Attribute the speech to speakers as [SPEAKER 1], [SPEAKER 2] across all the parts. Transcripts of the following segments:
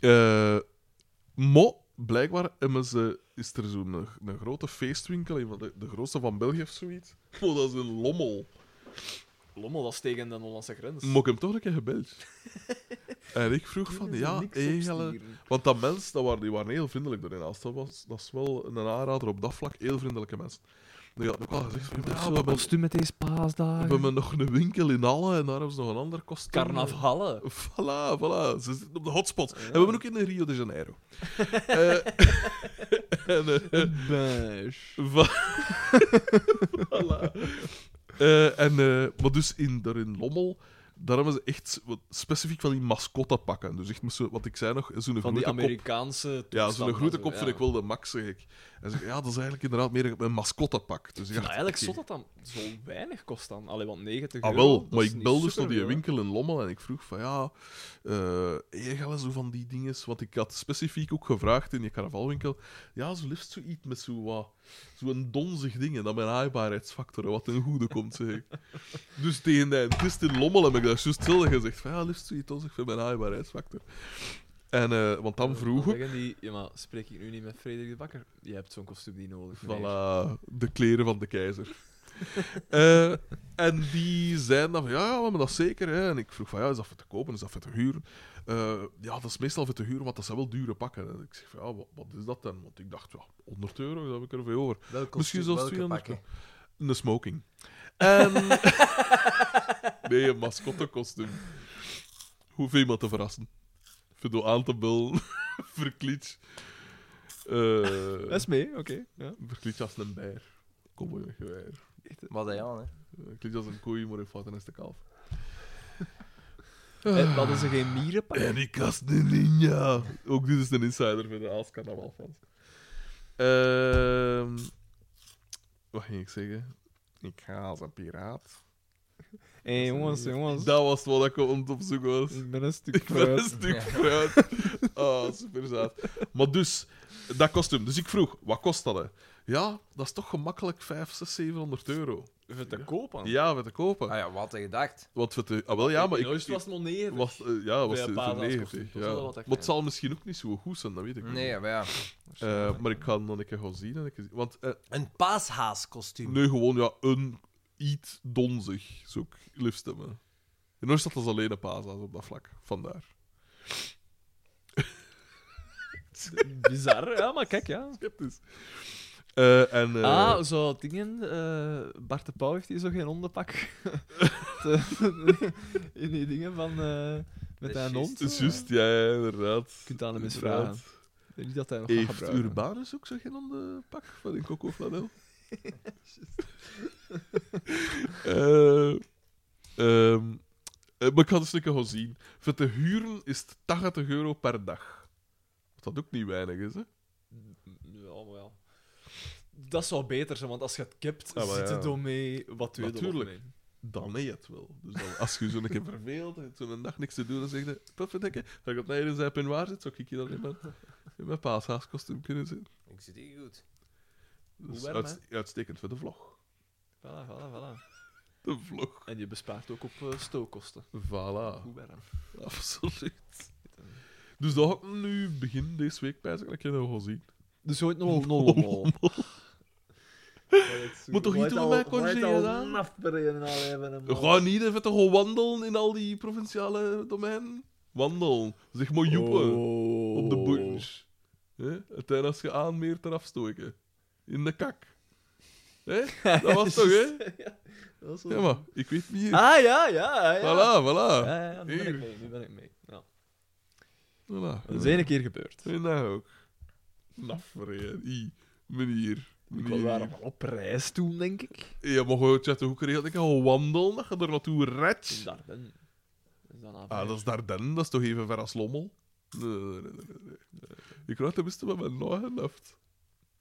[SPEAKER 1] Eh mo, blijkbaar hebben ze, is er zo'n een, een grote feestwinkel, een van de, de grootste van België of zoiets. Oh, dat is een lommel.
[SPEAKER 2] Lommel, dat is tegen de Hollandse grens.
[SPEAKER 1] Moet ik hem toch een keer gebeld? en ik vroeg
[SPEAKER 2] Hier
[SPEAKER 1] van,
[SPEAKER 2] is er
[SPEAKER 1] ja,
[SPEAKER 2] niks op
[SPEAKER 1] eigenlijk...
[SPEAKER 2] stieren.
[SPEAKER 1] Want dat mens, dat waren, die waren heel vriendelijk daarin. Als dat, was, dat is wel een aanrader op dat vlak, heel vriendelijke mensen. Die had ook al gezegd van, ja, Ah, we
[SPEAKER 3] Zo'n
[SPEAKER 1] hebben,
[SPEAKER 3] kostuum met deze
[SPEAKER 1] we
[SPEAKER 3] paasdagen.
[SPEAKER 1] hebben nog een winkel in Halle en daar hebben ze nog een ander kostuum.
[SPEAKER 2] Carnavallen.
[SPEAKER 1] Voilà, voilà. Ze zitten op de hotspot. En we hebben ook in Rio de Janeiro. Eh, en, eh,
[SPEAKER 3] Beige.
[SPEAKER 1] Va- Voilà. Eh, en, eh, maar dus in, daar in Lommel, daar hebben ze echt wat, specifiek van die mascotte pakken. Dus echt met zo, wat ik zei nog, zo'n
[SPEAKER 2] Van die
[SPEAKER 1] grote kop.
[SPEAKER 2] Amerikaanse
[SPEAKER 1] Ja,
[SPEAKER 2] toestanden,
[SPEAKER 1] zo'n grote kop
[SPEAKER 2] ja.
[SPEAKER 1] vind ik wel de max, zeg ik. En zeg ik, ja, dat is eigenlijk inderdaad meer een mascottepak. Dus ik
[SPEAKER 2] Nou,
[SPEAKER 1] dacht,
[SPEAKER 2] eigenlijk
[SPEAKER 1] oké.
[SPEAKER 2] zot dat dan zo weinig kost dan. Allee, want 90
[SPEAKER 1] Ah,
[SPEAKER 2] euro,
[SPEAKER 1] wel,
[SPEAKER 2] dat
[SPEAKER 1] maar
[SPEAKER 2] is
[SPEAKER 1] ik
[SPEAKER 2] niet
[SPEAKER 1] belde dus naar die
[SPEAKER 2] superveel, hè.
[SPEAKER 1] winkel in Lommel en ik vroeg van ja, eh je gaat zo van die dingen, want ik had specifiek ook gevraagd in die carnavalwinkel, ja, zo liefst zoiets met zo'n wat, zo'n donzig ding en dan mijn aaibaarheidsfactor wat ten goede komt, zeg ik. Dus tegen de eindist in Lommel heb ik daar juist zelden gezegd van ja, liefst zoiets donzig voor mijn aaibaarheidsfactor. En, eh, want dan vroeg
[SPEAKER 2] Dan
[SPEAKER 1] ik,
[SPEAKER 2] zeggen die, ja, maar spreek ik nu niet met Frederik de Bakker? Je hebt zo'n kostuum niet nodig. meneer.
[SPEAKER 1] Voilà, de kleren van de keizer. Eh, en die zeiden dan van, ja, ja, we hebben dat zeker. Hè. En ik vroeg van, ja, is dat voor te kopen, is dat voor te huren? Eh, ja, dat is meestal voor te huren, want dat zijn wel dure pakken. En ik zeg van, ja, wat, wat is dat dan? Want ik dacht, ja, 100 euro, daar heb ik er veel over.
[SPEAKER 4] Welke
[SPEAKER 1] Misschien
[SPEAKER 4] kostuum-
[SPEAKER 1] zelfs 200
[SPEAKER 4] welke pakken?
[SPEAKER 1] Een smoking. En... nee, een mascottekostuum. Hoef iemand te verrassen. Even door aan te bellen. Verkliet. Eh,
[SPEAKER 3] Dat is mee, oké. Ja.
[SPEAKER 1] Verkliet als een bijer. Kom maar, je bijer.
[SPEAKER 4] Wat hij aan, hè?
[SPEAKER 1] Eh, Klinkt als een koei, maar in fout en is de kalf.
[SPEAKER 3] Eh, Hadden ze geen mierenpak?
[SPEAKER 1] En ik als een ninja. Ook dit is een insider voor de Aals Carnaval fans. Ehm, wat ging ik zeggen? Ik ga als een piraat.
[SPEAKER 3] Hé
[SPEAKER 2] Eh,
[SPEAKER 3] jongens, jongens.
[SPEAKER 1] Dat was wat ik op op zoek was.
[SPEAKER 3] Ik ben een stuk
[SPEAKER 1] Ik ben een
[SPEAKER 3] fruit.
[SPEAKER 1] stuk fruit. Oh, super zaad. Maar dus, dat kostuum. Dus ik vroeg, wat kost dat? Hè? Ja, dat is toch gemakkelijk 5, 6, 700 euro.
[SPEAKER 2] Even te kopen.
[SPEAKER 1] Ja, we te kopen.
[SPEAKER 4] Ah ja, wat had je gedacht?
[SPEAKER 1] Want we te... Ah, wel, ja, maar
[SPEAKER 2] In
[SPEAKER 1] ik...
[SPEAKER 2] Oost was het nog 90.
[SPEAKER 1] Was, eh, ja, was
[SPEAKER 2] Bij
[SPEAKER 1] de,
[SPEAKER 2] een paar
[SPEAKER 1] de
[SPEAKER 2] dagen
[SPEAKER 1] 90.
[SPEAKER 2] kost het
[SPEAKER 1] ja.
[SPEAKER 2] wel wat, hè.
[SPEAKER 1] Maar het zal misschien ook niet zo goed zijn, dat weet ik niet.
[SPEAKER 4] Nee, maar ja.
[SPEAKER 1] Eh, maar ik ga hem dan een keer gaan zien. En ik zien. Want eh,
[SPEAKER 4] Een paashaaskostuum.
[SPEAKER 1] nu gewoon ja, een iets donzig zoek ik liefst hebben. In Oost dat alleen een paashaas op dat vlak. Vandaar.
[SPEAKER 3] Bizar, ja, maar kijk, ja.
[SPEAKER 1] Sceptisch. Eh, en, eh,
[SPEAKER 3] Ah, zo dingen. eh, Bart de Pauw heeft hier zo geen hondenpak. Te- in die dingen van. eh, met
[SPEAKER 4] Dat is
[SPEAKER 3] een
[SPEAKER 4] juist.
[SPEAKER 3] hond.
[SPEAKER 1] het is juist, ja, ja, inderdaad.
[SPEAKER 3] Je kunt aan hem eens
[SPEAKER 1] Inderdaad.
[SPEAKER 3] vragen. Ik denk Niet dat hij nog gaat
[SPEAKER 1] Heeft
[SPEAKER 3] gebruiken.
[SPEAKER 1] Urbanus ook zo'n genande pak van in Coco Flanel? Eh, ehm, eh, maar ik ga het eens een keer gaan zien. Voor te huren is het 80 euro per dag. Wat dat ook niet weinig is, hè?
[SPEAKER 2] Ja, maar ja. Dat zou beter zijn, want als je het kipt,
[SPEAKER 1] Ah, maar
[SPEAKER 2] zit
[SPEAKER 1] ja.
[SPEAKER 2] het door mee wat je
[SPEAKER 1] Natuurlijk. Dan nee het wel. Dus dan, als je zo'n keer verveelt en zo'n dag niks te doen, dan zeg je: Puff, denken, dat ik op mijn eigen zijp in waar zit, zou ik je dan in mijn, in mijn paashaaskostuum kunnen zitten.
[SPEAKER 4] Ik zit hier goed.
[SPEAKER 1] Dat is
[SPEAKER 2] Hoe warm,
[SPEAKER 1] uits- uitstekend voor de vlog.
[SPEAKER 2] Voilà, voilà, voilà.
[SPEAKER 1] De vlog.
[SPEAKER 2] En je bespaart ook op eh, stookkosten.
[SPEAKER 1] Voilà.
[SPEAKER 2] Hoe warm.
[SPEAKER 1] Absoluut. Dus dat had ik nu begin deze week bij zich dat je dat gaan zien.
[SPEAKER 3] Dus ooit nog wel nol nol.
[SPEAKER 1] Moet toch iets doen met congé gedaan? Ga niet even toch gewoon wandelen in al die provinciale domeinen? Wandelen. Zeg
[SPEAKER 3] Oh.
[SPEAKER 1] maar joepen op de bunch. Hè? En tijdens als je aanmeert eraf stoken. In de kak. Hè? Dat was toch, hè? Ja, maar ik weet niet.
[SPEAKER 3] Ah ja, ja, ja.
[SPEAKER 1] Voilà, voilà.
[SPEAKER 3] Ja, ja, ja, nu ben
[SPEAKER 1] Hier.
[SPEAKER 3] ik mee. Nu ben ik mee. Ja.
[SPEAKER 1] voilà.
[SPEAKER 3] Dat is één keer gebeurd.
[SPEAKER 1] En dat ook. Nafreen. I. Meneer.
[SPEAKER 3] Ik was
[SPEAKER 1] Meneer.
[SPEAKER 3] daar wel op reis toen, denk ik.
[SPEAKER 1] Ja, maar gewoon chat hoe kreeg dat ik al wandelen? Dat je er naartoe
[SPEAKER 2] In
[SPEAKER 1] red.
[SPEAKER 2] Darben.
[SPEAKER 3] Dus
[SPEAKER 2] Dat is dan aan
[SPEAKER 1] Ah, dat is Dardenne, dat is toch even ver als Lommel? Nee, nee, nee, nee. nee. Ik ruik tenminste met mijn nagenhaft.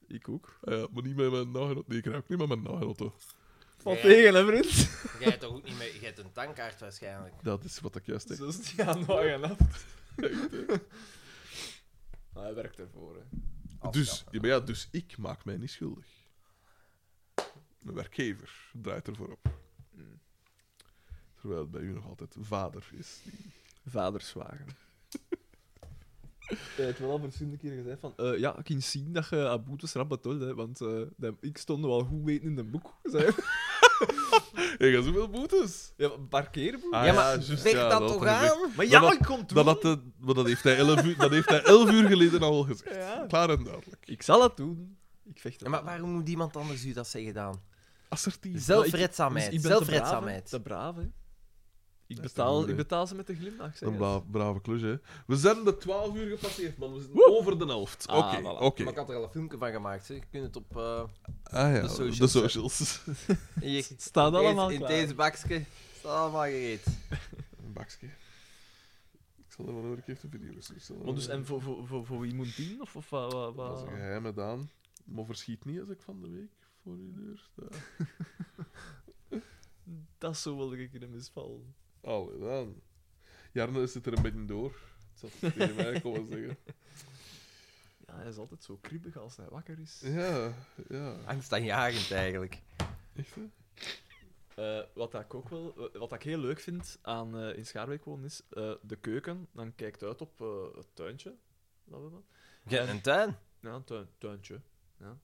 [SPEAKER 3] Ik ook.
[SPEAKER 1] Ah, ja, maar niet met mijn nagenhaft. Nee, ik ruik niet met mijn nagenhaft. hoor.
[SPEAKER 3] Wat
[SPEAKER 4] Ja.
[SPEAKER 3] tegen, hè, vriend?
[SPEAKER 4] Jij hebt toch ook niet meer... Jij hebt een tankkaart waarschijnlijk.
[SPEAKER 1] Dat is wat ik juist denk.
[SPEAKER 2] Zo is die aan de af. Nou, hij werkt ervoor, hè.
[SPEAKER 1] Dus, ja, maar ja, dus ik maak mij niet schuldig. Mijn werkgever draait ervoor op. Terwijl het bij u nog altijd vader is.
[SPEAKER 3] Vaderswagen. Hij heeft wel Eh, al verschillende keren gezegd van... eh, ja, ik ging zien dat je aan boetes rap betold, hè, want eh, dat- ik stond wel goed weten in de boek. Zei. hij.
[SPEAKER 1] Je gaat zoveel boetes.
[SPEAKER 3] Ja, parkeerboete.
[SPEAKER 1] Ah,
[SPEAKER 4] ja, maar
[SPEAKER 1] juist,
[SPEAKER 4] vecht
[SPEAKER 1] ja,
[SPEAKER 4] dat
[SPEAKER 1] dat
[SPEAKER 4] toch
[SPEAKER 1] had hij
[SPEAKER 4] aan?
[SPEAKER 2] Maar
[SPEAKER 1] ja,
[SPEAKER 2] ja,
[SPEAKER 1] dat-
[SPEAKER 2] ik kom
[SPEAKER 1] Dat,
[SPEAKER 2] toe.
[SPEAKER 1] had de- maar dat, heeft hij 11 uur, dat heeft hij 11 uur geleden al gezegd.
[SPEAKER 3] Ja.
[SPEAKER 1] Klaar en duidelijk.
[SPEAKER 3] Ik zal het doen. Ik vecht
[SPEAKER 4] Ja,
[SPEAKER 3] het
[SPEAKER 4] maar
[SPEAKER 3] aan.
[SPEAKER 4] waarom moet iemand anders u dat zeggen dan?
[SPEAKER 1] Assertief.
[SPEAKER 3] Dus ik
[SPEAKER 4] Zelfredzaamheid.
[SPEAKER 3] ben te
[SPEAKER 4] Zelfredzaamheid.
[SPEAKER 3] braaf, hè. Te braaf, hè. Ik
[SPEAKER 1] is
[SPEAKER 3] betaal,
[SPEAKER 1] toch
[SPEAKER 3] ik
[SPEAKER 1] mooi.
[SPEAKER 3] betaal ze met de glimlach, zeg.
[SPEAKER 1] Een
[SPEAKER 3] eens.
[SPEAKER 1] bra- brave klus, hè. We zijn de 12 uur gepasseerd, man. We zijn
[SPEAKER 3] Woe!
[SPEAKER 1] over de helft. Oké,
[SPEAKER 3] Ah,
[SPEAKER 1] oké.
[SPEAKER 3] voilà.
[SPEAKER 4] Maar ik had er al een filmpje van gemaakt. Hè. Je kunt het op... eh,
[SPEAKER 1] Ah ja, de
[SPEAKER 4] De
[SPEAKER 1] socials.
[SPEAKER 4] socials,
[SPEAKER 1] De socials.
[SPEAKER 4] hier,
[SPEAKER 3] Het staat allemaal
[SPEAKER 4] in
[SPEAKER 3] klaar.
[SPEAKER 4] deze bakje staat allemaal gereed.
[SPEAKER 1] Een bakje. Ik zal er wel een keer de video sturen.
[SPEAKER 3] Maar dus, en voor, Ah. voor, voor, voor wie moet dienen? Of, of wat? wat- wat-
[SPEAKER 1] Dat is een geheime Daan. Maar verschiet niet als ik van de week voor je deur sta.
[SPEAKER 3] Dat zou wel een keer misvallen.
[SPEAKER 1] Allee, Daan. Jarne zit er een beetje door. Dat zou ik tegen mij komen zeggen.
[SPEAKER 3] Ja, hij is altijd zo kribbig als hij wakker is.
[SPEAKER 1] Ja,
[SPEAKER 3] Ah,
[SPEAKER 1] ja.
[SPEAKER 4] Angstaanjagend eigenlijk.
[SPEAKER 1] Echt, hè?
[SPEAKER 3] Eh, wat ik ook wel, eh, wat ik heel leuk vind aan eh, in Schaarbeek wonen is eh, de keuken. Dan kijkt uit op eh, het tuintje. Dat we hebben.
[SPEAKER 4] Je hebt een tuin.
[SPEAKER 3] Ja, een tuin, tuintje. Ja.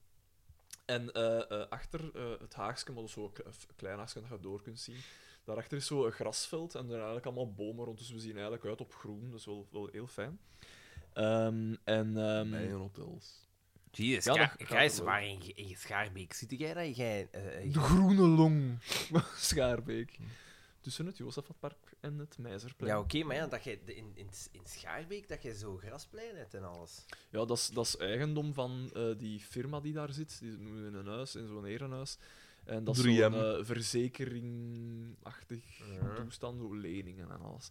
[SPEAKER 3] En eh, eh, achter eh, het haagske, maar dat is zo een kle- een klein haagske dat je door kunt zien. Daarachter is zo een grasveld en er zijn eigenlijk allemaal bomen rond. Dus we zien eigenlijk uit op groen. Dat is wel, wel heel fijn. Ehm, en, ehm,
[SPEAKER 1] Bijenhotels.
[SPEAKER 4] Jezus,
[SPEAKER 3] Ja,
[SPEAKER 4] ja,
[SPEAKER 3] dat gaat
[SPEAKER 4] Gijs,
[SPEAKER 3] wel.
[SPEAKER 4] waar in, in Schaarbeek zit jij dat? Jij, eh, eh,
[SPEAKER 3] De groene long. Schaarbeek. Tussen het Jozefatpark en het Meizerplein.
[SPEAKER 4] ja, oké, maar ja, dat jij de- in, in, in Schaarbeek dat jij zo grasplein hebt en alles.
[SPEAKER 3] Ja, dat is, dat is eigendom van eh, die firma die daar zit. Die noemen een huis, in zo'n herenhuis. En dat is
[SPEAKER 1] 3M.
[SPEAKER 3] zo'n eh, verzekeringachtig
[SPEAKER 4] Ja. Ah, nou,
[SPEAKER 3] toestand, zo leningen en alles.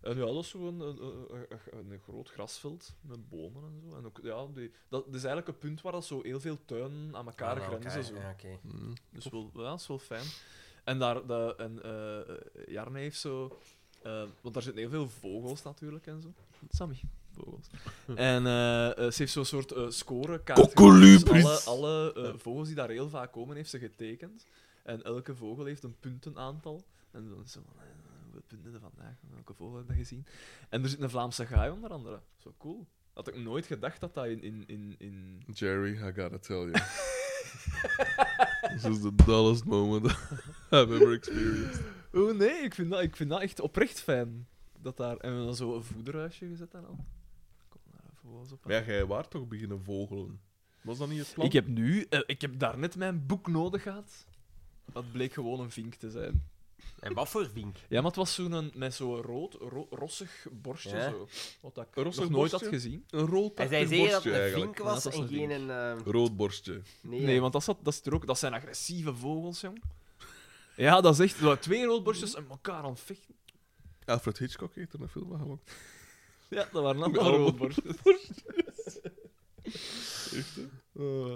[SPEAKER 3] En ja, dat is zo'n een, een, eh, een- een groot grasveld met bomen en zo. En ook, ja, die, dat, dat is eigenlijk een punt waar dat zo heel veel tuinen aan elkaar
[SPEAKER 4] Aan
[SPEAKER 3] grenzen.
[SPEAKER 4] elkaar,
[SPEAKER 3] zo.
[SPEAKER 4] ja, Ah, oké.
[SPEAKER 1] Hm.
[SPEAKER 3] Dus wel, ja, dat is wel fijn. En, daar, de, en eh, eh, Jarne heeft zo... eh, want daar zitten heel veel vogels natuurlijk en zo. Sammy, vogels. En eh, eh, ze heeft zo'n soort eh scorekaart. gemaakt. Dus alle alle eh, vogels die daar heel vaak komen, heeft ze getekend. En elke vogel heeft een puntenaantal. En dan is ze van, eh, hoeveel punten er vandaag? Welke vogel heb je gezien? En er zit een Vlaamse gaai onder andere. Zo cool. Had ik nooit gedacht dat dat in... in, in, in...
[SPEAKER 1] Jerry, I gotta tell you. This is the dullest moment I've ever experienced.
[SPEAKER 3] Oh nee, ik vind, dat, ik vind dat echt oprecht fijn. Dat daar, en we hebben dan zo een voederhuisje gezet en al. Kom daar vogels op.
[SPEAKER 1] Maar ja, jij waart toch beginnen vogelen? Was dat niet het plan?
[SPEAKER 3] ik heb nu, eh, ik heb daarnet mijn boek nodig gehad. Dat bleek gewoon een vink te zijn.
[SPEAKER 4] En wat voor vink?
[SPEAKER 3] Ja, maar het was zo'n, met zo'n rood, ro- rossig borstje
[SPEAKER 4] Ja.
[SPEAKER 3] zo. Wat dat ik
[SPEAKER 1] Een rossig
[SPEAKER 3] nog nooit
[SPEAKER 1] borstje?
[SPEAKER 3] had gezien.
[SPEAKER 1] Een rood
[SPEAKER 4] Hij zei
[SPEAKER 1] borstje
[SPEAKER 4] zeker dat het een
[SPEAKER 1] eigenlijk.
[SPEAKER 4] vink was
[SPEAKER 3] Ja, dat
[SPEAKER 4] en
[SPEAKER 3] was een
[SPEAKER 4] geen een... eh,
[SPEAKER 1] Rood borstje.
[SPEAKER 4] nee,
[SPEAKER 3] Nee, want dat, zat, dat, zit er ook, dat zijn agressieve vogels, jong. Ja, dat is echt zo, twee roodborstjes en elkaar aan het vechten.
[SPEAKER 1] Alfred Hitchcock heeft er een film van gemaakt.
[SPEAKER 3] Ja, dat waren
[SPEAKER 1] Met
[SPEAKER 3] allemaal
[SPEAKER 1] allemaal
[SPEAKER 3] roodborstjes. Eh,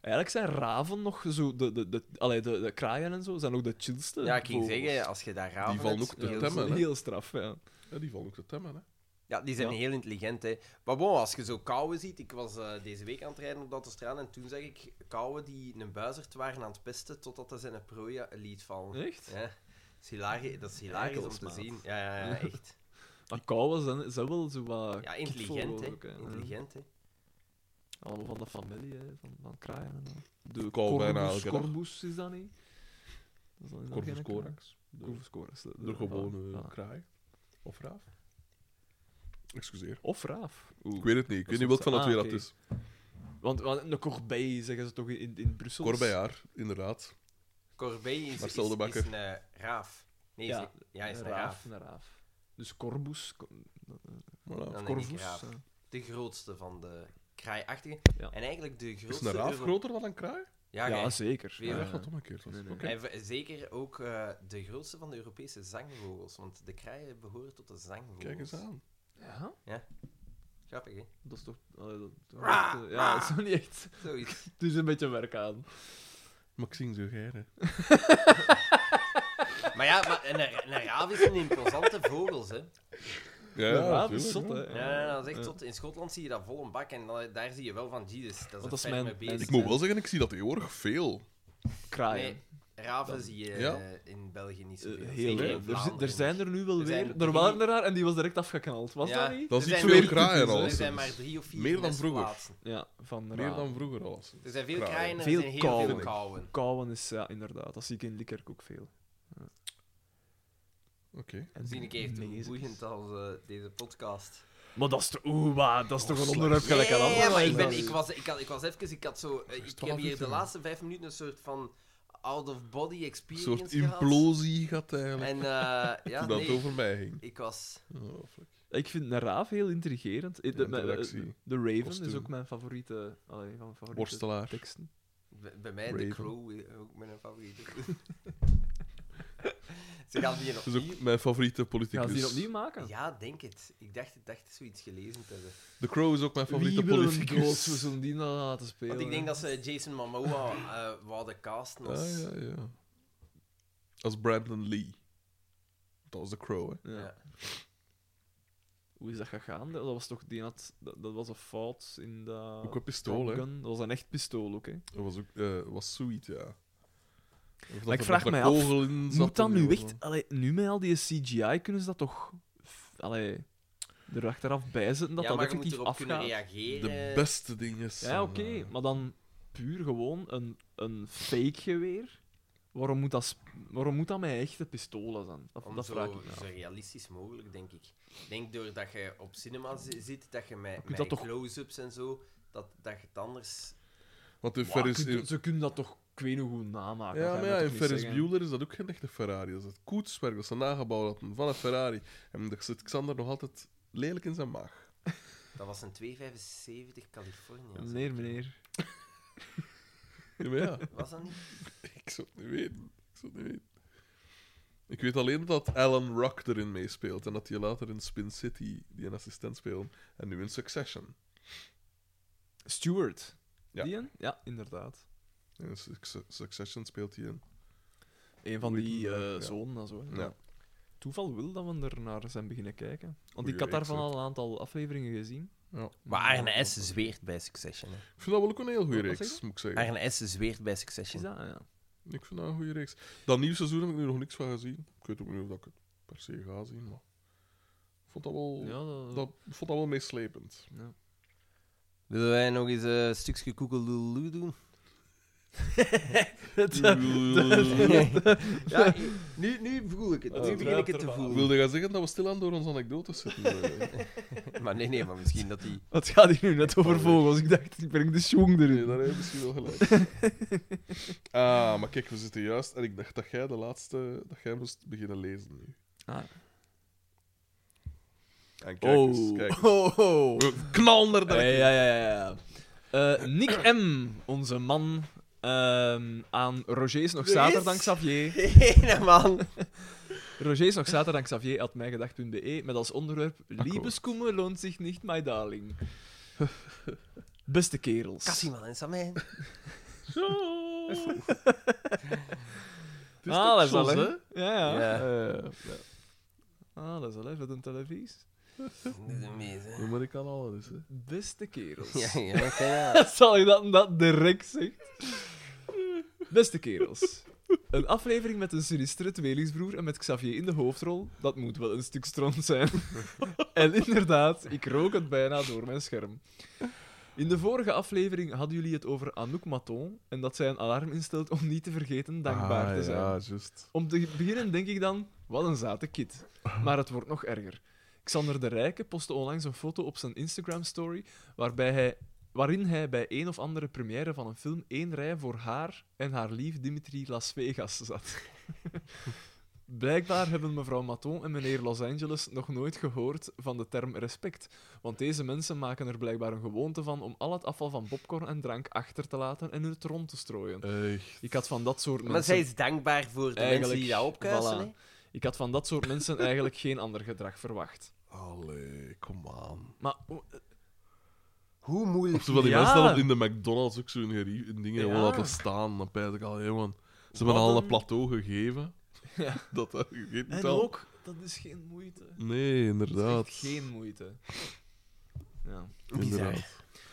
[SPEAKER 3] eigenlijk zijn raven nog zo, de, de, de, allee, de, de kraaien en zo, zijn ook de chillste.
[SPEAKER 4] Ja, ik ging
[SPEAKER 3] vogels.
[SPEAKER 4] zeggen, als je daar raven
[SPEAKER 1] Die vallen
[SPEAKER 4] hebt,
[SPEAKER 1] ook te
[SPEAKER 4] heel-
[SPEAKER 3] dat is
[SPEAKER 1] temmen, hè.
[SPEAKER 3] heel straf, ja.
[SPEAKER 1] Ja, die vallen ook te temmen, hè.
[SPEAKER 4] Ja, die zijn
[SPEAKER 3] Ja.
[SPEAKER 4] heel intelligent, hè. Maar bon, als je zo kauwen ziet... Ik was eh, deze week aan het rijden op de autostrade en toen zag ik kauwen die een buizerd waren aan het pesten totdat hij zijn prooi eh, liet vallen.
[SPEAKER 3] Echt?
[SPEAKER 4] Ja. Dat is hilarisch, dat is hilarisch om
[SPEAKER 3] Eikels,
[SPEAKER 4] te
[SPEAKER 3] maat.
[SPEAKER 4] zien. Ja, ja, ja, echt.
[SPEAKER 3] Maar kouwen zijn, zijn wel zo wat...
[SPEAKER 4] Ja, intelligent,
[SPEAKER 3] kitvogels
[SPEAKER 4] hè.
[SPEAKER 3] ook, hè.
[SPEAKER 4] Intelligent, hè.
[SPEAKER 3] Allemaal van de familie, hè, van, van kraaien en zo. De
[SPEAKER 1] Kauwen bijna
[SPEAKER 3] corvus-
[SPEAKER 1] elke dag.
[SPEAKER 3] corvus is dat niet? Dat is dan inderdaad
[SPEAKER 1] Corvus
[SPEAKER 3] geen
[SPEAKER 1] corax.
[SPEAKER 3] kraai. Corvus corax. de- de-
[SPEAKER 1] De gewone
[SPEAKER 3] voilà.
[SPEAKER 1] kraai. Of raaf. Excuseer.
[SPEAKER 3] Of raaf.
[SPEAKER 1] Ik weet het niet. Ik weet niet
[SPEAKER 3] Dat
[SPEAKER 1] welk
[SPEAKER 3] is
[SPEAKER 1] van de
[SPEAKER 3] ah,
[SPEAKER 1] twee dat
[SPEAKER 3] oké.
[SPEAKER 1] is.
[SPEAKER 3] Want, want een corbeille zeggen ze toch in, in Brussel?
[SPEAKER 1] Corbejaar, inderdaad.
[SPEAKER 4] Corbeille is, is,
[SPEAKER 1] Marcel de
[SPEAKER 4] is
[SPEAKER 1] Bakker.
[SPEAKER 4] een eh, raaf. Nee,
[SPEAKER 3] Ja,
[SPEAKER 4] ja, ja is een
[SPEAKER 3] een
[SPEAKER 4] raaf.
[SPEAKER 3] Een raaf. Dus corbus... cor-
[SPEAKER 1] Voilà.
[SPEAKER 4] Dan denk ik
[SPEAKER 3] Corvus.
[SPEAKER 4] raaf.
[SPEAKER 3] eh.
[SPEAKER 4] De grootste van de kraaiachtigen.
[SPEAKER 3] Ja.
[SPEAKER 4] En eigenlijk de
[SPEAKER 1] Is
[SPEAKER 4] grootste...
[SPEAKER 1] een raaf
[SPEAKER 4] Euro-
[SPEAKER 1] groter dan een kraai? Ah,
[SPEAKER 4] Ja,
[SPEAKER 3] ja,
[SPEAKER 4] gij.
[SPEAKER 3] zeker.
[SPEAKER 4] Weer
[SPEAKER 1] Ja,
[SPEAKER 4] Ja.
[SPEAKER 1] dat gaat om een keer.
[SPEAKER 3] Nee, nee.
[SPEAKER 1] Oké.
[SPEAKER 4] En v- zeker ook eh, de grootste van de Europese zangvogels. Want de kraaien behoren tot de zangvogels.
[SPEAKER 1] Kijk eens aan.
[SPEAKER 3] Ja?
[SPEAKER 4] Grappig, hè?
[SPEAKER 3] Dat is toch... allee, dat- dat- dat- eh, ja, dat is nog niet echt...
[SPEAKER 4] Zoiets.
[SPEAKER 3] Het is een beetje werk aan.
[SPEAKER 1] Maxime Zugère.
[SPEAKER 4] maar ja, maar een, een raaf is een imposante vogel, hè?
[SPEAKER 1] Ja,
[SPEAKER 3] raaf
[SPEAKER 1] natuurlijk,
[SPEAKER 3] is zot,
[SPEAKER 1] ja.
[SPEAKER 3] hè.
[SPEAKER 4] Ja, ja, dat is echt
[SPEAKER 3] Ja.
[SPEAKER 4] zot. In Schotland zie je dat vol een bak en dan- daar zie je wel van Jesus. Dat is
[SPEAKER 3] dat
[SPEAKER 4] een
[SPEAKER 3] is
[SPEAKER 4] ferme
[SPEAKER 3] mijn-
[SPEAKER 4] beest.
[SPEAKER 1] Ik moet wel zeggen, ik zie dat tegenwoordig veel.
[SPEAKER 3] Kraaien.
[SPEAKER 4] Nee. Raven zie je eh,
[SPEAKER 1] Ja.
[SPEAKER 4] in België niet
[SPEAKER 3] Eh,
[SPEAKER 4] zoveel.
[SPEAKER 3] heel
[SPEAKER 4] Zeker in
[SPEAKER 3] leuk. Er, zi- er
[SPEAKER 4] Vlaanderen.
[SPEAKER 3] zijn er nu wel
[SPEAKER 4] Er zijn
[SPEAKER 3] weer. Er waren er daar en die was direct afgeknald. Was
[SPEAKER 4] Ja.
[SPEAKER 3] dat niet?
[SPEAKER 1] Dat
[SPEAKER 4] Er
[SPEAKER 1] is niet
[SPEAKER 4] zijn
[SPEAKER 1] veel
[SPEAKER 4] meer
[SPEAKER 1] kraaien
[SPEAKER 3] toetsen,
[SPEAKER 1] al.
[SPEAKER 4] Er
[SPEAKER 3] hè.
[SPEAKER 1] als
[SPEAKER 4] zijn
[SPEAKER 1] er
[SPEAKER 4] maar
[SPEAKER 1] is.
[SPEAKER 4] drie of vier
[SPEAKER 1] Meer dan
[SPEAKER 4] best
[SPEAKER 1] vroeger.
[SPEAKER 4] plaatsen.
[SPEAKER 3] Ja, van
[SPEAKER 1] Meer
[SPEAKER 3] Raven.
[SPEAKER 1] dan vroeger al. als er
[SPEAKER 4] Er
[SPEAKER 1] is.
[SPEAKER 4] zijn veel
[SPEAKER 1] Kraaien.
[SPEAKER 4] kraaien en er
[SPEAKER 3] Veel
[SPEAKER 4] zijn heel
[SPEAKER 3] kauwen.
[SPEAKER 4] veel kauwen.
[SPEAKER 3] Kouwen is, ja, inderdaad. Dat zie ik in Likkerk ook veel.
[SPEAKER 1] Oké.
[SPEAKER 3] En
[SPEAKER 4] Zie een keer hoe
[SPEAKER 3] Mezekes.
[SPEAKER 4] boeiend als eh, deze podcast.
[SPEAKER 3] Maar dat is toch... Oeh, maar dat is toch een onderwerp
[SPEAKER 4] Ja,
[SPEAKER 3] gelijk aan
[SPEAKER 4] ja,
[SPEAKER 3] andere
[SPEAKER 4] maar ik, ben,
[SPEAKER 3] mensen.
[SPEAKER 4] ik, was, ik, had, ik was even, ik had zo, eh,
[SPEAKER 1] is
[SPEAKER 4] ik
[SPEAKER 1] 12
[SPEAKER 4] heb hier
[SPEAKER 1] uur
[SPEAKER 4] de
[SPEAKER 1] terug.
[SPEAKER 4] laatste vijf minuten een soort van out-of-body
[SPEAKER 1] Een
[SPEAKER 4] experience
[SPEAKER 1] soort
[SPEAKER 4] gehad.
[SPEAKER 1] implosie gaat eigenlijk.
[SPEAKER 4] En eh, ja,
[SPEAKER 1] toen dat
[SPEAKER 4] nee,
[SPEAKER 1] over mij ging.
[SPEAKER 4] ik was...
[SPEAKER 1] Oh, fuck.
[SPEAKER 3] Ik vind een raaf heel intrigerend. Eh, De,
[SPEAKER 1] Ja,
[SPEAKER 3] mijn- eh,
[SPEAKER 1] interactie.
[SPEAKER 3] de Raven
[SPEAKER 1] Kostuum.
[SPEAKER 3] is ook mijn favoriete, allee, van mijn favoriete
[SPEAKER 1] Worstelaar.
[SPEAKER 3] teksten.
[SPEAKER 4] Bij bij mij
[SPEAKER 1] Raven.
[SPEAKER 4] de Crow, eh, ook mijn favoriete. Ze gaan die nog
[SPEAKER 1] Dat is ook mijn favoriete
[SPEAKER 3] Gaan ze die
[SPEAKER 1] politicus.
[SPEAKER 3] opnieuw maken?
[SPEAKER 4] Ja, denk het. Ik dacht, ik dacht zoiets gelezen te hebben.
[SPEAKER 1] The Crow is ook mijn favoriete
[SPEAKER 3] Wie wil hem dood? We
[SPEAKER 1] politicus.
[SPEAKER 3] zullen die nou laten spelen.
[SPEAKER 4] Want ik denk dat ze Jason Momoa eh wouden casten als...
[SPEAKER 1] Ah, ja, ja. Als Brandon Lee. Dat was The Crow, hè.
[SPEAKER 3] Ja.
[SPEAKER 4] Ja.
[SPEAKER 3] Hoe is dat gegaan? Dat was toch... Die had, dat, dat was een fout in dat...
[SPEAKER 1] Ook een pistool, hè.
[SPEAKER 3] Ah, Top Gun. Dat was een echt pistool ook, hè.
[SPEAKER 1] Dat was, ook, eh, was sweet, ja. Of dat
[SPEAKER 3] Maar ik
[SPEAKER 1] er
[SPEAKER 3] vraag
[SPEAKER 1] nog
[SPEAKER 3] mij
[SPEAKER 1] een
[SPEAKER 3] af,
[SPEAKER 1] kogel in zat
[SPEAKER 3] Moet dat
[SPEAKER 1] en
[SPEAKER 3] nu
[SPEAKER 1] heel
[SPEAKER 3] echt...
[SPEAKER 1] zo.
[SPEAKER 3] Allee, nu met al die CGI kunnen ze dat toch... f- Allee, er achteraf bij zetten dat
[SPEAKER 4] ja,
[SPEAKER 3] dat
[SPEAKER 4] maar je moet
[SPEAKER 3] effectief
[SPEAKER 4] erop kunnen
[SPEAKER 3] afgaat.
[SPEAKER 4] reageren.
[SPEAKER 1] De beste ding is...
[SPEAKER 3] Ja,
[SPEAKER 1] eh,
[SPEAKER 3] oké. Maar dan puur gewoon een, een fake geweer. Waarom moet, dat, sp- waarom moet dat met echte pistolen zijn? Dat,
[SPEAKER 4] Om
[SPEAKER 3] dat
[SPEAKER 4] zo,
[SPEAKER 3] vraag ik me
[SPEAKER 4] zo
[SPEAKER 3] af.
[SPEAKER 4] realistisch mogelijk, denk ik. Ik denk doordat je op cinema zi- zit, dat je met,
[SPEAKER 3] kunt
[SPEAKER 4] met
[SPEAKER 3] dat toch-
[SPEAKER 4] close-ups en zo, dat, dat je het anders...
[SPEAKER 1] Want in
[SPEAKER 3] Maar
[SPEAKER 1] Ferris...
[SPEAKER 3] kun-
[SPEAKER 1] in-
[SPEAKER 3] ze kunnen dat toch, ik weet niet hoe namaken.
[SPEAKER 1] Ja,
[SPEAKER 3] dat
[SPEAKER 1] maar
[SPEAKER 3] ga je
[SPEAKER 1] ja, in
[SPEAKER 3] mij toch niet
[SPEAKER 1] Ferris
[SPEAKER 3] zeggen.
[SPEAKER 1] Bueller is dat ook geen echte Ferrari. Dat is het koetswerk dat ze nagebouwd hadden van een Ferrari. En daar zit Xander nog altijd lelijk in zijn maag.
[SPEAKER 4] Dat was een 275 California.
[SPEAKER 3] Meneer, meneer.
[SPEAKER 1] Ja, maar ja.
[SPEAKER 4] Was dat niet?
[SPEAKER 1] Ik zou het niet weten. Ik zou het niet weten. Ik weet alleen dat Alan Rock erin meespeelt en dat hij later in Spin City die een assistent speelde en nu in Succession.
[SPEAKER 3] Stewart.
[SPEAKER 1] Ja.
[SPEAKER 3] Die een? Ja, inderdaad.
[SPEAKER 1] En in Suc- Succession speelt hij in.
[SPEAKER 3] Een van
[SPEAKER 1] Hoe heet
[SPEAKER 3] die
[SPEAKER 1] hem, eh,
[SPEAKER 3] eh,
[SPEAKER 1] ja.
[SPEAKER 3] zonen en zo. hè.
[SPEAKER 1] Ja.
[SPEAKER 3] Toeval wil dat we er naar zijn beginnen kijken. Want
[SPEAKER 1] Goeie
[SPEAKER 3] ik had daarvan
[SPEAKER 1] reeks,
[SPEAKER 3] al een aantal afleveringen gezien.
[SPEAKER 1] Ja.
[SPEAKER 4] Maar Arne S. zweert bij Succession. hè.
[SPEAKER 1] Ik vind dat wel ook een heel goede
[SPEAKER 3] Wat zeg
[SPEAKER 1] reeks, moet ik zeggen.
[SPEAKER 4] Arne S. zweert bij
[SPEAKER 3] Is
[SPEAKER 4] Succession.
[SPEAKER 3] dat? Ja.
[SPEAKER 1] Ik vind dat een goede reeks. Dat nieuwe seizoen heb ik nu nog niks van gezien. Ik weet ook niet of ik het per se ga zien, maar ik vond dat wel,
[SPEAKER 3] Ja, dat-
[SPEAKER 1] dat, ik vond dat wel meeslepend.
[SPEAKER 3] ja.
[SPEAKER 4] Willen wij nog eens eh, een stukje koekeloeloe doen? ja, nu, nu voel ik het.
[SPEAKER 3] Het
[SPEAKER 4] Nu begin
[SPEAKER 3] druipt
[SPEAKER 4] ik het te
[SPEAKER 3] ervan
[SPEAKER 4] voelen.
[SPEAKER 1] Wilde jij zeggen dat we stilaan door onze anekdotes zitten? eh?
[SPEAKER 4] Maar nee, nee, maar misschien dat die...
[SPEAKER 3] Wat gaat hier nu net over vogels? Ik dacht, ik breng de schoen
[SPEAKER 1] Nee,
[SPEAKER 3] erin.
[SPEAKER 1] daar heb je misschien wel gelijk. ah, maar kijk, we zitten juist. En ik dacht dat jij de laatste. dat jij moest beginnen lezen nu.
[SPEAKER 3] Ah.
[SPEAKER 1] En kijk eens,
[SPEAKER 3] Oh.
[SPEAKER 1] kijk. eens.
[SPEAKER 3] oh, oh.
[SPEAKER 1] We knallen er
[SPEAKER 3] Ja,
[SPEAKER 1] direct in.
[SPEAKER 3] ja, ja. ja. Eh, Nick M., onze man, ehm, aan Roger is nog
[SPEAKER 4] Er is-
[SPEAKER 3] zaterdag Xavier.
[SPEAKER 4] Hé, man.
[SPEAKER 3] Roger is nog zaterdag Xavier at mijgedacht.be E met als onderwerp
[SPEAKER 1] Akkoord.
[SPEAKER 3] Liebeskummer loont zich niet, my darling. Beste kerels.
[SPEAKER 4] Cassiman en Samijn.
[SPEAKER 1] Zo. Het is
[SPEAKER 3] Ah,
[SPEAKER 1] toch
[SPEAKER 3] dat is al
[SPEAKER 1] zot,
[SPEAKER 3] hè?
[SPEAKER 1] hè?
[SPEAKER 3] Ja, ja.
[SPEAKER 4] Ja.
[SPEAKER 1] Eh, ja.
[SPEAKER 3] Ah, dat is al even een televisie.
[SPEAKER 4] De meeste.
[SPEAKER 1] Nu moet ik aan alles, hè.
[SPEAKER 3] Beste kerels.
[SPEAKER 4] Ja, ja, oké, ja.
[SPEAKER 3] Zal ik dat en dat direct zeggen? Beste kerels. Een aflevering met een sinistere tweelingsbroer en met Xavier in de hoofdrol, dat moet wel een stuk stront zijn. en inderdaad, ik rook het bijna door mijn scherm. In de vorige aflevering hadden jullie het over Anouk Maton en dat zij een alarm instelt om niet te vergeten dankbaar te
[SPEAKER 1] Ah,
[SPEAKER 3] zijn.
[SPEAKER 1] Ja, juist.
[SPEAKER 3] Om te beginnen denk ik dan, wat een zate kid. Maar het wordt nog erger. Xander de Rijke postte onlangs een foto op zijn Instagram-story waarbij hij, waarin hij bij een of andere première van een film één rij voor haar en haar lief Dimitri Las Vegas zat. Blijkbaar hebben mevrouw Maton en meneer Los Angeles nog nooit gehoord van de term respect. Want deze mensen maken er blijkbaar een gewoonte van om al het afval van popcorn en drank achter te laten en het rond te strooien.
[SPEAKER 1] Echt.
[SPEAKER 3] Ik had van dat soort
[SPEAKER 4] Maar
[SPEAKER 3] mensen
[SPEAKER 4] zij is dankbaar voor de
[SPEAKER 3] Eigenlijk,
[SPEAKER 4] mensen die dat opkuisen.
[SPEAKER 3] voilà.
[SPEAKER 4] hè.
[SPEAKER 3] ik had van dat soort mensen eigenlijk geen ander gedrag verwacht.
[SPEAKER 1] Allee, kom aan.
[SPEAKER 3] Maar oh,
[SPEAKER 4] Hoe
[SPEAKER 1] Of
[SPEAKER 4] moeilijk.
[SPEAKER 1] zo van die
[SPEAKER 3] Ja.
[SPEAKER 1] mensen dat in de McDonald's ook zo'n gerie- dingen gewoon
[SPEAKER 3] Ja.
[SPEAKER 1] laten staan. Dan pijs ik al, hé man. Ze hebben
[SPEAKER 3] Wat
[SPEAKER 1] al
[SPEAKER 3] een-
[SPEAKER 1] een plateau gegeven.
[SPEAKER 3] Ja.
[SPEAKER 1] Dat dat gegeten
[SPEAKER 3] en
[SPEAKER 1] zal.
[SPEAKER 3] ook, dat is geen moeite.
[SPEAKER 1] Nee,
[SPEAKER 3] Dat
[SPEAKER 1] inderdaad.
[SPEAKER 3] is echt geen moeite. Ja.
[SPEAKER 1] Inderdaad.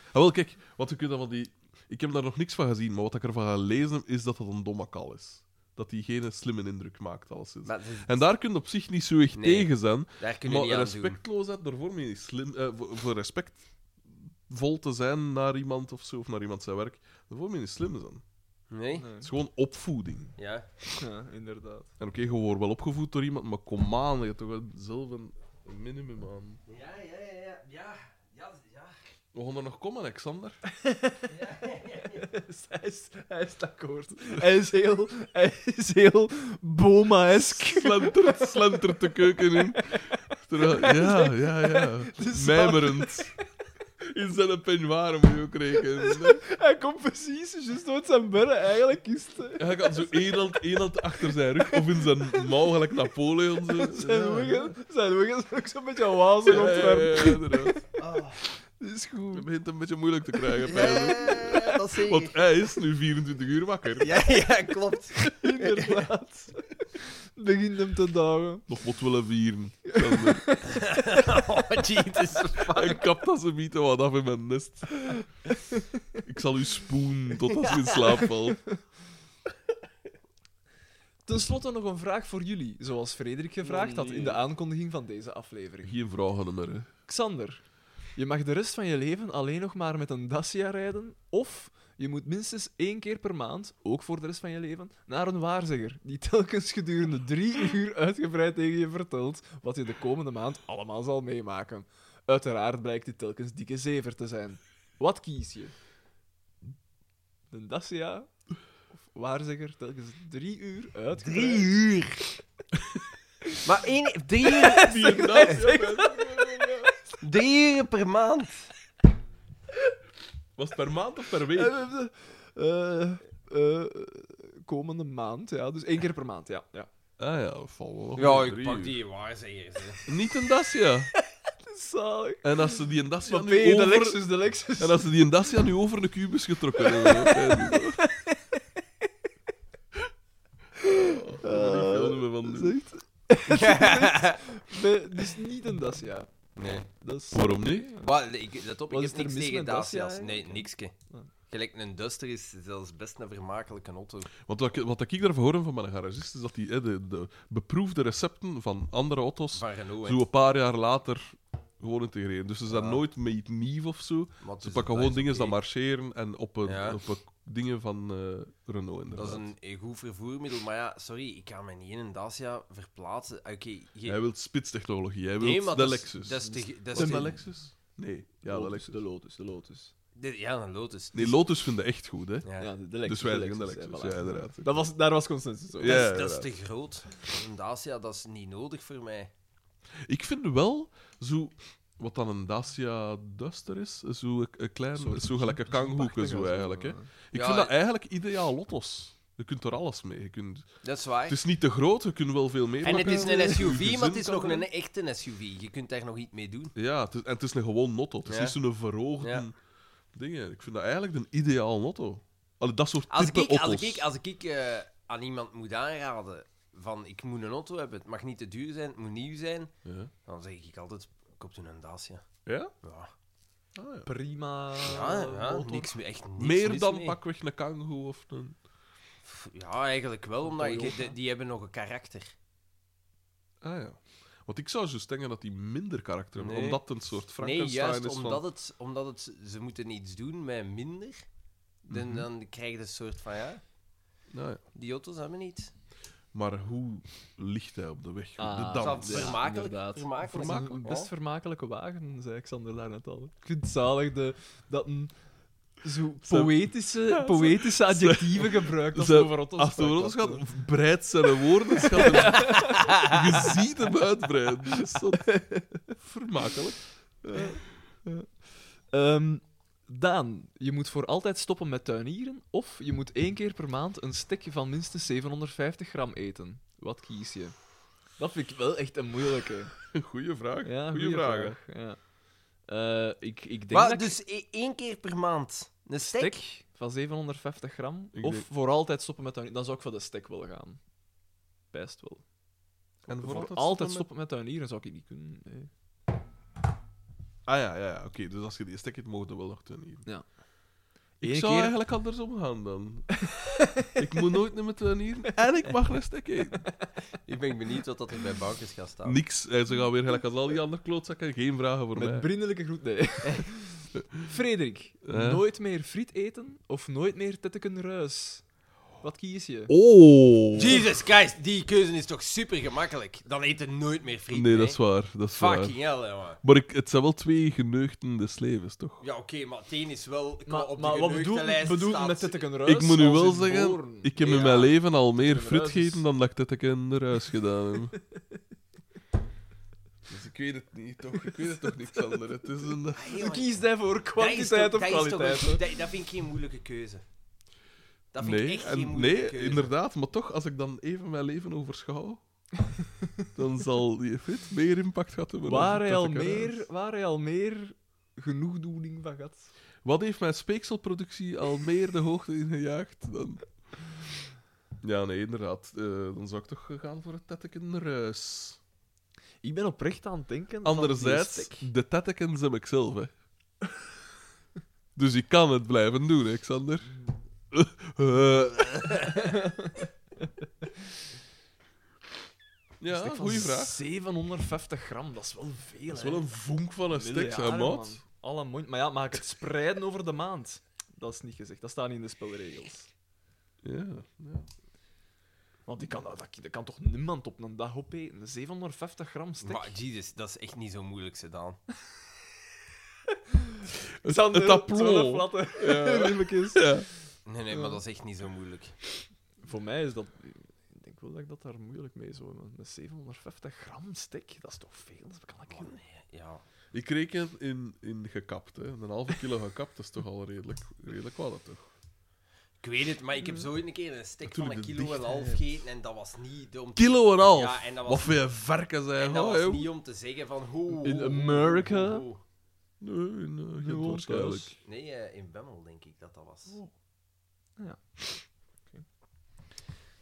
[SPEAKER 1] Ah, wel, kijk, wat je kunt dan van die... Ik heb daar nog niks van gezien, maar wat ik ervan ga lezen is dat dat een domme kal is. dat hij geen slimme indruk maakt. Alleszins.
[SPEAKER 4] Maar dus-
[SPEAKER 1] En daar kun je op zich niet zo echt
[SPEAKER 4] Nee.
[SPEAKER 1] tegen zijn.
[SPEAKER 4] daar kun je
[SPEAKER 1] Maar
[SPEAKER 4] niet aan doen.
[SPEAKER 1] respectloosheid, daarvoor meen je slim, eh, voor, voor respectvol te zijn naar iemand of zo, of naar iemand zijn werk, daarvoor meen je slim zijn.
[SPEAKER 4] Nee?
[SPEAKER 3] Nee.
[SPEAKER 1] Het is gewoon opvoeding.
[SPEAKER 4] Ja.
[SPEAKER 3] Ja, inderdaad.
[SPEAKER 1] En oké, je wordt wel opgevoed door iemand, maar kom aan, je hebt toch wel zelf een, een minimum aan.
[SPEAKER 4] Ja, ja, ja, ja. Ja, ja, ja.
[SPEAKER 1] We gaan er nog komen, Alexander.
[SPEAKER 3] hij, is, hij is akkoord. Hij is heel, hij is heel boma-esk.
[SPEAKER 1] Slentert, slentert de keuken in. Terwijl- ja, ja, ja.
[SPEAKER 3] zaak.
[SPEAKER 1] Mijmerend. In zijn peignoir moet je ook rekenen.
[SPEAKER 3] Hij komt precies, juist nooit zijn berren. Eigenlijk is het... eh,
[SPEAKER 1] En hij kan zo één hand, één hand achter zijn rug of in zijn mouw, gelijk Napoleon. Zo.
[SPEAKER 3] Zijn
[SPEAKER 1] Ja.
[SPEAKER 3] wegen, zijn wegen is ook zo'n beetje wazig
[SPEAKER 1] Ja, ja,
[SPEAKER 3] ontwerp.
[SPEAKER 1] ja, Eh, inderdaad.
[SPEAKER 4] Oh.
[SPEAKER 3] Dat is
[SPEAKER 1] Het
[SPEAKER 3] goed.
[SPEAKER 1] begint een beetje moeilijk te krijgen. Pedro.
[SPEAKER 4] Ja, dat zeker.
[SPEAKER 1] Want hij is nu 24 uur wakker.
[SPEAKER 4] Ja, ja, klopt.
[SPEAKER 3] Inderdaad. Begint hem te dagen.
[SPEAKER 1] Nog moet willen vieren. Dan, eh,
[SPEAKER 4] Oh, Jesus.
[SPEAKER 1] Hij kapt als een mythe wat af in mijn nest. Ik zal u spoen totdat je in slaap valt.
[SPEAKER 3] Ten slotte nog een vraag voor jullie, zoals Frederik gevraagd had in de aankondiging van deze aflevering.
[SPEAKER 1] Geen vragen meer. Hè.
[SPEAKER 3] Xander, je mag de rest van je leven alleen nog maar met een Dacia rijden, of je moet minstens één keer per maand, ook voor de rest van je leven, naar een waarzegger, die telkens gedurende drie uur uitgebreid tegen je vertelt wat je de komende maand allemaal zal meemaken. Uiteraard blijkt dit telkens dikke zever te zijn. Wat kies je? Een Dacia of waarzegger telkens drie uur uitgebreid?
[SPEAKER 4] Drie uur. Maar één... Drie uur,
[SPEAKER 1] Vier nachts, ja, man.
[SPEAKER 4] drie uur per maand.
[SPEAKER 1] Was het per maand of per week?
[SPEAKER 3] Eh, eh, eh, komende maand, ja. Dus één keer per maand, ja. ja.
[SPEAKER 1] Ah ja, val wel.
[SPEAKER 4] Ja, ik
[SPEAKER 1] Drie
[SPEAKER 4] pak
[SPEAKER 1] uur.
[SPEAKER 4] die waarzegers. hè.
[SPEAKER 1] Niet een Dacia.
[SPEAKER 3] Zalig.
[SPEAKER 1] En als ze die een Dacia
[SPEAKER 3] Maar
[SPEAKER 1] nu
[SPEAKER 3] ben de
[SPEAKER 1] over...
[SPEAKER 3] Lexus, de Lexus.
[SPEAKER 1] En als ze die een Dacia nu over de kubus getrokken hebben. hè, Pedro. Oh, daar ben ik veel meer van doen.
[SPEAKER 3] Nee, dit is niet een Dacia.
[SPEAKER 4] Nee.
[SPEAKER 3] Dat is...
[SPEAKER 1] Waarom niet?
[SPEAKER 4] Wat, ik, let op, ik
[SPEAKER 3] Wat is
[SPEAKER 4] heb
[SPEAKER 3] er
[SPEAKER 4] niks
[SPEAKER 3] mis
[SPEAKER 4] tegen
[SPEAKER 3] met Dacia
[SPEAKER 4] Dacia's. Nee,
[SPEAKER 3] eigenlijk?
[SPEAKER 4] nikske. Gelijk een Duster is zelfs best een vermakelijke auto.
[SPEAKER 1] Want wat, ik- wat ik daarvan hoor van mijn garagist is dat die hè, de, de beproefde recepten van andere auto's
[SPEAKER 4] Van Renault, hè.
[SPEAKER 1] zo een paar jaar later gewoon integreren. Dus ze zijn
[SPEAKER 4] Ja.
[SPEAKER 1] nooit met iets nieuws of zo.
[SPEAKER 4] Maar dus het
[SPEAKER 1] Ze
[SPEAKER 4] Ah. is-
[SPEAKER 1] pakken
[SPEAKER 4] dat
[SPEAKER 1] gewoon
[SPEAKER 4] is
[SPEAKER 1] dingen
[SPEAKER 4] oké.
[SPEAKER 1] die marcheren en op, een,
[SPEAKER 4] Ja.
[SPEAKER 1] op een dingen van eh, Renault
[SPEAKER 4] Dat
[SPEAKER 1] inderdaad.
[SPEAKER 4] is een een goed vervoermiddel, maar ja, sorry, ik kan me niet in een Dacia verplaatsen. Ah, Oké, je-
[SPEAKER 1] Hij wil spitstechnologie, hij wil
[SPEAKER 4] nee, maar
[SPEAKER 1] de
[SPEAKER 4] dat is-
[SPEAKER 1] Lexus.
[SPEAKER 4] Dat is te- dat
[SPEAKER 1] Was
[SPEAKER 4] is
[SPEAKER 1] het de
[SPEAKER 4] te-
[SPEAKER 1] Lexus? Nee, ja, de Lexus.
[SPEAKER 3] Lotus, de Lotus.
[SPEAKER 4] de- Ja, een Lotus.
[SPEAKER 1] Nee, Lotus vinden echt goed, hè.
[SPEAKER 4] Ja.
[SPEAKER 3] Ja, de, de Lexus.
[SPEAKER 1] Dus wij zeggen de
[SPEAKER 3] hè,
[SPEAKER 1] Lexus,
[SPEAKER 3] voilà.
[SPEAKER 1] ja, inderdaad.
[SPEAKER 3] Dat was, daar was consensus over.
[SPEAKER 1] Ja.
[SPEAKER 4] dat, is, dat is
[SPEAKER 1] inderdaad.
[SPEAKER 4] te groot. Een Dacia, dat is niet nodig voor mij.
[SPEAKER 1] Ik vind wel zo... Wat dan een Dacia Duster is, zo een, een klein, zo gelijk een kanghoeken zo eigenlijk. Hè. Ik
[SPEAKER 4] Ja,
[SPEAKER 1] vind dat eigenlijk ideaal lottos. Je kunt er alles mee. Je kunt...
[SPEAKER 4] Dat is waar.
[SPEAKER 1] Het is niet te groot, je kunt wel veel meer
[SPEAKER 4] en het
[SPEAKER 1] maken.
[SPEAKER 4] is een
[SPEAKER 1] Je
[SPEAKER 4] SUV,
[SPEAKER 1] gezin
[SPEAKER 4] maar het is
[SPEAKER 1] kan
[SPEAKER 4] nog
[SPEAKER 1] doen.
[SPEAKER 4] een echte SUV. Je kunt daar nog iets mee doen.
[SPEAKER 1] Ja, het is, en het is een gewoon notto. Het is
[SPEAKER 4] Ja.
[SPEAKER 1] niet zo'n verhoogde
[SPEAKER 4] Ja.
[SPEAKER 1] dingen. Ik vind dat eigenlijk een ideaal notto. Allee, dat soort
[SPEAKER 4] Als
[SPEAKER 1] type
[SPEAKER 4] ik, als
[SPEAKER 1] auto's.
[SPEAKER 4] ik, als ik eh, aan iemand moet aanraden van ik moet een auto hebben, het mag niet te duur zijn, het moet nieuw zijn,
[SPEAKER 1] Ja?
[SPEAKER 4] dan zeg ik altijd, koop toen een Dacia.
[SPEAKER 1] Ja?
[SPEAKER 4] Ja,
[SPEAKER 1] Ah, ja.
[SPEAKER 3] Prima.
[SPEAKER 4] ja, ja,
[SPEAKER 3] motor.
[SPEAKER 4] niks meer, echt niks
[SPEAKER 1] Oh, Meer
[SPEAKER 4] mis
[SPEAKER 1] dan
[SPEAKER 4] mee.
[SPEAKER 1] pakweg een kangoe of een...
[SPEAKER 4] Pff, Ja, eigenlijk wel, omdat je-
[SPEAKER 3] Toyota.
[SPEAKER 4] de- die hebben nog een karakter.
[SPEAKER 1] Ah ja. Want ik zou juist denken dat die minder karakter hebben,
[SPEAKER 4] Nee.
[SPEAKER 1] omdat het een soort
[SPEAKER 4] Nee,
[SPEAKER 1] Frankenstein
[SPEAKER 4] juist
[SPEAKER 1] is van...
[SPEAKER 4] omdat, het, omdat het, ze moeten iets doen met minder, dan,
[SPEAKER 1] Mhm.
[SPEAKER 4] dan krijg je een soort van, ja,
[SPEAKER 1] Nou ja.
[SPEAKER 4] die auto's hebben niet.
[SPEAKER 1] Maar hoe ligt hij op de weg?
[SPEAKER 3] Ah,
[SPEAKER 1] de
[SPEAKER 4] Dat
[SPEAKER 1] dans.
[SPEAKER 4] is
[SPEAKER 3] ja,
[SPEAKER 4] vermakelijk.
[SPEAKER 3] inderdaad.
[SPEAKER 4] vermakelijk. Oh.
[SPEAKER 3] Dat is een
[SPEAKER 4] Ja.
[SPEAKER 3] best vermakelijke wagen, zei Xander daarnet al. Ik vind het zalig de, dat een zo
[SPEAKER 1] Zijn-
[SPEAKER 3] poëtische, poëtische adjectieven gebruikt als
[SPEAKER 1] zijn-
[SPEAKER 3] het over auto's
[SPEAKER 4] Ah,
[SPEAKER 1] Als de
[SPEAKER 3] gaat.
[SPEAKER 1] Rotters gaat, breidt zijn woorden. Schat, je ziet hem uitbreiden. Dus dat... Vermakelijk.
[SPEAKER 3] Ehm, Daan, je moet voor altijd stoppen met tuinieren of je moet één keer per maand een stekje van minstens 750 gram eten. Wat kies je? Dat vind ik wel echt een moeilijke.
[SPEAKER 1] Goeie vraag.
[SPEAKER 3] Ja,
[SPEAKER 1] goeie,
[SPEAKER 3] goeie
[SPEAKER 1] vragen.
[SPEAKER 3] vraag, Ja. Eh, ik, ik denk
[SPEAKER 4] Maar
[SPEAKER 3] dat ik
[SPEAKER 4] dus e- één keer per maand een stek?
[SPEAKER 3] stek van 750 gram
[SPEAKER 1] Ik
[SPEAKER 3] of
[SPEAKER 1] denk-
[SPEAKER 3] voor altijd stoppen met tuinieren. Dan zou ik voor de stek willen gaan. Best wel.
[SPEAKER 1] En
[SPEAKER 3] Voor altijd, stoppen met tuinieren zou ik niet kunnen. nee.
[SPEAKER 1] met- Ah ja, ja, ja. oké. dus als je die stek hebt, mogen we wel nog ten hier.
[SPEAKER 3] Ja.
[SPEAKER 1] Ik
[SPEAKER 5] Eén
[SPEAKER 1] zou
[SPEAKER 5] keer-
[SPEAKER 1] eigenlijk anders omgaan dan. ik moet nooit meer met tuinieren en ik mag een stuk eten.
[SPEAKER 4] Ik ben benieuwd wat dat er bij Boukes gaat staan.
[SPEAKER 1] Niks. En ze gaan weer gelijk als al die andere klootzakken. Geen vragen voor
[SPEAKER 3] Met
[SPEAKER 1] mij.
[SPEAKER 3] vriendelijke groet, nee. Frederik,
[SPEAKER 1] Eh?
[SPEAKER 3] nooit meer friet eten of nooit meer tetteken ruis? Wat kies je?
[SPEAKER 1] Oh!
[SPEAKER 4] Jesus Christ, die keuze is toch super gemakkelijk? Dan eten nooit meer friet.
[SPEAKER 1] Nee,
[SPEAKER 4] hè?
[SPEAKER 1] dat is waar. Dat is waar.
[SPEAKER 4] Fucking hell, hè, man.
[SPEAKER 1] Maar ik, het zijn wel twee geneugten des levens, toch?
[SPEAKER 4] Ja, oké, maar het een is wel. qua
[SPEAKER 3] Maar,
[SPEAKER 4] op
[SPEAKER 3] maar
[SPEAKER 4] de
[SPEAKER 3] wat bedoel
[SPEAKER 4] geneugtenlijst
[SPEAKER 3] bedoel je
[SPEAKER 4] staat-
[SPEAKER 3] met tetteken ruis?
[SPEAKER 1] ik moet nu
[SPEAKER 3] Als
[SPEAKER 1] wel
[SPEAKER 3] in
[SPEAKER 1] zeggen,
[SPEAKER 3] Doorn.
[SPEAKER 1] ik heb in
[SPEAKER 4] Ja.
[SPEAKER 1] mijn dus- leven al meer
[SPEAKER 3] Tetteken
[SPEAKER 1] fruit
[SPEAKER 3] ruis
[SPEAKER 1] gegeten
[SPEAKER 3] is-
[SPEAKER 1] dan dat ik dat ik in de ruis gedaan heb. Dus ik weet het niet, toch? Ik weet het toch niet, Sander. Het is een...
[SPEAKER 4] Ah, jongen,
[SPEAKER 3] Je kiest daarvoor
[SPEAKER 4] dat is
[SPEAKER 3] kwantiteit
[SPEAKER 4] toch-
[SPEAKER 3] of
[SPEAKER 4] dat is toch
[SPEAKER 3] kwaliteit.
[SPEAKER 4] een-
[SPEAKER 3] hè?
[SPEAKER 4] dat, dat vind ik geen moeilijke keuze. Dat vind ik
[SPEAKER 1] Nee,
[SPEAKER 4] echt geen
[SPEAKER 1] en,
[SPEAKER 4] moeilijke
[SPEAKER 1] nee
[SPEAKER 4] keuze.
[SPEAKER 1] inderdaad. Maar toch, als ik dan even mijn leven overschouw, dan zal die fit meer impact gehad hebben. dan
[SPEAKER 3] Waar hij,
[SPEAKER 1] dat
[SPEAKER 3] al
[SPEAKER 1] ik eruit.
[SPEAKER 3] meer, waar hij al meer genoegdoening van had.
[SPEAKER 1] Wat heeft mijn speekselproductie al meer de hoogte ingejaagd dan... Ja, nee, inderdaad. Eh, dan zou ik toch gaan voor het tetteken ruis.
[SPEAKER 3] Ik ben oprecht aan het denken. van die
[SPEAKER 1] Anderzijds,
[SPEAKER 3] stek.
[SPEAKER 1] de tettekens heb ik zelf, hè. Dus ik kan het blijven doen, hè, Xander. Eh.
[SPEAKER 3] Een
[SPEAKER 1] ja,
[SPEAKER 3] stek van
[SPEAKER 1] goeie vraag.
[SPEAKER 3] 750 gram, dat is wel veel.
[SPEAKER 1] Dat is wel een vonk van een stek, hè,
[SPEAKER 3] Miljarden,
[SPEAKER 1] maat.
[SPEAKER 3] man. Alle mond. Maar ja, maak het spreiden over de maand. Dat is niet gezegd. Dat staat niet in de spelregels.
[SPEAKER 1] Ja, ja.
[SPEAKER 3] Want die kan, dat, dat kan toch niemand op een dag opeten? 750 gram stek.
[SPEAKER 4] Maar Jesus, dat is echt niet zo moeilijk gedaan.
[SPEAKER 1] Het,
[SPEAKER 3] Sander,
[SPEAKER 1] het
[SPEAKER 3] twaalf
[SPEAKER 1] applaus.
[SPEAKER 3] latten.
[SPEAKER 1] Ja.
[SPEAKER 3] Eerlijk is.
[SPEAKER 1] Ja.
[SPEAKER 4] Nee, nee, maar dat is echt niet zo moeilijk.
[SPEAKER 3] Voor mij is dat... Ik denk wel dat ik dat daar moeilijk mee zou hebben. Met 750 gram stek, dat is toch veel? Dat kan ik niet.
[SPEAKER 4] Ja.
[SPEAKER 1] Ik reken in, in gekapt, hè. Een halve kilo gekapt is toch al redelijk, redelijk wat, hè, toch?
[SPEAKER 4] Ik weet het, maar ik heb zo ooit een keer een stek van een
[SPEAKER 1] Natuurlijk de
[SPEAKER 4] kilo en een half
[SPEAKER 1] dichtheid.
[SPEAKER 4] gegeten en dat was niet de om te,
[SPEAKER 1] Kilo en half!
[SPEAKER 4] Ja, en dat was-
[SPEAKER 1] Wat voor je varken zijn,
[SPEAKER 4] en dat was
[SPEAKER 1] hè, Oh,
[SPEAKER 4] niet om te zeggen van ho.
[SPEAKER 3] In
[SPEAKER 4] ho, ho,
[SPEAKER 3] America?
[SPEAKER 4] ho, ho.
[SPEAKER 1] Nee, nee,
[SPEAKER 3] Nul
[SPEAKER 1] geen waarschijnlijk.
[SPEAKER 3] thuis.
[SPEAKER 4] Nee, eh, in Bemmel denk ik dat dat was.
[SPEAKER 3] Een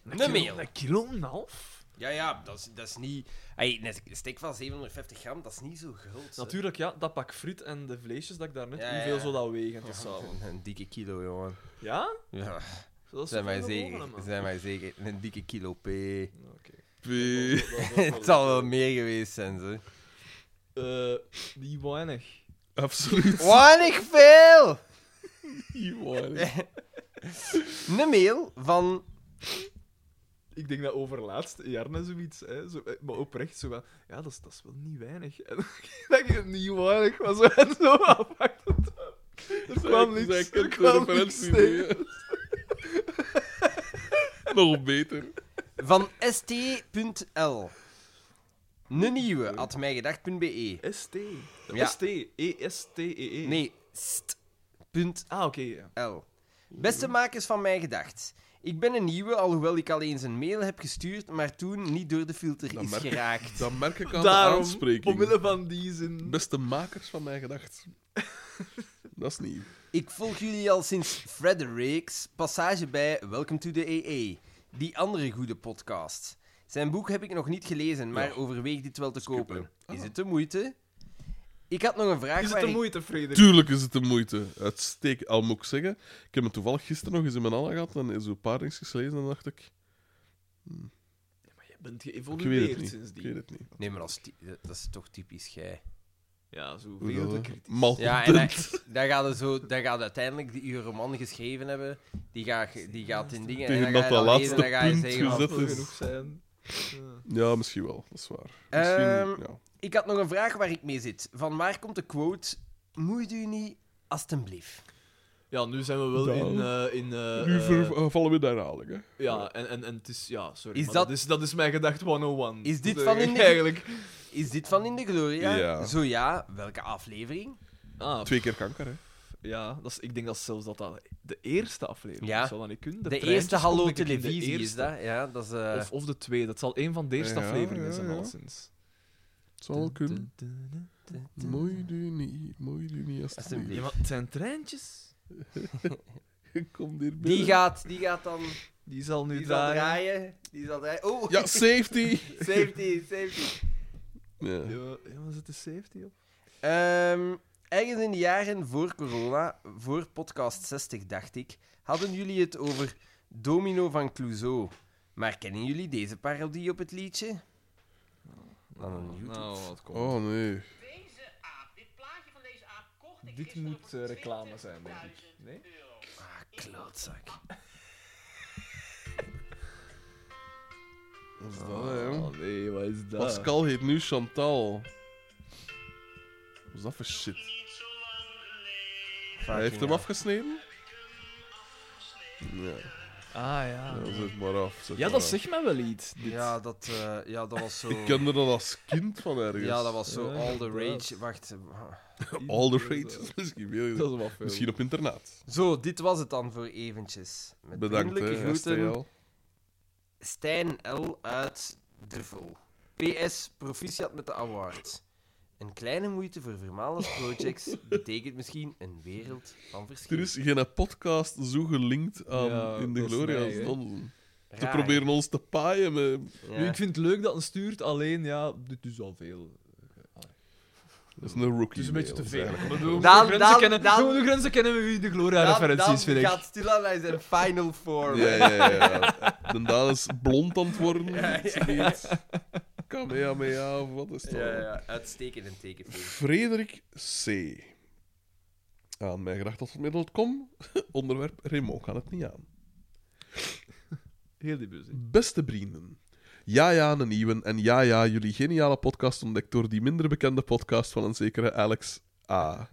[SPEAKER 4] Een
[SPEAKER 3] kilo-
[SPEAKER 4] mail.
[SPEAKER 3] Een kilo en een half?
[SPEAKER 4] Ja, ja, dat is, dat is niet. Hey, een stek van 750 gram, dat is niet zo groot. hè.
[SPEAKER 3] Natuurlijk, ja. Dat pak friet en de vleesjes dat ik daarnet...
[SPEAKER 4] Ja, ja,
[SPEAKER 3] hoeveel
[SPEAKER 4] ja.
[SPEAKER 3] zou dat wegen tezamen?
[SPEAKER 4] Een dikke kilo, jongen.
[SPEAKER 3] Ja?
[SPEAKER 4] Ja,
[SPEAKER 3] Dat is
[SPEAKER 4] zijn wij
[SPEAKER 3] veel
[SPEAKER 4] zeker.
[SPEAKER 3] mogelijk, man.
[SPEAKER 4] Zijn wij zeker. Een dikke kilo P.
[SPEAKER 3] Oké.
[SPEAKER 1] Pie.
[SPEAKER 4] Het zal wel meer geweest zijn, ze.
[SPEAKER 3] Eh, die weinig.
[SPEAKER 1] Absoluut.
[SPEAKER 4] Weinig veel!
[SPEAKER 1] niet waar.
[SPEAKER 4] Een mail van.
[SPEAKER 3] Ik denk dat overlaatst Jarne zoiets, hè, zo, eh, maar oprecht zo wel. Ja, dat is, dat is wel niet weinig. En dat ik het niet weinig was en zo afpakt. Er kwam
[SPEAKER 1] Zij-
[SPEAKER 3] niks.
[SPEAKER 1] zij kent
[SPEAKER 3] er
[SPEAKER 1] de
[SPEAKER 3] kwam niks.
[SPEAKER 1] referentie
[SPEAKER 3] Nee.
[SPEAKER 1] niet, hè. Nog beter.
[SPEAKER 4] Van st.l. Een nieuwe, at mijgedacht.be.
[SPEAKER 3] ST.
[SPEAKER 4] Ja.
[SPEAKER 3] ST. E E-S-T-E-E.
[SPEAKER 4] Nee, st.l.
[SPEAKER 3] Ah, oké. ja.
[SPEAKER 4] L. Beste makers van Mijn Gedacht. Ik ben een nieuwe, alhoewel ik al eens een mail heb gestuurd, maar toen niet door de filter
[SPEAKER 1] Dat
[SPEAKER 4] is
[SPEAKER 1] merk ik.
[SPEAKER 4] geraakt.
[SPEAKER 1] Dan merk ik aan de
[SPEAKER 3] Daarom,
[SPEAKER 1] aanspreking.
[SPEAKER 3] omwille van die zin.
[SPEAKER 1] Beste makers van mijn gedacht. Dat is niet.
[SPEAKER 4] Ik volg jullie al sinds Fredericks passage bij Welcome to the EE, die andere goede podcast. Zijn boek heb ik nog niet gelezen, maar
[SPEAKER 1] Ja.
[SPEAKER 4] overweeg dit wel te kopen.
[SPEAKER 1] Ah.
[SPEAKER 4] Is het de moeite? Ik had nog een vraag
[SPEAKER 3] Is het
[SPEAKER 4] waar
[SPEAKER 3] de
[SPEAKER 4] ik-
[SPEAKER 3] moeite, Frederik?
[SPEAKER 1] Tuurlijk is het de moeite. Uitstekend. Al moet ik zeggen, ik heb het toevallig gisteren nog eens in mijn handen gehad en zo'n paar dingetjes gelezen en dacht ik,
[SPEAKER 3] Maar je bent
[SPEAKER 1] ik weet het
[SPEAKER 3] geëvolueerd
[SPEAKER 1] niet. Ik weet
[SPEAKER 3] sindsdien.
[SPEAKER 1] het niet.
[SPEAKER 4] Nee, maar dat is, ty- dat is toch typisch jij.
[SPEAKER 3] Ja, zo
[SPEAKER 1] Hoe
[SPEAKER 3] veel
[SPEAKER 1] dat,
[SPEAKER 3] te
[SPEAKER 1] hè?
[SPEAKER 3] kritisch.
[SPEAKER 1] Malcontent.
[SPEAKER 4] Ja, en dan, dan gaat het zo, dan gaat uiteindelijk die je roman geschreven hebben, die gaat, die gaat in dingen
[SPEAKER 1] Tegen
[SPEAKER 4] en dan
[SPEAKER 1] dat
[SPEAKER 4] ga je
[SPEAKER 1] dat
[SPEAKER 4] lezen,
[SPEAKER 1] laatste
[SPEAKER 4] dan ga je
[SPEAKER 1] punt
[SPEAKER 4] zeggen van,
[SPEAKER 1] gezet
[SPEAKER 3] Dat
[SPEAKER 1] is-
[SPEAKER 3] genoeg zijn. Ja.
[SPEAKER 1] Ja, misschien wel. Dat is waar.
[SPEAKER 4] Ehm,
[SPEAKER 1] Misschien, ja.
[SPEAKER 4] Ik had nog een vraag waar ik mee zit. Van waar komt de quote, moeit u niet, alstublieft.
[SPEAKER 3] Ja, nu zijn we wel
[SPEAKER 1] Ja.
[SPEAKER 3] in. eh, in eh,
[SPEAKER 1] Nu
[SPEAKER 3] eh,
[SPEAKER 1] ver- vallen we in de herhaling, hè.
[SPEAKER 3] ja, en, en, en het is. Ja, sorry.
[SPEAKER 4] Is
[SPEAKER 3] maar
[SPEAKER 4] dat-
[SPEAKER 3] dat... is, dat is mijn gedacht 101.
[SPEAKER 4] Is dit
[SPEAKER 3] Dat
[SPEAKER 4] van
[SPEAKER 3] ik
[SPEAKER 4] in de-
[SPEAKER 3] Eh, Eigenlijk.
[SPEAKER 4] Is dit van In de Gloria?
[SPEAKER 1] Ja.
[SPEAKER 4] Zo ja, welke aflevering?
[SPEAKER 3] Ah,
[SPEAKER 1] Twee keer kanker, hè.
[SPEAKER 3] ja, dat is, ik denk dat zelfs dat, dat de eerste aflevering
[SPEAKER 4] Ja.
[SPEAKER 3] zal dat niet kunnen.
[SPEAKER 4] De,
[SPEAKER 3] treintjes
[SPEAKER 4] eerste Hallo
[SPEAKER 3] kom ik in de
[SPEAKER 4] Televisie is
[SPEAKER 3] eerste.
[SPEAKER 4] dat. Ja, dat is... eh,
[SPEAKER 3] Of, of de tweede. Dat zal een van de eerste
[SPEAKER 1] Ja,
[SPEAKER 3] afleveringen
[SPEAKER 1] ja,
[SPEAKER 3] zijn,
[SPEAKER 1] ja.
[SPEAKER 3] alleszins.
[SPEAKER 1] Het zal wel kunnen. Mooi doe niet, mooi doe niet als
[SPEAKER 4] Alsjeblieft.
[SPEAKER 3] Ja,
[SPEAKER 1] het
[SPEAKER 3] maar het zijn treintjes.
[SPEAKER 1] Kom hier binnen.
[SPEAKER 4] die, gaat, die gaat dan...
[SPEAKER 3] Die zal nu
[SPEAKER 4] Die zal
[SPEAKER 3] draaien.
[SPEAKER 4] draaien. Die zal draaien. Oh,
[SPEAKER 1] Ja, safety!
[SPEAKER 4] 17, 17.
[SPEAKER 1] Ja.
[SPEAKER 3] Ja, ja, maar zit de safety op?
[SPEAKER 4] Ehm, Ergens in de jaren voor corona, voor podcast 60 dacht ik, hadden jullie het over Domino van Clouseau. Maar kennen jullie deze parodie op het liedje? Dan een YouTube.
[SPEAKER 3] Nou, wat komt.
[SPEAKER 1] Oh nee.
[SPEAKER 6] Deze aap, dit plaatje van deze aap kocht ik
[SPEAKER 3] Dit
[SPEAKER 6] gisteren
[SPEAKER 3] moet
[SPEAKER 6] voor
[SPEAKER 3] eh, reclame zijn, denk
[SPEAKER 6] 20.000
[SPEAKER 3] ik. Nee?
[SPEAKER 6] euro.
[SPEAKER 4] Ah, klootzak.
[SPEAKER 1] Wat is dat, hè, jong?
[SPEAKER 3] Oh nee, wat is dat?
[SPEAKER 1] Pascal heet nu Chantal. Wat is dat voor shit? Hij heeft hem afgesneden? Ja,
[SPEAKER 3] Ah ja.
[SPEAKER 1] ja zet maar af. zet
[SPEAKER 3] Ja,
[SPEAKER 1] maar
[SPEAKER 3] dat
[SPEAKER 1] af.
[SPEAKER 3] zegt mij wel iets. Dit.
[SPEAKER 4] Ja, dat, eh, ja, dat was zo...
[SPEAKER 1] Ik kende dat als kind van ergens.
[SPEAKER 4] Ja, dat was zo
[SPEAKER 3] Ja,
[SPEAKER 4] all the
[SPEAKER 3] inderdaad.
[SPEAKER 4] rage. Wacht. eh,
[SPEAKER 1] All the rage is misschien meer.
[SPEAKER 3] Dat is wel veel.
[SPEAKER 1] Misschien op internaat.
[SPEAKER 4] Zo, dit was het dan voor eventjes. Met
[SPEAKER 1] Bedankt, hè,
[SPEAKER 4] vriendelijke groeten.
[SPEAKER 1] STL.
[SPEAKER 4] Stijn L. uit Duffel. PS, proficiat met de award. Een kleine moeite voor Vermalens Projects betekent misschien een wereld van verschil.
[SPEAKER 1] Er is geen podcast zo gelinkt aan
[SPEAKER 3] Ja,
[SPEAKER 1] in de
[SPEAKER 3] dat is
[SPEAKER 1] gloria
[SPEAKER 3] mij,
[SPEAKER 1] als
[SPEAKER 3] hè.
[SPEAKER 1] onze. Te
[SPEAKER 4] Raar,
[SPEAKER 1] proberen ons te paaien met...
[SPEAKER 4] hè?
[SPEAKER 3] Nu,
[SPEAKER 4] Ja.
[SPEAKER 3] ik vind het leuk dat een stuurt, alleen ja, dit is al veel.
[SPEAKER 1] Dat is een rookie.
[SPEAKER 3] Het is een beetje te veel. Maar we moeten de
[SPEAKER 4] Daan- Daan-
[SPEAKER 3] grenzen kennen-
[SPEAKER 4] Daan-
[SPEAKER 3] we moeten de grenzen kennen we wie de Gloria-referenties, vind ik.
[SPEAKER 4] gaat stilaan naar zijn final form.
[SPEAKER 1] Ja, ja, ja. ja. De Daan is blond aan het worden. Zoiets. Kamehameha, of wat is dat?
[SPEAKER 4] Ja, ja, uitstekend een tekenfilm.
[SPEAKER 1] Frederik C. Aan mij gedacht als middel.com. Onderwerp Raymond kan het niet aan.
[SPEAKER 3] Heel die bus. hè.
[SPEAKER 1] Beste vrienden. Ja, ja, een nieuwe. En ja, ja, jullie geniale podcast ontdekt door die minder bekende podcast van een zekere Alex A.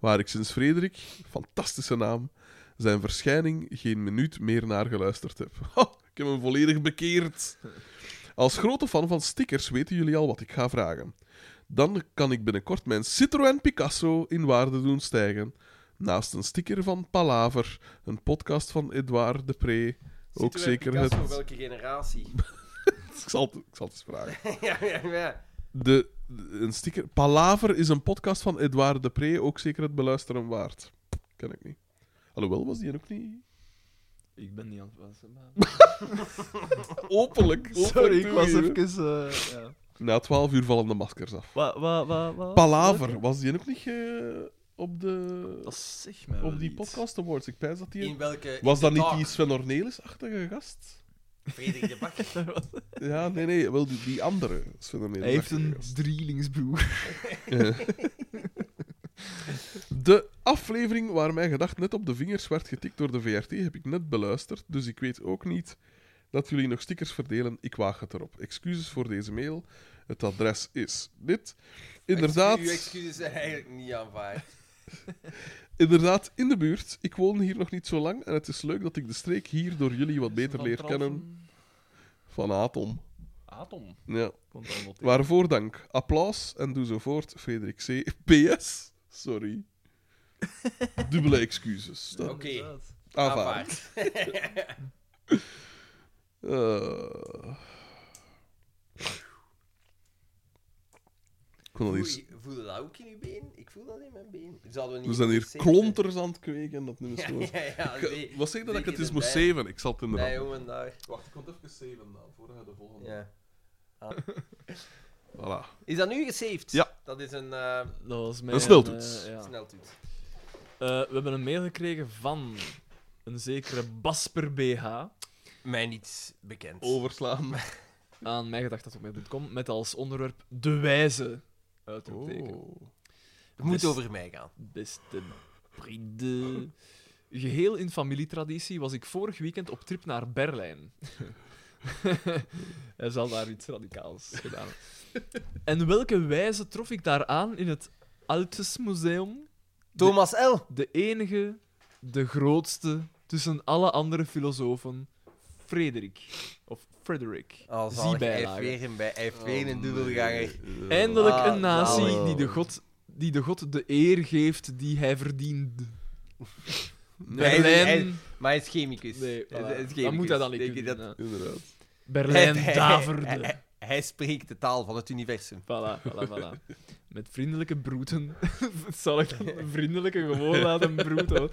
[SPEAKER 1] Waar ik sinds Frederik, fantastische naam, zijn verschijning geen minuut meer naar geluisterd heb. Ha, ik heb hem volledig bekeerd. Als grote fan van stickers weten jullie al wat ik ga vragen. Dan kan ik binnenkort mijn Citroën Picasso in waarde doen stijgen. Naast een sticker van Palaver, een podcast van Edouard Depré. Ook
[SPEAKER 4] Citroën
[SPEAKER 1] zeker
[SPEAKER 4] Picasso,
[SPEAKER 1] het.
[SPEAKER 4] welke generatie?
[SPEAKER 1] Ik zal, het, ik zal het eens vragen.
[SPEAKER 4] ja, ja, ja.
[SPEAKER 1] De, de- een sticker. Palaver is een podcast van Edouard Depré, ook zeker het beluisteren waard. Ken ik niet. Alhoewel, was die ook niet.
[SPEAKER 3] Ik ben niet aan het wassen. maar-
[SPEAKER 1] Openlijk.
[SPEAKER 3] Sorry, ik was
[SPEAKER 1] toegeven.
[SPEAKER 3] even. eh, ja.
[SPEAKER 1] Na twaalf uur vallen de maskers af.
[SPEAKER 3] Wa, wa, wa, wa-
[SPEAKER 1] Palaver, was die ook niet eh, op, de,
[SPEAKER 3] Dat zeg mij wel
[SPEAKER 1] op die
[SPEAKER 3] iets.
[SPEAKER 1] podcast awards? Ik pijs dat
[SPEAKER 4] In
[SPEAKER 1] die.
[SPEAKER 4] welke...
[SPEAKER 1] Was dat niet
[SPEAKER 4] dag?
[SPEAKER 1] die Sven Ornelis-achtige gast?
[SPEAKER 4] Frederik de Bakker.
[SPEAKER 1] Ja, nee, nee, wel die, die andere Sven Ornelis.
[SPEAKER 3] Hij heeft een drielingsbroer.
[SPEAKER 1] Eh. De aflevering waar mijn gedacht net op de vingers werd getikt door de VRT heb ik net beluisterd, dus ik weet ook niet dat jullie nog stickers verdelen. Ik waag het erop. Excuses voor deze mail. Het adres is dit. Inderdaad,
[SPEAKER 4] Uw excuses zijn eigenlijk niet aanvaard.
[SPEAKER 1] inderdaad in de buurt. Ik woon hier nog niet zo lang en het is leuk dat ik de streek hier door jullie wat beter
[SPEAKER 3] Van
[SPEAKER 1] leer
[SPEAKER 3] Tralfen.
[SPEAKER 1] kennen. Van Atom.
[SPEAKER 3] Atom.
[SPEAKER 1] Ja.
[SPEAKER 3] Komt dan wat in.
[SPEAKER 1] Waarvoor dank. Applaus en doe zo voort. Frederik C. PS. Sorry. Dubbele excuses.
[SPEAKER 4] Oké,
[SPEAKER 1] Dat
[SPEAKER 3] Inderdaad.
[SPEAKER 1] aanvaard.
[SPEAKER 4] aanvaard.
[SPEAKER 1] Eh. Ik kon al
[SPEAKER 4] Oei,
[SPEAKER 1] hier...
[SPEAKER 4] Voel je dat ook in je been? Ik voel dat in mijn been. Zouden we,
[SPEAKER 1] We
[SPEAKER 4] niet
[SPEAKER 1] zijn hier
[SPEAKER 4] moeten zeven-
[SPEAKER 1] klonters aan het kweken. Dat nu is zo...
[SPEAKER 4] Ja, ja,
[SPEAKER 3] eh,
[SPEAKER 4] ja, nee.
[SPEAKER 1] Ik- eh, Wat zeg je dat ik
[SPEAKER 4] Zeker
[SPEAKER 1] het eens moest
[SPEAKER 4] erbij.
[SPEAKER 1] zeven? Ik zal het inderdaad...
[SPEAKER 4] Nee, jongen, daar.
[SPEAKER 1] Wacht, ik kon het even zeven dan, voordat je de volgende...
[SPEAKER 4] Ja.
[SPEAKER 1] Voilà.
[SPEAKER 4] Is dat nu gesaved?
[SPEAKER 1] Ja.
[SPEAKER 4] Dat is een eh
[SPEAKER 3] Dat was mijn,
[SPEAKER 1] Een sneltoets.
[SPEAKER 3] eh, ja.
[SPEAKER 4] sneltoets.
[SPEAKER 3] Eh, we hebben een mail gekregen van een zekere Basper BH.
[SPEAKER 4] Mij niet bekend.
[SPEAKER 1] Overslaan.
[SPEAKER 3] aan mijgedacht.com met als onderwerp De Wijze. Uitroepteken.
[SPEAKER 1] Oh.
[SPEAKER 4] Het moet
[SPEAKER 3] Dus-
[SPEAKER 4] over mij gaan.
[SPEAKER 3] Beste vrienden. Geheel in familietraditie was ik vorig weekend op trip naar Berlijn. Hij zal daar iets radicaals gedaan hebben. En welke wijze trof ik daar aan in het Altes Museum?
[SPEAKER 4] Thomas L.
[SPEAKER 3] De enige, de grootste, tussen alle andere filosofen, Frederik. Of Frederick.
[SPEAKER 4] Oh,
[SPEAKER 3] Zie
[SPEAKER 4] zalig. Hij heeft
[SPEAKER 3] bijlage.
[SPEAKER 4] weer een, bij, hij heeft
[SPEAKER 1] Ah,
[SPEAKER 4] weer een dubbelganger.
[SPEAKER 3] Eindelijk
[SPEAKER 4] Ah,
[SPEAKER 3] een natie
[SPEAKER 1] zalig.
[SPEAKER 3] die de, god, die de god de eer geeft die hij verdient.
[SPEAKER 4] hij is- hij
[SPEAKER 3] Berlijn...
[SPEAKER 4] is- Maar hij is chemicus.
[SPEAKER 3] Nee,
[SPEAKER 4] Hij is- hij is
[SPEAKER 3] voilà.
[SPEAKER 4] chemicus.
[SPEAKER 3] dat moet hij dan niet
[SPEAKER 4] Denk
[SPEAKER 3] doen.
[SPEAKER 4] je dat-
[SPEAKER 3] ja.
[SPEAKER 1] Inderdaad.
[SPEAKER 3] Berlijn
[SPEAKER 4] Hij- hij- hij-
[SPEAKER 3] daverde.
[SPEAKER 4] hij- Hij spreekt de taal van het universum.
[SPEAKER 3] Voilà, voilà, voilà. Met vriendelijke broeten. Dat zal ik dan de vriendelijke gewoon laten broeten. hoor.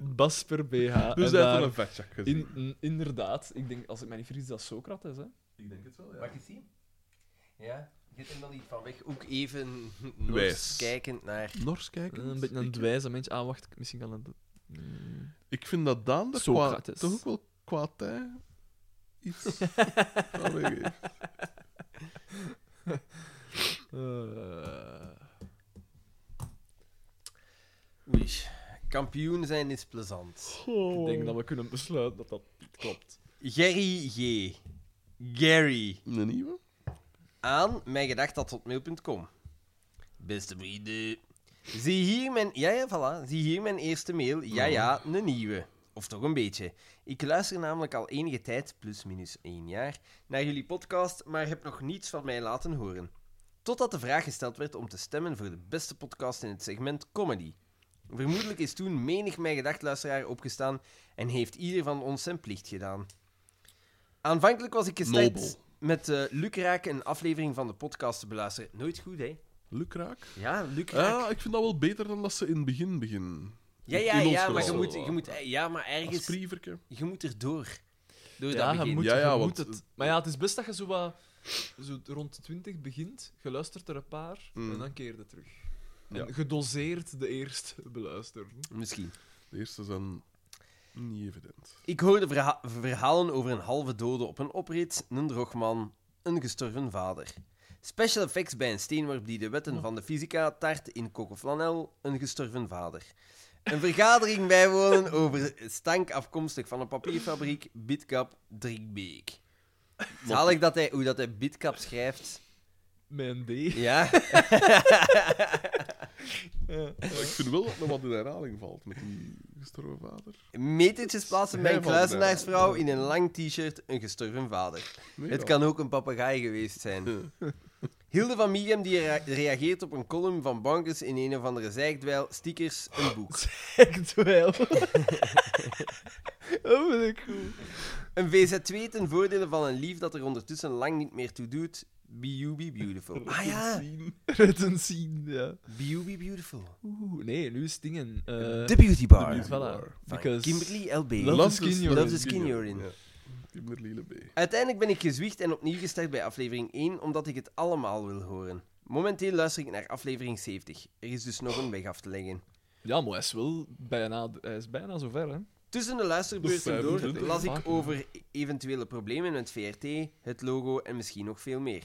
[SPEAKER 3] Basper BH.
[SPEAKER 1] Dus
[SPEAKER 3] En
[SPEAKER 1] hij heeft
[SPEAKER 3] daar-
[SPEAKER 1] wel een factcheck gezien.
[SPEAKER 3] in, in- inderdaad, ik denk, als ik mij niet vergis, dat is Socrates. Hè?
[SPEAKER 1] Ik denk het wel,
[SPEAKER 4] Mag ik zien? Ja. Je kunt er niet van weg. Ook even
[SPEAKER 1] Wijs.
[SPEAKER 4] nors kijkend naar...
[SPEAKER 1] Nors kijken.
[SPEAKER 3] Een beetje een
[SPEAKER 1] ik,
[SPEAKER 3] dwijze mens. Ah, wacht, ik- misschien kan het... Mm.
[SPEAKER 1] ik vind dat Daan er qua,
[SPEAKER 3] Socrates.
[SPEAKER 1] toch ook wel qua tij iets aan meegeeft.
[SPEAKER 3] Eh,
[SPEAKER 4] Oei. Kampioen zijn is plezant.
[SPEAKER 3] Ik denk dat we kunnen besluiten dat dat niet klopt.
[SPEAKER 4] Gerry G. Gary.
[SPEAKER 1] Een nieuwe?
[SPEAKER 4] aan mijngedacht.hotmail.com. Beste vrienden. Zie hier mijn... Ja, ja, voilà. Zie hier mijn eerste mail. Ja, ja, een nieuwe. Of toch een beetje. Ik luister namelijk al enige tijd, plus minus één jaar, naar jullie podcast, maar heb nog niets van mij laten horen. Totdat de vraag gesteld werd om te stemmen voor de beste podcast in het segment comedy. Vermoedelijk is toen menig mijn gedachtluisteraar opgestaan en heeft ieder van ons zijn plicht gedaan. Aanvankelijk was ik
[SPEAKER 1] Nobel.
[SPEAKER 4] gesteld met eh Luc Raak een aflevering van de podcast te beluisteren. Nooit goed, hè?
[SPEAKER 1] Lukraak?
[SPEAKER 4] Ja, Luc Raak.
[SPEAKER 1] Ja, Ah, ik vind dat wel beter dan dat ze in het begin beginnen.
[SPEAKER 4] ja, ja,
[SPEAKER 1] in ons
[SPEAKER 4] ja, maar je
[SPEAKER 1] verhaal.
[SPEAKER 4] moet, je moet, eh, ja, maar
[SPEAKER 1] Als
[SPEAKER 4] ergens,
[SPEAKER 1] prieverke.
[SPEAKER 4] je moet erdoor. Door
[SPEAKER 3] ja,
[SPEAKER 4] dat
[SPEAKER 3] je
[SPEAKER 4] begin.
[SPEAKER 3] moet,
[SPEAKER 1] Ja, ja,
[SPEAKER 3] je
[SPEAKER 1] want-
[SPEAKER 3] moet het. Maar ja, het is best dat je zo, wat, zo rond de 20 begint, je luistert er een paar
[SPEAKER 1] Mm.
[SPEAKER 3] en dan keer je terug.
[SPEAKER 1] Ja.
[SPEAKER 3] En gedoseerd de eerste beluisteren.
[SPEAKER 4] Misschien.
[SPEAKER 1] De eerste zijn niet evident.
[SPEAKER 4] Ik hoorde verha- verhalen over een halve dode op een oprit, een drogman, een gestorven vader. Special effects bij een steenworp die de wetten van de fysica tart in Coco Flanel, een gestorven vader. Een vergadering bijwonen over stank afkomstig van een papierfabriek, Bitcap Drinkbeek. Zal ik dat hij, hoe dat hij Bitcap schrijft?
[SPEAKER 3] Mijn D.
[SPEAKER 4] Ja?
[SPEAKER 1] Maar ik vind wel dat er wat in herhaling valt met die gestorven vader.
[SPEAKER 4] Metertjes plaatsen bij
[SPEAKER 1] Hij
[SPEAKER 4] een
[SPEAKER 1] valt eruit.
[SPEAKER 4] kluizenaarsvrouw in een lang t-shirt, een gestorven vader.
[SPEAKER 1] Nee,
[SPEAKER 4] Het
[SPEAKER 1] ja.
[SPEAKER 4] kan ook een papegaai geweest zijn. Hilde van Mieghem die rea- reageert op een column van bankers in een of andere zeikdwijl, stickers, een boek.
[SPEAKER 2] Echt wel.
[SPEAKER 3] Oh,
[SPEAKER 2] dat vind ik goed.
[SPEAKER 4] Een VZ2 ten voordele van een lief dat er ondertussen lang niet meer toe doet. B.U.B. Beautiful. Ah ja,
[SPEAKER 2] Retten zien, ja.
[SPEAKER 4] B.U.B. Beautiful.
[SPEAKER 2] Oeh, nee, nu is het dingen. eh,
[SPEAKER 4] The Beauty Bar.
[SPEAKER 1] Beauty
[SPEAKER 4] van
[SPEAKER 1] Bar.
[SPEAKER 2] voilà. Because...
[SPEAKER 4] Kimberly L.B.
[SPEAKER 2] Love the skin you're
[SPEAKER 4] in. Love the skin you're in.
[SPEAKER 1] Ja. Kimberly Lebe.
[SPEAKER 4] Uiteindelijk ben ik gezwicht en opnieuw gestart bij aflevering 1, omdat ik het allemaal wil horen. Momenteel luister ik naar aflevering 70. Er is dus nog een weg af te leggen.
[SPEAKER 3] Ja, maar hij is wel bijna, hij is bijna zover, hè.
[SPEAKER 4] Tussen de luisterbeurten
[SPEAKER 1] Dat is Ah,
[SPEAKER 4] door
[SPEAKER 1] 25.
[SPEAKER 4] las ik over eventuele problemen met VRT, het logo en misschien nog veel meer.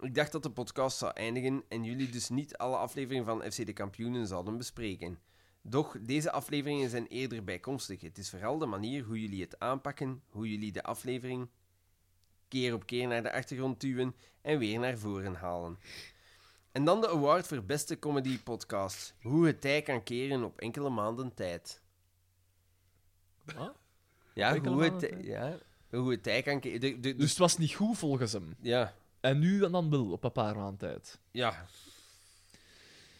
[SPEAKER 4] Ik dacht dat de podcast zou eindigen en jullie dus niet alle afleveringen van FC de Kampioenen zouden bespreken. Doch, deze afleveringen zijn eerder bijkomstig. Het is vooral de manier hoe jullie het aanpakken, hoe jullie de aflevering keer op keer naar de achtergrond duwen en weer naar voren halen. En dan de award voor beste comedy podcast. Hoe het tij kan keren op enkele maanden tijd.
[SPEAKER 3] Wat?
[SPEAKER 4] Ja,
[SPEAKER 3] Enkele
[SPEAKER 4] hoe het,
[SPEAKER 3] maanden
[SPEAKER 4] tij- ja, hoe het tij kan keren. De- de-
[SPEAKER 3] Dus het was niet goed volgens hem.
[SPEAKER 4] Ja,
[SPEAKER 3] En nu en dan wel, op een paar maanden tijd.
[SPEAKER 4] ja.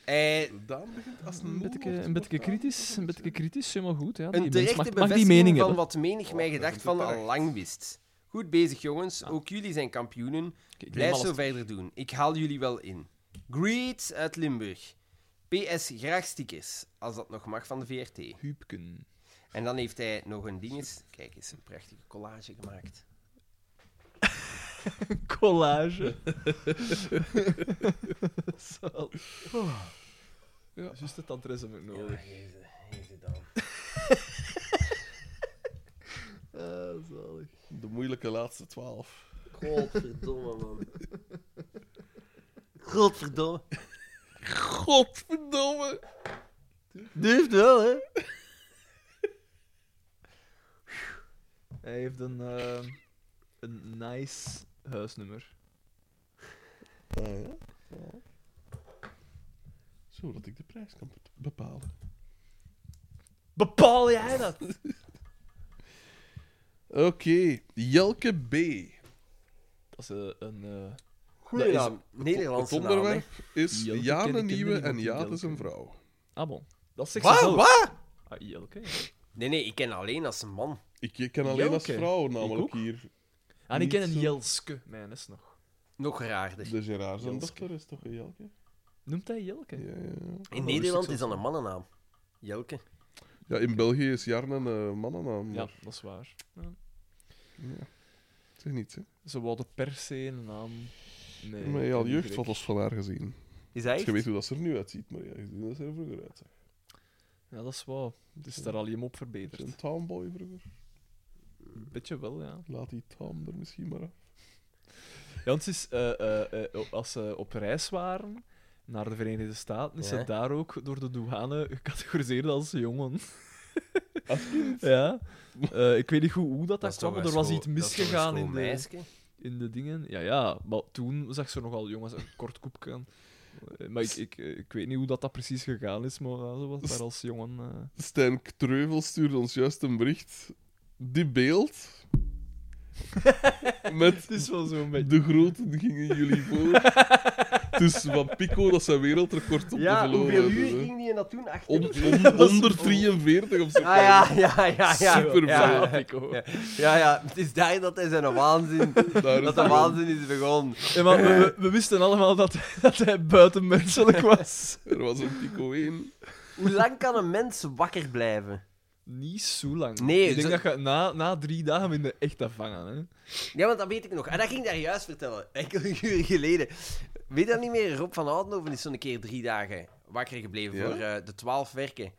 [SPEAKER 4] Eh,
[SPEAKER 1] Daan begint als
[SPEAKER 3] Een
[SPEAKER 1] een
[SPEAKER 3] beetje,
[SPEAKER 1] nul op
[SPEAKER 3] een
[SPEAKER 1] te
[SPEAKER 3] beetje
[SPEAKER 1] praten.
[SPEAKER 3] kritisch, een beetje kritisch, helemaal goed. Ja. Die
[SPEAKER 4] een
[SPEAKER 3] mens
[SPEAKER 4] terechte
[SPEAKER 3] mag, mag die
[SPEAKER 4] bevestiging
[SPEAKER 3] mening
[SPEAKER 4] van
[SPEAKER 3] hebben.
[SPEAKER 4] wat menig mij gedacht van
[SPEAKER 1] terecht.
[SPEAKER 4] al lang wist. Goed bezig, jongens.
[SPEAKER 3] Ah.
[SPEAKER 4] Ook jullie zijn kampioenen.
[SPEAKER 3] Kijk, ik neem
[SPEAKER 4] Blijf
[SPEAKER 3] alles
[SPEAKER 4] zo verder doen. Ik haal jullie wel in. Greets uit Limburg. PS, graag stickers. Als dat nog mag van de VRT.
[SPEAKER 3] Huubken.
[SPEAKER 4] En dan heeft hij nog een dinges. Kijk eens, een prachtige collage gemaakt.
[SPEAKER 2] collage.
[SPEAKER 3] Zal. Ja. Oh. Juist het adres heb ik
[SPEAKER 4] Ja,
[SPEAKER 3] nodig.
[SPEAKER 4] geef ze- geef ze dan.
[SPEAKER 3] Ah, zalig.
[SPEAKER 1] De moeilijke laatste twaalf.
[SPEAKER 4] Godverdomme, man. Godverdomme.
[SPEAKER 1] Godverdomme!
[SPEAKER 4] Durft wel, hè?
[SPEAKER 3] Hij heeft een, eh, een nice huisnummer.
[SPEAKER 1] Zodat ik de prijs kan be- bepalen.
[SPEAKER 3] Bepaal jij dat?
[SPEAKER 1] Oké, Jelke B.
[SPEAKER 3] Dat is eh, een... eh,
[SPEAKER 4] Goeie
[SPEAKER 1] Dat is-
[SPEAKER 4] naam.
[SPEAKER 1] Het
[SPEAKER 4] Nederlandse naam, hè.
[SPEAKER 1] onderwerp is
[SPEAKER 3] Jelke
[SPEAKER 1] ja
[SPEAKER 3] ken ik,
[SPEAKER 1] een
[SPEAKER 3] ken
[SPEAKER 1] nieuwe
[SPEAKER 3] niemand
[SPEAKER 1] en
[SPEAKER 3] die
[SPEAKER 1] ja, het
[SPEAKER 3] Jelke
[SPEAKER 1] is een
[SPEAKER 3] heet.
[SPEAKER 1] vrouw.
[SPEAKER 3] ah, bon. Dat zegt
[SPEAKER 4] Wat?
[SPEAKER 3] ze zelf.
[SPEAKER 4] Wat?
[SPEAKER 3] Ah, Jelke. ja.
[SPEAKER 4] Nee, nee, ik ken alleen als een man.
[SPEAKER 1] Ik ik ken alleen als
[SPEAKER 3] Jelke?
[SPEAKER 1] vrouw
[SPEAKER 3] ook.
[SPEAKER 1] namelijk hier.
[SPEAKER 3] En Ah, ik
[SPEAKER 1] Niet
[SPEAKER 3] ken een
[SPEAKER 1] zo.
[SPEAKER 3] Jelske. Mijn is nog.
[SPEAKER 4] Nog raarder.
[SPEAKER 3] Oh,
[SPEAKER 1] De Gerard zijn
[SPEAKER 3] Jelske.
[SPEAKER 1] dochter is toch een Jelke?
[SPEAKER 3] Noemt hij Jelke?
[SPEAKER 1] Ja, ja, ja.
[SPEAKER 4] In Nederland is dat een mannennaam. Jelke.
[SPEAKER 1] ja, in België is Jarne een eh, mannennaam.
[SPEAKER 3] Ja,
[SPEAKER 1] maar-
[SPEAKER 3] dat is waar.
[SPEAKER 1] Ja. Zeg niets, hè.
[SPEAKER 3] Eh, Ze wilden per se een naam
[SPEAKER 2] Nee.
[SPEAKER 1] Met al jeugd wat van haar gezien.
[SPEAKER 4] Is hij
[SPEAKER 1] Je weet hoe dat ze er nu uitziet, maar ja, je ziet dat ze er vroeger uitzag.
[SPEAKER 3] Ja, dat is waar. Het is daar al je mop verbeterd.
[SPEAKER 1] Is een townboy vroeger?
[SPEAKER 3] Beetje wel, ja.
[SPEAKER 1] Laat die town er misschien maar af.
[SPEAKER 3] Ja, want ze is, eh, eh, eh, als ze op reis waren naar de Verenigde Staten, is
[SPEAKER 4] Ja.
[SPEAKER 3] ze daar ook door de douane gecategoriseerd als jongen. Als kind? Ja. Eh, ik weet niet goed hoe dat, dat kwam, maar er was iets misgegaan in de, in de dingen. Ja, ja, maar toen zag ze er nogal jong als een kort koepje aan. Eh, Maar ik, ik, eh, ik weet niet hoe dat, dat precies gegaan is, maar ja, ze was daar als jongen... eh.
[SPEAKER 1] Stijn Treuvel stuurde ons juist een bericht. Dit beeld. met
[SPEAKER 3] Het is wel zo'n beetje...
[SPEAKER 1] de groten gingen jullie voor. Dus van Pico, dat zijn wereldrecord op
[SPEAKER 4] Ja,
[SPEAKER 1] de verloren.
[SPEAKER 4] hoeveel
[SPEAKER 1] hebben,
[SPEAKER 4] uur
[SPEAKER 1] hè.
[SPEAKER 4] ging die in dat toen?
[SPEAKER 1] Om-
[SPEAKER 4] Achter...
[SPEAKER 1] om- 143 of zo.
[SPEAKER 4] Ah ja, ja, ja, ja.
[SPEAKER 1] Superveel.
[SPEAKER 4] Ja,
[SPEAKER 3] Ja, Nico.
[SPEAKER 4] ja. ja, ja. Het is daar dat hij zijn waanzin,
[SPEAKER 1] Daar is het
[SPEAKER 4] dat de
[SPEAKER 1] wel.
[SPEAKER 4] waanzin is begonnen.
[SPEAKER 3] Ja, maar we, we- we wisten allemaal dat, dat hij buitenmenselijk was.
[SPEAKER 1] Er was een Pico 1.
[SPEAKER 4] Hoe lang kan een mens wakker blijven?
[SPEAKER 3] Niet zo lang.
[SPEAKER 4] Nee,
[SPEAKER 3] ik denk dat
[SPEAKER 4] zo-
[SPEAKER 3] je na, na drie dagen hem in de echte vangen. Hè.
[SPEAKER 4] Ja, want dat weet ik nog. En dat ging ik daar juist vertellen, enkele uren geleden. Weet dat niet meer? Rob van Oudenhoven is zo'n keer drie dagen wakker gebleven
[SPEAKER 1] Ja?
[SPEAKER 4] voor eh, de twaalf werken.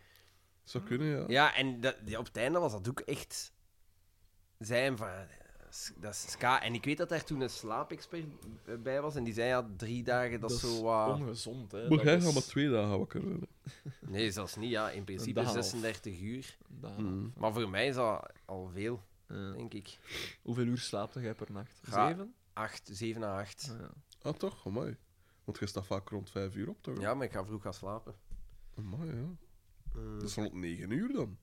[SPEAKER 1] Zou kunnen, ja.
[SPEAKER 4] Ja, en dat, ja, op het einde was dat ook echt zijn van. eh, s- Dat is ska. En ik weet dat daar toen een slaapexpert eh, bij was en die zei ja, drie dagen, dat, is zo wat.
[SPEAKER 3] ongezond, hè.
[SPEAKER 1] Maar jij
[SPEAKER 3] is-
[SPEAKER 1] gaat maar twee dagen wakker worden.
[SPEAKER 4] Nee, zelfs niet, ja. In principe
[SPEAKER 3] dag half.
[SPEAKER 4] 36 uur.
[SPEAKER 3] Da-
[SPEAKER 1] Hmm.
[SPEAKER 4] Maar voor mij is dat al veel,
[SPEAKER 3] ja.
[SPEAKER 4] denk ik.
[SPEAKER 3] Eh, Hoeveel uur slaapt jij per nacht?
[SPEAKER 4] Ga-
[SPEAKER 3] Zeven?
[SPEAKER 4] 8, 7 à 8.
[SPEAKER 3] Ah, ja.
[SPEAKER 1] Ah, toch? Amai. Want jij staat vaak rond vijf uur op, toch?
[SPEAKER 4] Ja, maar ik ga vroeg gaan slapen.
[SPEAKER 1] Amai, ja. Dat is rond negen uur dan.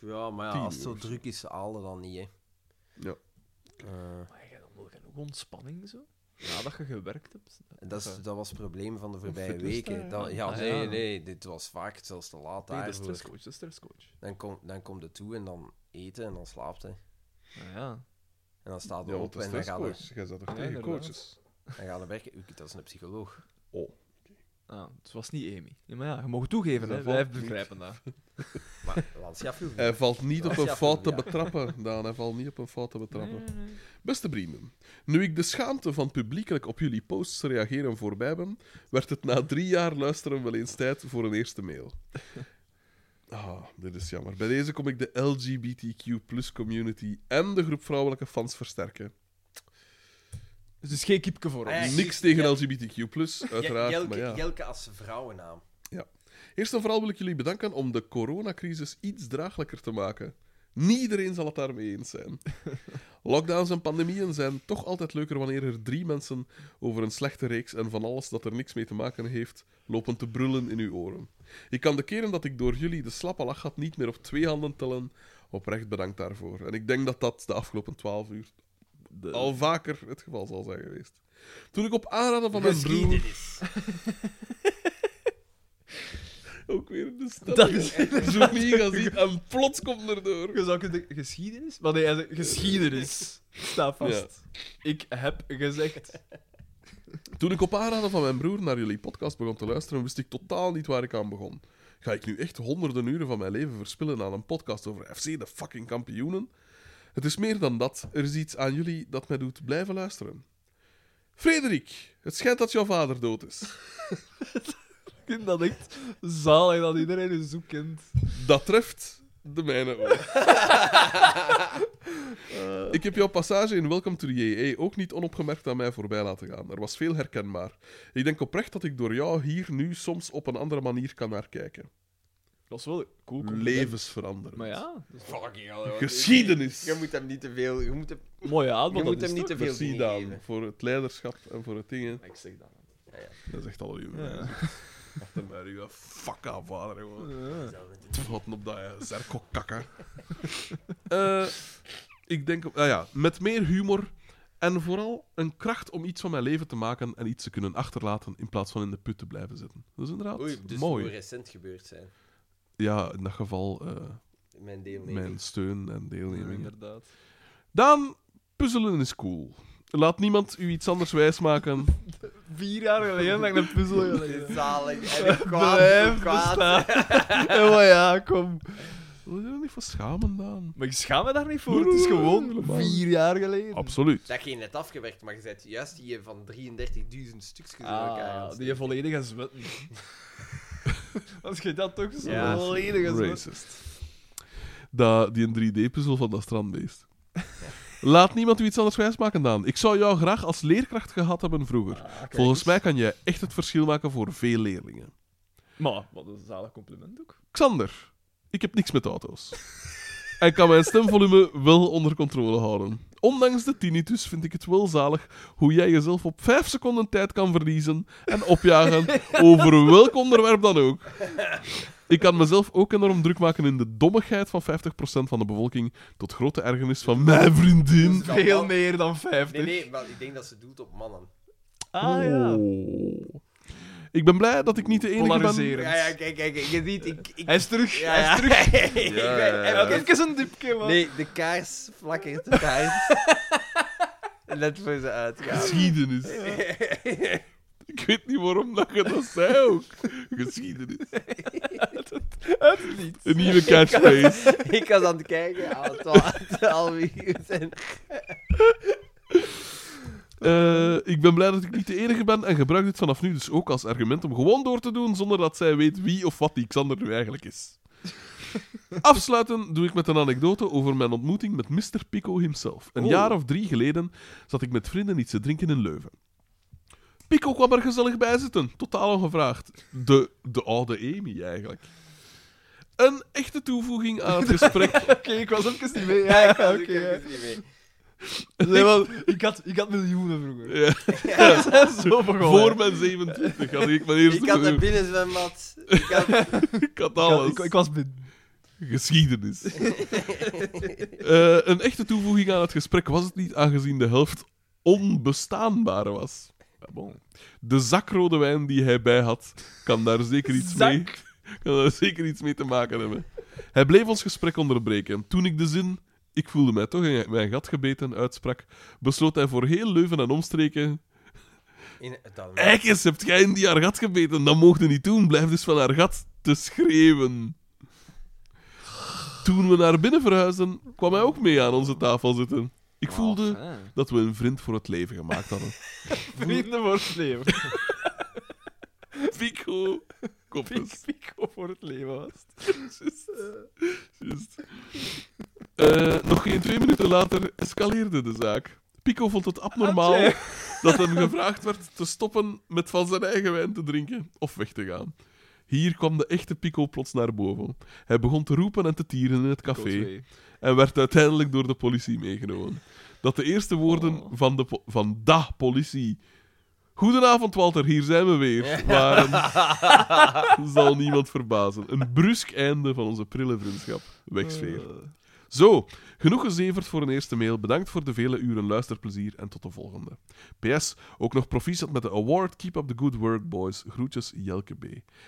[SPEAKER 4] Ja, maar
[SPEAKER 1] Mm.
[SPEAKER 4] ja,
[SPEAKER 1] Tien
[SPEAKER 4] als het zo
[SPEAKER 1] uur.
[SPEAKER 4] druk is, haalde dan niet, hè.
[SPEAKER 1] Ja.
[SPEAKER 4] Eh,
[SPEAKER 3] Maar jij hebt dan wel genoeg ontspanning, zo? Nadat je gewerkt hebt.
[SPEAKER 4] dat, is, dat was het probleem van de voorbije
[SPEAKER 1] Fitness
[SPEAKER 4] weken.
[SPEAKER 1] daar,
[SPEAKER 4] Dat,
[SPEAKER 1] ja.
[SPEAKER 4] ja,
[SPEAKER 3] Ah,
[SPEAKER 4] nee,
[SPEAKER 3] ja.
[SPEAKER 4] nee, dit was vaak zelfs te laat
[SPEAKER 3] Nee, de
[SPEAKER 4] daarvoor.
[SPEAKER 3] stresscoach, de stresscoach.
[SPEAKER 4] Dan komt dan komt het toe en dan eten en dan slaapt hij.
[SPEAKER 3] Ah, ja.
[SPEAKER 4] En dan staat hij
[SPEAKER 1] Ja,
[SPEAKER 4] op
[SPEAKER 1] want dat is
[SPEAKER 4] en dan gaat hij
[SPEAKER 1] stresscoach. Jij zat toch
[SPEAKER 3] Ja,
[SPEAKER 1] tegen
[SPEAKER 3] inderdaad.
[SPEAKER 1] coaches?
[SPEAKER 4] dan gaat hij werken. Oei, Dat is een psycholoog.
[SPEAKER 3] Ah, het was niet Amy. Ja, maar ja, je mag toegeven,
[SPEAKER 1] Dat
[SPEAKER 3] hè.
[SPEAKER 1] valt
[SPEAKER 3] Wij
[SPEAKER 1] niet.
[SPEAKER 3] begrijpen dat.
[SPEAKER 4] Maar Lancia viel.
[SPEAKER 1] Hij valt niet op een
[SPEAKER 4] Ja,
[SPEAKER 1] fout te
[SPEAKER 4] ja.
[SPEAKER 1] betrappen, Daan. Hij valt niet op een fout te betrappen. Beste Briemen, nu ik de schaamte van publiekelijk op jullie posts reageren voorbij ben, werd het na drie jaar luisteren wel eens tijd voor een eerste mail. Ah, dit is jammer. Bij deze kom ik de LGBTQ community en de groep vrouwelijke fans versterken.
[SPEAKER 3] Dus het is geen kipke voor ons.
[SPEAKER 4] Ah, ja.
[SPEAKER 1] Niks tegen LGBTQ, uiteraard.
[SPEAKER 4] Jelke,
[SPEAKER 1] maar ja.
[SPEAKER 4] Jelke als vrouwennaam.
[SPEAKER 1] Eerst en vooral wil ik jullie bedanken om de coronacrisis iets draaglijker te maken. Niet iedereen zal het daarmee eens zijn. Lockdowns en pandemieën zijn toch altijd leuker wanneer er drie mensen over een slechte reeks en van alles dat er niks mee te maken heeft, lopen te brullen in uw oren. Ik kan de keren dat ik door jullie de slappe lach had niet meer op twee handen tellen. Oprecht bedankt daarvoor. En ik denk dat dat de afgelopen twaalf uur al vaker het geval zal zijn geweest. Toen ik op aanraden van mijn broer...
[SPEAKER 4] Geschiedenis.
[SPEAKER 1] Ook weer de stem. Dat is Johnny gaat zien en plots komt er door.
[SPEAKER 3] Je zou kunnen... Geschiedenis? Maar nee, hij zei geschiedenis. Sta vast. Ik heb gezegd...
[SPEAKER 1] Toen ik op aanraden van mijn broer naar jullie podcast begon te luisteren, wist ik totaal niet waar ik aan begon. Ga ik nu echt honderden uren van mijn leven verspillen aan een podcast over FC, de fucking kampioenen? Het is meer dan dat. Er is iets aan jullie dat mij doet blijven luisteren. Frederik, het schijnt dat jouw vader dood is.
[SPEAKER 3] Ik vind dat echt zalig dat iedereen een zoek kent.
[SPEAKER 1] Dat treft de mijne ook. Ik heb jouw passage in Welcome to the JA ook niet onopgemerkt aan mij voorbij laten gaan. Er was veel herkenbaar. Ik denk oprecht dat ik door jou hier nu soms op een andere manier kan naar kijken.
[SPEAKER 3] Dat is wel een cool. compliment.
[SPEAKER 1] Levensveranderend.
[SPEAKER 3] Maar ja,
[SPEAKER 4] Dus
[SPEAKER 3] dat
[SPEAKER 4] Fucking hell, hoor.
[SPEAKER 1] Geschiedenis.
[SPEAKER 4] Je moet hem niet te veel. Je moet hem,
[SPEAKER 3] is mooi aan,
[SPEAKER 4] je
[SPEAKER 3] maar
[SPEAKER 4] moet
[SPEAKER 3] dat is
[SPEAKER 4] hem niet
[SPEAKER 3] niet
[SPEAKER 4] te veel
[SPEAKER 1] Merci
[SPEAKER 4] dingen
[SPEAKER 1] Daan
[SPEAKER 4] geven.
[SPEAKER 1] voor het leiderschap en voor het dingen.
[SPEAKER 3] Ik zeg dat.
[SPEAKER 1] Dat is echt al uw ja. Achter mij, uw fuck aan vader, jongen. Vatten op dat zerko kakken. Eh, ik denk, op- ah ja, met meer humor en vooral een kracht om iets van mijn leven te maken en iets te kunnen achterlaten in plaats van in de put te blijven zitten. Dat is inderdaad
[SPEAKER 4] Oei, dus
[SPEAKER 1] mooi.
[SPEAKER 4] moet recent gebeurd zijn.
[SPEAKER 1] Ja, in dat geval eh,
[SPEAKER 4] Mijn deelneming.
[SPEAKER 1] mijn steun en deelneming.
[SPEAKER 3] Inderdaad.
[SPEAKER 1] Daan, puzzelen is cool. Laat niemand u iets anders wijsmaken.
[SPEAKER 3] Vier jaar geleden dat ik een puzzel geleden.
[SPEAKER 4] Zalig. En ik kwaad,
[SPEAKER 3] Blijf
[SPEAKER 4] ik kwaad.
[SPEAKER 3] bestaan. En maar ja, kom.
[SPEAKER 1] Wil je er niet voor schamen, Daan?
[SPEAKER 3] Maar ik schaam me daar niet voor. Het is gewoon
[SPEAKER 1] Helemaal.
[SPEAKER 3] vier jaar geleden.
[SPEAKER 1] Absoluut.
[SPEAKER 4] Dat je net afgewerkt, maar je zet juist die van 33.000 stukjes door elkaar. aan
[SPEAKER 3] Ah,
[SPEAKER 4] het
[SPEAKER 3] die je volledig gaat zwetten. Als je dat toch zo
[SPEAKER 4] Ja.
[SPEAKER 3] volledig gaat zwetten.
[SPEAKER 1] Racist. Dat, die 3D-puzzel van dat strandbeest. Laat niemand u iets anders wijsmaken, Daan. Ik zou jou graag als leerkracht gehad hebben vroeger. Volgens mij kan jij echt het verschil maken voor veel leerlingen.
[SPEAKER 3] Maar, wat een zalig compliment ook.
[SPEAKER 1] Xander, ik heb niks met auto's. En kan mijn stemvolume wel onder controle houden. Ondanks de tinnitus vind ik het wel zalig hoe jij jezelf op 5 seconden tijd kan verliezen en opjagen over welk onderwerp dan ook. Ik kan mezelf ook enorm druk maken in de dommigheid van 50% van de bevolking, tot grote ergernis van mijn vriendin.
[SPEAKER 4] doen.
[SPEAKER 3] Veel meer dan
[SPEAKER 4] Nee,
[SPEAKER 3] 50.
[SPEAKER 4] nee, maar ik denk dat ze doelt op mannen.
[SPEAKER 3] Ah ja.
[SPEAKER 1] Oh. Ik ben blij dat ik niet de enige ben.
[SPEAKER 3] Polariserend.
[SPEAKER 4] Ja, ja, kijk, kijk, kijk, je ziet, ik... ik
[SPEAKER 3] Hij is terug.
[SPEAKER 4] ja,
[SPEAKER 3] Hij is
[SPEAKER 4] ja.
[SPEAKER 3] terug.
[SPEAKER 4] Ik ben-
[SPEAKER 1] ja, ja.
[SPEAKER 4] ik-
[SPEAKER 3] Even een dipje, man.
[SPEAKER 4] Nee, de kaars flakkert de kaars. Let voor ze uitgaan.
[SPEAKER 1] Geschiedenis. Ik weet niet waarom dat je dat zei ook. Geschiedenis. Een nieuwe catchphrase.
[SPEAKER 4] ik was aan het kijken, al twaalf, twaalf uur en...
[SPEAKER 1] Eh, ik ben blij dat ik niet de enige ben en gebruik dit vanaf nu dus ook als argument om gewoon door te doen zonder dat zij weet wie of wat die Xander nu eigenlijk is. Afsluiten doe ik met een anekdote over mijn ontmoeting met Mr. Pico himself. Een jaar of drie geleden zat ik met vrienden iets te drinken in Leuven. Pico kwam er gezellig bij zitten, totaal ongevraagd. De, de oude Amy eigenlijk. Een echte toevoeging aan het gesprek
[SPEAKER 3] Oké, ik was even niet mee. Ja, ja,
[SPEAKER 4] Ja,
[SPEAKER 3] oké.
[SPEAKER 4] ik
[SPEAKER 3] ja.
[SPEAKER 4] heb het niet mee.
[SPEAKER 3] Nee, want ik had, ik had miljoenen vroeger.
[SPEAKER 1] Ja.
[SPEAKER 3] Ja. ze zijn zo begonnen.
[SPEAKER 1] eh, Voor mijn 27 had ik mijn eerste
[SPEAKER 4] Ik had een
[SPEAKER 1] miljoen.
[SPEAKER 4] binnenzwembad. Ik had...
[SPEAKER 1] Ik had
[SPEAKER 3] Ik had-
[SPEAKER 1] alles.
[SPEAKER 3] Ik, ik was binnen.
[SPEAKER 1] Geschiedenis. Eh, een echte toevoeging aan het gesprek was het niet, aangezien de helft onbestaanbaar was. Ah, De zakrode wijn die hij bij had, kan daar zeker iets mee... Kan daar zeker iets mee te maken hebben. Hij bleef ons gesprek onderbreken. Toen ik de zin, ik voelde mij toch in mijn gat gebeten, uitsprak, besloot hij voor heel Leuven en omstreken
[SPEAKER 4] In, dan,
[SPEAKER 1] Eikens, hebt jij in die haar gat gebeten? Dat mocht je niet doen. Blijf dus van haar gat te schreeuwen. Toen we naar binnen verhuisden, kwam hij ook mee aan onze tafel zitten. Ik voelde
[SPEAKER 3] Ah.
[SPEAKER 1] dat we een vriend voor het leven gemaakt hadden.
[SPEAKER 3] Vrienden voor het leven.
[SPEAKER 1] Pico. Koppes.
[SPEAKER 3] Pico voor het leven was. het.
[SPEAKER 1] Juist. Eh, nog geen twee minuten later escaleerde de zaak. Pico vond het abnormaal
[SPEAKER 3] Atje.
[SPEAKER 1] dat hem gevraagd werd te stoppen met van zijn eigen wijn te drinken of weg te gaan. Hier kwam de echte Pico plots naar boven. Hij begon te roepen en te tieren in het café en werd uiteindelijk door de politie meegenomen. Dat de eerste woorden van, de po- van da politie. Goedenavond Walter, hier zijn we weer. Waren, zal niemand verbazen. Een brusk einde van onze prille vriendschap. Wegsfeer.
[SPEAKER 3] Oh. Eh,
[SPEAKER 1] Zo, genoeg gezeverd voor een eerste mail. Bedankt voor de vele uren luisterplezier en tot de volgende. PS, ook nog proficiat met de award. Keep up the good work, boys. Groetjes, Jelke B.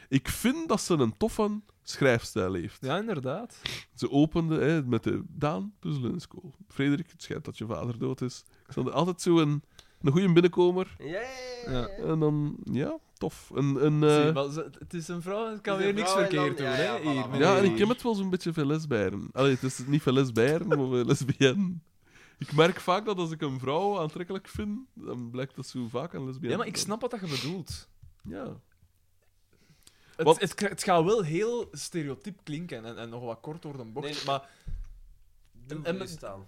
[SPEAKER 1] Ik vind dat ze een toffe schrijfstijl heeft.
[SPEAKER 3] Ja, inderdaad.
[SPEAKER 1] Ze opende hè, met de Daan Puzzelen in School. Frederik, het schijnt dat je vader dood is. Ik stond er altijd zo een, een goede binnenkomer.
[SPEAKER 4] Ja,
[SPEAKER 3] Ja.
[SPEAKER 1] En dan, ja, tof. Een, een,
[SPEAKER 3] Zie,
[SPEAKER 1] eh,
[SPEAKER 3] maar ze- het is een vrouw en het kan
[SPEAKER 4] Het is
[SPEAKER 3] weer
[SPEAKER 4] een
[SPEAKER 3] niks
[SPEAKER 4] vrouw en dan-
[SPEAKER 3] verkeerd doen.
[SPEAKER 4] ja,
[SPEAKER 3] hè?
[SPEAKER 4] ja, voilà,
[SPEAKER 3] Hier,
[SPEAKER 4] voilà.
[SPEAKER 1] ja, en
[SPEAKER 3] meneer.
[SPEAKER 1] ik ken het wel zo'n beetje veel lesbijren. Allee, het is niet veel lesbijren, maar veel lesbiennes. Ik merk vaak dat als ik een vrouw aantrekkelijk vind, dan blijkt dat zo vaak een lesbienne.
[SPEAKER 3] Ja, maar ik snap wat dat je bedoelt.
[SPEAKER 1] Ja.
[SPEAKER 3] Het,
[SPEAKER 1] Want-
[SPEAKER 3] het, kri- het gaat wel heel stereotyp klinken en, en nog wat kort door de bocht.
[SPEAKER 4] Nee,
[SPEAKER 3] maar
[SPEAKER 4] Doe
[SPEAKER 3] En-
[SPEAKER 4] gerust aan.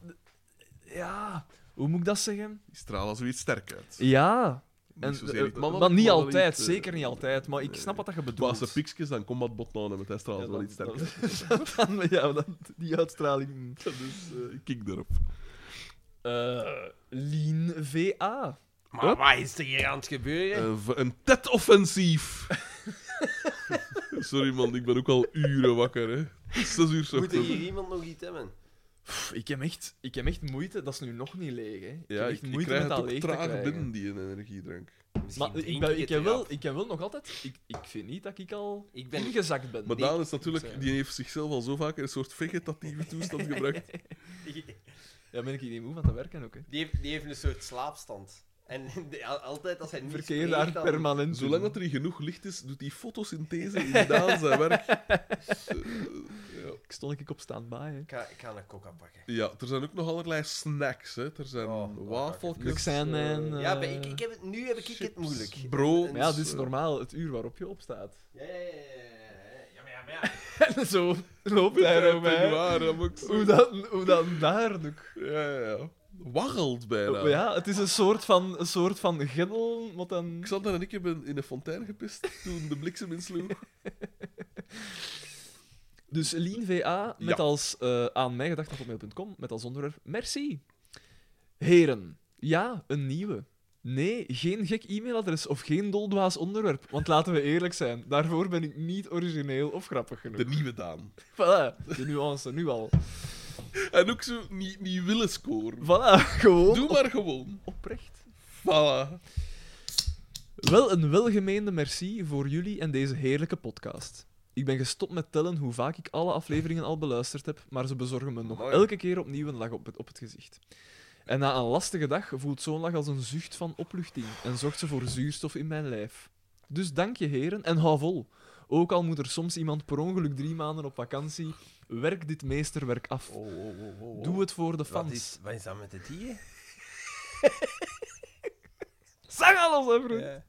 [SPEAKER 3] ja, hoe moet ik dat zeggen?
[SPEAKER 1] Die stralen zoiets sterk uit.
[SPEAKER 3] Ja, en,
[SPEAKER 1] Niet zozeer
[SPEAKER 3] eh,
[SPEAKER 1] iets mannelijk,
[SPEAKER 3] maar niet
[SPEAKER 1] wel
[SPEAKER 3] altijd,
[SPEAKER 1] iets, eh,
[SPEAKER 3] zeker niet altijd. Maar ik snap wat dat je bedoelt.
[SPEAKER 1] Als ze piksjes, dan combat bot aan met hij straalt
[SPEAKER 3] Ja,
[SPEAKER 1] wel
[SPEAKER 3] dan-
[SPEAKER 1] iets sterker.
[SPEAKER 3] dan- dan- ja, dan- die uitstraling.
[SPEAKER 1] uit. Dus eh, ik kik erop.
[SPEAKER 3] Eh lean VA.
[SPEAKER 4] Maar wat is er hier aan het gebeuren?
[SPEAKER 1] Een, Eh, v- een TED-offensief. Sorry man, ik ben ook al uren wakker, hè. Zes uur zo.
[SPEAKER 4] Moet er hier iemand nog iets hebben?
[SPEAKER 3] Pff, ik, heb echt, ik heb echt moeite, dat is nu nog niet leeg. Hè. Ik
[SPEAKER 1] Ja,
[SPEAKER 3] heb
[SPEAKER 1] ik,
[SPEAKER 3] echt
[SPEAKER 1] ik
[SPEAKER 3] moeite
[SPEAKER 1] krijg het
[SPEAKER 3] met dat
[SPEAKER 1] ook
[SPEAKER 3] leeg te
[SPEAKER 1] traag
[SPEAKER 3] krijgen.
[SPEAKER 1] binnen, die energiedrank.
[SPEAKER 4] Misschien
[SPEAKER 3] Maar eh, ik,
[SPEAKER 4] drink
[SPEAKER 3] ben,
[SPEAKER 4] het
[SPEAKER 3] ik, heb
[SPEAKER 4] eraf.
[SPEAKER 3] wel, ik heb wel nog altijd... Ik, ik vind niet dat ik al
[SPEAKER 4] Ik ben-
[SPEAKER 3] ingezakt ben.
[SPEAKER 1] Maar
[SPEAKER 4] Nee,
[SPEAKER 1] Daan is natuurlijk,
[SPEAKER 3] sorry.
[SPEAKER 1] die heeft zichzelf al zo vaak in een soort vegetatieve toestand gebracht.
[SPEAKER 3] Ja, ben ik hier niet moe van te werken ook. Hè.
[SPEAKER 4] Die heeft, die heeft een soort slaapstand. En de- al- altijd als hij niet
[SPEAKER 2] Verkeer
[SPEAKER 4] spreekt,
[SPEAKER 2] daar
[SPEAKER 4] dan-
[SPEAKER 2] permanent. in.
[SPEAKER 1] Zolang dat er genoeg licht is, doet die fotosynthese inderdaad zijn werk. ja.
[SPEAKER 3] Ik stond ik op standby.
[SPEAKER 4] Ik ga, ik ga een coca pakken.
[SPEAKER 1] ja, er zijn ook nog allerlei snacks. Hè. Er zijn
[SPEAKER 4] Oh, oh,
[SPEAKER 1] wafeltjes.
[SPEAKER 3] Lux en. en eh,
[SPEAKER 4] ja, maar ik, ik heb het, nu heb ik het
[SPEAKER 1] eh, chips,
[SPEAKER 4] moeilijk.
[SPEAKER 1] brood.
[SPEAKER 4] Een-
[SPEAKER 3] maar ja, dit is
[SPEAKER 1] eh,
[SPEAKER 3] normaal het uur waarop je opstaat.
[SPEAKER 4] Ja, ja, ja, ja, ja, ja, maar ja.
[SPEAKER 3] Zo loop jij
[SPEAKER 1] Ja,
[SPEAKER 3] erop,
[SPEAKER 1] ben
[SPEAKER 3] hè.
[SPEAKER 1] waar, dat moet ik zo-
[SPEAKER 3] Hoe dan, hoe dan daar doe ik.
[SPEAKER 1] Ja, ja, ja. Waggelt bijna.
[SPEAKER 3] Ja. het is een soort van, een soort van giddel, wat dan...
[SPEAKER 1] Xander en ik hebben in een fontein gepist toen de bliksem insloeg.
[SPEAKER 3] Dus Lean VA, met
[SPEAKER 1] Ja.
[SPEAKER 3] als eh aan mij met als onderwerp, merci. Heren, ja, een nieuwe. Nee, geen gek e-mailadres of geen doldwaas onderwerp. Want laten we eerlijk zijn, daarvoor ben ik niet origineel of grappig genoeg.
[SPEAKER 1] De nieuwe Daan.
[SPEAKER 3] Voilà, de nuance, nu al.
[SPEAKER 1] En ook zo niet, niet willen scoren.
[SPEAKER 3] Voilà, gewoon
[SPEAKER 1] Doe maar gewoon.
[SPEAKER 3] oprecht.
[SPEAKER 1] Voilà.
[SPEAKER 3] Wel een welgemeende merci voor jullie en deze heerlijke podcast. Ik ben gestopt met tellen hoe vaak ik alle afleveringen al beluisterd heb, maar ze bezorgen me nog
[SPEAKER 1] Mooi.
[SPEAKER 3] elke keer opnieuw een lach op het, op het gezicht. En na een lastige dag voelt zo'n lach als een zucht van opluchting en zorgt ze voor zuurstof in mijn lijf. Dus dank je heren en hou vol. Ook al moet er soms iemand per ongeluk drie maanden op vakantie, werk dit meesterwerk af.
[SPEAKER 4] Oh, oh, oh, oh, oh.
[SPEAKER 3] Doe het voor de
[SPEAKER 4] Wat
[SPEAKER 3] fans.
[SPEAKER 4] is, wat is dat met het dier?
[SPEAKER 3] Zang alles, hè, vriend.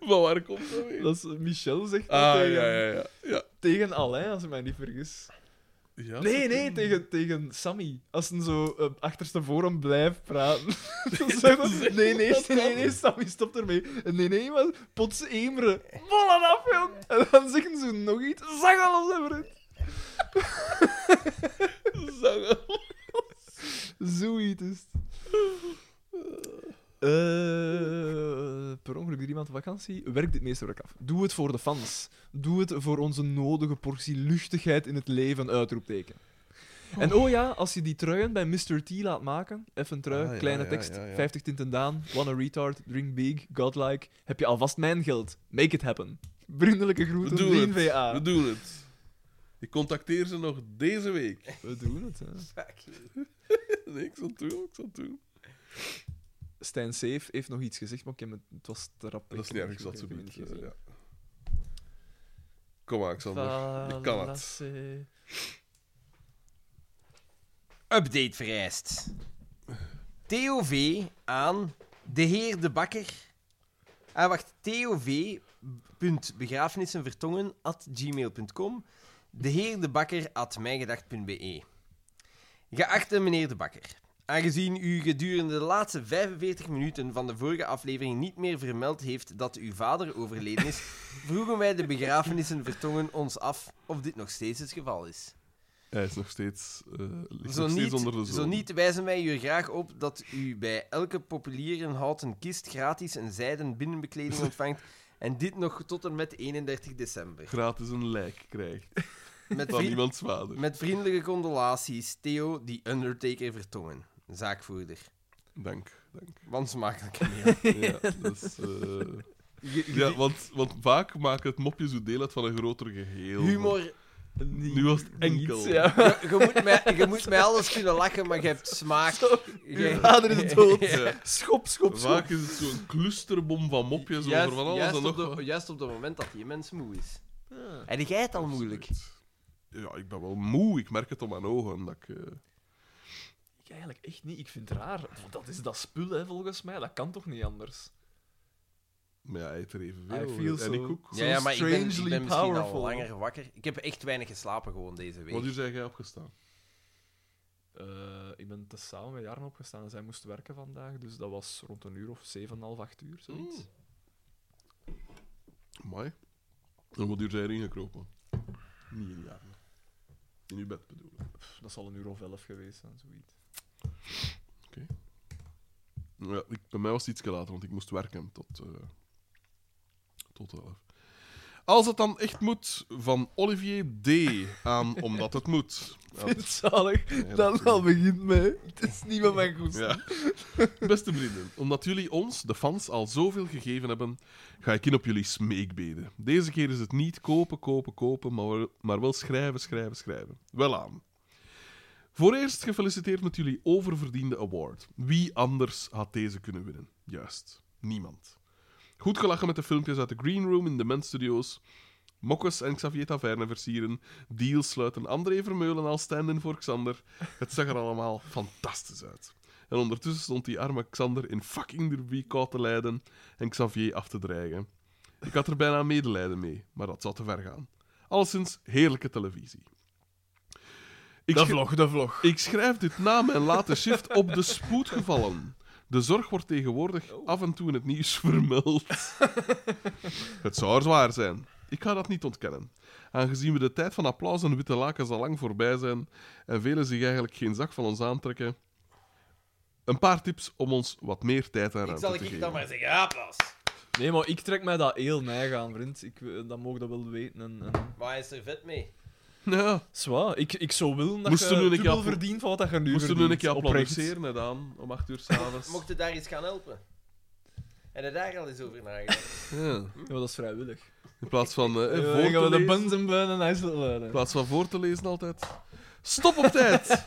[SPEAKER 1] Van waar komt dat weer?
[SPEAKER 3] Dat is Michel zegt dat
[SPEAKER 1] Ah, ja,
[SPEAKER 3] tegen,
[SPEAKER 1] ja, ja. ja.
[SPEAKER 3] tegen Alain, als ik mij niet vergis.
[SPEAKER 1] ja
[SPEAKER 3] Nee,
[SPEAKER 1] zeker.
[SPEAKER 3] nee, tegen, tegen Sammy. Als ze zo eh, achterste voren blijft praten. Dan zeggen ze, nee, nee, nee, nee, nee, Sammy, stop ermee. En Nee, nee, maar pots emeren. Bollen af, jong. En dan zeggen ze nog iets. Zag alles, hè, vriend.
[SPEAKER 1] Zang-
[SPEAKER 3] Zoiets is het. Eh, per ongeluk drie maanden vakantie. Werk dit meesterwerk af. Doe het voor de fans. Doe het voor onze nodige portie luchtigheid in het leven, uitroepteken. En oh ja, als je die truien bij Mr. T laat maken, even een trui,
[SPEAKER 1] Ah, ja,
[SPEAKER 3] kleine
[SPEAKER 1] ja,
[SPEAKER 3] tekst,
[SPEAKER 1] ja, ja.
[SPEAKER 3] 50 tinten daan, wanna retard, drink big, godlike, heb je alvast mijn geld. Make it happen. Vriendelijke
[SPEAKER 1] We
[SPEAKER 3] groeten,
[SPEAKER 1] doen
[SPEAKER 3] Lean
[SPEAKER 1] het.
[SPEAKER 3] VA.
[SPEAKER 1] We doen het. Ik contacteer ze nog deze week.
[SPEAKER 3] We doen het, hè.
[SPEAKER 4] Fuck you.
[SPEAKER 1] Nee, ik zal het doen, ik zal het doen.
[SPEAKER 3] Stijn Safe heeft nog iets gezegd, maar ik heb het, het was te rap.
[SPEAKER 1] Dat is niet
[SPEAKER 3] heb het
[SPEAKER 1] erg, ik zal het zo
[SPEAKER 3] heb het
[SPEAKER 1] niet.
[SPEAKER 3] gezien.
[SPEAKER 1] eh, ja. Kom maar, Xander. Je kan het.
[SPEAKER 3] Valasse.
[SPEAKER 4] Update vereist. TOV aan de heer De Bakker. Ah, wacht. tov.begrafenissenvertongen at gmail.com. De heer De Bakker at mijgedacht.be. Geachte meneer De Bakker. Aangezien u gedurende de laatste 45 minuten van de vorige aflevering niet meer vermeld heeft dat uw vader overleden is, vroegen wij de begrafenissen vertongen ons af of dit nog steeds het geval is.
[SPEAKER 1] Hij is nog steeds, eh, ligt
[SPEAKER 4] Zo
[SPEAKER 1] nog steeds
[SPEAKER 4] niet,
[SPEAKER 1] onder de zon.
[SPEAKER 4] zo niet wijzen wij u graag op dat u bij elke populier een houten kist gratis een zijden binnenbekleding ontvangt. En dit nog tot en met 31 december.
[SPEAKER 1] Gratis een lijk krijgt
[SPEAKER 4] Met,
[SPEAKER 1] van
[SPEAKER 4] vriend-
[SPEAKER 1] iemands vader.
[SPEAKER 4] met vriendelijke condolaties, Theo, die Undertaker vertongen. Zaakvoerder.
[SPEAKER 1] Dank, dank.
[SPEAKER 4] Want smakelijk meer.
[SPEAKER 1] Ja, dat is, eh, ja want, want vaak maakt het mopje zo deel uit van een groter geheel.
[SPEAKER 4] Humor.
[SPEAKER 1] Nu was het enkel.
[SPEAKER 3] Niets, ja.
[SPEAKER 4] Je, je moet mij, je moet mij alles kunnen lachen, maar je hebt smaak.
[SPEAKER 3] Uw
[SPEAKER 4] Je,
[SPEAKER 3] vader is dood.
[SPEAKER 1] Ja.
[SPEAKER 3] Schop, schop, schop.
[SPEAKER 1] Vaak is het zo'n clusterbom van mopjes
[SPEAKER 4] juist,
[SPEAKER 1] over van alles
[SPEAKER 4] juist
[SPEAKER 1] en nog
[SPEAKER 4] op de-
[SPEAKER 1] wat.
[SPEAKER 4] juist op het moment dat die mens moe is. En jij het al moeilijk.
[SPEAKER 1] Ja, ik ben wel moe. Ik merk het om mijn ogen. Dat ik, eh,
[SPEAKER 3] Ik eigenlijk echt niet. Ik vind het raar. Want dat is dat spul, hè, volgens mij. Dat kan toch niet anders?
[SPEAKER 1] Maar ja, hij eet er even
[SPEAKER 3] I
[SPEAKER 1] veel.
[SPEAKER 3] feel
[SPEAKER 1] En
[SPEAKER 3] so.
[SPEAKER 1] ik ook.
[SPEAKER 4] Ja, ja, maar ik ben, ik
[SPEAKER 3] strangely
[SPEAKER 4] ben misschien
[SPEAKER 3] powerful.
[SPEAKER 4] al langer wakker. Ik heb echt weinig geslapen gewoon deze week.
[SPEAKER 1] Wat uur zijn jij opgestaan?
[SPEAKER 3] Eh, ik ben tezamen met Jarno opgestaan en zij moest werken vandaag. Dus dat was rond een uur of zeven, half acht uur, zoiets.
[SPEAKER 1] Mooi. En wat uur zijn jij erin gekropen? Niet in jaren. In uw bed bedoel ik.
[SPEAKER 3] Pff, dat zal een uur of elf geweest zijn, zoiets.
[SPEAKER 1] Ja, ik, bij mij was het iets later, want ik moest werken tot, eh tot 11. Als het dan echt moet, van Olivier D. aan Omdat het moet. Ja,
[SPEAKER 3] Vind het zalig
[SPEAKER 1] ja,
[SPEAKER 3] dat het
[SPEAKER 1] natuurlijk.
[SPEAKER 3] al begint mee. Het is niet met mijn goed.
[SPEAKER 1] Ja. Beste vrienden, omdat jullie ons, de fans, al zoveel gegeven hebben, ga ik in op jullie smeekbeden. Deze keer is het niet kopen, kopen, kopen, maar, wel- maar wel schrijven, schrijven, schrijven. Wel aan. Voor eerst gefeliciteerd met jullie oververdiende award. Wie anders had deze kunnen winnen? Juist, niemand. Goed gelachen met de filmpjes uit de Green Room in de Ment Studios. Mokkes en Xavier Taverne versieren. Deals sluiten André Vermeulen al stand-in voor Xander. Het zag er allemaal fantastisch uit. En ondertussen stond die arme Xander in fucking derby koud te lijden en Xavier af te dreigen. Ik had er bijna medelijden mee, maar dat zou te ver gaan. Alleszins heerlijke televisie. Ik
[SPEAKER 3] De
[SPEAKER 1] sch-
[SPEAKER 3] vlog, de vlog.
[SPEAKER 1] ik schrijf dit na mijn late shift op de spoed gevallen. De zorg wordt tegenwoordig
[SPEAKER 3] Oh.
[SPEAKER 1] af en toe in het nieuws vermeld. het zou er zwaar zijn. Ik ga dat niet ontkennen. Aangezien we de tijd van applaus en witte lakens al lang voorbij zijn en velen zich eigenlijk geen zak van ons aantrekken, een paar tips om ons wat meer tijd en ruimte te geven.
[SPEAKER 4] zeggen, ja, pas.
[SPEAKER 3] Nee, maar ik trek mij dat heel neig aan, vriend. Ik, eh, dat mogen dat wel weten. En, en...
[SPEAKER 4] Maar hij is er vet mee.
[SPEAKER 1] Ja,
[SPEAKER 3] Zwaar, ik, ik zou willen dat
[SPEAKER 1] Moesten we
[SPEAKER 3] je
[SPEAKER 1] een keer
[SPEAKER 3] dubbel
[SPEAKER 1] appel-
[SPEAKER 3] verdient van wat dat je nu
[SPEAKER 1] moesten we
[SPEAKER 3] verdient.
[SPEAKER 1] een keer
[SPEAKER 3] oprecht.
[SPEAKER 1] applaudisseren hè, Daan, om acht uur s'avonds.
[SPEAKER 4] Mocht je daar iets gaan helpen? En je daar al eens over nagedacht?
[SPEAKER 1] Ja.
[SPEAKER 3] Ja, maar dat is vrijwillig.
[SPEAKER 1] In plaats van eh,
[SPEAKER 3] Eh,
[SPEAKER 1] voor
[SPEAKER 3] gaan
[SPEAKER 1] te
[SPEAKER 3] we de
[SPEAKER 1] lezen.
[SPEAKER 3] bunzen buiten en IJsselbuiden.
[SPEAKER 1] In plaats van voor te lezen altijd. Stop op tijd!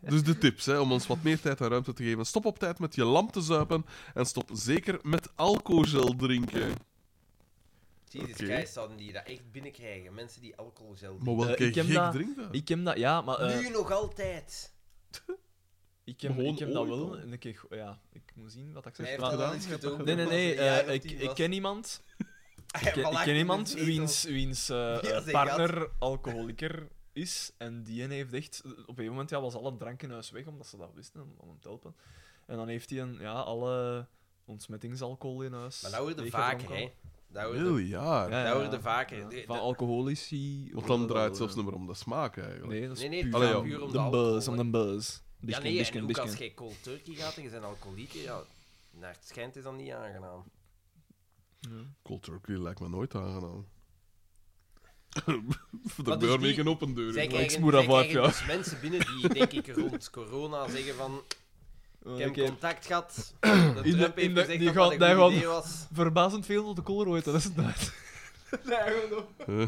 [SPEAKER 1] dus de tips, hè, om ons wat meer tijd en ruimte te geven. Stop op tijd met je lamp te zuipen. En stop zeker met alcoholgel drinken.
[SPEAKER 4] Jesus
[SPEAKER 1] Oké.
[SPEAKER 4] Christ, zouden die dat echt binnenkrijgen? Mensen die alcohol zelf
[SPEAKER 1] Maar welke
[SPEAKER 3] Eh, ik heb
[SPEAKER 1] gek
[SPEAKER 3] dat-
[SPEAKER 1] drinkt dat?
[SPEAKER 3] Ik heb dat, ja, maar eh,
[SPEAKER 4] Nu nog altijd.
[SPEAKER 3] ik heb,
[SPEAKER 1] Gewoon
[SPEAKER 3] ik heb dat
[SPEAKER 1] ooit
[SPEAKER 3] wel
[SPEAKER 1] al.
[SPEAKER 3] een keer. ge- Ja, ik moet zien wat ik zeg.
[SPEAKER 4] Hij heeft
[SPEAKER 3] Maar-
[SPEAKER 4] dat
[SPEAKER 1] gedaan?
[SPEAKER 4] al eens gedaan.
[SPEAKER 3] Nee, nee, nee.
[SPEAKER 4] Als hij een jaar
[SPEAKER 3] eh,
[SPEAKER 4] of
[SPEAKER 3] ik,
[SPEAKER 4] tien
[SPEAKER 3] ik
[SPEAKER 4] was.
[SPEAKER 3] ken iemand,
[SPEAKER 4] Hij
[SPEAKER 3] ik, ken-
[SPEAKER 4] heeft
[SPEAKER 3] ik
[SPEAKER 4] al
[SPEAKER 3] ken
[SPEAKER 4] achter
[SPEAKER 3] iemand
[SPEAKER 4] de zetel.
[SPEAKER 3] wiens, wiens eh,
[SPEAKER 4] Ja, zeg,
[SPEAKER 3] partner alcoholieker is. En die ene heeft echt... Op een gegeven moment ja, was al een drank in huis weg, omdat ze dat wisten, om, om hem te helpen. En dan heeft hij een, ja, alle ontsmettingsalcohol in huis.
[SPEAKER 4] Maar dat hoorde
[SPEAKER 3] leeggedronken
[SPEAKER 4] vaker, hè? Dat
[SPEAKER 1] Heel
[SPEAKER 4] hoorde,
[SPEAKER 1] jaar.
[SPEAKER 3] Ja,
[SPEAKER 4] dat
[SPEAKER 3] ja,
[SPEAKER 4] hoorde vaker.
[SPEAKER 3] ja.
[SPEAKER 4] De-
[SPEAKER 3] Van
[SPEAKER 4] de-
[SPEAKER 3] alcoholici...
[SPEAKER 1] Want dan
[SPEAKER 3] hoorde
[SPEAKER 1] draait
[SPEAKER 3] dat
[SPEAKER 1] het zelfs
[SPEAKER 3] wel,
[SPEAKER 1] niet meer om de smaak,
[SPEAKER 3] ja.
[SPEAKER 1] eigenlijk.
[SPEAKER 3] Nee, dat is
[SPEAKER 4] Nee, nee,
[SPEAKER 3] puur
[SPEAKER 1] het gaat
[SPEAKER 3] aan-
[SPEAKER 4] puur om de
[SPEAKER 3] de
[SPEAKER 4] alcohol,
[SPEAKER 3] buzz, om de buzz.
[SPEAKER 4] Ja,
[SPEAKER 3] Biscuit,
[SPEAKER 4] nee, en
[SPEAKER 3] biscuit,
[SPEAKER 4] ook
[SPEAKER 3] biscuit.
[SPEAKER 4] als jij cold turkey gaat en je bent alcoholieker, ja, naar het schijnt is dat niet aangenaam.
[SPEAKER 1] Cold turkey lijkt me nooit aangenaam.
[SPEAKER 4] dus
[SPEAKER 1] Daar ben je mee
[SPEAKER 4] die-
[SPEAKER 1] geen open deur.
[SPEAKER 4] Zij
[SPEAKER 1] in.
[SPEAKER 4] krijgen,
[SPEAKER 3] smoer
[SPEAKER 4] zij
[SPEAKER 3] dat vaak,
[SPEAKER 4] krijgen
[SPEAKER 3] ja.
[SPEAKER 4] dus mensen binnen die, denk ik, rond corona zeggen van...
[SPEAKER 3] Oh,
[SPEAKER 4] Ik
[SPEAKER 3] ik
[SPEAKER 4] heb
[SPEAKER 3] heb
[SPEAKER 4] contact gehad. De
[SPEAKER 3] In de-
[SPEAKER 4] Trump
[SPEAKER 3] in
[SPEAKER 4] heeft
[SPEAKER 3] de-
[SPEAKER 4] gezegd
[SPEAKER 3] die
[SPEAKER 4] dat dat
[SPEAKER 3] gaat-
[SPEAKER 4] een
[SPEAKER 3] daar
[SPEAKER 4] goed
[SPEAKER 3] gaat-
[SPEAKER 4] idee was.
[SPEAKER 3] Verbazend veel tot de Colruyt, dat is het uit.
[SPEAKER 1] Eh.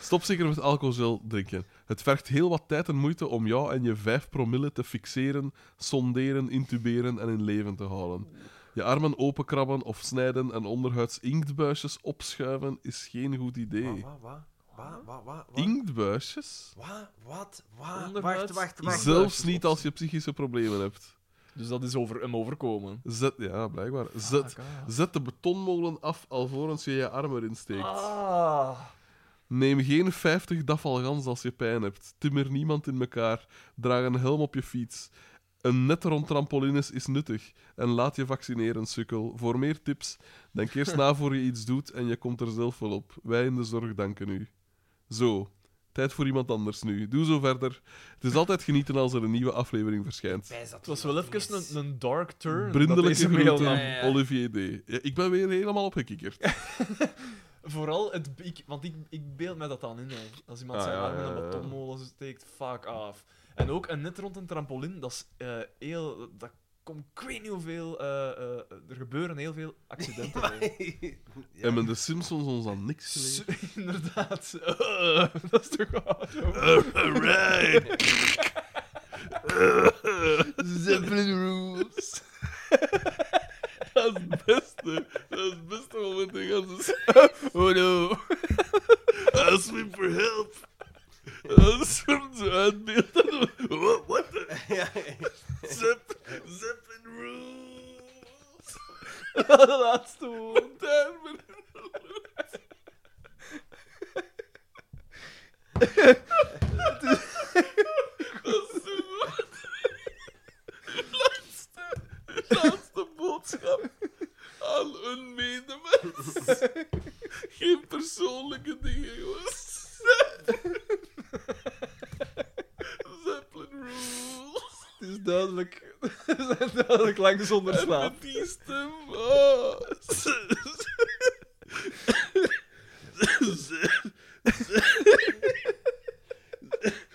[SPEAKER 1] Stop zeker met alcoholgel drinken. Het vergt heel wat tijd en moeite om jou en je 5 promille te fixeren, sonderen, intuberen en in leven te houden. Je armen openkrabben of snijden en onderhuids inktbuisjes opschuiven is geen goed
[SPEAKER 4] Wa-
[SPEAKER 1] idee.
[SPEAKER 4] wa- wa- wa- wa- wa- wa-
[SPEAKER 1] Inktbuisjes?
[SPEAKER 4] wa- Wat? Wa- Wacht,
[SPEAKER 3] Onderhuids
[SPEAKER 4] wacht,
[SPEAKER 3] is
[SPEAKER 4] wacht.
[SPEAKER 3] zo-
[SPEAKER 1] Zelfs niet als je psychische problemen hebt.
[SPEAKER 3] Dus dat is over, hem overkomen.
[SPEAKER 1] Zet, ja, blijkbaar. Zet, zet de betonmolen af alvorens je je arm erin steekt.
[SPEAKER 3] Ah.
[SPEAKER 1] Neem geen 50 dafalgans als je pijn hebt. Timmer niemand in elkaar. Draag een helm op je fiets. Een net rond trampolines is nuttig. En laat je vaccineren, sukkel. Voor meer tips, denk eerst na voor je iets doet en je komt er zelf wel op. Wij in de zorg danken u. Zo, tijd voor iemand anders nu. Doe zo verder. Het is altijd genieten als er een nieuwe aflevering verschijnt.
[SPEAKER 3] Het was wel even een, een dark turn. dat
[SPEAKER 1] Brindelijke
[SPEAKER 3] deze mail
[SPEAKER 1] groeten,
[SPEAKER 3] nam.
[SPEAKER 4] ja, ja.
[SPEAKER 1] Olivier D. Ja, ik ben weer helemaal opgekikkerd.
[SPEAKER 3] Vooral het... Ik, want ik, ik beeld mij dat dan in. hè. Als iemand
[SPEAKER 1] Ah,
[SPEAKER 3] zijn
[SPEAKER 1] ja,
[SPEAKER 3] arm in
[SPEAKER 1] ja,
[SPEAKER 3] een
[SPEAKER 1] ja.
[SPEAKER 3] betonmolen steekt, fuck af. En ook een net rond een trampoline, dat is eh, heel... Dat komt ik weet niet hoeveel... eh, eh, er gebeuren heel veel accidenten. mee.
[SPEAKER 1] En met de Simpsons ons aan niks geleerd.
[SPEAKER 3] Su- Inderdaad. Eh, dat is toch oud,
[SPEAKER 1] Alright.
[SPEAKER 3] Zeppelin rules.
[SPEAKER 1] Dat is het beste. Dat is het beste moment in ganse serie.
[SPEAKER 3] Oh no.
[SPEAKER 1] I swim for help. I swim to uitbeelden. What, what the? Zep, zep and rules.
[SPEAKER 3] De laatste woord.
[SPEAKER 1] Laatste boodschap aan een medemens. Geen persoonlijke dingen, jongens. Zeppelin rules.
[SPEAKER 3] Het is duidelijk. We zijn duidelijk lang zonder slaap.
[SPEAKER 1] Met die stem. Oh.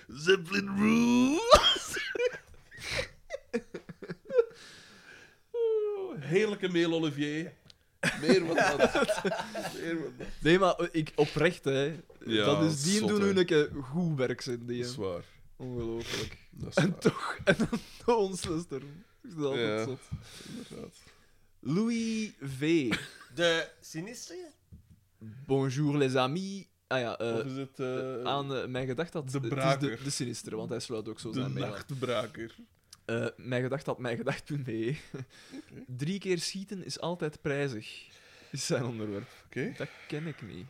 [SPEAKER 1] Zeppelin rules. Oeh, Heerlijke mail, Olivier. Meer wat dat. Meer wat dat.
[SPEAKER 3] Nee, maar eh, ik oprecht, hè.
[SPEAKER 1] Ja,
[SPEAKER 3] dat is die
[SPEAKER 1] zot,
[SPEAKER 3] doen
[SPEAKER 1] hè.
[SPEAKER 3] hun een keer goed werk zijn, die.
[SPEAKER 1] Dat is waar.
[SPEAKER 2] Ongelooflijk.
[SPEAKER 1] Dat is
[SPEAKER 2] En
[SPEAKER 1] waar,
[SPEAKER 2] toch, en dan de ons erom. Ik vind dat altijd
[SPEAKER 1] Ja.
[SPEAKER 2] zot.
[SPEAKER 1] inderdaad.
[SPEAKER 2] Louis V.
[SPEAKER 4] De sinistre?
[SPEAKER 2] Bonjour les amis. Ah ja, eh,
[SPEAKER 1] Of is het eh,
[SPEAKER 2] aan eh, mijn gedacht dat...
[SPEAKER 1] de
[SPEAKER 2] het is
[SPEAKER 1] braker.
[SPEAKER 2] de, de sinistere, want hij sluit ook zo
[SPEAKER 1] de
[SPEAKER 2] zijn mail aan.
[SPEAKER 1] nachtbraker?
[SPEAKER 2] Eh, mijn gedacht had mijn gedacht.be. Drie keer schieten is altijd prijzig, is zijn onderwerp.
[SPEAKER 1] Oké.
[SPEAKER 2] Dat ken ik niet.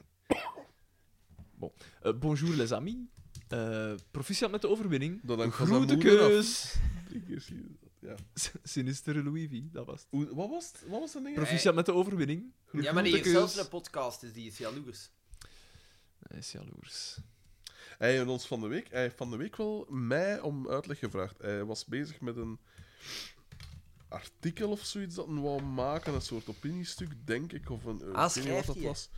[SPEAKER 2] Bon. Eh, bonjour les amis. Eh, proficiat met de overwinning.
[SPEAKER 1] Dat hangt van zijn
[SPEAKER 2] Grote
[SPEAKER 1] moeder af.
[SPEAKER 2] keus.
[SPEAKER 1] Drie keer zien. Ja.
[SPEAKER 2] Sinistere Louis V, dat was het.
[SPEAKER 1] Hoe- Wat was het? Wat was dat ding?
[SPEAKER 4] Profi-
[SPEAKER 2] Proficiat met de overwinning.
[SPEAKER 4] Ja, maar die heeft
[SPEAKER 2] Grote keus.
[SPEAKER 4] zelfs een podcast, dus die is jaloers.
[SPEAKER 2] Hij is jaloers.
[SPEAKER 1] Hij heeft ons van de week, hij heeft van de week wel mij om uitleg gevraagd. Hij was bezig met een artikel of zoiets dat hij wou maken, een soort opiniestuk, denk ik, of een. eh,
[SPEAKER 4] Ah,
[SPEAKER 1] ik weet niet wat
[SPEAKER 4] schrijft
[SPEAKER 1] dat
[SPEAKER 4] hij?
[SPEAKER 1] was.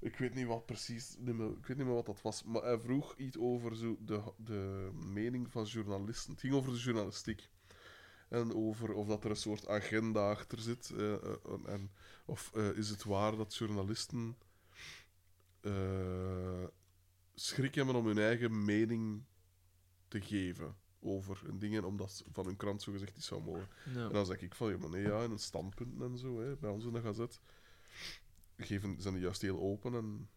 [SPEAKER 1] Ik weet niet wat precies, niet meer- ik weet niet meer wat dat was, maar hij vroeg iets over zo de, de mening van journalisten. Het ging over de journalistiek. En over of dat er een soort agenda achter zit. eh, eh, en- en, of eh, is het waar dat journalisten eh, schrik hebben om hun eigen mening te geven over hun dingen, omdat ze van hun krant zogezegd niet zou mogen. En dan zeg ik van, ja, maar nee, ja, in een standpunt en zo, hè, bij ons in de gazet, geven, zijn die juist heel open en,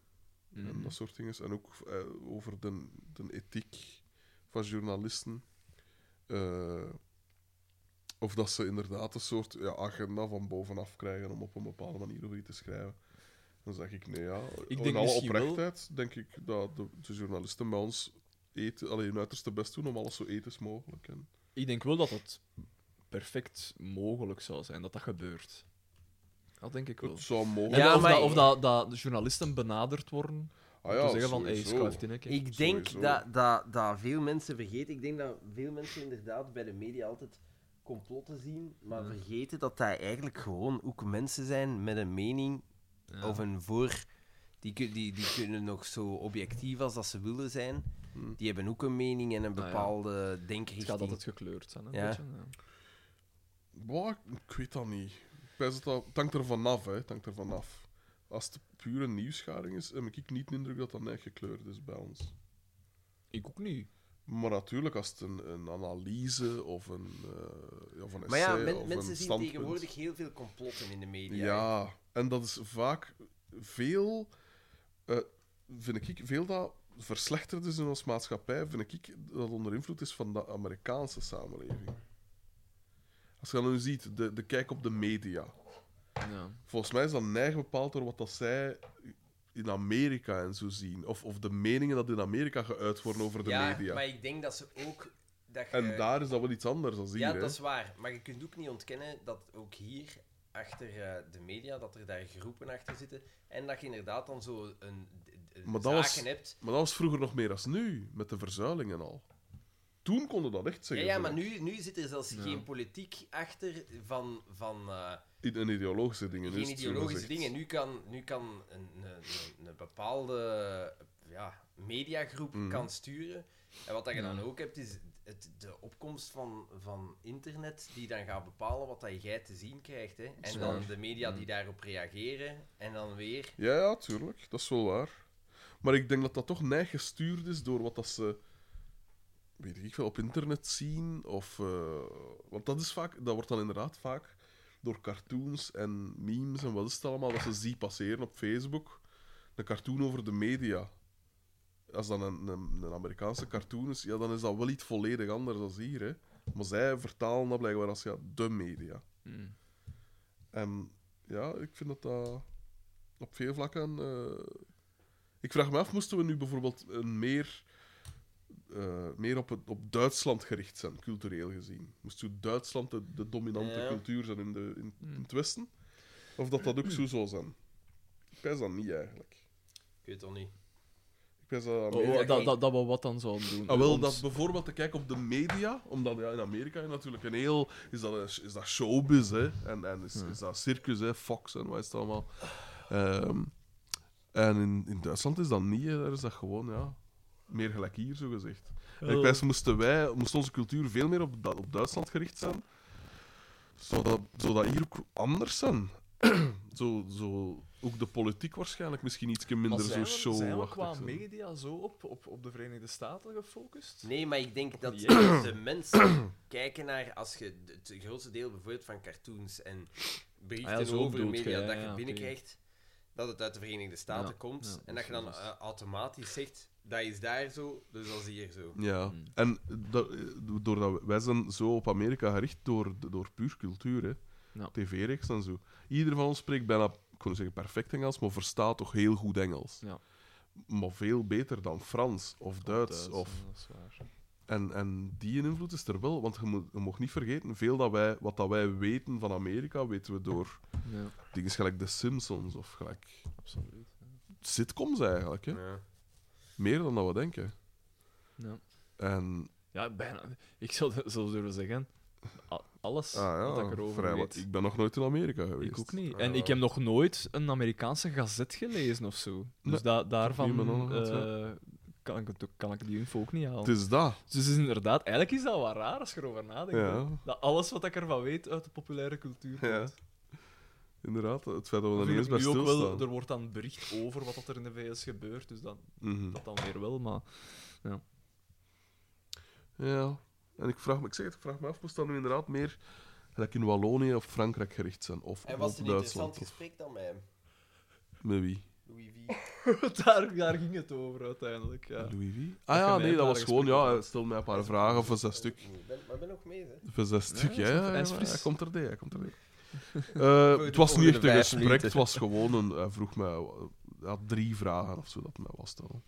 [SPEAKER 2] Mhm.
[SPEAKER 1] en dat soort dingen. En ook eh, over de, de ethiek van journalisten. Eh, of dat ze inderdaad een soort ja, agenda van bovenaf krijgen om op een bepaalde manier over iets te schrijven. Dan zeg ik, nee, ja.
[SPEAKER 2] Ik
[SPEAKER 1] in
[SPEAKER 2] denk
[SPEAKER 1] alle
[SPEAKER 2] misschien wel-
[SPEAKER 1] oprechtheid denk ik dat de, de journalisten bij ons eten, alleen hun uiterste best doen om alles zo ethisch mogelijk. En,
[SPEAKER 2] Ik denk wel dat het perfect mogelijk zou zijn dat dat gebeurt. Dat denk ik wel.
[SPEAKER 1] het zou mogelijk
[SPEAKER 2] En
[SPEAKER 4] Ja,
[SPEAKER 2] of
[SPEAKER 4] maar-
[SPEAKER 2] dat, of dat, dat de journalisten benaderd worden.
[SPEAKER 1] Ah
[SPEAKER 2] om te zeggen van, hey,
[SPEAKER 1] sowieso.
[SPEAKER 2] schuift in, hè, kijk.
[SPEAKER 4] Ik denk
[SPEAKER 1] Sowieso.
[SPEAKER 4] dat, dat, dat veel mensen vergeten. Ik denk dat veel mensen inderdaad bij de media altijd complotten zien, maar vergeten dat dat eigenlijk gewoon ook mensen zijn met een mening
[SPEAKER 2] Ja.
[SPEAKER 4] of een voor. Die, kun- die, die kunnen nog zo objectief als dat ze willen zijn.
[SPEAKER 1] Hm. Ah,
[SPEAKER 4] Die hebben ook een mening en een
[SPEAKER 2] ja.
[SPEAKER 4] bepaalde
[SPEAKER 2] Het
[SPEAKER 4] denkrichting.
[SPEAKER 2] gaat altijd gekleurd zijn. Hè,
[SPEAKER 4] Ja.
[SPEAKER 2] een beetje, ja.
[SPEAKER 1] Boah, ik weet dat niet. Ik wijs het al- Het hangt er vanaf, hè. Het hangt er vanaf. Als het pure nieuwsgaring is, heb ik niet de indruk dat dat net gekleurd is bij ons.
[SPEAKER 2] Ik ook niet.
[SPEAKER 1] Maar natuurlijk, als het een, een analyse of een, eh ja, of een
[SPEAKER 4] Maar
[SPEAKER 1] essay
[SPEAKER 4] ja, men-
[SPEAKER 1] of
[SPEAKER 4] mensen
[SPEAKER 1] een
[SPEAKER 4] zien
[SPEAKER 1] standpunt-
[SPEAKER 4] tegenwoordig heel veel complotten in de media.
[SPEAKER 1] Ja, en dat is vaak veel, eh, vind ik, veel dat verslechterd is in onze maatschappij, vind ik, dat onder invloed is van de Amerikaanse samenleving. Als je dan nu ziet, de, de kijk op de media.
[SPEAKER 2] Ja.
[SPEAKER 1] Volgens mij is dat neig bepaald door wat dat zij in Amerika en zo zien. Of, of de meningen dat in Amerika geuit worden over de
[SPEAKER 4] Ja,
[SPEAKER 1] media.
[SPEAKER 4] maar ik denk dat ze ook... Dat je-
[SPEAKER 1] En daar is dat wel iets anders dan hier.
[SPEAKER 4] Ja,
[SPEAKER 1] hè.
[SPEAKER 4] dat is waar. Maar je kunt ook niet ontkennen dat ook hier achter eh, de media, dat er daar groepen achter zitten. En dat je inderdaad dan zo een, een
[SPEAKER 1] Maar dat
[SPEAKER 4] zaken
[SPEAKER 1] was-
[SPEAKER 4] hebt.
[SPEAKER 1] Maar dat was vroeger nog meer dan nu, met de verzuilingen al. Toen konden dat echt
[SPEAKER 4] Ja,
[SPEAKER 1] zeggen.
[SPEAKER 4] ja, maar
[SPEAKER 1] vind ik.
[SPEAKER 4] nu, nu zit er zelfs geen politiek achter van, van eh,
[SPEAKER 1] In, in ideologische dingen. is
[SPEAKER 4] geen
[SPEAKER 1] het zo
[SPEAKER 4] ideologische
[SPEAKER 1] gezegd.
[SPEAKER 4] dingen. Nu kan, nu kan een, een, een- een bepaalde ja, mediagroep
[SPEAKER 1] Mhm.
[SPEAKER 4] kan sturen. En wat dat je dan
[SPEAKER 2] Ja.
[SPEAKER 4] ook hebt, is het, de opkomst van, van internet, die dan gaat bepalen wat dat jij te zien krijgt. Hè? En
[SPEAKER 2] is
[SPEAKER 4] dan
[SPEAKER 2] waar.
[SPEAKER 4] de media die daarop reageren. En dan weer...
[SPEAKER 1] Ja, ja, tuurlijk. Dat is wel waar. Maar ik denk dat dat toch neig gestuurd is door wat dat ze... Weet ik veel, op internet zien. Of, eh, want dat, is vaak, dat wordt dan inderdaad vaak door cartoons en memes en wat is het allemaal, dat ze zien passeren op Facebook. Een cartoon over de media. Als dan een, een, een Amerikaanse cartoon is, ja, dan is dat wel iets volledig anders dan hier. Hè. Maar zij vertalen dat blijkbaar als ja, de media.
[SPEAKER 2] Mm.
[SPEAKER 1] En ja, ik vind dat dat op veel vlakken. eh, Ik vraag me af, moesten we nu bijvoorbeeld een meer, eh, meer op, het, op Duitsland gericht zijn, cultureel gezien? Moest u Duitsland de, de dominante
[SPEAKER 4] Ja.
[SPEAKER 1] cultuur zijn in, de, in, in het Westen? Of dat dat ook zo zou zijn? Ik wijs dat niet eigenlijk.
[SPEAKER 4] Ik weet het al niet.
[SPEAKER 1] Ik wijs dat.
[SPEAKER 2] Oh,
[SPEAKER 1] Amerika-
[SPEAKER 2] oh, dat, dat, dat we wat dan zouden doen.
[SPEAKER 1] Ah, wel,
[SPEAKER 2] Ons-
[SPEAKER 1] dat bijvoorbeeld te kijken op de media, omdat ja, in Amerika natuurlijk een heel... Is dat, een- is dat showbiz, hè? En, en is, is dat circus, hè? Fox en wat is het allemaal. Ehm, en in, in Duitsland is dat niet, hè. Daar is dat gewoon, ja... Meer gelijk hier, zo gezegd. En
[SPEAKER 3] Oh.
[SPEAKER 1] ik wijs, moesten wij, moest onze cultuur veel meer op, Du- op Duitsland gericht zijn, zodat, zodat hier ook anders zijn. zo, zo Ook de politiek waarschijnlijk misschien iets minder
[SPEAKER 3] zijn
[SPEAKER 1] zo
[SPEAKER 3] we, zijn we qua
[SPEAKER 1] show-achtig. zijn.
[SPEAKER 3] media zo op, op, op de Verenigde Staten gefocust?
[SPEAKER 4] Nee, maar ik denk dat
[SPEAKER 3] niet,
[SPEAKER 4] de mensen kijken naar, als je het grootste deel bijvoorbeeld van cartoons en berichten
[SPEAKER 3] Ah ja, zo
[SPEAKER 4] over
[SPEAKER 3] bedoelt
[SPEAKER 4] media
[SPEAKER 3] jij,
[SPEAKER 4] dat
[SPEAKER 3] ja,
[SPEAKER 4] je
[SPEAKER 3] oké.
[SPEAKER 4] binnenkrijgt, dat het uit de Verenigde Staten
[SPEAKER 3] Ja,
[SPEAKER 4] komt.
[SPEAKER 3] ja, dat
[SPEAKER 4] en dat
[SPEAKER 3] is
[SPEAKER 4] je dan
[SPEAKER 3] wel zo.
[SPEAKER 4] eh, automatisch zegt, dat is daar zo, dus dat is hier zo.
[SPEAKER 1] Ja,
[SPEAKER 3] Hmm.
[SPEAKER 1] en dat, eh, doordat wij- wij zijn zo op Amerika gericht door, door puur cultuur, hè.
[SPEAKER 3] Ja.
[SPEAKER 1] TV-reeks en zo. Ieder van ons spreekt bijna, ik kon niet zeggen perfect Engels, maar verstaat toch heel goed Engels.
[SPEAKER 3] Ja.
[SPEAKER 1] Maar veel beter dan Frans of Duits.
[SPEAKER 3] Thuis,
[SPEAKER 1] Of...
[SPEAKER 3] ja, dat is waar.
[SPEAKER 1] En, en die invloed is er wel, want je, moet, je mag niet vergeten, veel dat wij, wat dat wij weten van Amerika, weten we door
[SPEAKER 3] Ja,
[SPEAKER 1] dingen gelijk The Simpsons of gelijk
[SPEAKER 3] absoluut.
[SPEAKER 1] sitcoms eigenlijk. Hè.
[SPEAKER 4] Ja.
[SPEAKER 1] Meer dan dat we denken.
[SPEAKER 3] Ja.
[SPEAKER 1] En
[SPEAKER 3] Ja, bijna. Ik zou dat- zou durven zeggen, a- alles
[SPEAKER 1] ah, ja,
[SPEAKER 3] wat ik erover
[SPEAKER 1] vrij wat-
[SPEAKER 3] weet.
[SPEAKER 1] ik ben nog nooit in Amerika geweest.
[SPEAKER 3] Ik ook niet.
[SPEAKER 4] Ah,
[SPEAKER 3] En
[SPEAKER 4] ja.
[SPEAKER 3] ik heb nog nooit een Amerikaanse gazet gelezen of zo. Dus
[SPEAKER 1] Nee,
[SPEAKER 3] da-
[SPEAKER 1] niet
[SPEAKER 3] daarvan
[SPEAKER 1] met andere gazet.
[SPEAKER 3] eh, kan, ik het ook- kan ik die info ook niet halen.
[SPEAKER 1] Het is dat.
[SPEAKER 3] Dus het is inderdaad, eigenlijk is dat wel raar als je erover nadenkt.
[SPEAKER 1] Ja.
[SPEAKER 3] hè. Dat alles wat ik ervan weet uit de populaire cultuur komt.
[SPEAKER 1] Ja. Inderdaad, het feit dat we
[SPEAKER 3] Vind
[SPEAKER 1] er
[SPEAKER 3] ik
[SPEAKER 1] niet eens bij
[SPEAKER 3] nu ook
[SPEAKER 1] stilstaan.
[SPEAKER 3] wel, er wordt dan bericht over wat dat er in de VS gebeurt, dus dan,
[SPEAKER 1] Mhm.
[SPEAKER 3] dat dan weer wel, maar...
[SPEAKER 1] Ja. En ik vraag me, ik zeg het, ik vraag me af, moest dat nu inderdaad meer gelijk in Wallonië of Frankrijk gericht zijn? Of
[SPEAKER 4] En
[SPEAKER 1] op
[SPEAKER 4] was het een interessant
[SPEAKER 1] Duitsland? Of
[SPEAKER 4] gesprek dan met hem,
[SPEAKER 1] met wie?
[SPEAKER 4] Louis V?
[SPEAKER 3] daar, daar ging het over uiteindelijk, ja.
[SPEAKER 1] Louis wie? Ah
[SPEAKER 3] je
[SPEAKER 1] ja,
[SPEAKER 3] mij
[SPEAKER 1] nee, dat
[SPEAKER 3] daar
[SPEAKER 1] was gewoon,
[SPEAKER 3] gesprek
[SPEAKER 1] ja, hij stelde mij een paar vragen voor zes stuk.
[SPEAKER 4] Ik ben, maar ik ben nog mee, hè.
[SPEAKER 1] Voor zes stuk, ja.
[SPEAKER 3] is
[SPEAKER 1] ja,
[SPEAKER 3] goed. Hij is
[SPEAKER 1] ja,
[SPEAKER 3] fris.
[SPEAKER 1] hij komt er, nee, hij komt er. nee. Eh, het was niet
[SPEAKER 4] volgende
[SPEAKER 1] echt een
[SPEAKER 4] vijf
[SPEAKER 1] gesprek,
[SPEAKER 4] minuten.
[SPEAKER 1] het was gewoon een... Hij vroeg mij eh, ja, drie vragen of zo dat hij mij was stellen.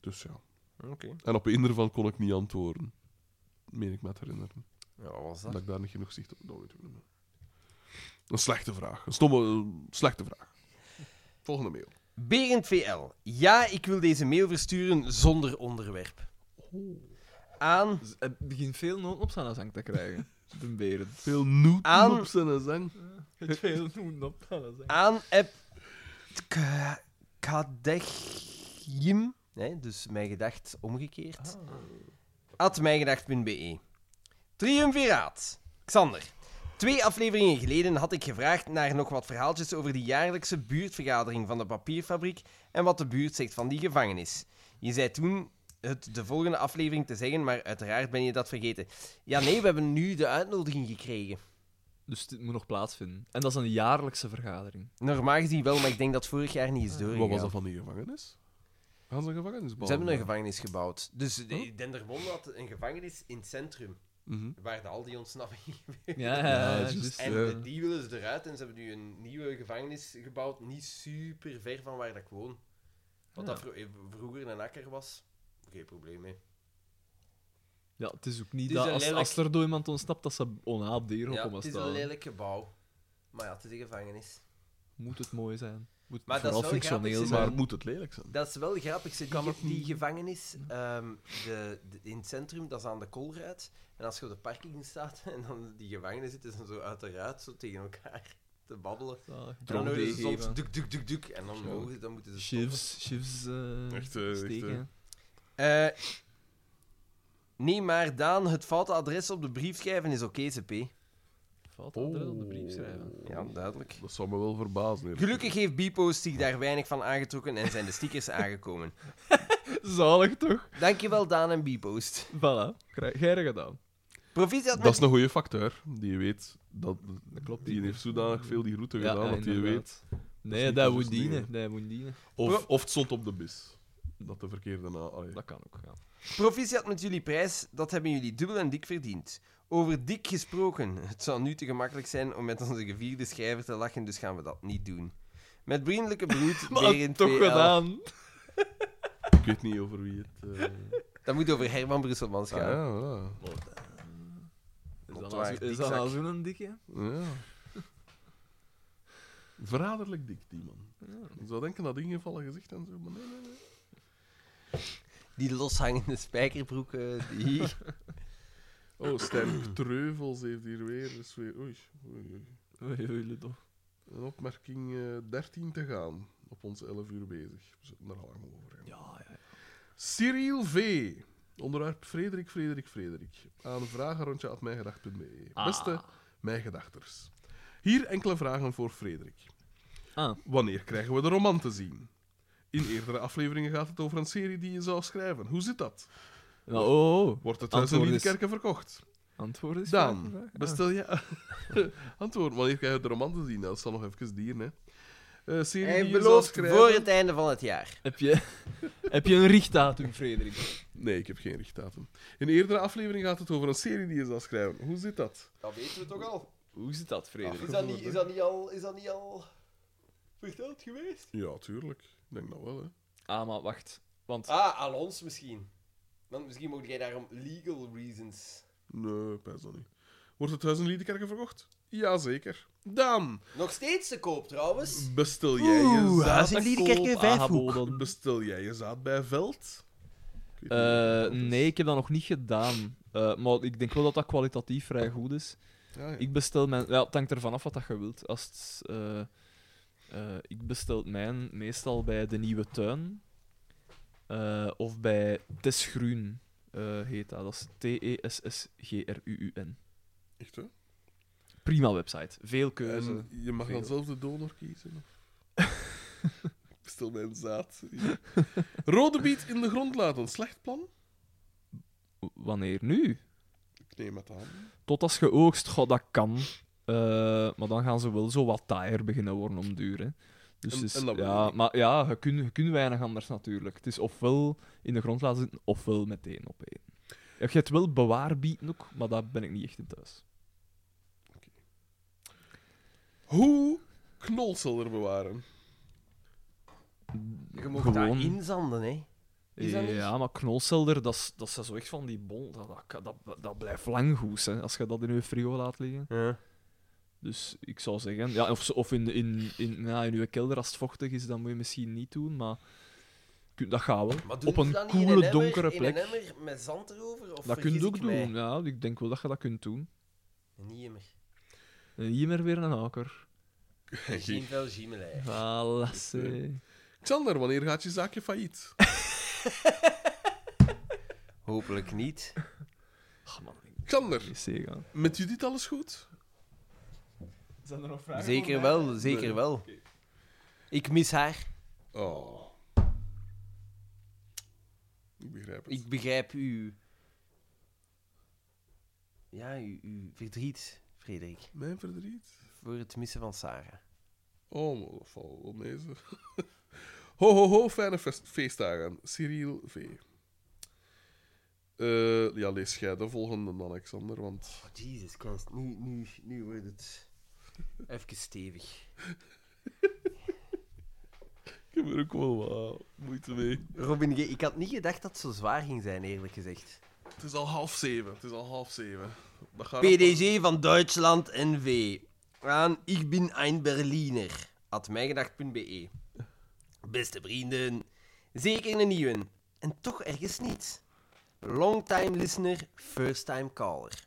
[SPEAKER 1] Dus ja.
[SPEAKER 4] Oké.
[SPEAKER 1] En op een ervan kon ik niet antwoorden. Meen ik me te herinneren.
[SPEAKER 4] Ja, wat was
[SPEAKER 1] Dat ik daar niet genoeg zicht op. Dat weet ik niet meer. Een slechte vraag. Een stomme, eh, slechte vraag. Volgende mail.
[SPEAKER 4] Berend VL. Ja, ik wil deze mail versturen zonder onderwerp.
[SPEAKER 3] Oh.
[SPEAKER 4] Aan...
[SPEAKER 3] Dus het begint veel nood op zijn zang te krijgen, de beren.
[SPEAKER 1] Veel newton
[SPEAKER 4] Aan-
[SPEAKER 1] op zijn zang.
[SPEAKER 3] Het veel nood op zijn zang.
[SPEAKER 4] aan eh, app K- kadechim, hè, dus mijn gedacht omgekeerd,
[SPEAKER 1] Ah.
[SPEAKER 4] at mijngedacht.be. E. Triumviraat. Xander. Twee afleveringen geleden had ik gevraagd naar nog wat verhaaltjes over de jaarlijkse buurtvergadering van de papierfabriek en wat de buurt zegt van die gevangenis. Je zei toen het de volgende aflevering te zeggen, maar uiteraard ben je dat vergeten. Ja, nee, we hebben nu de uitnodiging gekregen.
[SPEAKER 3] Dus dit moet nog plaatsvinden. En dat is een jaarlijkse vergadering.
[SPEAKER 4] Normaal gezien wel, maar ik denk dat vorig jaar niet is doorgegaan.
[SPEAKER 1] Wat was dat van die gevangenis? Gaan ze een gevangenis
[SPEAKER 4] Ze
[SPEAKER 1] bouwen?
[SPEAKER 4] hebben een gevangenis gebouwd. Dus de-
[SPEAKER 1] Huh?
[SPEAKER 4] Dendermonde had een gevangenis in het centrum,
[SPEAKER 1] Mhm.
[SPEAKER 4] waar de al die ontsnappingen
[SPEAKER 3] Ja,
[SPEAKER 4] gebeuren.
[SPEAKER 3] ja,
[SPEAKER 1] Ja,
[SPEAKER 3] ja,
[SPEAKER 1] juist.
[SPEAKER 3] juist.
[SPEAKER 4] En
[SPEAKER 1] Ja.
[SPEAKER 4] die willen ze eruit en ze hebben nu een nieuwe gevangenis gebouwd, niet super ver van waar dat ik woon. Wat
[SPEAKER 3] Ja.
[SPEAKER 4] dat vro- eh, vroeger een akker was, geen probleem mee.
[SPEAKER 3] Ja, het is ook niet
[SPEAKER 4] Het is
[SPEAKER 3] dat
[SPEAKER 4] een
[SPEAKER 3] als,
[SPEAKER 4] lelijk-
[SPEAKER 3] als er door iemand ontsnapt, dat ze onaap dier op
[SPEAKER 4] Ja,
[SPEAKER 3] hem
[SPEAKER 4] het is
[SPEAKER 3] staan.
[SPEAKER 4] een lelijk gebouw. Maar ja, het is een gevangenis.
[SPEAKER 3] Moet het mooi zijn. Moet het
[SPEAKER 4] Maar dat is
[SPEAKER 3] vooral
[SPEAKER 4] wel
[SPEAKER 3] functioneel
[SPEAKER 4] grappig,
[SPEAKER 3] zijn.
[SPEAKER 1] Maar moet het lelijk zijn?
[SPEAKER 4] Dat is wel grappig. Ze
[SPEAKER 3] Kan
[SPEAKER 4] die,
[SPEAKER 3] ook
[SPEAKER 4] die
[SPEAKER 3] niet.
[SPEAKER 4] gevangenis ehm, de, de- in het centrum, dat is aan de Kolruit. En als je op de parking staat en dan die gevangenis zitten ze zo uiteraard zo tegen elkaar te babbelen.
[SPEAKER 3] Ja,
[SPEAKER 4] En dan
[SPEAKER 3] droog
[SPEAKER 4] horen ze
[SPEAKER 3] geven.
[SPEAKER 4] soms duk, duk, duk, duk. En dan,
[SPEAKER 1] Ja.
[SPEAKER 4] mogen ze- dan moeten ze stoppen.
[SPEAKER 3] Shivs, shivs eh,
[SPEAKER 1] Echt, eh, echt,
[SPEAKER 3] steken.
[SPEAKER 1] eh.
[SPEAKER 4] Eh, nee, maar Daan, het foute adres op de brief schrijven is oké, CP.
[SPEAKER 3] Valt dat erin op de
[SPEAKER 4] Oh.
[SPEAKER 3] brief schrijven?
[SPEAKER 4] Ja, duidelijk.
[SPEAKER 1] Dat zou me wel verbazen. eerlijk
[SPEAKER 4] Gelukkig heeft Bipost zich daar weinig van aangetrokken en zijn de stickers aangekomen.
[SPEAKER 3] Zalig toch?
[SPEAKER 4] Dankjewel, Daan en Bipost.
[SPEAKER 3] Voilà, geire gedaan.
[SPEAKER 4] Proficiat
[SPEAKER 1] gezegd.
[SPEAKER 4] met
[SPEAKER 1] Dat is een goede facteur. Die weet dat. Dat
[SPEAKER 3] klopt,
[SPEAKER 1] Die
[SPEAKER 3] die-
[SPEAKER 1] heeft zodanig veel die route gedaan dat die
[SPEAKER 3] inderdaad.
[SPEAKER 1] weet.
[SPEAKER 3] Nee,
[SPEAKER 1] niet
[SPEAKER 3] dat
[SPEAKER 1] te
[SPEAKER 3] moet
[SPEAKER 1] versnellen.
[SPEAKER 3] dienen. Dat moet dienen.
[SPEAKER 1] Of, of het stond op de bis. Dat de verkeerde na. allee.
[SPEAKER 3] Dat kan ook. Ja.
[SPEAKER 4] Proficiat met jullie prijs, dat hebben jullie dubbel en dik verdiend. Over dik gesproken, het zou nu te gemakkelijk zijn om met onze gevierde schrijver te lachen, dus gaan we dat niet doen. Met vriendelijke broed,
[SPEAKER 3] Maar
[SPEAKER 4] Berend
[SPEAKER 3] toch
[SPEAKER 4] VL.
[SPEAKER 3] gedaan.
[SPEAKER 1] Ik weet niet over wie het. eh,
[SPEAKER 4] Dat moet over Herman Brusselmans
[SPEAKER 1] ah,
[SPEAKER 4] gaan.
[SPEAKER 1] ja, voilà.
[SPEAKER 3] Is dat nou
[SPEAKER 4] waar,
[SPEAKER 3] zo- Is dat
[SPEAKER 4] dikzak.
[SPEAKER 3] nou zo'n dikke?
[SPEAKER 1] Ja. Verraderlijk dik, die man. Ik zou denken dat ingevallen gezicht en zo, maar nee, nee, nee.
[SPEAKER 4] Die loshangende spijkerbroek, eh, die...
[SPEAKER 1] Oh, Stijn Treuvels heeft hier weer, dus weer oei, oei, oei.
[SPEAKER 3] Oei, oei, Ludo.
[SPEAKER 1] een opmerking eh 13 te gaan. Op ons 11 uur bezig. We zitten er al lang over. hè.
[SPEAKER 3] Ja, ja.
[SPEAKER 1] Cyril V. Onderwerp Frederik, Frederik, Frederik. Aan E.
[SPEAKER 3] Ah.
[SPEAKER 1] vragenrondje.mijngedacht.be. Beste mijngedachters. Hier enkele vragen voor Frederik.
[SPEAKER 3] Ah.
[SPEAKER 1] Wanneer krijgen we de roman te zien? In eerdere afleveringen gaat het over een serie die je zou schrijven. Hoe zit dat?
[SPEAKER 3] Nou, oh, oh, oh.
[SPEAKER 1] Wordt het thuis in
[SPEAKER 3] Antwoord is-
[SPEAKER 1] Liedekerken verkocht?
[SPEAKER 3] Antwoord is... Ah.
[SPEAKER 1] Dan, bestel je... Antwoord, wanneer krijg je de roman te zien? Nou, Dat zal nog even dienen, hè. Eh, serie
[SPEAKER 4] Hij
[SPEAKER 1] die je zou
[SPEAKER 4] belooft
[SPEAKER 1] schrijven?
[SPEAKER 4] voor het einde van het jaar.
[SPEAKER 3] Heb je, heb je een richtdatum, Frederik?
[SPEAKER 1] Nee, ik heb geen richtdatum. In eerdere aflevering gaat het over een serie die je zou schrijven. Hoe zit dat?
[SPEAKER 4] Dat weten we toch al.
[SPEAKER 3] Hoe zit dat, Frederik?
[SPEAKER 1] dat niet- is
[SPEAKER 4] dat niet al, is dat niet al verteld geweest?
[SPEAKER 1] Ja, tuurlijk. Ik denk dat wel, hè.
[SPEAKER 3] Ah, maar wacht. Want...
[SPEAKER 4] Ah, aan ons misschien. Want misschien mocht jij daarom legal reasons.
[SPEAKER 1] Nee, pijs dat niet. Wordt het huis in Liedekerken verkocht? Jazeker. Dan
[SPEAKER 4] Nog steeds te koop trouwens.
[SPEAKER 1] bestel jij je zaad...
[SPEAKER 4] in Liedekerken een vijfhoek.
[SPEAKER 1] Bestel jij je zaad bij Veld? Ik weet niet
[SPEAKER 3] Eh,
[SPEAKER 1] wat dat is.
[SPEAKER 3] nee, ik heb dat nog niet gedaan. Eh, maar ik denk wel dat dat kwalitatief vrij goed is.
[SPEAKER 1] Ja, ja.
[SPEAKER 3] Ik bestel mijn... Ja, het hangt ervan af wat dat je wilt. Als het, eh, eh, ik bestel mijn meestal bij De Nieuwe Tuin. Eh, of bij Tess Groen eh, heet dat. Dat is E T-E-S-S-G-R-U-U-N.
[SPEAKER 1] Echt, hè?
[SPEAKER 3] Prima website. Veel keuze.
[SPEAKER 1] En je mag dan
[SPEAKER 3] veel.
[SPEAKER 1] zelf de donor kiezen. Of... ik bestel mijn zaad. Ja. Rode biet in de grond laten. Slecht plan?
[SPEAKER 3] W- Wanneer nu?
[SPEAKER 1] Ik neem het aan.
[SPEAKER 3] Tot als je oogst, goh, dat kan. Eh, maar dan gaan ze wel zo wat taaier beginnen worden om duur. Hè. Dus
[SPEAKER 1] En-
[SPEAKER 3] het is-
[SPEAKER 1] en dat wil
[SPEAKER 3] ja,
[SPEAKER 1] ik.
[SPEAKER 3] maar ja, je kunt je kunt weinig anders natuurlijk. Het is ofwel in de grond laten zitten, ofwel meteen op één. Je hebt wel bewaarbieten ook, maar daar ben ik niet echt in thuis.
[SPEAKER 1] Hoe knolselder bewaren?
[SPEAKER 4] Je mocht
[SPEAKER 3] Gewoon.
[SPEAKER 4] daar inzanden, hè. Is dat niet?
[SPEAKER 3] Ja, maar knolselder, dat is, dat is zo echt van die bol. Dat, dat, dat, dat blijft lang goed, hè, als je dat in je frigo laat liggen. Dus ik zou zeggen, ja, of, zo- of in, in, in, ja, in uw kelder als het vochtig is, dan moet je misschien niet doen, maar kun- dat gaat wel.
[SPEAKER 4] Maar doen
[SPEAKER 3] Op een
[SPEAKER 4] ze dat niet in
[SPEAKER 3] koele,
[SPEAKER 4] een emmer-
[SPEAKER 3] donkere
[SPEAKER 4] In een
[SPEAKER 3] plek.
[SPEAKER 4] emmer met zand erover? Of
[SPEAKER 3] Dat kun
[SPEAKER 4] vergis
[SPEAKER 3] je ook
[SPEAKER 4] ik
[SPEAKER 3] doen,
[SPEAKER 4] mij?
[SPEAKER 3] ja. Ik denk wel dat je dat kunt doen.
[SPEAKER 4] Niet immer.
[SPEAKER 3] En hier meer weer een haker.
[SPEAKER 4] Geen veel giemelij.
[SPEAKER 3] Voilà, sé.
[SPEAKER 1] Xander, wanneer gaat je zaakje failliet?
[SPEAKER 4] Hopelijk niet.
[SPEAKER 3] Ach, Ah, man, ik
[SPEAKER 1] Xander,
[SPEAKER 3] moet niet gaan.
[SPEAKER 1] met Judith alles goed?
[SPEAKER 7] Zijn er nog vragen?
[SPEAKER 4] Zeker wel, zeker
[SPEAKER 1] Nee.
[SPEAKER 4] wel. Ik mis haar.
[SPEAKER 1] Oh. Ik begrijp het.
[SPEAKER 4] Ik begrijp u. Ja, uw, uw verdriet, Frederik.
[SPEAKER 1] Mijn verdriet?
[SPEAKER 4] Voor het missen van Sarah.
[SPEAKER 1] Oh, maar dat valt wel mee, zeg. Ho, ho, ho, fijne fest- feestdagen. Cyril V. Eh, ja, lees jij de volgende dan, Alexander, want...
[SPEAKER 4] Oh, Jesus Christ. Nu, nu, nu wordt het... Even stevig.
[SPEAKER 1] Ik heb er ook wel wat moeite mee.
[SPEAKER 4] Robin, G, ik had niet gedacht dat het zo zwaar ging zijn, eerlijk gezegd.
[SPEAKER 1] Het is al half zeven. Het is al half zeven. Dat gaat
[SPEAKER 4] PDG van Duitsland NV. Aan ik bin ein Berliner. At mijgedacht.be. E. Beste vrienden, zeker een nieuwe. En toch ergens niet. Longtime listener, first time caller.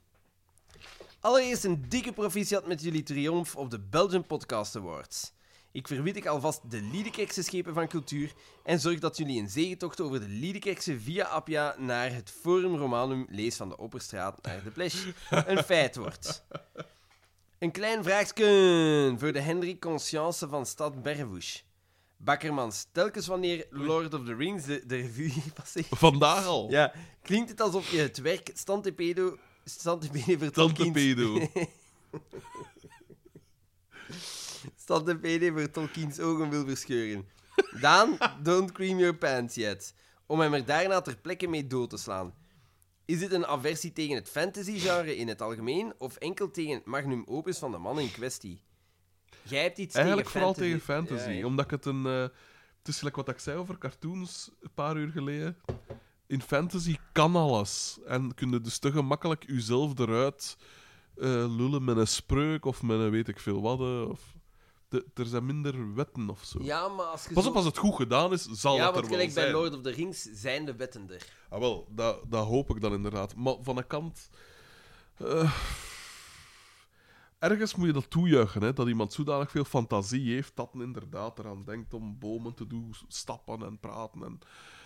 [SPEAKER 4] Allereerst een dikke proficiat met jullie triomf op de Belgian Podcast Awards. Ik verwit ik alvast de Liedekerkse schepen van cultuur en zorg dat jullie een zegentocht over de Liedekerkse via Appia naar het Forum Romanum, lees van de Opperstraat naar de Plesch, een feit wordt. Een klein vraagje voor de Henry Conscience van stad Berrevoes. Bakkermans, telkens wanneer Lord of the Rings de, de revue passeert,
[SPEAKER 1] Vandaag al.
[SPEAKER 4] ja, klinkt het alsof je het werk Stantepedo... Stantepede
[SPEAKER 1] Tante
[SPEAKER 4] vertolkend...
[SPEAKER 1] pedo.
[SPEAKER 4] Stantepede voor Tolkien's ogen wil verscheuren. Daan, don't cream your pants yet. Om hem er daarna ter plekke mee dood te slaan. Is dit een aversie tegen het fantasy-genre in het algemeen, of enkel tegen het magnum opus van de man in kwestie? Jij hebt iets
[SPEAKER 1] Eigenlijk
[SPEAKER 4] tegen
[SPEAKER 1] vooral
[SPEAKER 4] fantasy.
[SPEAKER 1] tegen fantasy.
[SPEAKER 4] Ja, ja.
[SPEAKER 1] Omdat ik het een. eh, het is gelijk wat ik zei over cartoons een paar uur geleden. In fantasy kan alles. En kun je dus te gemakkelijk uzelf eruit eh, lullen met een spreuk of met een weet ik veel wat. eh, Of... De- er zijn minder wetten of zo.
[SPEAKER 4] Ja, maar als je
[SPEAKER 1] Pas
[SPEAKER 4] zo-
[SPEAKER 1] op, als het goed gedaan is, zal
[SPEAKER 4] Ja,
[SPEAKER 1] het
[SPEAKER 4] want
[SPEAKER 1] er wel
[SPEAKER 4] gelijk bij
[SPEAKER 1] zijn.
[SPEAKER 4] Lord of the Rings zijn de wetten er.
[SPEAKER 1] Ah, wel, dat, dat hoop ik dan inderdaad. Maar van een kant. eh, ergens moet je dat toejuichen, hè, dat iemand zodanig veel fantasie heeft dat men inderdaad eraan denkt om bomen te doen, stappen en praten. En,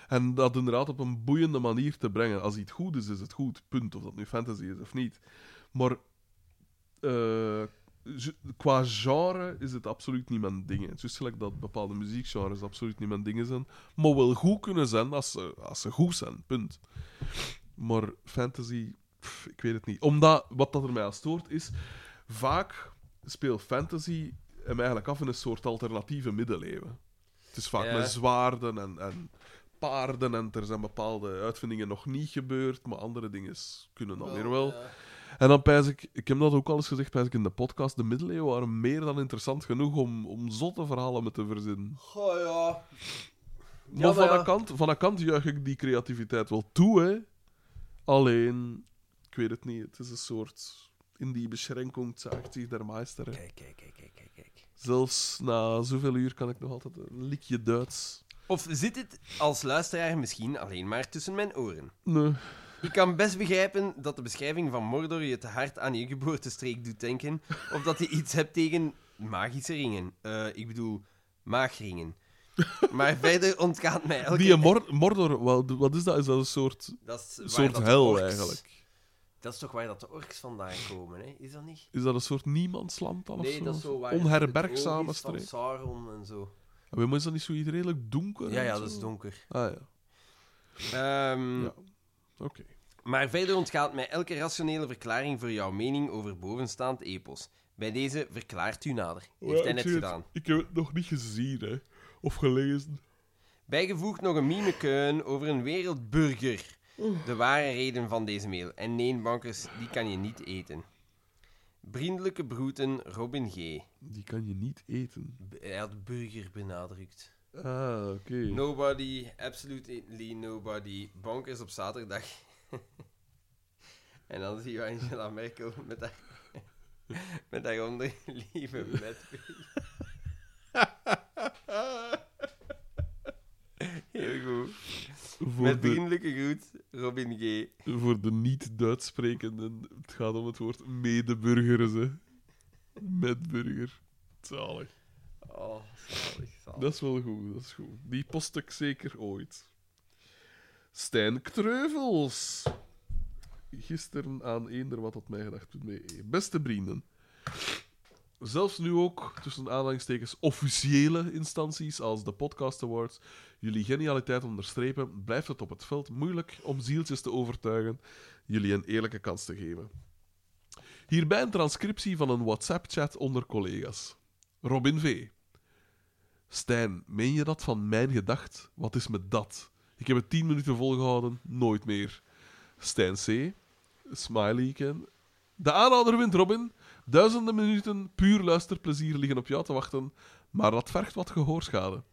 [SPEAKER 1] en dat inderdaad op een boeiende manier te brengen. Als iets goed is, is het goed. Punt. Of dat nu fantasy is of niet. Maar eh, ju- qua genre is het absoluut niet mijn ding. Het is juist gelijk dat bepaalde muziekgenres absoluut niet mijn dingen zijn, maar wel goed kunnen zijn als ze, als ze goed zijn, punt. Maar fantasy, pff, ik weet het niet. Omdat, wat dat er mij aan stoort, is vaak speelt fantasy hem eigenlijk af in een soort alternatieve middeleeuwen. Het is vaak
[SPEAKER 4] Ja.
[SPEAKER 1] met zwaarden en, en paarden en er zijn bepaalde uitvindingen nog niet gebeurd, maar andere dingen kunnen dan weer wel. En dan pijs ik, ik heb dat ook al eens gezegd pijs ik in de podcast, de middeleeuwen waren meer dan interessant genoeg om, om zotte verhalen met te verzinnen.
[SPEAKER 4] Goh, ja.
[SPEAKER 1] Maar van,
[SPEAKER 4] nou ja.
[SPEAKER 1] een kant, van een kant juich ik die creativiteit wel toe, hè. Alleen, ik weet het niet, het is een soort... In die beschränkung zaagt zich der meester. hè.
[SPEAKER 4] Kijk, kijk, kijk, kijk, kijk, kijk.
[SPEAKER 1] Zelfs na zoveel uur kan ik nog altijd een likje Duits.
[SPEAKER 4] Of zit het als luisteraar misschien alleen maar tussen mijn oren?
[SPEAKER 1] Nee.
[SPEAKER 4] Ik kan best begrijpen dat de beschrijving van Mordor je te hard aan je geboortestreek doet denken, of dat je iets hebt tegen magische ringen. Eh, ik bedoel, maagringen. Maar verder ontgaat mij elke...
[SPEAKER 1] Die Mor- Mordor, wat, wat is dat? Is dat een soort,
[SPEAKER 4] dat is waar
[SPEAKER 1] soort
[SPEAKER 4] dat de
[SPEAKER 1] hel,
[SPEAKER 4] orks-
[SPEAKER 1] eigenlijk?
[SPEAKER 4] Dat is toch waar dat de orks vandaan komen, hè? Is dat niet?
[SPEAKER 1] Is dat een soort niemandsland dan? of
[SPEAKER 4] Nee, dat is zo waar... het oog
[SPEAKER 1] Onherbergzame
[SPEAKER 4] is van
[SPEAKER 1] streek.
[SPEAKER 4] Sauron en zo.
[SPEAKER 1] Maar is dat niet zoiets redelijk donker?
[SPEAKER 4] Ja,
[SPEAKER 1] en
[SPEAKER 4] ja,
[SPEAKER 1] zo?
[SPEAKER 4] dat is donker.
[SPEAKER 1] Ah ja,
[SPEAKER 4] Ehm,
[SPEAKER 1] Ja. oké.
[SPEAKER 4] Maar verder ontgaat mij elke rationele verklaring voor jouw mening over bovenstaand epos. Bij deze verklaart u nader. Heeft hij
[SPEAKER 1] ik
[SPEAKER 4] net
[SPEAKER 1] zie het.
[SPEAKER 4] gedaan.
[SPEAKER 1] Ik heb het nog niet gezien, hè. Of gelezen.
[SPEAKER 4] Bijgevoegd nog een mimekeun over een wereldburger. De ware reden van deze mail. En nee, bankers, die kan je niet eten. Vriendelijke groeten, Robin G.
[SPEAKER 1] Die kan je niet eten.
[SPEAKER 4] B- Hij had burger benadrukt.
[SPEAKER 1] Ah, oké.
[SPEAKER 4] Nobody, absolutely nobody. Bankers op zaterdag. en dan zie je Angela Merkel met haar, met haar onderlieve bedburger. Heel goed.
[SPEAKER 1] Voor,
[SPEAKER 4] Met
[SPEAKER 1] de,
[SPEAKER 4] vriendelijke groet, Robin G.
[SPEAKER 1] voor de niet-Duits sprekenden, het gaat om het woord medeburgers, hè. Metburger. Zalig.
[SPEAKER 4] Oh, zalig, zalig.
[SPEAKER 1] Dat is wel goed, dat is goed. Die post ik zeker ooit. Stijn Kreuvels. Gisteren aan eender wat had mij gedacht. Beste vrienden. Zelfs nu ook, tussen aanhalingstekens, officiële instanties als de Podcast Awards jullie genialiteit onderstrepen, blijft het op het veld moeilijk om zieltjes te overtuigen, jullie een eerlijke kans te geven. Hierbij een transcriptie van een WhatsApp-chat onder collega's. Robin V. Stijn, meen je dat van mijn gedacht? Wat is met dat? Ik heb het tien minuten volgehouden, nooit meer. Stijn C. Smiley ken. De aanhouder wint, Robin. Duizenden minuten puur luisterplezier liggen op jou te wachten, maar dat vergt wat gehoorschade.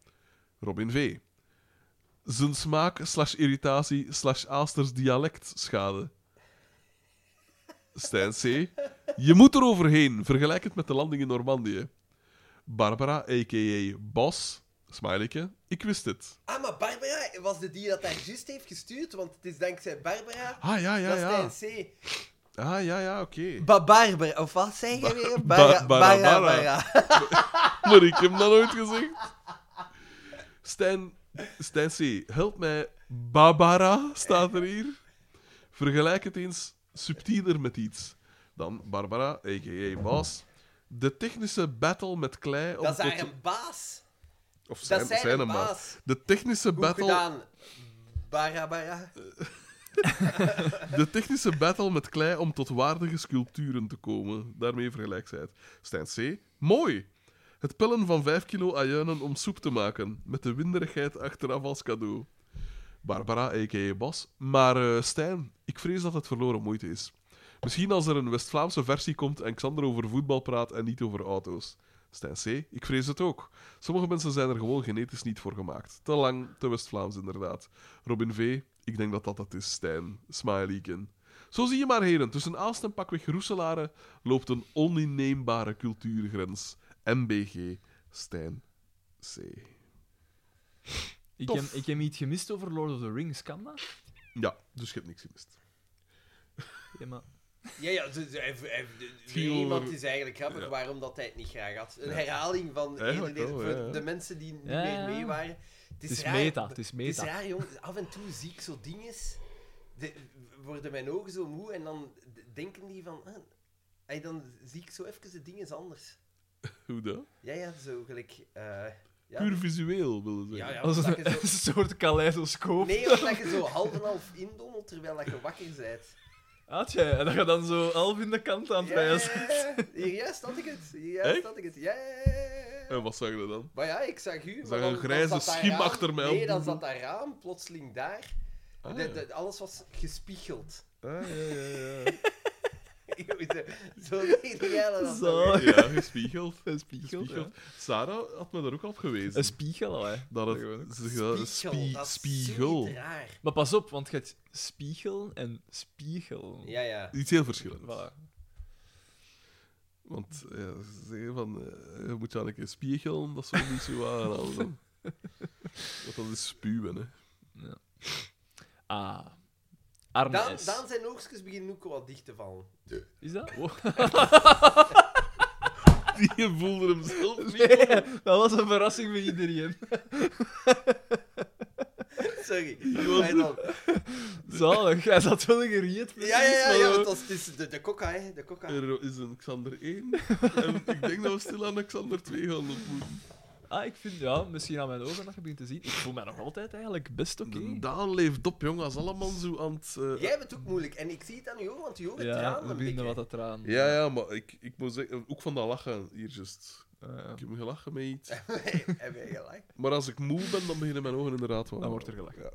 [SPEAKER 1] Robin V. Zijn smaak slash irritatie slash Aasters dialect schade. Stijn C. Je moet er overheen. Vergelijk het met de landing in Normandië. Barbara, a.k.a. Bas, smileyke, ik wist het.
[SPEAKER 4] Ah, maar Barbara was de die dat daar juist heeft gestuurd, want het is dankzij Barbara
[SPEAKER 1] Ah, ja, ja,
[SPEAKER 4] dat
[SPEAKER 1] ja.
[SPEAKER 4] Stijn C.
[SPEAKER 1] Ah, ja, ja, oké.
[SPEAKER 4] Ba Barbara, of wat zeg je weer?
[SPEAKER 1] Ba-
[SPEAKER 4] Bara-
[SPEAKER 1] Barbara.
[SPEAKER 4] Bara- Bara.
[SPEAKER 1] Maar ik heb dat nooit gezegd. Stijn, Stijn C., help mij. Barbara staat er hier. Vergelijk het eens subtieler met iets. Dan Barbara, a.k.a. Bas. De technische battle met klei... om
[SPEAKER 4] Dat is
[SPEAKER 1] tot-
[SPEAKER 4] haar een baas.
[SPEAKER 1] Of
[SPEAKER 4] Dat
[SPEAKER 1] zijn,
[SPEAKER 4] is zijn
[SPEAKER 1] zijn
[SPEAKER 4] een
[SPEAKER 1] hem maar.
[SPEAKER 4] baas.
[SPEAKER 1] De technische
[SPEAKER 4] Goed
[SPEAKER 1] battle...
[SPEAKER 4] gedaan. Barbara.
[SPEAKER 1] De technische battle met klei om tot waardige sculpturen te komen. Daarmee vergelijkt zij het. Stijn C. Mooi! Het pellen van 5 kilo ajuinen om soep te maken. Met de winderigheid achteraf als cadeau. Barbara, a.k.a. Bas. Maar eh, Stijn, ik vrees dat het verloren moeite is. Misschien als er een West-Vlaamse versie komt en Xander over voetbal praat en niet over auto's. Stijn C., ik vrees het ook. Sommige mensen zijn er gewoon genetisch niet voor gemaakt. Te lang, te West-Vlaams inderdaad. Robin V., ik denk dat dat het is, Stijn. Smileyken. Zo zie je maar, heren, tussen Aalst en pakweg Roeselare loopt een oninneembare cultuurgrens. MBG, Stijn C.
[SPEAKER 2] Ik
[SPEAKER 1] Tof.
[SPEAKER 2] heb, ik heb iets gemist over Lord of the Rings, kan dat?
[SPEAKER 1] Ja, dus je hebt niks gemist.
[SPEAKER 2] Ja, maar...
[SPEAKER 4] Ja, ja, dus, hij- hij-
[SPEAKER 1] ging
[SPEAKER 4] weer iemand
[SPEAKER 1] over-
[SPEAKER 4] is eigenlijk grappig
[SPEAKER 1] ja.
[SPEAKER 4] waarom dat hij het niet graag had. Een herhaling van
[SPEAKER 1] Eigenlijk
[SPEAKER 4] eerder-
[SPEAKER 1] wel,
[SPEAKER 4] voor
[SPEAKER 1] ja, ja.
[SPEAKER 4] de mensen die niet
[SPEAKER 2] Ja, ja.
[SPEAKER 4] meer mee waren. Het
[SPEAKER 2] Het
[SPEAKER 4] is,
[SPEAKER 2] is
[SPEAKER 4] raar,
[SPEAKER 2] meta, het is
[SPEAKER 4] Het is
[SPEAKER 2] meta.
[SPEAKER 4] raar, jong. Af en toe zie ik zo dingen, de- worden mijn ogen zo moe en dan d- denken die van... ah, Hey, dan zie ik zo even de dingen anders.
[SPEAKER 1] Hoe dat?
[SPEAKER 4] Ja, ja, zo gelijk... eh, ja.
[SPEAKER 1] Puur visueel, wilde zeggen.
[SPEAKER 4] Ja, ja,
[SPEAKER 3] Als
[SPEAKER 4] omdat
[SPEAKER 3] een,
[SPEAKER 4] je zo...
[SPEAKER 3] een soort kaleidoscoop.
[SPEAKER 4] Nee, omdat je zo half en half indommelt terwijl dat je wakker bent.
[SPEAKER 3] Had jij? En dat je dan zo half in de kant aan het rijden zit.
[SPEAKER 4] ja, ja. Hier juist had ik het. Hier
[SPEAKER 1] Echt?
[SPEAKER 4] juist had ik het. Ja, ja, ja, ja.
[SPEAKER 1] En wat zag je dan?
[SPEAKER 4] Maar ja, ik zag u.
[SPEAKER 1] Zag
[SPEAKER 4] maar
[SPEAKER 1] een
[SPEAKER 4] dan- dan
[SPEAKER 1] grijze
[SPEAKER 4] zat dat
[SPEAKER 1] schim
[SPEAKER 4] raam-
[SPEAKER 1] achter mij
[SPEAKER 4] Nee,
[SPEAKER 1] op
[SPEAKER 4] dan
[SPEAKER 1] Google.
[SPEAKER 4] zat dat raam plotseling daar.
[SPEAKER 1] Ah,
[SPEAKER 4] De-
[SPEAKER 1] ja.
[SPEAKER 4] de- alles was gespiegeld.
[SPEAKER 1] Ah, ja, ja, ja.
[SPEAKER 4] eh, zo ideale dat
[SPEAKER 3] Zo.
[SPEAKER 4] dan weer.
[SPEAKER 1] ja, gespiegeld.
[SPEAKER 3] Een spiegel.
[SPEAKER 1] gespiegeld. Sarah had me daar ook al op
[SPEAKER 3] ja. Een
[SPEAKER 1] gewezen.
[SPEAKER 3] spiegel, hè.
[SPEAKER 1] Dat het ze- dat- spie-
[SPEAKER 4] dat is
[SPEAKER 1] spiegel.
[SPEAKER 4] zoiets raar.
[SPEAKER 3] Maar pas op, want je hebt spiegel en spiegel.
[SPEAKER 4] Ja, ja.
[SPEAKER 1] Iets heel verschillend.
[SPEAKER 3] Voilà.
[SPEAKER 1] Want ja, ze zeggen van, eh, je moet je aan een keer spiegelen, dat zou niet zo aanhalen. dan. Want dat is spuwen, hè.
[SPEAKER 3] Ah. Arme
[SPEAKER 4] Daan,
[SPEAKER 3] S.
[SPEAKER 4] Daan zijn oogstjes beginnen ook wat dicht te vallen.
[SPEAKER 3] Is dat?
[SPEAKER 1] Die voelde hem zelf niet.
[SPEAKER 3] Nee, dat was een verrassing voor iedereen.
[SPEAKER 4] Sorry. Maar dan-
[SPEAKER 3] Zalig, hij zat wel geriet.
[SPEAKER 4] Ja, ja, ja, ja, want dat is, het is de, de coca, hè. De coca.
[SPEAKER 1] Er is een Xander 1 en ik denk dat we stil aan Xander 2 gaan ontmoeten.
[SPEAKER 3] Ah, ik vind, ja, misschien aan mijn ogen dat je begint te zien. Ik voel mij nog altijd eigenlijk best oké.
[SPEAKER 1] De Daan leeft op, jongen, als allemaal zo aan het... eh,
[SPEAKER 4] Jij hebt het ook moeilijk. En ik zie het aan je ogen, want je ogen
[SPEAKER 3] Ja,
[SPEAKER 4] tranen
[SPEAKER 3] we
[SPEAKER 4] een beetje.
[SPEAKER 3] beginnen wat te traan.
[SPEAKER 1] Ja, ja, maar ik, ik moet zeggen, ook van dat lachen hier just.
[SPEAKER 3] ja.
[SPEAKER 1] Ik heb me gelachen met iets.
[SPEAKER 4] Heb jij gelijk?
[SPEAKER 1] Maar als ik moe ben, dan beginnen mijn ogen inderdaad wel.
[SPEAKER 3] Dan wordt er gelachen.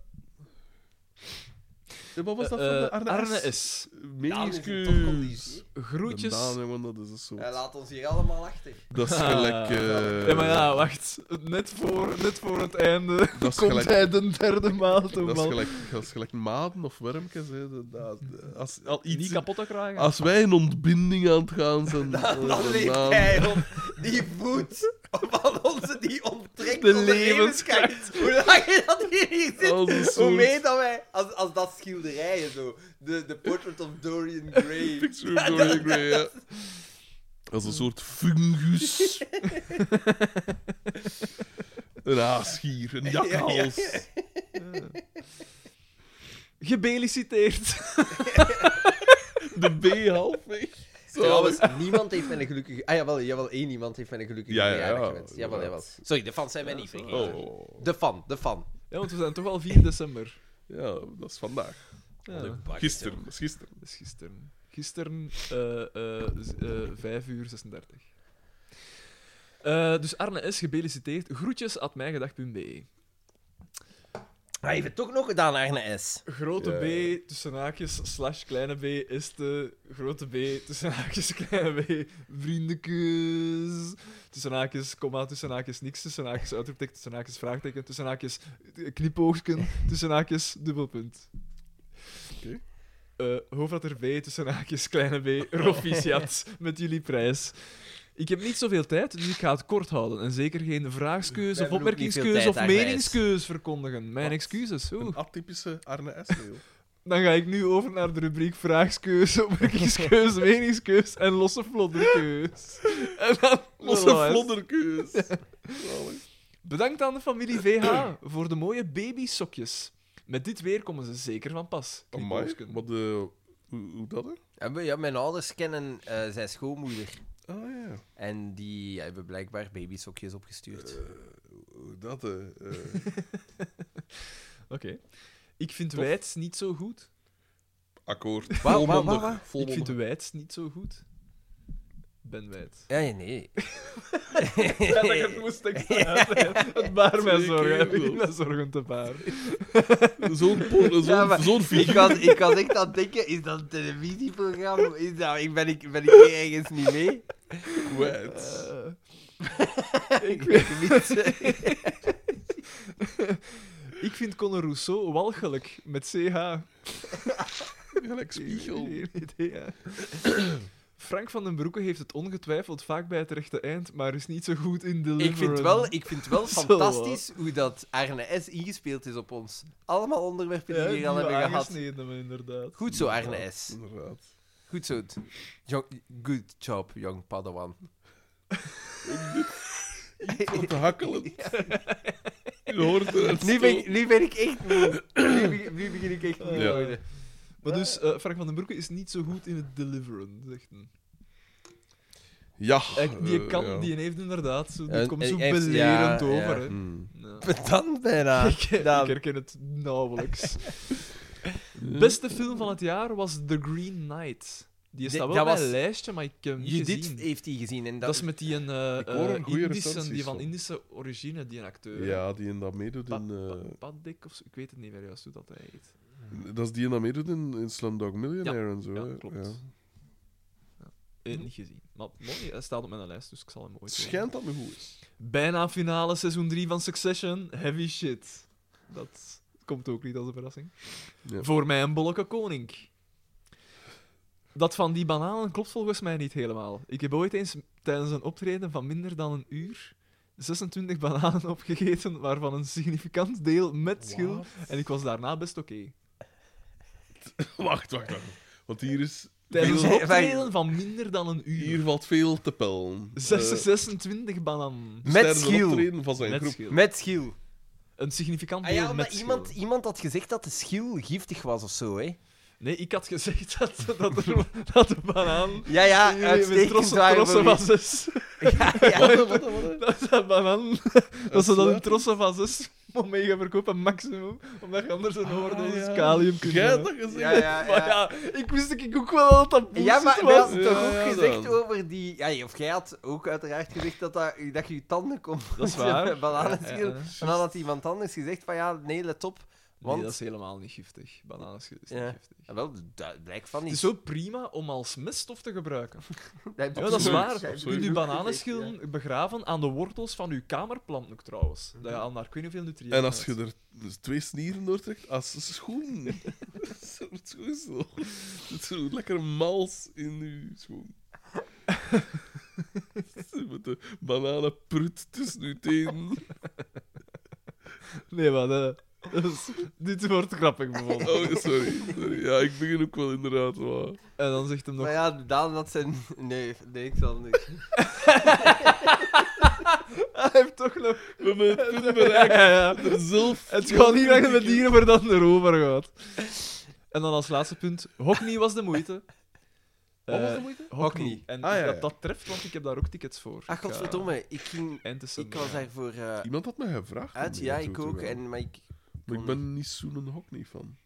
[SPEAKER 1] Ja, wat was dat
[SPEAKER 3] Eh,
[SPEAKER 1] van de
[SPEAKER 3] eh,
[SPEAKER 1] Arne,
[SPEAKER 3] Arne
[SPEAKER 1] S?
[SPEAKER 3] S.
[SPEAKER 4] Ja, dat is een
[SPEAKER 1] Meniscus.
[SPEAKER 4] topconditie.
[SPEAKER 1] De Daan,
[SPEAKER 3] Groetjes.
[SPEAKER 1] jongen, dat is een soort...
[SPEAKER 4] Hij laat ons hier allemaal achter.
[SPEAKER 1] Dat is
[SPEAKER 3] Ah.
[SPEAKER 1] gelijk... eh,
[SPEAKER 3] Ja, maar ja, wacht. Net voor, net voor het einde
[SPEAKER 1] Dat is
[SPEAKER 3] komt
[SPEAKER 1] gelijk-
[SPEAKER 3] hij de derde maal toe.
[SPEAKER 1] Dat is,
[SPEAKER 3] man.
[SPEAKER 1] gelijk, dat is gelijk maden of wermkes. Hè. Dat- dat- als, al
[SPEAKER 3] Niet
[SPEAKER 1] iets, Ah,
[SPEAKER 3] kapot te krijgen.
[SPEAKER 1] als wij in ontbinding aan het gaan zijn... eh,
[SPEAKER 4] Dan
[SPEAKER 1] dan-
[SPEAKER 4] leeft hij op die voet van onze die onttrekt
[SPEAKER 3] De
[SPEAKER 4] onze
[SPEAKER 3] levenskracht.
[SPEAKER 4] levenskracht. Hoe langer dat hier hier zit,
[SPEAKER 1] Als een soort-
[SPEAKER 4] hoe meer dat wij... Als, als dat schilderijen zo. De, de portrait of Dorian Gray.
[SPEAKER 1] Picture of Dorian Gray, ja. Als een soort fungus. een aasgier, een jakhals.
[SPEAKER 3] Gebeliciteerd.
[SPEAKER 1] De B halfweg. Zo.
[SPEAKER 4] niemand heeft mij een gelukkige... Ah, jawel, jawel, één iemand heeft mij een gelukkige
[SPEAKER 1] Ja, ja,
[SPEAKER 4] verjaardag
[SPEAKER 1] ja,
[SPEAKER 4] gewenst. Jawel,
[SPEAKER 1] inderdaad.
[SPEAKER 4] jawel. Sorry, de fans zijn mij niet vergeten.
[SPEAKER 1] Oh, oh.
[SPEAKER 4] De fan, de fan.
[SPEAKER 3] Ja, want we zijn toch al 4 december.
[SPEAKER 1] Ja, dat is vandaag.
[SPEAKER 3] Ja,
[SPEAKER 4] De
[SPEAKER 3] dat
[SPEAKER 4] bak,
[SPEAKER 1] Gisteren, dat is gisteren.
[SPEAKER 3] is gisteren. Gisteren, eh eh z- eh, 5 uur 36. Eh, dus Arne S. gebeliciteerd. Groetjes at mijgedag.be.
[SPEAKER 4] Hij heeft het toch nog gedaan, Arne S.
[SPEAKER 3] Grote
[SPEAKER 1] Ja,
[SPEAKER 3] B tussen haakjes slash kleine B is de grote B tussen haakjes kleine B vriendenkus tussen haakjes komma tussen haakjes niks tussen haakjes uitroepteken tussen haakjes vraagteken tussen haakjes eh, knipoogken tussen haakjes dubbelpunt.
[SPEAKER 1] Oké.
[SPEAKER 3] Eh, hoofdletter B tussen haakjes kleine B proficiat met jullie prijs. Ik heb niet zoveel tijd, dus ik ga het kort houden. En zeker geen vraagskeus
[SPEAKER 4] We
[SPEAKER 3] of
[SPEAKER 4] hebben ook niet veel
[SPEAKER 3] opmerkingskeus
[SPEAKER 4] tijd,
[SPEAKER 3] of
[SPEAKER 4] Agnes.
[SPEAKER 3] meningskeus verkondigen. Mijn
[SPEAKER 1] Wat?
[SPEAKER 3] excuses. Oeh.
[SPEAKER 1] Een atypische Arne S. mail.
[SPEAKER 3] Dan ga ik nu over naar de rubriek vraagskeuze, opmerkingskeus, meningskeus en losse flodderkeus. En dan
[SPEAKER 1] Losse
[SPEAKER 3] Lola's.
[SPEAKER 1] vlodderkeus. Zalig.
[SPEAKER 3] Bedankt aan de familie VH voor de mooie babysokjes. Met dit weer komen ze zeker van pas.
[SPEAKER 1] Amai,
[SPEAKER 3] Knipoogken.
[SPEAKER 1] wat de... Hoe, hoe dat er?
[SPEAKER 4] Ja, mijn ouders kennen eh, zijn schoonmoeder.
[SPEAKER 1] Ah ja,
[SPEAKER 4] En die hebben blijkbaar babysokjes opgestuurd.
[SPEAKER 1] Eh, hoe dat hè. Eh,
[SPEAKER 3] Oké. Ik vind
[SPEAKER 1] Tof.
[SPEAKER 3] Weids niet zo goed.
[SPEAKER 1] akkoord.
[SPEAKER 4] waar,
[SPEAKER 1] Volmondig,
[SPEAKER 4] waar, waar?
[SPEAKER 3] Ik vind
[SPEAKER 1] volmondig.
[SPEAKER 3] de Weids niet zo goed. Ben Weids.
[SPEAKER 4] Ja, ja, nee.
[SPEAKER 3] Ja, dat ik het moest extra uitleggen. Het baar mij
[SPEAKER 1] Twee
[SPEAKER 3] zorgen. Het
[SPEAKER 1] keer
[SPEAKER 3] begint mij zorgen te baar.
[SPEAKER 1] Zo'n po- zo'n
[SPEAKER 4] Ja, maar
[SPEAKER 1] zo'n
[SPEAKER 4] Ik
[SPEAKER 1] figuur.
[SPEAKER 4] was, ik was echt aan het denken, is dat een televisieprogramma? Is dat, ik ben, ik, ben ik hier ergens niet mee?
[SPEAKER 1] kwijt.
[SPEAKER 3] Eh, ik
[SPEAKER 4] Ik
[SPEAKER 3] weet...
[SPEAKER 4] weet het niet.
[SPEAKER 3] Ik vind Conor Rousseau walgelijk, met CH.
[SPEAKER 1] Gelijk spiegel.
[SPEAKER 3] Geen idee, hè. Frank van den Broeke heeft het ongetwijfeld vaak bij het rechte eind, maar is niet zo goed in de
[SPEAKER 4] Ik vind wel, ik vind wel
[SPEAKER 3] Zo,
[SPEAKER 4] fantastisch hoe dat Arne S. ingespeeld is op ons. Allemaal onderwerpen die we hier al hebben gehad.
[SPEAKER 3] inderdaad.
[SPEAKER 4] Goed zo, Arne S.
[SPEAKER 1] Inderdaad.
[SPEAKER 4] Goed zo. Jong- Good job, young Padawan.
[SPEAKER 1] Wat te hakkelen. Je hoort het.
[SPEAKER 4] Nu ben, ik- nu ben ik echt moe. Nu, begin- nu begin ik echt moe te
[SPEAKER 1] Ja.
[SPEAKER 4] worden.
[SPEAKER 3] Maar dus, eh, Frank van den Broeke is niet zo goed in het deliveren, zegt hij.
[SPEAKER 1] Ja.
[SPEAKER 3] Eh, die
[SPEAKER 1] eh,
[SPEAKER 3] kan,
[SPEAKER 1] ja.
[SPEAKER 3] die heeft inderdaad zo, die
[SPEAKER 4] Een-
[SPEAKER 3] komt
[SPEAKER 4] een-
[SPEAKER 3] zo
[SPEAKER 4] echt,
[SPEAKER 3] belerend
[SPEAKER 4] ja,
[SPEAKER 3] over.
[SPEAKER 4] ja.
[SPEAKER 3] Hè.
[SPEAKER 1] Hmm.
[SPEAKER 3] Ja.
[SPEAKER 4] Pedant bijna.
[SPEAKER 3] Ik,
[SPEAKER 4] Dan-
[SPEAKER 3] ik herken het nauwelijks. Beste film van het jaar was The Green Knight. Die
[SPEAKER 4] Dit-
[SPEAKER 3] staat wel
[SPEAKER 4] dat
[SPEAKER 3] bij
[SPEAKER 4] was-
[SPEAKER 3] een lijstje, maar ik heb hem niet
[SPEAKER 4] Judith
[SPEAKER 3] gezien.
[SPEAKER 4] heeft die gezien. En dat,
[SPEAKER 3] Dat is met die een, eh,
[SPEAKER 1] Ik hoor een
[SPEAKER 3] eh,
[SPEAKER 1] goeie
[SPEAKER 3] Indische, die
[SPEAKER 1] recensies
[SPEAKER 3] van
[SPEAKER 1] van.
[SPEAKER 3] Indische origine, die een acteur. hè.
[SPEAKER 1] Ja, die in dat meedoet in...
[SPEAKER 3] Eh, Pa-
[SPEAKER 1] eh,
[SPEAKER 3] Paddik of zo, ik weet het niet meer juist hoe dat hij heet.
[SPEAKER 1] dat is die in dat meedoet in, in Slumdog Millionaire en zo.
[SPEAKER 3] ja,
[SPEAKER 1] hè.
[SPEAKER 3] klopt. Eh, niet gezien. Maar mooi, hij staat op mijn lijst, dus ik zal hem ooit
[SPEAKER 1] Het
[SPEAKER 3] horen.
[SPEAKER 1] schijnt dat nog goed is.
[SPEAKER 3] Bijna finale seizoen 3 van Succession. Heavy shit. Dat komt ook niet als een verrassing.
[SPEAKER 1] Ja.
[SPEAKER 3] Voor mij een bolleke koning. Dat van die bananen klopt volgens mij niet helemaal. Ik heb ooit eens tijdens een optreden van minder dan een uur 26 bananen opgegeten, waarvan een significant deel met schil. En ik was daarna best oké.
[SPEAKER 1] wacht, wacht, wacht. Want hier, is,
[SPEAKER 3] Tijdens een
[SPEAKER 4] Wij-
[SPEAKER 3] optreden van minder dan een
[SPEAKER 1] hier
[SPEAKER 3] uur.
[SPEAKER 1] valt veel te pellen. Eh,
[SPEAKER 3] 26 bananen.
[SPEAKER 4] Met
[SPEAKER 1] Sterren
[SPEAKER 4] Schiel.
[SPEAKER 1] optreden van zijn
[SPEAKER 3] Met
[SPEAKER 1] groep.
[SPEAKER 3] schil.
[SPEAKER 4] Met schiel.
[SPEAKER 3] Een significant
[SPEAKER 4] Ah
[SPEAKER 3] deel
[SPEAKER 4] ja,
[SPEAKER 3] met
[SPEAKER 4] maar
[SPEAKER 3] schil.
[SPEAKER 4] iemand, iemand had gezegd dat de schiel giftig was of zo, hè?
[SPEAKER 3] Nee, ik had gezegd dat, dat, er, dat de banaan.
[SPEAKER 4] Ja, ja,
[SPEAKER 3] Met
[SPEAKER 4] uitstekend.
[SPEAKER 3] trossen,
[SPEAKER 4] waar,
[SPEAKER 3] trossen
[SPEAKER 4] Maurice.
[SPEAKER 3] van zes.
[SPEAKER 4] Ja, ja.
[SPEAKER 3] Dat is dat banaan. Dat ze dat in trossen van zes om mee gaan verkopen, maximum. Omdat je anders
[SPEAKER 4] Ah,
[SPEAKER 3] een overdosis
[SPEAKER 1] Ah, ja.
[SPEAKER 3] kalium kunt
[SPEAKER 1] Jij
[SPEAKER 3] hebben.
[SPEAKER 1] hebt dat gezegd?
[SPEAKER 4] Ja, ja,
[SPEAKER 3] Maar
[SPEAKER 4] ja.
[SPEAKER 3] ja, ik wist dat ik ook wel dat dat bullshit
[SPEAKER 4] Ja, maar we
[SPEAKER 3] was.
[SPEAKER 4] hadden toch
[SPEAKER 1] Ja,
[SPEAKER 4] ook
[SPEAKER 1] ja,
[SPEAKER 4] gezegd
[SPEAKER 1] dan.
[SPEAKER 4] over die... Ja, of jij had ook uiteraard gezegd dat, dat, dat je je tanden kon
[SPEAKER 3] Dat is waar.
[SPEAKER 4] bananenschiel.
[SPEAKER 3] Ja, ja, ja.
[SPEAKER 4] En dan had iemand anders gezegd van ja, nee, let op. Want...
[SPEAKER 3] Nee, dat is helemaal niet giftig. Bananen is niet
[SPEAKER 4] Ja.
[SPEAKER 3] giftig.
[SPEAKER 4] Ja, wel, dat blijkt van
[SPEAKER 3] Het
[SPEAKER 4] niet.
[SPEAKER 3] is ook prima om als meststof te gebruiken.
[SPEAKER 4] Dat heb je
[SPEAKER 3] Ja, dat is
[SPEAKER 1] Absoluut,
[SPEAKER 3] waar. Je
[SPEAKER 1] absoluut.
[SPEAKER 3] kunt uw
[SPEAKER 1] Goed
[SPEAKER 3] bananenschillen begraven aan de wortels van uw kamerplant ook trouwens. Dat je aan daar kun je veel nutriënten
[SPEAKER 1] Mhm. En als
[SPEAKER 3] hebt.
[SPEAKER 1] je er dus twee snieren doortrekt, als schoen. Dat soort schoensel. Dat is zo lekker mals in je schoen. Met de bananenprut tussen je tenen.
[SPEAKER 3] Nee, maar dat- dat is- dit wordt grappig bijvoorbeeld.
[SPEAKER 1] Oh, sorry. sorry. Ja, ik begin ook wel inderdaad. Maar...
[SPEAKER 3] En dan zegt hem nog...
[SPEAKER 4] Maar ja, Daan had zijn... Nee, nee, ik zal niks.
[SPEAKER 3] "Ah, Hij heeft toch nog...
[SPEAKER 1] We hebben het punt
[SPEAKER 3] Ja,
[SPEAKER 1] bereikt.
[SPEAKER 3] ja, ja.
[SPEAKER 1] Er zelf...
[SPEAKER 3] Het gaat niet weg met dieren voordat het erover gaat. En dan als laatste punt, Hockney was de moeite.
[SPEAKER 1] Wat was de
[SPEAKER 3] Eh,
[SPEAKER 1] moeite?
[SPEAKER 3] Hockney. En
[SPEAKER 1] Ah, ja, ja. Ah,
[SPEAKER 3] Dat, dat treft, want ik heb daar ook tickets voor.
[SPEAKER 4] Ach, Ah, godverdomme. Ik, ging,
[SPEAKER 3] En
[SPEAKER 4] ik was daarvoor eh
[SPEAKER 1] Iemand had mij gevraagd. om
[SPEAKER 4] uit.
[SPEAKER 1] hier
[SPEAKER 4] Ja,
[SPEAKER 1] naartoe
[SPEAKER 4] ik
[SPEAKER 1] te
[SPEAKER 4] ook.
[SPEAKER 1] gaan.
[SPEAKER 4] En, maar ik...
[SPEAKER 1] Maar ik ben niet zo'n Hockney fan.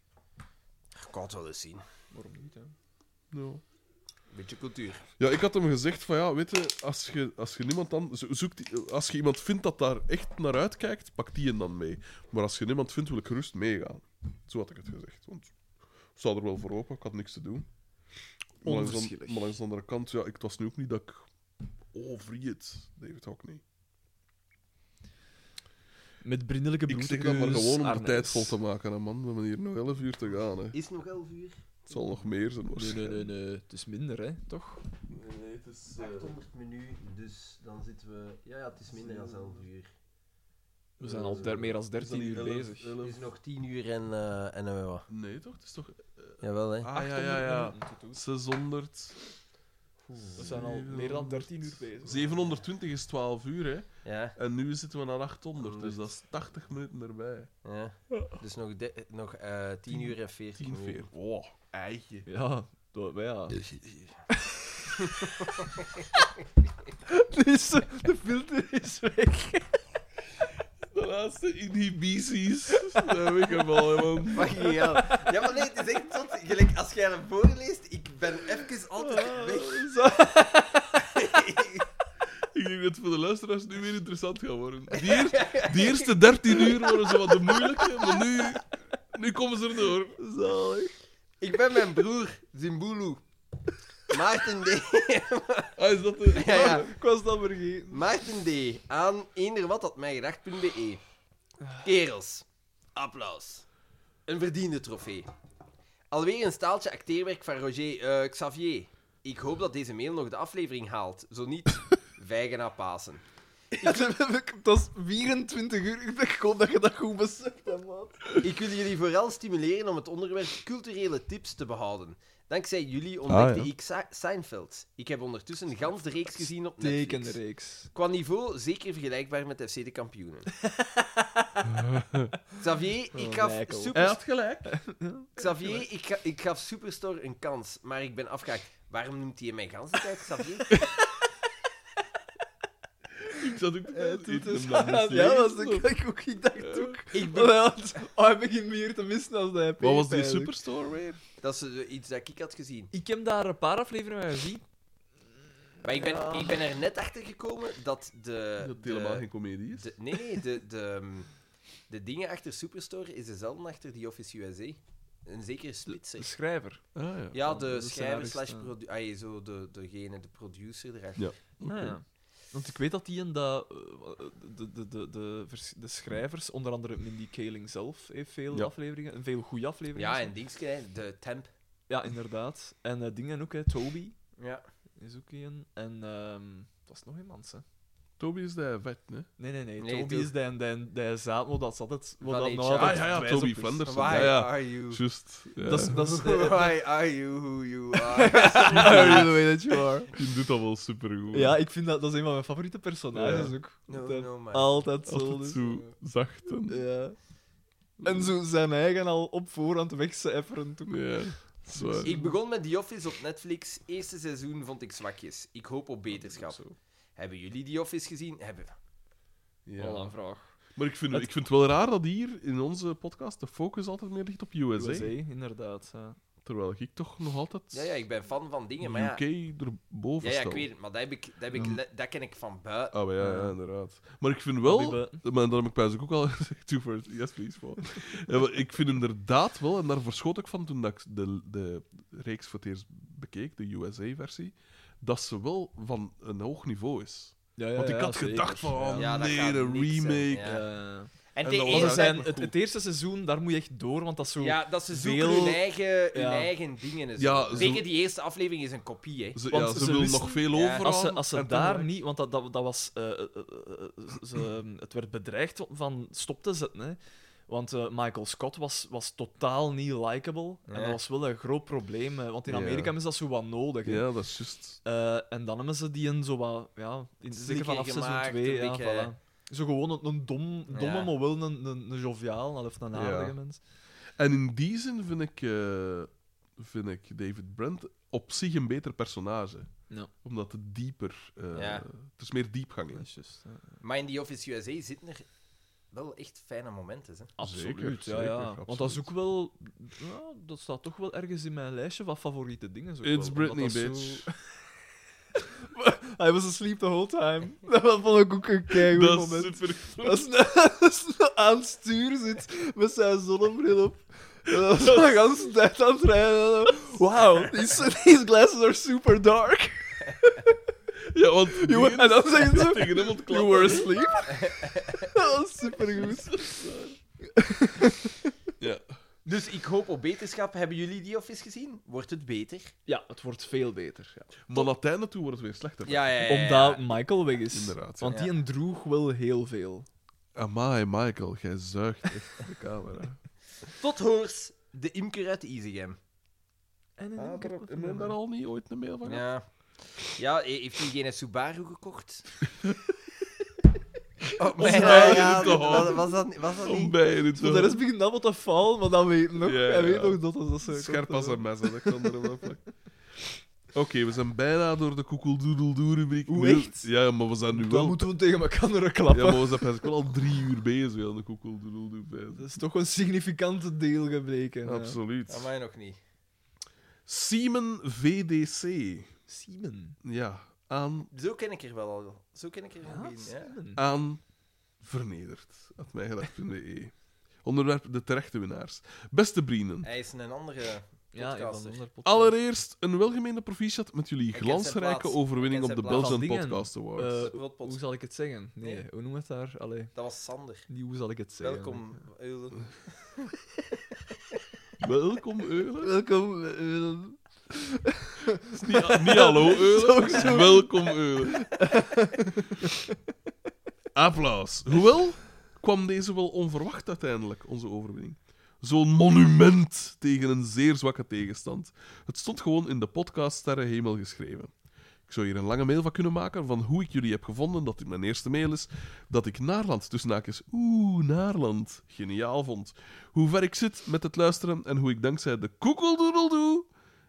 [SPEAKER 4] Ik kan het wel eens zien.
[SPEAKER 3] Waarom niet, hè?
[SPEAKER 1] Ja.
[SPEAKER 4] Beetje cultuur.
[SPEAKER 1] Ja, ik had hem gezegd van ja, weet je, als je, als je niemand dan zo- zoekt, die- als je iemand vindt dat daar echt naar uitkijkt, pak die hem dan mee. Maar als je niemand vindt, wil ik gerust meegaan. Zo had ik het gezegd. Want ik zou er wel voor open, ik had niks te doen. Maar langs, de-
[SPEAKER 3] Onverschillig.
[SPEAKER 1] maar langs de andere kant, ja, ik het was nu ook niet dat ik. Oh, vrie het. David ook niet.
[SPEAKER 3] Met vriendelijke
[SPEAKER 1] Ik
[SPEAKER 3] bloed.
[SPEAKER 1] zeg dat maar gewoon om de tijd vol te maken, hè, man. We hebben hier nog 11 uur te gaan. Hè.
[SPEAKER 4] Is het nog 11 uur?
[SPEAKER 1] Het zal nog meer zijn.
[SPEAKER 3] Nee, nee,
[SPEAKER 1] waarschijnlijk.
[SPEAKER 3] nee, nee. Het is minder, hè? Toch?
[SPEAKER 4] Nee, nee, het is... 800 menu, dus dan zitten we... Ja, ja, het is minder dan 11 uur.
[SPEAKER 3] We zijn al der- meer dan 13
[SPEAKER 1] Is
[SPEAKER 3] uur
[SPEAKER 1] dat niet elf-
[SPEAKER 3] bezig.
[SPEAKER 1] elf-
[SPEAKER 4] Het is nog 10 uur en... eh en eh, wat?
[SPEAKER 1] Nee, toch? Het is toch.
[SPEAKER 4] Jawel, hè.
[SPEAKER 1] Ah, ja, ja, ja.
[SPEAKER 3] minuten toe.
[SPEAKER 1] 600.
[SPEAKER 3] We zijn al meer dan 13 uur bezig.
[SPEAKER 1] 720 is 12 uur, hè?
[SPEAKER 4] Ja,
[SPEAKER 1] En nu zitten we naar 800, dus
[SPEAKER 4] Honderd.
[SPEAKER 1] dat is 80 minuten erbij.
[SPEAKER 4] ja. Dus nog, de, nog eh 10 uur Oh, en 40
[SPEAKER 1] 10,
[SPEAKER 4] minuten.
[SPEAKER 1] 40. Wow, Oh, eitje.
[SPEAKER 3] Ja, dat, maar ja.
[SPEAKER 4] Ja.
[SPEAKER 3] Dus, de filter is weg.
[SPEAKER 1] De laatste inhibities. dat heb ik hem al, hè, man.
[SPEAKER 4] Fucking hell. Ja, maar nee, het is echt tot... Gelijk, als jij hem voorleest, ik ben
[SPEAKER 3] Ah.
[SPEAKER 4] even altijd weg.
[SPEAKER 1] Ik denk dat het voor de luisteraars nu weer interessant gaat worden. Die, eer- die eerste 13 uur waren zo wat de moeilijke, maar nu, nu komen ze erdoor. Zalig.
[SPEAKER 4] Ik ben mijn broer, Zimbulu. Maarten D.
[SPEAKER 1] Ah, is dat de...
[SPEAKER 4] Ja, ja.
[SPEAKER 3] Ik was dat vergeten.
[SPEAKER 4] Maarten D. Aan eenderwat.mijgedacht.be Kerels. Applaus. Een verdiende trofee. Alweer een staaltje acteerwerk van Roger eh, Xavier. Ik hoop dat deze mail nog de aflevering haalt. Zo niet, vijgen na Pasen.
[SPEAKER 3] Dat is 24 uur. Ik denk gewoon dat je dat goed beseft hebt, man.
[SPEAKER 4] Ik wil jullie vooral stimuleren om het onderwerp culturele tips te behouden. Dankzij jullie ontdekte
[SPEAKER 1] Ah, ja.
[SPEAKER 4] ik Sa- Seinfeld. Ik heb ondertussen gans de reeks gezien op Netflix.
[SPEAKER 3] Tekenreeks.
[SPEAKER 4] Qua niveau zeker vergelijkbaar met FC de kampioenen. Xavier, ik gaf,
[SPEAKER 3] lijkel.
[SPEAKER 1] Hij
[SPEAKER 4] super...
[SPEAKER 1] had gelijk.
[SPEAKER 4] Xavier ik, ga- ik gaf Superstore een kans, maar ik ben afgehaakt. Waarom noemt hij mij gans de tijd Xavier?
[SPEAKER 1] Ik zat ook te
[SPEAKER 2] Eh,
[SPEAKER 1] denken,
[SPEAKER 2] toen
[SPEAKER 1] eet
[SPEAKER 2] het is-
[SPEAKER 1] hem dan
[SPEAKER 2] ja,
[SPEAKER 1] dus
[SPEAKER 2] dat was
[SPEAKER 1] leeg?
[SPEAKER 2] ik ik ook. Ik dacht ook.
[SPEAKER 4] Ik ben-
[SPEAKER 2] Want, oh, hij begint meer te missen dan de HP.
[SPEAKER 1] Wat was die
[SPEAKER 2] eigenlijk.
[SPEAKER 1] Superstore weer?
[SPEAKER 4] Dat is eh, iets dat ik had gezien.
[SPEAKER 3] Ik heb daar een paar afleveringen van gezien.
[SPEAKER 4] Maar ik ben, ik ben er net achter gekomen dat de.
[SPEAKER 1] Dat het
[SPEAKER 4] Eh, de-
[SPEAKER 1] helemaal geen comedie is.
[SPEAKER 4] de- nee, nee, de, de, ehm, de dingen achter Superstore is dezelfde achter die Office USA. Een zekere
[SPEAKER 3] De
[SPEAKER 4] splitser.
[SPEAKER 3] schrijver.
[SPEAKER 1] Ah, ja.
[SPEAKER 4] Ja, de,
[SPEAKER 3] de
[SPEAKER 4] schrijver
[SPEAKER 3] scenarist,
[SPEAKER 4] slash
[SPEAKER 3] ja.
[SPEAKER 4] produ- ah, je, zo de, degene, de producer erachter.
[SPEAKER 1] Ja. Oké.
[SPEAKER 3] Ah, ja. Want ik weet dat die en dat, eh, de, de, de, de, vers- de schrijvers, onder andere Mindy Kaling zelf, heeft veel
[SPEAKER 1] Ja.
[SPEAKER 3] afleveringen, en veel goede afleveringen.
[SPEAKER 4] Ja, en Dingske, hè, de temp.
[SPEAKER 3] ja inderdaad. En eh, dingen ook, hè. Toby
[SPEAKER 4] Ja.
[SPEAKER 3] is ook een. En ehm dat is nog iemand, hè.
[SPEAKER 1] Toby is de vet, hè?
[SPEAKER 3] Nee, nee, nee.
[SPEAKER 4] Nee,
[SPEAKER 3] Toby
[SPEAKER 4] Toby.
[SPEAKER 3] is de, de, de zaadmodel, dat zat het. Wat
[SPEAKER 4] Van
[SPEAKER 3] dat
[SPEAKER 4] HR.
[SPEAKER 3] nou
[SPEAKER 1] Ah,
[SPEAKER 3] altijd
[SPEAKER 1] ja, ja,
[SPEAKER 3] wijs op
[SPEAKER 1] Toby
[SPEAKER 3] is.
[SPEAKER 1] Flanders.
[SPEAKER 4] Why
[SPEAKER 1] Ja, Dus nou ja.
[SPEAKER 4] are you?
[SPEAKER 1] Juist. Ja.
[SPEAKER 3] Dat is, dat is, eh,
[SPEAKER 4] Why are you who you are?
[SPEAKER 2] Sorry, the way that you are.
[SPEAKER 1] Die doet dat wel supergoed.
[SPEAKER 3] ja, ik vind dat, dat is een van mijn favoriete personages
[SPEAKER 1] Ja.
[SPEAKER 3] ook.
[SPEAKER 4] No,
[SPEAKER 3] Dat
[SPEAKER 4] no, man.
[SPEAKER 3] Altijd zo. dus-
[SPEAKER 1] Altijd
[SPEAKER 4] dus, eh,
[SPEAKER 1] zo zacht en...
[SPEAKER 2] Ja. En zo zijn eigen al op voorhand wegcijferen. toen.
[SPEAKER 1] Ja, dat is waar.
[SPEAKER 4] Dus Ik begon met The Office op Netflix. Eerste seizoen vond ik zwakjes. Ik hoop op beterschap. Hebben jullie The Office gezien? Hebben we.
[SPEAKER 1] Ja.
[SPEAKER 4] Al een vraag.
[SPEAKER 1] Maar ik vind, ik vind het wel raar dat hier in onze podcast de focus altijd meer ligt op USA.
[SPEAKER 3] USA, inderdaad. ja.
[SPEAKER 1] Terwijl ik toch nog altijd
[SPEAKER 4] Ja, ja, ik ben fan van dingen, maar
[SPEAKER 1] UK
[SPEAKER 4] ja. Ja,
[SPEAKER 1] erboven
[SPEAKER 4] ja,
[SPEAKER 1] stel.
[SPEAKER 4] ik weet het, maar dat, heb ik, dat, heb ik, le- dat ken ik van buiten.
[SPEAKER 1] Ah, maar ja, ja,
[SPEAKER 3] Ja.
[SPEAKER 1] inderdaad. Maar ik vind wel...
[SPEAKER 3] Bobby
[SPEAKER 1] Maar dat heb ik bijna ook al gezegd. Two first, yes, please, Paul. Ja, maar ik vind inderdaad wel, en daar verschoot ik van toen dat ik de, de reeks voor het eerst bekeek, de USA-versie, dat ze wel van een hoog niveau is.
[SPEAKER 3] Ja, ja,
[SPEAKER 1] Want ik
[SPEAKER 3] ja,
[SPEAKER 1] had
[SPEAKER 3] zeker.
[SPEAKER 1] gedacht van, oh
[SPEAKER 4] Ja, dat
[SPEAKER 1] nee,
[SPEAKER 4] gaat
[SPEAKER 1] een
[SPEAKER 4] niks zijn,
[SPEAKER 1] remake.
[SPEAKER 4] ja. Oh,
[SPEAKER 3] Ja. ja.
[SPEAKER 4] En,
[SPEAKER 1] dat
[SPEAKER 4] de
[SPEAKER 1] was
[SPEAKER 4] ene
[SPEAKER 3] Er
[SPEAKER 1] eigenlijk
[SPEAKER 4] zijn...
[SPEAKER 3] zijn, het, het eerste seizoen, daar moet je echt door, want dat is zo...
[SPEAKER 4] Ja, dat ze zoeken
[SPEAKER 3] veel-
[SPEAKER 4] hun, eigen, hun
[SPEAKER 3] ja.
[SPEAKER 4] eigen dingen. en zo.
[SPEAKER 1] Ja, zo-
[SPEAKER 4] Zeker die eerste aflevering is een kopie, hè.
[SPEAKER 1] Ze,
[SPEAKER 3] Want
[SPEAKER 1] ja, ze,
[SPEAKER 3] ze
[SPEAKER 1] willen
[SPEAKER 3] wisten-
[SPEAKER 1] nog veel
[SPEAKER 4] Ja.
[SPEAKER 1] over.
[SPEAKER 3] Als ze, als ze daar niet... Want dat, dat, dat was... eh, eh, eh, eh, ze, het werd bedreigd om van stop te zetten, hè. Want eh, Michael Scott was, was totaal niet likable. En
[SPEAKER 4] Ja.
[SPEAKER 3] dat was wel een groot probleem. eh, want in
[SPEAKER 1] Ja.
[SPEAKER 3] Amerika is dat zo wat nodig. hè.
[SPEAKER 1] Ja, dat is juist.
[SPEAKER 3] Eh, en dan hebben ze die een zo wat... Ja, in, zeker vanaf seizoen
[SPEAKER 4] gemaakt,
[SPEAKER 3] 2.
[SPEAKER 4] een
[SPEAKER 3] Ja,
[SPEAKER 4] beetje-
[SPEAKER 3] voilà. Zo gewoon een, een dom, domme,
[SPEAKER 4] Ja.
[SPEAKER 3] maar wel een, een, een joviaal of een aardige
[SPEAKER 1] Ja.
[SPEAKER 3] mens.
[SPEAKER 1] En in die zin vind ik, eh, vind ik David Brent op zich een beter personage.
[SPEAKER 3] Ja.
[SPEAKER 1] Omdat het dieper... eh,
[SPEAKER 4] Ja.
[SPEAKER 1] Het is meer diepgang in.
[SPEAKER 4] Maar in The Office USA zitten er wel echt fijne momenten, hè.
[SPEAKER 3] Absoluut,
[SPEAKER 1] Zeker,
[SPEAKER 3] ja,
[SPEAKER 1] zeker,
[SPEAKER 3] ja. Want dat is
[SPEAKER 1] absoluut.
[SPEAKER 3] ook wel... Ja, dat staat toch wel ergens in mijn lijstje van favoriete dingen. zo
[SPEAKER 1] It's
[SPEAKER 3] wel,
[SPEAKER 1] Britney,
[SPEAKER 3] omdat dat
[SPEAKER 1] bitch.
[SPEAKER 3] zo-
[SPEAKER 2] Hij was asleep the whole time. Dat vond ik ook een keigoed
[SPEAKER 1] Dat is
[SPEAKER 2] moment.
[SPEAKER 1] super...
[SPEAKER 2] Als hij aan het stuur zit met zijn zonnebril op. En dan is hij de hele tijd aan het rijden. en dan, Wow, these, these glasses are super dark.
[SPEAKER 1] Ja, want...
[SPEAKER 2] You were- en dan zeggen ze,
[SPEAKER 1] Tegen hem ontklappen.
[SPEAKER 2] you were asleep. dat was super goed.
[SPEAKER 1] Ja.
[SPEAKER 4] Dus ik hoop op beterschap. Hebben jullie The Office gezien? Wordt het beter?
[SPEAKER 3] Ja, het wordt veel beter. ja.
[SPEAKER 1] Maar naar het einde toe wordt het weer slechter.
[SPEAKER 4] Ja, ja, ja.
[SPEAKER 3] Omdat Michael weg is.
[SPEAKER 1] Inderdaad, ja.
[SPEAKER 3] Want die
[SPEAKER 4] Ja.
[SPEAKER 3] een droeg wel heel veel.
[SPEAKER 1] Amai, Michael, jij zuigt echt aan de camera.
[SPEAKER 4] Tot hoors, de imker uit Izegem.
[SPEAKER 3] En
[SPEAKER 1] Ah, daar- hebben we daar al niet ooit een mail van gehad?
[SPEAKER 4] Ja. Ja, he- heeft hij geen Subaru gekocht? Oh, mijn
[SPEAKER 1] daar in
[SPEAKER 4] ja,
[SPEAKER 1] te houden.
[SPEAKER 4] was, was dat, was dat
[SPEAKER 1] Om
[SPEAKER 4] niet?
[SPEAKER 1] bij je
[SPEAKER 2] Voor de rest begint dat wat te falen, maar dan weet hij nog.
[SPEAKER 1] Ja,
[SPEAKER 2] Hij weet
[SPEAKER 1] ja.
[SPEAKER 2] nog dat dat zo
[SPEAKER 1] Scherp als een mes, hè, dat kan er wel vlak. Oké, we zijn bijna door de koekeldoedeldoe-rubriek.
[SPEAKER 2] Hoe
[SPEAKER 1] Nu-
[SPEAKER 2] echt?
[SPEAKER 1] Ja, maar we zijn nu
[SPEAKER 2] Dan
[SPEAKER 1] wel...
[SPEAKER 2] moeten we tegen elkaar
[SPEAKER 1] Ja,
[SPEAKER 2] klappen.
[SPEAKER 1] maar we zijn best wel al drie uur bezig aan de koekeldoedeldoe. bezig.
[SPEAKER 2] Dat is toch een significante deel gebleken. ja.
[SPEAKER 1] Absoluut.
[SPEAKER 4] Amai, nog niet.
[SPEAKER 1] Siemen VDC.
[SPEAKER 3] Simon.
[SPEAKER 1] Ja, aan,
[SPEAKER 4] Zo ken ik er wel al. Zo ken ik er wel een. Ja.
[SPEAKER 1] aan vernederd. Had mij E. Onderwerp de terechte winnaars. Beste Brienen.
[SPEAKER 4] Hij is een andere
[SPEAKER 3] Ja, ja,
[SPEAKER 4] podcaster.
[SPEAKER 3] van onder podcast.
[SPEAKER 1] Allereerst een welgemeende proficiat met jullie
[SPEAKER 4] Ik ken zijn
[SPEAKER 1] glansrijke
[SPEAKER 4] plaats.
[SPEAKER 1] overwinning
[SPEAKER 4] Ik
[SPEAKER 1] op
[SPEAKER 4] ken
[SPEAKER 1] de
[SPEAKER 4] zijn
[SPEAKER 1] Belgian
[SPEAKER 3] plaats. Van dingen.
[SPEAKER 1] Podcast Awards.
[SPEAKER 3] Eh,
[SPEAKER 4] De rotpot.
[SPEAKER 3] hoe zal ik het zeggen? Nee,
[SPEAKER 4] Nee.
[SPEAKER 3] hoe noem het daar? Allee,
[SPEAKER 4] Dat was Sander.
[SPEAKER 3] niet hoe zal ik het zeggen?
[SPEAKER 4] Welkom, Eulen.
[SPEAKER 1] Welkom, Eulen.
[SPEAKER 2] Welkom. eh,
[SPEAKER 1] Het is Niet, niet hallo, Eulen. Het is Welkom, Eulen. Applaus. Hoewel kwam deze wel onverwacht uiteindelijk, onze overwinning. Zo'n monument tegen een zeer zwakke tegenstand. Het stond gewoon in de podcast Sterrenhemel geschreven. Ik zou hier een lange mail van kunnen maken van hoe ik jullie heb gevonden dat dit mijn eerste mail is. Dat ik Naarland, tussen haakjes, oeh, Naarland, geniaal vond. Hoe ver ik zit met het luisteren en hoe ik dankzij de koekeldoedeldoe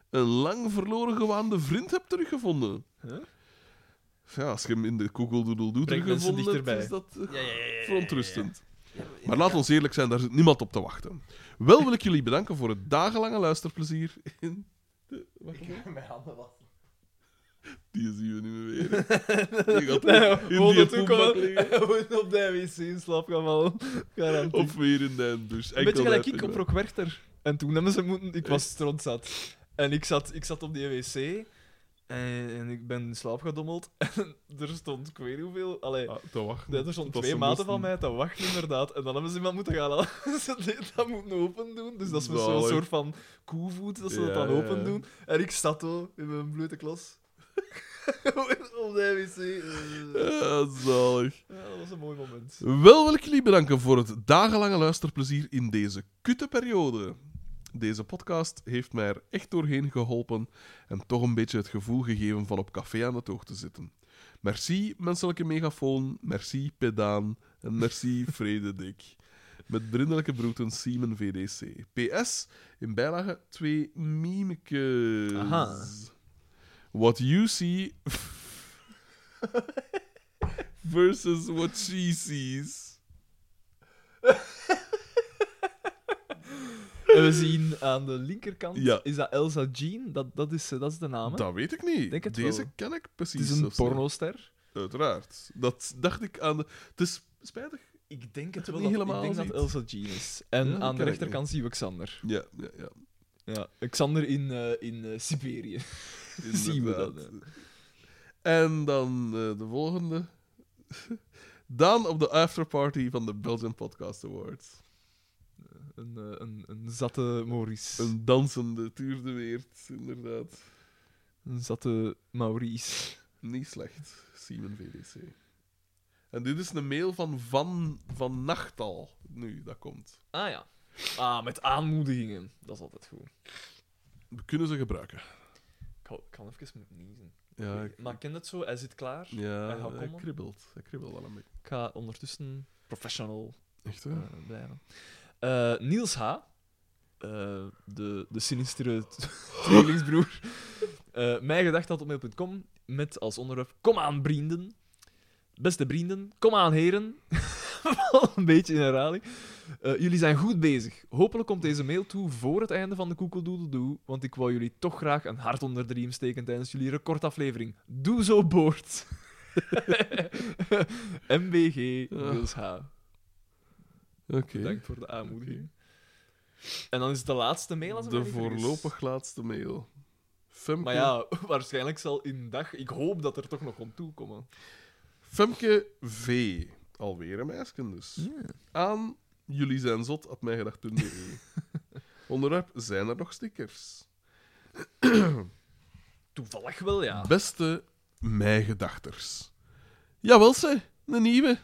[SPEAKER 1] een lang verloren gewaande vriend heb teruggevonden. Ja, als je hem in de Google Doodle Doo
[SPEAKER 8] Brengt mensen
[SPEAKER 1] teruggevonden hebt, is
[SPEAKER 8] dichterbij.
[SPEAKER 1] dat eh,
[SPEAKER 4] Ja, ja, ja, ja, ja.
[SPEAKER 1] verontrustend.
[SPEAKER 4] Ja, maar
[SPEAKER 1] Maar laat ons eerlijk zijn, daar zit niemand op te wachten. Wel wil ik jullie bedanken voor het dagenlange luisterplezier. In de... Wacht,
[SPEAKER 4] Ik ga mijn handen wassen.
[SPEAKER 1] die zien we niet meer weer. Die gaat
[SPEAKER 3] eh,
[SPEAKER 1] in die poelbak liggen.
[SPEAKER 3] Gewoon op de wc in slaap gaan vallen. Garantie.
[SPEAKER 1] Of weer in de douche.
[SPEAKER 3] Een
[SPEAKER 1] Enkel
[SPEAKER 3] beetje gelijk
[SPEAKER 1] uit-
[SPEAKER 3] ik op Rock Werchter. En toen hebben ze moeten...
[SPEAKER 1] Eh.
[SPEAKER 3] Ik was strontzat. En ik zat, ik zat op die E wc. En, eh, en ik ben in slaap gedommeld. En er stond, ik weet niet hoeveel... Allee,
[SPEAKER 1] Ah, te wachten.
[SPEAKER 3] er stond
[SPEAKER 1] Dat
[SPEAKER 3] twee
[SPEAKER 1] ze
[SPEAKER 3] maten van
[SPEAKER 1] moesten-
[SPEAKER 3] mij te wachten, inderdaad. En dan hebben ze iemand moeten gaan halen. ze deden dat moeten open doen. Dus dat is met zo'n
[SPEAKER 1] Zalig.
[SPEAKER 3] soort van koevoet, dat ze dat
[SPEAKER 1] Ja,
[SPEAKER 3] dan
[SPEAKER 1] ja,
[SPEAKER 3] open
[SPEAKER 1] ja.
[SPEAKER 3] doen. En ik zat zo in mijn blote klas. op de wc. Eh,
[SPEAKER 1] Ja, zalig.
[SPEAKER 3] Ja, dat was een mooi moment.
[SPEAKER 1] Wel wil ik jullie bedanken voor het dagenlange luisterplezier in deze kutte periode. Deze podcast heeft mij er echt doorheen geholpen en toch een beetje het gevoel gegeven van op café aan de toog te zitten. Merci, menselijke megafoon. Merci, pedaan. En merci, vrededik. Met vriendelijke groeten, Simon VDC. PS, in bijlage twee mimekes.
[SPEAKER 3] Aha.
[SPEAKER 1] What you see versus what she sees.
[SPEAKER 3] En we zien aan de linkerkant,
[SPEAKER 1] Ja.
[SPEAKER 3] is dat Elsa Jean? Dat, dat, is, eh, dat is de naam. hè?
[SPEAKER 1] Dat weet ik niet.
[SPEAKER 3] Denk het
[SPEAKER 1] Deze
[SPEAKER 3] wel.
[SPEAKER 1] ken ik
[SPEAKER 3] het
[SPEAKER 1] precies.
[SPEAKER 3] is een
[SPEAKER 1] of zo.
[SPEAKER 3] pornoster.
[SPEAKER 1] Uiteraard. Dat dacht ik aan de... Het is spijtig.
[SPEAKER 3] Ik denk het
[SPEAKER 1] wel
[SPEAKER 3] Niet
[SPEAKER 1] dat- ik
[SPEAKER 3] helemaal
[SPEAKER 1] denk
[SPEAKER 3] dat
[SPEAKER 1] niet.
[SPEAKER 3] Elsa Jean is. En
[SPEAKER 1] Ja, dat
[SPEAKER 3] aan de
[SPEAKER 1] ken ik
[SPEAKER 3] rechterkant zien we Xander.
[SPEAKER 1] Ja, ja, ja.
[SPEAKER 3] Ja, Xander in, eh, in eh, Siberië. Zien we dat,
[SPEAKER 1] Inderdaad. En dan eh, de volgende. Daan op de afterparty van de Belgian Podcast Awards.
[SPEAKER 3] Een, eh, een, een zatte Maurice. Een,
[SPEAKER 1] Een dansende Tuur de Weert, inderdaad.
[SPEAKER 3] zatte Maurice.
[SPEAKER 1] Niet slecht, Simon VDC. En dit is een mail van Van, van Nachtal, nu, dat komt.
[SPEAKER 3] Ah ja. Ah, met aanmoedigingen. Dat is altijd goed.
[SPEAKER 1] We kunnen ze gebruiken.
[SPEAKER 3] Ik kan, ik kan even moeten niezen.
[SPEAKER 1] Ja, ik-
[SPEAKER 3] Maar ik ken het zo, hij zit klaar. Hij
[SPEAKER 1] ja
[SPEAKER 3] gaat
[SPEAKER 1] hij
[SPEAKER 3] komen.
[SPEAKER 1] kribbelt. Hij kribbelt wel een beetje.
[SPEAKER 3] Ik ga ondertussen professional
[SPEAKER 1] Echt, hè?
[SPEAKER 3] eh, blijven. Eh, Niels H., eh, de, de sinistere t- tweelingsbroer, Eh mij gedacht had op mail.com met als onderwerp: Kom aan, vrienden. Beste vrienden, kom aan, heren. Wel een beetje in herhaling. Eh, jullie zijn goed bezig. Hopelijk komt deze mail toe voor het einde van de koekeldoedeldoe, want ik wou jullie toch graag een hart onder de riem steken tijdens jullie recordaflevering. Doe zo, boord. MBG Niels H.
[SPEAKER 1] Oké.
[SPEAKER 3] Bedankt voor de aanmoediging. En dan is het de laatste mail als het
[SPEAKER 1] De
[SPEAKER 3] mij niet vergis.
[SPEAKER 1] voorlopig laatste mail. Femke,
[SPEAKER 3] Maar ja, waarschijnlijk zal in dag. Ik hoop dat er toch nog aan toe komen.
[SPEAKER 1] Femke V. Alweer een meisje dus. Aan jullie zijn zot at mijgedacht.be. Onderwerp: zijn er nog stickers?
[SPEAKER 3] Toevallig wel, ja.
[SPEAKER 1] Beste mijgedachters. Jawel, ze, een nieuwe.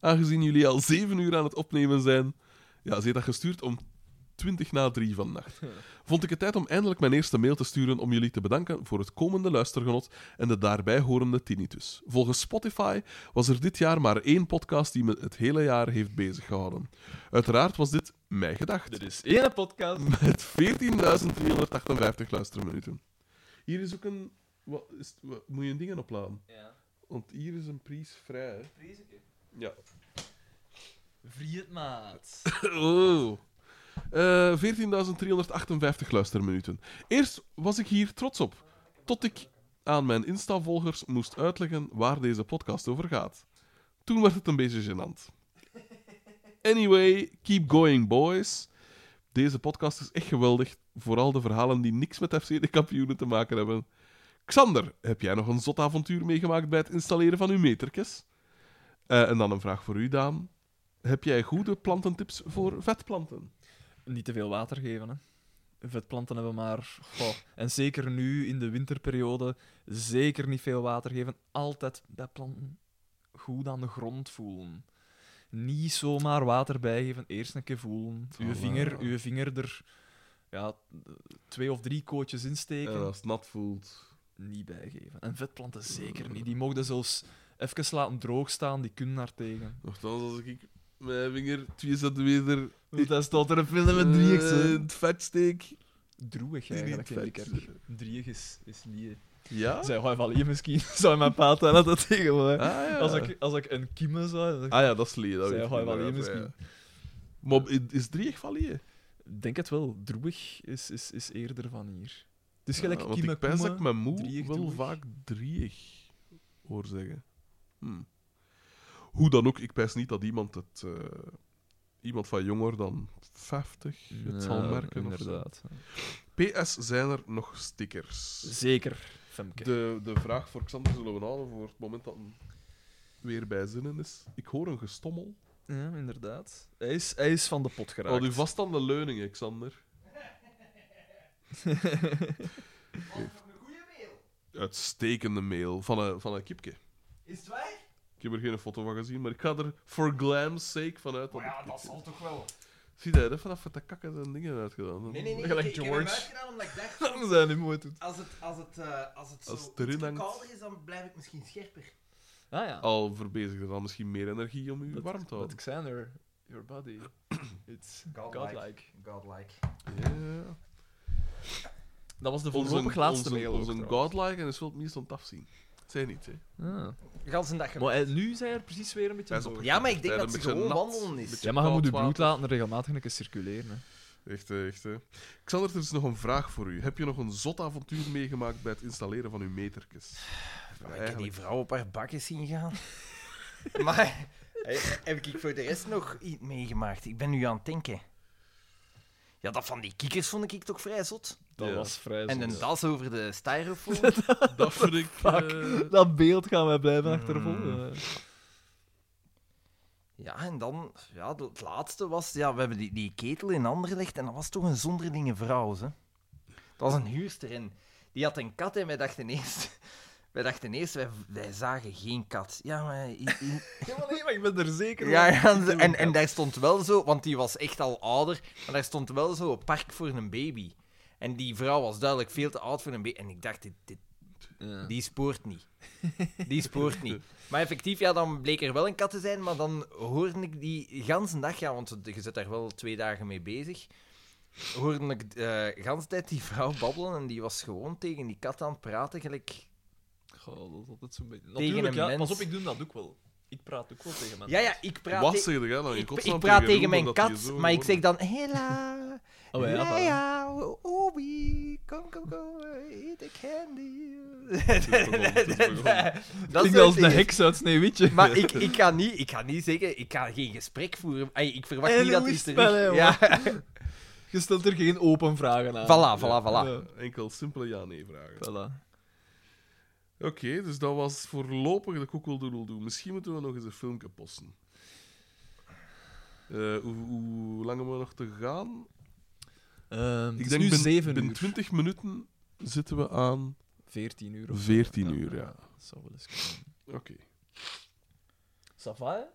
[SPEAKER 1] Aangezien jullie al zeven uur aan het opnemen zijn. Ja, ze heeft dat gestuurd om 20 na 3 vannacht. Vond ik het tijd om eindelijk mijn eerste mail te sturen om jullie te bedanken voor het komende luistergenot en de daarbij horende tinnitus. Volgens Spotify was er dit jaar maar één podcast die me het hele jaar heeft beziggehouden. Uiteraard was dit Mij Gedacht.
[SPEAKER 3] Er is één podcast.
[SPEAKER 1] Met 14.358 luisterminuten. Hier is ook een... Wat is, het- wat- moet je een dingen opladen?
[SPEAKER 3] Ja.
[SPEAKER 1] Want hier is een prijs vrij. hè. Ja.
[SPEAKER 3] Vrie het maat.
[SPEAKER 1] Oh. Eh, 14.358 luisterminuten. Eerst was ik hier trots op, tot ik aan mijn Insta-volgers moest uitleggen waar deze podcast over gaat. Toen werd het een beetje gênant. Anyway, keep going, boys. Deze podcast is echt geweldig, vooral de verhalen die niks met FC de kampioenen te maken hebben. Xander, heb jij nog een zot avontuur meegemaakt bij het installeren van uw metertjes? Eh, en dan een vraag voor u, Daan. Heb jij goede plantentips voor vetplanten?
[SPEAKER 3] Niet te veel water geven, hè. Vetplanten hebben maar... goh, En zeker nu, in de winterperiode, zeker niet veel water geven. Altijd bij planten goed aan de grond voelen. Niet zomaar water bijgeven, eerst een keer voelen. Uw
[SPEAKER 1] Voilà.
[SPEAKER 3] vinger, uw vinger er ja, twee of drie kootjes insteken,
[SPEAKER 1] En als het nat voelt.
[SPEAKER 3] niet bijgeven. En vetplanten zeker niet. Die mogen zelfs even laten droog staan, die kunnen daar tegen.
[SPEAKER 1] Nochtans, als ik mijn vinger twee centimeter
[SPEAKER 3] Want daar staat er een film
[SPEAKER 1] eh,
[SPEAKER 3] met drieëks.
[SPEAKER 1] in het vet steek.
[SPEAKER 3] Droeg
[SPEAKER 1] is niet
[SPEAKER 3] eigenlijk, Ah. in die
[SPEAKER 1] vet.
[SPEAKER 3] kerk. Drieëg is, is niet...
[SPEAKER 1] Ja?
[SPEAKER 3] Zij Roy misschien. Zou mijn pa tellen dat tegen me.
[SPEAKER 1] Ah, ja.
[SPEAKER 3] Als, ik, als ik een kiemen zou... dan-
[SPEAKER 1] ah ja, dat is Lee. Dat
[SPEAKER 3] Zij
[SPEAKER 1] weet ik
[SPEAKER 3] Roy Valier
[SPEAKER 1] inderdaad, ja.
[SPEAKER 3] misschien.
[SPEAKER 1] Maar i- is drie echt van Lee?
[SPEAKER 3] Ik denk het wel. Droebig is, is, is eerder van hier. Het is
[SPEAKER 1] Ja,
[SPEAKER 3] gelijk
[SPEAKER 1] Ah, want
[SPEAKER 3] kiemen,
[SPEAKER 1] ik pens dat ik
[SPEAKER 3] koemen.
[SPEAKER 1] mijn moe
[SPEAKER 3] drieëg,
[SPEAKER 1] wel
[SPEAKER 3] drieëg.
[SPEAKER 1] vaak drieëg hoor zeggen. Hm. Hoe dan ook, ik pens niet dat iemand het... eh, iemand van jonger dan 50 het zal
[SPEAKER 3] Ja,
[SPEAKER 1] merken. of zo.
[SPEAKER 3] Inderdaad.
[SPEAKER 1] PS, zijn er nog stickers?
[SPEAKER 3] Zeker, Femke.
[SPEAKER 1] De, de vraag voor Xander zullen we halen voor het moment dat hem weer bij zinnen is. Ik hoor een gestommel.
[SPEAKER 3] Ja, inderdaad. Hij is, hij is van de pot geraakt.
[SPEAKER 1] Houd u vast aan de leuningen, Xander.
[SPEAKER 4] goede mail.
[SPEAKER 1] Uitstekende mail van een, van een kipke.
[SPEAKER 4] Is het waar?
[SPEAKER 1] Ik heb er geen foto van gezien, maar ik ga er for glam's sake vanuit.
[SPEAKER 3] Oh
[SPEAKER 4] Maar
[SPEAKER 1] het
[SPEAKER 4] ja,
[SPEAKER 1] kipke
[SPEAKER 4] dat
[SPEAKER 1] is.
[SPEAKER 4] zal toch wel.
[SPEAKER 1] Zie je, even dat de kakken zijn dingen uitgedaan.
[SPEAKER 4] Nee, nee, nee.
[SPEAKER 3] Gelijk
[SPEAKER 4] ik, ik heb hem
[SPEAKER 3] George.
[SPEAKER 4] uitgedaan omdat ik dacht,
[SPEAKER 3] We zijn nu mooi toe.
[SPEAKER 4] als het, als het, eh, als het zo
[SPEAKER 1] Als het erin
[SPEAKER 4] ietsje
[SPEAKER 1] hangt.
[SPEAKER 4] kouder is, dan blijf ik misschien scherper.
[SPEAKER 3] Ah ja.
[SPEAKER 1] Al verbezigde dan misschien meer energie om u
[SPEAKER 3] Dat-
[SPEAKER 1] warm te houden.
[SPEAKER 3] Alexander, your body. It's
[SPEAKER 4] Godlike.
[SPEAKER 3] godlike.
[SPEAKER 4] Godlike.
[SPEAKER 1] Ja.
[SPEAKER 3] Dat was de
[SPEAKER 1] Onze,
[SPEAKER 3] voorlopig laatste
[SPEAKER 1] onze,
[SPEAKER 3] mail. ook,
[SPEAKER 1] onze
[SPEAKER 3] trouwens.
[SPEAKER 1] godlike en is wel het minst aan het afzien. Zij niet, hè.
[SPEAKER 3] Ah.
[SPEAKER 4] Gans een dag
[SPEAKER 3] Maar eh, nu zijn er precies weer een beetje...
[SPEAKER 1] Hij is
[SPEAKER 3] boos.
[SPEAKER 1] op-
[SPEAKER 4] Ja, maar ik
[SPEAKER 1] Ja,
[SPEAKER 4] denk
[SPEAKER 1] een
[SPEAKER 4] dat ze
[SPEAKER 1] beetje
[SPEAKER 4] gewoon
[SPEAKER 1] nat.
[SPEAKER 4] wandelen is.
[SPEAKER 1] Beetje-
[SPEAKER 3] Ja, maar je moet je
[SPEAKER 1] koud
[SPEAKER 3] bloed
[SPEAKER 1] water.
[SPEAKER 3] laten regelmatig een keer circuleren. Hè.
[SPEAKER 1] Echt, eh, echt. hè. Xander, er is nog een vraag voor u. Heb je nog een zot avontuur meegemaakt bij het installeren van uw meterkes?
[SPEAKER 4] Maar ik heb die
[SPEAKER 1] Eigenlijk.
[SPEAKER 4] vrouw op haar bakjes zien gaan. maar eh, heb ik voor de rest nog iets meegemaakt? Ik ben nu aan het denken. Ja, dat van die kikkers vond ik toch vrij zot.
[SPEAKER 3] Dat
[SPEAKER 1] Ja.
[SPEAKER 3] was vrij
[SPEAKER 4] En een
[SPEAKER 3] zot.
[SPEAKER 4] das over de styrofoam.
[SPEAKER 1] Dat vind ik...
[SPEAKER 3] Fuck.
[SPEAKER 1] eh,
[SPEAKER 3] Dat beeld gaan wij blijven
[SPEAKER 4] Mm.
[SPEAKER 3] achtervolgen.
[SPEAKER 4] ja, en dan... Ja, de- het laatste was... Ja, we hebben die, die ketel in handen gelegd en dat was toch een zonderdingen vrouw, hè? Dat was een huurster en die had een kat en wij dachten eerst... Wij dachten eerst, wij, wij zagen geen kat. Ja, maar... i- i-
[SPEAKER 3] Ja, nee, maar ik ben er zeker
[SPEAKER 4] Ja, ja, ze- en, en daar stond wel zo, want die was echt al ouder, maar daar stond wel zo een park voor een baby. En die vrouw was duidelijk veel te oud voor een baby. En ik dacht, dit, dit- die spoort niet. Die spoort niet. Maar effectief, ja, dan bleek er wel een kat te zijn, maar dan hoorde ik die ganse dag, ja, want je zit daar wel twee dagen mee bezig, hoorde ik de ganse tijd die vrouw babbelen en die was gewoon tegen die kat aan het praten, gelijk...
[SPEAKER 3] Goh, dat is altijd zo'n beetje...
[SPEAKER 4] Tegen
[SPEAKER 3] Natuurlijk,
[SPEAKER 4] een
[SPEAKER 3] ja.
[SPEAKER 4] mens.
[SPEAKER 3] Pas op, ik doe dat ook wel. Ik praat ook wel tegen mensen.
[SPEAKER 4] Ja, ja, ik praat...
[SPEAKER 1] Wat
[SPEAKER 4] te-
[SPEAKER 1] zeg jij dan? Nou, in
[SPEAKER 4] ik,
[SPEAKER 1] godsnaam
[SPEAKER 4] ik praat
[SPEAKER 1] Jeroen,
[SPEAKER 4] tegen mijn
[SPEAKER 1] omdat die
[SPEAKER 4] kat,
[SPEAKER 1] zo
[SPEAKER 4] maar ik
[SPEAKER 1] geworden
[SPEAKER 4] zeg dan, hela...
[SPEAKER 3] Oh, ja,
[SPEAKER 4] ja,
[SPEAKER 3] voilà.
[SPEAKER 4] ja, Obi, kom, kom, kom, eet de candy.
[SPEAKER 1] begonnen, het is begonnen.
[SPEAKER 4] dat
[SPEAKER 3] Klinkt
[SPEAKER 4] soort
[SPEAKER 3] als een
[SPEAKER 4] dingen.
[SPEAKER 3] heks uit Sneeuwwitje.
[SPEAKER 4] Maar ik, ik, ga niet, ik ga niet zeggen, ik ga geen gesprek voeren. Ai, ik verwacht
[SPEAKER 3] En
[SPEAKER 4] niet dat
[SPEAKER 3] hoe is
[SPEAKER 4] hij
[SPEAKER 3] het spel, hè,
[SPEAKER 4] terug... Ja,
[SPEAKER 3] Je stelt er geen open vragen aan.
[SPEAKER 4] voilà, voilà, voilà.
[SPEAKER 3] Ja.
[SPEAKER 1] is. eh, Enkel simpele ja-nee-vragen.
[SPEAKER 3] Voilà.
[SPEAKER 1] Oké, dus dat was voorlopig de koekeldoedeldoe. Misschien moeten we nog eens een filmpje posten. Eh, hoe, hoe lang hebben we nog te gaan?
[SPEAKER 3] Ehm, het
[SPEAKER 1] ik
[SPEAKER 3] is
[SPEAKER 1] denk
[SPEAKER 3] nu
[SPEAKER 1] binnen,
[SPEAKER 3] 7
[SPEAKER 1] binnen
[SPEAKER 3] uur.
[SPEAKER 1] 20 minuten zitten we aan
[SPEAKER 3] 14 uur. of zo. Ah,
[SPEAKER 1] 14 uur, ja.
[SPEAKER 3] Dat zou wel eens kunnen.
[SPEAKER 1] Oké.
[SPEAKER 3] Sava,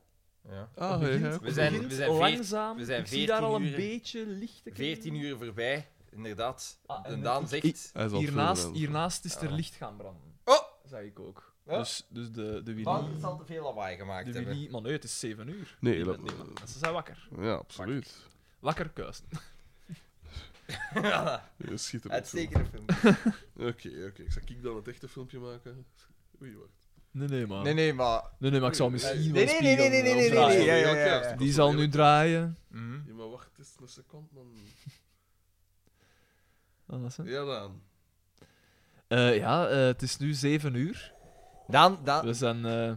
[SPEAKER 1] Ah,
[SPEAKER 3] begint-
[SPEAKER 1] ja, ja,
[SPEAKER 4] We zijn-
[SPEAKER 3] begint
[SPEAKER 4] we zijn veert-
[SPEAKER 3] langzaam.
[SPEAKER 4] we zijn
[SPEAKER 3] ik zie daar
[SPEAKER 4] 14
[SPEAKER 3] al een
[SPEAKER 4] uur.
[SPEAKER 3] beetje lichte
[SPEAKER 4] 14 uur voorbij, inderdaad.
[SPEAKER 3] Ah, en
[SPEAKER 4] en
[SPEAKER 3] ik-
[SPEAKER 4] Daan
[SPEAKER 3] ik-
[SPEAKER 4] zegt...
[SPEAKER 1] Hij is al
[SPEAKER 3] Hiernaast,
[SPEAKER 1] veel-
[SPEAKER 3] hiernaast is er
[SPEAKER 4] Ja.
[SPEAKER 3] licht gaan branden.
[SPEAKER 4] Oh!
[SPEAKER 3] Zag ik ook.
[SPEAKER 4] Ja.
[SPEAKER 3] Dus, dus de, de
[SPEAKER 4] Daan
[SPEAKER 3] Willy...
[SPEAKER 4] zal te veel lawaai gemaakt
[SPEAKER 3] De
[SPEAKER 4] hebben.
[SPEAKER 3] Willy... Maar nee, het is 7 uur.
[SPEAKER 1] Nee,
[SPEAKER 3] Die
[SPEAKER 1] dat-
[SPEAKER 3] bent niet wakker. Ze zijn wakker.
[SPEAKER 1] Ja, absoluut.
[SPEAKER 3] Wakker kuisten.
[SPEAKER 1] Ja, Schitterend. film.
[SPEAKER 4] Uitstekende film.
[SPEAKER 1] Oké, oké. Ik Zal ik dan het echte filmpje maken? Oei, wacht.
[SPEAKER 3] Nee, nee, man.
[SPEAKER 4] Nee, nee, maar...
[SPEAKER 3] Nee, nee, maar ik zou misschien
[SPEAKER 4] Nee,
[SPEAKER 3] wel
[SPEAKER 4] nee, nee, nee, nee, nee, nee,
[SPEAKER 3] draaien.
[SPEAKER 4] nee, ja, ja, ja, ja.
[SPEAKER 3] Die zal nu draaien.
[SPEAKER 4] Mhm.
[SPEAKER 1] Ja, maar wacht eens een seconde, dan...
[SPEAKER 3] Wat was het?
[SPEAKER 1] Ja, dan.
[SPEAKER 3] Eh, ja, eh, het is nu 7 uur.
[SPEAKER 4] Daan, Daan,
[SPEAKER 3] We zijn... eh,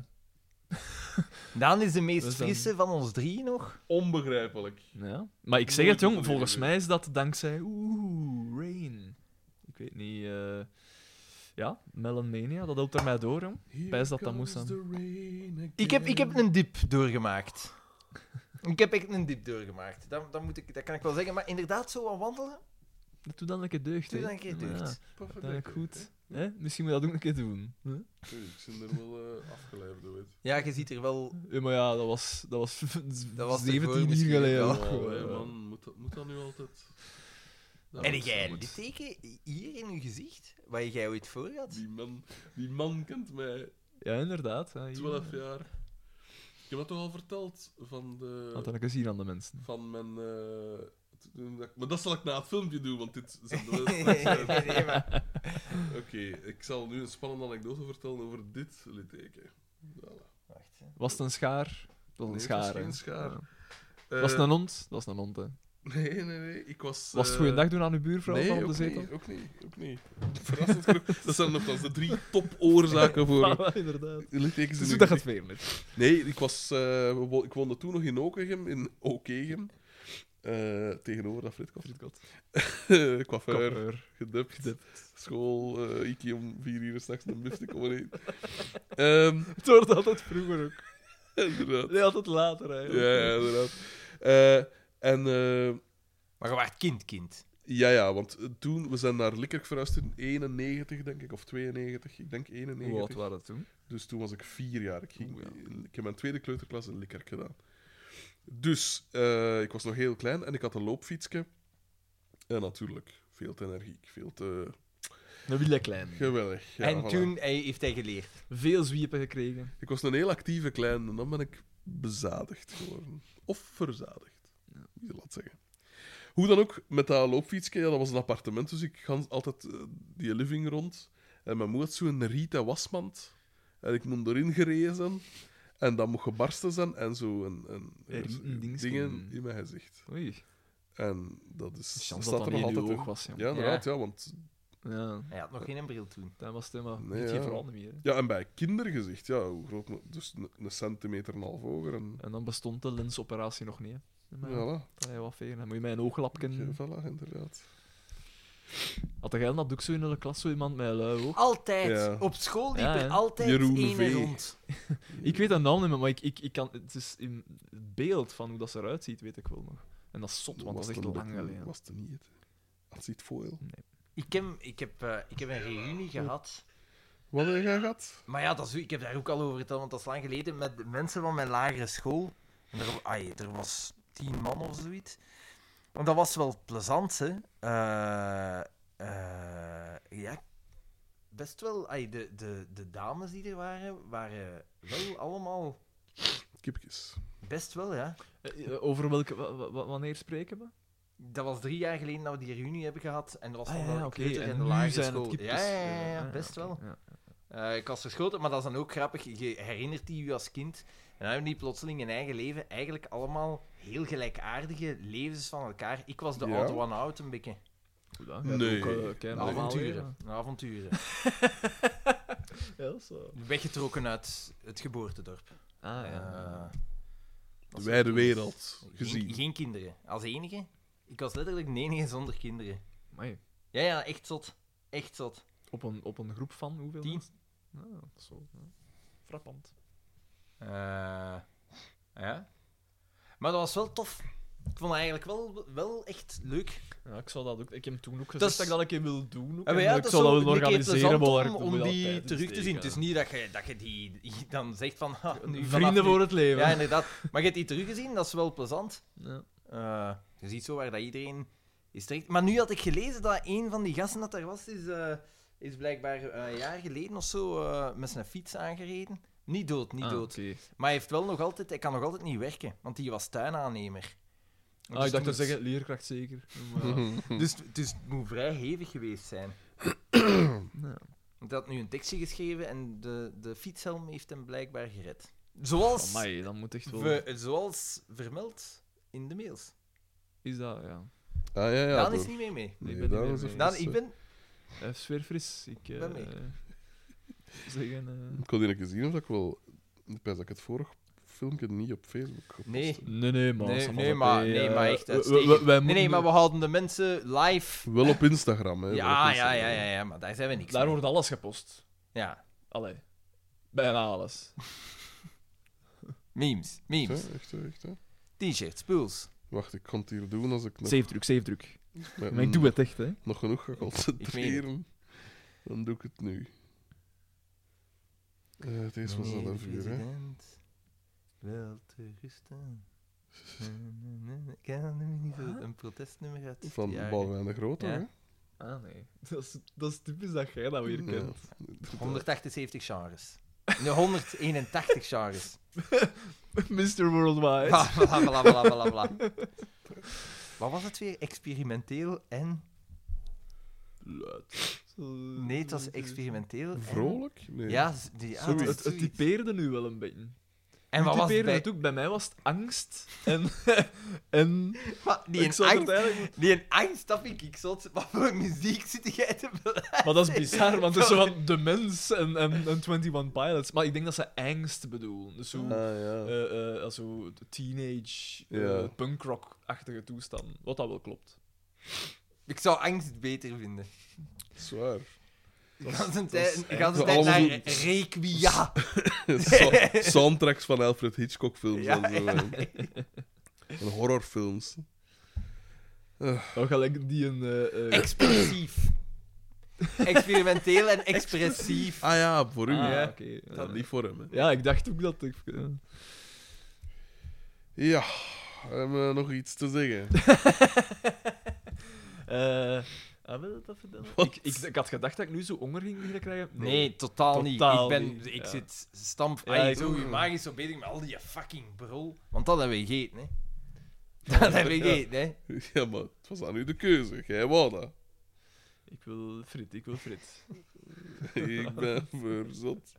[SPEAKER 4] Daan is de
[SPEAKER 3] Dus
[SPEAKER 4] meest
[SPEAKER 3] dan-
[SPEAKER 4] frisse van ons drie nog.
[SPEAKER 1] Onbegrijpelijk.
[SPEAKER 3] nou ja. Maar ik zeg
[SPEAKER 1] Nooit
[SPEAKER 3] het,
[SPEAKER 1] van
[SPEAKER 3] jong.
[SPEAKER 1] die
[SPEAKER 3] Volgens
[SPEAKER 1] dingen.
[SPEAKER 3] mij is dat dankzij... Oeh, Rain. Ik weet niet... eh, Ja, Melon Mania, dat helpt er mij door, jong. Pijs dat dat moest zijn.
[SPEAKER 4] Ik heb, ik heb een dip doorgemaakt. ik heb echt een dip doorgemaakt. Dat, dat, moet ik, dat kan ik wel zeggen. Maar inderdaad, zo aan wandelen,
[SPEAKER 3] Dat doet dan een keer deugd,
[SPEAKER 4] doe
[SPEAKER 3] hè.
[SPEAKER 4] dat een keer deugd.
[SPEAKER 3] Ja, dat is goed. Hè? Misschien moet je dat ook een keer doen. hè?
[SPEAKER 1] Ik ben er wel eh afgeleid door. het.
[SPEAKER 4] Ja, je ziet er wel...
[SPEAKER 3] Ja, maar ja, dat was, dat was,
[SPEAKER 4] Dat was ervoor
[SPEAKER 3] 17
[SPEAKER 4] misschien
[SPEAKER 3] uur geleden.
[SPEAKER 4] wel.
[SPEAKER 3] ook
[SPEAKER 1] Oh,
[SPEAKER 3] gewoon,
[SPEAKER 1] hè,
[SPEAKER 3] ja.
[SPEAKER 1] man. Moet dat, moet dat nu altijd... Dat
[SPEAKER 4] En
[SPEAKER 1] moet-
[SPEAKER 4] jij
[SPEAKER 1] moet-
[SPEAKER 4] een litteken hier in je gezicht? Wat jij ooit voor had?
[SPEAKER 1] Die man, die man kent mij
[SPEAKER 3] Ja, inderdaad. Ja, hier.
[SPEAKER 1] 12 jaar. Ik heb dat toch al verteld van de...
[SPEAKER 3] Had dan een keer zien aan de mensen.
[SPEAKER 1] van mijn eh, Maar dat zal ik na het filmpje doen, want dit zijn de
[SPEAKER 4] Nee, maar-
[SPEAKER 1] Oké, ik zal nu een spannende anekdote vertellen over dit litteken. Voilà.
[SPEAKER 4] Wacht, hè.
[SPEAKER 3] Was het een schaar? Dat was
[SPEAKER 1] Nee,
[SPEAKER 3] een
[SPEAKER 1] het
[SPEAKER 3] schaar.
[SPEAKER 1] was geen
[SPEAKER 3] hè.
[SPEAKER 1] schaar.
[SPEAKER 3] Ja.
[SPEAKER 1] Eh,
[SPEAKER 3] Was het een hond? Dat was een hond, hè.
[SPEAKER 1] Nee, nee, nee. Ik was...
[SPEAKER 3] Was het
[SPEAKER 1] eh,
[SPEAKER 3] goeiedag doen aan uw buurvrouw
[SPEAKER 1] nee,
[SPEAKER 3] van op
[SPEAKER 1] ook
[SPEAKER 3] de zetel?
[SPEAKER 1] Nee, ook niet. Ook niet. Verrassend genoeg. Dat zijn nogthans de drie topoorzaken voor
[SPEAKER 3] Ja, inderdaad.
[SPEAKER 1] littekens. in
[SPEAKER 3] Dus
[SPEAKER 1] uw
[SPEAKER 3] dat gaat veel met.
[SPEAKER 1] Nee, ik, was, eh, wo- ik woonde toen nog in Okegem, in Okegem. Eh, tegenover dat Fritkoff.
[SPEAKER 3] Frietkot.
[SPEAKER 1] Coiffeur,
[SPEAKER 3] Koppeur.
[SPEAKER 1] gedupt. School, eh ik om vier uur s'nachts een bif te komen eten. Ehm,
[SPEAKER 3] Het wordt altijd vroeger ook.
[SPEAKER 1] inderdaad.
[SPEAKER 3] Nee, altijd later
[SPEAKER 1] Ja,
[SPEAKER 3] eigenlijk.
[SPEAKER 1] ja, inderdaad. Eh, en eh,
[SPEAKER 4] Maar je waart kind, kind.
[SPEAKER 1] ja, ja, want eh, toen, we zijn naar Likkerk verhuisd in 91, denk ik, of 92. Ik denk
[SPEAKER 3] Hoe oud
[SPEAKER 1] 91.
[SPEAKER 3] waren dat toen?
[SPEAKER 1] Dus toen was ik vier jaar. Ik, ging,
[SPEAKER 4] Oh,
[SPEAKER 3] Oeh,
[SPEAKER 1] ik heb mijn tweede kleuterklas in Likkerk gedaan. Dus eh, ik was nog heel klein en ik had een loopfietsje. En natuurlijk, veel te energiek, veel te
[SPEAKER 3] Een Wille Klein.
[SPEAKER 1] geweldig. Ja,
[SPEAKER 4] en
[SPEAKER 1] voilà.
[SPEAKER 4] toen hij, heeft hij geleerd.
[SPEAKER 3] Veel zwiepen gekregen.
[SPEAKER 1] Ik was een heel actieve klein en dan ben ik bezadigd geworden. Of verzadigd, moet je dat zeggen. Hoe dan ook, met dat loopfietsje, ja, dat was een appartement, dus ik ga altijd eh, die living rond. En mijn moeder had zo'n Rita wasmand. En ik moet erin gerezen. En dat mocht gebarsten zijn en zo een, een,
[SPEAKER 3] Een rieten dingetje.
[SPEAKER 1] dingen in mijn gezicht.
[SPEAKER 3] Oei.
[SPEAKER 1] En dat is,
[SPEAKER 3] Chans
[SPEAKER 1] staat
[SPEAKER 3] dat
[SPEAKER 1] er nog
[SPEAKER 3] dat niet in
[SPEAKER 1] altijd
[SPEAKER 3] uw
[SPEAKER 1] in.
[SPEAKER 3] oog was, ja.
[SPEAKER 1] Ja, inderdaad, ja, want...
[SPEAKER 3] Ja.
[SPEAKER 4] Hij had nog geen bril toen.
[SPEAKER 3] Dat was het helemaal.
[SPEAKER 1] Nee,
[SPEAKER 3] Nee,
[SPEAKER 1] ja.
[SPEAKER 3] geen vooral niet meer. hè.
[SPEAKER 1] Ja, en bij kindergezicht, ja, hoe groot... moet- Dus een, een centimeter en een half hoger. En,
[SPEAKER 3] En dan bestond de lensoperatie nog niet. Hè. Maar ja.
[SPEAKER 1] voilà.
[SPEAKER 3] dat je wat vegen. Dan moet je mijn ooglapken.
[SPEAKER 1] Voilà, inderdaad.
[SPEAKER 3] Had jij dat doek zo in de klas, zo iemand met een lui oog?
[SPEAKER 4] Altijd.
[SPEAKER 1] Ja.
[SPEAKER 4] Op school liep
[SPEAKER 3] Ja,
[SPEAKER 4] er
[SPEAKER 3] hè.
[SPEAKER 4] altijd
[SPEAKER 1] Jeroen
[SPEAKER 4] één
[SPEAKER 1] V.
[SPEAKER 4] rond.
[SPEAKER 3] Ik weet dat naam niet meer, maar ik, ik, ik kan, het is in het beeld van hoe dat ze eruit ziet, weet ik wel nog. En dat is zot, want dat is echt
[SPEAKER 1] het
[SPEAKER 3] lang
[SPEAKER 1] een-
[SPEAKER 3] geleden.
[SPEAKER 1] Was het niet, het. Als het foil.
[SPEAKER 4] Ik heb, ik, heb, eh, ik heb een reunie gehad.
[SPEAKER 1] Wat heb jij gehad?
[SPEAKER 4] Maar ja, dat is, ik heb daar ook al over verteld, want dat is lang geleden met de mensen van mijn lagere school. En er, ai, er was tien man of zoiets. En dat was wel plezant, hè. Eh, eh, ja, best wel. ai, de, de, de dames die er waren, waren wel allemaal...
[SPEAKER 1] Kipjes.
[SPEAKER 4] Best wel, ja.
[SPEAKER 3] Eh, eh, Over welke, wa- wa- wa- wanneer spreken we?
[SPEAKER 4] Dat was drie jaar geleden dat we die reunie hebben gehad. En dat was
[SPEAKER 3] Ah,
[SPEAKER 4] van
[SPEAKER 3] ja,
[SPEAKER 4] de
[SPEAKER 3] oké,
[SPEAKER 4] kleuter
[SPEAKER 3] en
[SPEAKER 4] en de
[SPEAKER 3] nu
[SPEAKER 4] lagere
[SPEAKER 3] zijn het
[SPEAKER 4] school. Ja,
[SPEAKER 3] types,
[SPEAKER 4] ja, ja,
[SPEAKER 3] eh,
[SPEAKER 4] ja,
[SPEAKER 3] ah,
[SPEAKER 4] best wel.
[SPEAKER 3] ja.
[SPEAKER 4] Eh, ik was verschoten, maar dat is dan ook grappig. Je herinnert die je als kind. En dan hebben die plotseling in eigen leven eigenlijk allemaal heel gelijkaardige levens van elkaar. Ik was de
[SPEAKER 1] Ja.
[SPEAKER 4] oude one-out een beetje.
[SPEAKER 3] Goed, hè. Jij
[SPEAKER 1] Nee.
[SPEAKER 3] hebt ook, eh, kleine
[SPEAKER 1] Nee.
[SPEAKER 3] verhalen,
[SPEAKER 4] Avonturen. Avonturen.
[SPEAKER 3] ja. Ja, zo.
[SPEAKER 4] Weggetrokken uit het geboortedorp.
[SPEAKER 3] Ah, ja.
[SPEAKER 4] Eh,
[SPEAKER 1] De wijde wereld.
[SPEAKER 4] Geen,
[SPEAKER 1] Gezien.
[SPEAKER 4] geen kinderen. Als enige. Ik was letterlijk de enige zonder kinderen.
[SPEAKER 3] Amai.
[SPEAKER 4] Ja, ja, echt zot. Echt zot.
[SPEAKER 3] Op een, op een groep van hoeveel?
[SPEAKER 4] Tien.
[SPEAKER 3] mensen? Ah, zo. ja. Frappant.
[SPEAKER 4] Eh, ja. Maar dat was wel tof. Ik vond het eigenlijk wel, wel echt leuk.
[SPEAKER 3] Ja, ik zou dat ook... Ik heb toen ook gezegd
[SPEAKER 4] Dat is-
[SPEAKER 3] dat ik dat een keer wil doen. Ook,
[SPEAKER 4] Ja, maar
[SPEAKER 3] en
[SPEAKER 4] ja,
[SPEAKER 3] ik
[SPEAKER 4] dat is
[SPEAKER 3] zou dat
[SPEAKER 4] zo
[SPEAKER 3] willen
[SPEAKER 4] een keer
[SPEAKER 3] organiseren, maar
[SPEAKER 4] plezant
[SPEAKER 3] ik
[SPEAKER 4] om,
[SPEAKER 3] moet
[SPEAKER 4] om
[SPEAKER 3] dat
[SPEAKER 4] die
[SPEAKER 3] tijd
[SPEAKER 4] terug te zien.
[SPEAKER 3] insteken,
[SPEAKER 4] Het is niet dat je, dat je die, die dan zegt van... ha, nu
[SPEAKER 3] ja.
[SPEAKER 4] vanaf nu-
[SPEAKER 3] Vrienden voor het leven.
[SPEAKER 4] Ja, inderdaad. Maar je hebt die teruggezien, dat is wel plezant.
[SPEAKER 3] Ja.
[SPEAKER 4] Eh, je ziet zo waar dat iedereen is terecht. Maar nu had ik gelezen dat een van die gasten dat er was, is, eh, is blijkbaar eh, een jaar geleden of zo eh, met zijn fiets aangereden. Niet dood, niet
[SPEAKER 3] Ah,
[SPEAKER 4] dood.
[SPEAKER 3] oké.
[SPEAKER 4] Maar hij, heeft wel nog altijd, hij kan nog altijd niet werken, want hij was tuinaannemer.
[SPEAKER 3] Ah, ik dacht
[SPEAKER 4] toen
[SPEAKER 3] te
[SPEAKER 4] is-
[SPEAKER 3] zeggen, leerkracht zeker. Maar ja.
[SPEAKER 4] Dus, dus het moet vrij hevig geweest zijn.
[SPEAKER 3] Ja.
[SPEAKER 4] Want hij had nu een tekstje geschreven en de, de fietshelm heeft hem blijkbaar gered. Zoals,
[SPEAKER 3] Oh, Amai, dat moet echt wel...
[SPEAKER 4] we, zoals vermeld in de mails.
[SPEAKER 3] Is dat, ja. dus,
[SPEAKER 1] Ah, ja, ja.
[SPEAKER 4] Daan
[SPEAKER 1] door-
[SPEAKER 4] is niet mee mee.
[SPEAKER 1] Nee,
[SPEAKER 3] Ik ben
[SPEAKER 1] Daan
[SPEAKER 3] niet
[SPEAKER 1] is dus, eh, een
[SPEAKER 3] meer mee.
[SPEAKER 4] Daan,
[SPEAKER 1] frisse.
[SPEAKER 4] ik ben...
[SPEAKER 3] Hij is weer Eh, fris. Ik eh
[SPEAKER 4] Ben mee.
[SPEAKER 3] zeggen, eh,
[SPEAKER 1] Ik had eigenlijk gezien of dat ik wel... Ik pijs dat ik het vorige filmpje niet op Facebook gepost
[SPEAKER 4] Nee.
[SPEAKER 1] heb.
[SPEAKER 3] Nee, nee, maar...
[SPEAKER 4] Nee,
[SPEAKER 3] ça va,
[SPEAKER 4] nee,
[SPEAKER 3] oké,
[SPEAKER 4] maar,
[SPEAKER 3] eh,
[SPEAKER 4] nee, maar echt
[SPEAKER 3] we- we-
[SPEAKER 4] uitstekend.
[SPEAKER 3] we- wij
[SPEAKER 4] nee, nee,
[SPEAKER 3] moeten-
[SPEAKER 4] maar we houden de mensen live...
[SPEAKER 1] Wel op Instagram, hè. wel
[SPEAKER 4] Ja,
[SPEAKER 1] op
[SPEAKER 4] ja,
[SPEAKER 1] Instagram.
[SPEAKER 4] ja, ja, ja, maar daar zijn we niks
[SPEAKER 3] Daar
[SPEAKER 4] mee.
[SPEAKER 3] wordt alles gepost.
[SPEAKER 4] Ja,
[SPEAKER 3] Allee. Bijna alles.
[SPEAKER 4] memes,
[SPEAKER 1] Echt,
[SPEAKER 4] memes,
[SPEAKER 1] hè, echt, hè, echt, hè.
[SPEAKER 4] t-shirts, spools.
[SPEAKER 1] Wacht, ik kan het hier doen als ik nog...
[SPEAKER 3] Safe druk, safe druk.
[SPEAKER 4] Ehm.
[SPEAKER 1] met-
[SPEAKER 3] Maar ik doe het echt, hè.
[SPEAKER 1] Nog genoeg ga
[SPEAKER 4] Ik
[SPEAKER 1] concentreren. Dan doe ik het nu. Eh, deze was al een vuur, hè.
[SPEAKER 4] Wel te rusten. Ik ken nu niet zo een protestnummer uit.
[SPEAKER 1] Van
[SPEAKER 4] de jaren
[SPEAKER 1] Balwijn de Grote,
[SPEAKER 4] Ja.
[SPEAKER 1] hè.
[SPEAKER 3] Ah, nee. Dat is, dat is typisch dat jij dat
[SPEAKER 4] Hmm.
[SPEAKER 3] weer
[SPEAKER 1] Ja.
[SPEAKER 3] kent.
[SPEAKER 4] 178 genres. Nee, 181 genres.
[SPEAKER 3] Mr. Worldwide.
[SPEAKER 4] Bla bla bla bla bla bla. Wat was het weer? Experimenteel en... Nee, het was experimenteel en-
[SPEAKER 1] Vrolijk? Nee.
[SPEAKER 4] Ja, z- die, ja, het was
[SPEAKER 3] Het, het
[SPEAKER 4] zoiets.
[SPEAKER 3] typeerde nu wel een beetje.
[SPEAKER 4] En wat
[SPEAKER 3] U
[SPEAKER 4] was
[SPEAKER 3] typeerde
[SPEAKER 4] het bij...
[SPEAKER 3] het ook. Bij mij was het angst en... en
[SPEAKER 4] Wat, die
[SPEAKER 3] ik
[SPEAKER 4] een
[SPEAKER 3] zat er
[SPEAKER 4] angst,
[SPEAKER 3] eigenlijk...
[SPEAKER 4] die een angst, dat vind ik zot. Wat voor muziek zit jij te beluisteren?
[SPEAKER 3] Maar dat is bizar, want het is zo van de mens en, en, en 21 Pilots. Maar ik denk dat ze angst bedoelen. Dus zo,
[SPEAKER 1] Ah, ja.
[SPEAKER 3] eh, eh, als zo teenage, eh,
[SPEAKER 1] Ja.
[SPEAKER 3] punkrock-achtige toestand. Wat dat wel klopt.
[SPEAKER 4] Ik zou angst beter vinden.
[SPEAKER 1] Zwaar.
[SPEAKER 4] Ik had een tijd ik had
[SPEAKER 1] echt-
[SPEAKER 4] een tijd naar
[SPEAKER 1] allemaal zo-
[SPEAKER 4] Requia.
[SPEAKER 1] Sa- soundtracks van Alfred Hitchcock-films
[SPEAKER 4] Ja,
[SPEAKER 1] en zo. hè. En horrorfilms.
[SPEAKER 3] Dan gelijk die een... eh, eh,
[SPEAKER 4] Expressief. Experimenteel en expressief.
[SPEAKER 1] Ah ja, voor u.
[SPEAKER 3] ah,
[SPEAKER 1] hè.
[SPEAKER 3] oké, ja.
[SPEAKER 1] Dat niet voor hem. Hè.
[SPEAKER 3] Ja, ik dacht ook dat ik... ja.
[SPEAKER 1] Ja, hebben we nog iets te zeggen?
[SPEAKER 3] Eh, ah, wil je dat vertellen? Ik, ik, ik had gedacht dat ik nu zo honger ging beginnen krijgen.
[SPEAKER 4] Nee, totaal niet.
[SPEAKER 3] Totaal
[SPEAKER 4] ik ben,
[SPEAKER 3] niet,
[SPEAKER 4] ik
[SPEAKER 3] ja.
[SPEAKER 4] zit stamp.
[SPEAKER 3] Ja,
[SPEAKER 4] ai,
[SPEAKER 3] ik
[SPEAKER 4] zo
[SPEAKER 3] ook.
[SPEAKER 4] je maag is zo bezig met al die fucking brol. Want dat hebben we gegeten, hè. Dat hebben we gegeten, hè.
[SPEAKER 1] Ja, maar het was aan u de keuze. Jij wou dat.
[SPEAKER 3] Ik wil frit, ik wil frit.
[SPEAKER 1] Ik ben verzot.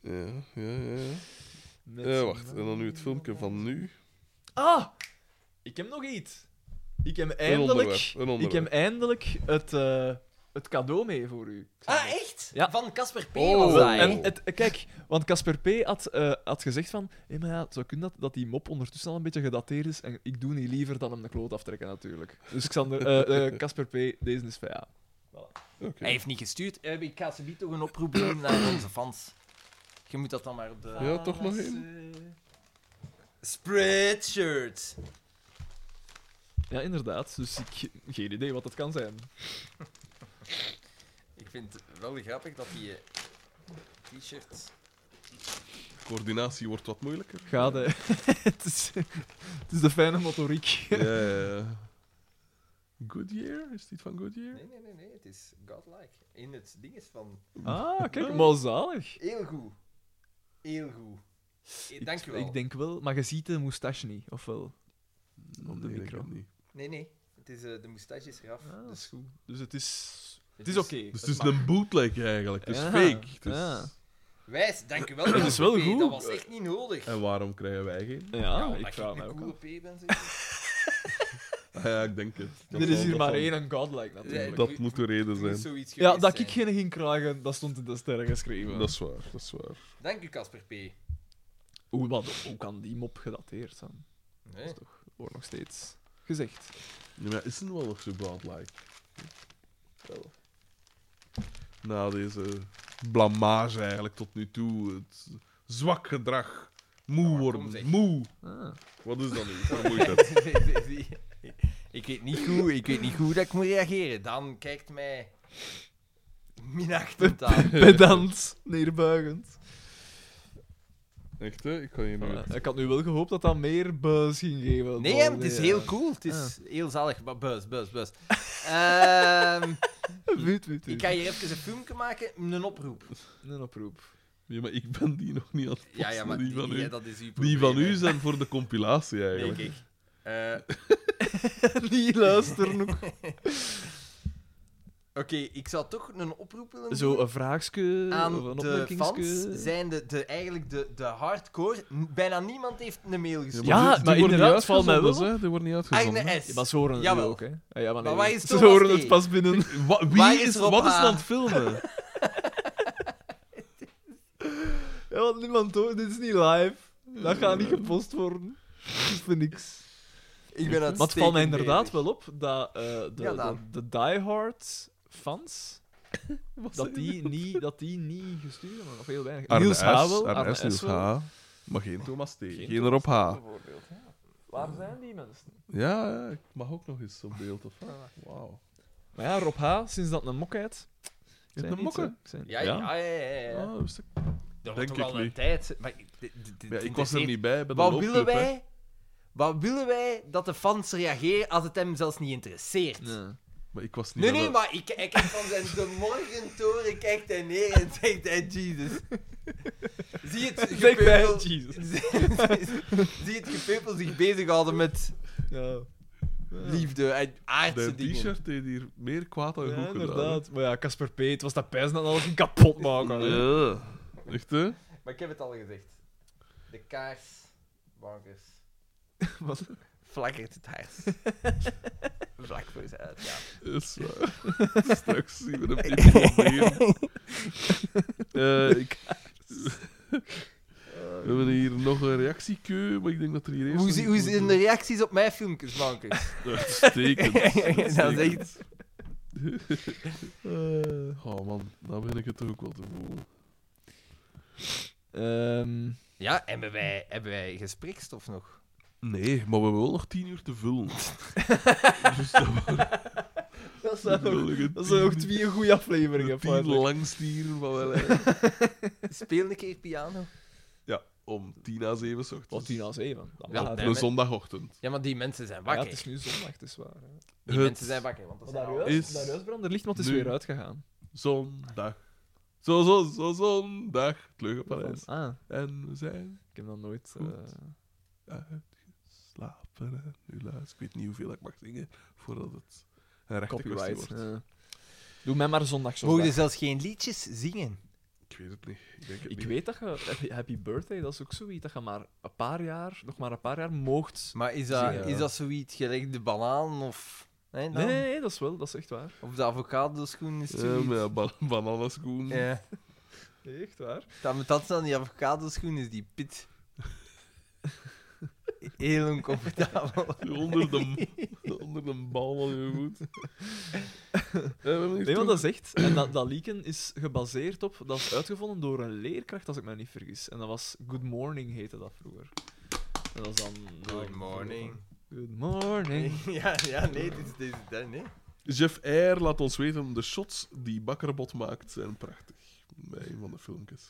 [SPEAKER 1] Ja, ja, ja. ja.
[SPEAKER 3] Met-
[SPEAKER 1] Eh, wacht, en dan nu het filmpje van nu.
[SPEAKER 3] Ah! Ik heb nog iets. Ik heb eindelijk,
[SPEAKER 1] onderwerp, een onderwerp.
[SPEAKER 3] ik heb eindelijk het, eh, het cadeau mee voor u.
[SPEAKER 4] Ah, echt?
[SPEAKER 3] Ja.
[SPEAKER 4] Van Casper P.
[SPEAKER 1] Oh,
[SPEAKER 4] was dat, hè?
[SPEAKER 3] En het, eh, kijk, want Casper P. had, eh, had gezegd van... Hé, maar ja, het zou kunnen dat, dat die mop ondertussen al een beetje gedateerd is. En ik doe niet liever dan hem de kloot aftrekken, natuurlijk. Dus Xander, eh, eh, Casper P., deze is van ja.
[SPEAKER 1] Oké.
[SPEAKER 4] Hij heeft niet gestuurd. Eh, ik ga ze toch een oproep doen naar onze fans. Je moet dat dan maar op de...
[SPEAKER 1] Ja, toch nog één?
[SPEAKER 4] Spreadshirt.
[SPEAKER 3] Ja, inderdaad. Dus ik... Geen idee wat dat kan zijn.
[SPEAKER 4] Ik vind het wel grappig dat die eh, t-shirt...
[SPEAKER 1] Coördinatie wordt wat moeilijker.
[SPEAKER 3] Gaat, hè. het, is, het is de fijne motoriek.
[SPEAKER 1] Ja, ja, ja. Goodyear? Is dit van Goodyear?
[SPEAKER 4] Nee, nee, nee, nee. Het is godlike. In het ding is van...
[SPEAKER 3] Ah, kijk, maar zalig.
[SPEAKER 4] Heel goed. Heel goed. Eh,
[SPEAKER 3] Ik-
[SPEAKER 4] Dank je wel.
[SPEAKER 3] Ik denk wel, maar je ziet de moustache niet, of wel? Op de
[SPEAKER 1] Nee, ik
[SPEAKER 3] micro.
[SPEAKER 1] heb niet.
[SPEAKER 4] Nee, nee. Het is, eh, de moustache is eraf.
[SPEAKER 3] Ah, dat is
[SPEAKER 4] dus
[SPEAKER 3] goed. Dus het is... Het is oké.
[SPEAKER 1] Dus het
[SPEAKER 3] het
[SPEAKER 1] is een bootleg eigenlijk. Het is
[SPEAKER 3] Ja,
[SPEAKER 1] fake. Het is-
[SPEAKER 3] ja.
[SPEAKER 4] Wijs, dank je wel.
[SPEAKER 3] is wel
[SPEAKER 4] Casper P.
[SPEAKER 3] goed.
[SPEAKER 4] Dat was echt niet nodig.
[SPEAKER 1] En waarom krijgen wij geen?
[SPEAKER 3] Ja,
[SPEAKER 4] omdat
[SPEAKER 3] ik vraag
[SPEAKER 4] een
[SPEAKER 3] me ook
[SPEAKER 4] coole
[SPEAKER 3] af.
[SPEAKER 4] P ben, zeker?
[SPEAKER 1] Ah, ja, ik denk het. Dat
[SPEAKER 3] Er
[SPEAKER 1] zal-
[SPEAKER 3] is hier
[SPEAKER 1] dat
[SPEAKER 3] maar
[SPEAKER 1] zal-
[SPEAKER 3] één en godlike,
[SPEAKER 4] Ja, eh,
[SPEAKER 3] natuurlijk.
[SPEAKER 1] Dat moet de reden
[SPEAKER 4] Het moet
[SPEAKER 1] zijn.
[SPEAKER 4] zoiets
[SPEAKER 3] Ja,
[SPEAKER 4] geweest
[SPEAKER 3] dat ik
[SPEAKER 4] zijn.
[SPEAKER 3] geen ging krijgen, dat stond in de sterren geschreven.
[SPEAKER 1] Dat is waar, dat is waar.
[SPEAKER 4] Dank u, Casper P. Nee.
[SPEAKER 3] Hoe, wat, hoe kan die mop gedateerd zijn? Wordt nog steeds gezegd.
[SPEAKER 1] Nee, maar is het wel nog zo godlike? Wel. Na deze blamage eigenlijk tot nu toe. Het zwak gedrag.
[SPEAKER 4] Ja,
[SPEAKER 1] Moe
[SPEAKER 4] maar kom, zeg.
[SPEAKER 1] worden. Moe.
[SPEAKER 3] Ah.
[SPEAKER 1] Wat is dat nu? Vermoeidheid.
[SPEAKER 4] ik weet niet goed, ik weet niet goed dat ik moet reageren. Dan kijkt mij minachtend aan.
[SPEAKER 3] Pedant, neerbuigend.
[SPEAKER 1] Echt, hè? Ik kan je nu...
[SPEAKER 3] Voilà. Ik had nu wel gehoopt dat dat meer buzz ging geven.
[SPEAKER 4] Nee,
[SPEAKER 3] maar
[SPEAKER 4] hem, het is heel cool. Het
[SPEAKER 3] Ah.
[SPEAKER 4] is heel zalig. Maar buis, buis, buis. Ehm,
[SPEAKER 3] Wut, wut,
[SPEAKER 4] ik
[SPEAKER 3] wut.
[SPEAKER 4] ga hier even een filmpje maken, een oproep.
[SPEAKER 3] Een oproep.
[SPEAKER 1] Ja, maar ik ben die nog niet aan het posten.
[SPEAKER 4] Ja, ja, maar
[SPEAKER 1] die van
[SPEAKER 4] ja,
[SPEAKER 1] u.
[SPEAKER 4] dat is uw
[SPEAKER 1] Die
[SPEAKER 4] probleem,
[SPEAKER 1] van
[SPEAKER 4] hè.
[SPEAKER 1] u zijn voor de compilatie
[SPEAKER 4] Nee,
[SPEAKER 1] eigenlijk.
[SPEAKER 4] kijk. Eh,
[SPEAKER 3] Niet luisteren ook.
[SPEAKER 4] Oké, ik zou toch een oproep willen doen.
[SPEAKER 3] Zo een vraagske of
[SPEAKER 4] aan
[SPEAKER 3] een
[SPEAKER 4] de fans
[SPEAKER 3] opmerkingske.
[SPEAKER 4] zijn de, de, eigenlijk de, de hardcore. N- Bijna niemand heeft een mail gestuurd.
[SPEAKER 3] Ja, maar
[SPEAKER 1] die- die worden niet
[SPEAKER 3] inderdaad, valt mij
[SPEAKER 1] uitgezonden,
[SPEAKER 3] wel
[SPEAKER 1] hè. Die worden
[SPEAKER 4] Ah,
[SPEAKER 1] niet uitgezonden.
[SPEAKER 4] Agne S.
[SPEAKER 3] Ja, maar ze horen het nu
[SPEAKER 4] Jawel.
[SPEAKER 3] ook, hè? Ah, ja, maar
[SPEAKER 4] Maar
[SPEAKER 3] nee.
[SPEAKER 4] waar is
[SPEAKER 3] ze
[SPEAKER 4] Thomas
[SPEAKER 3] horen
[SPEAKER 4] T?
[SPEAKER 3] het pas binnen.
[SPEAKER 1] Wa- wie
[SPEAKER 4] Waar is
[SPEAKER 1] is,
[SPEAKER 4] Rob
[SPEAKER 1] wat is
[SPEAKER 4] H?
[SPEAKER 1] er aan het filmen?
[SPEAKER 3] Ja, want niemand hoort. Dit is niet live. Dat gaat niet gepost worden. Dat is voor niks.
[SPEAKER 4] Ik ben
[SPEAKER 3] Maar het valt mij inderdaad wel op dat eh, de,
[SPEAKER 4] dus. Ja,
[SPEAKER 3] de,
[SPEAKER 4] dan.
[SPEAKER 3] de diehard fans... Dat die, niet, dat die niet gestuurd hebben, of heel weinig.
[SPEAKER 1] Arne
[SPEAKER 3] Niels
[SPEAKER 1] S,
[SPEAKER 3] H. wel,
[SPEAKER 1] Arne
[SPEAKER 3] Arne
[SPEAKER 1] S, Niels
[SPEAKER 3] S wel.
[SPEAKER 1] H. Maar geen Thomas T. Geen, Rob H.
[SPEAKER 3] Waar zijn die mensen?
[SPEAKER 1] Ja, ja, ik mag ook nog eens op beeld. Of, ah, wauw.
[SPEAKER 3] Maar ja, Rob H., sinds dat een mokheid...
[SPEAKER 1] Is het een mokke?
[SPEAKER 4] Ja, ja, ja. ja, ja.
[SPEAKER 1] Ah, wist ik
[SPEAKER 4] dat
[SPEAKER 1] denk
[SPEAKER 4] wordt toch
[SPEAKER 1] ik
[SPEAKER 4] wel een
[SPEAKER 1] niet.
[SPEAKER 4] tijd. Maar ik, dit- dit-
[SPEAKER 1] ja, ik
[SPEAKER 4] dit
[SPEAKER 1] was er
[SPEAKER 4] interesseert-
[SPEAKER 1] niet bij. bij de
[SPEAKER 4] Wat willen
[SPEAKER 1] loopclub, hè.
[SPEAKER 4] wij? Wat willen wij dat de fans reageren als het hem zelfs niet interesseert? Nee,
[SPEAKER 1] Maar ik was niet
[SPEAKER 4] nee,
[SPEAKER 1] bij de-
[SPEAKER 4] maar ik, ik kijk van zijn de morgentoren, kijkt hij neer en zegt hij Jesus. Zie het
[SPEAKER 3] Zegt hij
[SPEAKER 4] gepeupel-
[SPEAKER 3] Jesus.
[SPEAKER 4] Zie het gepeupel zich bezighouden met
[SPEAKER 3] Ja.
[SPEAKER 4] Liefde en aardse
[SPEAKER 1] De
[SPEAKER 4] dingen.
[SPEAKER 1] t-shirt deed hier meer kwaad dan
[SPEAKER 3] Ja,
[SPEAKER 1] goed gedaan.
[SPEAKER 3] inderdaad. Maar ja, Casper P. Het was dat pijs dat alles ging kapot maken. hè.
[SPEAKER 1] Ja. Echt, hè?
[SPEAKER 4] Maar ik heb het al gezegd. De kaars, bankers.
[SPEAKER 3] Wat?
[SPEAKER 4] Flakkert het hart. Vlak voor ze uit, ja.
[SPEAKER 1] Dat is waar. Straks zien we hem imploderen. Eh, ik...
[SPEAKER 4] Oh.
[SPEAKER 1] We hebben hier nog een reactiekeu, maar ik denk dat er hier eerst...
[SPEAKER 4] Hoe,
[SPEAKER 1] nog
[SPEAKER 4] zi- hoe
[SPEAKER 1] iets
[SPEAKER 4] zijn
[SPEAKER 1] moet
[SPEAKER 4] de reacties op mijn filmpjes, bankers?
[SPEAKER 1] doen. Uitstekend.
[SPEAKER 4] dat is
[SPEAKER 1] Uitstekend.
[SPEAKER 4] echt...
[SPEAKER 3] Eh,
[SPEAKER 1] Oh man, daar ben ik het toch ook wel te voelen.
[SPEAKER 3] Ehm,
[SPEAKER 4] Ja, hebben wij, hebben wij gesprekstof nog?
[SPEAKER 1] Nee, maar we hebben wel nog tien uur te vullen. dus dat waren
[SPEAKER 3] dat zijn nog,
[SPEAKER 1] nog
[SPEAKER 3] dat zijn nog
[SPEAKER 1] tien-
[SPEAKER 3] twee goede afleveringen.
[SPEAKER 1] tien
[SPEAKER 3] feitelijk.
[SPEAKER 1] langstieren van wel. hè.
[SPEAKER 4] Speel een keer piano.
[SPEAKER 1] Ja, om tien à zeven 's ochtends.
[SPEAKER 3] Wat tien als even. Dat
[SPEAKER 4] Ja,
[SPEAKER 3] mag.
[SPEAKER 1] Op
[SPEAKER 4] nee.
[SPEAKER 1] een zondagochtend.
[SPEAKER 4] Ja, maar die mensen zijn
[SPEAKER 3] Ja,
[SPEAKER 4] wakker.
[SPEAKER 3] het is nu zondag, het is waar. hè.
[SPEAKER 4] Die
[SPEAKER 1] Het-
[SPEAKER 4] mensen zijn wakker, want dat
[SPEAKER 3] Maar
[SPEAKER 4] zijn
[SPEAKER 3] daar
[SPEAKER 4] al-
[SPEAKER 1] is-
[SPEAKER 3] juist, daar juist brandde licht, want het is
[SPEAKER 1] nu-
[SPEAKER 3] weer uitgegaan.
[SPEAKER 1] Zondag. Zo, zo, zo, zondag. Het Leugenparijs.
[SPEAKER 3] Ah,
[SPEAKER 1] En we zijn
[SPEAKER 3] ik heb nog nooit...
[SPEAKER 1] Goed.
[SPEAKER 3] eh,
[SPEAKER 1] uitgeslapen. En nu luister ik weet niet hoeveel ik mag zingen voordat het een rechte kwestie
[SPEAKER 3] Copyright.
[SPEAKER 1] wordt.
[SPEAKER 3] ja. Doe mij maar zondag zondag.
[SPEAKER 4] Mogen zelfs geen liedjes zingen.
[SPEAKER 1] Ik weet het niet. Ik, denk het
[SPEAKER 3] Ik
[SPEAKER 1] niet.
[SPEAKER 3] weet dat je Happy- Happy Birthday, dat is ook zoiets dat je maar een paar jaar, nog maar een paar jaar moogt.
[SPEAKER 4] Maar is dat,
[SPEAKER 3] Zingen,
[SPEAKER 4] is
[SPEAKER 3] ja.
[SPEAKER 4] dat zoiets gelijk de banaan of... Nee,
[SPEAKER 3] Nee,
[SPEAKER 4] dan?
[SPEAKER 3] nee, nee, dat is wel, dat is echt waar.
[SPEAKER 4] Of de avocadoschoen is het
[SPEAKER 1] Ja,
[SPEAKER 4] zoiets.
[SPEAKER 1] maar ja, ba bananaschoen.
[SPEAKER 4] Ja.
[SPEAKER 3] Echt waar.
[SPEAKER 4] Dat met dat dan die avocadoschoen is die pit. Heel oncomfortabel.
[SPEAKER 1] Onder de, onder de bal van je voet.
[SPEAKER 3] Nee, want dat is echt. En dat, dat leaken is gebaseerd op, dat is uitgevonden door een leerkracht, als ik me niet vergis. En dat was Good Morning, heette dat vroeger. En dat is dan...
[SPEAKER 4] Good morning.
[SPEAKER 3] Good morning.
[SPEAKER 4] Ja, ja, nee, dit is deze dan, nee.
[SPEAKER 1] Jeff Eyre laat ons weten, de shots die Bakkerbot maakt zijn prachtig. Bij een van de filmpjes.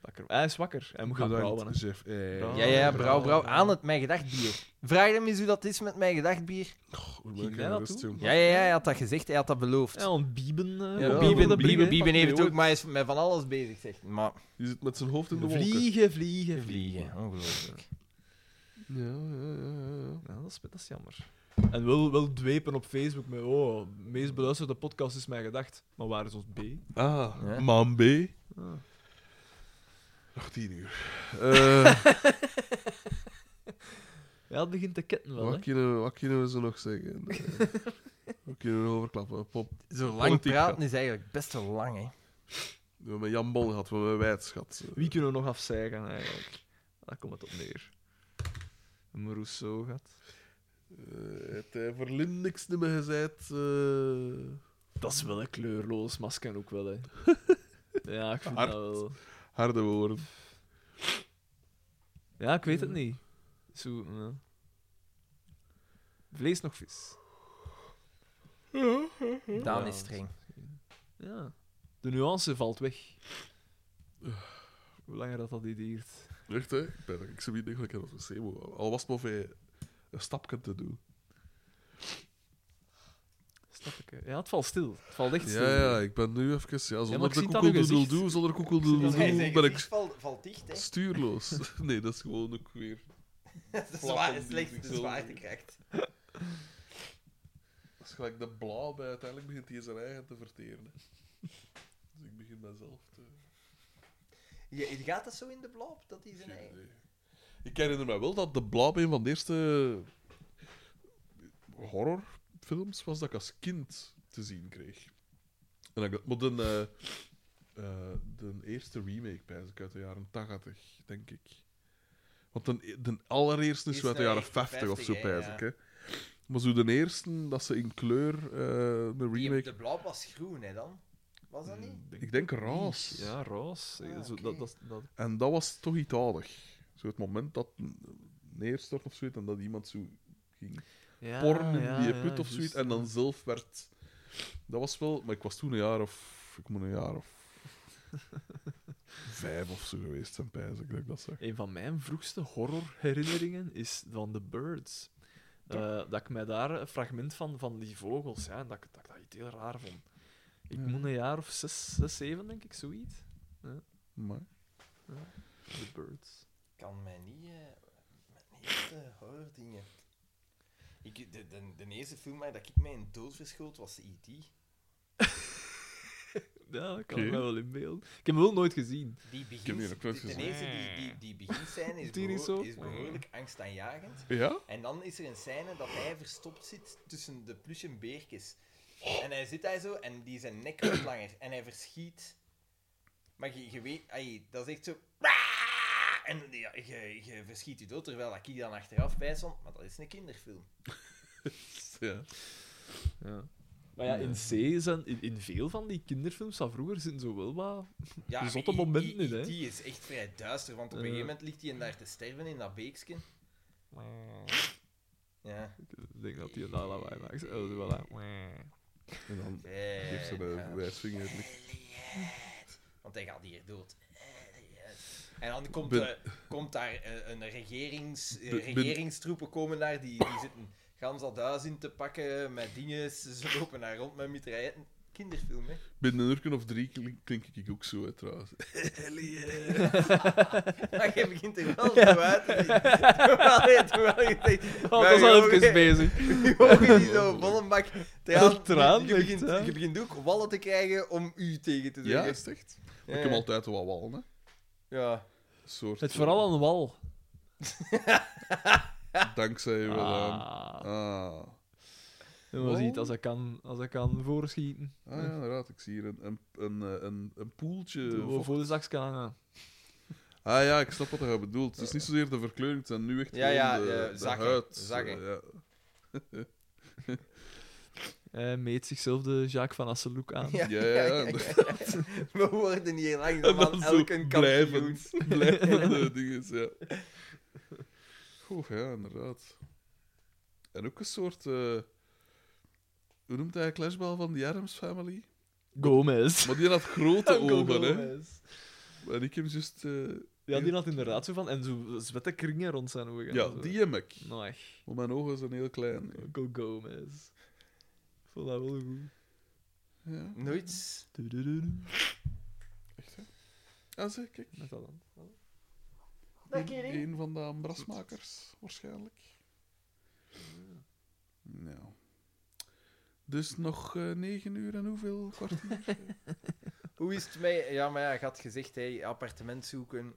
[SPEAKER 3] Wakker. Hij is wakker. Hij moet gaan
[SPEAKER 1] Bedankt,
[SPEAKER 3] brouwen. hè.
[SPEAKER 1] Jeff Eyre.
[SPEAKER 3] Brouwen.
[SPEAKER 4] Ja, ja, brouw, brouw,
[SPEAKER 3] brouw.
[SPEAKER 4] aan het mijn gedachtbier. Vraag hem eens hoe dat is met mijn gedachtbier.
[SPEAKER 1] Goh, hoe
[SPEAKER 3] Ging
[SPEAKER 1] maak
[SPEAKER 3] jij
[SPEAKER 1] je
[SPEAKER 3] dat
[SPEAKER 1] rust,
[SPEAKER 3] toe?
[SPEAKER 1] jongen?
[SPEAKER 4] Ja, ja, ja, hij had dat gezegd, hij had dat beloofd.
[SPEAKER 3] Ja, want Bieben... eh,
[SPEAKER 1] Ja,
[SPEAKER 3] op
[SPEAKER 1] Bieben-
[SPEAKER 3] de brug,
[SPEAKER 4] Bieber,
[SPEAKER 1] Bieben-
[SPEAKER 3] hè.
[SPEAKER 1] Bieben
[SPEAKER 4] heeft
[SPEAKER 1] heeft
[SPEAKER 4] het
[SPEAKER 1] ook,
[SPEAKER 4] ook, maar is met van alles bezig, zegt Maar
[SPEAKER 1] Die zit met zijn hoofd in de wolken.
[SPEAKER 3] Vliegen, vliegen, vliegen.
[SPEAKER 4] vliegen, ongelooflijk.
[SPEAKER 1] Ja, ja, ja, ja.
[SPEAKER 3] Ja, dat is, dat is jammer. En wel, wel dwepen op Facebook met, oh, meest beluisterde podcast is mij gedacht. Maar waar is ons B?
[SPEAKER 1] Ah,
[SPEAKER 4] Ja.
[SPEAKER 1] maan B.
[SPEAKER 3] Ah.
[SPEAKER 1] Nog tien uur. Eh,
[SPEAKER 3] Ja, het begint te ketten wel, hè.
[SPEAKER 1] wat, kunnen, we- wat kunnen we ze nog zeggen? Eh, wat kunnen we overklappen? Pop,
[SPEAKER 4] Zo lang
[SPEAKER 1] Politiek,
[SPEAKER 4] praten is eigenlijk best wel lang, hè.
[SPEAKER 1] we hebben Jan Bon gehad, we hebben Wijdschat.
[SPEAKER 3] Wie kunnen we nog afzeigen, eigenlijk? Daar komt het op neer. Een Rousseau gaat.
[SPEAKER 1] Eh, het hij voor Lin niks niet meer gezegd. eh,
[SPEAKER 3] Dat is wel een kleurloos masker ook wel, hè. ja, ik vind
[SPEAKER 1] Hard.
[SPEAKER 3] dat wel...
[SPEAKER 1] harde woorden.
[SPEAKER 3] Ja, ik weet het niet. Zo, ja. Vlees nog vis.
[SPEAKER 4] Daan
[SPEAKER 3] Ja.
[SPEAKER 4] is streng.
[SPEAKER 3] Ja. De nuance valt weg. Hoe langer dat dat die duurt.
[SPEAKER 1] Echt, hè? Ik ben ik zo niet degelijk aan het wc moet. Al was het maar voor een stapje te doen.
[SPEAKER 3] Snap ik. hè. Ja, het valt stil. Het valt echt stil.
[SPEAKER 1] Ja, ja, ik ben nu even... Ja, zonder
[SPEAKER 3] maar ik
[SPEAKER 1] de
[SPEAKER 3] zie het aan uw
[SPEAKER 1] koekeldoedeldoe,
[SPEAKER 3] gezicht.
[SPEAKER 1] zonder
[SPEAKER 4] Dus
[SPEAKER 1] koekeldoedeldoe ben ik
[SPEAKER 4] valt, dicht, hè.
[SPEAKER 1] stuurloos. Nee, dat is gewoon ook weer...
[SPEAKER 4] Dat is
[SPEAKER 1] zwaar- Flappen die slechts de zichzelf.
[SPEAKER 4] krijgt.
[SPEAKER 1] Dat is gelijk de blauw bij. Uiteindelijk begint hij zijn eigen te verteren. hè. Dus ik begin mezelf te...
[SPEAKER 4] Je, gaat dat zo in de blob, dat hij zijn
[SPEAKER 1] Geen idee. Ik herinner me wel dat de blauw een van de eerste eh, horrorfilms was dat ik als kind te zien kreeg. En dat ik dat, maar de, eh, eh, de eerste remake, pijs ik, uit de jaren 80, denk ik. Want de, de allereerste is
[SPEAKER 4] Is
[SPEAKER 1] zo uit de
[SPEAKER 4] nou
[SPEAKER 1] jaren
[SPEAKER 4] echt
[SPEAKER 1] 50 of zo,
[SPEAKER 4] 50, hè,
[SPEAKER 1] pijs
[SPEAKER 4] ja.
[SPEAKER 1] ik. Hè. Maar zo de eerste, dat ze in kleur eh een remake... Hmm.
[SPEAKER 4] De blob was groen, hè, dan? Was dat niet?
[SPEAKER 1] Ik denk Raas.
[SPEAKER 3] Ja, roos.
[SPEAKER 4] Ah,
[SPEAKER 3] Zo,
[SPEAKER 4] oké.
[SPEAKER 3] dat, dat, dat,
[SPEAKER 1] En dat was toch iets aardig. Zo het moment dat het neerstort of zoiets en dat iemand zo ging
[SPEAKER 3] ja,
[SPEAKER 1] porn in
[SPEAKER 3] Ah, ja,
[SPEAKER 1] die
[SPEAKER 3] ja,
[SPEAKER 1] put of
[SPEAKER 3] juist.
[SPEAKER 1] zoiets en dan zelf werd. Dat was wel, maar ik was toen een jaar of. Ik moet een jaar of. vijf of zo geweest zijn, pijs ik dat ik dat zag.
[SPEAKER 3] Een van mijn vroegste horrorherinneringen is van The Birds. Eh, dat ik mij daar een fragment van, van die vogels, ja, en dat, ik- dat ik dat iets heel raar vond. Ik
[SPEAKER 1] Ja.
[SPEAKER 3] moet een jaar of zes, zes, zeven, denk ik, zoiets.
[SPEAKER 1] Maar
[SPEAKER 3] The Birds.
[SPEAKER 4] kan mij niet. eh, met niet eh, horror dingen. Ik, de, de, de eerste film waar dat ik mij in dood verschoot was E E.T.
[SPEAKER 3] Ja, dat kan
[SPEAKER 1] Oké.
[SPEAKER 3] ik me wel inbeelden. Ik heb hem wel nooit gezien.
[SPEAKER 4] Die
[SPEAKER 1] heb
[SPEAKER 4] begins,
[SPEAKER 1] die ook nooit
[SPEAKER 4] de, de
[SPEAKER 1] gezien.
[SPEAKER 4] eerste die, die, die beginscène is,
[SPEAKER 3] Die is
[SPEAKER 4] behoor-
[SPEAKER 3] zo?
[SPEAKER 4] is behoorlijk angstaanjagend.
[SPEAKER 1] Ja?
[SPEAKER 4] En dan is er een scène dat hij verstopt zit tussen de plus en beertjes. En hij zit daar zo en die zijn nek wordt langer en hij verschiet. Maar je, je weet, ai, dat is echt zo. En ja, je, je verschiet je dood, terwijl ik hier dan achteraf bij stond. Maar dat is een kinderfilm.
[SPEAKER 1] ja.
[SPEAKER 3] Ja. Maar ja, in C zijn in, in veel van die kinderfilms van vroeger zitten zo wel wat.
[SPEAKER 4] Ja,
[SPEAKER 3] Een
[SPEAKER 4] maar
[SPEAKER 3] zotte
[SPEAKER 4] I-
[SPEAKER 3] moment
[SPEAKER 4] I-
[SPEAKER 3] niet, hè?
[SPEAKER 4] I.T. is echt vrij duister, want op een
[SPEAKER 3] Ja.
[SPEAKER 4] gegeven moment ligt hij daar te sterven in dat beeksken. Ja.
[SPEAKER 3] Ik denk dat die een lawaai maakt. Oh, zo wel aan.
[SPEAKER 1] En dan geeft ze
[SPEAKER 4] eh,
[SPEAKER 1] bij wijsvinger het licht.
[SPEAKER 4] Elliot. Want hij gaat hier dood. Elliot. En dan komt,
[SPEAKER 1] Ben-
[SPEAKER 4] eh, komt daar eh, een regerings, eh,
[SPEAKER 1] Ben- ben-
[SPEAKER 4] regeringstroepen komen daar, die, die zitten gans dat huis in te pakken met dingen. Ze lopen daar rond met mitrailletten. Kinderfilm, hè?
[SPEAKER 1] Binnen een uur of drie klink, klink ik ook zo uit, trouwens.
[SPEAKER 4] Maar je begint er wel zo uit te zien. Terwijl je- terwijl je denkt-
[SPEAKER 3] Oh,
[SPEAKER 4] maar
[SPEAKER 3] dat is al
[SPEAKER 4] jongen,
[SPEAKER 3] even bezig.
[SPEAKER 4] Je ogen die zo vol een bak traan.
[SPEAKER 3] Dat traan
[SPEAKER 4] je,
[SPEAKER 3] ligt,
[SPEAKER 4] begint,
[SPEAKER 3] hè?
[SPEAKER 4] je begint ook wallen te krijgen om u tegen te
[SPEAKER 1] Ja,
[SPEAKER 4] zeggen.
[SPEAKER 1] is het echt? Maar Ik heb altijd wel wallen, hè.
[SPEAKER 4] Ja.
[SPEAKER 1] Een Soort,
[SPEAKER 3] Het vooral aan wal.
[SPEAKER 1] eh, Dankzij je wel aan.
[SPEAKER 3] Ah.
[SPEAKER 1] Ah.
[SPEAKER 3] En wat
[SPEAKER 1] Wal?
[SPEAKER 3] ziet als hij kan, als hij kan voorschieten.
[SPEAKER 1] Ah ja, inderdaad. Ik zie hier een, een, een, eh, een, een poeltje.
[SPEAKER 3] Voor
[SPEAKER 1] vocht.
[SPEAKER 3] voor de zaks kan hangen.
[SPEAKER 1] Ah ja, ik snap wat je bedoelt. Het is niet zozeer de verkleuring, het zijn nu echt
[SPEAKER 4] Ja, ja,
[SPEAKER 1] gewoon de,
[SPEAKER 4] eh,
[SPEAKER 1] de
[SPEAKER 4] zakken,
[SPEAKER 1] huid.
[SPEAKER 4] zakken.
[SPEAKER 1] Eh, ja.
[SPEAKER 3] Hij meet zichzelf de Jacques van Asseloek aan.
[SPEAKER 1] Ja, ja, ja.
[SPEAKER 4] We worden hier
[SPEAKER 1] En dan
[SPEAKER 4] langzaam
[SPEAKER 1] zo
[SPEAKER 4] elke kampioen.
[SPEAKER 1] blijvend, blijvende dingen, ja. Oeh, ja, inderdaad. En ook een soort... eh, hoe noemt hij Clashball van de Adams Family?
[SPEAKER 3] Gomez.
[SPEAKER 1] Maar die had grote
[SPEAKER 3] Uncle
[SPEAKER 1] ogen, hè.
[SPEAKER 3] Gomez.
[SPEAKER 1] En ik heb juist... eh,
[SPEAKER 3] Ja, die had inderdaad zo van. En zo zwette kringen rond zijn ogen.
[SPEAKER 1] ja,
[SPEAKER 3] Zo.
[SPEAKER 1] die heb ik.
[SPEAKER 3] Nou, echt.
[SPEAKER 1] Maar mijn ogen zijn heel klein.
[SPEAKER 3] Uncle Gomez. Ik vond dat wel goed.
[SPEAKER 1] Ja,
[SPEAKER 4] Nooit.
[SPEAKER 3] Tudududu.
[SPEAKER 1] echt, hè. Ah, zeg, kijk.
[SPEAKER 3] Wat is dat dan?
[SPEAKER 1] Een, een van de Ambrasmakers, waarschijnlijk. Nou. Dus nog eh, negen uur en hoeveel kwartier?
[SPEAKER 4] Hoe is het mij? Ja, maar ja, je had gezegd, hey, appartement zoeken.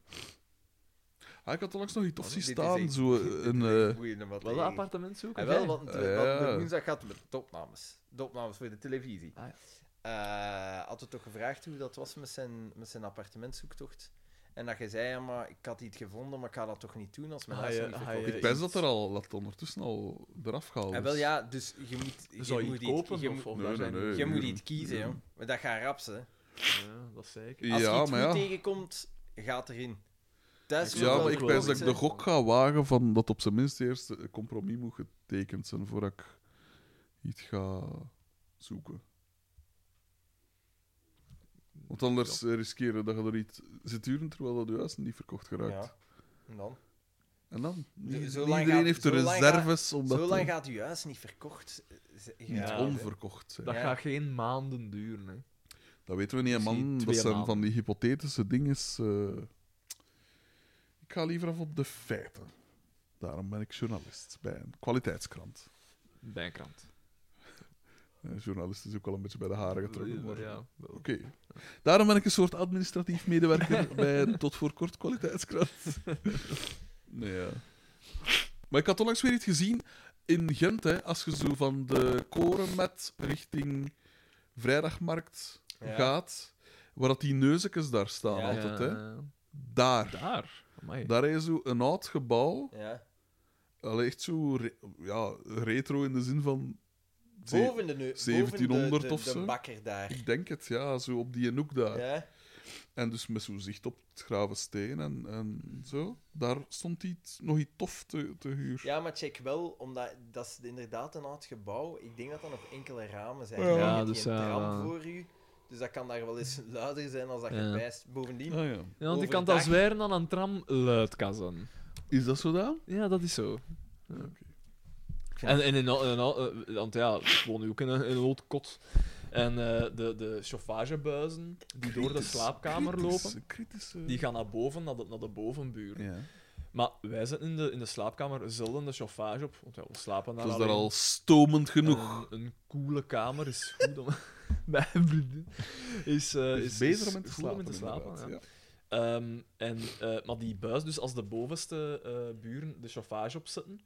[SPEAKER 1] ah, ik had onlangs nog iets
[SPEAKER 4] Dit
[SPEAKER 1] tof zien
[SPEAKER 4] is
[SPEAKER 1] staan.
[SPEAKER 4] echt-
[SPEAKER 1] Zo
[SPEAKER 4] dit is
[SPEAKER 1] een...
[SPEAKER 4] echt
[SPEAKER 1] eh, Ah,
[SPEAKER 4] boeiend om wat te
[SPEAKER 3] Wel een
[SPEAKER 4] lezen.
[SPEAKER 3] appartement zoeken?
[SPEAKER 4] En
[SPEAKER 3] jij?
[SPEAKER 4] Ah, wel, want de,
[SPEAKER 1] Ja.
[SPEAKER 4] want de woensdag gaat het met de opnames. De opnames voor de televisie.
[SPEAKER 3] Ah,
[SPEAKER 4] Eh, had het toch gevraagd hoe dat was met zijn, met zijn appartementzoektocht? En dat je zei, ja, maar ik had iets gevonden, maar ik ga dat toch niet doen als mijn
[SPEAKER 3] Ah,
[SPEAKER 4] huis
[SPEAKER 3] ja,
[SPEAKER 4] niet
[SPEAKER 3] ah,
[SPEAKER 4] verkocht
[SPEAKER 3] ja,
[SPEAKER 4] is.
[SPEAKER 1] ik pens dat er al dat ondertussen al eraf gehaald is.
[SPEAKER 4] En wel, ja, dus je moet... Je
[SPEAKER 3] Zou je
[SPEAKER 4] moet
[SPEAKER 3] het kopen?
[SPEAKER 4] Je,
[SPEAKER 3] of,
[SPEAKER 4] moet-
[SPEAKER 3] of
[SPEAKER 1] Nee,
[SPEAKER 3] daar
[SPEAKER 1] nee,
[SPEAKER 3] zijn...
[SPEAKER 1] nee.
[SPEAKER 4] je moet
[SPEAKER 1] Ja.
[SPEAKER 4] iets kiezen, joh. Maar dat gaat raps, hè.
[SPEAKER 3] Ja, dat is zeker.
[SPEAKER 4] Als je
[SPEAKER 1] Ja,
[SPEAKER 4] iets goed
[SPEAKER 1] maar ja.
[SPEAKER 4] tegenkomt, gaat erin. Thuis
[SPEAKER 3] Ik
[SPEAKER 4] moet
[SPEAKER 1] Ja,
[SPEAKER 4] wel
[SPEAKER 1] maar
[SPEAKER 4] de
[SPEAKER 1] ik
[SPEAKER 3] ook
[SPEAKER 1] pens
[SPEAKER 4] compromis
[SPEAKER 1] dat ik de
[SPEAKER 4] zijn.
[SPEAKER 1] gok ga wagen van dat op zijn minst eerst een compromis moet getekend zijn voordat ik iets ga zoeken. Want anders eh, riskeren dat je er iets zit duren terwijl dat je huis niet verkocht geraakt.
[SPEAKER 4] Ja. En dan?
[SPEAKER 1] En dan?
[SPEAKER 4] Zo-
[SPEAKER 1] Niet,
[SPEAKER 4] zo
[SPEAKER 1] niet
[SPEAKER 4] lang
[SPEAKER 1] iedereen
[SPEAKER 4] gaat-
[SPEAKER 1] heeft de
[SPEAKER 4] zo lang
[SPEAKER 1] reserves om dat
[SPEAKER 4] Zo lang
[SPEAKER 1] te-
[SPEAKER 4] gaat uw huis niet verkocht. eh, ze-
[SPEAKER 1] niet
[SPEAKER 4] ja.
[SPEAKER 1] onverkocht zijn.
[SPEAKER 3] Dat
[SPEAKER 4] Ja.
[SPEAKER 3] gaat geen maanden duren. Hè.
[SPEAKER 1] Dat weten we niet, hè,
[SPEAKER 3] Ik zie
[SPEAKER 1] man. Dat
[SPEAKER 3] twee
[SPEAKER 1] zijn
[SPEAKER 3] maanden.
[SPEAKER 1] van die hypothetische dingen. eh. Ik ga liever af op de feiten. Daarom ben ik journalist bij een kwaliteitskrant.
[SPEAKER 3] Bijkrant.
[SPEAKER 1] Eh, journalist is ook al een beetje bij de haren getrokken. maar-
[SPEAKER 3] Ja, wel.
[SPEAKER 1] Oké. Daarom ben ik een soort administratief medewerker bij een tot voor kort kwaliteitskrant. nee, ja. Maar ik had onlangs weer iets gezien in Gent, hè, als je zo van de korenmet richting Vrijdagmarkt
[SPEAKER 4] Ja.
[SPEAKER 1] gaat, waar dat die neuzekes daar staan
[SPEAKER 4] Ja.
[SPEAKER 1] altijd. Hè.
[SPEAKER 3] Ja,
[SPEAKER 1] Daar.
[SPEAKER 3] Daar. Eh, Amai.
[SPEAKER 1] Daar is zo een oud gebouw,
[SPEAKER 4] Ja.
[SPEAKER 1] allee, echt zo re- ja, retro in de zin van... ze-
[SPEAKER 4] Boven de neu- boven
[SPEAKER 1] 1700
[SPEAKER 4] de, de,
[SPEAKER 1] of
[SPEAKER 4] De
[SPEAKER 1] zo.
[SPEAKER 4] bakker daar.
[SPEAKER 1] Ik denk het, ja, zo op die hoek daar.
[SPEAKER 4] Ja.
[SPEAKER 1] En dus met zo'n zicht op het Gravensteen en, en zo. Daar stond iets, nog iets tof te, te huur.
[SPEAKER 4] ja, maar check wel, omdat dat is inderdaad een oud gebouw. Ik denk dat dat nog enkele ramen zijn.
[SPEAKER 1] Ja.
[SPEAKER 4] Je
[SPEAKER 1] Ja,
[SPEAKER 4] hebt
[SPEAKER 3] dus,
[SPEAKER 4] geen
[SPEAKER 3] eh,
[SPEAKER 4] tram voor u. Dus dat kan daar wel eens luider zijn als dat
[SPEAKER 3] Ja.
[SPEAKER 4] je wijst. Bovendien,
[SPEAKER 1] Ah, ja.
[SPEAKER 3] Ja, want ik kan
[SPEAKER 4] Overdag.
[SPEAKER 3] dat zweren aan een tram luidkassen.
[SPEAKER 1] Is dat zo dan?
[SPEAKER 3] Ja, dat is zo.
[SPEAKER 1] Oké.
[SPEAKER 3] En, en in, in, in- want ja, ik woon nu ook in een, in een oud kot. En eh, de, de chauffagebuizen die door de
[SPEAKER 1] Kritisch,
[SPEAKER 3] slaapkamer
[SPEAKER 1] kritische,
[SPEAKER 3] lopen,
[SPEAKER 1] Kritische...
[SPEAKER 3] die gaan naar boven, naar de, naar de bovenbuur.
[SPEAKER 1] Ja.
[SPEAKER 3] Maar wij zitten in de, in de slaapkamer zelden de chauffage op, want ja, we slapen daar
[SPEAKER 1] Het was daar
[SPEAKER 3] alleen.
[SPEAKER 1] al stomend genoeg.
[SPEAKER 3] Een, een coole kamer is goed om... Mijn vriendin is, eh,
[SPEAKER 1] Het
[SPEAKER 3] is,
[SPEAKER 1] beter
[SPEAKER 3] is
[SPEAKER 1] om in te
[SPEAKER 3] goed
[SPEAKER 1] slapen.
[SPEAKER 3] om in te slapen
[SPEAKER 1] inderdaad,
[SPEAKER 3] ja.
[SPEAKER 1] ja.
[SPEAKER 3] Ehm, en, eh, maar die buis, dus als de bovenste eh, buren de chauffage opzetten,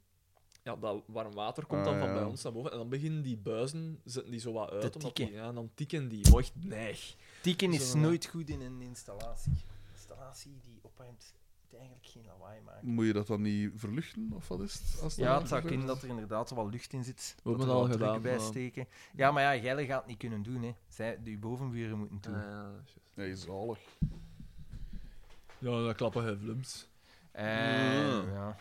[SPEAKER 3] ja, dat warm water komt dan
[SPEAKER 1] Ah,
[SPEAKER 3] van
[SPEAKER 1] ja.
[SPEAKER 3] bij ons naar boven. En dan beginnen die buizen, zetten die zo wat uit. omdat die-
[SPEAKER 4] tikken.
[SPEAKER 3] ja, en dan tikken die. Mocht neig.
[SPEAKER 4] Tikken is
[SPEAKER 3] Zo, ja.
[SPEAKER 4] nooit goed in een installatie. installatie die opruimt die eigenlijk geen lawaai maakt.
[SPEAKER 1] Moet je dat dan niet verluchten? Of wat is het? Als
[SPEAKER 4] Ja,
[SPEAKER 1] dan-
[SPEAKER 4] het zou kunnen dat er inderdaad wel lucht in zit.
[SPEAKER 3] hebben
[SPEAKER 4] dat
[SPEAKER 3] het
[SPEAKER 4] er
[SPEAKER 3] al
[SPEAKER 4] wat druk
[SPEAKER 3] gedaan,
[SPEAKER 4] bij
[SPEAKER 3] maar-
[SPEAKER 4] steken. Ja, maar ja, Gelle gaat het niet kunnen doen. Hè. Zij, de bovenburen moeten
[SPEAKER 1] Ah,
[SPEAKER 4] het doen.
[SPEAKER 1] Nee, zalig.
[SPEAKER 3] ja, dat klappen hevlums.
[SPEAKER 4] Eh,
[SPEAKER 3] Mm.
[SPEAKER 1] Ja.
[SPEAKER 4] ja.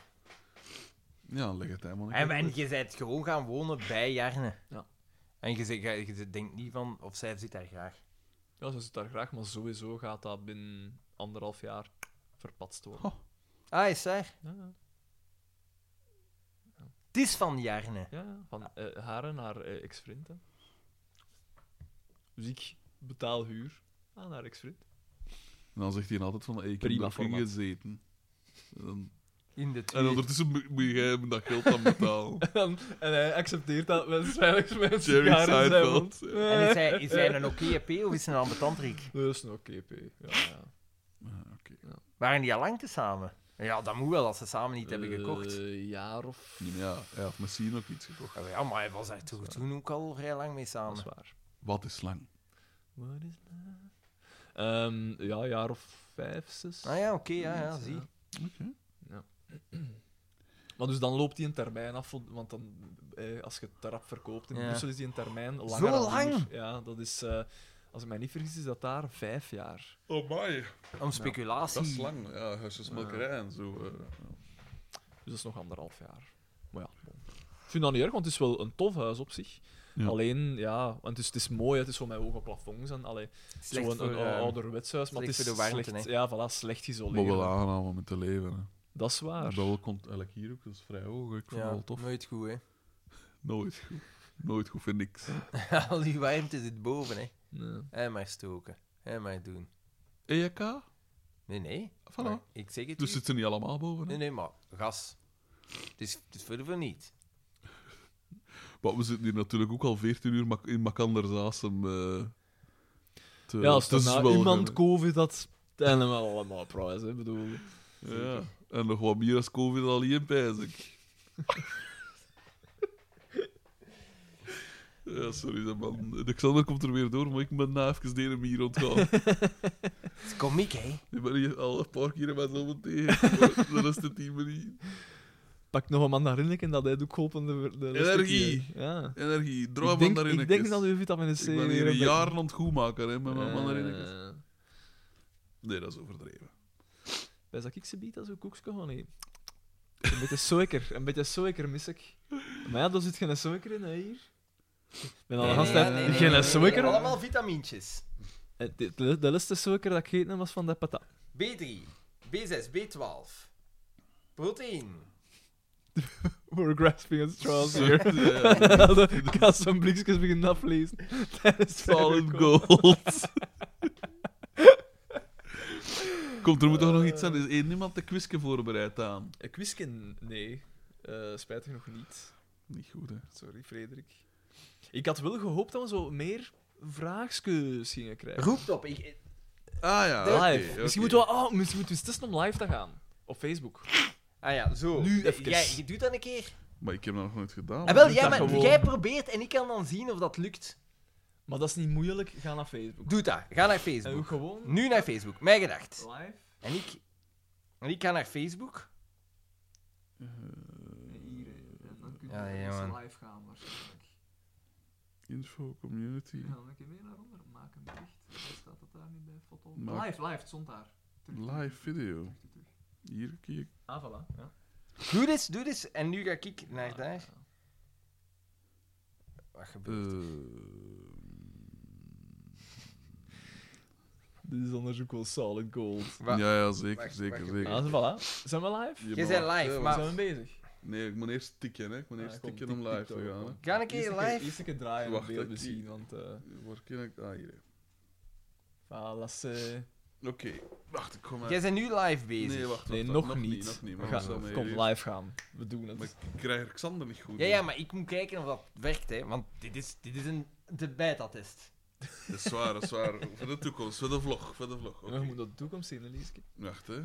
[SPEAKER 1] Ja, leg het helemaal
[SPEAKER 4] En, en je bent gewoon gaan wonen bij Jarne.
[SPEAKER 3] Ja.
[SPEAKER 4] En je, zegt- je, je denkt niet van, of zij zit daar graag.
[SPEAKER 3] Ja, ze zit daar graag, maar sowieso gaat dat binnen anderhalf jaar verpatst worden.
[SPEAKER 4] Ah, is zij?
[SPEAKER 3] Ja, ja,
[SPEAKER 4] Het is van Jarne.
[SPEAKER 3] ja, ja. Van eh, haar en haar eh, ex-vriend. hè. Dus ik betaal huur aan haar ex-vriend.
[SPEAKER 1] En dan zegt hij altijd van, hey, ik heb
[SPEAKER 3] Prima
[SPEAKER 1] daar
[SPEAKER 3] format.
[SPEAKER 1] gezeten. En, dan-
[SPEAKER 4] In de
[SPEAKER 1] en
[SPEAKER 4] tweede.
[SPEAKER 1] ondertussen moet moet jij hem dat geld dan betalen.
[SPEAKER 3] en hij accepteert dat waarschijnlijk met
[SPEAKER 1] Jerry
[SPEAKER 3] sigaren in zijn
[SPEAKER 1] Seinfeld,
[SPEAKER 3] mond.
[SPEAKER 4] En is hij, is hij een oké P of is hij een ambetant Rick?
[SPEAKER 3] Dat is een oké, P. Ja, ja.
[SPEAKER 1] Ah, oké.
[SPEAKER 4] Waren die al lang te samen? Ja, dat moet wel, als ze samen niet hebben gekocht.
[SPEAKER 3] Een Eh, jaar of...
[SPEAKER 1] Ja, hij had misschien ook iets gekocht.
[SPEAKER 3] Eh.
[SPEAKER 4] Ah, Ja, maar hij was daar toch toen ook al vrij lang mee
[SPEAKER 3] Dat is
[SPEAKER 4] samen.
[SPEAKER 3] waar.
[SPEAKER 1] Wat is lang?
[SPEAKER 3] What is that? Ehm, ja, een jaar of vijf, zes.
[SPEAKER 4] Ah ja, oké, ja, ja, zie.
[SPEAKER 1] Oké.
[SPEAKER 3] Maar dus dan loopt die een termijn af, want- want dan, eh, als je het te rap verkoopt in
[SPEAKER 4] Ja.
[SPEAKER 3] Brussel is die een termijn langer
[SPEAKER 4] Zo
[SPEAKER 3] dan hier.
[SPEAKER 4] lang?
[SPEAKER 3] Ja, dat is... eh, als ik mij niet vergis, is dat daar vijf jaar.
[SPEAKER 1] Oh my,
[SPEAKER 4] Om speculatie.
[SPEAKER 1] dat is lang. Ja, huisjesmelkerij en zo. eh.
[SPEAKER 3] Dus dat is nog anderhalf jaar. Maar ja, bon. ik vind dat niet erg, want het is wel een tof huis op zich.
[SPEAKER 1] Ja.
[SPEAKER 3] Alleen, ja, want het is, het is mooi, het is zo met hoge plafonds en allee,
[SPEAKER 4] Slecht
[SPEAKER 3] zo'n
[SPEAKER 4] voor,
[SPEAKER 3] een,
[SPEAKER 4] eh,
[SPEAKER 3] ouderwets huis, maar het
[SPEAKER 4] slecht
[SPEAKER 3] is
[SPEAKER 4] voor de warmte,
[SPEAKER 3] slecht,
[SPEAKER 4] hè.
[SPEAKER 3] ja, voilà, slecht
[SPEAKER 1] Maar
[SPEAKER 3] geïsoleerd.
[SPEAKER 1] wel aangenaam om in te leven. Hè.
[SPEAKER 3] Dat is waar.
[SPEAKER 1] Dat wel komt eigenlijk hier ook, dat is vrij hoog. Ik vond
[SPEAKER 4] ja,
[SPEAKER 1] het wel tof.
[SPEAKER 4] Nooit goed, hè.
[SPEAKER 1] Nooit goed. Nooit goed voor niks.
[SPEAKER 4] al die warmte zit boven, hè.
[SPEAKER 3] Nee.
[SPEAKER 4] En maar stoken. En maar doen.
[SPEAKER 3] E
[SPEAKER 1] EK?
[SPEAKER 4] Nee, nee.
[SPEAKER 1] Voilà.
[SPEAKER 4] Maar Ik zeg het
[SPEAKER 1] Dus
[SPEAKER 4] u.
[SPEAKER 1] zitten niet allemaal boven. Hè?
[SPEAKER 4] Nee, nee, maar gas. Het is, het is voor de voor niet.
[SPEAKER 1] Maar we zitten hier natuurlijk ook al 14 uur mak- in Makanderzasem. eh te,
[SPEAKER 3] Ja, als
[SPEAKER 1] te
[SPEAKER 3] er nou
[SPEAKER 1] zwelgen,
[SPEAKER 3] iemand
[SPEAKER 1] hè.
[SPEAKER 3] COVID had, dan hebben we allemaal prijs, hè, bedoel.
[SPEAKER 1] Ja. En nog wat meer als COVID al hier in Pijzik. Ja, sorry, zeg, man. Alexander komt er weer door, maar ik ben na even de ene hier ontgaan.
[SPEAKER 4] Het is komiek, hè.
[SPEAKER 1] Ik ben hier al een paar keer bij zo'n tegen. maar De rest het team niet.
[SPEAKER 3] Pak nog een mandarinnik en dat hij ook open de, de rest
[SPEAKER 1] Energie.
[SPEAKER 3] keer. Ja.
[SPEAKER 1] Energie, droom
[SPEAKER 3] Ik
[SPEAKER 1] van
[SPEAKER 3] denk,
[SPEAKER 1] daarin.
[SPEAKER 3] ik denk dat uw vitamine C
[SPEAKER 1] Ik ben hier
[SPEAKER 3] een
[SPEAKER 1] jaren aan het goed maken hè, met
[SPEAKER 3] beetje-
[SPEAKER 1] mijn mandarinekes.
[SPEAKER 3] Eh,
[SPEAKER 1] Nee, dat is overdreven.
[SPEAKER 3] Bij dat ik ze bied, dat is ook koekske gewoon niet. Een beetje suiker, een beetje suiker mis ik. Maar ja, daar zit geen suiker in, hè, hier. Ik ben al de
[SPEAKER 1] Nee,
[SPEAKER 3] hele
[SPEAKER 1] nee,
[SPEAKER 3] tijd-
[SPEAKER 1] nee, nee,
[SPEAKER 3] geen suiker op.
[SPEAKER 4] Allemaal vitamintjes.
[SPEAKER 3] Eh, De, de, de laatste suiker dat ik gegeten heb, was van de patat.
[SPEAKER 4] B3, B6, B12. Proteïne.
[SPEAKER 3] We're grasping at straws here.
[SPEAKER 1] Ja, ja.
[SPEAKER 3] Ik had zo'n blikjes beginnen aflezen. tijdens het
[SPEAKER 1] Solid
[SPEAKER 3] koken.
[SPEAKER 1] gold. Komt, er moet
[SPEAKER 3] Eh.
[SPEAKER 1] toch nog iets zijn. Er is één niemand de quizje voorbereid aan.
[SPEAKER 3] Ik wist geen- nee. Eh, spijtig genoeg niet.
[SPEAKER 1] Niet goed, hè.
[SPEAKER 3] Sorry, Frederik. Ik had wel gehoopt dat we zo meer vraagjes gingen krijgen.
[SPEAKER 4] Roept op. Ik,
[SPEAKER 1] Ah ja,
[SPEAKER 3] live.
[SPEAKER 1] oké,
[SPEAKER 3] Misschien
[SPEAKER 1] oké.
[SPEAKER 3] moeten we... Oh, misschien moeten we eens testen om live te gaan. Op Facebook.
[SPEAKER 4] ah ja, zo.
[SPEAKER 3] Nu
[SPEAKER 4] Eh,
[SPEAKER 3] even.
[SPEAKER 4] Jij, je doet dat een keer.
[SPEAKER 1] Maar ik heb dat nog nooit gedaan.
[SPEAKER 4] Ah, wel,
[SPEAKER 3] doe
[SPEAKER 4] jij,
[SPEAKER 3] dat
[SPEAKER 4] maar,
[SPEAKER 3] gewoon.
[SPEAKER 4] jij probeert en ik kan dan zien of dat lukt.
[SPEAKER 3] Maar dat is niet moeilijk. Ga naar Facebook.
[SPEAKER 4] Doe dat. Ga naar
[SPEAKER 3] En ook
[SPEAKER 4] Facebook.
[SPEAKER 3] gewoon
[SPEAKER 4] Nu naar Facebook. Mij gedacht.
[SPEAKER 3] live.
[SPEAKER 4] En ik, en ik ga naar Facebook.
[SPEAKER 3] Hier. En dan kun
[SPEAKER 4] je Ja, ja, eens man.
[SPEAKER 3] live gaan waarschijnlijk.
[SPEAKER 1] Info, community,
[SPEAKER 3] dan een keer mee naar onder. Maak een bericht. Staat dat daar niet bij? Foto?
[SPEAKER 1] Maak-
[SPEAKER 3] Live, live. Het stond daar.
[SPEAKER 1] live video. Hier kijk.
[SPEAKER 3] Ah, voilà. Ja.
[SPEAKER 4] Doe dit, doe dit. En nu ga ik naar daar. Wat
[SPEAKER 1] eh,
[SPEAKER 4] gebeurt
[SPEAKER 3] Dit is anders ook wel solid gold.
[SPEAKER 4] Wa-
[SPEAKER 1] Eh, ja, ja, zeker,
[SPEAKER 4] wacht,
[SPEAKER 1] zeker,
[SPEAKER 4] wacht.
[SPEAKER 1] zeker.
[SPEAKER 3] Ah, voilà. Zijn we live?
[SPEAKER 1] Je
[SPEAKER 4] Jij
[SPEAKER 1] mag-
[SPEAKER 4] bent live,
[SPEAKER 1] Ja,
[SPEAKER 4] maar-
[SPEAKER 3] Zijn we bezig?
[SPEAKER 1] Nee, ik moet eerst tikken, hè. Ik moet
[SPEAKER 3] Ah,
[SPEAKER 1] eerst
[SPEAKER 3] kom,
[SPEAKER 1] tikken
[SPEAKER 3] tik,
[SPEAKER 1] om live
[SPEAKER 3] tik,
[SPEAKER 1] te
[SPEAKER 3] tik,
[SPEAKER 1] gaan, hè.
[SPEAKER 3] kom.
[SPEAKER 4] Ga een keer
[SPEAKER 3] Eerst
[SPEAKER 4] live.
[SPEAKER 3] Eerst een keer draaien en
[SPEAKER 1] Wacht,
[SPEAKER 3] beeld
[SPEAKER 1] hè, die-
[SPEAKER 3] bezien, want... eh
[SPEAKER 1] Waar ken ik... Ah, hier.
[SPEAKER 3] voilà, ze-
[SPEAKER 1] Oké, wacht, ik kom maar.
[SPEAKER 4] Jij bent nu live bezig.
[SPEAKER 1] Nee, wacht,
[SPEAKER 3] Nee,
[SPEAKER 1] wacht,
[SPEAKER 3] nog,
[SPEAKER 1] nog
[SPEAKER 3] niet.
[SPEAKER 1] nog niet,
[SPEAKER 3] We
[SPEAKER 1] maar
[SPEAKER 3] gaan-
[SPEAKER 1] we zijn mee
[SPEAKER 3] kom,
[SPEAKER 1] bezig.
[SPEAKER 3] live gaan. We doen het.
[SPEAKER 1] Maar ik krijg er Xander niet goed.
[SPEAKER 4] ja, ja, maar ik moet kijken of dat werkt, hè. Want dit is, dit is een de beta-test.
[SPEAKER 1] Dat is zwaar, dat is zwaar. Voor de toekomst, voor de vlog, voor de vlog.
[SPEAKER 3] We
[SPEAKER 1] Oké.
[SPEAKER 3] moeten de toekomst zien, Elieske.
[SPEAKER 1] Wacht, hè.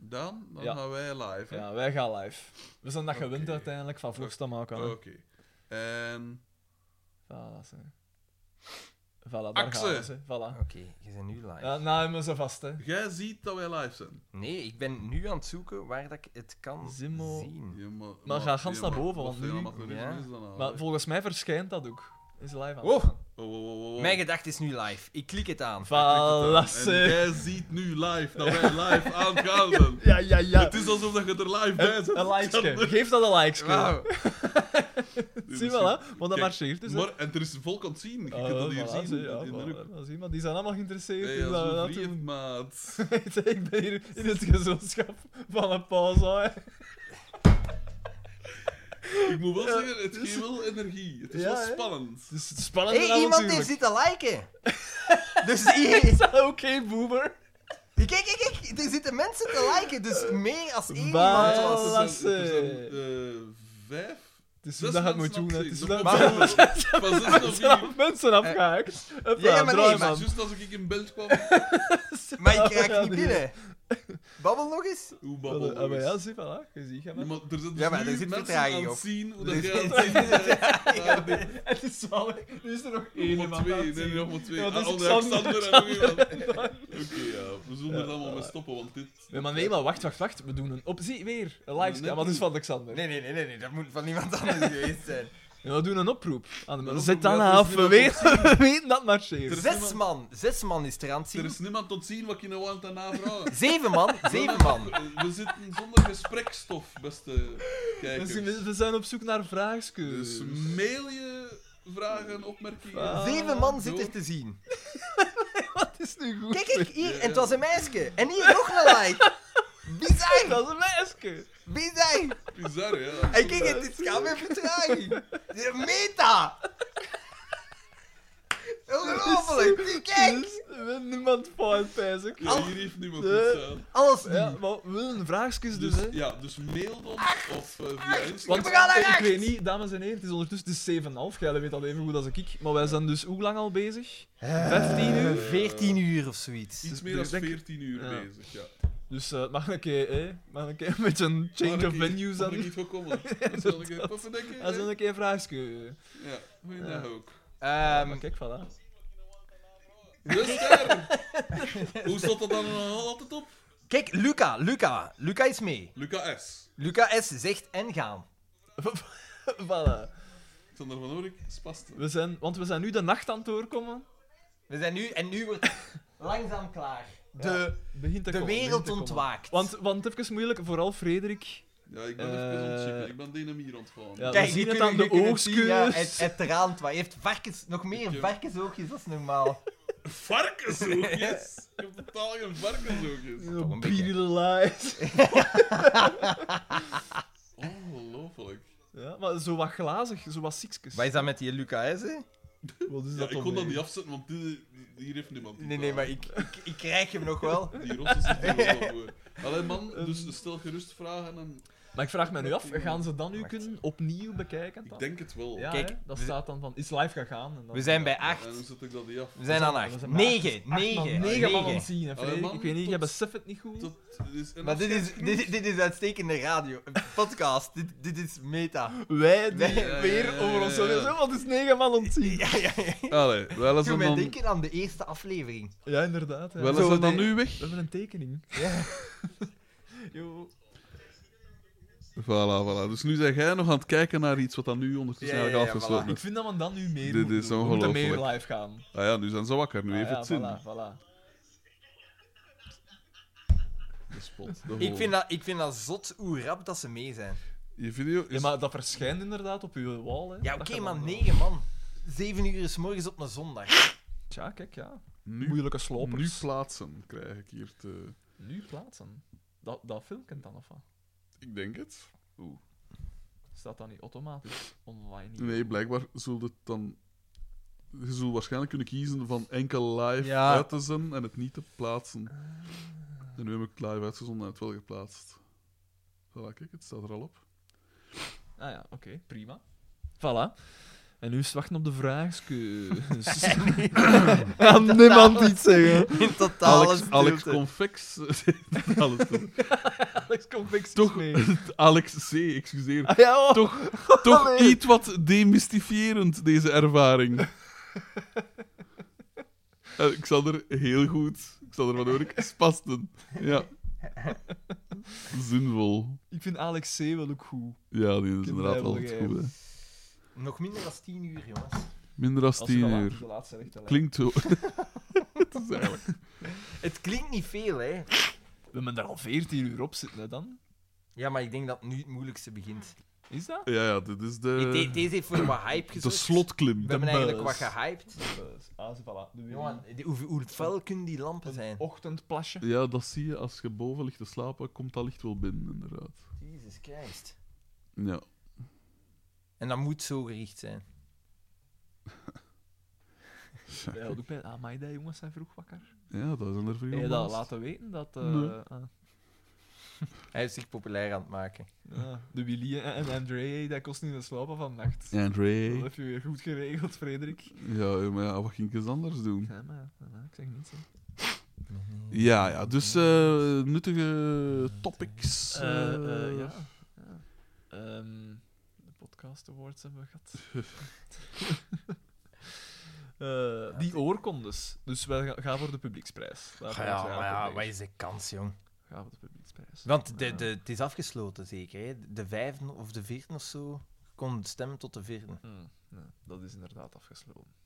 [SPEAKER 1] Dan, dan
[SPEAKER 3] Ja.
[SPEAKER 1] gaan wij live, hè.
[SPEAKER 3] Ja, wij gaan live. We zijn dat gewend
[SPEAKER 1] Oké. Oh.
[SPEAKER 3] uiteindelijk van vlogsta maken. hè.
[SPEAKER 1] Oké. En...
[SPEAKER 3] Voilà, ze. Voilà, daar
[SPEAKER 1] Axe.
[SPEAKER 3] gaan ze. Voilà.
[SPEAKER 4] Oké, je bent nu live.
[SPEAKER 3] Ja, nou hebben ze vast, hè.
[SPEAKER 1] Jij ziet dat wij live zijn.
[SPEAKER 4] Nee, ik ben nu aan het zoeken waar dat ik het kan
[SPEAKER 3] Zimmo.
[SPEAKER 4] zien.
[SPEAKER 1] Ja, maar,
[SPEAKER 3] Hm. ga gans naar boven, want nu-
[SPEAKER 4] Ja.
[SPEAKER 3] Maar volgens mij verschijnt dat ook. Is live aan.
[SPEAKER 4] Oh,
[SPEAKER 1] Oh, oh, oh, oh, oh.
[SPEAKER 4] mijn gedachte is nu live. Ik klik het aan.
[SPEAKER 3] Voilà,
[SPEAKER 1] En
[SPEAKER 3] ze.
[SPEAKER 1] jij ziet nu live dat wij live aangaan.
[SPEAKER 3] Ja, ja, ja.
[SPEAKER 1] Het is alsof dat je er live bij
[SPEAKER 3] Een,
[SPEAKER 1] bent.
[SPEAKER 3] een likeske. Geef dat een likeske.
[SPEAKER 4] Wauw.
[SPEAKER 1] Dus
[SPEAKER 3] Zie je wel, hè?
[SPEAKER 1] je-
[SPEAKER 3] Want dat
[SPEAKER 1] kijk,
[SPEAKER 3] marcheert dus. hè.
[SPEAKER 1] Maar, en er is volk aan het zien. Je
[SPEAKER 3] Ah,
[SPEAKER 1] kunt dat hier
[SPEAKER 3] voilà,
[SPEAKER 1] zien.
[SPEAKER 3] ze,
[SPEAKER 1] in-
[SPEAKER 3] ja,
[SPEAKER 1] in de
[SPEAKER 3] voilà,
[SPEAKER 1] hoek.
[SPEAKER 3] dat zie je, maar die zijn allemaal geïnteresseerd.
[SPEAKER 1] Hey,
[SPEAKER 3] dus
[SPEAKER 1] dat is
[SPEAKER 3] dat we
[SPEAKER 1] een
[SPEAKER 3] dat
[SPEAKER 1] vriend,
[SPEAKER 3] doen.
[SPEAKER 1] maat.
[SPEAKER 3] ik ben hier in het gezelschap van een pauze.
[SPEAKER 1] Ik moet wel zeggen, het geeft wel energie. Het is
[SPEAKER 3] Ja,
[SPEAKER 1] wel
[SPEAKER 3] hè?
[SPEAKER 1] spannend.
[SPEAKER 3] Het is spannend
[SPEAKER 4] Hé, hey, iemand heeft zitten liken. Dus hier...
[SPEAKER 3] Oké, boomer.
[SPEAKER 4] Kijk, kijk, kijk. Er zitten mensen te liken. Dus meer als één
[SPEAKER 3] Waar?
[SPEAKER 4] iemand was.
[SPEAKER 1] Er
[SPEAKER 3] voilà,
[SPEAKER 1] zijn- er zijn,
[SPEAKER 3] ze.
[SPEAKER 1] eh, vijf
[SPEAKER 3] Het is
[SPEAKER 1] Zes
[SPEAKER 3] hoe Dus dat je het moet
[SPEAKER 1] mensen
[SPEAKER 3] doen. hè. Het is
[SPEAKER 1] afgezien.
[SPEAKER 3] hoe dat
[SPEAKER 1] Nog maar zes-
[SPEAKER 3] je
[SPEAKER 1] Van zes
[SPEAKER 3] het
[SPEAKER 1] nog
[SPEAKER 3] is
[SPEAKER 1] vier.
[SPEAKER 3] af- mensen afgehaakt. Hoppa,
[SPEAKER 4] Eh. Ja, ja, maar nee,
[SPEAKER 3] draai,
[SPEAKER 4] maar-
[SPEAKER 3] man.
[SPEAKER 1] Juist als ik in beeld kwam.
[SPEAKER 4] Maar ik
[SPEAKER 3] Ja,
[SPEAKER 4] raak niet
[SPEAKER 3] die-
[SPEAKER 4] binnen. Babbel nog eens.
[SPEAKER 1] Hoe
[SPEAKER 3] Ah,
[SPEAKER 1] babbel
[SPEAKER 3] maar
[SPEAKER 1] is.
[SPEAKER 3] ja, zie, voilà. Je ziet hem. hè.
[SPEAKER 1] Ja, maar er zit dus
[SPEAKER 4] Ja, maar
[SPEAKER 1] nu
[SPEAKER 4] er zit
[SPEAKER 1] mensen
[SPEAKER 4] vertraging
[SPEAKER 1] aan
[SPEAKER 4] op.
[SPEAKER 1] het zien hoe
[SPEAKER 4] Er
[SPEAKER 1] dat jij
[SPEAKER 4] zit-
[SPEAKER 1] aan het zien bent. Ja, nee,
[SPEAKER 3] Het is zalig. Nu is er nog
[SPEAKER 1] nog
[SPEAKER 3] één
[SPEAKER 1] maar
[SPEAKER 3] iemand aan
[SPEAKER 1] twee,
[SPEAKER 3] het
[SPEAKER 1] nee,
[SPEAKER 3] zien.
[SPEAKER 1] nog maar twee.
[SPEAKER 3] Ja, dat is
[SPEAKER 1] Ah, onder
[SPEAKER 3] Xander.
[SPEAKER 1] Xander en nog iemand. Oké, ja, we zullen er dan wel mee stoppen, want dit...
[SPEAKER 3] Nee, maar nee, maar wacht, wacht, wacht. We doen een op... Zie, weer. Een
[SPEAKER 1] net
[SPEAKER 3] livestream. Wat is
[SPEAKER 1] niet.
[SPEAKER 3] van Alexander?
[SPEAKER 4] Nee, nee, nee, nee, nee, dat moet van iemand anders geweest zijn.
[SPEAKER 3] Ja, we doen een oproep aan de mensen.
[SPEAKER 1] oproep,
[SPEAKER 3] Zet dan
[SPEAKER 1] ja, het
[SPEAKER 3] af.
[SPEAKER 1] is
[SPEAKER 3] We
[SPEAKER 1] niet
[SPEAKER 3] weten, we weten dat het marcheert.
[SPEAKER 4] Zes man, zes man is er aan het
[SPEAKER 1] Er
[SPEAKER 4] zien.
[SPEAKER 1] is niemand tot zien wat je nou aan het navragen.
[SPEAKER 4] Zeven man, zeven man.
[SPEAKER 1] We zitten zonder gesprekstof, beste kijkers.
[SPEAKER 3] Dus we- we zijn op zoek naar vraagstukken.
[SPEAKER 1] Dus mail je vragen, opmerkingen.
[SPEAKER 3] Ah.
[SPEAKER 4] Zeven man zit er te zien.
[SPEAKER 3] Wat is nu goed?
[SPEAKER 4] Kijk, kijk, hier, en het was een meisje. En hier nog een like. Bizar,
[SPEAKER 3] Dat is een meisje.
[SPEAKER 4] bizar.
[SPEAKER 1] Bizar, ja.
[SPEAKER 4] En kijk, het is gaan met vertraging. De Meta. Ongelooflijk, kijk.
[SPEAKER 3] Dus we hebben niemand fout, pijs ik.
[SPEAKER 1] Ja, hier heeft niemand
[SPEAKER 3] Eh.
[SPEAKER 1] iets aan.
[SPEAKER 4] Alles
[SPEAKER 3] Ja,
[SPEAKER 4] nu.
[SPEAKER 3] maar we willen vraagjes
[SPEAKER 1] Dus,
[SPEAKER 3] dus, hè.
[SPEAKER 1] ja, dus mail ons of eh, via Instagram.
[SPEAKER 3] Want
[SPEAKER 4] we gaan naar
[SPEAKER 3] ik
[SPEAKER 4] rechts.
[SPEAKER 3] weet niet, dames en heren, het is ondertussen het is 7,5. Jij weet dat even goed als ik. Maar wij zijn dus hoe lang al bezig? 15 uur?
[SPEAKER 4] 14 uur of zoiets.
[SPEAKER 1] Iets meer dan
[SPEAKER 3] dus denk-
[SPEAKER 1] 14 uur
[SPEAKER 3] ja.
[SPEAKER 1] bezig, ja.
[SPEAKER 3] Dus eh, het mag een keer, hè, mag een keer een beetje een change of venue
[SPEAKER 1] Dan ik
[SPEAKER 3] zijn.
[SPEAKER 1] niet gekomen. Dat zal ik even even denken.
[SPEAKER 3] Dat is
[SPEAKER 1] hè?
[SPEAKER 3] een keer een vraagje.
[SPEAKER 1] Ja, goeiedag ook.
[SPEAKER 4] Ehm,
[SPEAKER 3] maar kijk, voilà.
[SPEAKER 1] Rustig! Hoe stond dat dan al altijd op?
[SPEAKER 4] Kijk, Luca, Luca. Luca is mee.
[SPEAKER 1] Luca S.
[SPEAKER 4] Luca S. zegt en gaan.
[SPEAKER 3] voilà.
[SPEAKER 1] Sander van Oorik, spaste.
[SPEAKER 3] We zijn, want we zijn nu de nacht aan het doorkomen.
[SPEAKER 4] We zijn nu, en nu wordt het langzaam klaar. De,
[SPEAKER 3] Begint te
[SPEAKER 4] de
[SPEAKER 3] komen, begint
[SPEAKER 4] wereld
[SPEAKER 3] te komen.
[SPEAKER 4] ontwaakt.
[SPEAKER 3] Want, want even moeilijk, vooral Frederik.
[SPEAKER 1] Ja, ik ben even
[SPEAKER 3] Eh,
[SPEAKER 1] ontzettend. Ik ben dynamier ontvallen.
[SPEAKER 3] Ja,
[SPEAKER 4] Kijk,
[SPEAKER 3] we zien
[SPEAKER 4] je
[SPEAKER 3] het
[SPEAKER 4] kunt-
[SPEAKER 3] aan
[SPEAKER 4] je
[SPEAKER 3] de
[SPEAKER 4] kunt het zien,
[SPEAKER 3] oogstkeus.
[SPEAKER 4] Ja, het, het raant wat. Hij heeft varkens, nog meer
[SPEAKER 1] heb-
[SPEAKER 4] varkensoogjes dan normaal.
[SPEAKER 1] Varkensoogjes! Ik heb totaal geen varkensoogjes.
[SPEAKER 3] Een
[SPEAKER 4] een beetje.
[SPEAKER 3] light.
[SPEAKER 1] Ongelooflijk.
[SPEAKER 3] Ja, maar zo wat glazig, zo wat siekjes.
[SPEAKER 4] Wat is dat met die Luca S? hè?
[SPEAKER 3] Wat is
[SPEAKER 1] Ja,
[SPEAKER 3] dat
[SPEAKER 1] ik
[SPEAKER 3] dan
[SPEAKER 1] kon dat
[SPEAKER 3] weer?
[SPEAKER 1] niet afzetten, want dit- hier heeft niemand.
[SPEAKER 4] eh? Nee, nee, maar ik, ik, ik krijg hem nog wel.
[SPEAKER 1] Die rossen zitten er wel voor. Allee, man,
[SPEAKER 4] Ehm.
[SPEAKER 1] dus stel gerust vragen en...
[SPEAKER 3] Maar ik vraag me nu af, gaan ze dat nu kunnen opnieuw bekijken?
[SPEAKER 1] Ik
[SPEAKER 3] dan?
[SPEAKER 1] denk het wel.
[SPEAKER 3] Ja,
[SPEAKER 4] Kijk,
[SPEAKER 3] hè, dat
[SPEAKER 4] we-
[SPEAKER 3] staat dan van, is live gegaan? En dan-
[SPEAKER 4] We zijn bij
[SPEAKER 1] En hoe
[SPEAKER 4] 8.
[SPEAKER 1] zet ik dat niet af?
[SPEAKER 4] We zijn aan
[SPEAKER 3] We
[SPEAKER 4] 8.
[SPEAKER 3] zijn bij
[SPEAKER 4] 9,
[SPEAKER 3] Acht man,
[SPEAKER 4] 9,
[SPEAKER 3] negen man aan het
[SPEAKER 4] 9.
[SPEAKER 3] zien, hè,
[SPEAKER 1] Allee,
[SPEAKER 3] Frederik.
[SPEAKER 1] man,
[SPEAKER 3] Ik weet niet, jij
[SPEAKER 1] tot-
[SPEAKER 3] beseft het niet goed.
[SPEAKER 1] Dat is een
[SPEAKER 4] Maar dit is,
[SPEAKER 1] afscheidsgroet.
[SPEAKER 4] dit, dit is uitstekende radio. Een podcast. Dit, dit is meta.
[SPEAKER 3] Wij die
[SPEAKER 4] Ja,
[SPEAKER 1] ja,
[SPEAKER 3] weer
[SPEAKER 1] ja, ja,
[SPEAKER 3] over ons
[SPEAKER 1] ja, ja.
[SPEAKER 3] zo, want het is negen man aan het zien.
[SPEAKER 4] Ja, ja, ja.
[SPEAKER 1] Allee, wel eens
[SPEAKER 4] Doe
[SPEAKER 1] en
[SPEAKER 4] mij
[SPEAKER 1] dan,
[SPEAKER 4] denken aan de eerste aflevering.
[SPEAKER 3] Ja, inderdaad. hè.
[SPEAKER 1] wel
[SPEAKER 3] Zo,
[SPEAKER 1] eens en dan
[SPEAKER 3] nee,
[SPEAKER 1] nu
[SPEAKER 3] We
[SPEAKER 1] weg.
[SPEAKER 3] hebben een tekening.
[SPEAKER 4] Ja.
[SPEAKER 3] Jo.
[SPEAKER 1] Voilà, voilà. Dus nu zijn jij nog aan het kijken naar iets wat dan nu ondertussen
[SPEAKER 4] Ja, ja,
[SPEAKER 1] eigenlijk
[SPEAKER 4] ja,
[SPEAKER 1] afgesloten
[SPEAKER 4] voilà.
[SPEAKER 3] Ik vind dat we dan nu meer
[SPEAKER 1] Dit
[SPEAKER 3] moeten
[SPEAKER 1] is
[SPEAKER 3] doen. We moeten meer
[SPEAKER 1] ongelooflijk.
[SPEAKER 3] live gaan.
[SPEAKER 1] is. Ah ja, nu zijn ze wakker. Nu
[SPEAKER 3] Ah,
[SPEAKER 1] heeft
[SPEAKER 3] ja,
[SPEAKER 1] het zin.
[SPEAKER 3] Voilà, voilà.
[SPEAKER 1] De spot, de
[SPEAKER 4] Ik
[SPEAKER 1] hol.
[SPEAKER 4] vind, dat, ik vind dat zot hoe rap dat ze mee zijn.
[SPEAKER 1] Je video is...
[SPEAKER 3] Ja, maar dat verschijnt inderdaad op uw wall. Hè.
[SPEAKER 4] Ja,
[SPEAKER 3] Dat
[SPEAKER 4] oké,
[SPEAKER 3] je
[SPEAKER 4] maar
[SPEAKER 3] dan-
[SPEAKER 4] 9 man. 7 uur is morgens op een zondag.
[SPEAKER 3] Tja, kijk, ja.
[SPEAKER 1] nu,
[SPEAKER 3] Moeilijke
[SPEAKER 1] nu
[SPEAKER 3] slopers.
[SPEAKER 1] plaatsen krijg ik hier te...
[SPEAKER 3] Nu plaatsen. Dat, dat filmpje dan, of wat?
[SPEAKER 1] Ik denk het.
[SPEAKER 3] Staat dat niet automatisch online?
[SPEAKER 1] Nee, blijkbaar zult het dan Je zult waarschijnlijk kunnen kiezen van enkel live
[SPEAKER 2] Ja.
[SPEAKER 1] uit te zenden en het niet te plaatsen. En nu heb ik het live uitgezonden en het wel geplaatst. Voilà, kijk, het staat er al op.
[SPEAKER 3] Ah ja, oké, prima. Voilà. En nu is het wachten op de vraagjes.
[SPEAKER 2] Aan niemand iets zeggen.
[SPEAKER 4] In totaal
[SPEAKER 1] Alex, Alex Convex. Alles goed.
[SPEAKER 2] Alex komt niks
[SPEAKER 1] Toch-
[SPEAKER 2] mee.
[SPEAKER 1] Alex C, excuseer.
[SPEAKER 2] Ah, ja, oh.
[SPEAKER 1] Toch, toch iets wat demystifierend, deze ervaring. En ik zal er heel goed, ik zal er van horen, spasten. Ja. Zinvol.
[SPEAKER 2] Ik vind Alex C. wel ook goed.
[SPEAKER 1] Ja, die is
[SPEAKER 2] heb
[SPEAKER 1] inderdaad
[SPEAKER 2] hem
[SPEAKER 1] wel het
[SPEAKER 2] begrepen.
[SPEAKER 1] goede.
[SPEAKER 4] Nog minder dan 10 uur, jongens.
[SPEAKER 1] Minder dan 10 uur.
[SPEAKER 2] De laatste echt wel.
[SPEAKER 1] Klinkt zo. het is eigenlijk.
[SPEAKER 4] Het klinkt niet veel, hè?
[SPEAKER 2] We hebben daar al 14 uur op zitten, hè, dan.
[SPEAKER 4] Ja, maar ik denk dat nu het moeilijkste begint.
[SPEAKER 2] Is dat?
[SPEAKER 1] Ja, ja, dit is
[SPEAKER 4] Ik- de-
[SPEAKER 1] de,
[SPEAKER 4] deze heeft voor wat hype gezorgd.
[SPEAKER 1] Eh, de slotklim.
[SPEAKER 4] We hebben eigenlijk wat
[SPEAKER 2] buzz.
[SPEAKER 4] gehyped.
[SPEAKER 2] Ah, ze, voilà. Nu weer
[SPEAKER 4] Jongen, die- hoe, hoe fel kunnen die lampen zijn?
[SPEAKER 2] een Ochtendplasje.
[SPEAKER 1] Ja, dat zie je als je boven ligt te slapen, komt dat licht wel binnen, inderdaad.
[SPEAKER 4] Jesus Christ.
[SPEAKER 1] Ja.
[SPEAKER 4] En dat moet zo gericht zijn.
[SPEAKER 2] Ja, dat doe ik bij. Ah, maar die jongens zijn vroeg wakker.
[SPEAKER 1] Ja, dat zijn er veel.
[SPEAKER 2] Heb je dat
[SPEAKER 1] naast.
[SPEAKER 2] laten weten? Dat, eh,
[SPEAKER 1] Nee.
[SPEAKER 2] ah,
[SPEAKER 4] Hij is zich populair aan het maken.
[SPEAKER 2] ja, de Willy en en André, dat kost niet te slapen vannacht.
[SPEAKER 1] En
[SPEAKER 2] Dat
[SPEAKER 1] Ray.
[SPEAKER 2] heb je weer goed geregeld, Frederik.
[SPEAKER 1] Ja, ja, maar ja, wat ging ik eens anders
[SPEAKER 4] Mm.
[SPEAKER 1] doen?
[SPEAKER 2] Ja, maar, ja, maar ik zeg niets. hè.
[SPEAKER 1] Ja, ja, dus eh, nuttige topics.
[SPEAKER 3] Eh, eh,
[SPEAKER 1] eh,
[SPEAKER 3] ja. ja. Ehm, de podcast awards hebben we gehad. Eh, die oorkondes. Dus wij ga- gaan voor de publieksprijs. Daar
[SPEAKER 4] Ja,
[SPEAKER 3] gaan we
[SPEAKER 4] maar ja,
[SPEAKER 3] voor
[SPEAKER 4] wat
[SPEAKER 3] mee.
[SPEAKER 4] is de kans, jong?
[SPEAKER 3] Gaan voor de publieksprijs.
[SPEAKER 4] Want de, de, het is afgesloten, zeker. Hè? De vijfde of de vierde of zo kon stemmen tot de vierde.
[SPEAKER 3] Hmm, nee, dat is inderdaad afgesloten.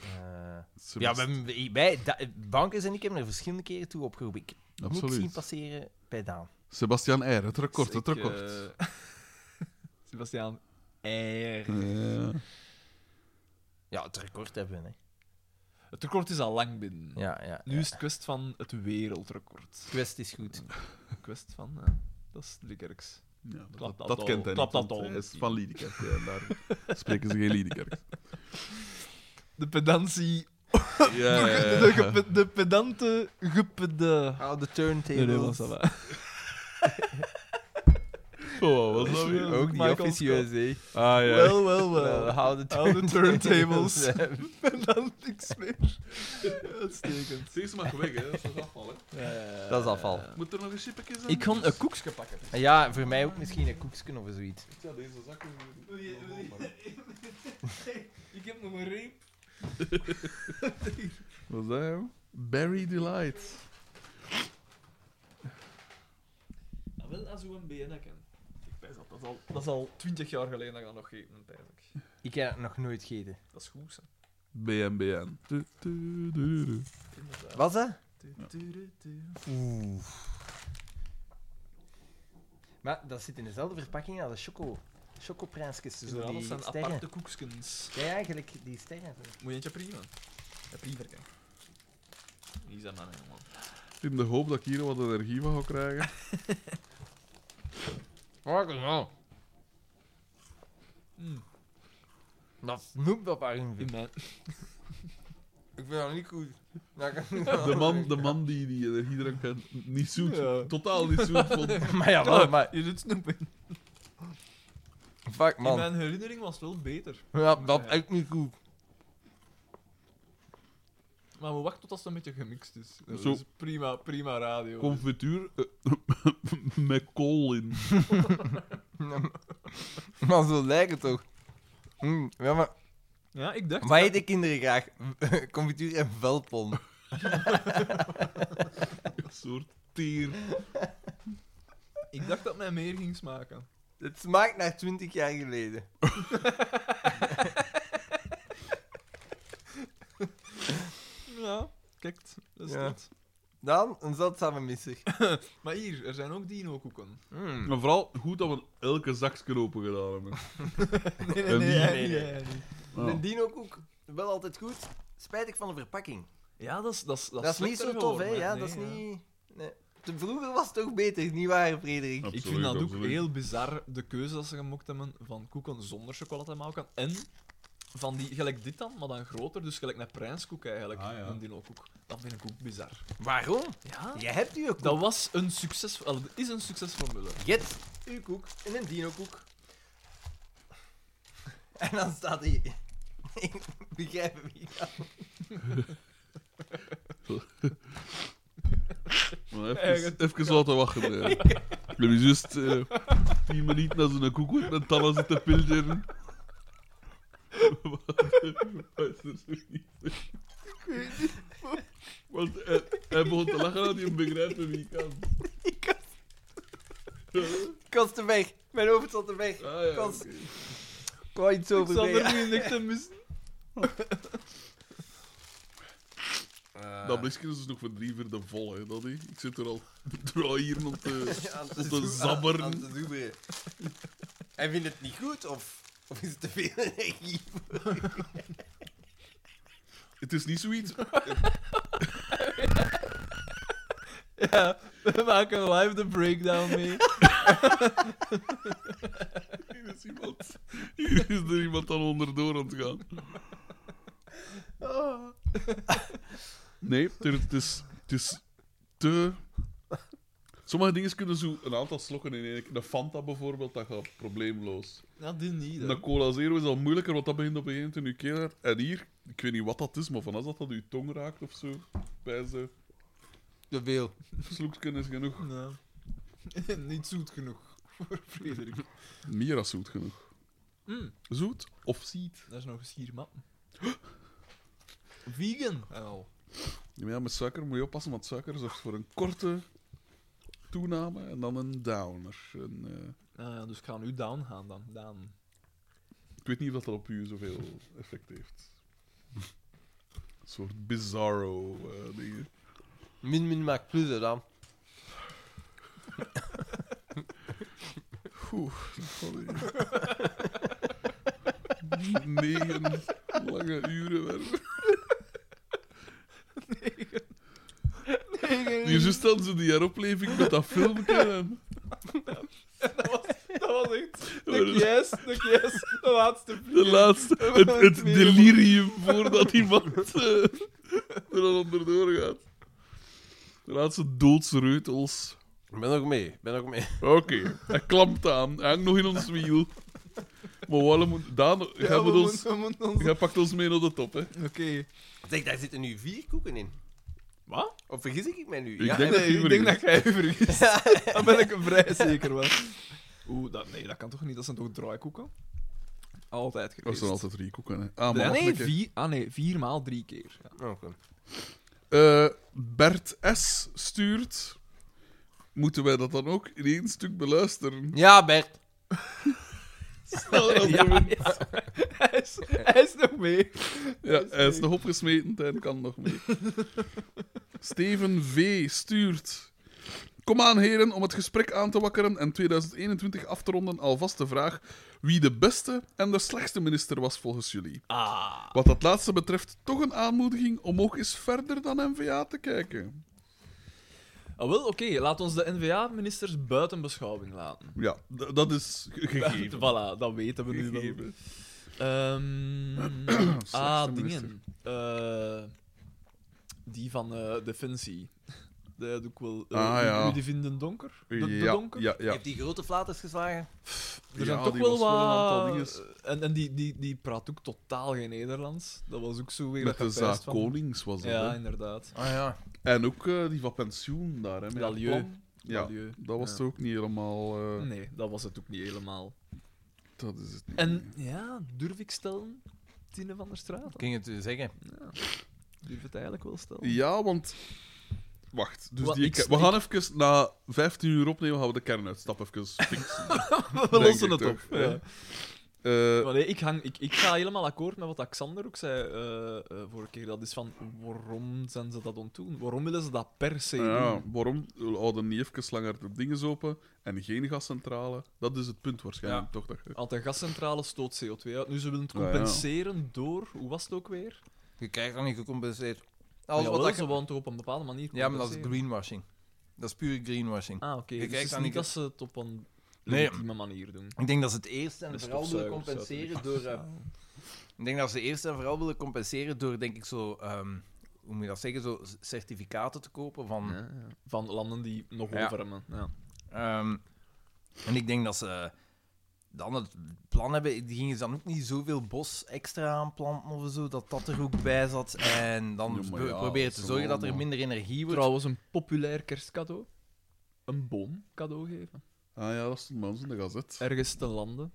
[SPEAKER 4] Eh, ja,
[SPEAKER 1] semester.
[SPEAKER 4] wij, wij da- Bankers en ik hebben er verschillende keren toe opgeroepen. Ik heb niks zien
[SPEAKER 1] Absoluut.
[SPEAKER 4] passeren bij Daan.
[SPEAKER 1] Sebastian Eyre, het record,
[SPEAKER 3] Dus
[SPEAKER 1] het
[SPEAKER 3] ik,
[SPEAKER 1] record.
[SPEAKER 3] eh, Sebastiaan Eier.
[SPEAKER 1] Ja.
[SPEAKER 4] Ja, het record hebben we. Hè.
[SPEAKER 3] Het record is al lang binnen.
[SPEAKER 4] Ja, ja.
[SPEAKER 3] Nu is het kwest van het wereldrecord.
[SPEAKER 4] Quest is goed.
[SPEAKER 3] Kwest van... eh, dat is Likkerks.
[SPEAKER 1] Ja, dat,
[SPEAKER 3] Klap dat
[SPEAKER 1] dat
[SPEAKER 3] al.
[SPEAKER 1] kent hij niet,
[SPEAKER 3] Klap dat
[SPEAKER 1] want
[SPEAKER 3] al.
[SPEAKER 1] Hij is van Liedekerk. Ja, en daar spreken ze geen Liedekerk.
[SPEAKER 2] De pedantie.
[SPEAKER 1] Ja, ja, ja,
[SPEAKER 2] De,
[SPEAKER 1] ja.
[SPEAKER 2] gepe- de pedante gepede.
[SPEAKER 4] Oh, de
[SPEAKER 2] Nee,
[SPEAKER 4] turntables.
[SPEAKER 2] nee, was dat wel.
[SPEAKER 1] Oh, wat was dat weer?
[SPEAKER 4] Ook niet
[SPEAKER 2] Michael
[SPEAKER 4] officieus, hè.
[SPEAKER 1] Ah, ja.
[SPEAKER 2] Wel, wel,
[SPEAKER 3] eh,
[SPEAKER 4] Wel,
[SPEAKER 2] wel.
[SPEAKER 4] hou de
[SPEAKER 2] Hou de turntables.
[SPEAKER 4] turntables.
[SPEAKER 2] dan niks meer. Uitstekend.
[SPEAKER 1] Zeg ze maar weg, hè. Dat is afval, hè.
[SPEAKER 4] Dat is afval.
[SPEAKER 1] Moet er nog een chipje zijn?
[SPEAKER 3] Ik kan een koekje pakken.
[SPEAKER 4] Ja, voor mij ook misschien een koeksken of zoiets.
[SPEAKER 1] Ik zou deze zakken...
[SPEAKER 2] Ik heb nog een reep.
[SPEAKER 1] Wat is dat, joh? Barry Delight.
[SPEAKER 3] Ah, wel, als u een BN kent. Ik pijs dat. Dat is al- Dat is al twintig jaar geleden dat ik dat nog gegeten heb, pijs ik.
[SPEAKER 4] Ik heb het nog nooit gegeten.
[SPEAKER 3] Dat is goed, hè.
[SPEAKER 1] BNBN. Du- du- du- du- du.
[SPEAKER 3] Inderdaad.
[SPEAKER 4] Was dat?
[SPEAKER 3] Du- du- du- du.
[SPEAKER 4] Oeh. Maar dat zit in dezelfde verpakking als de choco. Chocoprinsjes. Zo
[SPEAKER 3] Inderdaad,
[SPEAKER 4] die
[SPEAKER 3] dat zijn
[SPEAKER 4] sterren.
[SPEAKER 3] aparte koekskens.
[SPEAKER 4] Ja, eigenlijk, die sterren.
[SPEAKER 3] Moet je eentje prieven? Ja, prieven, kijk. Hier zijn mannen, jongen.
[SPEAKER 1] In de hoop dat ik hier wat energie van ga krijgen.
[SPEAKER 4] Oh, nou.
[SPEAKER 3] Mm.
[SPEAKER 4] Dat snoep Hmm. dat waarin
[SPEAKER 3] In mijn...
[SPEAKER 4] Ik vind dat niet goed. Nou,
[SPEAKER 1] De
[SPEAKER 3] Oh
[SPEAKER 1] man, de man die die energiedrank had, niet zoet.
[SPEAKER 2] Ja.
[SPEAKER 1] Totaal niet zoet vond.
[SPEAKER 4] maar ja, wel, Oh, maar...
[SPEAKER 2] Je doet snoepen.
[SPEAKER 4] Fuck,
[SPEAKER 3] In
[SPEAKER 4] man.
[SPEAKER 3] mijn herinnering was het wel beter.
[SPEAKER 4] Ja, dat is echt niet goed.
[SPEAKER 3] Maar we wachten tot dat het een beetje gemixt is. Dat
[SPEAKER 1] Zo.
[SPEAKER 3] is prima, prima radio.
[SPEAKER 1] Confituur eh, met kool in.
[SPEAKER 4] maar zo lijkt het toch. Mm, ja, maar...
[SPEAKER 3] Ja, ik dacht...
[SPEAKER 4] Wat eten kinderen graag? Confituur en velpon.
[SPEAKER 1] Een soort teer.
[SPEAKER 3] Ik dacht dat mij meer ging smaken.
[SPEAKER 4] Het smaakt naar 20 jaar geleden.
[SPEAKER 3] Ja, kijk, dat is
[SPEAKER 4] Ja.
[SPEAKER 3] het.
[SPEAKER 4] Dan een zeldzame misser.
[SPEAKER 3] Maar hier, er zijn ook dino-koeken.
[SPEAKER 4] Mm.
[SPEAKER 1] Maar vooral goed dat we elke zakje open gedaan hebben.
[SPEAKER 3] Oh, Nee,
[SPEAKER 1] En die-
[SPEAKER 3] jij
[SPEAKER 4] nee,
[SPEAKER 3] niet,
[SPEAKER 4] nee.
[SPEAKER 3] jij niet.
[SPEAKER 1] Ja.
[SPEAKER 4] Een dino-koek, wel altijd goed. Spijtig van de verpakking.
[SPEAKER 3] Ja, dat is... Dat is,
[SPEAKER 4] Dat,
[SPEAKER 3] dat
[SPEAKER 4] is niet zo tof, hè? Ja, dat is niet... Nee. Te- Vroeger was het toch beter, nietwaar, Frederik?
[SPEAKER 1] Ja.
[SPEAKER 3] Ik vind
[SPEAKER 1] Absoluut,
[SPEAKER 3] dat ook
[SPEAKER 1] absoluut.
[SPEAKER 3] heel bizar, de keuze dat ze gemaakt hebben van koeken zonder chocolade te maken en van die, gelijk dit dan, maar dan groter, dus gelijk een prijskoek eigenlijk,
[SPEAKER 9] Ah, ja.
[SPEAKER 3] een dino-koek. Dat vind ik ook bizar.
[SPEAKER 4] Waarom?
[SPEAKER 3] Ja?
[SPEAKER 4] Je hebt uw koek.
[SPEAKER 3] Dat was een succes, wel, dat is een succesformule.
[SPEAKER 4] Get uw koek in een dino-koek. En dan staat hij... Ik begrijp wie dat...
[SPEAKER 1] Maar even, even laten wachten. Ja. Ik ben nu juist eh, tien minuten naar zo'n koek met mijn tanden zitten pilderen. Wat is er zo niet? Want hij, hij begon te lachen dat hij hem begrijpt en ik kan.
[SPEAKER 4] Ik was te weg. Mijn hoofd zat te weg.
[SPEAKER 1] Ah, ja,
[SPEAKER 4] Ik was...
[SPEAKER 1] oké.
[SPEAKER 4] Ik wou iets over
[SPEAKER 3] Xander, nu niks te missen.
[SPEAKER 1] Dat blikje is dus nog voor drie vierde vol, hè, dat hè. Ik zit er al draai hier op te... Om
[SPEAKER 4] Aan
[SPEAKER 1] te
[SPEAKER 4] zoe- aan-
[SPEAKER 1] zabberen.
[SPEAKER 4] aan te zoeberen. Hij vindt het niet goed, of, of is het te veel energie?
[SPEAKER 1] Het is niet zoiets...
[SPEAKER 3] Ja, we maken live de breakdown mee.
[SPEAKER 1] Hier is iemand... Hier is er iemand aan onderdoor aan het gaan. Nee, er- het is, het is te... Sommige dingen kunnen zo een aantal slokken in één keer. Een Fanta bijvoorbeeld, dat gaat probleemloos.
[SPEAKER 3] Ja, die niet. hè.
[SPEAKER 1] Een Cola Zero is al moeilijker, want dat begint op een gegeven moment in je keel. En hier, ik weet niet wat dat is, maar van als dat aan je tong raakt of zo, bij ze
[SPEAKER 4] Te veel.
[SPEAKER 1] sloeksken is genoeg.
[SPEAKER 3] Nee. niet zoet genoeg voor Frederik.
[SPEAKER 1] Meer dan zoet genoeg.
[SPEAKER 3] Mm.
[SPEAKER 1] Zoet of ziet?
[SPEAKER 3] Dat is nog eens hier, man. Vegan. Oh. En al.
[SPEAKER 1] Ja, maar ja, met suiker moet je oppassen, want suiker zorgt voor een korte toename en dan een downer. En, eh,
[SPEAKER 3] Nou ja, dus ik ga nu down gaan dan. Down.
[SPEAKER 1] ik weet niet of dat op u zoveel effect heeft. Een soort bizarro eh, dingen.
[SPEAKER 4] Min min maakt plus dan.
[SPEAKER 1] Oeh, sorry. Negen lange uren werken. Hier zo staan ze die heropleving met dat filmpje. En...
[SPEAKER 3] Dat was echt. De yes, de yes, de laatste.
[SPEAKER 1] De laatste, het, het delirium voordat iemand eh, er al onderdoor gaat. De laatste doodsreutels.
[SPEAKER 4] Ik ben nog mee, ik ben nog mee.
[SPEAKER 1] Oké, hij klampt aan, hij hangt nog in ons wiel. Maar waarom moet... Daan, jij, moet ons, jij pakt ons mee naar de top, hè.
[SPEAKER 3] Oké.
[SPEAKER 4] Zeg, daar zitten nu vier koeken in.
[SPEAKER 3] Wat?
[SPEAKER 4] Of Oh, vergis ik mij nu?
[SPEAKER 1] Ik denk dat
[SPEAKER 3] Nee,
[SPEAKER 1] je
[SPEAKER 3] ik denk
[SPEAKER 1] dat...
[SPEAKER 3] dat jij je vergist. Daar ben ik vrij zeker van. Oeh, dat, nee, dat kan toch niet? Dat zijn toch draaikoeken? Altijd geweest.
[SPEAKER 1] Er zijn altijd drie koeken, hè. Ah,
[SPEAKER 3] Nee,
[SPEAKER 1] maar
[SPEAKER 3] nee,
[SPEAKER 1] wacht een keer.
[SPEAKER 3] vier, ah, nee, vier maal drie keer. Ja.
[SPEAKER 4] Oh, oké.
[SPEAKER 1] Eh, Bert S. stuurt... Moeten wij dat dan ook in één stuk beluisteren?
[SPEAKER 4] Ja, Bert.
[SPEAKER 1] Snel, dat doen we.
[SPEAKER 3] Hij, is, hij is nog mee.
[SPEAKER 1] Ja, hij is nog opgesmeten, Tijn kan nog mee. Steven V. stuurt. Kom aan, heren, om het gesprek aan te wakkeren en 2021 af te ronden, alvast de vraag wie de beste en de slechtste minister was volgens jullie.
[SPEAKER 3] Ah.
[SPEAKER 1] Wat dat laatste betreft, toch een aanmoediging om ook eens verder dan NVA te kijken.
[SPEAKER 3] Ah, wel, oké. Laat ons de NVA-ministers buiten beschouwing laten.
[SPEAKER 1] Ja, d- dat is ge- gegeven.
[SPEAKER 3] voilà, dat weten we nu wel.
[SPEAKER 1] Gegeven.
[SPEAKER 3] Ehm,
[SPEAKER 1] Slechtste
[SPEAKER 3] ah,
[SPEAKER 1] minister.
[SPEAKER 3] dingen. Eh, die van eh, Defensie. Dat doe ik wel. eh,
[SPEAKER 1] Ah,
[SPEAKER 3] Ru-
[SPEAKER 1] ja.
[SPEAKER 3] Rudy Vinden Donker. De, de
[SPEAKER 1] ja,
[SPEAKER 3] Donker.
[SPEAKER 1] ja,
[SPEAKER 4] Je
[SPEAKER 1] ja.
[SPEAKER 4] hebt die grote flaters geslagen.
[SPEAKER 3] Er zijn
[SPEAKER 1] Ja,
[SPEAKER 3] toch
[SPEAKER 1] die was
[SPEAKER 3] wel wat...
[SPEAKER 1] wel een aantal dinges.
[SPEAKER 3] En, en die, die, die praat ook totaal geen Nederlands. Dat was ook zo weer
[SPEAKER 1] Met
[SPEAKER 3] dat
[SPEAKER 1] de
[SPEAKER 3] gepijst
[SPEAKER 1] zaak
[SPEAKER 3] van-
[SPEAKER 1] Konings was dat.
[SPEAKER 3] Ja,
[SPEAKER 1] hè.
[SPEAKER 3] inderdaad.
[SPEAKER 4] Ah ja.
[SPEAKER 1] En ook eh, die van pensioen daar, hè? met dat
[SPEAKER 3] Lalieu.
[SPEAKER 1] plan. Ja,
[SPEAKER 3] Milieu.
[SPEAKER 1] dat was
[SPEAKER 3] Ja.
[SPEAKER 1] het
[SPEAKER 3] Hm.
[SPEAKER 1] ook niet helemaal. eh,
[SPEAKER 3] Nee, dat was het ook niet helemaal.
[SPEAKER 1] Dat is het niet.
[SPEAKER 3] En ja, durf ik stellen, Tine van der Straat?
[SPEAKER 4] Kun je het u zeggen?
[SPEAKER 3] Durf het eigenlijk wel stellen?
[SPEAKER 1] Ja, want. Wacht, dus
[SPEAKER 3] Wel,
[SPEAKER 1] die
[SPEAKER 3] ik-
[SPEAKER 1] ke- we gaan even na 15 uur opnemen, gaan we de kernuitstap even fixen.
[SPEAKER 3] We
[SPEAKER 1] denk
[SPEAKER 3] lossen
[SPEAKER 1] ik
[SPEAKER 3] het op.
[SPEAKER 1] toch,
[SPEAKER 3] Ja.
[SPEAKER 1] hè? Eh,
[SPEAKER 3] Maar nee, ik, hang, ik, ik ga helemaal akkoord met wat Xander ook zei eh, eh, vorige keer. Dat is van, waarom zijn ze dat ontdoen? Waarom willen ze dat per se
[SPEAKER 1] nou ja,
[SPEAKER 3] doen?
[SPEAKER 1] waarom houden niet even langer de dingen open en geen gascentrale? Dat is het punt waarschijnlijk, toch? Dat je-
[SPEAKER 3] Want een gascentrale stoot CO2 uit. Nu, ze willen het
[SPEAKER 1] Nou Ja, ja.
[SPEAKER 3] compenseren door... Hoe was het ook weer?
[SPEAKER 4] Je krijgt dat niet gecompenseerd.
[SPEAKER 3] Alles
[SPEAKER 4] Alles wat dat
[SPEAKER 3] ze
[SPEAKER 4] je-
[SPEAKER 3] woont toch op een bepaalde manier
[SPEAKER 4] Ja, maar dat is
[SPEAKER 3] compenseren?
[SPEAKER 4] greenwashing. Dat is pure greenwashing.
[SPEAKER 3] Ah, oké.
[SPEAKER 4] Je
[SPEAKER 3] Dus
[SPEAKER 4] kijkt
[SPEAKER 3] het is
[SPEAKER 4] dan
[SPEAKER 3] niet
[SPEAKER 4] niet-
[SPEAKER 3] dat ze het op een
[SPEAKER 4] Nee.
[SPEAKER 3] legitieme manier doen.
[SPEAKER 4] Ik denk dat ze het eerst en
[SPEAKER 3] Met
[SPEAKER 4] vooral willen
[SPEAKER 3] stofzuigers,
[SPEAKER 4] compenseren door... eh, Ik denk dat ze eerst en vooral willen compenseren door, denk ik, zo... ehm, hoe moet je dat zeggen? Zo c- certificaten te kopen van...
[SPEAKER 3] Van landen die nog
[SPEAKER 4] Mm. Ja.
[SPEAKER 3] over hebben. Ja.
[SPEAKER 4] Ehm, en ik denk dat ze dan het plan hebben. Die gingen dan ook niet zoveel bos extra aanplanten of zo, dat dat er ook bij zat. En dan
[SPEAKER 1] Ja, maar
[SPEAKER 4] pro-
[SPEAKER 1] ja,
[SPEAKER 4] proberen
[SPEAKER 1] dat
[SPEAKER 4] te
[SPEAKER 1] is
[SPEAKER 4] zorgen dat er
[SPEAKER 1] allemaal-
[SPEAKER 4] minder energie wordt.
[SPEAKER 3] Trouwens, een populair kerstcadeau. Een boom cadeau geven.
[SPEAKER 1] Ah ja, dat stond bij ons in de gazet.
[SPEAKER 3] Ergens te landen.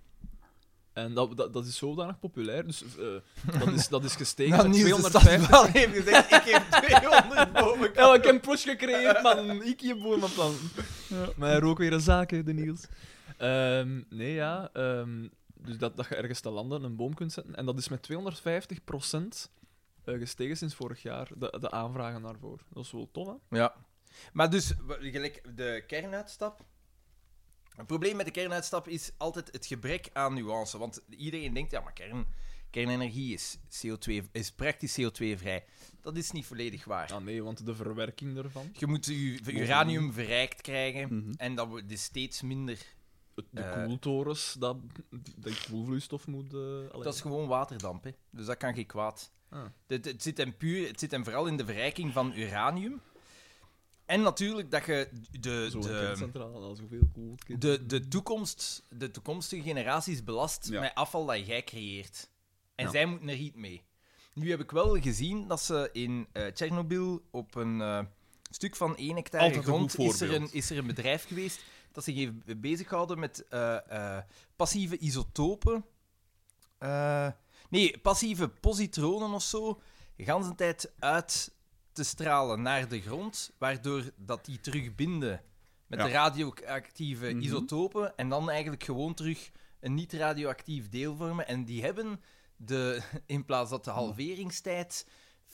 [SPEAKER 3] En dat, dat, dat is zodanig populair. Dus eh, dat, is, dat is gestegen
[SPEAKER 4] Nou,
[SPEAKER 3] met
[SPEAKER 4] niet eens de
[SPEAKER 3] 250.
[SPEAKER 4] stadsbouw heeft gezegd, ik heb 200 bomen.
[SPEAKER 3] Ja, maar ik heb een plots gecreëerd, man. Ik je boerenplan. Maar hij rook weer een zaken, de Niels. Ehm, nee, ja. ehm, dus dat, dat je ergens te landen een boom kunt zetten. En dat is met 250 eh, gestegen sinds vorig jaar, de, de aanvragen daarvoor. Dat is wel tof, hè?
[SPEAKER 4] Ja. Maar dus, w- gelijk de kernuitstap. Het probleem met de kernuitstap is altijd het gebrek aan nuance. Want iedereen denkt, ja, maar kern, kernenergie is, CO2, is praktisch CO2-vrij. Dat is niet volledig waar.
[SPEAKER 3] Ah nee, want de verwerking daarvan,
[SPEAKER 4] Je moet je uranium verrijkt krijgen
[SPEAKER 3] Mhm.
[SPEAKER 4] en dat wordt dus steeds minder.
[SPEAKER 3] Oh, het- de
[SPEAKER 4] Eh.
[SPEAKER 3] koeltorens, dat, dat koelvloeistof moet... eh, allee.
[SPEAKER 4] Dat is gewoon waterdamp, hè. dus dat kan geen kwaad.
[SPEAKER 3] Ah.
[SPEAKER 4] Het, het, zit hem puur, het zit hem vooral in de verrijking van uranium. En natuurlijk dat je de,
[SPEAKER 3] Zo'n
[SPEAKER 4] de,
[SPEAKER 3] kerncentrale, dat is hoeveel koel...
[SPEAKER 4] de, de, toekomst, de toekomstige generaties belast
[SPEAKER 1] Ja.
[SPEAKER 4] met afval dat jij creëert. En
[SPEAKER 3] Ja.
[SPEAKER 4] zij moeten er niet mee. Nu heb ik wel gezien dat ze in eh Tsjernobyl op een eh, stuk van 1 hectare
[SPEAKER 1] Altijd een
[SPEAKER 4] grond
[SPEAKER 1] goed
[SPEAKER 4] is er, een,
[SPEAKER 1] voorbeeld.
[SPEAKER 4] is er een bedrijf geweest dat zich heeft bezighouden met eh, eh, passieve isotopen. Eh, nee, passieve positronen of zo. De ganse tijd uit te stralen naar de grond, waardoor dat die terugbinden met
[SPEAKER 1] Ja.
[SPEAKER 4] de radioactieve
[SPEAKER 1] Mhm.
[SPEAKER 4] isotopen en dan eigenlijk gewoon terug een niet-radioactief deel vormen. En die hebben, de, in plaats dat de halveringstijd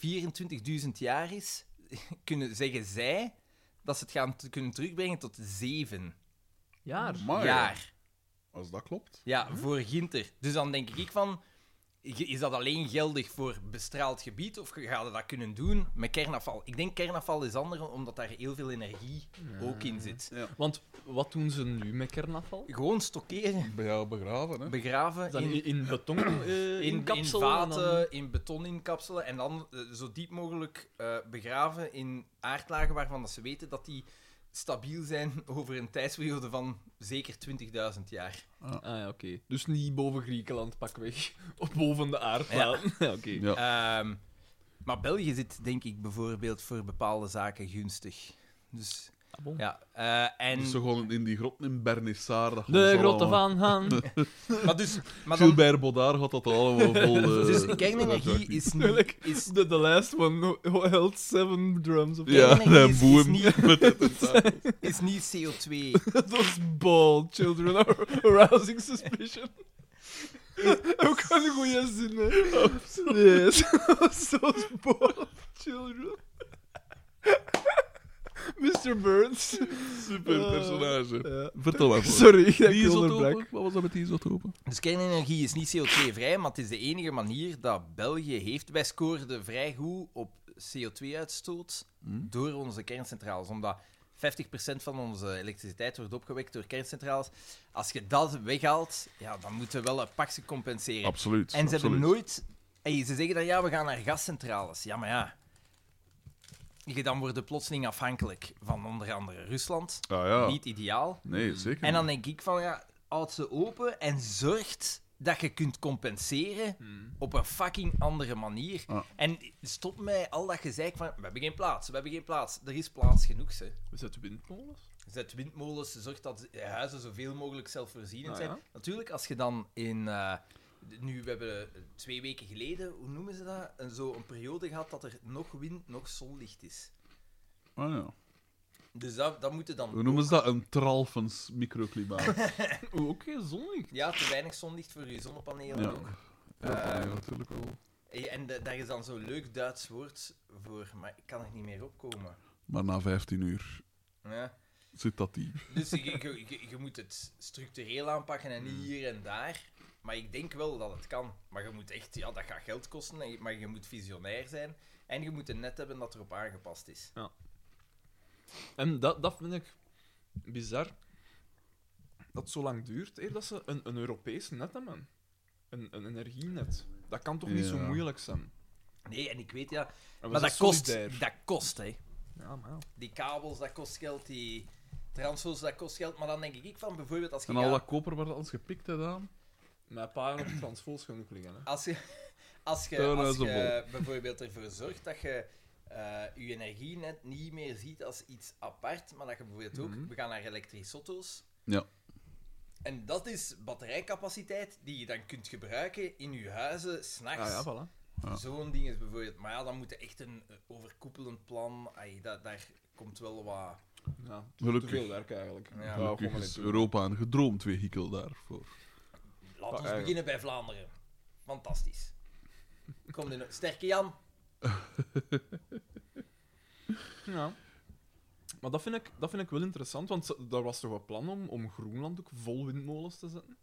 [SPEAKER 4] 24.000 jaar is, kunnen zeggen zij dat ze het gaan t- kunnen terugbrengen tot zeven
[SPEAKER 3] Jaar.
[SPEAKER 1] Maar
[SPEAKER 4] jaar.
[SPEAKER 1] als dat klopt.
[SPEAKER 4] Ja, voor Ginter. Dus dan denk ik van... ge- Is dat alleen geldig voor bestraald gebied of gaan we dat kunnen doen met kernafval? Ik denk kernafval is anders, omdat daar heel veel energie ook in zit.
[SPEAKER 3] Want wat doen ze nu met kernafval?
[SPEAKER 4] Gewoon stockeren,
[SPEAKER 1] Bij jou begraven, hè?
[SPEAKER 4] begraven,
[SPEAKER 3] Dan
[SPEAKER 4] in,
[SPEAKER 3] in, in beton eh,
[SPEAKER 4] in, in
[SPEAKER 3] inkapselen en dan-
[SPEAKER 4] vaten, in beton inkapselen en dan eh, zo diep mogelijk eh, begraven in aardlagen waarvan dat ze weten dat die stabiel zijn over een tijdsperiode van zeker 20.000 jaar.
[SPEAKER 3] Ah ja, oké. Dus niet boven Griekenland, pakweg. Of boven de aardplaat. Ja, oké.
[SPEAKER 1] Ja.
[SPEAKER 4] Ehm, maar België zit, denk ik, bijvoorbeeld voor bepaalde zaken gunstig. Dus
[SPEAKER 3] Ah, bon.
[SPEAKER 4] ja. eh, en,
[SPEAKER 1] Dus ze gewoon in die grot in Bernissar. dat gaan
[SPEAKER 3] De
[SPEAKER 1] ze
[SPEAKER 3] grotten
[SPEAKER 1] allemaal-
[SPEAKER 3] van Han.
[SPEAKER 4] maar dus, maar dan,
[SPEAKER 1] Gilbert Bodard had dat allemaal vol. eh,
[SPEAKER 4] dus kernenergie is niet. Is,
[SPEAKER 3] De the last one held seven drums of
[SPEAKER 1] Ja,
[SPEAKER 4] kernenergie
[SPEAKER 1] en
[SPEAKER 4] is- is
[SPEAKER 1] boem.
[SPEAKER 4] niet-
[SPEAKER 1] Met het tentakel.
[SPEAKER 4] is niet CO2.
[SPEAKER 3] Dat was ball, children are arousing suspicion. Ook een goede zin, hè? Yes, so ball, children. Mr. Burns.
[SPEAKER 1] Super personage.
[SPEAKER 3] Ja.
[SPEAKER 1] Vertel maar. voor.
[SPEAKER 3] Sorry, ik heb
[SPEAKER 1] Die
[SPEAKER 3] je onderbrak.
[SPEAKER 1] isotopen? Wat was dat met die isotopen?
[SPEAKER 4] Dus kernenergie is niet CO2-vrij, maar het is de enige manier dat België heeft. Wij scoorden vrij goed op CO2-uitstoot
[SPEAKER 1] Hm?
[SPEAKER 4] door onze kerncentrales. Omdat 50% van onze elektriciteit wordt opgewekt door kerncentrales. Als je dat weghaalt, ja, dan moeten we wel een pakje compenseren.
[SPEAKER 1] Absoluut.
[SPEAKER 4] en ze hebben
[SPEAKER 1] absoluut.
[SPEAKER 4] nooit... Hey, ze zeggen dan, ja, we gaan naar gascentrales. Ja, maar ja... Je dan worden plotseling afhankelijk van onder andere Rusland.
[SPEAKER 1] Ah ja.
[SPEAKER 4] Niet ideaal.
[SPEAKER 1] Nee, zeker.
[SPEAKER 4] En dan denk ik van ja, houd ze open en zorgt dat je kunt compenseren
[SPEAKER 3] Hmm.
[SPEAKER 4] op een fucking andere manier.
[SPEAKER 1] Ah.
[SPEAKER 4] En stop mij al dat gezeik van we hebben geen plaats, we hebben geen plaats. Er is plaats genoeg, ze.
[SPEAKER 3] Is dat windmolens?
[SPEAKER 4] Zet windmolens, zorg dat huizen zoveel mogelijk zelfvoorzienend
[SPEAKER 3] Ah,
[SPEAKER 4] zijn.
[SPEAKER 3] ja.
[SPEAKER 4] Natuurlijk, als je dan in... eh, d- nu, we hebben eh, twee weken geleden, hoe noemen ze dat? Een, zo een periode gehad dat er nog wind, nog zonlicht is.
[SPEAKER 1] Ah, ja.
[SPEAKER 4] Dus dat, dat moet je dan...
[SPEAKER 1] Hoe noemen ze dat? Een tralfens microklimaat.
[SPEAKER 3] Oké, zonnig.
[SPEAKER 4] Ja, te weinig zonlicht voor je zonnepanelen
[SPEAKER 1] Ja.
[SPEAKER 4] ook.
[SPEAKER 1] Ja, nee, natuurlijk wel.
[SPEAKER 4] Hey, En da- daar is dan zo'n leuk Duits woord voor, maar ik kan er niet meer opkomen.
[SPEAKER 1] Maar na 15 uur
[SPEAKER 4] Ja.
[SPEAKER 1] zit dat diep.
[SPEAKER 4] Dus je, je, je, je moet het structureel aanpakken en niet
[SPEAKER 3] Hmm.
[SPEAKER 4] hier en daar. Maar ik denk wel dat het kan. Maar je moet echt, ja, dat gaat geld kosten, en je- maar je moet visionair zijn. En je moet een net hebben dat erop aangepast is.
[SPEAKER 3] En dat, dat vind ik bizar. Dat het zo lang duurt eer dat ze een, een Europees net hebben. Een, een energienet. Dat kan toch niet zo
[SPEAKER 1] Ja.
[SPEAKER 3] moeilijk zijn?
[SPEAKER 4] Nee, en ik weet ja.
[SPEAKER 3] En we
[SPEAKER 4] maar
[SPEAKER 3] zijn
[SPEAKER 4] dat kost,
[SPEAKER 3] solidair.
[SPEAKER 4] dat kost, hè.
[SPEAKER 3] Ja, maar ja.
[SPEAKER 4] Die kabels, dat kost geld. Die transfers, dat kost geld. Maar dan denk ik van bijvoorbeeld als je,
[SPEAKER 1] En al
[SPEAKER 4] gaat-
[SPEAKER 1] dat koper waar dat alles gepikt hebt aan.
[SPEAKER 3] Mijn pa op het transvools genoeg liggen. Hè.
[SPEAKER 4] als je, als je,
[SPEAKER 1] Tuin
[SPEAKER 4] als
[SPEAKER 1] is de
[SPEAKER 4] je bijvoorbeeld ervoor zorgt dat je eh, je energie net niet meer ziet als iets apart, maar dat je bijvoorbeeld ook, we gaan naar elektrische auto's.
[SPEAKER 1] Ja.
[SPEAKER 4] En dat is batterijcapaciteit die je dan kunt gebruiken in je huizen s'nachts.
[SPEAKER 3] Ah ja, voilà.
[SPEAKER 1] Ja.
[SPEAKER 4] Zo'n ding is bijvoorbeeld. Maar ja, dan moet je echt een eh, overkoepelend plan. Ai, dat, daar komt wel wat.
[SPEAKER 3] Ja, te-
[SPEAKER 1] Gelukkig.
[SPEAKER 3] te veel werk eigenlijk.
[SPEAKER 4] Ja.
[SPEAKER 3] Ja, gewoon
[SPEAKER 1] Gelukkig
[SPEAKER 3] maar niet
[SPEAKER 1] is
[SPEAKER 3] doen.
[SPEAKER 1] Europa een gedroomd vehikel daarvoor.
[SPEAKER 4] Laten we
[SPEAKER 3] Ah, ja.
[SPEAKER 4] beginnen bij Vlaanderen. Fantastisch. Kom er nog. Sterke Jan.
[SPEAKER 3] Ja. Maar dat vind, ik, dat vind ik wel interessant, want ze- daar was toch een plan om, om Groenland ook vol windmolens te zetten.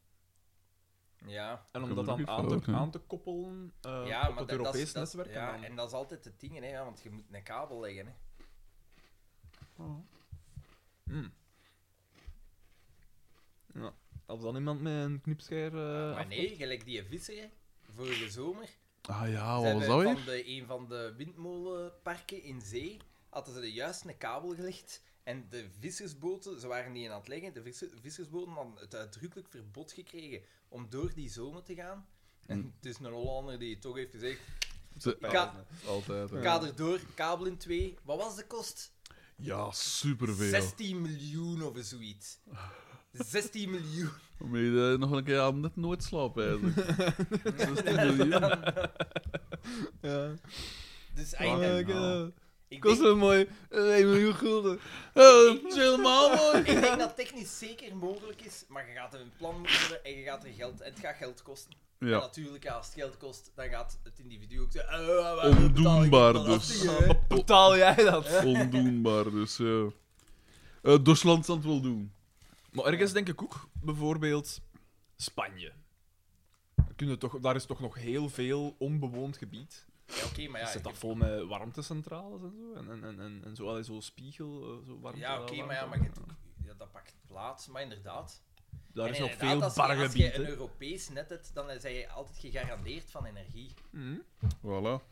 [SPEAKER 4] Ja,
[SPEAKER 3] En om dat dan
[SPEAKER 1] Gelukkig
[SPEAKER 3] aan te,
[SPEAKER 1] wel, ja.
[SPEAKER 3] aan te koppelen eh,
[SPEAKER 4] ja
[SPEAKER 3] op
[SPEAKER 4] maar
[SPEAKER 3] het
[SPEAKER 4] dat, dat
[SPEAKER 3] Europees
[SPEAKER 4] is, dat,
[SPEAKER 3] netwerk. en
[SPEAKER 4] ja,
[SPEAKER 3] dan-
[SPEAKER 4] en dat is altijd het ding, hè, ja, want je moet een kabel leggen. Hè.
[SPEAKER 3] Hmm. Ja. Als dan iemand met een knipscheer... eh
[SPEAKER 4] maar nee, gelijk die visser hè, vorige zomer.
[SPEAKER 1] Ah ja,
[SPEAKER 4] Ze
[SPEAKER 1] wat was dat
[SPEAKER 4] hebben
[SPEAKER 1] weer?
[SPEAKER 4] van de, een van de windmolenparken in zee hadden ze er juist een kabel gelegd. En de vissersboten, ze waren die aan het leggen, de visser- vissersboten hadden het uitdrukkelijk verbod gekregen om door die zomer te gaan.
[SPEAKER 3] Hm.
[SPEAKER 4] En het is een Hollander die toch heeft gezegd,
[SPEAKER 1] Ze-
[SPEAKER 4] ik ga,
[SPEAKER 1] Altijd. hè.
[SPEAKER 4] ik ga erdoor, kabel in twee. Wat was de kost?
[SPEAKER 1] Ja, superveel.
[SPEAKER 4] 16 miljoen of zoiets.
[SPEAKER 3] Ah.
[SPEAKER 4] 16 miljoen.
[SPEAKER 1] Moet je eh, nog een keer aan net nooit slapen eigenlijk. 16 miljoen.
[SPEAKER 2] Ja.
[SPEAKER 4] Dus
[SPEAKER 1] Oh,
[SPEAKER 4] eigenlijk,
[SPEAKER 1] ik, eh,
[SPEAKER 4] ik,
[SPEAKER 2] Kost
[SPEAKER 4] denk,
[SPEAKER 2] me mooi. 1 miljoen gulden.
[SPEAKER 1] Eh, chill man, hoor.
[SPEAKER 4] ik denk dat technisch zeker mogelijk is, maar je gaat er een plan moeten hebben en je gaat er geld, en het gaat geld kosten. En
[SPEAKER 1] Ja,
[SPEAKER 4] natuurlijk, ja, als het geld kost, dan gaat het individu ook zeggen... eh, waarom betaal ik
[SPEAKER 1] Ondoenbaar
[SPEAKER 4] die
[SPEAKER 1] dus.
[SPEAKER 4] belasting, hè?
[SPEAKER 2] Betaal jij dat?
[SPEAKER 1] ondoenbaar dus. ja. Eh Duitsland zal het wel doen.
[SPEAKER 3] Maar ergens denk ik ook, bijvoorbeeld Spanje. Daar kunnen toch, daar is toch nog heel veel onbewoond gebied.
[SPEAKER 4] Ja, oké, maar ja...
[SPEAKER 3] zit dat
[SPEAKER 4] je-
[SPEAKER 3] vol met warmtecentrales en zo. En, en, en, en, en zo, allee, zo spiegel, eh, zo warmte.
[SPEAKER 4] Ja, oké,
[SPEAKER 3] warmte-
[SPEAKER 4] maar ja, maar je hebt ook- ja, dat pakt plaats, maar inderdaad.
[SPEAKER 3] Daar is
[SPEAKER 4] En
[SPEAKER 3] nog
[SPEAKER 4] inderdaad,
[SPEAKER 3] veel
[SPEAKER 4] als je- Als
[SPEAKER 3] bargebied.
[SPEAKER 4] je een
[SPEAKER 3] hè.
[SPEAKER 4] Europees net hebt, dan ben je altijd gegarandeerd van energie.
[SPEAKER 3] Mhm.
[SPEAKER 1] Voilà.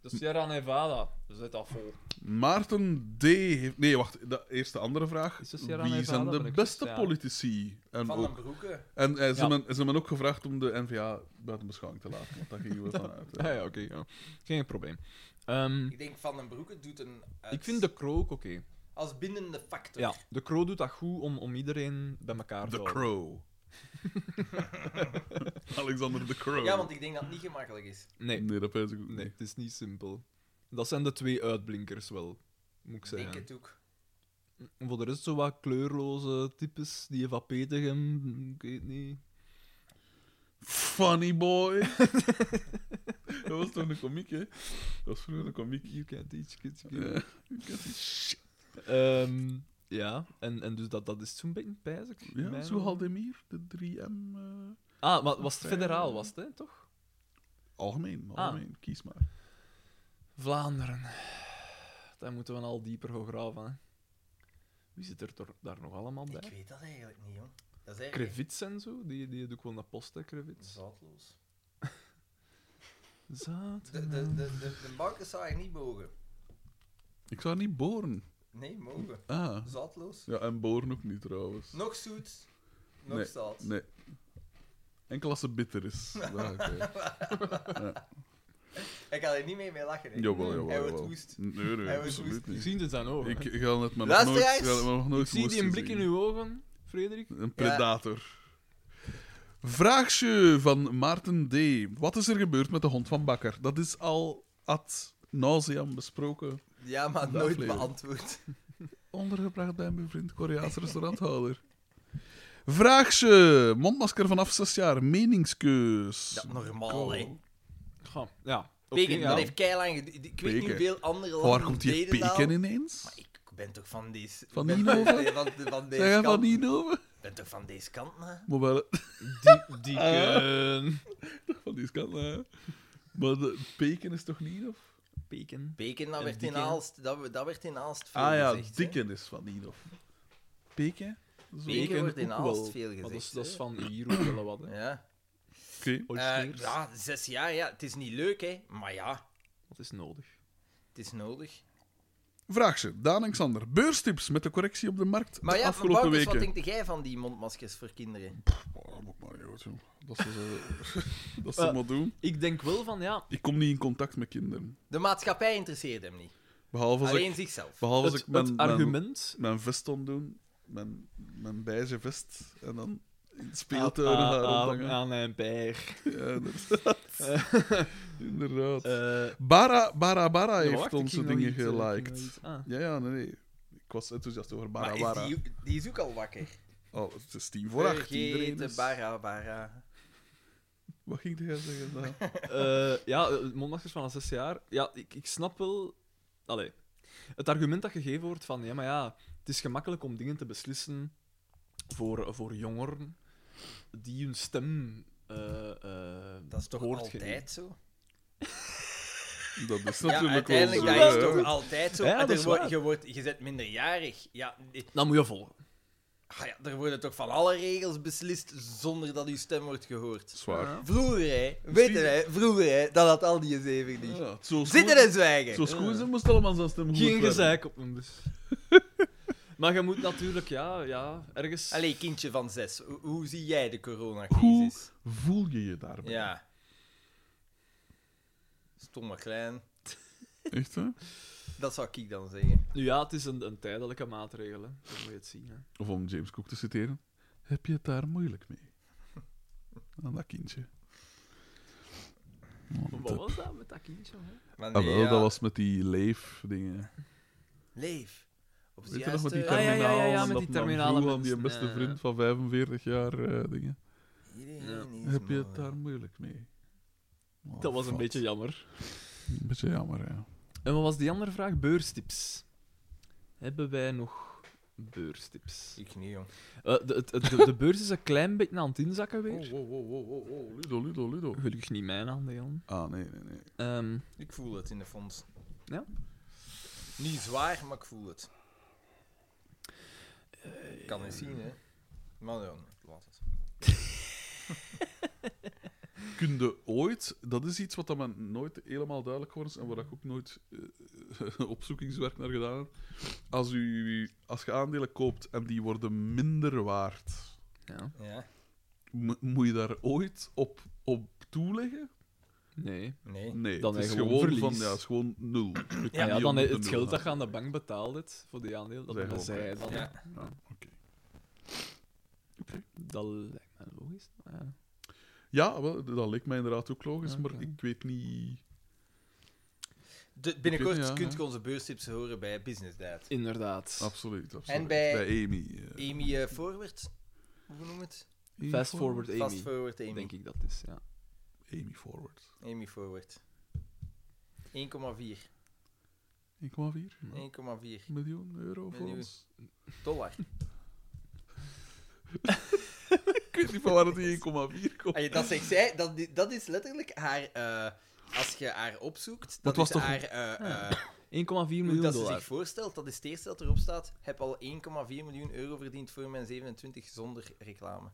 [SPEAKER 3] De Sierra Nevada, zit dat vol.
[SPEAKER 1] Maarten D. heeft... Nee, wacht. Dat eerst de andere vraag.
[SPEAKER 3] Is de Sierra
[SPEAKER 1] Wie
[SPEAKER 3] Nevada?
[SPEAKER 1] zijn
[SPEAKER 3] Ben
[SPEAKER 1] de
[SPEAKER 3] ik
[SPEAKER 1] beste
[SPEAKER 3] juist, ja.
[SPEAKER 1] politici? En,
[SPEAKER 4] Van
[SPEAKER 1] ook-
[SPEAKER 4] den Broeke.
[SPEAKER 1] en eh, ze
[SPEAKER 3] Ja.
[SPEAKER 1] hebben ze hebben ook gevraagd om de NVA buiten beschouwing te laten. Want daar gingen we vanuit.
[SPEAKER 3] Ja, ja oké. ja. Geen probleem. Ehm,
[SPEAKER 4] Ik denk Van den Broeke doet een... uit-
[SPEAKER 3] ik vind de Crow ook oké.
[SPEAKER 4] Als bindende factor.
[SPEAKER 3] Ja, de Crow doet dat goed om, om iedereen bij elkaar te
[SPEAKER 1] The
[SPEAKER 3] houden.
[SPEAKER 1] Crow. Alexander The Crow.
[SPEAKER 4] Ja, want ik denk dat het niet gemakkelijk is.
[SPEAKER 3] Nee,
[SPEAKER 1] Nee, dat weet ik ook
[SPEAKER 3] nee,
[SPEAKER 1] niet.
[SPEAKER 3] het is niet simpel. Dat zijn de twee uitblinkers wel, moet ik
[SPEAKER 4] Ik denk
[SPEAKER 3] zeggen.
[SPEAKER 4] het ook.
[SPEAKER 3] En Voor de rest zo wat kleurloze types, die van Petegem, ik weet niet.
[SPEAKER 1] Funny boy. dat was toen een komiek, hè? Dat was vroeger een komiek. Eh,
[SPEAKER 3] You can't teach kids. you can't-
[SPEAKER 1] Ja.
[SPEAKER 3] Ehm, ja, en, en dus dat, dat is zo'n beetje pijzig.
[SPEAKER 1] Ja,
[SPEAKER 3] mij
[SPEAKER 1] zo
[SPEAKER 3] wel.
[SPEAKER 1] Haldemir, de 3M. eh,
[SPEAKER 3] Ah, maar was het federaal, was het, hè, toch?
[SPEAKER 1] algemeen,
[SPEAKER 3] Ah.
[SPEAKER 1] algemeen, kies maar.
[SPEAKER 3] Vlaanderen. Daar moeten we al dieper gaan graven, hè. Wie zit er toch- daar nog allemaal
[SPEAKER 4] Ik
[SPEAKER 3] bij?
[SPEAKER 4] weet dat eigenlijk niet, joh. Dat is eigenlijk...
[SPEAKER 3] Krevits en zo, die, die doe ik wel naar post, hè, Krevits.
[SPEAKER 4] Zaadloos.
[SPEAKER 3] Zaad.
[SPEAKER 4] De, de, de, de, de bakken zou eigenlijk niet mogen.
[SPEAKER 1] Ik zou niet boren.
[SPEAKER 4] Nee, mogen.
[SPEAKER 1] Ah.
[SPEAKER 4] Zaadloos.
[SPEAKER 1] Ja, en boren ook niet trouwens.
[SPEAKER 4] Nog zoet, nog zout.
[SPEAKER 1] Nee. Enkel als ze bitter is. Daar, oké.
[SPEAKER 4] Ik ga er niet mee mee lachen. hè.
[SPEAKER 1] Jawel,
[SPEAKER 4] Hij
[SPEAKER 1] jawel.
[SPEAKER 4] wordt
[SPEAKER 1] jawel.
[SPEAKER 4] woest.
[SPEAKER 1] Nee, nee,
[SPEAKER 4] Hij wordt
[SPEAKER 1] absoluut
[SPEAKER 4] woest.
[SPEAKER 3] Ik
[SPEAKER 1] niet.
[SPEAKER 3] zie het dan ook.
[SPEAKER 1] Ik,
[SPEAKER 3] Ik,
[SPEAKER 1] ik ga net maar nog nooit,
[SPEAKER 4] Luisteraars!
[SPEAKER 1] ik ga het maar nog nooit
[SPEAKER 3] zie die
[SPEAKER 1] woest
[SPEAKER 3] een blik in
[SPEAKER 1] gezien.
[SPEAKER 3] uw ogen, Frederik.
[SPEAKER 1] Een predator. Vraagje van Maarten D. Wat is er gebeurd met de hond van Bakker? Dat is al ad nauseam besproken.
[SPEAKER 4] Ja, maar
[SPEAKER 1] De
[SPEAKER 4] nooit
[SPEAKER 1] aflevering.
[SPEAKER 4] beantwoord.
[SPEAKER 1] Ondergebracht bij mijn vriend Koreaans restauranthouder. Vraagje. Mondmasker vanaf zes jaar. Meningskeus.
[SPEAKER 4] Dat normaal, hè.
[SPEAKER 3] Goh, ja. oké,
[SPEAKER 4] Peken,
[SPEAKER 3] ja.
[SPEAKER 4] dat heeft keilang gedu- Ik weet niet
[SPEAKER 1] Peken.
[SPEAKER 4] hoeveel andere landen...
[SPEAKER 1] Waar komt die
[SPEAKER 4] deden dat al.
[SPEAKER 1] peken ineens?
[SPEAKER 4] Maar ik ben toch van deze...
[SPEAKER 1] Van
[SPEAKER 4] ben-
[SPEAKER 1] Ninove?
[SPEAKER 4] Nee, van, van deze
[SPEAKER 1] Zeg jij
[SPEAKER 4] kant.
[SPEAKER 1] van Ninove?
[SPEAKER 4] ben toch van deze kant, hè?
[SPEAKER 1] Maar wel,
[SPEAKER 3] Die, die
[SPEAKER 4] Eh.
[SPEAKER 3] eh,
[SPEAKER 1] van die kant, hè. Maar de peken is toch niet, of?
[SPEAKER 3] Peken.
[SPEAKER 4] Bacon, dat
[SPEAKER 3] En
[SPEAKER 4] werd in
[SPEAKER 3] dikke, hè?
[SPEAKER 4] Aalst... Dat, we- dat werd in Aalst veel
[SPEAKER 1] Ah ja,
[SPEAKER 4] gezegd, hè.
[SPEAKER 1] dikken is van Ninove. Peken?
[SPEAKER 4] Bacon wordt in
[SPEAKER 3] ook
[SPEAKER 4] Aalst
[SPEAKER 3] wel.
[SPEAKER 4] veel
[SPEAKER 1] Ah,
[SPEAKER 3] Maar dat, is,
[SPEAKER 4] gezegd,
[SPEAKER 3] dat is
[SPEAKER 4] hè.
[SPEAKER 3] van hier ook wel wat. Hè.
[SPEAKER 4] Ja.
[SPEAKER 2] Ooit
[SPEAKER 4] Eh,
[SPEAKER 2] smeers.
[SPEAKER 4] ja, zes jaar, ja. Het is niet leuk, hè. Maar ja,
[SPEAKER 3] Dat is nodig.
[SPEAKER 4] het is nodig.
[SPEAKER 1] Vraag ze, Daan en Xander. Beurstips met de correctie op de markt
[SPEAKER 4] Maar
[SPEAKER 1] de
[SPEAKER 4] ja,
[SPEAKER 1] afgelopen
[SPEAKER 4] Bouters,
[SPEAKER 1] weken.
[SPEAKER 4] wat denk jij van die mondmaskers voor kinderen?
[SPEAKER 1] Oh, dat moet maar niet uit, joh. Dat ze, ze- dat ze maar doen.
[SPEAKER 3] Ik denk wel van, ja,
[SPEAKER 1] Ik kom niet in contact met kinderen.
[SPEAKER 4] De maatschappij interesseert hem niet.
[SPEAKER 1] Behalve
[SPEAKER 3] Ah,
[SPEAKER 1] als
[SPEAKER 4] Alleen
[SPEAKER 1] ik,
[SPEAKER 4] zichzelf.
[SPEAKER 1] behalve als
[SPEAKER 3] het,
[SPEAKER 1] ik mijn,
[SPEAKER 3] het
[SPEAKER 1] mijn-
[SPEAKER 3] argument...
[SPEAKER 1] Mijn, vest omdoen, mijn, mijn beige vest, en dan in het
[SPEAKER 3] Aan
[SPEAKER 1] speeltuin haar
[SPEAKER 3] ah,
[SPEAKER 1] ophangen.
[SPEAKER 3] aan mijn pijg.
[SPEAKER 1] Ja, inderdaad. inderdaad.
[SPEAKER 3] Eh,
[SPEAKER 1] Bara, Bara Bara
[SPEAKER 3] ja,
[SPEAKER 1] heeft
[SPEAKER 3] wacht, ik
[SPEAKER 1] onze
[SPEAKER 3] ging nog
[SPEAKER 1] dingen
[SPEAKER 3] iets, eh, ik ging
[SPEAKER 1] geliked.
[SPEAKER 3] nog iets- ah.
[SPEAKER 1] Ja, ja, nee, nee. Ik was enthousiast over Bara
[SPEAKER 4] Maar
[SPEAKER 1] Bara.
[SPEAKER 4] is die, die is ook al wakker.
[SPEAKER 1] Oh, het is tien voor acht. iedereen
[SPEAKER 4] Vergeet
[SPEAKER 1] is-
[SPEAKER 4] bara bara.
[SPEAKER 1] Wat ging jij zeggen? Daan?
[SPEAKER 3] Eh, ja, eh, mondmaskers van al zes jaar. Ja, ik, ik snap wel... Allee, het argument dat gegeven wordt van... Ja, maar ja, het is gemakkelijk om dingen te beslissen voor, voor jongeren die hun stem... eh, eh,
[SPEAKER 4] Dat is toch
[SPEAKER 3] hoort geven.
[SPEAKER 4] altijd zo?
[SPEAKER 1] Dat is
[SPEAKER 4] Ja,
[SPEAKER 1] natuurlijk wel
[SPEAKER 4] uiteindelijk,
[SPEAKER 1] zo.
[SPEAKER 4] dat is
[SPEAKER 1] hè.
[SPEAKER 4] toch altijd zo.
[SPEAKER 3] Ja,
[SPEAKER 4] En
[SPEAKER 3] dat
[SPEAKER 4] er
[SPEAKER 3] is
[SPEAKER 4] wordt-
[SPEAKER 3] waar.
[SPEAKER 4] je, wordt, je bent minderjarig. Ja, eh,
[SPEAKER 3] Dan moet je volgen.
[SPEAKER 4] ah ja, er worden toch van alle regels beslist zonder dat uw stem wordt gehoord.
[SPEAKER 1] Zwaar.
[SPEAKER 4] Vroeger, hè. Weten wij, vroeger, hè. Dat had al die zeven niet.
[SPEAKER 1] Ja, zo
[SPEAKER 4] Zitten en zwijgen.
[SPEAKER 1] Zo schoon ze moest allemaal zijn stem goed
[SPEAKER 3] Geen
[SPEAKER 1] werden.
[SPEAKER 3] gezeik op mijn bus. maar je moet natuurlijk, ja, ja ergens...
[SPEAKER 4] Allee, kindje van zes. Hoe, hoe zie jij de coronacrisis?
[SPEAKER 1] Voel je je daarbij?
[SPEAKER 4] Ja. Stom maar klein.
[SPEAKER 1] Echt, hè?
[SPEAKER 4] Dat zou ik dan zeggen.
[SPEAKER 3] Nu ja, het is een, een tijdelijke maatregel, hè. Dat moet je het zien, hè.
[SPEAKER 1] Of om James Cook te citeren, heb je het daar moeilijk mee? Aan dat kindje. Oh, dat-
[SPEAKER 3] Maar Wat was dat met dat kindje, hè?
[SPEAKER 4] Maar
[SPEAKER 1] Ah,
[SPEAKER 4] nee,
[SPEAKER 1] wel,
[SPEAKER 4] ja.
[SPEAKER 1] dat was met die leef-dingen.
[SPEAKER 4] Leef. Op de
[SPEAKER 1] Weet je nog, met
[SPEAKER 4] juiste...
[SPEAKER 1] die
[SPEAKER 3] Ah, ja,
[SPEAKER 1] terminaal?
[SPEAKER 3] ja, ja, ja,
[SPEAKER 1] en
[SPEAKER 3] met
[SPEAKER 1] dat
[SPEAKER 3] die
[SPEAKER 1] nam
[SPEAKER 3] terminale
[SPEAKER 1] vroeg aan die
[SPEAKER 3] mensen,
[SPEAKER 1] beste
[SPEAKER 3] ja, ja.
[SPEAKER 1] vriend van 45 jaar eh, dingen.
[SPEAKER 4] Iedereen is
[SPEAKER 1] Heb je het
[SPEAKER 4] mooi.
[SPEAKER 1] daar moeilijk mee? Oh,
[SPEAKER 3] Dat was een
[SPEAKER 1] fuck.
[SPEAKER 3] beetje jammer.
[SPEAKER 1] Een beetje jammer, ja.
[SPEAKER 3] En wat was die andere vraag? Beurstips. Hebben wij nog beurstips?
[SPEAKER 4] Ik niet, jong.
[SPEAKER 3] Eh, de, het- het- de, de beurs is een klein beetje aan het inzakken weer.
[SPEAKER 1] wow, wow,
[SPEAKER 3] oh,
[SPEAKER 1] wow, wow, wow, Ludo, Oh, Ludo, Ludo.
[SPEAKER 3] Gelukkig niet mijn aandeel.
[SPEAKER 1] Ah, nee, nee, nee.
[SPEAKER 3] Ehm
[SPEAKER 4] Ik voel het in de fonds.
[SPEAKER 3] Ja?
[SPEAKER 4] Niet zwaar, maar ik voel het.
[SPEAKER 3] Eh,
[SPEAKER 4] Ik kan het zien, hè. Maar dan, laat het.
[SPEAKER 1] Kun je ooit, dat is iets wat dat me nooit helemaal duidelijk geworden is en waar ik ook nooit eh, opzoekingswerk naar gedaan heb. Als, u, als je aandelen koopt en die worden minder waard,
[SPEAKER 3] ja.
[SPEAKER 4] Ja?
[SPEAKER 1] mo- moet je daar ooit op, op toeleggen?
[SPEAKER 3] Nee.
[SPEAKER 4] Nee.
[SPEAKER 1] Nee,
[SPEAKER 3] Dan
[SPEAKER 1] het is
[SPEAKER 3] heb je gewoon
[SPEAKER 1] gewoon
[SPEAKER 3] verlies.
[SPEAKER 1] van, ja, het is gewoon nul. Je kunt
[SPEAKER 3] Ah Ja,
[SPEAKER 1] niet
[SPEAKER 3] dan
[SPEAKER 1] onder
[SPEAKER 3] het
[SPEAKER 1] de
[SPEAKER 3] geld
[SPEAKER 1] nul
[SPEAKER 3] dat je
[SPEAKER 1] gaan.
[SPEAKER 3] aan de bank betaald hebt voor die aandeel, dat
[SPEAKER 1] Zij
[SPEAKER 3] hebben
[SPEAKER 1] gewoon
[SPEAKER 3] zij dan.
[SPEAKER 4] Ja.
[SPEAKER 1] Ah,
[SPEAKER 3] Dat lijkt mij logisch. Ja.
[SPEAKER 1] Ja, wel, dat leek mij inderdaad ook logisch,
[SPEAKER 3] Oké.
[SPEAKER 1] maar ik weet niet.
[SPEAKER 4] De- binnenkort
[SPEAKER 1] Ik weet- ja,
[SPEAKER 4] kunt
[SPEAKER 1] ja.
[SPEAKER 4] je onze beurstips horen bij Business Dad.
[SPEAKER 3] Inderdaad.
[SPEAKER 1] Absoluut. absoluut.
[SPEAKER 4] En bij-
[SPEAKER 1] Amy. eh,
[SPEAKER 4] Amy eh, Forward? Hoe noem het?
[SPEAKER 1] Amy
[SPEAKER 3] Fast forward Amy,
[SPEAKER 4] Fast Forward Amy.
[SPEAKER 3] denk ik dat is. Ja.
[SPEAKER 1] Amy Forward.
[SPEAKER 4] Amy Forward. 1,4.
[SPEAKER 1] 1,4
[SPEAKER 4] 1,4
[SPEAKER 1] miljoen euro voor
[SPEAKER 4] Miljoen.
[SPEAKER 1] ons.
[SPEAKER 4] dollar.
[SPEAKER 1] Ik weet niet van waar dat die 1,4 komt.
[SPEAKER 4] Allee, dat zegt zij, dat, i- dat is letterlijk haar. eh, als je haar opzoekt,
[SPEAKER 1] het
[SPEAKER 4] dat
[SPEAKER 1] was
[SPEAKER 4] is
[SPEAKER 1] toch-
[SPEAKER 4] haar. eh, eh,
[SPEAKER 3] 1,4 miljoen
[SPEAKER 4] hoe dat ze
[SPEAKER 3] dollar.
[SPEAKER 4] zich voorstelt, dat is het eerste dat erop staat. Heb al 1,4 miljoen euro verdiend voor mijn 27 zonder reclame.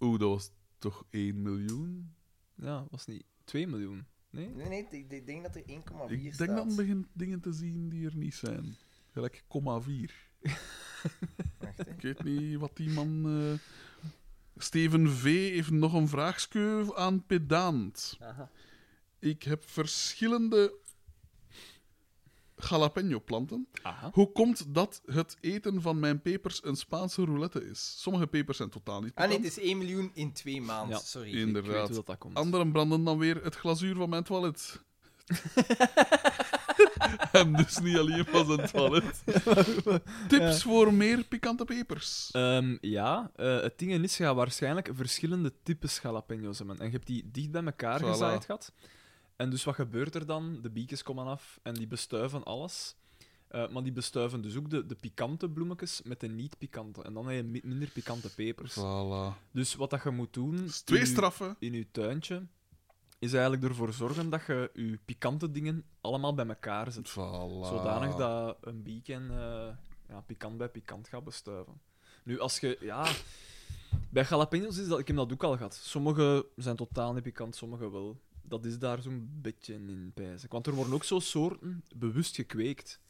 [SPEAKER 1] Oeh, dat was toch 1 miljoen?
[SPEAKER 3] Ja, was niet 2 miljoen. Nee?
[SPEAKER 4] Nee, nee, ik, ik denk dat er 1,4 staat.
[SPEAKER 1] Ik denk dan begin dingen te zien die er niet zijn. Gelijk, komma 4.
[SPEAKER 4] Wacht, hè.
[SPEAKER 1] Ik weet niet wat die man. eh, Steven V. heeft nog een vraagskeu aan Pedant. Ik heb verschillende jalapeno-planten.
[SPEAKER 3] Aha.
[SPEAKER 1] Hoe komt dat het eten van mijn pepers een Spaanse roulette is? Sommige pepers zijn totaal niet
[SPEAKER 4] Ah nee,
[SPEAKER 1] pikant.
[SPEAKER 4] het is 1 miljoen in twee maanden.
[SPEAKER 3] Ja.
[SPEAKER 4] Sorry.
[SPEAKER 1] In-
[SPEAKER 3] Ik
[SPEAKER 1] Inderdaad.
[SPEAKER 3] weet hoe dat, dat komt.
[SPEAKER 1] Anderen branden dan weer het glazuur van mijn toilet. en dus niet alleen van zijn toilet. Tips voor meer pikante pepers.
[SPEAKER 3] Ehm, ja, eh, het ding is, je gaat waarschijnlijk verschillende types jalapeno's hebben. En je hebt die dicht bij elkaar
[SPEAKER 1] Voilà.
[SPEAKER 3] gezaaid gehad. En dus wat gebeurt er dan? De biekjes komen af en die bestuiven alles. Eh, maar die bestuiven dus ook de, de pikante bloemetjes met de niet-pikante. En dan heb je mi- minder pikante pepers.
[SPEAKER 1] Voilà.
[SPEAKER 3] Dus wat dat je moet doen...
[SPEAKER 1] Dus twee
[SPEAKER 3] in je-
[SPEAKER 1] straffen.
[SPEAKER 3] in je tuintje is eigenlijk ervoor zorgen dat je je pikante dingen allemaal bij elkaar zet.
[SPEAKER 1] Voilà.
[SPEAKER 3] Zodanig dat een beacon eh, ja, pikant bij pikant gaat bestuiven. Nu, als je... Ja, Bij jalapenos is dat... Ik heb dat ook al gehad. Sommige zijn totaal niet pikant, sommige wel. Dat is daar zo'n beetje in pijzen. Want er worden ook zo soorten bewust gekweekt.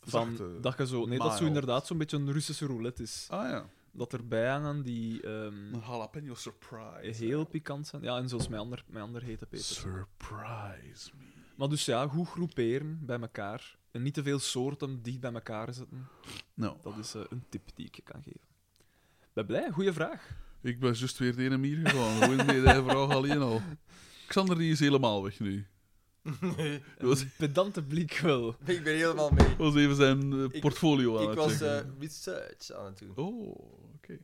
[SPEAKER 3] Van,
[SPEAKER 1] Zachte,
[SPEAKER 3] dat je zo... Nee, dat zo
[SPEAKER 1] mild.
[SPEAKER 3] inderdaad zo'n beetje een Russische roulette is.
[SPEAKER 1] Ah ja,
[SPEAKER 3] Dat erbij hangen die ehm,
[SPEAKER 1] een jalapeno surprise.
[SPEAKER 3] heel pikant zijn. Ja, en zoals mijn ander, mijn ander hete peper.
[SPEAKER 1] Surprise me.
[SPEAKER 3] Maar dus ja, goed groeperen bij elkaar. En niet te veel soorten dicht bij elkaar zetten.
[SPEAKER 1] Nou,
[SPEAKER 3] Dat is eh, een tip die ik je kan geven. Ben blij, goede vraag.
[SPEAKER 1] ik ben juist weer de ene mier gegaan. Gewoon met de vraag alleen al. Xander die is helemaal weg nu. Dat was,
[SPEAKER 3] Een pedante blik wel.
[SPEAKER 4] Ik ben helemaal mee.
[SPEAKER 1] was even zijn eh,
[SPEAKER 4] Ik-
[SPEAKER 1] portfolio aan
[SPEAKER 4] Ik
[SPEAKER 1] het
[SPEAKER 4] was
[SPEAKER 1] checken.
[SPEAKER 4] eh, research aan het doen.
[SPEAKER 1] Oh, oké.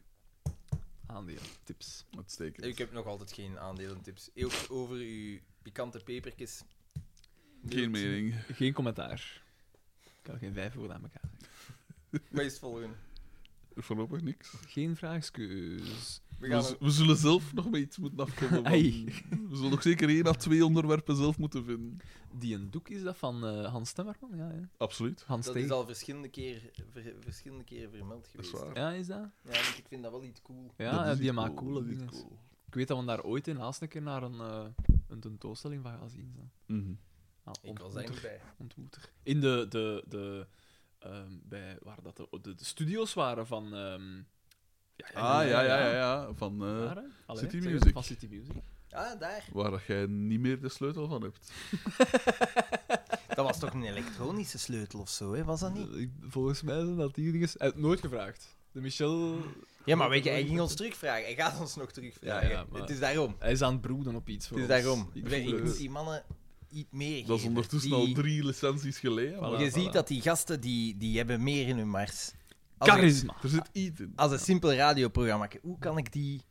[SPEAKER 3] Aandeel, tips.
[SPEAKER 1] Uitstekend.
[SPEAKER 4] Ik heb nog altijd geen aandelentips. Ook over uw pikante pepertjes.
[SPEAKER 1] Geen mening.
[SPEAKER 3] Geen commentaar. Ik kan geen vijf woorden aan elkaar. zeggen.
[SPEAKER 4] Wat is het volgende?
[SPEAKER 1] Voorlopig niks.
[SPEAKER 3] Geen vraagskeus.
[SPEAKER 4] We
[SPEAKER 1] We,
[SPEAKER 4] gaan
[SPEAKER 1] z- we zullen zelf nog mee iets moeten afkomen. want
[SPEAKER 3] Ai.
[SPEAKER 1] We zullen nog zeker één à twee onderwerpen zelf moeten vinden.
[SPEAKER 3] Die een doek is dat van eh, Hans Temmerman? Ja, ja.
[SPEAKER 1] Absoluut.
[SPEAKER 3] Hans
[SPEAKER 4] Dat
[SPEAKER 3] T.
[SPEAKER 4] is al verschillende keer, ver- verschillende keren vermeld
[SPEAKER 1] Dat is
[SPEAKER 4] geweest.
[SPEAKER 1] waar.
[SPEAKER 3] Ja, is dat?
[SPEAKER 4] Ja, want ik vind dat wel iets cool.
[SPEAKER 1] Dat
[SPEAKER 3] Ja,
[SPEAKER 1] is
[SPEAKER 3] ja,
[SPEAKER 1] iets
[SPEAKER 3] die
[SPEAKER 1] cool,
[SPEAKER 3] maakt coole
[SPEAKER 1] dat is iets
[SPEAKER 3] dingen.
[SPEAKER 1] cool.
[SPEAKER 3] Ik weet dat we daar ooit in laatste keer naar een, eh, een tentoonstelling van gaan zien. Zo.
[SPEAKER 1] Mhm.
[SPEAKER 3] Ah,
[SPEAKER 4] Ik was daar
[SPEAKER 3] ontmoeter.
[SPEAKER 4] niet bij.
[SPEAKER 3] ontmoeter. In de, de, de, ehm, bij, waar dat de, de, de studio's waren van. ehm, ja,
[SPEAKER 1] Ah, ja, ja, ja. ja. Van, eh,
[SPEAKER 3] Daar, hè? Allee,
[SPEAKER 1] City
[SPEAKER 3] zeg het,
[SPEAKER 1] Music.
[SPEAKER 3] Van City Music.
[SPEAKER 4] Ah, daar.
[SPEAKER 1] waar dat jij niet meer de sleutel van hebt.
[SPEAKER 4] Dat was toch een elektronische sleutel of zo, hè? was dat niet?
[SPEAKER 3] Eh, Ik- Volgens mij zijn dat die dingen. Hij heeft nooit gevraagd. De Michel.
[SPEAKER 4] Ja, maar weet je, hij ging ons terugvragen. Hij gaat ons nog terugvragen.
[SPEAKER 3] Ja, ja, maar-
[SPEAKER 4] Het is daarom.
[SPEAKER 3] Hij is aan het broeden op iets. voor
[SPEAKER 4] Het is
[SPEAKER 3] ons.
[SPEAKER 4] daarom.
[SPEAKER 3] Ik
[SPEAKER 4] Ik,
[SPEAKER 3] voel
[SPEAKER 4] ik
[SPEAKER 3] het.
[SPEAKER 4] moet die mannen iets meer
[SPEAKER 1] Dat is
[SPEAKER 4] geven.
[SPEAKER 1] ondertussen
[SPEAKER 4] Die-
[SPEAKER 1] al drie licenties geleden. maar
[SPEAKER 3] Voilà,
[SPEAKER 4] Je
[SPEAKER 3] voilà.
[SPEAKER 4] ziet dat die gasten, die, die hebben meer in hun mars. Als een-
[SPEAKER 3] Charisma.
[SPEAKER 1] Er zit iets in.
[SPEAKER 4] Als een simpel radioprogramma. Hoe kan ik die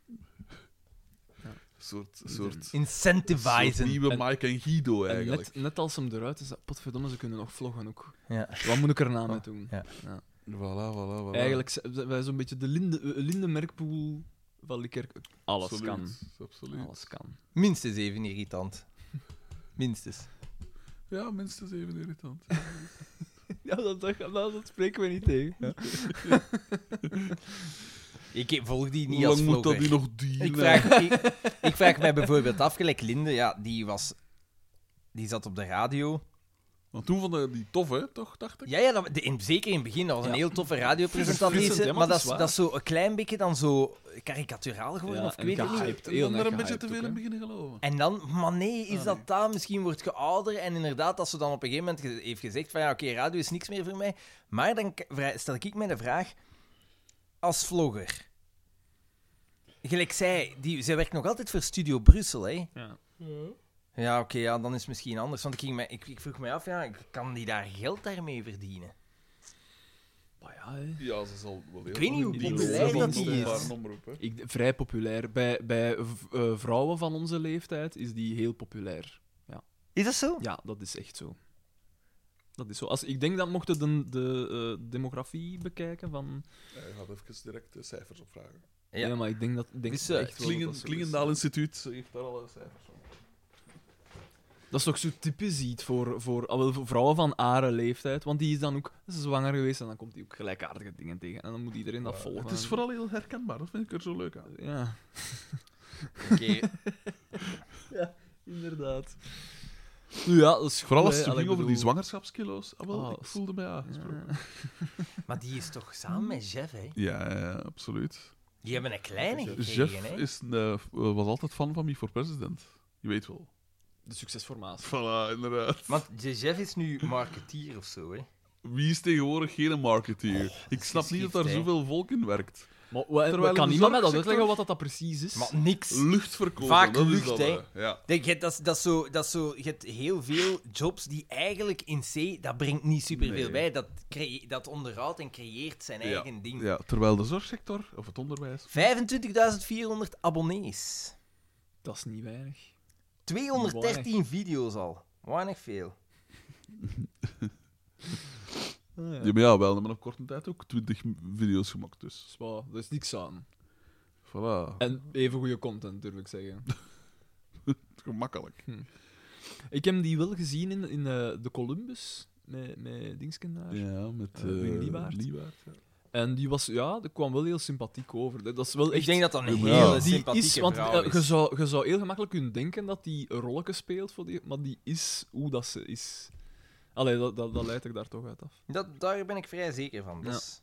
[SPEAKER 1] Een soort, soort, soort
[SPEAKER 4] incentivizen?
[SPEAKER 1] nieuwe Mike en Guido
[SPEAKER 3] En
[SPEAKER 1] eigenlijk.
[SPEAKER 3] net, net als hem eruit is, potverdomme, ze kunnen nog vloggen ook.
[SPEAKER 4] Ja.
[SPEAKER 3] Wat moet ik erna mee doen?
[SPEAKER 4] ja.
[SPEAKER 1] Voilà, voilà, voilà.
[SPEAKER 3] Eigenlijk z- zijn wij zo'n beetje de linde, eh, lindenmerkpoel van Likkerk. Alles
[SPEAKER 1] Absoluut,
[SPEAKER 3] kan.
[SPEAKER 1] Absoluut.
[SPEAKER 3] Alles kan.
[SPEAKER 4] Minstens even irritant. Minstens.
[SPEAKER 1] Ja, minstens even irritant.
[SPEAKER 3] Ja, dat, dat, dat spreken we niet tegen.
[SPEAKER 4] Ik volg die niet
[SPEAKER 1] Hoe
[SPEAKER 4] als
[SPEAKER 1] lang moet dat
[SPEAKER 4] vlogger.
[SPEAKER 1] nu nog duren?
[SPEAKER 4] Ik vraag, ik, ik vraag mij bijvoorbeeld af, gelijk Linde, ja, die was... Die zat op de radio.
[SPEAKER 1] Want toen vonden die tof, hè? Toch, dacht ik?
[SPEAKER 4] Ja, ja dat, de- in, zeker in het begin, dat was een
[SPEAKER 3] Ja.
[SPEAKER 4] heel toffe radiopresentatrice.
[SPEAKER 3] Verfrissend, hè, maar
[SPEAKER 4] Maar, dat,
[SPEAKER 3] het is
[SPEAKER 4] is,
[SPEAKER 3] waar.
[SPEAKER 4] dat is zo een klein beetje dan zo karikaturaal geworden,
[SPEAKER 3] Ja,
[SPEAKER 4] of ik
[SPEAKER 3] en
[SPEAKER 4] weet het niet.
[SPEAKER 3] gehyped.
[SPEAKER 1] En
[SPEAKER 3] heel
[SPEAKER 1] dan daar een
[SPEAKER 3] erg
[SPEAKER 1] beetje te
[SPEAKER 3] gehyped
[SPEAKER 1] veel
[SPEAKER 3] ook,
[SPEAKER 1] in
[SPEAKER 3] hè.
[SPEAKER 1] beginnen geloven.
[SPEAKER 4] En dan, maar nee, is
[SPEAKER 1] Ah,
[SPEAKER 4] dat
[SPEAKER 1] nee.
[SPEAKER 4] dat? Misschien wordt je ouder en inderdaad, als ze dan op een gegeven moment ge- heeft gezegd van ja, oké, radio is niks meer voor mij. Maar dan k- vra- stel ik mij de vraag, als vlogger, gelijk zij, die, zij werkt nog altijd voor Studio Brussel, hè?
[SPEAKER 3] Ja.
[SPEAKER 4] Ja, oké, ja, dan is het misschien anders. Want ik, ging mij, ik, ik vroeg mij af, ja, ik- kan die daar geld daarmee verdienen?
[SPEAKER 3] Maar ja, hè.
[SPEAKER 1] Ja, ze zal wel heel
[SPEAKER 4] Ik weet niet hoe
[SPEAKER 1] Die
[SPEAKER 4] populair
[SPEAKER 1] lul zal
[SPEAKER 4] dat die
[SPEAKER 1] nog een
[SPEAKER 4] is.
[SPEAKER 1] paar omroep, hè.
[SPEAKER 3] Ik, vrij populair. Bij, bij v- eh, vrouwen van onze leeftijd is die heel populair.
[SPEAKER 4] Is dat zo?
[SPEAKER 3] Ja, dat is echt zo. Dat is zo. Als, ik denk dat mochten de, de eh, demografie bekijken van...
[SPEAKER 1] Hij gaat even direct de cijfers opvragen.
[SPEAKER 4] Ja.
[SPEAKER 3] Ja, maar ik denk dat, ik denk
[SPEAKER 4] Dus, eh,
[SPEAKER 3] echt wel dat
[SPEAKER 1] Klingen,
[SPEAKER 3] dat zo is.
[SPEAKER 1] Klingendaal Instituut heeft daar alle cijfers op.
[SPEAKER 3] Dat is toch zo typisch iets voor, voor, ah, wel, voor vrouwen van hare leeftijd. Want die is dan ook ze is zwanger geweest en dan komt die ook gelijkaardige dingen tegen. En dan moet iedereen dat
[SPEAKER 1] Maar
[SPEAKER 3] volgen.
[SPEAKER 1] Het is vooral heel herkenbaar, dat vind ik er zo leuk aan.
[SPEAKER 3] Ja,
[SPEAKER 4] Oké,
[SPEAKER 3] inderdaad. Nu ja, dat is goed,
[SPEAKER 1] Vooral als
[SPEAKER 3] hè.
[SPEAKER 1] het
[SPEAKER 3] Allee,
[SPEAKER 1] ging
[SPEAKER 3] ik
[SPEAKER 1] over die
[SPEAKER 3] bedoel-
[SPEAKER 1] zwangerschapskilo's. Ah, wel,
[SPEAKER 4] Oh,
[SPEAKER 3] Ah,
[SPEAKER 1] ik
[SPEAKER 3] als-
[SPEAKER 1] voelde mij aangesproken.
[SPEAKER 3] Ja.
[SPEAKER 4] maar die is toch samen met Jeff, hè?
[SPEAKER 1] Ja, ja, ja, absoluut.
[SPEAKER 4] Die hebben een kleine gekregen,
[SPEAKER 1] Jeff
[SPEAKER 4] hè?
[SPEAKER 1] is een, eh, was altijd fan van Me for President. Je weet wel.
[SPEAKER 3] De succesformatie.
[SPEAKER 1] Voilà, inderdaad.
[SPEAKER 4] Want de Jeff is nu marketeer of zo, hè?
[SPEAKER 1] Wie is tegenwoordig geen
[SPEAKER 4] Oh,
[SPEAKER 1] marketeer? Ik snap niet dat daar
[SPEAKER 4] geschikt, hè.
[SPEAKER 1] zoveel volk in werkt.
[SPEAKER 3] Maar wa-
[SPEAKER 1] Terwijl in
[SPEAKER 3] kan
[SPEAKER 1] de
[SPEAKER 3] niemand mij dat
[SPEAKER 1] zorgsector-
[SPEAKER 3] uitleggen wat dat, dat precies is?
[SPEAKER 4] Maar niks.
[SPEAKER 1] Luchtverkoop.
[SPEAKER 4] Vaak
[SPEAKER 1] dat
[SPEAKER 4] lucht,
[SPEAKER 1] is dat,
[SPEAKER 4] hè.
[SPEAKER 1] eh, Ja.
[SPEAKER 4] Denk, je, hebt- dat, is- dat, is zo, dat is zo, je hebt heel veel jobs die eigenlijk in C, dat brengt niet superveel
[SPEAKER 1] Nee.
[SPEAKER 4] bij. Dat, creë- dat onderhoudt en creëert zijn
[SPEAKER 1] Ja.
[SPEAKER 4] eigen ding.
[SPEAKER 1] ja, terwijl de zorgsector, of het onderwijs,
[SPEAKER 4] 25.400 abonnees.
[SPEAKER 3] Dat is niet weinig.
[SPEAKER 4] 213 video's al. Weinig veel.
[SPEAKER 3] Ah,
[SPEAKER 1] Ja, maar ja, wel, maar op korte tijd ook 20 video's gemaakt, dus.
[SPEAKER 3] Zwaar, dat is niks aan.
[SPEAKER 1] Voilà.
[SPEAKER 3] En even goede content, durf ik zeggen.
[SPEAKER 1] Gemakkelijk.
[SPEAKER 3] ik heb die wel gezien in, in eh, de Columbus, met, met Dingsken daar.
[SPEAKER 1] Ja, met
[SPEAKER 3] Eh, Wim
[SPEAKER 1] eh
[SPEAKER 3] Liebaert.
[SPEAKER 1] Liebaert, ja.
[SPEAKER 2] En die was, ja, die kwam wel heel sympathiek over. Dat dat is wel echt...
[SPEAKER 4] Ik denk dat dat een
[SPEAKER 1] Ja.
[SPEAKER 4] hele
[SPEAKER 2] die
[SPEAKER 1] Die
[SPEAKER 4] sympathieke
[SPEAKER 2] is, want
[SPEAKER 4] vrouw
[SPEAKER 2] eh,
[SPEAKER 4] is.
[SPEAKER 2] je, zou, je zou heel gemakkelijk kunnen denken dat die een rolletje speelt, voor die, maar die is hoe dat ze is. Allee, dat, dat, dat leidt ik daar toch uit af.
[SPEAKER 4] Dat, daar ben ik vrij zeker van. Dat is-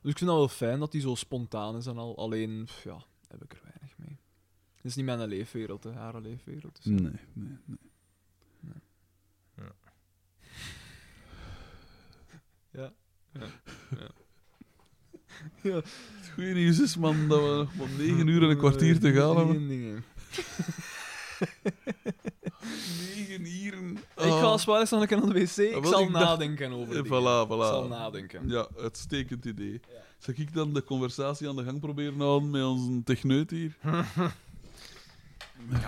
[SPEAKER 2] Dus ik vind dat wel fijn dat die zo spontaan is en al. Alleen, pff, ja, heb ik er weinig mee. Het is niet mijn leefwereld, hè, haar leefwereld. Dus.
[SPEAKER 9] Nee, nee, nee.
[SPEAKER 1] Het goede nieuws is, man, dat we nog maar negen uur en een kwartier te gaan hebben.
[SPEAKER 2] Nee, nee, nee.
[SPEAKER 1] Negen uren.
[SPEAKER 2] Ik ga als waar is nog een keer naar de wc. Ik
[SPEAKER 1] Oh. Ah, wel,
[SPEAKER 2] zal
[SPEAKER 1] ik dacht-
[SPEAKER 2] nadenken over
[SPEAKER 1] Eh,
[SPEAKER 2] dit.
[SPEAKER 1] Voilà,
[SPEAKER 2] Ik zal
[SPEAKER 1] voilà.
[SPEAKER 2] nadenken.
[SPEAKER 1] Ja, uitstekend idee. Zal ik dan de conversatie aan de gang proberen te houden met onze techneut hier?
[SPEAKER 4] Ga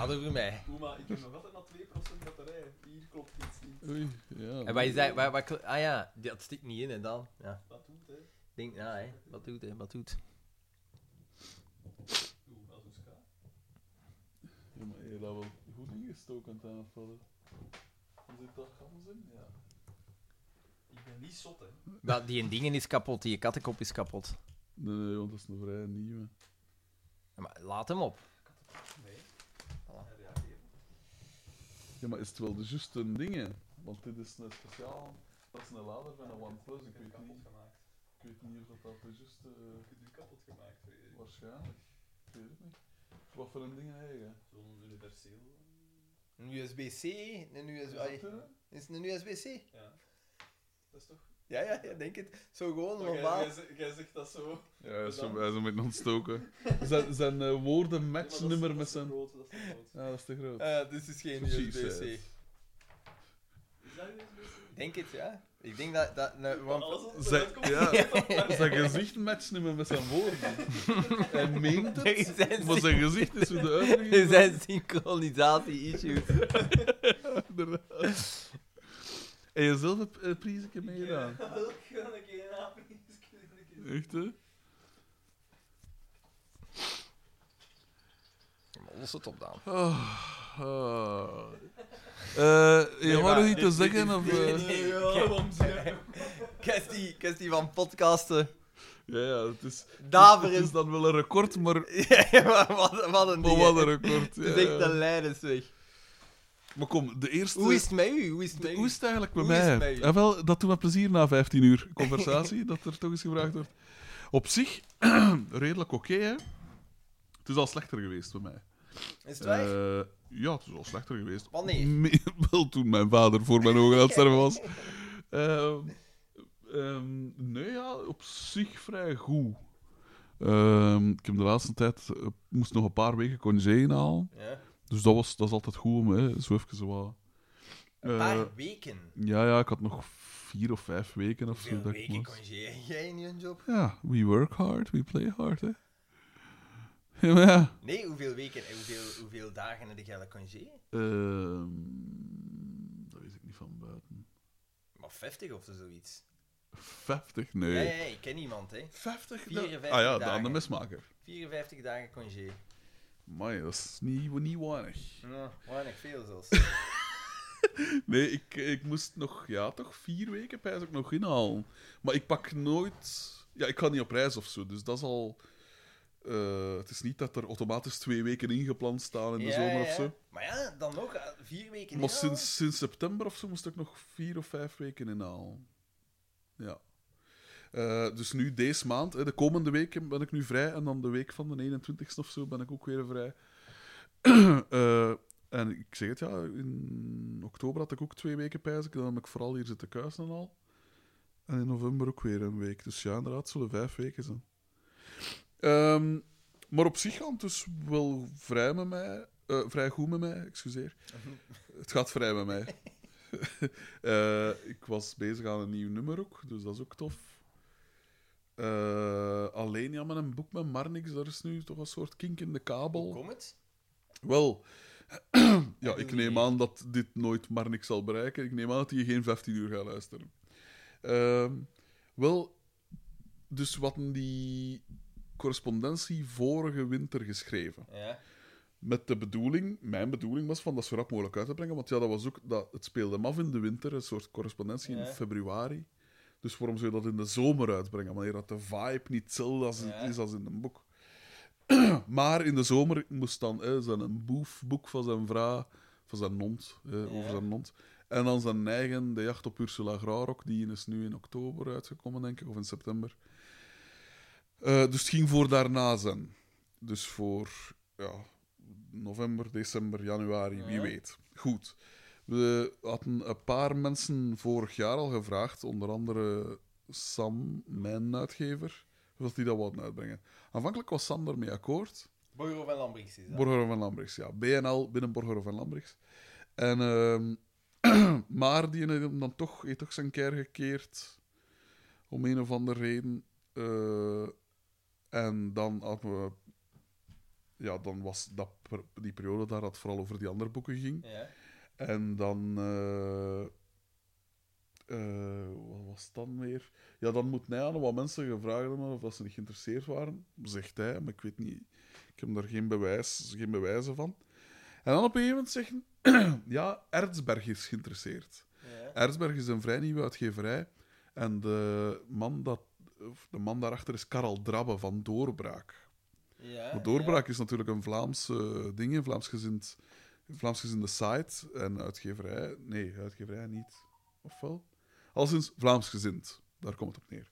[SPEAKER 4] er voor mij.
[SPEAKER 2] maar ik heb nog altijd maar 2% batterij. Hier klopt iets niet.
[SPEAKER 1] Oei, ja.
[SPEAKER 4] En wat is dat? Wat, wat, ah ja, dat stikt niet in en dan. Ja. Wat doet hè? Denk, ja, hè. Wat doet hè? Wat doet?
[SPEAKER 1] Ja, maar je hebt dat wel goed ingestoken aan het aanvallen. Zit dat gans in? Ja.
[SPEAKER 3] Ik ben niet zot, hè.
[SPEAKER 4] Dat, die dingen is kapot, die kattenkop is kapot.
[SPEAKER 1] Nee, nee, want dat is een vrij nieuwe.
[SPEAKER 4] Ja, Maar laat hem op.
[SPEAKER 1] Ja, maar is het wel de juiste dingen? Want dit is een speciaal... Dat is een lader van een OnePlus, ik weet niet... Ik weet niet of dat de juiste... Ik heb nu kapot gemaakt, Waarschijnlijk. Ik weet het niet. Wat voor een ding heb je?
[SPEAKER 3] Zo'n universeel.
[SPEAKER 4] Een USB-C, een USB...
[SPEAKER 1] Is dat er?
[SPEAKER 4] Is het een USB-C?
[SPEAKER 3] eh? Ja. Dat is toch. Oh,
[SPEAKER 4] Ja, ja, ja, denk het. Zo gewoon,
[SPEAKER 3] Jij zegt dat zo.
[SPEAKER 1] Ja, hij is zo- hij is een beetje ontstoken. Zijn, zijn eh, woorden matchnummer met zijn... Ja, dat is te groot.
[SPEAKER 4] dit Eh, dus is geen
[SPEAKER 1] Precies, eh. hè.
[SPEAKER 4] eh. Denk het, ja. Ik denk dat... dat nou, want-
[SPEAKER 1] Zijn, ja, zijn gezicht matcht niet meer met zijn woorden. Hij meent het,
[SPEAKER 4] Er zijn
[SPEAKER 1] maar zijn gezicht is hoe de uitdrukking.
[SPEAKER 4] Er zijn synchronisatie-issues.
[SPEAKER 1] En jezelf een uh, priesje meegedaan. Echt, hè?
[SPEAKER 4] Los het op dan.
[SPEAKER 1] Oh, oh. Eh, je
[SPEAKER 4] Nee,
[SPEAKER 1] wou
[SPEAKER 4] maar
[SPEAKER 1] nog iets
[SPEAKER 4] dit-
[SPEAKER 1] te
[SPEAKER 4] dit
[SPEAKER 1] zeggen?
[SPEAKER 4] is-
[SPEAKER 1] Of,
[SPEAKER 4] nee,
[SPEAKER 1] eh?
[SPEAKER 4] nee, Kwestie, kwestie van podcasten.
[SPEAKER 1] Ja, ja, het is, het
[SPEAKER 4] Daveren.
[SPEAKER 1] is dan wel een record, maar,
[SPEAKER 4] Ja, maar wat, wat een
[SPEAKER 1] maar
[SPEAKER 4] ding.
[SPEAKER 1] wel
[SPEAKER 4] hè.
[SPEAKER 1] een record.
[SPEAKER 4] Het is
[SPEAKER 1] ja,
[SPEAKER 3] eh,
[SPEAKER 4] echt
[SPEAKER 1] ja.
[SPEAKER 4] een leidersweg.
[SPEAKER 1] Maar kom, de eerste...
[SPEAKER 4] Hoe is het met u? Hoe is het
[SPEAKER 1] De-
[SPEAKER 4] met
[SPEAKER 1] Hoe
[SPEAKER 4] u?
[SPEAKER 1] is het eigenlijk met
[SPEAKER 4] Hoe is
[SPEAKER 1] mij?
[SPEAKER 4] het met u?
[SPEAKER 1] Ah, wel, dat doet me plezier na 15 uur conversatie, dat er toch eens gevraagd wordt. Op zich, redelijk oké, hè. Het is al slechter geweest bij mij.
[SPEAKER 4] Is het waar?
[SPEAKER 1] Eh, ja, het is al slechter geweest.
[SPEAKER 4] Wanneer?
[SPEAKER 1] Me- wel toen mijn vader voor mijn ogen aan het sterven was. Ehm, ehm, nee, ja, op zich vrij goed. Ehm, ik heb de laatste tijd... eh, moest nog een paar weken congé inhalen.
[SPEAKER 4] Ja.
[SPEAKER 1] Dus dat, was, dat is altijd goed om hè, zo even zo wat...
[SPEAKER 4] Een
[SPEAKER 1] eh,
[SPEAKER 4] paar weken.
[SPEAKER 1] ja, ja, ik had nog vier of vijf weken of zo.
[SPEAKER 4] Hoeveel
[SPEAKER 1] Dat ik
[SPEAKER 4] weken
[SPEAKER 1] moest.
[SPEAKER 4] congeer jij in je job?
[SPEAKER 1] Ja, we work hard, we play hard, hè. Ja, maar ja.
[SPEAKER 4] Nee, hoeveel weken en hoeveel, hoeveel dagen heb jij congeer?
[SPEAKER 1] Ehm, dat weet ik niet van buiten.
[SPEAKER 4] Maar 50 of zo zoiets.
[SPEAKER 1] 50,
[SPEAKER 4] Ja, ja,
[SPEAKER 1] nee.
[SPEAKER 4] ja, ik ken iemand, hè.
[SPEAKER 1] 50? dat-
[SPEAKER 4] 54
[SPEAKER 1] Ah ja, de
[SPEAKER 4] dagen.
[SPEAKER 1] andere mesmaker.
[SPEAKER 4] 54 dagen congeer.
[SPEAKER 1] Amai, dat is niet, niet weinig.
[SPEAKER 4] Nou, weinig veel zelfs.
[SPEAKER 1] Nee, ik, ik moest nog, ja, toch vier weken pijs ook nog inhalen. Maar ik pak nooit... Ja, ik ga niet op reis of zo, dus dat is al... eh, het is niet dat er automatisch twee weken ingepland staan in de
[SPEAKER 4] Ja,
[SPEAKER 1] zomer
[SPEAKER 4] ja.
[SPEAKER 1] of zo.
[SPEAKER 4] Maar ja, dan nog eh, vier weken. oh,
[SPEAKER 1] Maar
[SPEAKER 4] ja.
[SPEAKER 1] sinds, sinds september of zo moest ik nog vier of vijf weken inhalen. Ja. Eh, dus nu, deze maand, hè, de komende week ben ik nu vrij. En dan de week van de 21ste of zo ben ik ook weer vrij. Eh, en ik zeg het ja, in oktober had ik ook twee weken pijs. ik. Dan heb ik vooral hier zitten kuisen en al. En in november ook weer een week. Dus ja, inderdaad, het zullen vijf weken zijn. Ehm, maar op zich gaat het dus wel vrij met mij. eh, vrij goed met mij, excuseer. Het gaat vrij met mij. Eh, ik was bezig aan een nieuw nummer ook, dus dat is ook tof. Eh, alleen ja, met een boek met Marnix, daar is nu toch een soort kink in de
[SPEAKER 4] Hoe
[SPEAKER 1] kabel.
[SPEAKER 4] komt het?
[SPEAKER 1] Wel, ja, ik neem aan dat dit nooit Marnix zal bereiken. Ik neem aan dat hij geen 15 uur gaat luisteren. Ehm, wel, dus wat die correspondentie vorige winter geschreven.
[SPEAKER 4] Ja.
[SPEAKER 1] Met de bedoeling, mijn bedoeling was van dat zo rap mogelijk uit te brengen. Want ja, dat was ook, dat, het speelde hem af in de winter, een soort correspondentie
[SPEAKER 4] Ja.
[SPEAKER 1] in februari. Dus waarom zou je dat in de zomer uitbrengen? Wanneer dat de vibe niet hetzelfde als,
[SPEAKER 3] Ja.
[SPEAKER 1] is als in een boek. maar in de zomer moest dan hè, zijn een boefboek van zijn vrouw, van zijn hond, hè, over zijn hond. En dan zijn eigen De Jacht op Ursula Graurock, die is nu in oktober uitgekomen, denk ik, of in september. Eh, dus het ging voor daarna zijn. Dus voor ja, november, december, januari, wie weet. Goed. We hadden een paar mensen vorig jaar al gevraagd, onder andere Sam, mijn uitgever, of dat die dat wouden uitbrengen. Aanvankelijk was Sam ermee akkoord.
[SPEAKER 4] Borgo en Lambrix is dat.
[SPEAKER 1] Borger van Lambrichs, ja. BNL binnen Borger van Lambrichs. En, ehm, maar die heeft hem dan toch, heeft toch zijn keer gekeerd. Om een of andere reden. Eh, en dan hadden we... Ja, dan was dat, per- die periode daar dat het vooral over die andere boeken ging.
[SPEAKER 4] Ja.
[SPEAKER 1] En dan... eh, eh, wat was het dan weer? Ja, dan moet hij aan wat mensen gevraagd hebben of dat ze niet geïnteresseerd waren. Zegt hij, maar ik weet niet... Ik heb daar geen, bewijs, geen bewijzen van. En dan op een gegeven moment zeggen... ja, Erzberg is geïnteresseerd. Erzberg is een vrij nieuwe uitgeverij. En de man, dat, of de man daarachter is Karel Drabbe van Doorbraak. Maar Doorbraak is natuurlijk een Vlaams eh, ding, een Vlaamsgezind, een Vlaamsgezinde site en uitgeverij. Nee, uitgeverij niet. Of wel? Alleszins Vlaamsgezind. Daar komt het op neer.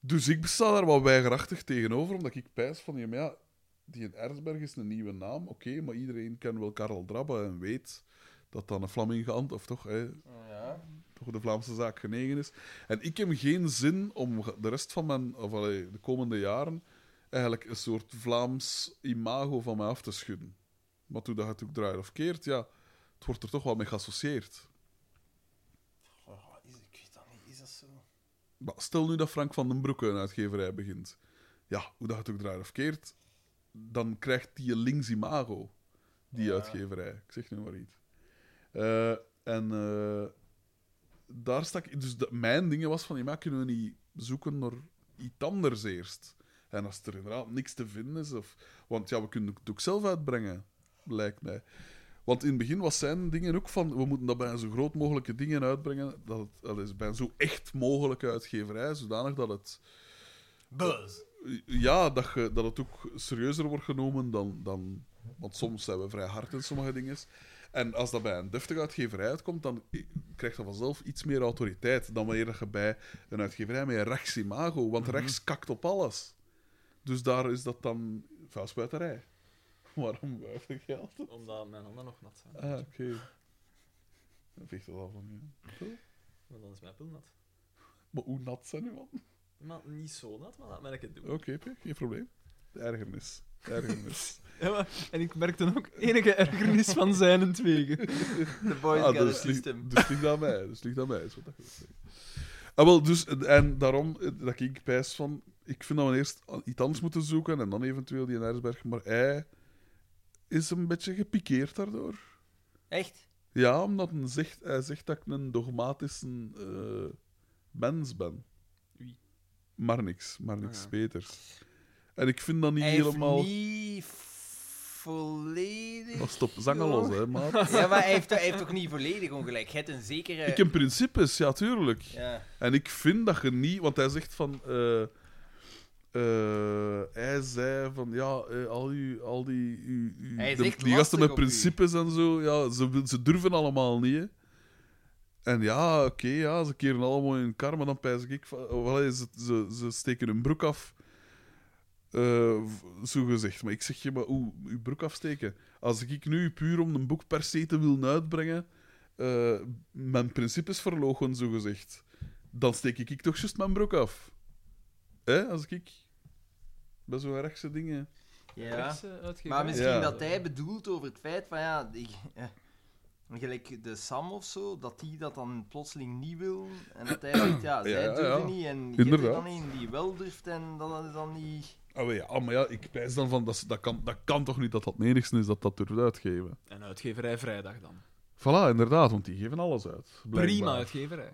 [SPEAKER 1] Dus ik besta daar wat weigerachtig tegenover, omdat ik pijs van, ja, maar ja, die in Erzberg is een nieuwe naam, oké, maar iedereen kent wel Karel Drabbe en weet dat dan een Flamingant, of toch, hè,
[SPEAKER 4] Ja.
[SPEAKER 1] toch de Vlaamse zaak genegen is. En ik heb geen zin om de rest van mijn, of allee, de komende jaren, eigenlijk een soort Vlaams imago van mij af te schudden. Maar toen dat het ook draait of keert, ja, het wordt er toch wel mee geassocieerd.
[SPEAKER 4] Oh, is, ik weet dat niet, is dat zo?
[SPEAKER 1] Maar stel nu dat Frank van den Broeke een uitgeverij begint. Ja, hoe dat het ook draait of keert, dan krijgt die een links imago, die uitgeverij. Ik zeg nu maar iets. Eh, en eh, daar stak ik... Dus de- mijn dingen was van, ja, maar kunnen we niet zoeken naar iets anders eerst? En als er inderdaad niks te vinden is, of... Want ja, we kunnen het ook zelf uitbrengen, lijkt mij. Want in het begin was zijn dingen ook van... We moeten dat bij zo groot mogelijke dingen uitbrengen. Dat, het, dat is bij een zo echt mogelijke uitgeverij. Zodanig dat het...
[SPEAKER 4] Buzz.
[SPEAKER 1] Ja, dat, je, dat het ook serieuzer wordt genomen dan... dan want soms zijn we vrij hard in sommige dingen. En als dat bij een deftige uitgeverij uitkomt, dan i- krijgt dat vanzelf iets meer autoriteit dan wanneer dat je bij een uitgeverij met een rechts imago... Want rechts kakt op alles. Dus daar is dat dan vuilspuiterij. Waarom wuif ik geld?
[SPEAKER 3] Omdat mijn handen nog nat zijn.
[SPEAKER 1] Ah, oké. Dan veegt dat al van je. Zo.
[SPEAKER 3] Want dan is mijn pil nat.
[SPEAKER 1] Maar hoe nat zijn uw handen?
[SPEAKER 3] Maar niet zo nat, maar laat mij dat doen.
[SPEAKER 1] Oké, P, geen probleem. De ergernis. De ergernis.
[SPEAKER 2] Ja, maar- en ik merkte ook enige ergernis van zijn en twegen.
[SPEAKER 4] The boys
[SPEAKER 1] Ah,
[SPEAKER 4] got a
[SPEAKER 1] dus, ligt,
[SPEAKER 4] system.
[SPEAKER 1] dus ligt aan mij. Dus ligt aan mij, is wat dat wil zeggen. Ah, wel, dus, en- en daarom eh, dat ik pijs van... Ik vind dat we eerst iets anders moeten zoeken en dan eventueel die in Erzberg. Maar hij is een beetje gepikeerd daardoor.
[SPEAKER 4] Echt?
[SPEAKER 1] Ja, omdat hij zegt, hij zegt dat ik een dogmatische eh, mens ben.
[SPEAKER 3] Oei.
[SPEAKER 1] Maar niks, maar niks
[SPEAKER 4] Ah, ja.
[SPEAKER 1] beters. En ik vind dat niet
[SPEAKER 4] Hij heeft
[SPEAKER 1] helemaal.
[SPEAKER 4] niet volledig...
[SPEAKER 1] Dat stop, zangen los, hè, maat.
[SPEAKER 4] Ja, maar hij heeft, hij heeft ook niet volledig ongelijk. Hij heeft een zekere...
[SPEAKER 1] Ik heb principes, ja, tuurlijk.
[SPEAKER 4] Ja.
[SPEAKER 1] En ik vind dat je niet, want hij zegt van. eh, eh, hij zei van ja, eh, al die, al die, u- u-
[SPEAKER 4] Hij is
[SPEAKER 1] de-
[SPEAKER 4] echt
[SPEAKER 1] die gasten
[SPEAKER 4] lastig
[SPEAKER 1] met
[SPEAKER 4] op
[SPEAKER 1] principes en zo, ja, ze, wil- ze durven allemaal niet. hè. En ja, oké, ja, ze keren allemaal in elkaar, maar dan pijs ik van, of, allee, ze, ze, ze steken hun broek af. eh, v- zo gezegd. Maar ik zeg je, maar oeh, uw broek afsteken. Als ik nu puur om een boek per se te willen uitbrengen, eh, mijn principes verlogen, zo gezegd, dan steek ik, ik toch juist mijn broek af. Hè, als ik bij zo'n rechtse dingen.
[SPEAKER 4] ja.
[SPEAKER 3] eh,
[SPEAKER 4] Maar
[SPEAKER 2] Maar
[SPEAKER 4] misschien
[SPEAKER 1] Ja.
[SPEAKER 4] dat hij bedoelt over het feit van ja, ik, eh, gelijk de Sam of zo, dat die dat dan plotseling niet wil. En dat hij zegt, ja, zij
[SPEAKER 1] ja,
[SPEAKER 4] durven
[SPEAKER 1] ja.
[SPEAKER 4] niet. En je hebt er
[SPEAKER 1] Inderdaad.
[SPEAKER 4] dan een die wel durft en dat is dan niet.
[SPEAKER 1] Ah, maar ja, ah, maar ja, ik pijs dan van, dat, is- dat, kan, dat kan toch niet dat dat het enigste is dat dat durft uitgeven.
[SPEAKER 3] En uitgeverij vrijdag dan.
[SPEAKER 1] Voilà, inderdaad, want die geven alles uit.
[SPEAKER 2] Prima
[SPEAKER 1] blijkbaar.
[SPEAKER 2] uitgeverij.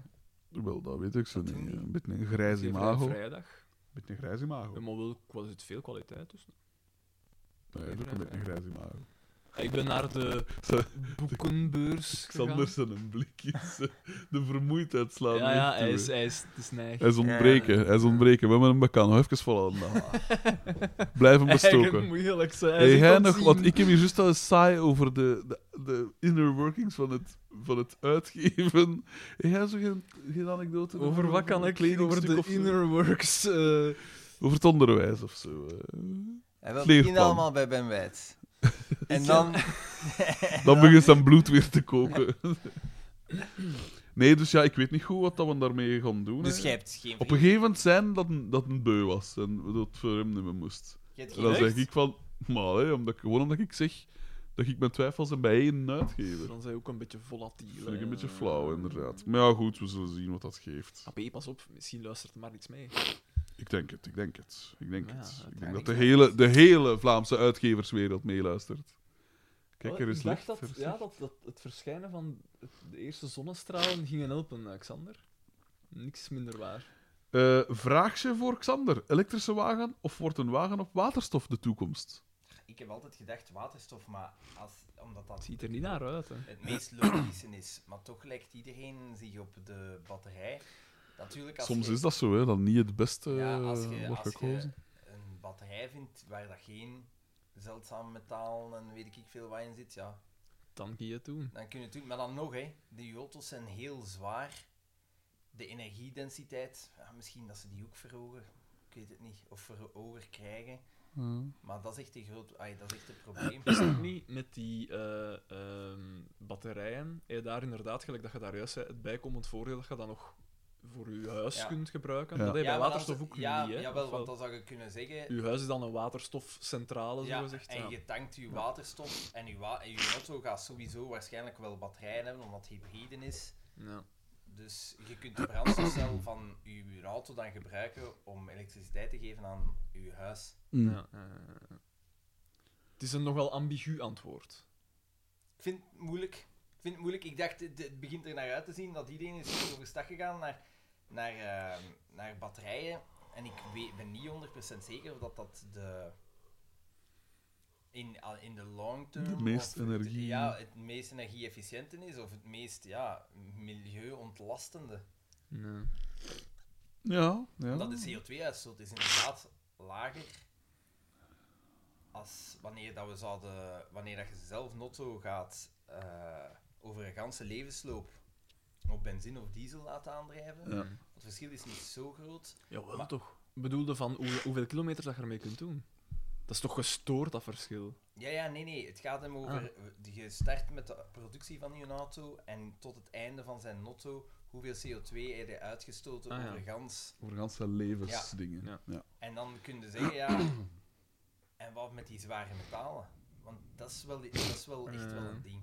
[SPEAKER 1] Wel, dat weet ik zo
[SPEAKER 4] Dat
[SPEAKER 1] niet.
[SPEAKER 4] niet.
[SPEAKER 1] Een beetje een grijs
[SPEAKER 2] Uitgeverij
[SPEAKER 1] imago. Een
[SPEAKER 2] vrijdag.
[SPEAKER 1] beetje een
[SPEAKER 4] Oh.
[SPEAKER 1] grijs imago.
[SPEAKER 3] dus- Ja, Maar wel, wat is het veel kwaliteit tussen?
[SPEAKER 1] Nee, dat is een beetje een grijs imago.
[SPEAKER 3] Ik ben naar de boekenbeurs gegaan.
[SPEAKER 1] Xander zijn een blikjes. De vermoeidheid slaan
[SPEAKER 3] Ja, ja, hij
[SPEAKER 1] niet
[SPEAKER 3] is,
[SPEAKER 1] toe. hè.
[SPEAKER 3] hij is, het is neig.
[SPEAKER 1] Hij is ontbreken, hij is ontbreken. We hebben hem bekend. Nog even volhouden. Blijven bestoken.
[SPEAKER 3] moeilijk zijn.
[SPEAKER 1] Hey, jij nog, want ik heb hier juist al een saai over de, de, de inner workings van het, van het uitgeven. Heb jij zo geen, geen anekdote?
[SPEAKER 3] Over wat kan
[SPEAKER 1] een
[SPEAKER 3] ik?
[SPEAKER 1] kledingstuk
[SPEAKER 3] Over de
[SPEAKER 1] of zo?
[SPEAKER 3] inner works. eh,
[SPEAKER 1] Over het onderwijs of zo. eh.
[SPEAKER 4] Hij wil
[SPEAKER 1] Vleerplan.
[SPEAKER 4] beginnen allemaal bij Ben Wijd. En dan...
[SPEAKER 1] Dan begint zijn bloed weer te koken. Nee, dus ja, ik weet niet goed wat dat we daarmee gaan doen.
[SPEAKER 4] Dus
[SPEAKER 1] hè.
[SPEAKER 4] jij hebt geen
[SPEAKER 1] Op een
[SPEAKER 4] vriend.
[SPEAKER 1] gegeven moment zijn dat een, dat een beu was en dat het voor hem niet meer moest.
[SPEAKER 4] Je hebt
[SPEAKER 1] En
[SPEAKER 4] geen
[SPEAKER 1] dan
[SPEAKER 4] vriend.
[SPEAKER 1] zeg ik van, maar hè, omdat, ik- gewoon omdat ik zeg dat ik mijn twijfels en bij één uitgeven.
[SPEAKER 3] dan zijn we ook een beetje
[SPEAKER 1] Dat
[SPEAKER 3] volatiel.
[SPEAKER 1] vind ik een
[SPEAKER 3] eh.
[SPEAKER 1] beetje flauw, inderdaad. Maar ja, goed, we zullen zien wat dat geeft.
[SPEAKER 3] AP, Ah, pas op, misschien luistert er maar iets mee.
[SPEAKER 1] Ik denk het, ik denk het. Ik denk
[SPEAKER 3] Ja,
[SPEAKER 1] het. Ik denk dat
[SPEAKER 4] uiteindelijk
[SPEAKER 1] de hele, de hele Vlaamse uitgeverswereld meeluistert. Kijk, er is
[SPEAKER 3] Oh,
[SPEAKER 1] licht.
[SPEAKER 3] ik dacht dat,
[SPEAKER 1] er is
[SPEAKER 3] ja,
[SPEAKER 1] licht.
[SPEAKER 3] dat, dat het verschijnen van de eerste zonnestralen gingen helpen, Alexander. Niks minder waar.
[SPEAKER 1] Eh, vraagje voor Xander. Elektrische wagen of wordt een wagen op waterstof de toekomst?
[SPEAKER 4] Ik heb altijd gedacht waterstof, maar als, omdat
[SPEAKER 3] Het
[SPEAKER 4] dat
[SPEAKER 3] ziet er niet naar uit, hè.
[SPEAKER 4] het meest logische is. Maar toch lijkt iedereen zich op de batterij. Natuurlijk, als
[SPEAKER 1] Soms
[SPEAKER 4] je,
[SPEAKER 1] is dat zo, hè, dat niet het beste
[SPEAKER 4] ja, als
[SPEAKER 1] eh,
[SPEAKER 4] je,
[SPEAKER 1] wordt
[SPEAKER 4] als je
[SPEAKER 1] gekozen.
[SPEAKER 4] een batterij vindt waar dat geen zeldzaam metaal en weet ik veel wat in zit, ja,
[SPEAKER 3] Dan kun je het doen.
[SPEAKER 4] dan kun je het doen. Maar dan nog, hè, de auto's zijn heel zwaar. De energiedensiteit, ja, misschien dat ze die ook verhogen. Ik weet het niet. Of verhoger krijgen.
[SPEAKER 1] Ja.
[SPEAKER 4] Maar dat is echt een groot... ai, dat is echt een probleem.
[SPEAKER 3] Is het niet met die eh, ehm, batterijen, je daar inderdaad, gelijk dat je daar juist zei, het bijkomend voordeel dat je dan nog voor je huis
[SPEAKER 4] Ja.
[SPEAKER 3] kunt gebruiken.
[SPEAKER 1] Ja.
[SPEAKER 3] Dat heb je bij
[SPEAKER 4] maar
[SPEAKER 3] waterstof
[SPEAKER 4] dan-
[SPEAKER 3] ook
[SPEAKER 4] ja,
[SPEAKER 3] niet, hè.
[SPEAKER 4] Jawel,
[SPEAKER 3] Ofwel,
[SPEAKER 4] want dan zou je kunnen zeggen...
[SPEAKER 3] Je huis is dan een waterstofcentrale,
[SPEAKER 4] Ja,
[SPEAKER 3] zogezegd.
[SPEAKER 4] en je tankt je waterstof en je, wa en je auto gaat sowieso waarschijnlijk wel batterijen hebben, omdat het hybride is.
[SPEAKER 3] Ja.
[SPEAKER 4] Dus je kunt de brandstofcel van je auto dan gebruiken om elektriciteit te geven aan je huis.
[SPEAKER 1] Mm.
[SPEAKER 3] Ja, ja, ja, ja. Het is een nogal ambigu antwoord.
[SPEAKER 4] Ik vind het moeilijk. Ik vind het moeilijk. Ik dacht, het, het begint er naar uit te zien dat iedereen is overstag gegaan naar, naar, eh, naar batterijen. En ik weet, ben niet 100% zeker of dat dat de... In, al- in de long term...
[SPEAKER 1] De meest
[SPEAKER 4] of het-
[SPEAKER 1] energie-
[SPEAKER 4] ja, het meest energie-efficiënte is of het meest ja, milieu-ontlastende.
[SPEAKER 3] Nee.
[SPEAKER 1] Ja, ja.
[SPEAKER 4] Dat de CO2-uitstoot is dus inderdaad lager als wanneer dat we zouden, wanneer dat je zelf notto gaat eh, over een ganse levensloop op benzine of diesel laten aandrijven.
[SPEAKER 1] Ja.
[SPEAKER 4] Het verschil is niet zo groot.
[SPEAKER 3] Jawel,
[SPEAKER 4] Maar-
[SPEAKER 3] toch? Ik bedoelde van hoe- hoeveel kilometers dat je ermee kunt doen. Dat is toch gestoord, dat verschil?
[SPEAKER 4] Ja, ja, nee, nee. Het gaat hem over.
[SPEAKER 3] Ah.
[SPEAKER 4] eh, Je start met de productie van je auto en tot het einde van zijn notto. Hoeveel CO2 heb je uitgestoten
[SPEAKER 3] Ah, ja.
[SPEAKER 4] over gans?
[SPEAKER 1] Over ganse levensdingen.
[SPEAKER 3] Ja.
[SPEAKER 1] Ja.
[SPEAKER 4] En dan kun je zeggen, ja, en wat met die zware metalen? Want dat is wel, dat is wel echt wel een ding.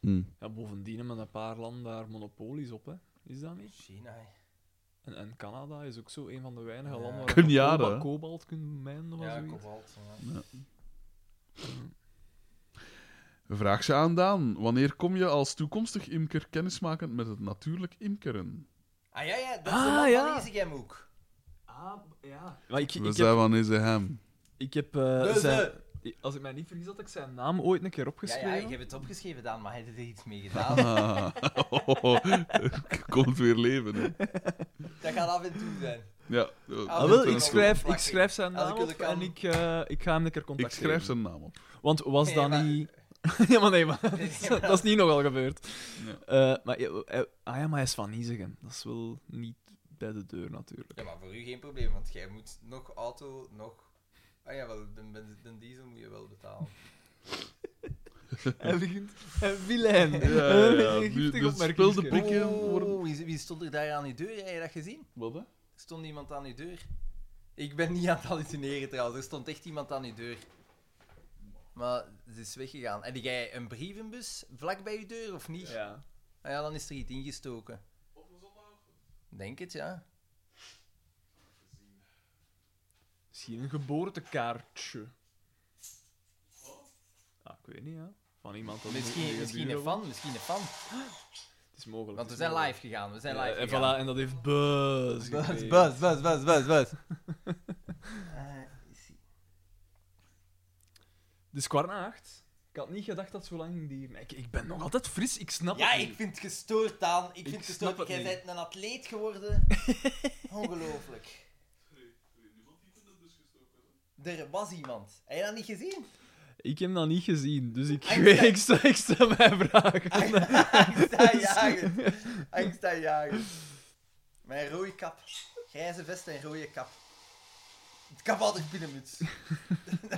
[SPEAKER 1] Mm.
[SPEAKER 3] Ja, bovendien hebben een paar landen daar monopolies op, hè? Is dat niet?
[SPEAKER 4] China, hè.
[SPEAKER 3] En, en Canada is ook zo een van de weinige
[SPEAKER 4] Ja.
[SPEAKER 3] landen waar je
[SPEAKER 1] Kenyatta,
[SPEAKER 3] koba-
[SPEAKER 1] hè?
[SPEAKER 3] kobalt kunt mijnen of
[SPEAKER 4] ja,
[SPEAKER 3] zoiets.
[SPEAKER 4] kobalt. ja.
[SPEAKER 1] Vraag ze aan Daan. Wanneer kom je als toekomstig imker kennismakend met het natuurlijk imkeren?
[SPEAKER 4] Ah ja, ja, dat is
[SPEAKER 3] Ah,
[SPEAKER 4] ah, de
[SPEAKER 3] ja.
[SPEAKER 4] ja. lees ik hem ook.
[SPEAKER 3] Ah, ja. Maar ik,
[SPEAKER 1] We
[SPEAKER 3] ik
[SPEAKER 1] zijn
[SPEAKER 3] heb...
[SPEAKER 1] van deze hem.
[SPEAKER 3] Ik heb eh,
[SPEAKER 4] Dus,
[SPEAKER 3] zijn- Als ik mij niet vergis, had ik zijn naam ooit een keer
[SPEAKER 4] Ja,
[SPEAKER 3] opgeschreven.
[SPEAKER 4] ja, ik heb het opgeschreven, Daan, maar hij heeft er iets mee gedaan.
[SPEAKER 1] Ah. Komt weer leven. Hè.
[SPEAKER 4] dat gaat af en toe zijn.
[SPEAKER 1] Ja.
[SPEAKER 4] Ah,
[SPEAKER 3] Ah,
[SPEAKER 4] Dat
[SPEAKER 3] wel,
[SPEAKER 4] is
[SPEAKER 3] ik,
[SPEAKER 4] een
[SPEAKER 3] schrijf, ik
[SPEAKER 4] opplakking.
[SPEAKER 3] schrijf zijn
[SPEAKER 4] Als
[SPEAKER 3] naam
[SPEAKER 4] ik
[SPEAKER 3] op
[SPEAKER 4] het kan.
[SPEAKER 3] en ik, eh, ik ga hem een keer
[SPEAKER 1] Ik
[SPEAKER 3] contacteren.
[SPEAKER 1] schrijf zijn naam op.
[SPEAKER 3] Want was
[SPEAKER 4] Nee,
[SPEAKER 3] dat
[SPEAKER 4] maar-
[SPEAKER 3] niet... ja, maar nee, maar,
[SPEAKER 4] Nee, maar-
[SPEAKER 3] dat is niet nogal gebeurd.
[SPEAKER 1] Nee.
[SPEAKER 3] Eh, maar, ja, eh, ah ja, maar hij is van Niezegem. Dat is wel niet bij de deur, natuurlijk.
[SPEAKER 4] Ja, maar voor u geen probleem, want jij moet nog auto, nog... Ah ja, wel, de, de, de diesel moet je wel betalen.
[SPEAKER 3] Hij begint... Hij Wilijn. Ja,
[SPEAKER 1] ja, ja.
[SPEAKER 3] Een
[SPEAKER 1] Nu-
[SPEAKER 3] giftige
[SPEAKER 1] dus
[SPEAKER 3] opmerking.
[SPEAKER 1] speel de prik. Dikke woorden.
[SPEAKER 4] Oh, wie, wie stond er daar aan uw deur? Heb je dat gezien?
[SPEAKER 1] Wat, hè?
[SPEAKER 4] Er stond iemand aan uw deur. Ik ben niet aan het hallucineren trouwens, er stond echt iemand aan uw deur. Maar ze is weggegaan. Heb jij een brievenbus vlak bij je deur of niet?
[SPEAKER 3] Ja.
[SPEAKER 4] Ah ja, dan is er iets ingestoken. Op een zondag? Denk het, ja.
[SPEAKER 3] Misschien een geboortekaartje. Ah, ik weet niet, ja. Van iemand dat
[SPEAKER 4] Misschien,
[SPEAKER 3] die-
[SPEAKER 4] misschien
[SPEAKER 3] die-
[SPEAKER 4] een fan, misschien een fan.
[SPEAKER 3] Het is mogelijk.
[SPEAKER 4] Want we
[SPEAKER 3] het is
[SPEAKER 4] zijn
[SPEAKER 3] mogelijk.
[SPEAKER 4] live gegaan, we zijn
[SPEAKER 3] Ja,
[SPEAKER 4] live
[SPEAKER 3] en
[SPEAKER 4] gegaan.
[SPEAKER 3] voilà, en dat heeft buzz.
[SPEAKER 4] Buzz,
[SPEAKER 3] gekregen.
[SPEAKER 4] buzz, buzz, buzz, buzz, buzz. Eh, is-
[SPEAKER 3] Dus kwart na acht. Ik had niet gedacht dat zo lang die... Maar Ik, ik ben nog altijd fris, ik snap
[SPEAKER 4] Ja,
[SPEAKER 3] het niet.
[SPEAKER 4] ik vind het gestoord, Daan. Ik, vind
[SPEAKER 3] snap
[SPEAKER 4] het gestoord.
[SPEAKER 3] het
[SPEAKER 4] Jij
[SPEAKER 3] niet.
[SPEAKER 4] bent een atleet geworden. Ongelooflijk. Er was iemand. Heb je dat niet gezien?
[SPEAKER 3] Ik heb dat niet gezien, dus ik, Ah,
[SPEAKER 4] Einstein.
[SPEAKER 3] weet, ik, stel, ik stel mij vragen.
[SPEAKER 4] Angstaanjagend. Angstaanjagend. Mijn rode kap. Grijze vest en rode kap. Het kap had een pinnenmuts. dat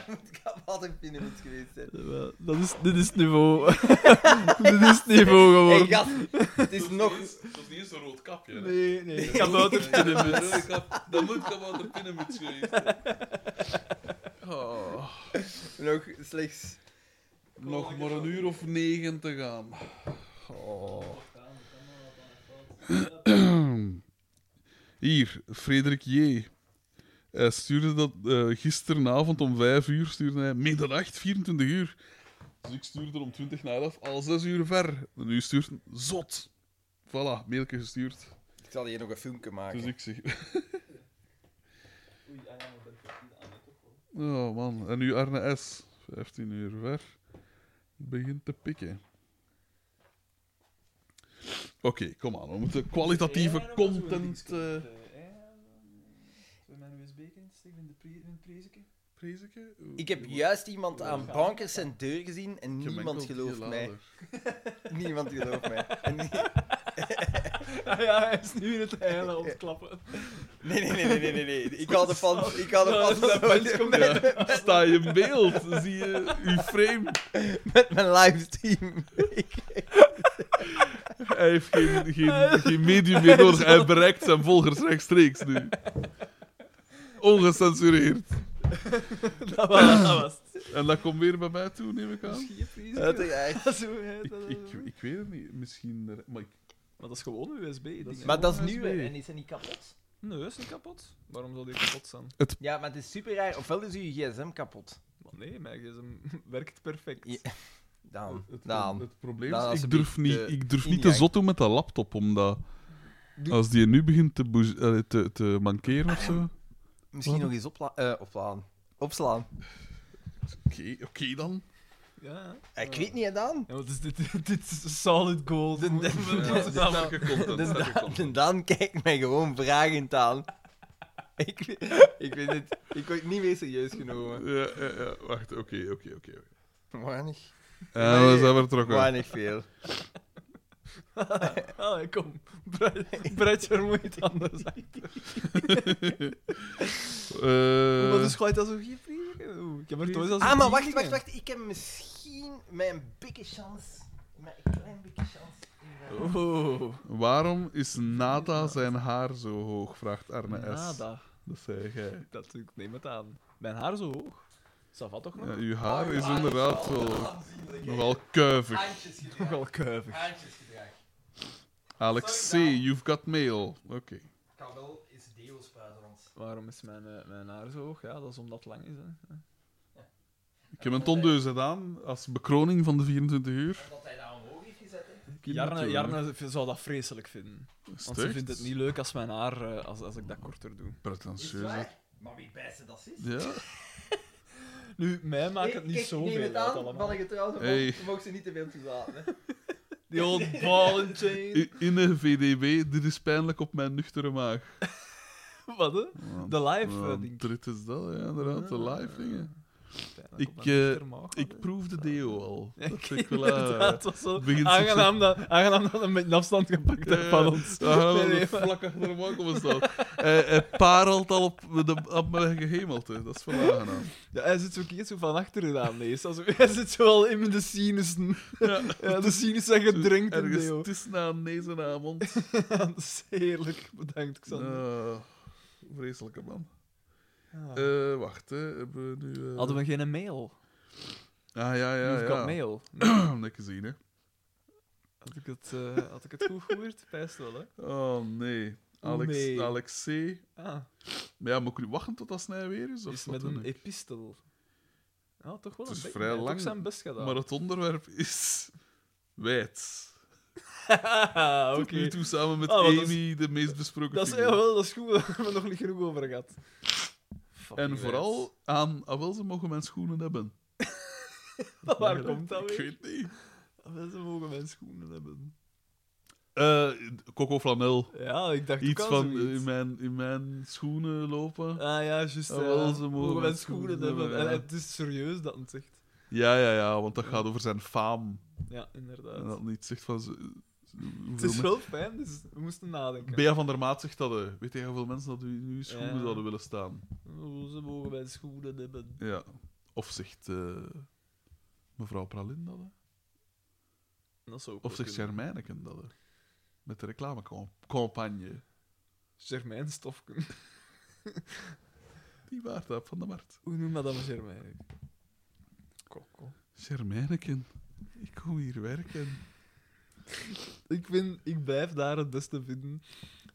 [SPEAKER 4] moet het kap had een pinnenmuts geweest zijn.
[SPEAKER 3] Wel, Dat is, dit is het niveau. dit is het niveau
[SPEAKER 4] Hey,
[SPEAKER 3] geworden.
[SPEAKER 4] gast. Het is
[SPEAKER 1] Dat
[SPEAKER 4] nog...
[SPEAKER 1] niet- Dat is niet eens een rood kapje. hè.
[SPEAKER 3] Nee, nee. ah, Ik
[SPEAKER 1] Dat
[SPEAKER 3] had
[SPEAKER 1] moet
[SPEAKER 3] louter
[SPEAKER 1] een
[SPEAKER 3] pinnenmuts.
[SPEAKER 1] rode kap- Dat moet kabouter pinnenmuts geweest zijn. Oh,
[SPEAKER 4] Nog slechts...
[SPEAKER 1] nog maar een uur of negen te gaan. Oh. Hier, Frederik J. Hij stuurde dat eh, gisteravond om 5 uur, stuurde hij middernacht, 24 uur. Dus ik stuurde er om 20 na 11, al 6 uur ver. En u stuurt een zot. Voilà, mailtje gestuurd.
[SPEAKER 4] Ik zal hier nog een filmpje maken.
[SPEAKER 1] Dus ik zeg.
[SPEAKER 3] ah,
[SPEAKER 1] Oh man, en nu Arne S. 15 uur ver. Begint te pikken. Oké, kom aan. We moeten kwalitatieve content. eh,
[SPEAKER 3] Mijn USB-kind steken in de prijzen.
[SPEAKER 1] Prees ik je?
[SPEAKER 4] Ik heb juist iemand aan bankers en deur gezien en niemand
[SPEAKER 1] Gemengeld
[SPEAKER 4] gelooft mij.
[SPEAKER 1] gelader.
[SPEAKER 4] Niemand gelooft mij. En nie-
[SPEAKER 3] Ah ja, hij is nu in het heilen ontklappen.
[SPEAKER 4] Nee, nee, nee, nee, nee, nee, nee. Ik had ervan... Ik had
[SPEAKER 3] Ja,
[SPEAKER 4] ervan...
[SPEAKER 3] dat mens komt
[SPEAKER 4] Met,
[SPEAKER 1] Ja, sta je in beeld, zie je uw frame.
[SPEAKER 4] met mijn livestream.
[SPEAKER 1] Hij heeft geen, geen, geen medium meer nodig. Hij bereikt zijn volgers rechtstreeks nu. Ongecensureerd.
[SPEAKER 3] Dat was, dat was het.
[SPEAKER 1] En dat komt weer bij mij toe, neem ik aan.
[SPEAKER 3] Zie je prijzen?
[SPEAKER 4] Uiteraard.
[SPEAKER 3] Zo, hè,
[SPEAKER 1] Ik,
[SPEAKER 3] dat-
[SPEAKER 1] ik, ik weet het niet. Misschien. er- Maar ik,
[SPEAKER 3] Maar dat is gewoon een USB. ding, hè.
[SPEAKER 4] Maar dat is
[SPEAKER 1] USB.
[SPEAKER 4] nieuw hè, en is dat niet kapot?
[SPEAKER 3] Nee, dat is niet kapot. Waarom zou die kapot zijn?
[SPEAKER 4] Ja, maar het is super raar. Ofwel is uw gsm kapot.
[SPEAKER 3] Maar nee, mijn gsm werkt perfect.
[SPEAKER 4] Ja.
[SPEAKER 3] Oh,
[SPEAKER 4] Daan,
[SPEAKER 1] het,
[SPEAKER 4] Daan.
[SPEAKER 1] het probleem
[SPEAKER 4] Daan,
[SPEAKER 1] is, Dus ik
[SPEAKER 4] alsjeblieft,
[SPEAKER 1] durf niet,
[SPEAKER 4] eh,
[SPEAKER 1] ik durf niet te
[SPEAKER 4] ingang.
[SPEAKER 1] zot doen met dat laptop, omdat
[SPEAKER 4] Doe-
[SPEAKER 1] als die nu begint te, boez- eh, te, te mankeren of zo.
[SPEAKER 4] Misschien
[SPEAKER 1] Wat?
[SPEAKER 4] nog eens opla eh, oplaan. Opslaan.
[SPEAKER 1] Oké, oké dan.
[SPEAKER 3] Ja.
[SPEAKER 4] Ik weet niet, hè, Daan.
[SPEAKER 3] Ja, wat is dit? dit is solid gold.
[SPEAKER 4] De, de, de, Daan- de Dus Daan, de Daan kijkt mij gewoon vragend aan. Ik, weet- ik weet het. Ik word niet meer serieus genomen.
[SPEAKER 1] Ja, ja, ja, wacht, oké, oké, oké. oké.
[SPEAKER 4] Weinig.
[SPEAKER 1] Ja, we zijn vertrokken.
[SPEAKER 4] Weinig veel.
[SPEAKER 3] Allee, Ah, kom. Brad- Brad, je moet anders uit.
[SPEAKER 1] Eh,
[SPEAKER 3] Wat is gelijk dus dat zo'n gegeven? Ik heb er nooit als
[SPEAKER 4] Ah, maar wacht, wacht, wacht. Ik heb misschien mijn dikke chance. Mijn klein dikke chance.
[SPEAKER 3] Oh,
[SPEAKER 1] Waarom is Nada zijn haar zo hoog? Vraagt Arne S.
[SPEAKER 3] nada.
[SPEAKER 1] Dat zei jij.
[SPEAKER 3] Ah, Dat ik neem het aan. Mijn haar zo hoog. Savat toch nog?
[SPEAKER 1] Ja, uw haar is inderdaad wel nogal kuivig.
[SPEAKER 4] Handjes gedrag.
[SPEAKER 1] Oh.
[SPEAKER 3] Nogal kuivig.
[SPEAKER 4] Handjes gedrag.
[SPEAKER 1] Alex C,
[SPEAKER 4] Sorry, Daan.
[SPEAKER 1] you've got mail. Oké.
[SPEAKER 4] Ik kan wel eens deo spuiten, want...
[SPEAKER 3] Waarom is mijn, eh, mijn haar zo hoog? Ja, dat is omdat het lang is. Hè.
[SPEAKER 1] Ik heb een tondeus gedaan als bekroning van de 24 uur.
[SPEAKER 4] Omdat hij daar omhoog heeft gezet, hè.
[SPEAKER 3] Jarne,
[SPEAKER 1] natuurlijk.
[SPEAKER 3] Jarne v- zou dat vreselijk vinden. Want ze
[SPEAKER 1] Echt?
[SPEAKER 3] vindt het niet leuk als mijn haar, eh, als, als ik dat korter doe.
[SPEAKER 4] Is
[SPEAKER 1] Pretentieus.
[SPEAKER 4] het
[SPEAKER 1] hè?
[SPEAKER 4] waar? Maar wie bijste dat is?
[SPEAKER 1] Ja.
[SPEAKER 3] Nu, mij maakt het
[SPEAKER 4] Ik-
[SPEAKER 3] niet
[SPEAKER 4] ik
[SPEAKER 3] zoveel
[SPEAKER 4] neem het
[SPEAKER 3] uit
[SPEAKER 4] aan,
[SPEAKER 3] allemaal.
[SPEAKER 4] van een getrouwde man.
[SPEAKER 1] Hey.
[SPEAKER 4] Je mag ze niet te veel toelaten, hè.
[SPEAKER 3] Die old ball and chain.
[SPEAKER 1] I- In een VDB, dit is pijnlijk op mijn nuchtere maag.
[SPEAKER 3] Wat, hè? De live, eh,
[SPEAKER 1] Want
[SPEAKER 3] ding. Ah,
[SPEAKER 1] Dit is dat, ja, inderdaad, de live dingen.
[SPEAKER 3] Pijnlijk
[SPEAKER 1] Ik,
[SPEAKER 3] op mijn
[SPEAKER 1] eh,
[SPEAKER 3] rechtermaag, hè.
[SPEAKER 1] Ik eh, proef de deo al.
[SPEAKER 3] Ja,
[SPEAKER 1] Dat
[SPEAKER 3] ik-
[SPEAKER 1] vind ik wel
[SPEAKER 3] inderdaad,
[SPEAKER 1] aan.
[SPEAKER 3] het was wel
[SPEAKER 1] Begint
[SPEAKER 3] aangenaam dat, aangenaam dat een beetje afstand
[SPEAKER 1] Eh,
[SPEAKER 3] gepakt hebt van ons.
[SPEAKER 1] Ja, ja,
[SPEAKER 3] Nee,
[SPEAKER 1] dat
[SPEAKER 3] nee,
[SPEAKER 1] is vlak achter de maak op staan. Hij, hij parelt al op, de, op mijn gehemelte. Dat is wel aangenaam.
[SPEAKER 3] Ja, hij zit zo keer zo van achteraan leest. Also, hij zit zo al in de sinussen. Ja, de sinussen gedrinkt in
[SPEAKER 1] Ergens
[SPEAKER 3] Deo.
[SPEAKER 1] tussen aan neus en aan mond.
[SPEAKER 3] Dat is heerlijk. Bedankt, Xander.
[SPEAKER 1] Ah, vreselijke man.
[SPEAKER 3] Ah.
[SPEAKER 1] Eh, wacht, hè. Hebben we nu... eh,
[SPEAKER 3] Hadden we geen mail?
[SPEAKER 1] Ah, ja, ja,
[SPEAKER 3] You've got
[SPEAKER 1] ja.
[SPEAKER 3] mail.
[SPEAKER 1] Net gezien, hè.
[SPEAKER 3] Had ik het, eh, had ik het goed gehoord? Pijst wel, hè?
[SPEAKER 1] Oh, nee. Alex,
[SPEAKER 3] Nee.
[SPEAKER 1] Alex C.
[SPEAKER 3] Ah,
[SPEAKER 1] Maar ja, moet ik nu wachten tot dat snij weer is? Of
[SPEAKER 3] is
[SPEAKER 1] wat
[SPEAKER 3] met
[SPEAKER 1] dan
[SPEAKER 3] een E
[SPEAKER 1] ook?
[SPEAKER 3] epistel. Ja, toch wel
[SPEAKER 1] Het is
[SPEAKER 3] een beetje.
[SPEAKER 1] vrij
[SPEAKER 3] Hij heeft ook
[SPEAKER 1] lang,
[SPEAKER 3] zijn best gedaan.
[SPEAKER 1] Maar het onderwerp is... Wijd.
[SPEAKER 3] Haha,
[SPEAKER 1] Tot
[SPEAKER 3] Ah, Oké.
[SPEAKER 1] nu toe samen met
[SPEAKER 3] Ah, maar dat is-
[SPEAKER 1] Amy de meest besproken
[SPEAKER 3] Dat is,
[SPEAKER 1] figuur.
[SPEAKER 3] ja, wel, dat is goed, daar hebben we nog niet genoeg over gehad.
[SPEAKER 1] En vooral aan... Ah, wel, ze mogen mijn schoenen hebben.
[SPEAKER 3] Waar komt dat
[SPEAKER 1] Ik
[SPEAKER 3] weer? Ah,
[SPEAKER 1] weet niet.
[SPEAKER 3] Mensen mogen mijn schoenen hebben.
[SPEAKER 1] Eh Coco Flanel.
[SPEAKER 3] Ja, ik dacht
[SPEAKER 1] Iets
[SPEAKER 3] ook aan
[SPEAKER 1] van eh,
[SPEAKER 3] zoiets.
[SPEAKER 1] in mijn, in mijn schoenen lopen.
[SPEAKER 3] Ah ja, juist.
[SPEAKER 1] Ah,
[SPEAKER 3] ja.
[SPEAKER 1] wel, ze
[SPEAKER 3] mogen,
[SPEAKER 1] mogen
[SPEAKER 3] mijn
[SPEAKER 1] mijn
[SPEAKER 3] schoenen,
[SPEAKER 1] schoenen
[SPEAKER 3] hebben.
[SPEAKER 1] hebben,
[SPEAKER 3] En
[SPEAKER 1] ja.
[SPEAKER 3] het is serieus dat het zegt.
[SPEAKER 1] Ja, ja, ja, want dat gaat over zijn faam.
[SPEAKER 3] Ja, inderdaad.
[SPEAKER 1] En dat niet zegt van... ze- ze-
[SPEAKER 3] het
[SPEAKER 1] hoeveel
[SPEAKER 3] is wel fijn, dus we moesten nadenken.
[SPEAKER 1] Bea van der Maat zegt dat. eh, Weet je hoeveel mensen dat u nu schoenen
[SPEAKER 3] Ja.
[SPEAKER 1] zouden willen staan?
[SPEAKER 3] Oh, ze mogen mijn schoenen hebben.
[SPEAKER 1] Ja. Of zegt eh, mevrouw Pralin dat. hè?
[SPEAKER 10] Dat zou ook
[SPEAKER 1] Of
[SPEAKER 10] wel
[SPEAKER 1] zegt
[SPEAKER 10] kunnen.
[SPEAKER 1] Germijneken dat. hè? Met de reclamecampagne.
[SPEAKER 3] Germijn Stofken.
[SPEAKER 1] Die waard heb van de markt.
[SPEAKER 3] Hoe noemt madame Germijn? Kokko.
[SPEAKER 1] Germijneken. Ik kom hier werken.
[SPEAKER 3] Ik, vind, ik blijf daar het beste vinden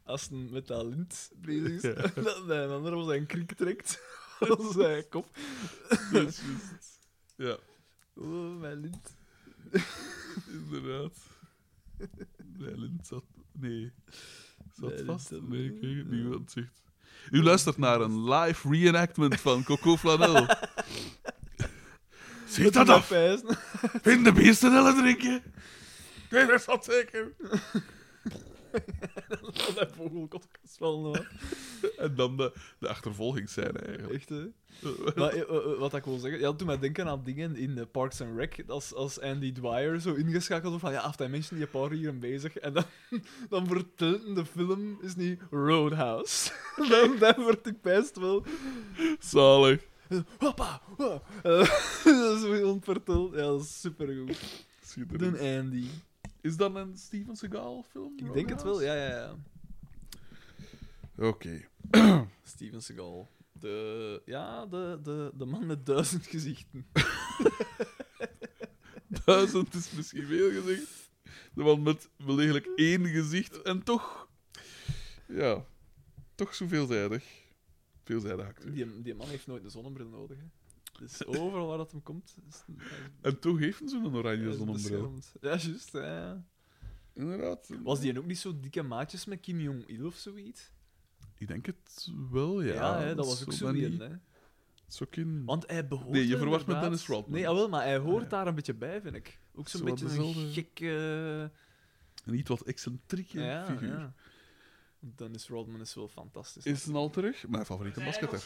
[SPEAKER 3] als een met dat lint bezig is. En dat een ander op zijn kriek trekt. Als zijn kop.
[SPEAKER 1] Dat is juist. Ja,
[SPEAKER 3] Oh, mijn lint.
[SPEAKER 1] inderdaad. Leilend zat... Nee. Zat
[SPEAKER 3] Leilend
[SPEAKER 1] vast?
[SPEAKER 3] zat-
[SPEAKER 1] Nee, ik weet het niet wat het zegt. U luistert naar een live reenactment van Coco Flanel. Ziet dat af!
[SPEAKER 3] Pijzen.
[SPEAKER 1] In de bierstadellen drinken. Nee, dat is dat zeker.
[SPEAKER 3] Dat vogelkot gespannen.
[SPEAKER 1] En dan de, de achtervolging zijn eigenlijk.
[SPEAKER 3] Echt, hè? Maar, eh, eh, eh, wat ik wil zeggen, ja, toen mij denken aan dingen in eh, Parks and Rec, als, als Andy Dwyer zo ingeschakeld wordt van ja, af die mensen die een paar uur bezig en dan, dan vertelt hem de film is niet Roadhouse. dan, dan word ik best wel
[SPEAKER 1] Zalig.
[SPEAKER 3] hoppa, hoppa. Eh, dat is weer ontverteld. Ja, dat is supergoed.
[SPEAKER 1] Schitterend.
[SPEAKER 3] De Andy.
[SPEAKER 1] Is dat een Steven Seagal film?
[SPEAKER 3] Ik denk het wel, ja, ja, ja.
[SPEAKER 1] Oké.
[SPEAKER 3] Steven Seagal. De, ja, de, de, de man met duizend gezichten.
[SPEAKER 1] Duizend is misschien veel gezegd. De man met wel degelijk één gezicht en toch... Ja. Toch zo veelzijdig. Veelzijdig acteur.
[SPEAKER 3] Die, die man heeft nooit een zonnebril nodig. Hè. Dus overal waar dat hem komt, is hij
[SPEAKER 1] En toch heeft hij zo'n
[SPEAKER 3] Ja,
[SPEAKER 1] oranje
[SPEAKER 3] is
[SPEAKER 1] zonnebril.
[SPEAKER 3] beschermd. Ja, juist. ja, ja.
[SPEAKER 1] Inderdaad.
[SPEAKER 3] Was die ook niet zo dikke maatjes met Kim Jong-il of zoiets?
[SPEAKER 1] Ik denk het wel, ja.
[SPEAKER 3] Ja, hè, dat was ook zo
[SPEAKER 1] dan
[SPEAKER 3] een,
[SPEAKER 1] niet-
[SPEAKER 3] hè.
[SPEAKER 1] Zo kin...
[SPEAKER 3] Want hij behoort
[SPEAKER 1] Nee, je verwacht met
[SPEAKER 3] inderdaad-
[SPEAKER 1] Dennis Rodman.
[SPEAKER 3] Nee, jawel, maar hij hoort
[SPEAKER 1] Ah, ja.
[SPEAKER 3] daar een beetje bij, vind ik. Ook zo'n
[SPEAKER 1] Zo
[SPEAKER 3] beetje
[SPEAKER 1] wat
[SPEAKER 3] een
[SPEAKER 1] dezelfde-
[SPEAKER 3] gekke...
[SPEAKER 1] Een niet wat excentrieke
[SPEAKER 3] ja,
[SPEAKER 1] figuur.
[SPEAKER 3] ja. Dennis Rodman is wel fantastisch.
[SPEAKER 1] Is een al terug? Mijn favoriete masketter.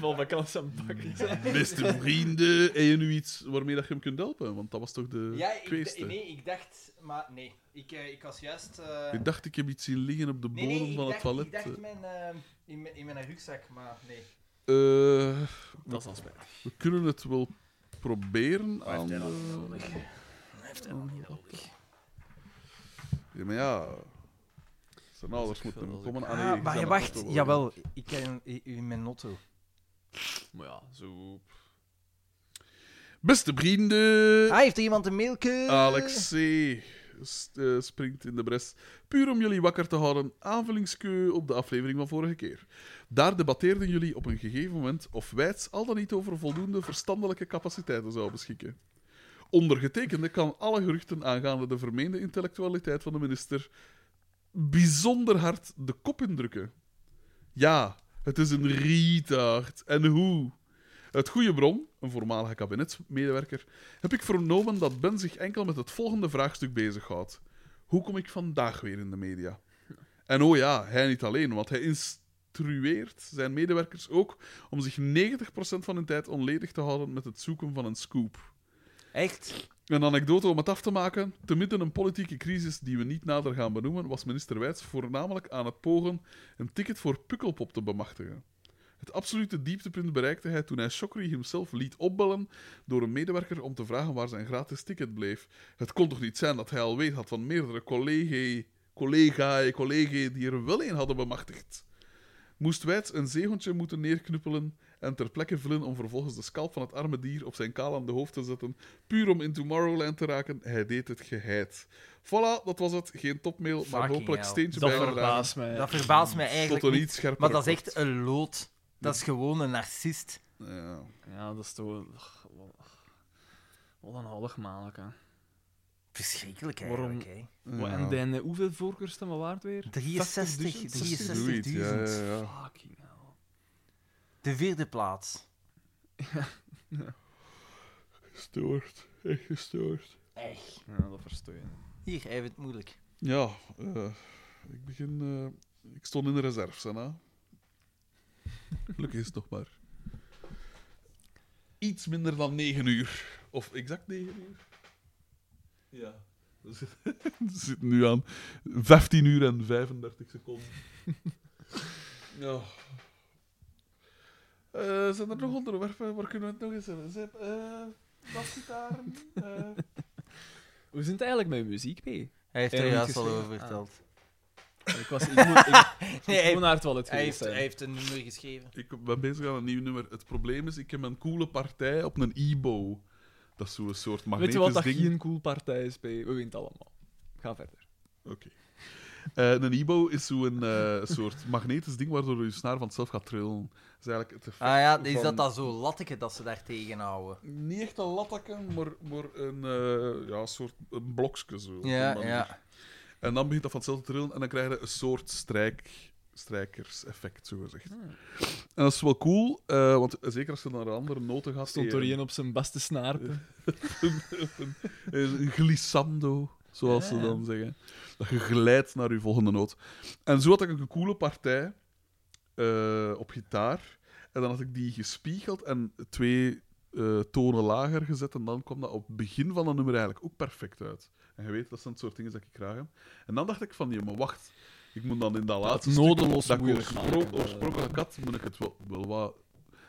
[SPEAKER 3] Wel, dat kan zijn bakken zijn.
[SPEAKER 1] Beste vrienden, heb je nu iets waarmee dat je hem kunt helpen? Want dat was toch de
[SPEAKER 4] Ja, ik, d-
[SPEAKER 1] kweeste?
[SPEAKER 4] nee, ik dacht... Maar nee, ik, eh, ik was juist... eh,
[SPEAKER 1] Ik dacht, ik heb iets zien liggen op de
[SPEAKER 4] nee,
[SPEAKER 1] bodem
[SPEAKER 4] nee, ik
[SPEAKER 1] van het
[SPEAKER 4] dacht,
[SPEAKER 1] toilet.
[SPEAKER 4] ik dacht mijn, eh, in, mijn- in mijn rugzak, maar nee.
[SPEAKER 1] Eh,
[SPEAKER 3] Dat is dan spijtig.
[SPEAKER 1] we kunnen het wel proberen aan... eh,
[SPEAKER 4] hij dat
[SPEAKER 1] de-
[SPEAKER 4] nodig? heeft helemaal niet nodig.
[SPEAKER 1] Ja, maar ja... Zijn ouders moeten hem komen. Ah, nee, zijn
[SPEAKER 4] maar je
[SPEAKER 1] ouders
[SPEAKER 4] wacht,
[SPEAKER 1] toch wel.
[SPEAKER 4] jawel, ik ken u in mijn notto.
[SPEAKER 3] Maar ja, zo...
[SPEAKER 1] Beste vrienden,
[SPEAKER 4] Ah, heeft er iemand een mailke?
[SPEAKER 1] Alex C. s- eh, springt in de bres. Puur om jullie wakker te houden, aanvullingskeu op de aflevering van vorige keer. Daar debatteerden jullie op een gegeven moment of Wijts al dan niet over voldoende verstandelijke capaciteiten zou beschikken. Ondergetekende kan alle geruchten aangaande de vermeende intellectualiteit van de minister bijzonder hard de kop indrukken. Ja, het is een retard. En hoe? Het goede bron, een voormalige kabinetsmedewerker, heb ik vernomen dat Ben zich enkel met het volgende vraagstuk bezighoudt. Hoe kom ik vandaag weer in de media? En oh ja, hij niet alleen, want hij instrueert zijn medewerkers ook om zich 90% van hun tijd onledig te houden met het zoeken van een scoop.
[SPEAKER 4] Echt?
[SPEAKER 1] Een anekdote om het af te maken. Te midden een politieke crisis die we niet nader gaan benoemen, was minister Wijts voornamelijk aan het pogen een ticket voor Pukkelpop te bemachtigen. Het absolute dieptepunt bereikte hij toen hij Chokri hemzelf liet opbellen door een medewerker om te vragen waar zijn gratis ticket bleef. Het kon toch niet zijn dat hij al weet had van meerdere collegae, collegae, collegae die er wel een hadden bemachtigd. Moest Wijts een zeehondje moeten neerknuppelen en ter plekke vullen om vervolgens de scalp van het arme dier op zijn kaal aan de hoofd te zetten puur om in Tomorrowland te raken. Hij deed het geheid. Voilà, dat was het. Geen topmail, maar
[SPEAKER 4] Fucking
[SPEAKER 1] hopelijk
[SPEAKER 4] hell.
[SPEAKER 1] steentje
[SPEAKER 3] Dat
[SPEAKER 1] bijgedragen
[SPEAKER 3] verbaast mij.
[SPEAKER 4] Dat verbaast mij
[SPEAKER 1] Tot
[SPEAKER 4] eigenlijk
[SPEAKER 1] een
[SPEAKER 4] niet,
[SPEAKER 1] iets scherper.
[SPEAKER 4] Maar dat is echt een lood. Dat is gewoon een narcist.
[SPEAKER 1] Ja.
[SPEAKER 3] Ja, dat is toch... ach, wat- Wat een hallig mannelijk, hè.
[SPEAKER 4] Verschrikkelijk
[SPEAKER 3] Waarom-
[SPEAKER 4] eigenlijk, hè.
[SPEAKER 3] Wat,
[SPEAKER 1] Ja.
[SPEAKER 3] En dan, eh, hoeveel voorkeurstemmen waard weer?
[SPEAKER 4] 63,
[SPEAKER 3] 80.000?
[SPEAKER 4] 63.000.
[SPEAKER 1] Zoiets, ja, ja, ja.
[SPEAKER 3] Fucking hell.
[SPEAKER 4] De vierde plaats.
[SPEAKER 1] Gestoord. Echt gestoord.
[SPEAKER 9] Echt.
[SPEAKER 2] Ja, dat verstoor je.
[SPEAKER 9] Hier, hij heeft het moeilijk.
[SPEAKER 1] Ja, eh, ik begin... eh, ik stond in de reserve, Senna. Gelukkig is het nog maar. Iets minder dan negen uur. Of exact negen uur. Ja. We zitten- we zitten nu aan 15 uur en 35 seconden. ja. Eh, zijn er nog onderwerpen? Waar kunnen we het nog eens hebben? Zip, eh basgitaren, eh,
[SPEAKER 2] Hoe zit het eigenlijk met muziek mee?
[SPEAKER 4] Hij heeft
[SPEAKER 2] Hij
[SPEAKER 4] er
[SPEAKER 2] heeft
[SPEAKER 4] juist al
[SPEAKER 2] geschreven.
[SPEAKER 4] over verteld.
[SPEAKER 9] Ah.
[SPEAKER 2] Ik was ik moet, ik, ik
[SPEAKER 4] Nee, hij-
[SPEAKER 2] moet naar het toilet
[SPEAKER 9] Hij
[SPEAKER 2] geweest
[SPEAKER 9] heeft, hij
[SPEAKER 2] zijn.
[SPEAKER 9] heeft een nummer geschreven.
[SPEAKER 1] Ik ben bezig aan een nieuw nummer. Het probleem is, ik heb een coole partij op een e-bow. Dat is zo'n soort
[SPEAKER 2] Weet
[SPEAKER 1] magnetisch
[SPEAKER 2] je wat dat
[SPEAKER 1] ding.
[SPEAKER 2] geen cool partij is, P? We wint allemaal. Ga verder.
[SPEAKER 1] Oké. Eh, een e-bow is zo'n eh, soort magnetisch ding waardoor je snaar vanzelf gaat trillen. Dat is eigenlijk het effect
[SPEAKER 4] Ah ja, is
[SPEAKER 1] van-
[SPEAKER 4] dat dat zo latteke dat ze daar tegenhouden?
[SPEAKER 1] Niet echt een lattakken, maar, maar een eh, ja, soort een blokje zo. op
[SPEAKER 4] Ja,
[SPEAKER 1] een manier.
[SPEAKER 4] ja.
[SPEAKER 1] En dan begint dat vanzelf te trillen en dan krijg je een soort strijk, strijkers-effect, zogezegd.
[SPEAKER 2] Hmm.
[SPEAKER 1] En dat is wel cool, eh, want zeker als je naar andere noten gaat...
[SPEAKER 2] Stond
[SPEAKER 1] die-
[SPEAKER 2] er één op zijn beste snaarpen.
[SPEAKER 1] Een Eh, glissando, zoals ze dan zeggen. Dat je glijdt naar je volgende noot. En zo had ik een coole partij eh, op gitaar. En dan had ik die gespiegeld en twee eh, tonen lager gezet. En dan kwam dat op het begin van dat nummer eigenlijk ook perfect uit. En je weet, dat zijn het soort dingen dat ik graag heb. En dan dacht ik van, ja, maar wacht. Ik moet dan in dat laatste stuk,
[SPEAKER 2] nodeloos
[SPEAKER 1] dat ik
[SPEAKER 2] moeilijk
[SPEAKER 1] oorspro-
[SPEAKER 2] maken.
[SPEAKER 1] oorspronkelijke kat, moet ik het wel, wel wat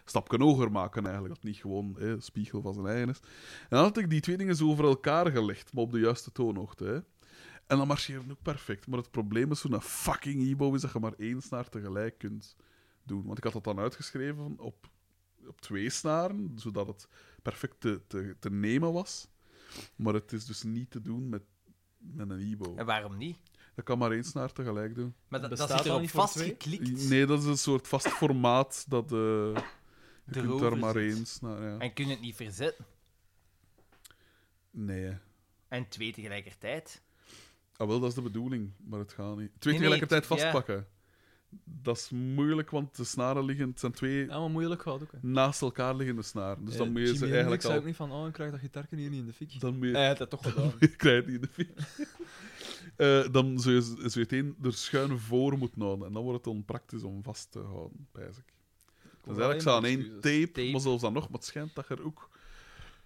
[SPEAKER 1] stapken hoger maken eigenlijk. Dat het niet gewoon hè, spiegel van zijn eigen is. En dan had ik die twee dingen zo over elkaar gelegd, maar op de juiste toonhoogte. Hè. En dan marcheerde ook perfect. Maar het probleem is zo'n fucking e-bow is dat je maar één snaar tegelijk kunt doen. Want ik had dat dan uitgeschreven op, op twee snaren, zodat het perfect te, te, te nemen was. Maar het is dus niet te doen met, met een e-bow.
[SPEAKER 4] En waarom niet?
[SPEAKER 1] Dat kan maar één snaar tegelijk doen.
[SPEAKER 4] Maar dat, dat
[SPEAKER 2] Bestaat
[SPEAKER 4] zit
[SPEAKER 2] dat
[SPEAKER 4] erop
[SPEAKER 2] niet voor
[SPEAKER 4] vastgeklikt.
[SPEAKER 1] Nee, dat is een soort vast formaat dat... eh je kunt
[SPEAKER 4] Erover
[SPEAKER 1] daar maar
[SPEAKER 4] zit.
[SPEAKER 1] één snaar... Ja.
[SPEAKER 4] En kun je het niet verzetten.
[SPEAKER 1] Nee, hè.
[SPEAKER 4] En twee tegelijkertijd.
[SPEAKER 1] Ah, wel, dat is de bedoeling, maar het gaat niet. Twee
[SPEAKER 4] Nee, nee,
[SPEAKER 1] tegelijkertijd
[SPEAKER 4] ja.
[SPEAKER 1] vastpakken. Dat is moeilijk, want de snaren liggen... Het zijn twee
[SPEAKER 2] Ja, maar moeilijk gaat ook. Hè.
[SPEAKER 1] naast elkaar liggende snaren. Dus dan
[SPEAKER 2] Eh,
[SPEAKER 1] moet je
[SPEAKER 2] Jimi
[SPEAKER 1] ze
[SPEAKER 2] Hendrix
[SPEAKER 1] eigenlijk
[SPEAKER 2] zei
[SPEAKER 1] al...
[SPEAKER 2] ook niet van, oh, ik krijg dat gitaarken hier niet in de fik.
[SPEAKER 1] Dan moet je...
[SPEAKER 4] Eh,
[SPEAKER 2] Hij had dat toch gedaan.
[SPEAKER 1] Ik krijg het niet in de fik. Eh, dan zul je, zul je het een er schuin voor moeten houden. En dan wordt het onpraktisch om vast te houden, pijs ik. Dus eigenlijk
[SPEAKER 2] alleen
[SPEAKER 1] staan
[SPEAKER 2] maar
[SPEAKER 1] één
[SPEAKER 2] excuses.
[SPEAKER 1] tape,
[SPEAKER 4] Tape.
[SPEAKER 1] maar zelfs dan nog, maar het schijnt dat je er ook...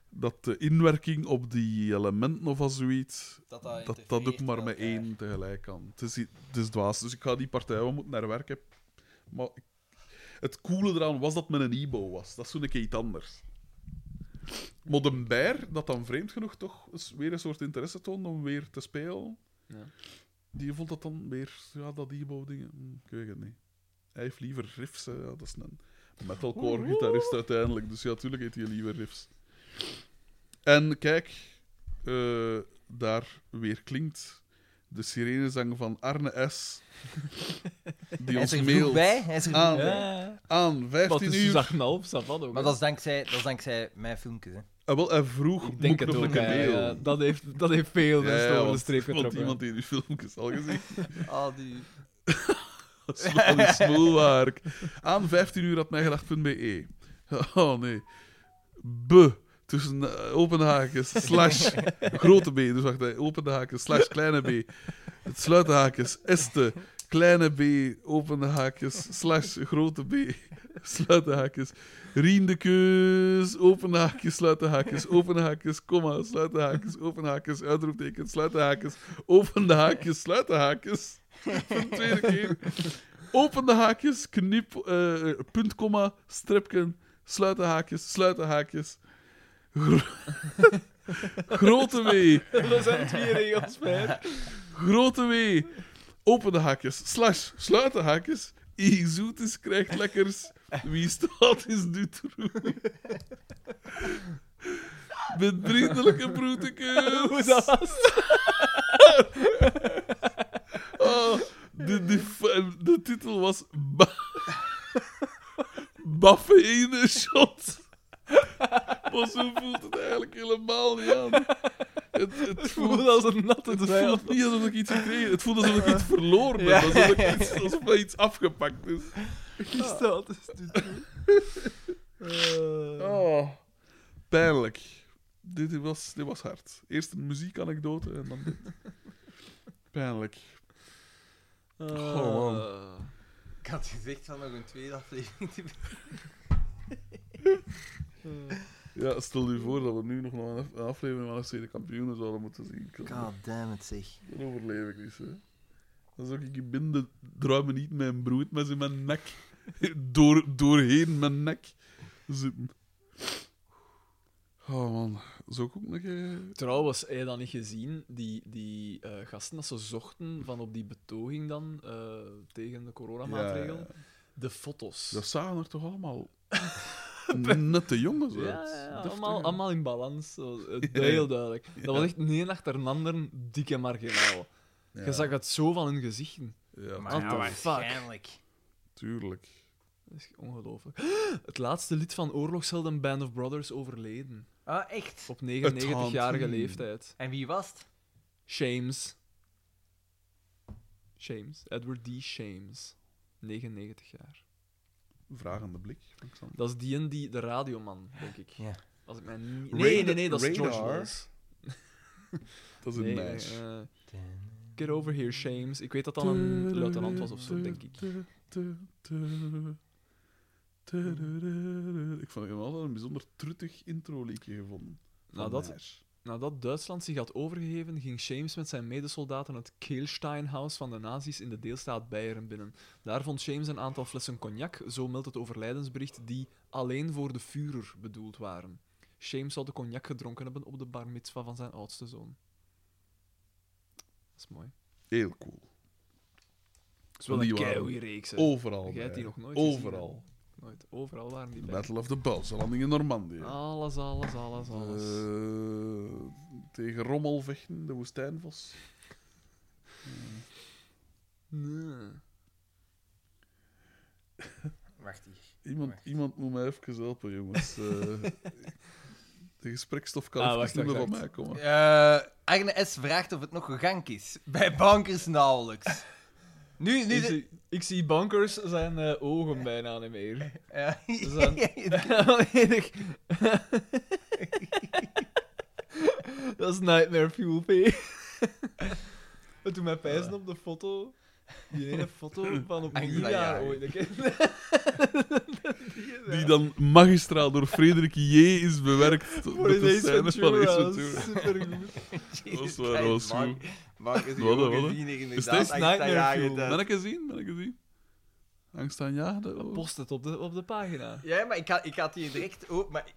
[SPEAKER 1] Dat de inwerking op die elementen of als zoiets,
[SPEAKER 9] Dat
[SPEAKER 1] dat dat ook
[SPEAKER 9] integreert
[SPEAKER 1] maar met
[SPEAKER 9] elkaar.
[SPEAKER 1] één tegelijk kan. Het is, i- het is dwaas. Dus ik ga die partij wel moeten naar werk hebben. Maar ik- het coole eraan was dat het met een e-bow was. Dat is zo'n keer iets anders. Maar de bear, dat dan vreemd genoeg toch eens weer een soort interesse toonde om weer te spelen,
[SPEAKER 2] Ja.
[SPEAKER 1] die vond dat dan weer, ja, dat e-bow dingen. Hm, Ik weet het niet. Hij heeft liever riffs, hè. Ja, dat is een metalcore gitarist uiteindelijk. Dus ja, natuurlijk heeft hij liever riffs. En kijk, eh, daar weer klinkt de sirenezang van Arne S. Die
[SPEAKER 4] Hij
[SPEAKER 1] ons
[SPEAKER 4] is er vroeg
[SPEAKER 1] mailt
[SPEAKER 4] bij. Hij is
[SPEAKER 9] Ah.
[SPEAKER 4] er
[SPEAKER 1] aan,
[SPEAKER 4] vroeg bij.
[SPEAKER 2] Ja.
[SPEAKER 1] aan
[SPEAKER 2] Wat
[SPEAKER 1] 15
[SPEAKER 2] is dus
[SPEAKER 1] uur.
[SPEAKER 2] dat knal op Savat ook.
[SPEAKER 4] Maar
[SPEAKER 2] hè.
[SPEAKER 4] dat is dankzij, dat is dankzij mijn filmpjes. Hè.
[SPEAKER 1] Ah, wel, hij vroeg
[SPEAKER 2] Ik denk
[SPEAKER 1] moet
[SPEAKER 2] het
[SPEAKER 1] nog
[SPEAKER 2] ook.
[SPEAKER 1] een
[SPEAKER 2] ja,
[SPEAKER 1] mail.
[SPEAKER 2] ja. dat, heeft, dat heeft veel
[SPEAKER 1] Ja,
[SPEAKER 2] mensen
[SPEAKER 1] ja,
[SPEAKER 2] over de
[SPEAKER 1] want-
[SPEAKER 2] streep
[SPEAKER 1] Want
[SPEAKER 2] getrokken.
[SPEAKER 1] iemand die die filmpjes al gezien
[SPEAKER 9] Al Ah, die...
[SPEAKER 1] Dat is wel een smoelwerk. Aan 15 uur had mijgedacht.be. E. Oh nee. B. Tussen eh, open haakjes, slash grote B. Dus wacht, hè, open haakjes, slash kleine B. Het sluiten haakjes, este, kleine B, open haakjes, slash grote B. Sluiten haakjes, riendekeus, open haakjes, sluiten haakjes, open haakjes, komma, sluiten haakjes, open haakjes, uitroepteken, sluiten haakjes, open haakjes, sluiten haakjes. Voor de tweede keer. Open de haakjes, knip, eh, punt, komma, stripken, sluiten haakjes, sluiten haakjes. Gro- grote W,
[SPEAKER 2] dat zijn twee regels bij.
[SPEAKER 1] grote W, open de haakjes, slash, sluiten haakjes. I zoetes krijgt lekkers, wie staat is nu troe. Met vriendelijke
[SPEAKER 2] Hoe
[SPEAKER 1] broetekens.
[SPEAKER 2] dat was.
[SPEAKER 1] Oh, de, de, de titel was ba Baffeïne Shot. Maar zo voelt het eigenlijk helemaal niet aan. Het, het
[SPEAKER 2] Het
[SPEAKER 1] voelt,
[SPEAKER 2] voelde als een natte
[SPEAKER 1] het
[SPEAKER 2] dweil.
[SPEAKER 1] voelt niet alsof ik iets gekregen Het voelt alsof ik iets verloren ben. Alsof, ik iets, alsof mij iets afgepakt is.
[SPEAKER 2] Gesteld is dit. Eh,
[SPEAKER 1] Oh, pijnlijk. Dit was, dit was hard. Eerst een muziekanekdote en dan dit. Pijnlijk. Oh, man.
[SPEAKER 9] eh. Ik had gezegd van nog een tweede aflevering te
[SPEAKER 1] Ja, stel je voor dat we nu nog maar een af- een aflevering van FC de Kampioenen zouden moeten zien. Dan
[SPEAKER 9] God damn it, zeg.
[SPEAKER 1] overleef ik niet, hè. Dan zou ik je binden, draai me niet mijn brood met in mijn nek. Door, doorheen mijn nek zitten. Oh man, zou ik ook nog... eh,
[SPEAKER 3] Trouwens, heb je dat niet gezien? Die, die eh, gasten dat ze zochten van op die betoging dan eh, tegen de coronamaatregelen.
[SPEAKER 1] Ja,
[SPEAKER 3] De foto's.
[SPEAKER 1] Dat zagen er toch allemaal nette jongens
[SPEAKER 3] ja,
[SPEAKER 1] uit.
[SPEAKER 3] ja, ja,
[SPEAKER 1] Deftig,
[SPEAKER 3] allemaal,
[SPEAKER 1] hè.
[SPEAKER 3] allemaal in balans. zo, eh, Heel duidelijk. Dat was echt een een achter een ander dikke marginaal.
[SPEAKER 1] Ja.
[SPEAKER 3] Je zag het zo van hun gezichten.
[SPEAKER 1] Ja,
[SPEAKER 4] Maar
[SPEAKER 3] What
[SPEAKER 4] ja,
[SPEAKER 3] the
[SPEAKER 4] waarschijnlijk.
[SPEAKER 1] tuurlijk.
[SPEAKER 3] Dat is ongelooflijk. Het laatste lid van Oorlogshelden Band of Brothers overleden.
[SPEAKER 9] Ah, echt?
[SPEAKER 3] Op 99-jarige
[SPEAKER 1] hand.
[SPEAKER 3] leeftijd.
[SPEAKER 9] En wie was het?
[SPEAKER 3] Shames. Shames. Edward D. Shames. 99 jaar.
[SPEAKER 1] Vragende blik. van Xander.
[SPEAKER 3] Dat is die en die, de radioman, denk ik.
[SPEAKER 9] Ja.
[SPEAKER 3] Als ik mij niet... Nee, nee, nee, dat is George
[SPEAKER 1] Radar.
[SPEAKER 3] Wells.
[SPEAKER 1] Dat is een
[SPEAKER 3] Nee,
[SPEAKER 1] meisje.
[SPEAKER 3] eh, get over here, Shames. Ik weet dat dat een luitenant was of zo, denk ik.
[SPEAKER 1] Ik vond hem altijd een bijzonder truttig intro-liedje gevonden.
[SPEAKER 3] Nou, dat- Nadat Duitsland zich had overgegeven, ging Shames met zijn medesoldaten het Kehlsteinhaus van de nazi's in de deelstaat Beieren binnen. Daar vond Shames een aantal flessen cognac, zo meldt het overlijdensbericht, die alleen voor de Führer bedoeld waren. Shames zou de cognac gedronken hebben op de bar mitzvah van zijn oudste zoon. Dat is mooi.
[SPEAKER 1] Heel cool.
[SPEAKER 3] Dat is wel
[SPEAKER 1] Die
[SPEAKER 3] een
[SPEAKER 1] waren
[SPEAKER 3] keihoeie-reeks, hè.
[SPEAKER 1] Overal.
[SPEAKER 3] Jij hebt
[SPEAKER 1] bij.
[SPEAKER 3] die nog nooit
[SPEAKER 1] Overal.
[SPEAKER 3] gezien, hè? Nooit. Overal waren die
[SPEAKER 1] De
[SPEAKER 3] bij.
[SPEAKER 1] Battle of the Bulge, de landing in Normandië.
[SPEAKER 3] Alles, alles, alles, alles.
[SPEAKER 1] Eh, tegen rommel vechten, de woestijnvos.
[SPEAKER 3] Nee.
[SPEAKER 4] Wacht hier.
[SPEAKER 1] Iemand,
[SPEAKER 4] Wacht.
[SPEAKER 1] iemand moet mij even helpen, jongens. Eh, de gesprekstof kan
[SPEAKER 3] Ah,
[SPEAKER 1] even
[SPEAKER 3] wacht,
[SPEAKER 1] niet meer
[SPEAKER 3] wacht,
[SPEAKER 1] van mij
[SPEAKER 3] wacht.
[SPEAKER 1] komen.
[SPEAKER 9] Eh Arne S. vraagt of het nog een gank is. Bij bankers nauwelijks. Nu, nu...
[SPEAKER 3] Ik
[SPEAKER 9] de-
[SPEAKER 3] zie, ik zie bankers zijn eh, ogen bijna niet meer.
[SPEAKER 9] Ja.
[SPEAKER 3] Zijn- Volledig. Dat is Nightmare Fuel P. Het doet mij pijzen op de foto. Die ene foto van op
[SPEAKER 9] Angela
[SPEAKER 3] nieuwjaar
[SPEAKER 9] Jager.
[SPEAKER 3] ooit. ik ken-
[SPEAKER 1] Die dan magistraal door Frederik J. is bewerkt.
[SPEAKER 3] Voor
[SPEAKER 1] met
[SPEAKER 3] in
[SPEAKER 1] de
[SPEAKER 3] Ace
[SPEAKER 1] scène van
[SPEAKER 3] Ventura.
[SPEAKER 1] Ace Ventura.
[SPEAKER 3] Supergoed.
[SPEAKER 1] Dat is waar, dat was goed.
[SPEAKER 9] Bankers die
[SPEAKER 1] Wat,
[SPEAKER 9] ook
[SPEAKER 1] wat?
[SPEAKER 9] gezien hier
[SPEAKER 1] Is
[SPEAKER 9] inderdaad.
[SPEAKER 1] dit
[SPEAKER 9] Angst aan
[SPEAKER 3] Nightmare
[SPEAKER 9] jagen
[SPEAKER 3] Fuel?
[SPEAKER 9] thuis.
[SPEAKER 1] Ben ik gezien? Ben ik gezien? Angst aan jagen? oh.
[SPEAKER 3] Post het op de, op de pagina.
[SPEAKER 9] Ja, maar ik had, ik had die direct ook, maar...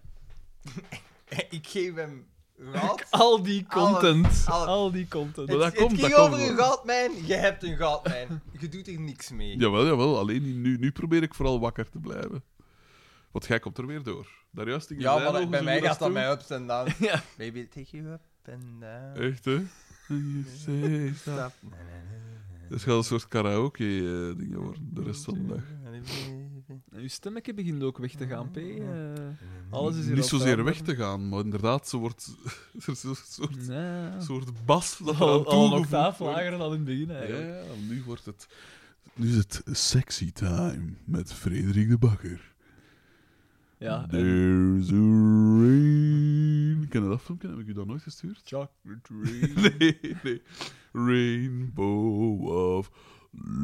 [SPEAKER 9] ik geef hem raad.
[SPEAKER 3] Al die content.
[SPEAKER 9] alles.
[SPEAKER 3] Al die content.
[SPEAKER 1] Maar dat
[SPEAKER 9] het
[SPEAKER 1] komt,
[SPEAKER 9] ging
[SPEAKER 1] dat
[SPEAKER 9] over
[SPEAKER 1] komt
[SPEAKER 9] een
[SPEAKER 1] wel.
[SPEAKER 9] goudmijn. Je hebt een goudmijn. Je doet er niks mee.
[SPEAKER 1] Jawel, jawel. Alleen niet nu, nu probeer ik vooral wakker te blijven. Want jij komt er weer door. Daar juist in je
[SPEAKER 9] Ja, maar
[SPEAKER 1] zijlogen
[SPEAKER 9] bij
[SPEAKER 1] zo
[SPEAKER 9] mij
[SPEAKER 1] dat
[SPEAKER 9] gaat dat
[SPEAKER 1] toe.
[SPEAKER 9] mij ups en downs.
[SPEAKER 3] Ja.
[SPEAKER 9] Maybe it'll take you up and down.
[SPEAKER 1] Echt, hè? You say stop.
[SPEAKER 9] Stop.
[SPEAKER 1] Het gaat een soort karaoke-ding worden de rest van de dag.
[SPEAKER 3] En Uw stemmetje begint ook weg te gaan, P. Eh, alles is hier
[SPEAKER 1] Niet
[SPEAKER 3] al
[SPEAKER 1] zozeer
[SPEAKER 3] veranderd.
[SPEAKER 1] weg te gaan, maar inderdaad, ze wordt, er is een soort,
[SPEAKER 3] Nee.
[SPEAKER 1] soort bas dat er aan
[SPEAKER 3] Al, al een
[SPEAKER 1] toegevoegd
[SPEAKER 3] octaaf
[SPEAKER 1] wordt.
[SPEAKER 3] lager dan in het begin, eigenlijk.
[SPEAKER 1] Ja, ja, nu wordt het. Nu is het sexy time met Frederik de Bakker.
[SPEAKER 3] Ja, Ah, en
[SPEAKER 1] There's a rain. Ken je dat filmpje? Heb ik u dat nooit gestuurd?
[SPEAKER 3] Chocolate Rain.
[SPEAKER 1] Nee, nee. Rainbow of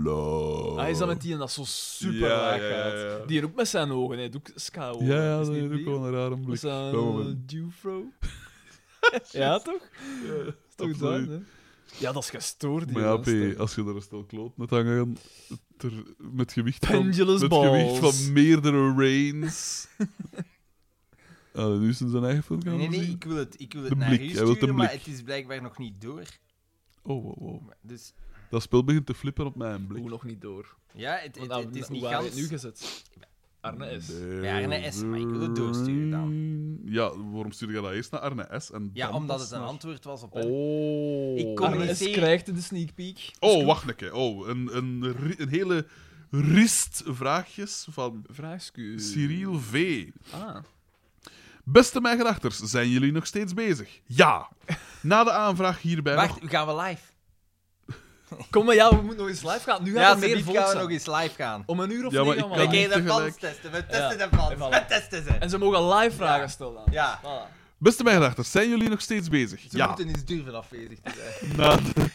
[SPEAKER 1] Love.
[SPEAKER 3] Hij Ah, is dan met die en dat zo super
[SPEAKER 1] Oh. Ja,
[SPEAKER 3] laag
[SPEAKER 1] ja, ja,
[SPEAKER 3] gaat.
[SPEAKER 1] ja.
[SPEAKER 3] Die ook met zijn ogen, hij doet ska ogen.
[SPEAKER 1] Ja, ja,
[SPEAKER 3] Is
[SPEAKER 1] dat
[SPEAKER 3] niet
[SPEAKER 1] is ook
[SPEAKER 3] die?
[SPEAKER 1] wel een rare
[SPEAKER 3] Met
[SPEAKER 1] blik.
[SPEAKER 3] zijn
[SPEAKER 1] Dat moment.
[SPEAKER 3] Dufro. ja, toch? Is toch dat,
[SPEAKER 1] absoluut.
[SPEAKER 3] hè? Ja, dat is gestoord, die
[SPEAKER 1] Maar ja,
[SPEAKER 3] gasten.
[SPEAKER 1] P, als je er een stel kloot met hangen, ter- met gewicht van, met
[SPEAKER 3] Pendulous
[SPEAKER 1] gewicht
[SPEAKER 3] balls.
[SPEAKER 1] van meerdere rains. Ah, nu is het zijn eigen film gaan
[SPEAKER 9] Nee, nee,
[SPEAKER 1] zien.
[SPEAKER 9] ik wil het, ik wil het
[SPEAKER 1] De
[SPEAKER 9] naar
[SPEAKER 1] blik,
[SPEAKER 9] u
[SPEAKER 1] hij wil de
[SPEAKER 9] sturen, maar
[SPEAKER 1] blik.
[SPEAKER 9] het is blijkbaar nog niet door.
[SPEAKER 1] Oh, wow, wow.
[SPEAKER 9] Maar- Dus
[SPEAKER 1] Dat spel begint te flippen op mijn blik.
[SPEAKER 3] Hoe nog niet door?
[SPEAKER 9] ja, het, het,
[SPEAKER 3] nou,
[SPEAKER 9] het is
[SPEAKER 3] hoe
[SPEAKER 9] niet
[SPEAKER 3] waren we
[SPEAKER 9] gans.
[SPEAKER 3] het nu gezet? Arne S.
[SPEAKER 1] Ja,
[SPEAKER 9] Arne S, maar ik wil het doorsturen dan.
[SPEAKER 1] Ja, waarom stuurde je dat eerst naar Arne S? En
[SPEAKER 9] Ja,
[SPEAKER 1] dan
[SPEAKER 9] omdat
[SPEAKER 1] pas
[SPEAKER 9] het een
[SPEAKER 1] naar-
[SPEAKER 9] antwoord was op een-
[SPEAKER 1] Oh.
[SPEAKER 9] Ik kom
[SPEAKER 3] Arne S
[SPEAKER 9] Communiceer.
[SPEAKER 3] krijgt de sneak peek.
[SPEAKER 1] Oh, wacht een keer. Oh, een, een, ri- een hele rist vraagjes van
[SPEAKER 3] Vraagskuur.
[SPEAKER 1] Cyril V.
[SPEAKER 3] Ah.
[SPEAKER 1] Beste mijn gedachters, zijn jullie nog steeds bezig? Ja. Na de aanvraag hierbij Eh, nog...
[SPEAKER 9] Wacht, gaan we live?
[SPEAKER 3] Kom maar, ja, we moeten nog eens live gaan. Nu
[SPEAKER 9] Ja,
[SPEAKER 3] gaat er meer
[SPEAKER 9] ze
[SPEAKER 3] volk
[SPEAKER 9] gaan we
[SPEAKER 3] zijn.
[SPEAKER 9] nog eens live gaan.
[SPEAKER 3] Om een uur of
[SPEAKER 1] Ja, maar
[SPEAKER 3] negen
[SPEAKER 1] ik
[SPEAKER 3] gaan we
[SPEAKER 1] kan
[SPEAKER 9] We
[SPEAKER 3] live.
[SPEAKER 1] niet
[SPEAKER 9] gaan de
[SPEAKER 1] tegelijk.
[SPEAKER 9] fans testen, we
[SPEAKER 3] Ja,
[SPEAKER 9] testen de fans,
[SPEAKER 3] en voilà.
[SPEAKER 9] we testen ze.
[SPEAKER 3] En ze mogen live vragen stellen.
[SPEAKER 9] Ja.
[SPEAKER 3] Voilà.
[SPEAKER 1] Beste mijndachters, zijn jullie nog steeds bezig?
[SPEAKER 4] Ze
[SPEAKER 1] ja.
[SPEAKER 4] moeten iets durven afwezig te zijn.
[SPEAKER 1] Na de,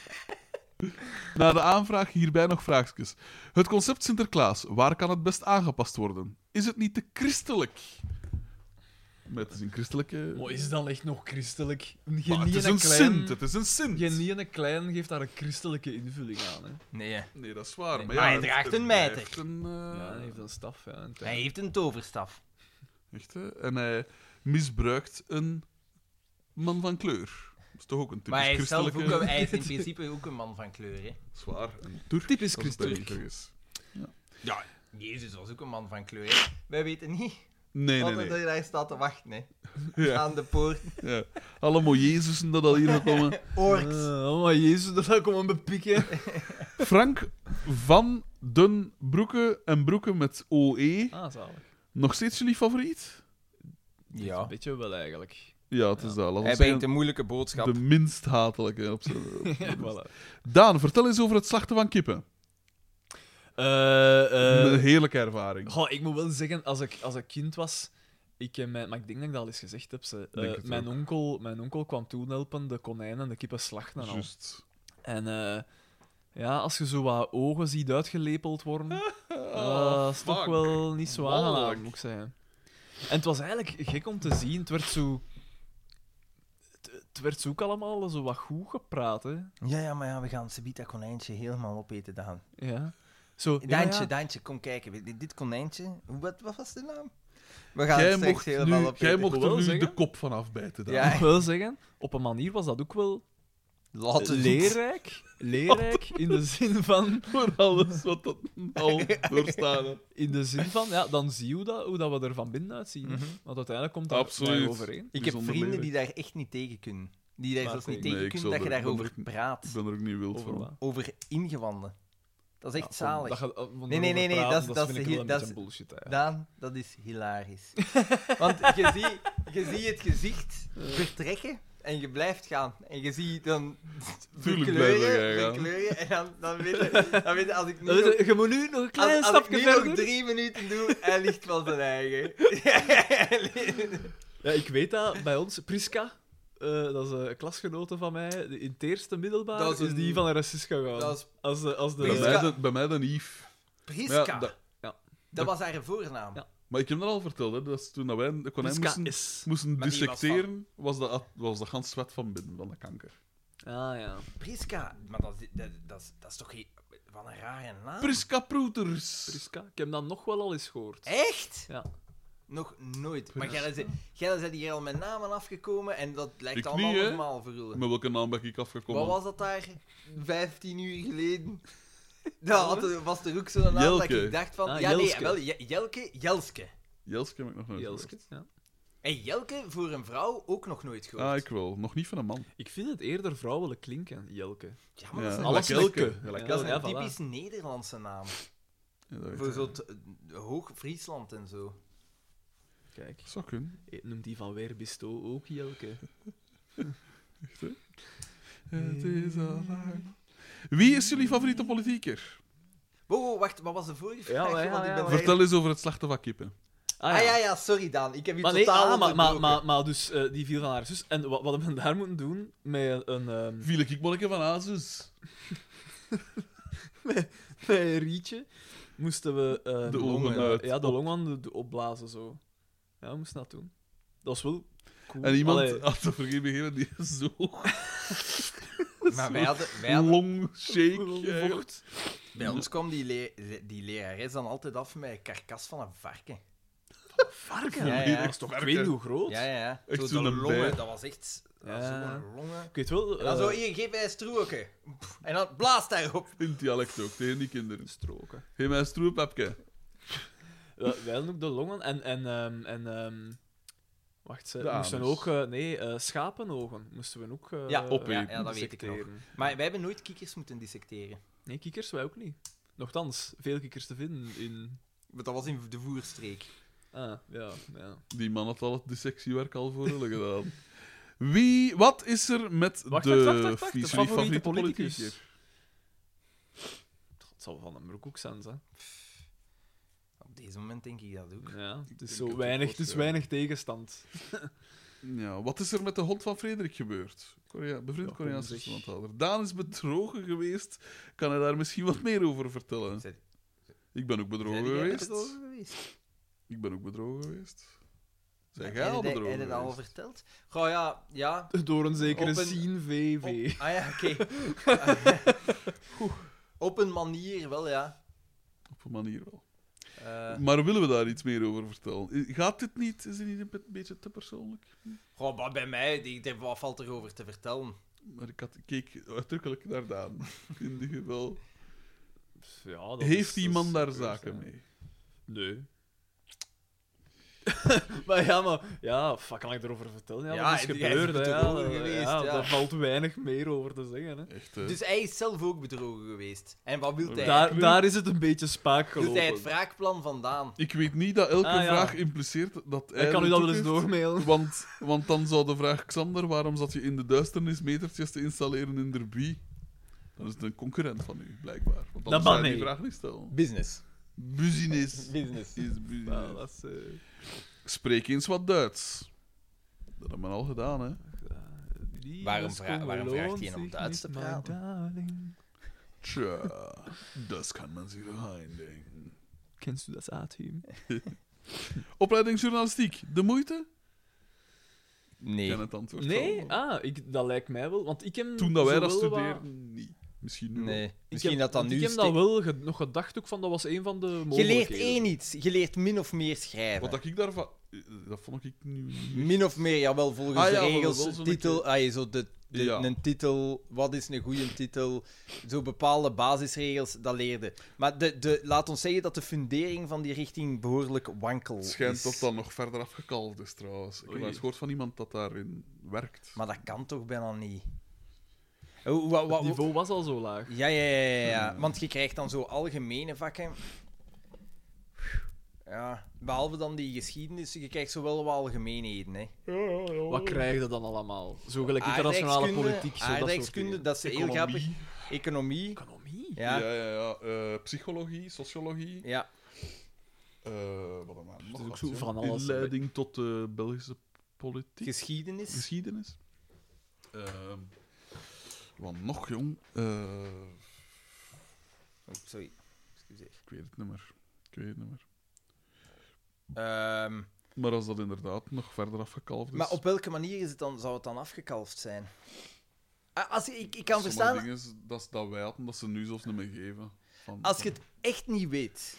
[SPEAKER 1] na de aanvraag hierbij nog vraagjes. Het concept Sinterklaas, waar kan het best aangepast worden? Is het niet te christelijk? Met is een christelijke...
[SPEAKER 3] Maar is dat echt nog christelijk? Geen
[SPEAKER 1] Maar het
[SPEAKER 3] ene
[SPEAKER 1] is een
[SPEAKER 3] klein,
[SPEAKER 1] sint, het is een sint.
[SPEAKER 3] Geen ene klein geeft daar een christelijke invulling aan. Hè.
[SPEAKER 11] Nee,
[SPEAKER 1] Nee, dat is waar. Maar
[SPEAKER 11] Maar
[SPEAKER 1] ja,
[SPEAKER 11] hij
[SPEAKER 1] het-
[SPEAKER 11] draagt
[SPEAKER 1] het
[SPEAKER 11] een mijter.
[SPEAKER 1] blijft een, eh,
[SPEAKER 3] Ja, hij heeft een staf. Ja, een tijd.
[SPEAKER 11] hij heeft een toverstaf.
[SPEAKER 1] echt, hè? En hij misbruikt een man van kleur. Dat is toch ook een typisch
[SPEAKER 11] Maar hij is, zelf
[SPEAKER 1] christelijke...
[SPEAKER 11] ook een, hij is in principe ook een man van kleur. Hè?
[SPEAKER 1] Zwaar. Een Turk,
[SPEAKER 12] Typisch
[SPEAKER 1] als ik mij niet
[SPEAKER 12] christelijk.
[SPEAKER 1] vergis.
[SPEAKER 11] Ja, Jezus was ook een man van kleur. hè. Wij weten niet
[SPEAKER 1] Nee,
[SPEAKER 4] Wat
[SPEAKER 1] nee,
[SPEAKER 4] er
[SPEAKER 1] nee.
[SPEAKER 4] daar staat te wachten, hè.
[SPEAKER 1] Ja,
[SPEAKER 4] Aan de poort.
[SPEAKER 1] ja. Allemaal Jezusen dat al hier komen.
[SPEAKER 4] Orks.
[SPEAKER 3] Eh, oh, maar jezus, dat zou ik komen bepikken.
[SPEAKER 1] Frank van den Broeke en Broeke met OE.
[SPEAKER 3] Ah, zalig.
[SPEAKER 1] Nog steeds jullie favoriet?
[SPEAKER 11] Ja.
[SPEAKER 3] Weet je wel, eigenlijk.
[SPEAKER 1] Ja, het is dat. Laat
[SPEAKER 11] Hij
[SPEAKER 1] ons
[SPEAKER 11] brengt
[SPEAKER 1] zeggen,
[SPEAKER 11] een moeilijke boodschap.
[SPEAKER 1] de minst hatelijke. Op z'n- op z'n-
[SPEAKER 3] Voilà.
[SPEAKER 1] Daan, vertel eens over het slachten van kippen.
[SPEAKER 3] Eh, eh,
[SPEAKER 1] een heerlijke ervaring.
[SPEAKER 3] Goh, ik moet wel zeggen, als ik, als ik kind was, ik, eh, mijn, maar ik denk dat ik dat al eens gezegd heb. Ze, Eh,
[SPEAKER 1] Denk het
[SPEAKER 3] mijn,
[SPEAKER 1] ook.
[SPEAKER 3] onkel, mijn onkel kwam toen helpen de konijnen en de kippen slachten en al.
[SPEAKER 1] Juist.
[SPEAKER 3] En eh, ja, als je zo wat ogen ziet uitgelepeld worden,
[SPEAKER 1] Ah,
[SPEAKER 3] dat is toch
[SPEAKER 1] fuck.
[SPEAKER 3] wel niet zo
[SPEAKER 1] Walgelijk.
[SPEAKER 3] aangenaam, moet ik zeggen. En het was eigenlijk gek om te zien. Het werd zo... het- Het werd zo ook allemaal zo wat goed gepraat, hè.
[SPEAKER 4] Ja, ja, maar ja, we gaan Sabita konijntje helemaal opeten, Daan.
[SPEAKER 3] Ja. Zo, ja,
[SPEAKER 4] Daantje,
[SPEAKER 3] ja.
[SPEAKER 4] Daantje, kom kijken. Dit, dit konijntje, wat, wat was de naam? We gaan
[SPEAKER 1] Jij
[SPEAKER 4] het straks
[SPEAKER 1] mocht,
[SPEAKER 4] helemaal
[SPEAKER 1] nu,
[SPEAKER 4] opeten.
[SPEAKER 1] jij mocht er
[SPEAKER 3] Wel
[SPEAKER 1] nu
[SPEAKER 3] zeggen.
[SPEAKER 1] de kop van afbijten. Daan.
[SPEAKER 4] Ja.
[SPEAKER 3] Ik wil zeggen, op een manier was dat ook wel
[SPEAKER 4] Laat het leren.
[SPEAKER 3] leerrijk. Leerrijk in de zin van,
[SPEAKER 1] Voor alles wat dat al doorstaan. hè.
[SPEAKER 3] in de zin van ja, dan zie je dat, hoe dat we er van binnen uitzien. hè. Want uiteindelijk komt dat
[SPEAKER 1] Mhm. Absoluut.
[SPEAKER 3] daar overeen.
[SPEAKER 4] Ik heb
[SPEAKER 1] Bijzonder
[SPEAKER 4] vrienden
[SPEAKER 1] leren.
[SPEAKER 4] die daar echt niet tegen kunnen. Die daar
[SPEAKER 3] Maar
[SPEAKER 4] zelfs
[SPEAKER 3] ik
[SPEAKER 4] niet
[SPEAKER 1] ook.
[SPEAKER 4] tegen
[SPEAKER 1] Nee, ik
[SPEAKER 4] kunnen
[SPEAKER 1] zal
[SPEAKER 4] dat je
[SPEAKER 1] er-
[SPEAKER 4] daarover
[SPEAKER 1] ik ben
[SPEAKER 4] praat.
[SPEAKER 1] Ik ben er ook niet wild
[SPEAKER 3] Over
[SPEAKER 1] van.
[SPEAKER 3] wat?
[SPEAKER 4] Over ingewanden. Dat is echt zalig.
[SPEAKER 3] Dat gaat- oh, want
[SPEAKER 4] Nee, nee, nee, nee,
[SPEAKER 3] praten,
[SPEAKER 4] dat is- dat
[SPEAKER 3] vind
[SPEAKER 4] is
[SPEAKER 3] ik wel
[SPEAKER 4] heel-
[SPEAKER 3] een
[SPEAKER 4] dat
[SPEAKER 3] beetje
[SPEAKER 4] is-
[SPEAKER 3] bullshit. hè.
[SPEAKER 4] Daan, dat is hilarisch. Want je ziet je zie het gezicht vertrekken en je blijft gaan. En je ziet dan
[SPEAKER 1] Tuurlijk blijven jij
[SPEAKER 4] kleuren,
[SPEAKER 1] gaan.
[SPEAKER 4] kleuren en dan, dan, weet je, dan weet je, als ik nu
[SPEAKER 3] Dat
[SPEAKER 4] nog-
[SPEAKER 3] is- Je moet nu nog een klein
[SPEAKER 4] als, als ik
[SPEAKER 3] stapje
[SPEAKER 4] nu
[SPEAKER 3] verder.
[SPEAKER 4] nog drie minuten doe, hij ligt wel zijn eigen.
[SPEAKER 3] Ja, ik weet dat bij ons, Priska, eh, dat is een klasgenote van mij, die in het eerste middelbaar,
[SPEAKER 4] Dat
[SPEAKER 3] is,
[SPEAKER 4] is een-
[SPEAKER 3] die van een racist gegaan.
[SPEAKER 4] dat is
[SPEAKER 3] Als, de- als de...
[SPEAKER 1] Bij
[SPEAKER 4] Priska.
[SPEAKER 1] mij, de- bij mij dan Yves. Maar,
[SPEAKER 4] Priska.
[SPEAKER 1] ja, dat,
[SPEAKER 4] dat was haar voornaam.
[SPEAKER 3] Ja.
[SPEAKER 1] maar ik heb dat al verteld, hè, dat is toen dat wij de konijn
[SPEAKER 3] Priska
[SPEAKER 1] moesten,
[SPEAKER 3] Dus is...
[SPEAKER 1] moesten
[SPEAKER 11] Maar die was
[SPEAKER 1] dissecteren, was dat, was dat gans zwet van binnen, van de kanker.
[SPEAKER 3] Ah, ja.
[SPEAKER 4] Priska.
[SPEAKER 11] Maar dat, is- dat, dat, is- dat is toch geen- wat een rare naam.
[SPEAKER 1] Priska Proeters.
[SPEAKER 3] Ah. Priska. Ik heb dat nog wel al eens gehoord.
[SPEAKER 4] Echt?
[SPEAKER 3] Ja.
[SPEAKER 4] Nog nooit. Maar jij bent- jij bent hier al met namen afgekomen en dat lijkt
[SPEAKER 1] Ik
[SPEAKER 4] allemaal
[SPEAKER 1] niet, hè?
[SPEAKER 4] normaal voor jullie.
[SPEAKER 1] Met welke naam ben ik afgekomen?
[SPEAKER 4] Wat was dat daar 15 uur geleden? Dat had er- was er ook zo'n naam dat
[SPEAKER 1] Jelke.
[SPEAKER 4] ik dacht van...
[SPEAKER 3] Ah,
[SPEAKER 4] ja, nee,
[SPEAKER 3] Jelske.
[SPEAKER 4] wel, Je- Jelke, Jelske.
[SPEAKER 1] Jelske heb ik nog nooit
[SPEAKER 3] Jelske. Ja.
[SPEAKER 4] En Jelke voor een vrouw ook nog nooit
[SPEAKER 1] gehoord. Ah,
[SPEAKER 4] gehoord.
[SPEAKER 1] ik wel. Nog niet van een man.
[SPEAKER 3] Ik vind het eerder vrouwelijk klinken, Jelke.
[SPEAKER 4] Ja, maar dat is
[SPEAKER 1] Ja,
[SPEAKER 4] een,
[SPEAKER 3] Alles
[SPEAKER 1] lekker
[SPEAKER 3] lekker.
[SPEAKER 1] Elke. Ja, lekker
[SPEAKER 4] dat is
[SPEAKER 1] Elke.
[SPEAKER 3] ja,
[SPEAKER 4] een
[SPEAKER 3] voilà.
[SPEAKER 4] typisch Nederlandse naam.
[SPEAKER 1] Ja, dat weet
[SPEAKER 4] Voor
[SPEAKER 1] ik.
[SPEAKER 4] zo'n eh, Hoog-Friesland en zo.
[SPEAKER 3] Kijk, eh,
[SPEAKER 1] Zou kunnen.
[SPEAKER 3] noemt die van Weerbisto ook Jelke?
[SPEAKER 1] Het is al lang. Wie is jullie favoriete politieker?
[SPEAKER 4] Wow, wow, wacht, wat was de vorige vraag?
[SPEAKER 3] maar ja,
[SPEAKER 4] Want ik
[SPEAKER 3] ja,
[SPEAKER 4] ben
[SPEAKER 3] maar-
[SPEAKER 4] vergeten-
[SPEAKER 1] Vertel eens over het slachten van kippen.
[SPEAKER 4] Ah ja, ja, sorry Daan, ik heb u
[SPEAKER 3] Maar, nee,
[SPEAKER 4] totaal
[SPEAKER 3] ah, maar, maar,
[SPEAKER 4] onderbroken.
[SPEAKER 3] maar, maar dus, eh, die viel van haar zus. En wat, wat men daar moet doen met een, ehm,
[SPEAKER 1] Viel ik molken van Azus.
[SPEAKER 3] met een rietje, moesten we... ehm,
[SPEAKER 1] De ogen uit.
[SPEAKER 3] Ja, de long aan de, de- opblazen, zo. Ja, we moesten dat doen. Dat was wel cool.
[SPEAKER 1] En iemand
[SPEAKER 4] Ah,
[SPEAKER 1] Ah,
[SPEAKER 3] Allee,
[SPEAKER 1] had te vergeten begeven die zo
[SPEAKER 4] Maar wij hadden, wij hadden-
[SPEAKER 1] long shake. eigenlijk.
[SPEAKER 3] vocht.
[SPEAKER 4] bij ons kwam die, le- le- die lerares dan altijd af met een karkas van een varken.
[SPEAKER 3] Varken?
[SPEAKER 4] Ja,
[SPEAKER 3] Ja,
[SPEAKER 4] ja, ja.
[SPEAKER 3] Dat is toch ik weet niet hoe groot?
[SPEAKER 4] Ja, ja, ja.
[SPEAKER 1] Echt
[SPEAKER 4] Zo
[SPEAKER 1] zo'n
[SPEAKER 4] de
[SPEAKER 1] bij.
[SPEAKER 4] longen, dat was echt
[SPEAKER 3] Ja.
[SPEAKER 4] zo'n longen.
[SPEAKER 3] Ik weet wel...
[SPEAKER 4] En dan zo,
[SPEAKER 3] eh,
[SPEAKER 4] hier, geef mij een strookje. Pff, En dan blaast daarop.
[SPEAKER 1] In het dialect ook, tegen die kinderen.
[SPEAKER 3] stroken.
[SPEAKER 1] Geef mij een stroepapje.
[SPEAKER 3] Ja, wij hadden ook de longen en... en, ehm, en ehm, wacht, ze
[SPEAKER 1] De
[SPEAKER 3] moesten
[SPEAKER 1] anus.
[SPEAKER 3] ook... eh, nee, eh, schapenogen moesten we ook... eh,
[SPEAKER 4] Ja,
[SPEAKER 1] opeten.
[SPEAKER 4] ja, ja, dat weet ik nog.
[SPEAKER 3] dissecteren.
[SPEAKER 4] Maar wij hebben nooit kikkers moeten dissecteren.
[SPEAKER 3] Nee, kikkers wij ook niet. Nochtans, veel kikkers te vinden in...
[SPEAKER 4] Want dat was in de voerstreek.
[SPEAKER 3] Ah, ja, ja.
[SPEAKER 1] Die man had al het dissectiewerk al voor hulle gedaan. Wie, wat is er met
[SPEAKER 3] Wacht,
[SPEAKER 1] de,
[SPEAKER 3] wacht, wacht, wacht, wacht.
[SPEAKER 1] wie
[SPEAKER 3] De
[SPEAKER 1] is jullie
[SPEAKER 3] favoriete
[SPEAKER 1] politieker?
[SPEAKER 3] politicus. Het zal van een broek ook zijn, hè.
[SPEAKER 4] Op deze moment denk ik dat ook.
[SPEAKER 3] Ja, het is
[SPEAKER 1] denk
[SPEAKER 3] zo
[SPEAKER 1] het ook
[SPEAKER 3] weinig,
[SPEAKER 1] wel,
[SPEAKER 3] het is
[SPEAKER 1] ja.
[SPEAKER 3] weinig tegenstand.
[SPEAKER 1] Ja, wat is er met de hond van Frederik gebeurd? Korea, bevriend
[SPEAKER 2] Ja,
[SPEAKER 1] Koreaanse
[SPEAKER 2] kom, zeg.
[SPEAKER 1] toestandhouder. Daan is bedrogen geweest. Kan hij daar misschien wat meer over vertellen?
[SPEAKER 4] Zijn-
[SPEAKER 1] Ik ben ook bedrogen
[SPEAKER 4] Zijn jij
[SPEAKER 1] geweest.
[SPEAKER 4] bedrogen geweest?
[SPEAKER 1] Ik ben ook bedrogen geweest. Zijn
[SPEAKER 4] Heb
[SPEAKER 1] jij al
[SPEAKER 4] je dat-
[SPEAKER 1] bedrogen
[SPEAKER 4] Heb je dat al
[SPEAKER 1] geweest?
[SPEAKER 4] verteld? Goh, ja, ja.
[SPEAKER 2] Door een zekere
[SPEAKER 4] Op een-
[SPEAKER 2] Sien VV.
[SPEAKER 4] Op- ah ja, oké. Oeh. Op een manier wel, ja.
[SPEAKER 1] Op een manier wel.
[SPEAKER 4] Eh
[SPEAKER 1] Maar willen we daar iets meer over vertellen? I- Gaat dit niet? Is het niet een be- beetje te persoonlijk?
[SPEAKER 4] goh, maar bij mij, die- die- wat valt er over te vertellen?
[SPEAKER 1] Maar ik, had, ik keek uitdrukkelijk naar Daan. In ieder geval.
[SPEAKER 3] Ja, dat is-
[SPEAKER 1] Heeft
[SPEAKER 3] dat
[SPEAKER 1] die
[SPEAKER 3] is
[SPEAKER 1] man daar
[SPEAKER 3] serieus,
[SPEAKER 1] zaken
[SPEAKER 3] ja.
[SPEAKER 1] mee?
[SPEAKER 3] Nee. maar ja, maar... Ja, fuck, kan ik erover vertellen? Ja,
[SPEAKER 4] Ja,
[SPEAKER 3] dat is
[SPEAKER 4] en jij
[SPEAKER 3] gebeurd,
[SPEAKER 4] bent
[SPEAKER 3] hè, ja,
[SPEAKER 4] bedrogen
[SPEAKER 3] dat-
[SPEAKER 4] geweest,
[SPEAKER 3] ja,
[SPEAKER 4] ja.
[SPEAKER 3] Daar valt weinig meer over te zeggen, hè.
[SPEAKER 1] Echt, hè?
[SPEAKER 4] Dus hij is zelf ook bedrogen geweest. En wat wil hij?
[SPEAKER 3] Daar, daar is het een beetje spaak
[SPEAKER 4] Doet Dus hij
[SPEAKER 3] gelopen.
[SPEAKER 4] het wraakplan vandaan?
[SPEAKER 1] Ik weet niet dat elke
[SPEAKER 3] Ah, ja.
[SPEAKER 1] vraag impliceert dat hij...
[SPEAKER 3] Ik kan u
[SPEAKER 1] er
[SPEAKER 3] dat
[SPEAKER 1] toe
[SPEAKER 3] wel
[SPEAKER 1] heeft.
[SPEAKER 3] eens doormailen.
[SPEAKER 1] Want, want dan zou de vraag, Xander, waarom zat je in de duisternis metertjes te installeren in Derby? Dan is het een concurrent van u, blijkbaar. Want
[SPEAKER 3] Dat
[SPEAKER 1] anders zou
[SPEAKER 3] mag
[SPEAKER 1] je die
[SPEAKER 3] niet.
[SPEAKER 1] vraag niet stellen.
[SPEAKER 4] Business.
[SPEAKER 1] Business
[SPEAKER 4] Business.
[SPEAKER 1] is business.
[SPEAKER 3] Ja, dat is... eh,
[SPEAKER 1] Spreek eens wat Duits. Dat hebben we al gedaan, hè.
[SPEAKER 3] Die
[SPEAKER 4] Waarom
[SPEAKER 3] is
[SPEAKER 4] vra- waarom vraagt
[SPEAKER 3] gewoon
[SPEAKER 4] hij hem om
[SPEAKER 3] zich
[SPEAKER 4] Duits te
[SPEAKER 3] niet, my
[SPEAKER 4] praten?
[SPEAKER 3] darling.
[SPEAKER 1] Tja, dat kan men zich toch denken.
[SPEAKER 3] Kennst du das A-team?
[SPEAKER 1] Opleiding journalistiek, de moeite? Ik
[SPEAKER 4] Nee.
[SPEAKER 1] ken het antwoord
[SPEAKER 3] Nee?
[SPEAKER 1] al.
[SPEAKER 3] Ah, ik, dat lijkt mij wel. Want ik heb
[SPEAKER 1] Toen dat wij dat
[SPEAKER 3] zowel wat-
[SPEAKER 1] studeerden, niet. Misschien nu wel.
[SPEAKER 4] Nee.
[SPEAKER 3] ik
[SPEAKER 4] Misschien
[SPEAKER 3] heb-
[SPEAKER 4] dat dat
[SPEAKER 3] want
[SPEAKER 4] nu...
[SPEAKER 3] Ik heb
[SPEAKER 4] stik-
[SPEAKER 3] dat wel ge- nog gedacht ook van, dat was een van de
[SPEAKER 4] Je
[SPEAKER 3] mogelijkheden.
[SPEAKER 4] leert één iets. Je leert min of meer schrijven.
[SPEAKER 1] Wat dat ik daarvan... eh, Dat vond ik nu...
[SPEAKER 4] Min of meer, jawel, volgens
[SPEAKER 1] Ah,
[SPEAKER 4] de
[SPEAKER 1] ja, wel, wel
[SPEAKER 4] regels.
[SPEAKER 1] zo'n
[SPEAKER 4] Titel, ah, je zo de, de-
[SPEAKER 1] Ja.
[SPEAKER 4] een titel, wat is een goede titel? Zo bepaalde basisregels, dat leerde. Maar de, de, laat ons zeggen dat de fundering van die richting behoorlijk wankel
[SPEAKER 1] Het schijnt
[SPEAKER 4] is.
[SPEAKER 1] dat dat nog verder afgekalfd is, trouwens. Ik heb
[SPEAKER 3] Oei.
[SPEAKER 1] wel eens gehoord van iemand dat daarin werkt.
[SPEAKER 4] Maar dat kan toch bijna niet? Hoe- wa- wa-
[SPEAKER 3] Het niveau was al zo laag.
[SPEAKER 4] Ja, ja, ja, ja, ja.
[SPEAKER 1] Hmm.
[SPEAKER 4] Want je krijgt dan zo algemene vakken. Ja, behalve dan die geschiedenis, je krijgt zo wel wat algemeenheden, hè.
[SPEAKER 3] Wat krijg je dan allemaal? Zo gelijk
[SPEAKER 4] Ah,
[SPEAKER 3] internationale
[SPEAKER 4] Aardrijkskunde,
[SPEAKER 3] politiek, zo dat soort
[SPEAKER 4] aardrijkskunde,
[SPEAKER 3] dingen.
[SPEAKER 4] ah, dat is heel
[SPEAKER 1] Economie.
[SPEAKER 4] grappig. Economie,
[SPEAKER 3] Economie?
[SPEAKER 1] Ja,
[SPEAKER 4] ja.
[SPEAKER 1] ja, ja. Eh, psychologie, sociologie.
[SPEAKER 4] Ja,
[SPEAKER 1] eh, wat dan maar. nog
[SPEAKER 3] is ook
[SPEAKER 1] wat,
[SPEAKER 3] zo
[SPEAKER 1] ja.
[SPEAKER 3] van alles,
[SPEAKER 1] Inleiding tot de Belgische politiek.
[SPEAKER 4] geschiedenis.
[SPEAKER 1] geschiedenis. Ehm wat nog, jong? Eh,
[SPEAKER 4] Oh, sorry. Excuseer.
[SPEAKER 1] ik weet het niet meer. Ik weet het niet meer.
[SPEAKER 4] Ehm,
[SPEAKER 1] Maar als dat inderdaad nog verder afgekalfd is...
[SPEAKER 4] Maar op welke manier is het dan, zou het dan afgekalfd zijn? Ah, Als, je- ik, ik kan
[SPEAKER 1] sommige
[SPEAKER 4] verstaan,
[SPEAKER 1] Dingen, is- dat, is dat wij hadden, dat ze nu zelfs niet meer geven. Van-
[SPEAKER 4] als je het echt niet weet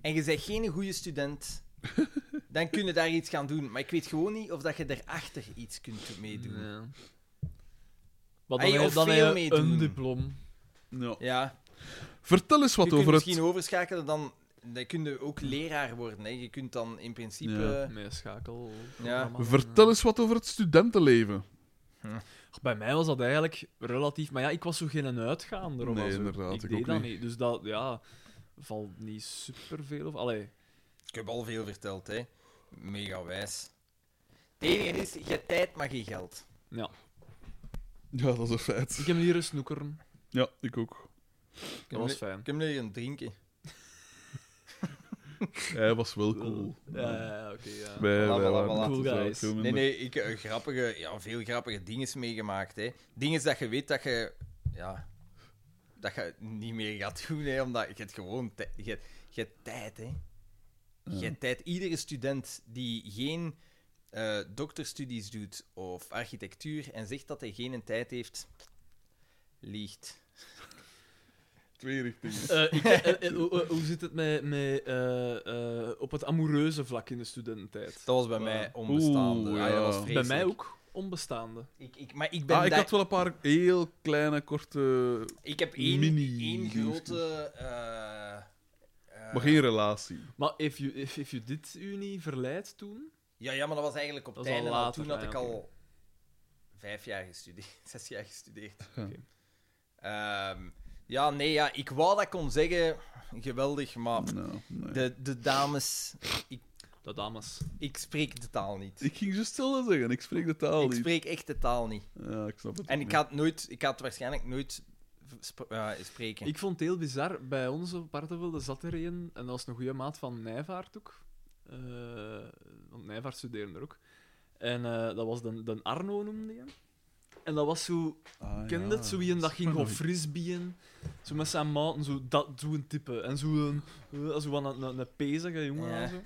[SPEAKER 4] en je bent geen goede student, dan kun je daar iets gaan doen. Maar ik weet gewoon niet of dat je daarachter iets kunt meedoen.
[SPEAKER 3] Ja. Maar
[SPEAKER 4] Ah,
[SPEAKER 3] dan,
[SPEAKER 4] je
[SPEAKER 3] heb-
[SPEAKER 4] of
[SPEAKER 3] dan heb
[SPEAKER 4] veel
[SPEAKER 3] je
[SPEAKER 4] meedoen.
[SPEAKER 3] een diploma.
[SPEAKER 1] Ja.
[SPEAKER 4] Ja,
[SPEAKER 1] Vertel eens
[SPEAKER 4] je
[SPEAKER 1] wat
[SPEAKER 4] kunt
[SPEAKER 1] over
[SPEAKER 4] misschien
[SPEAKER 1] het...
[SPEAKER 4] overschakelen, dan, dan kun je ook leraar worden. Hè. Je kunt dan in principe...
[SPEAKER 1] Ja.
[SPEAKER 3] Met schakel.
[SPEAKER 4] Ja.
[SPEAKER 1] Vertel eens wat over het studentenleven.
[SPEAKER 3] Bij mij was dat eigenlijk relatief... Maar ja, ik was zo geen een uitgaander. of
[SPEAKER 1] Nee,
[SPEAKER 3] wat zo.
[SPEAKER 1] inderdaad,
[SPEAKER 3] Ik,
[SPEAKER 1] ik
[SPEAKER 3] deed
[SPEAKER 1] ook
[SPEAKER 3] dat
[SPEAKER 1] niet.
[SPEAKER 3] niet. Dus dat, ja... Valt niet superveel of... Allee,
[SPEAKER 4] Ik heb al veel verteld, hè. Mega wijs. Het enige is, je hebt tijd, maar geen geld.
[SPEAKER 3] ja.
[SPEAKER 1] Ja, dat is een feit.
[SPEAKER 3] Ik heb hier een snoekeren.
[SPEAKER 1] Ja, ik ook.
[SPEAKER 3] Dat was fijn.
[SPEAKER 4] Ik heb nu een drinken.
[SPEAKER 1] Hij was wel cool.
[SPEAKER 3] Ja, ja, ja, Eh, oké, ja.
[SPEAKER 1] Wij,
[SPEAKER 4] Voilà,
[SPEAKER 1] wij
[SPEAKER 4] voilà,
[SPEAKER 1] waren
[SPEAKER 4] voilà.
[SPEAKER 1] het
[SPEAKER 3] Cool
[SPEAKER 1] dus
[SPEAKER 3] guys.
[SPEAKER 1] ook heel
[SPEAKER 4] Nee,
[SPEAKER 1] minder.
[SPEAKER 4] nee, ik heb grappige, ja, veel grappige dingen meegemaakt. Hè. Dingen dat je weet dat je, ja, dat je niet meer gaat doen, hè, omdat je hebt gewoon tij- je, hebt- je hebt tijd. Hè. Je hebt tijd. Iedere student die geen eh, dokterstudies doet of architectuur en zegt dat hij geen tijd heeft, liegt.
[SPEAKER 1] Twee richtingen.
[SPEAKER 3] Eh, ik, eh, eh, eh, hoe- eh, hoe zit het met, met, eh, eh, op het amoureuze vlak in de studententijd?
[SPEAKER 4] Dat was bij
[SPEAKER 3] Ja.
[SPEAKER 4] mij onbestaande.
[SPEAKER 1] Eh, Oeh,
[SPEAKER 4] Ah, ja, dat was
[SPEAKER 1] ja.
[SPEAKER 3] Bij
[SPEAKER 4] vreselijk.
[SPEAKER 3] mij ook onbestaande.
[SPEAKER 4] Ik, ik, maar ik ben
[SPEAKER 1] Ah, ik
[SPEAKER 4] daar-
[SPEAKER 1] had wel een paar heel kleine, korte...
[SPEAKER 4] Ik heb één,
[SPEAKER 1] Mini-
[SPEAKER 4] één grote. eh, eh,
[SPEAKER 1] Maar geen relatie.
[SPEAKER 3] Maar if you, if, if you dit u niet verleidt toen...
[SPEAKER 4] Ja, ja, maar dat was eigenlijk op
[SPEAKER 3] Dat
[SPEAKER 4] het
[SPEAKER 3] is al
[SPEAKER 4] einde. want
[SPEAKER 3] later,
[SPEAKER 4] Toen had
[SPEAKER 3] ja,
[SPEAKER 4] ik
[SPEAKER 3] oké.
[SPEAKER 4] al vijf jaar gestudeerd, zes jaar gestudeerd.
[SPEAKER 3] Oké.
[SPEAKER 4] Ehm, ja, nee, ja, ik wou dat kon zeggen. Geweldig, maar
[SPEAKER 1] Nou, nee.
[SPEAKER 4] de, de dames.
[SPEAKER 3] Dat dames.
[SPEAKER 4] Ik spreek de taal niet.
[SPEAKER 1] Ik ging zo stil zeggen, ik spreek de taal
[SPEAKER 4] Ik
[SPEAKER 1] niet.
[SPEAKER 4] spreek echt de taal niet.
[SPEAKER 1] Ja, ik snap het
[SPEAKER 4] En
[SPEAKER 1] ook
[SPEAKER 4] ik had nooit, ik had waarschijnlijk nooit sp- eh, spreken.
[SPEAKER 3] Ik vond het heel bizar. Bij ons op Bartevelde zat er een, en dat was een goede maat van Nijvaart ook. Eh, want Nijvaart studeerde er ook. En eh, dat was de, de Arno, noemde je hem. En dat was zo...
[SPEAKER 1] Ah,
[SPEAKER 3] Ken je
[SPEAKER 1] ja.
[SPEAKER 3] het? Zo wie een dat ging
[SPEAKER 1] Spannend.
[SPEAKER 3] gewoon frisbeeën. Zo met zijn maten, zo dat zo'n type. En zo'n... eh, Zo van een, een, een pezige jongen
[SPEAKER 4] Ja.
[SPEAKER 3] en zo.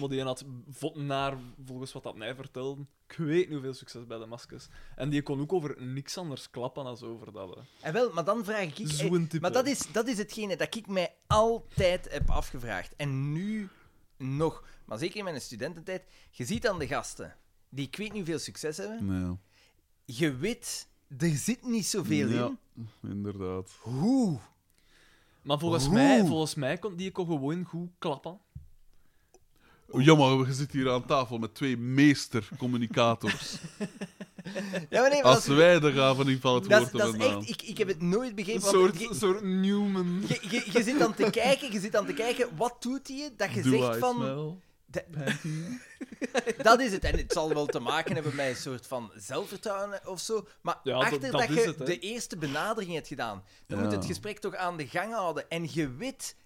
[SPEAKER 3] Maar die had vot naar, volgens wat dat mij vertelde, ik weet niet hoeveel succes bij de maskers. En die kon ook over niks anders klappen dan over dat. hè.
[SPEAKER 4] En wel, maar dan vraag ik... eh,
[SPEAKER 3] Zo'n type.
[SPEAKER 4] maar dat is, dat is hetgene dat ik mij altijd heb afgevraagd. En nu nog. Maar zeker in mijn studententijd. Je ziet aan de gasten, die ik weet niet hoeveel succes hebben.
[SPEAKER 1] Ja,
[SPEAKER 4] Je weet, er zit niet zoveel in.
[SPEAKER 1] Ja, inderdaad.
[SPEAKER 4] Hoe?
[SPEAKER 3] Maar volgens
[SPEAKER 1] Oh.
[SPEAKER 4] Oeh.
[SPEAKER 3] mij, volgens mij kon die kon gewoon goed klappen.
[SPEAKER 1] Ja, maar je zit hier aan tafel met twee meestercommunicators.
[SPEAKER 4] Ja, maar nee, maar
[SPEAKER 1] Als
[SPEAKER 4] dat is-
[SPEAKER 1] wij er gaan van van het
[SPEAKER 4] dat is,
[SPEAKER 1] woord
[SPEAKER 4] dat
[SPEAKER 1] hebben
[SPEAKER 4] is
[SPEAKER 1] aan.
[SPEAKER 4] echt... Ik, ik heb het nooit
[SPEAKER 3] Een
[SPEAKER 4] begrepen. want
[SPEAKER 3] soort,
[SPEAKER 4] je-
[SPEAKER 3] soort Newman.
[SPEAKER 4] Je, je, je zit dan te kijken, je zit dan te kijken, wat doet hij? Dat je zegt van...
[SPEAKER 3] Oh.
[SPEAKER 4] Dat, dat is het. En het zal wel te maken hebben met een soort van zelfvertrouwen of zo. Maar
[SPEAKER 3] Ja, dat-
[SPEAKER 4] achter dat,
[SPEAKER 3] dat is
[SPEAKER 4] je
[SPEAKER 3] het, hè.
[SPEAKER 4] de eerste benadering hebt gedaan, dan
[SPEAKER 1] Ja.
[SPEAKER 4] moet het gesprek toch aan de gang houden. En je weet,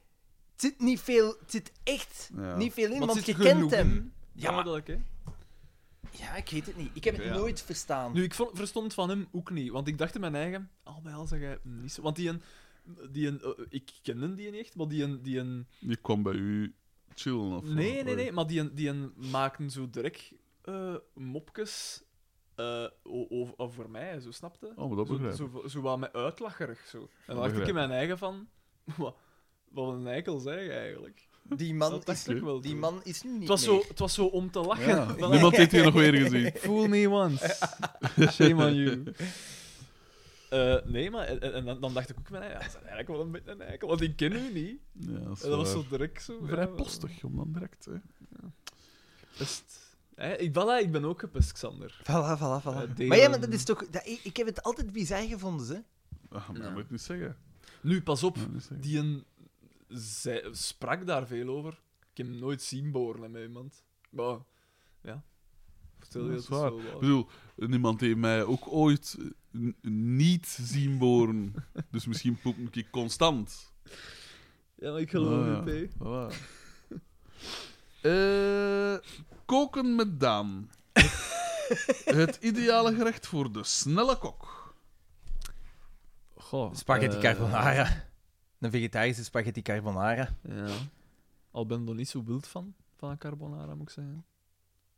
[SPEAKER 4] het zit niet veel... Het zit echt
[SPEAKER 1] Ja.
[SPEAKER 4] niet veel
[SPEAKER 3] Maar
[SPEAKER 4] in,
[SPEAKER 3] het
[SPEAKER 4] want je
[SPEAKER 3] zit
[SPEAKER 4] kent
[SPEAKER 3] genoeg
[SPEAKER 4] hem.
[SPEAKER 3] in.
[SPEAKER 4] Ja, maar-
[SPEAKER 3] Duidelijk, hè.
[SPEAKER 4] Ja, ik weet het niet. Ik heb het
[SPEAKER 1] Ja.
[SPEAKER 4] nooit verstaan.
[SPEAKER 3] Nu, ik vond- verstond het van hem ook niet, want ik dacht in mijn eigen, al bij al zeg jij niet zo. Want die een, die een eh, ik kende die niet echt, maar die een, die een
[SPEAKER 1] Je kwam bij u chillen of
[SPEAKER 3] nee, nee, nee, maar die een, die een maakten zo direct eh, mopjes eh, o- o- over mij, zo snapte.
[SPEAKER 1] Oh, maar dat
[SPEAKER 3] Zo,
[SPEAKER 1] begrijp ik.
[SPEAKER 3] zo, zo wat met uitlacherig, zo. En dan
[SPEAKER 1] begrijp
[SPEAKER 3] dacht ik
[SPEAKER 1] ik.
[SPEAKER 3] in mijn eigen van, wat, wat een eikel zeg je eigenlijk.
[SPEAKER 4] Die man,
[SPEAKER 3] Dat
[SPEAKER 4] is,
[SPEAKER 3] dacht ik wel.
[SPEAKER 4] die
[SPEAKER 3] toen.
[SPEAKER 4] man is nu niet
[SPEAKER 3] het was,
[SPEAKER 4] meer.
[SPEAKER 3] zo, het was zo om te lachen.
[SPEAKER 1] Ja,
[SPEAKER 3] Van,
[SPEAKER 1] Niemand heeft hier nog weer gezien.
[SPEAKER 3] Fool me once. Shame on you. Eh, nee, maar en, en dan, dan dacht ik ook, van, ja, dat is eigenlijk wel een beetje een eikel, want ik ken u niet.
[SPEAKER 1] Ja, dat is
[SPEAKER 3] En dat was
[SPEAKER 1] waar.
[SPEAKER 3] zo direct zo.
[SPEAKER 1] vrij
[SPEAKER 3] ja,
[SPEAKER 1] postig om dan direct. Hè.
[SPEAKER 3] Pest. Hè, ik, voilà, ik ben ook gepest, Xander.
[SPEAKER 4] Voilà, voilà,
[SPEAKER 3] Eh,
[SPEAKER 4] voilà.
[SPEAKER 3] delen.
[SPEAKER 4] maar ja, maar dat is toch... Dat, ik, ik heb het altijd bizar gevonden, ze.
[SPEAKER 1] Ah, maar dat
[SPEAKER 3] Ja.
[SPEAKER 1] moet ik niet zeggen.
[SPEAKER 3] eh, Nu, pas op,
[SPEAKER 1] Dat moet ik niet zeggen.
[SPEAKER 3] die een, zij, sprak daar veel over. Ik heb hem nooit zien boren met iemand. Maar, ja. Vertel je
[SPEAKER 1] Dat
[SPEAKER 3] dat
[SPEAKER 1] is
[SPEAKER 3] is
[SPEAKER 1] waar.
[SPEAKER 3] wel waar.
[SPEAKER 1] Ik bedoel, niemand heeft mij ook ooit eh, n- niet zien boren. Dus misschien poep ik constant.
[SPEAKER 3] Ja, maar ik geloof
[SPEAKER 1] Ah,
[SPEAKER 3] het,
[SPEAKER 1] ja.
[SPEAKER 3] hè.
[SPEAKER 1] Voilà. Eh, koken met Daan. Het ideale gerecht voor de snelle kok.
[SPEAKER 3] Goh,
[SPEAKER 4] Spaghetti
[SPEAKER 3] eh,
[SPEAKER 4] carbonara. Een vegetarische spaghetti carbonara.
[SPEAKER 3] Ja. Al ben ik er niet zo wild van, van een carbonara, moet ik zeggen.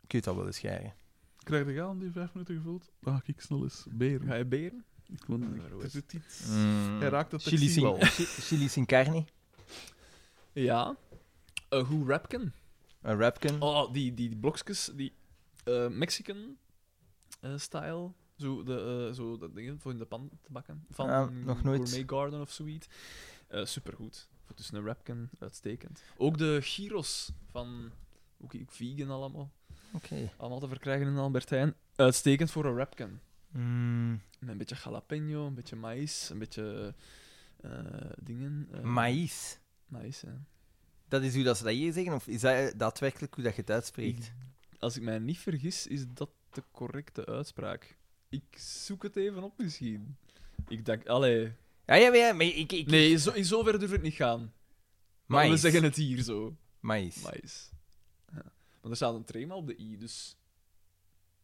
[SPEAKER 4] Kun je dat wel eens schijnen.
[SPEAKER 1] Krijg je aan die vijf minuten gevuld? Dan ga ik snel eens beren.
[SPEAKER 3] Ga je beren?
[SPEAKER 1] Ik wil-
[SPEAKER 3] Ja,
[SPEAKER 1] er zit iets. Hij
[SPEAKER 4] Mm.
[SPEAKER 1] raakt het
[SPEAKER 4] Chili,
[SPEAKER 1] textiel
[SPEAKER 4] sin,
[SPEAKER 1] wel.
[SPEAKER 4] chi- chili sin carne.
[SPEAKER 3] Ja. Eh hoe rapken?
[SPEAKER 4] Een rapkin.
[SPEAKER 3] Oh, die, die, die blokjes, die eh, Mexican eh, style. Zo, de, eh, zo dat ding voor in de pan te bakken. Van
[SPEAKER 4] Ah, nog nooit.
[SPEAKER 3] Gourmet Garden of zoiets. Eh supergoed. Voor tussen een rapkin, uitstekend. Ook de gyros van... Ook, ook vegan allemaal.
[SPEAKER 4] Oké.
[SPEAKER 3] Allemaal te verkrijgen in Albert Heijn. Uitstekend voor een rapkin.
[SPEAKER 4] Mm,
[SPEAKER 3] Met een beetje jalapeno, een beetje maïs, een beetje eh, dingen. eh,
[SPEAKER 4] maïs.
[SPEAKER 3] Maïs, hè.
[SPEAKER 4] Dat is hoe dat ze dat hier zeggen? Of is dat daadwerkelijk hoe dat je het uitspreekt?
[SPEAKER 3] Ik- als ik mij niet vergis, is dat de correcte uitspraak. Ik zoek het even op misschien. Ik denk, allee.
[SPEAKER 4] Ah, Ja, ja, maar ja. Maar ik, ik,
[SPEAKER 3] Nee, zo, in zover durf ik niet gaan. Maar we
[SPEAKER 4] maïs.
[SPEAKER 3] zeggen het hier zo.
[SPEAKER 4] Maïs.
[SPEAKER 3] Maïs. Ja. Want er staat een trema op de i, dus.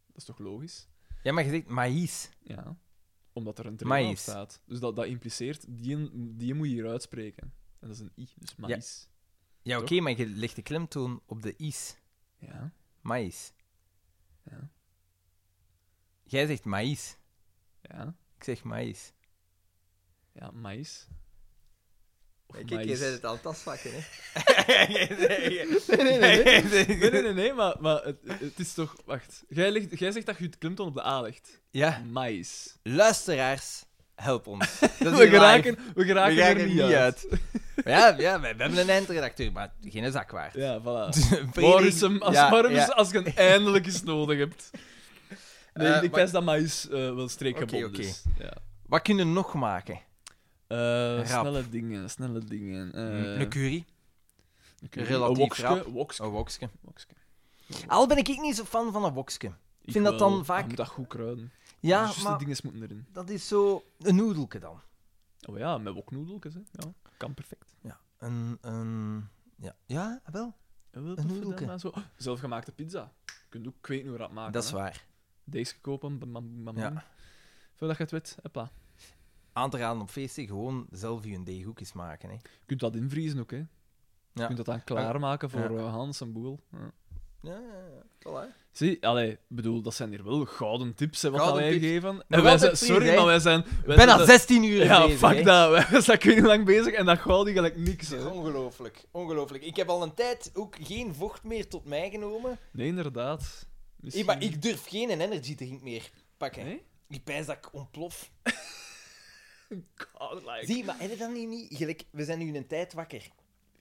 [SPEAKER 3] Dat is toch logisch?
[SPEAKER 4] Ja, maar je zegt maïs.
[SPEAKER 3] Ja. Omdat er een trema op
[SPEAKER 4] Maïs.
[SPEAKER 3] staat. Dus dat, dat impliceert, die, die moet je hier uitspreken. En dat is een i, dus maïs.
[SPEAKER 4] Ja, oké,
[SPEAKER 3] Toch?
[SPEAKER 4] maar je legt de klemtoon op de is.
[SPEAKER 3] Ja.
[SPEAKER 4] Maïs.
[SPEAKER 3] Ja.
[SPEAKER 4] Jij zegt maïs.
[SPEAKER 3] Ja.
[SPEAKER 4] Ik zeg maïs.
[SPEAKER 3] Ja, maïs. Of
[SPEAKER 4] Kijk,
[SPEAKER 3] maïs.
[SPEAKER 4] je zei het aan het vastpakken, hè?
[SPEAKER 3] nee, nee, nee. Nee, nee, nee, nee, maar, maar het, het is toch... Wacht. Jij, legt, jij zegt dat je het klemtoon op de A legt.
[SPEAKER 4] Ja,
[SPEAKER 3] Mais.
[SPEAKER 4] luisteraars, help ons. Dat is
[SPEAKER 3] We
[SPEAKER 4] hier
[SPEAKER 3] geraken, we
[SPEAKER 4] live.
[SPEAKER 3] geraken,
[SPEAKER 4] we geraken
[SPEAKER 3] er niet uit.
[SPEAKER 4] Ja, ja, we we hebben een eindredacteur, maar geen zak waard.
[SPEAKER 3] Ja, voilà.
[SPEAKER 4] Vredig-
[SPEAKER 3] Waar is hem? Als,
[SPEAKER 4] Dus ja,
[SPEAKER 3] waarom is-
[SPEAKER 4] ja.
[SPEAKER 3] als je hem eindelijk eens nodig hebt? Nee, ik
[SPEAKER 4] Eh, maar-
[SPEAKER 3] wijs dat mais eh, wel streekgebonden
[SPEAKER 4] Oké, oké.
[SPEAKER 3] is. Ja.
[SPEAKER 4] Wat kunnen we nog maken?
[SPEAKER 3] Eh,
[SPEAKER 4] Rap.
[SPEAKER 3] snelle dingen, snelle dingen. Eh,
[SPEAKER 4] een curry,
[SPEAKER 3] een curry,
[SPEAKER 4] relatief
[SPEAKER 3] een wokske,
[SPEAKER 4] rap.
[SPEAKER 3] wokske,
[SPEAKER 4] een wokske.
[SPEAKER 3] wokske.
[SPEAKER 4] Al ben ik niet zo fan van een wokske.
[SPEAKER 3] Ik
[SPEAKER 4] vind dat
[SPEAKER 3] wel.
[SPEAKER 4] dan vaak-
[SPEAKER 3] Je moet dat goed kruiden.
[SPEAKER 4] Ja,
[SPEAKER 3] Juiste
[SPEAKER 4] maar
[SPEAKER 3] dingen moeten erin.
[SPEAKER 4] dat is zo een noedelke dan.
[SPEAKER 3] Oh ja, met woknoedeltjes, hè. Ja, kan perfect.
[SPEAKER 4] Ja, een, een... Ja, ja wel.
[SPEAKER 3] En wel
[SPEAKER 4] Een
[SPEAKER 3] tof
[SPEAKER 4] noedelke.
[SPEAKER 3] gedaan, maar zo. oh, Zelfgemaakte pizza. Je kunt ook kweken hoe dat maken.
[SPEAKER 4] Dat is
[SPEAKER 3] hè.
[SPEAKER 4] waar.
[SPEAKER 3] Deze kopen, bam, bam, bam,
[SPEAKER 4] Ja.
[SPEAKER 3] bam. Voordat je het weet, hoppa.
[SPEAKER 4] Aan te raden op feesten, gewoon zelf je deeghoekjes maken. Hè.
[SPEAKER 3] Je kunt dat invriezen ook, hè. Je
[SPEAKER 4] Ja. Ah,
[SPEAKER 3] kunt dat dan klaarmaken voor
[SPEAKER 4] Ja.
[SPEAKER 3] eh, Hans en Boel. Ja.
[SPEAKER 4] Ja, ja, ja. Voilà.
[SPEAKER 3] Zie, allee, bedoel, dat zijn hier wel gouden tips, hè, wat
[SPEAKER 4] Gouden
[SPEAKER 3] wij
[SPEAKER 4] tips.
[SPEAKER 3] geven.
[SPEAKER 4] Nog
[SPEAKER 3] En wij
[SPEAKER 4] altijd
[SPEAKER 3] zijn,
[SPEAKER 4] vier,
[SPEAKER 3] sorry,
[SPEAKER 4] hè.
[SPEAKER 3] maar wij zijn... Wij zijn
[SPEAKER 4] Bijna
[SPEAKER 3] dat-
[SPEAKER 4] 16 uur
[SPEAKER 3] Ja,
[SPEAKER 4] bezig, hè.
[SPEAKER 3] fuck dat. Wij zijn kun je lang bezig en dat goud die gelijk niks, hè.
[SPEAKER 4] Ongelooflijk, ongelooflijk. Ik heb al een tijd ook geen vocht meer tot mij genomen.
[SPEAKER 3] Nee, inderdaad.
[SPEAKER 4] Hey, maar ik durf geen energy drink meer pakken.
[SPEAKER 3] Nee?
[SPEAKER 4] Ik pijs dat ik ontplof.
[SPEAKER 3] God, like...
[SPEAKER 4] Zie, maar heb je dat nu niet? Gelijk, we zijn nu een tijd wakker.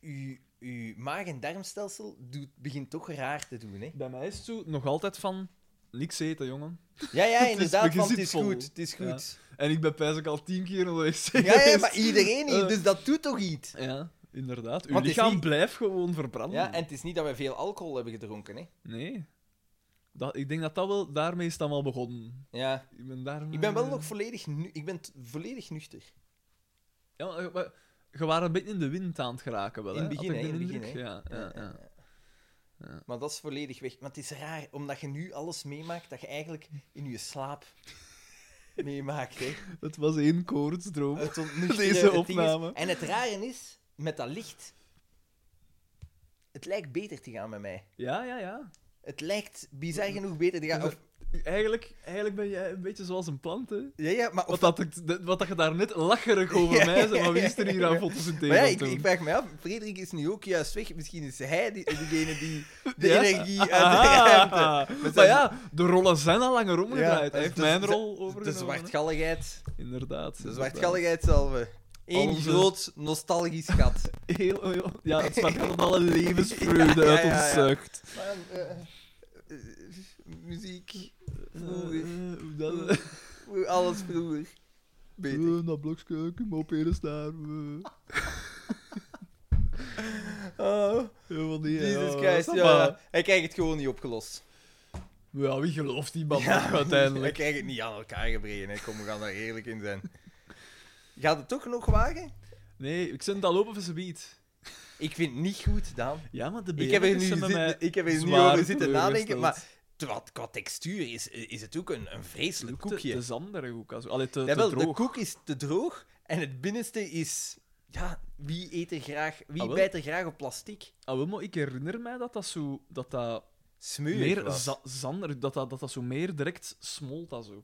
[SPEAKER 4] Uw, uw maag- en darmstelsel doet, begint toch raar te doen, hè?
[SPEAKER 3] Bij mij is het zo nog altijd van... Niks eten, jongen.
[SPEAKER 4] Ja, ja, inderdaad,
[SPEAKER 3] begint
[SPEAKER 4] want het is
[SPEAKER 3] vol.
[SPEAKER 4] goed. Het is goed.
[SPEAKER 3] En ik ben pijs ik al tien keer onderweg
[SPEAKER 4] Ja,
[SPEAKER 3] geweest.
[SPEAKER 4] ja, maar iedereen hier,
[SPEAKER 3] Eh.
[SPEAKER 4] dus dat doet toch iets?
[SPEAKER 3] Ja, inderdaad. Uw
[SPEAKER 4] Want het is
[SPEAKER 3] lichaam
[SPEAKER 4] niet-
[SPEAKER 3] blijft gewoon verbranden.
[SPEAKER 4] Ja, en het is niet dat we veel alcohol hebben gedronken, hè?
[SPEAKER 3] Nee. Dat, ik denk dat dat wel... Daarmee is het allemaal begonnen.
[SPEAKER 4] Ja.
[SPEAKER 3] Ik ben, daar...
[SPEAKER 4] Ik ben wel nog volledig, nu ik ben t- volledig nuchter.
[SPEAKER 3] Ja, maar, maar je waren een beetje in de wind aan het geraken wel,
[SPEAKER 4] In het
[SPEAKER 3] hè?
[SPEAKER 4] begin,
[SPEAKER 3] Had ik de
[SPEAKER 4] hè, in het
[SPEAKER 3] indruk?
[SPEAKER 4] begin,
[SPEAKER 3] ja, ja, ja.
[SPEAKER 4] Maar dat is volledig weg. Maar het is raar, omdat je nu alles meemaakt dat je eigenlijk in je slaap meemaakt. Hè.
[SPEAKER 3] Het was één koortsdroom.
[SPEAKER 4] Het ontnuchteren,
[SPEAKER 3] Deze
[SPEAKER 4] het ding is-
[SPEAKER 3] opname.
[SPEAKER 4] En het rare is, met dat licht, het lijkt beter te gaan met mij.
[SPEAKER 3] Ja, ja, ja.
[SPEAKER 4] Het lijkt bizar genoeg beter te gaan. Of,
[SPEAKER 3] Eigenlijk, eigenlijk ben jij een beetje zoals een plant, hè?
[SPEAKER 4] ja, ja, maar,
[SPEAKER 3] Wat
[SPEAKER 4] of,
[SPEAKER 3] dat, ik- de- wat dat je daar net lacherig over mij zei, maar wie is er hier aan fotosynthese
[SPEAKER 4] maar ja,
[SPEAKER 3] aan
[SPEAKER 4] ik,
[SPEAKER 3] het doen?
[SPEAKER 4] ik vraag me af, Frederik is nu ook juist weg. Misschien is hij die- degene die de
[SPEAKER 3] Ja?
[SPEAKER 4] energie uit de ruimte...
[SPEAKER 3] Ah, maar ja, de rollen zijn al langer omgedraaid.
[SPEAKER 4] Ja,
[SPEAKER 3] Hij heeft
[SPEAKER 4] de-
[SPEAKER 3] mijn
[SPEAKER 4] de-
[SPEAKER 3] rol
[SPEAKER 4] De
[SPEAKER 3] overgenomen.
[SPEAKER 4] zwartgalligheid.
[SPEAKER 3] Inderdaad.
[SPEAKER 4] De
[SPEAKER 3] inderdaad.
[SPEAKER 4] zwartgalligheid zelf. Eén
[SPEAKER 3] Onze-
[SPEAKER 4] groot nostalgisch gat.
[SPEAKER 3] Heel, heel, ja, het zwart gaat alle levensvreugde
[SPEAKER 4] Ja, ja,
[SPEAKER 3] uit
[SPEAKER 4] ja,
[SPEAKER 3] ons
[SPEAKER 4] ja.
[SPEAKER 3] zucht.
[SPEAKER 4] Maar, eh, eh, muziek,
[SPEAKER 3] Eh,
[SPEAKER 4] vroeger,
[SPEAKER 3] eh, hoe dat...
[SPEAKER 4] Vroeger, alles vroeger. Beter.
[SPEAKER 3] Eh, dat blokje, kom op, hier is daar. eh.
[SPEAKER 4] Oh,
[SPEAKER 3] Helemaal niet. hè,
[SPEAKER 4] Jesus
[SPEAKER 3] ja,
[SPEAKER 4] Christ,
[SPEAKER 3] maar-
[SPEAKER 4] ja. Hij krijgt het gewoon niet opgelost.
[SPEAKER 3] Ja, wie gelooft die man nog
[SPEAKER 4] Hij
[SPEAKER 3] uiteindelijk?
[SPEAKER 4] krijgt het niet aan elkaar gebreken, hè. Kom, we gaan daar eerlijk in zijn. Gaat het toch nog wagen?
[SPEAKER 3] Nee, ik zit al lopen van zijn beat.
[SPEAKER 4] Ik vind het niet goed, Daan.
[SPEAKER 3] Ja, maar de
[SPEAKER 4] Ik heb er nu,
[SPEAKER 3] BMX'en bij mij
[SPEAKER 4] zitten, ik heb er nu
[SPEAKER 3] zwaar
[SPEAKER 4] over zitten nadenken,
[SPEAKER 3] teleurgesteld.
[SPEAKER 4] maar terwijl het qua textuur is, is het ook een, een vreselijk
[SPEAKER 3] Te-
[SPEAKER 4] koekje.
[SPEAKER 3] Te zanderig ook. als- Allee, te,
[SPEAKER 4] Ja,
[SPEAKER 3] te
[SPEAKER 4] wel, de
[SPEAKER 3] droog.
[SPEAKER 4] koek is te droog en het binnenste is... Ja, wie eet er graag... Wie
[SPEAKER 3] Ah, wel.
[SPEAKER 4] bijt er graag op plastic?
[SPEAKER 3] Ah, wel, maar ik herinner mij dat dat zo... Dat dat
[SPEAKER 4] Smeuig
[SPEAKER 3] meer
[SPEAKER 4] was.
[SPEAKER 3] za zanderig... Dat dat, dat dat zo meer direct smolt dat zo.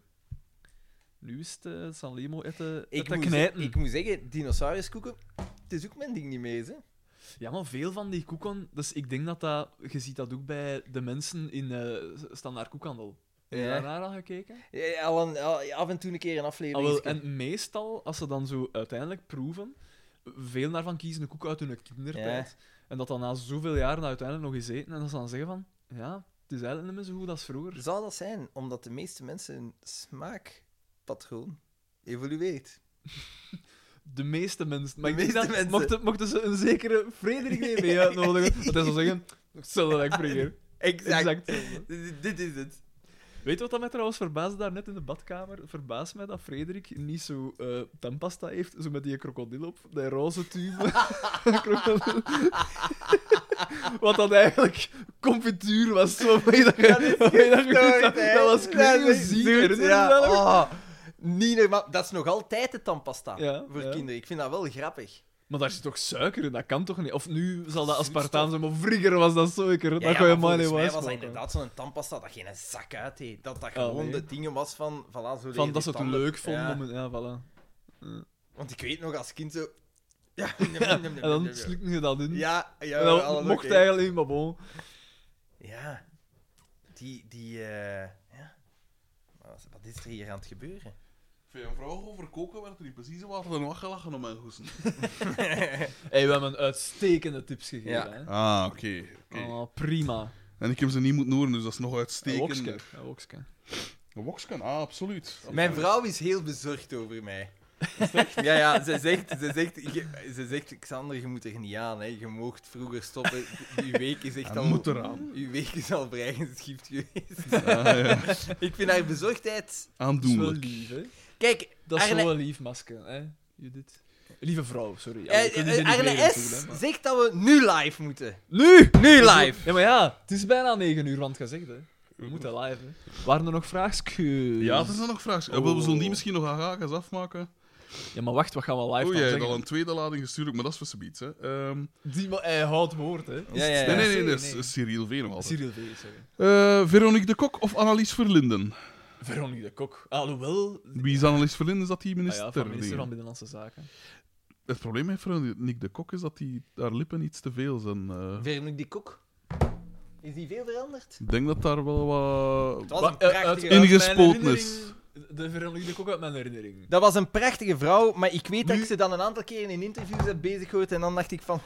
[SPEAKER 3] Nu is het eh, San Lemo eten,
[SPEAKER 4] ik,
[SPEAKER 3] eten
[SPEAKER 4] moet,
[SPEAKER 3] knijten.
[SPEAKER 4] ik moet zeggen, dinosauruskoeken, het is ook mijn ding niet meer, hè.
[SPEAKER 3] Ja, maar veel van die koeken... Dus ik denk dat dat... Je ziet dat ook bij de mensen in eh, standaard koekhandel. Heb je
[SPEAKER 4] Ja.
[SPEAKER 3] daarnaar al gekeken?
[SPEAKER 4] Ja, ja, al een- al- af en toe een keer een
[SPEAKER 3] Ah,
[SPEAKER 4] aflevering.
[SPEAKER 3] wel, en meestal, als ze dan zo uiteindelijk proeven, veel daarvan kiezen een koek uit hun kindertijd. En dat dan na zoveel jaren uiteindelijk nog eens eten. En dat ze dan zeggen van, ja, het is eigenlijk niet meer zo goed als vroeger.
[SPEAKER 4] Zou dat zijn omdat de meeste mensen hun smaakpatroon evolueert?
[SPEAKER 3] De meeste mensen. Maar
[SPEAKER 4] De
[SPEAKER 3] ik denk
[SPEAKER 4] meeste
[SPEAKER 3] dat-
[SPEAKER 4] mensen.
[SPEAKER 3] Mochten, mochten ze een zekere Frederik mee mee uitnodigen, dat hij zou zeggen, hetzelfde als vroeger.
[SPEAKER 4] Exact.
[SPEAKER 3] Exact. hetzelfde.
[SPEAKER 4] Dit, dit is het.
[SPEAKER 3] Weet je wat dat mij trouwens verbaasde daarnet in de badkamer? Verbaast mij dat Frederik niet zo eh tandpasta heeft, zo met die krokodil op, die roze tube. Krokodil. wat dat eigenlijk confituur was, zo waarmee dat je- waarmee dat je- dat- dat was kleine ziek, herinner je
[SPEAKER 4] ja.
[SPEAKER 3] dat nog?
[SPEAKER 4] oh, niet normaal. Dat is nog altijd de tandpasta
[SPEAKER 3] Ja,
[SPEAKER 4] voor
[SPEAKER 3] ja.
[SPEAKER 4] kinderen. Ik vind dat wel grappig.
[SPEAKER 3] Maar daar zit toch suiker in, dat kan toch niet? Of nu zal dat aspartaan zijn, maar vroeger was dat suiker.
[SPEAKER 4] Ja,
[SPEAKER 3] dat
[SPEAKER 4] ja,
[SPEAKER 3] kon je
[SPEAKER 4] maar
[SPEAKER 3] maar
[SPEAKER 4] volgens
[SPEAKER 3] niet
[SPEAKER 4] mij was dat
[SPEAKER 3] wijsmaken.
[SPEAKER 4] inderdaad zo'n tandpasta dat geen zak uit deed. Dat dat gewoon
[SPEAKER 3] nee.
[SPEAKER 4] de dingen was van... Voilà, zo leer
[SPEAKER 3] Van
[SPEAKER 4] je
[SPEAKER 3] dat ze het
[SPEAKER 4] tanden.
[SPEAKER 3] leuk vonden.
[SPEAKER 4] Ja.
[SPEAKER 3] om het- Ja, voilà.
[SPEAKER 4] Want ik weet nog als kind zo... Ja,
[SPEAKER 3] En dan slikten ze dat in.
[SPEAKER 4] Ja, ja,
[SPEAKER 3] en dan
[SPEAKER 4] allemaal
[SPEAKER 3] mocht
[SPEAKER 4] oké.
[SPEAKER 3] eigenlijk niet, maar bon.
[SPEAKER 4] Ja. Die, die, eh, ja. Wat, wat is er hier aan het gebeuren?
[SPEAKER 1] Veel een vraag over koken werd er niet precies waar dan wat gelachen om mijn goesten.
[SPEAKER 3] Hey, we hebben een uitstekende tips gegeven.
[SPEAKER 4] Ja.
[SPEAKER 3] Hè?
[SPEAKER 1] Ah, oké. oké.
[SPEAKER 3] Oh, prima.
[SPEAKER 1] En ik heb ze niet moeten horen, dus dat is nog
[SPEAKER 3] Een wokske.
[SPEAKER 1] uitstekender.
[SPEAKER 3] Een wokske.
[SPEAKER 1] Een woksken, ah, absoluut.
[SPEAKER 4] Mijn vrouw is heel bezorgd over mij. Ja, ja, ze zegt, ze, zegt, je- ze zegt, Xander, je moet er niet aan, hè. je moogt vroeger stoppen. Uw week is echt
[SPEAKER 1] Hij
[SPEAKER 4] al...
[SPEAKER 1] moet eraan.
[SPEAKER 4] Uw week is al vrijgeschift geweest.
[SPEAKER 1] Ah, ja.
[SPEAKER 4] Ik vind haar bezorgdheid...
[SPEAKER 3] Dat is wel
[SPEAKER 1] Aandoenlijk.
[SPEAKER 3] lief, hè?
[SPEAKER 4] Kijk,
[SPEAKER 3] Dat is
[SPEAKER 4] Arne-
[SPEAKER 3] wel lief, maske, hè? Judith. Lieve vrouw, sorry. Ja, we
[SPEAKER 4] eh,
[SPEAKER 3] kunnen ze
[SPEAKER 4] eh,
[SPEAKER 3] niet
[SPEAKER 4] Arne
[SPEAKER 3] meer doen, hè,
[SPEAKER 4] S.
[SPEAKER 3] maar-
[SPEAKER 4] zegt dat we nu live moeten.
[SPEAKER 3] Nu!
[SPEAKER 4] Nu live!
[SPEAKER 3] Ja, maar ja, het is bijna 9 uur, want gezegd, hè? We moeten live, hè. Waren er nog vraagjes?
[SPEAKER 1] Ja, er zijn nog vragen. Eh, wel, We zullen die misschien nog aan Gagas afmaken.
[SPEAKER 3] Ja, maar wacht, wat gaan we live
[SPEAKER 1] oh,
[SPEAKER 3] dan
[SPEAKER 1] jij hebt
[SPEAKER 3] zeggen?
[SPEAKER 1] al een tweede lading gestuurd, maar dat is voor subiet, hè. Ehm,
[SPEAKER 3] Die, maar hij houdt woord, hè.
[SPEAKER 4] Ja, ja,
[SPEAKER 1] nee,
[SPEAKER 4] ja.
[SPEAKER 1] nee, nee,
[SPEAKER 3] sorry,
[SPEAKER 1] dat is
[SPEAKER 3] nee.
[SPEAKER 1] eh, Cyril Veenwald.
[SPEAKER 3] Cyril V, sorry.
[SPEAKER 1] Eh, Veronique de Kok of Annelies Verlinden?
[SPEAKER 3] Veronique de Kok. Alhoewel...
[SPEAKER 1] Wie is Annelies Verlinden? Is dat die
[SPEAKER 3] Ah
[SPEAKER 1] minister?
[SPEAKER 3] ja, van minister
[SPEAKER 1] Nee.
[SPEAKER 3] van Binnenlandse Zaken.
[SPEAKER 1] Het probleem met Veronique de Kok is dat die, haar lippen iets te veel zijn. eh.
[SPEAKER 4] Veronique die Kok. Is die veel veranderd?
[SPEAKER 1] Ik denk dat daar wel wat...
[SPEAKER 4] was een
[SPEAKER 3] Maar, eh, uit-
[SPEAKER 4] prachtige...
[SPEAKER 3] uit
[SPEAKER 1] Ingespoten
[SPEAKER 3] mijn
[SPEAKER 1] is.
[SPEAKER 3] herinnering- De Veronique de Kok uit mijn herinnering.
[SPEAKER 4] Dat was een prachtige vrouw, maar ik weet dat
[SPEAKER 3] Nu-
[SPEAKER 4] ik ze dan een aantal keren in interviews heb bezig gehoord en dan dacht ik van...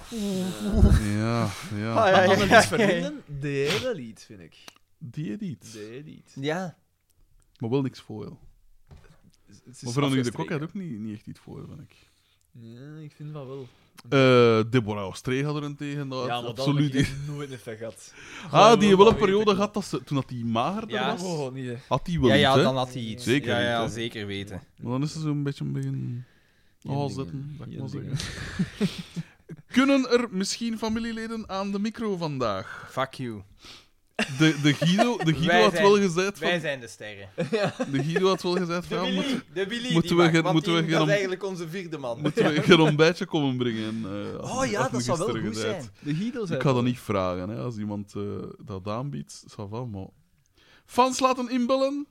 [SPEAKER 1] Ja,
[SPEAKER 4] Ah, ja,
[SPEAKER 1] ja.
[SPEAKER 3] Maar
[SPEAKER 4] ja.
[SPEAKER 3] Annelies Verlinden dus deed hij wel iets, vind ik.
[SPEAKER 1] Die edit.
[SPEAKER 3] Deed hij niet.
[SPEAKER 4] Ja.
[SPEAKER 1] Maar wel niks voor.
[SPEAKER 3] Het is
[SPEAKER 1] Maar Veronique de Kok had
[SPEAKER 3] afgestreken.
[SPEAKER 1] ook niet, niet echt iets voor, vind ik.
[SPEAKER 3] Ja, ik vind van wel.
[SPEAKER 1] Eh Deborah Ostree had er een tegen. dat
[SPEAKER 3] ja, maar
[SPEAKER 1] absoluut.
[SPEAKER 3] dat heb ik nooit een effect gehad.
[SPEAKER 1] ah, die wel een
[SPEAKER 3] dat weet ik
[SPEAKER 1] periode
[SPEAKER 3] nog.
[SPEAKER 1] gehad dat ze, toen dat die magerder
[SPEAKER 4] Ja.
[SPEAKER 1] was.
[SPEAKER 3] Oh, niet, hè.
[SPEAKER 1] Had die wel
[SPEAKER 4] Ja,
[SPEAKER 1] iets,
[SPEAKER 4] ja,
[SPEAKER 1] hè?
[SPEAKER 4] dan had hij iets.
[SPEAKER 1] Zeker
[SPEAKER 4] ja, ja,
[SPEAKER 1] weten.
[SPEAKER 4] zeker weten.
[SPEAKER 1] Maar dan is ze zo'n beetje begin. Oh,
[SPEAKER 3] dingen.
[SPEAKER 1] zetten, dat ik
[SPEAKER 3] Ja,
[SPEAKER 1] maar
[SPEAKER 3] dingen.
[SPEAKER 1] zeggen. Kunnen er misschien familieleden aan de micro vandaag?
[SPEAKER 4] Fuck you.
[SPEAKER 1] De, de Guido, de Guido
[SPEAKER 4] Wij
[SPEAKER 1] had
[SPEAKER 4] zijn-
[SPEAKER 1] wel gezegd
[SPEAKER 4] Wij
[SPEAKER 1] van...
[SPEAKER 4] zijn de sterren.
[SPEAKER 1] De Guido had wel gezegd
[SPEAKER 4] De
[SPEAKER 1] van... moet-
[SPEAKER 4] Billy, de Billy
[SPEAKER 1] moeten
[SPEAKER 4] die
[SPEAKER 1] we
[SPEAKER 4] mag,
[SPEAKER 1] geen-
[SPEAKER 4] want
[SPEAKER 1] moeten we
[SPEAKER 4] die-
[SPEAKER 1] geen
[SPEAKER 4] dat
[SPEAKER 1] om-
[SPEAKER 4] is eigenlijk onze vierde man.
[SPEAKER 1] Moeten we een ontbijtje komen brengen? eh, had-
[SPEAKER 4] Oh ja,
[SPEAKER 1] had me
[SPEAKER 4] dat zou wel
[SPEAKER 1] gisteren
[SPEAKER 4] goed
[SPEAKER 1] gezegd.
[SPEAKER 4] zijn.
[SPEAKER 3] De Guido zei
[SPEAKER 1] Ik ga dat
[SPEAKER 3] wel.
[SPEAKER 1] niet vragen, hè. Als iemand eh, dat aanbiedt, ça va, maar... Fans laten inbellen?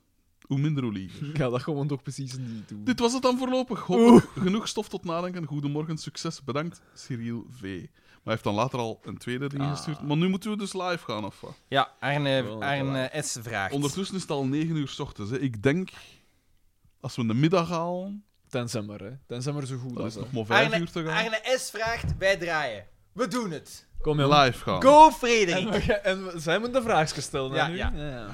[SPEAKER 1] Hoe minder, hoe liever.
[SPEAKER 3] Ik ga dat gewoon toch precies niet doen.
[SPEAKER 1] Dit was het dan voorlopig. Hopelijk genoeg stof tot nadenken. Goedemorgen, succes. Bedankt, Cyril V. Maar hij heeft dan later al een tweede ding
[SPEAKER 3] Ah.
[SPEAKER 1] gestuurd. Maar nu moeten we dus live gaan, of wat?
[SPEAKER 4] Ja, Arne,
[SPEAKER 3] Wel,
[SPEAKER 4] Arne S. vraagt.
[SPEAKER 1] Ondertussen is het al 9 uur s ochtends. Hè. Ik denk, als we in de middag halen,
[SPEAKER 3] Tenzij maar, hè. Tenzij maar zo goed
[SPEAKER 1] dan is
[SPEAKER 3] als
[SPEAKER 1] het
[SPEAKER 3] dat.
[SPEAKER 1] nog maar 5
[SPEAKER 4] Arne,
[SPEAKER 1] uur te gaan.
[SPEAKER 4] Arne S. vraagt, wij draaien. We doen het.
[SPEAKER 3] Kom, jong.
[SPEAKER 1] Live gaan.
[SPEAKER 4] Go,
[SPEAKER 3] En,
[SPEAKER 4] Frederik.
[SPEAKER 3] we- en we- zij moeten de vraag stellen, hè,
[SPEAKER 4] Ja,
[SPEAKER 3] nu?
[SPEAKER 4] ja.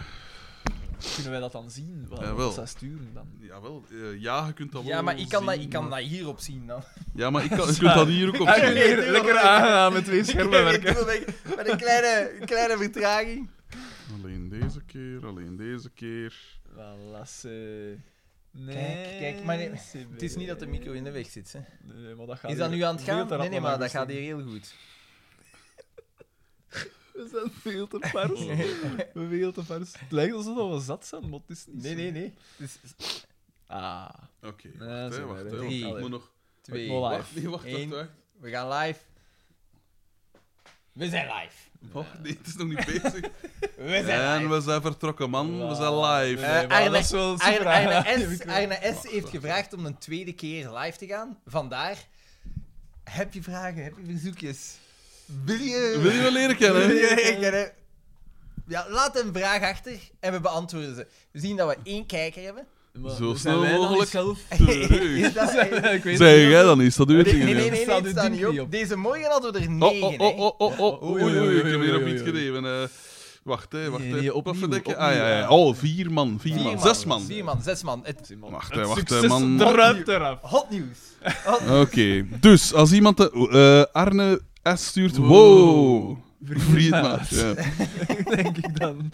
[SPEAKER 3] Kunnen wij dat dan zien? Wat
[SPEAKER 1] Jawel.
[SPEAKER 3] wat zij sturen dan?
[SPEAKER 1] Jawel, eh, ja, je kunt dat
[SPEAKER 4] Ja,
[SPEAKER 1] wel
[SPEAKER 4] maar ik kan,
[SPEAKER 1] zien,
[SPEAKER 4] dat, ik kan
[SPEAKER 1] maar-
[SPEAKER 4] dat hierop zien dan.
[SPEAKER 1] Ja, maar ik kan, je kunt dat hier ook op
[SPEAKER 3] Ah,
[SPEAKER 1] zien.
[SPEAKER 3] lekker- lekker aangenaam met twee schermen
[SPEAKER 4] Ik
[SPEAKER 3] werken.
[SPEAKER 4] doe weg met een kleine, kleine vertraging.
[SPEAKER 1] Alleen deze keer, alleen deze keer.
[SPEAKER 3] Voilà, ze- Nee,
[SPEAKER 4] Kijk, kijk, maar nee,
[SPEAKER 3] ze-
[SPEAKER 4] Het is niet dat de micro in de weg zit. Hè.
[SPEAKER 3] Nee, maar dat gaat
[SPEAKER 4] Is dat
[SPEAKER 3] hier
[SPEAKER 4] nu aan het
[SPEAKER 3] veel
[SPEAKER 4] gaan?
[SPEAKER 3] te rap
[SPEAKER 4] Nee, nee,
[SPEAKER 3] naar
[SPEAKER 4] maar dat
[SPEAKER 3] mijn
[SPEAKER 4] gaat hier heel goed.
[SPEAKER 3] We zijn veel te vers. veel te vers. Het lijkt alsof dat we zat zijn, maar het is niet
[SPEAKER 4] Nee,
[SPEAKER 3] zo.
[SPEAKER 4] nee, nee. Dus
[SPEAKER 3] Ah.
[SPEAKER 1] Oké,
[SPEAKER 3] Ja,
[SPEAKER 1] wacht,
[SPEAKER 3] zo
[SPEAKER 1] hè,
[SPEAKER 3] maar,
[SPEAKER 1] wacht,
[SPEAKER 3] hè.
[SPEAKER 1] hè, want
[SPEAKER 4] Drie.
[SPEAKER 1] ik moet nog...
[SPEAKER 4] twee.
[SPEAKER 3] Voilà.
[SPEAKER 1] Wacht, nee, wacht, wacht,
[SPEAKER 4] Eén.
[SPEAKER 1] wacht.
[SPEAKER 4] We gaan live. We zijn live.
[SPEAKER 1] Wacht, nee, het is nog niet bezig.
[SPEAKER 4] We zijn
[SPEAKER 1] En
[SPEAKER 4] live.
[SPEAKER 1] we zijn vertrokken, man. We zijn
[SPEAKER 3] Nee,
[SPEAKER 1] live.
[SPEAKER 4] Eh,
[SPEAKER 3] maar
[SPEAKER 4] Arne-
[SPEAKER 3] dat is wel super
[SPEAKER 4] Arne, Arne,
[SPEAKER 3] aangenaam.
[SPEAKER 4] S, Arne S heeft gevraagd om een tweede keer live te gaan. Vandaar. Heb je vragen? Heb je verzoekjes? Wil je...
[SPEAKER 1] Wil je me leren kennen?
[SPEAKER 4] Wil je leren kennen? Ja, laat een vraag achter en we beantwoorden ze. We zien dat we één kijker hebben.
[SPEAKER 3] Maar
[SPEAKER 1] Zo
[SPEAKER 3] zijn
[SPEAKER 1] snel
[SPEAKER 3] wij dan
[SPEAKER 1] mogelijk.
[SPEAKER 3] niet zelf-
[SPEAKER 1] Terug.
[SPEAKER 4] Is dat-
[SPEAKER 3] Ik weet
[SPEAKER 1] Zeg
[SPEAKER 3] niet
[SPEAKER 1] jij
[SPEAKER 3] of-
[SPEAKER 1] dan iets? Dat doe je
[SPEAKER 4] Nee,
[SPEAKER 1] tegen
[SPEAKER 4] nee, nee,
[SPEAKER 1] hem.
[SPEAKER 4] nee,
[SPEAKER 3] Staat
[SPEAKER 4] het
[SPEAKER 3] uw
[SPEAKER 4] staat
[SPEAKER 3] ding
[SPEAKER 4] niet op.
[SPEAKER 3] niet op?
[SPEAKER 4] Deze morgen hadden we er
[SPEAKER 1] Oh,
[SPEAKER 4] negen,
[SPEAKER 1] oh,
[SPEAKER 4] hè.
[SPEAKER 1] oh, oh, oh, oh, oei, oei, oei, ik heb weer op iets
[SPEAKER 3] Oei, oei, oei.
[SPEAKER 1] gegeven. eh. Wacht, hè, wacht,
[SPEAKER 3] Nee,
[SPEAKER 1] hè.
[SPEAKER 3] nee,
[SPEAKER 1] Wat
[SPEAKER 3] opnieuw,
[SPEAKER 1] verdikken?
[SPEAKER 3] opnieuw,
[SPEAKER 1] Ah, ja, ja.
[SPEAKER 3] ja.
[SPEAKER 1] Oh, vier man, vier,
[SPEAKER 4] Vier
[SPEAKER 1] man. Zes man.
[SPEAKER 4] Vier man, zes man. Het,
[SPEAKER 1] Wacht, hè,
[SPEAKER 3] Het
[SPEAKER 1] wacht, hè,
[SPEAKER 3] succes
[SPEAKER 1] man.
[SPEAKER 3] druipt eraf.
[SPEAKER 4] hot nieuws. Hot
[SPEAKER 1] Oké, dus als iemand de, eh, Arne S stuurt, wow, vriend maat. Ja.
[SPEAKER 3] denk ik dan.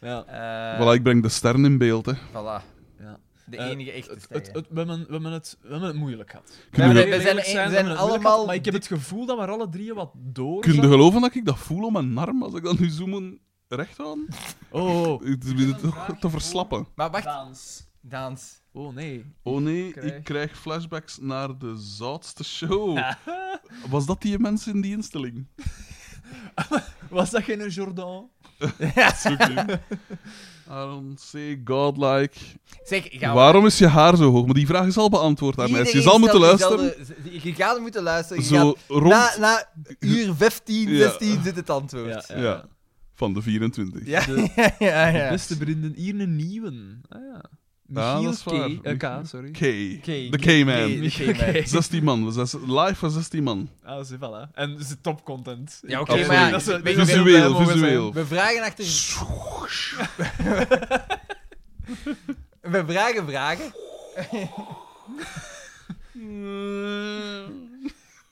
[SPEAKER 3] Ja.
[SPEAKER 1] Eh, Voilà, ik breng de sterren in beeld. Hè.
[SPEAKER 4] Eh, Voilà.
[SPEAKER 3] Ja.
[SPEAKER 4] De
[SPEAKER 3] Eh,
[SPEAKER 4] enige echte
[SPEAKER 3] Het,
[SPEAKER 4] sterren.
[SPEAKER 3] het, het, we, hebben, we, hebben het, we hebben het moeilijk gehad.
[SPEAKER 1] Kunnen we-
[SPEAKER 4] we zijn-
[SPEAKER 3] Eerlijk
[SPEAKER 4] we
[SPEAKER 3] we
[SPEAKER 4] zijn
[SPEAKER 3] hebben het moeilijk gehad,
[SPEAKER 4] allemaal
[SPEAKER 3] Maar ik heb het gevoel dat we er alle drieën wat door
[SPEAKER 1] Kun je
[SPEAKER 3] zaten.
[SPEAKER 1] geloven dat ik dat voel om mijn arm als ik dan nu zoomen recht aan?
[SPEAKER 3] Oh, oh,
[SPEAKER 1] Het is toch te verslappen.
[SPEAKER 4] Maar wacht,
[SPEAKER 3] Dans.
[SPEAKER 4] Daans.
[SPEAKER 3] Oh nee.
[SPEAKER 1] Oh nee,
[SPEAKER 3] Krijg.
[SPEAKER 1] ik krijg flashbacks naar de zoutste show. Was dat die mensen in die instelling?
[SPEAKER 3] Was dat geen Jordan?
[SPEAKER 1] Zoek u. Aaron C. Godlike.
[SPEAKER 4] Zeg, gaan we...
[SPEAKER 1] Waarom is je haar zo hoog? Maar die vraag is al beantwoord aan mij. Je
[SPEAKER 4] Iedereen
[SPEAKER 1] zal moeten
[SPEAKER 4] stelt
[SPEAKER 1] luisteren.
[SPEAKER 4] dezelfde- Je gaat moeten luisteren. Je
[SPEAKER 1] Zo
[SPEAKER 4] gaat-
[SPEAKER 1] rond
[SPEAKER 4] Na, na uur 15,
[SPEAKER 1] Ja.
[SPEAKER 4] 16 zit het antwoord.
[SPEAKER 1] ja. van de 24.
[SPEAKER 4] Ja,
[SPEAKER 3] De-
[SPEAKER 4] ja, ja.
[SPEAKER 3] De beste vrienden, hier een nieuwe. Ah
[SPEAKER 1] Ja,
[SPEAKER 3] ja. Michiel
[SPEAKER 1] dat is waar.
[SPEAKER 3] K. eh,
[SPEAKER 1] Michiel-
[SPEAKER 3] K, sorry.
[SPEAKER 1] K.
[SPEAKER 4] K.
[SPEAKER 1] De K-man.
[SPEAKER 4] Nee, de K-man.
[SPEAKER 1] 16 man. We zijn live van 16 man.
[SPEAKER 3] Ah, ze, voilà. En ze topcontent.
[SPEAKER 4] Ja, oké,
[SPEAKER 1] Absoluut.
[SPEAKER 4] maar ja,
[SPEAKER 3] Dat ze-
[SPEAKER 4] we-
[SPEAKER 3] dat ze
[SPEAKER 1] Visueel,
[SPEAKER 3] blij mogen zijn.
[SPEAKER 1] visueel.
[SPEAKER 4] we vragen achter... we vragen vragen.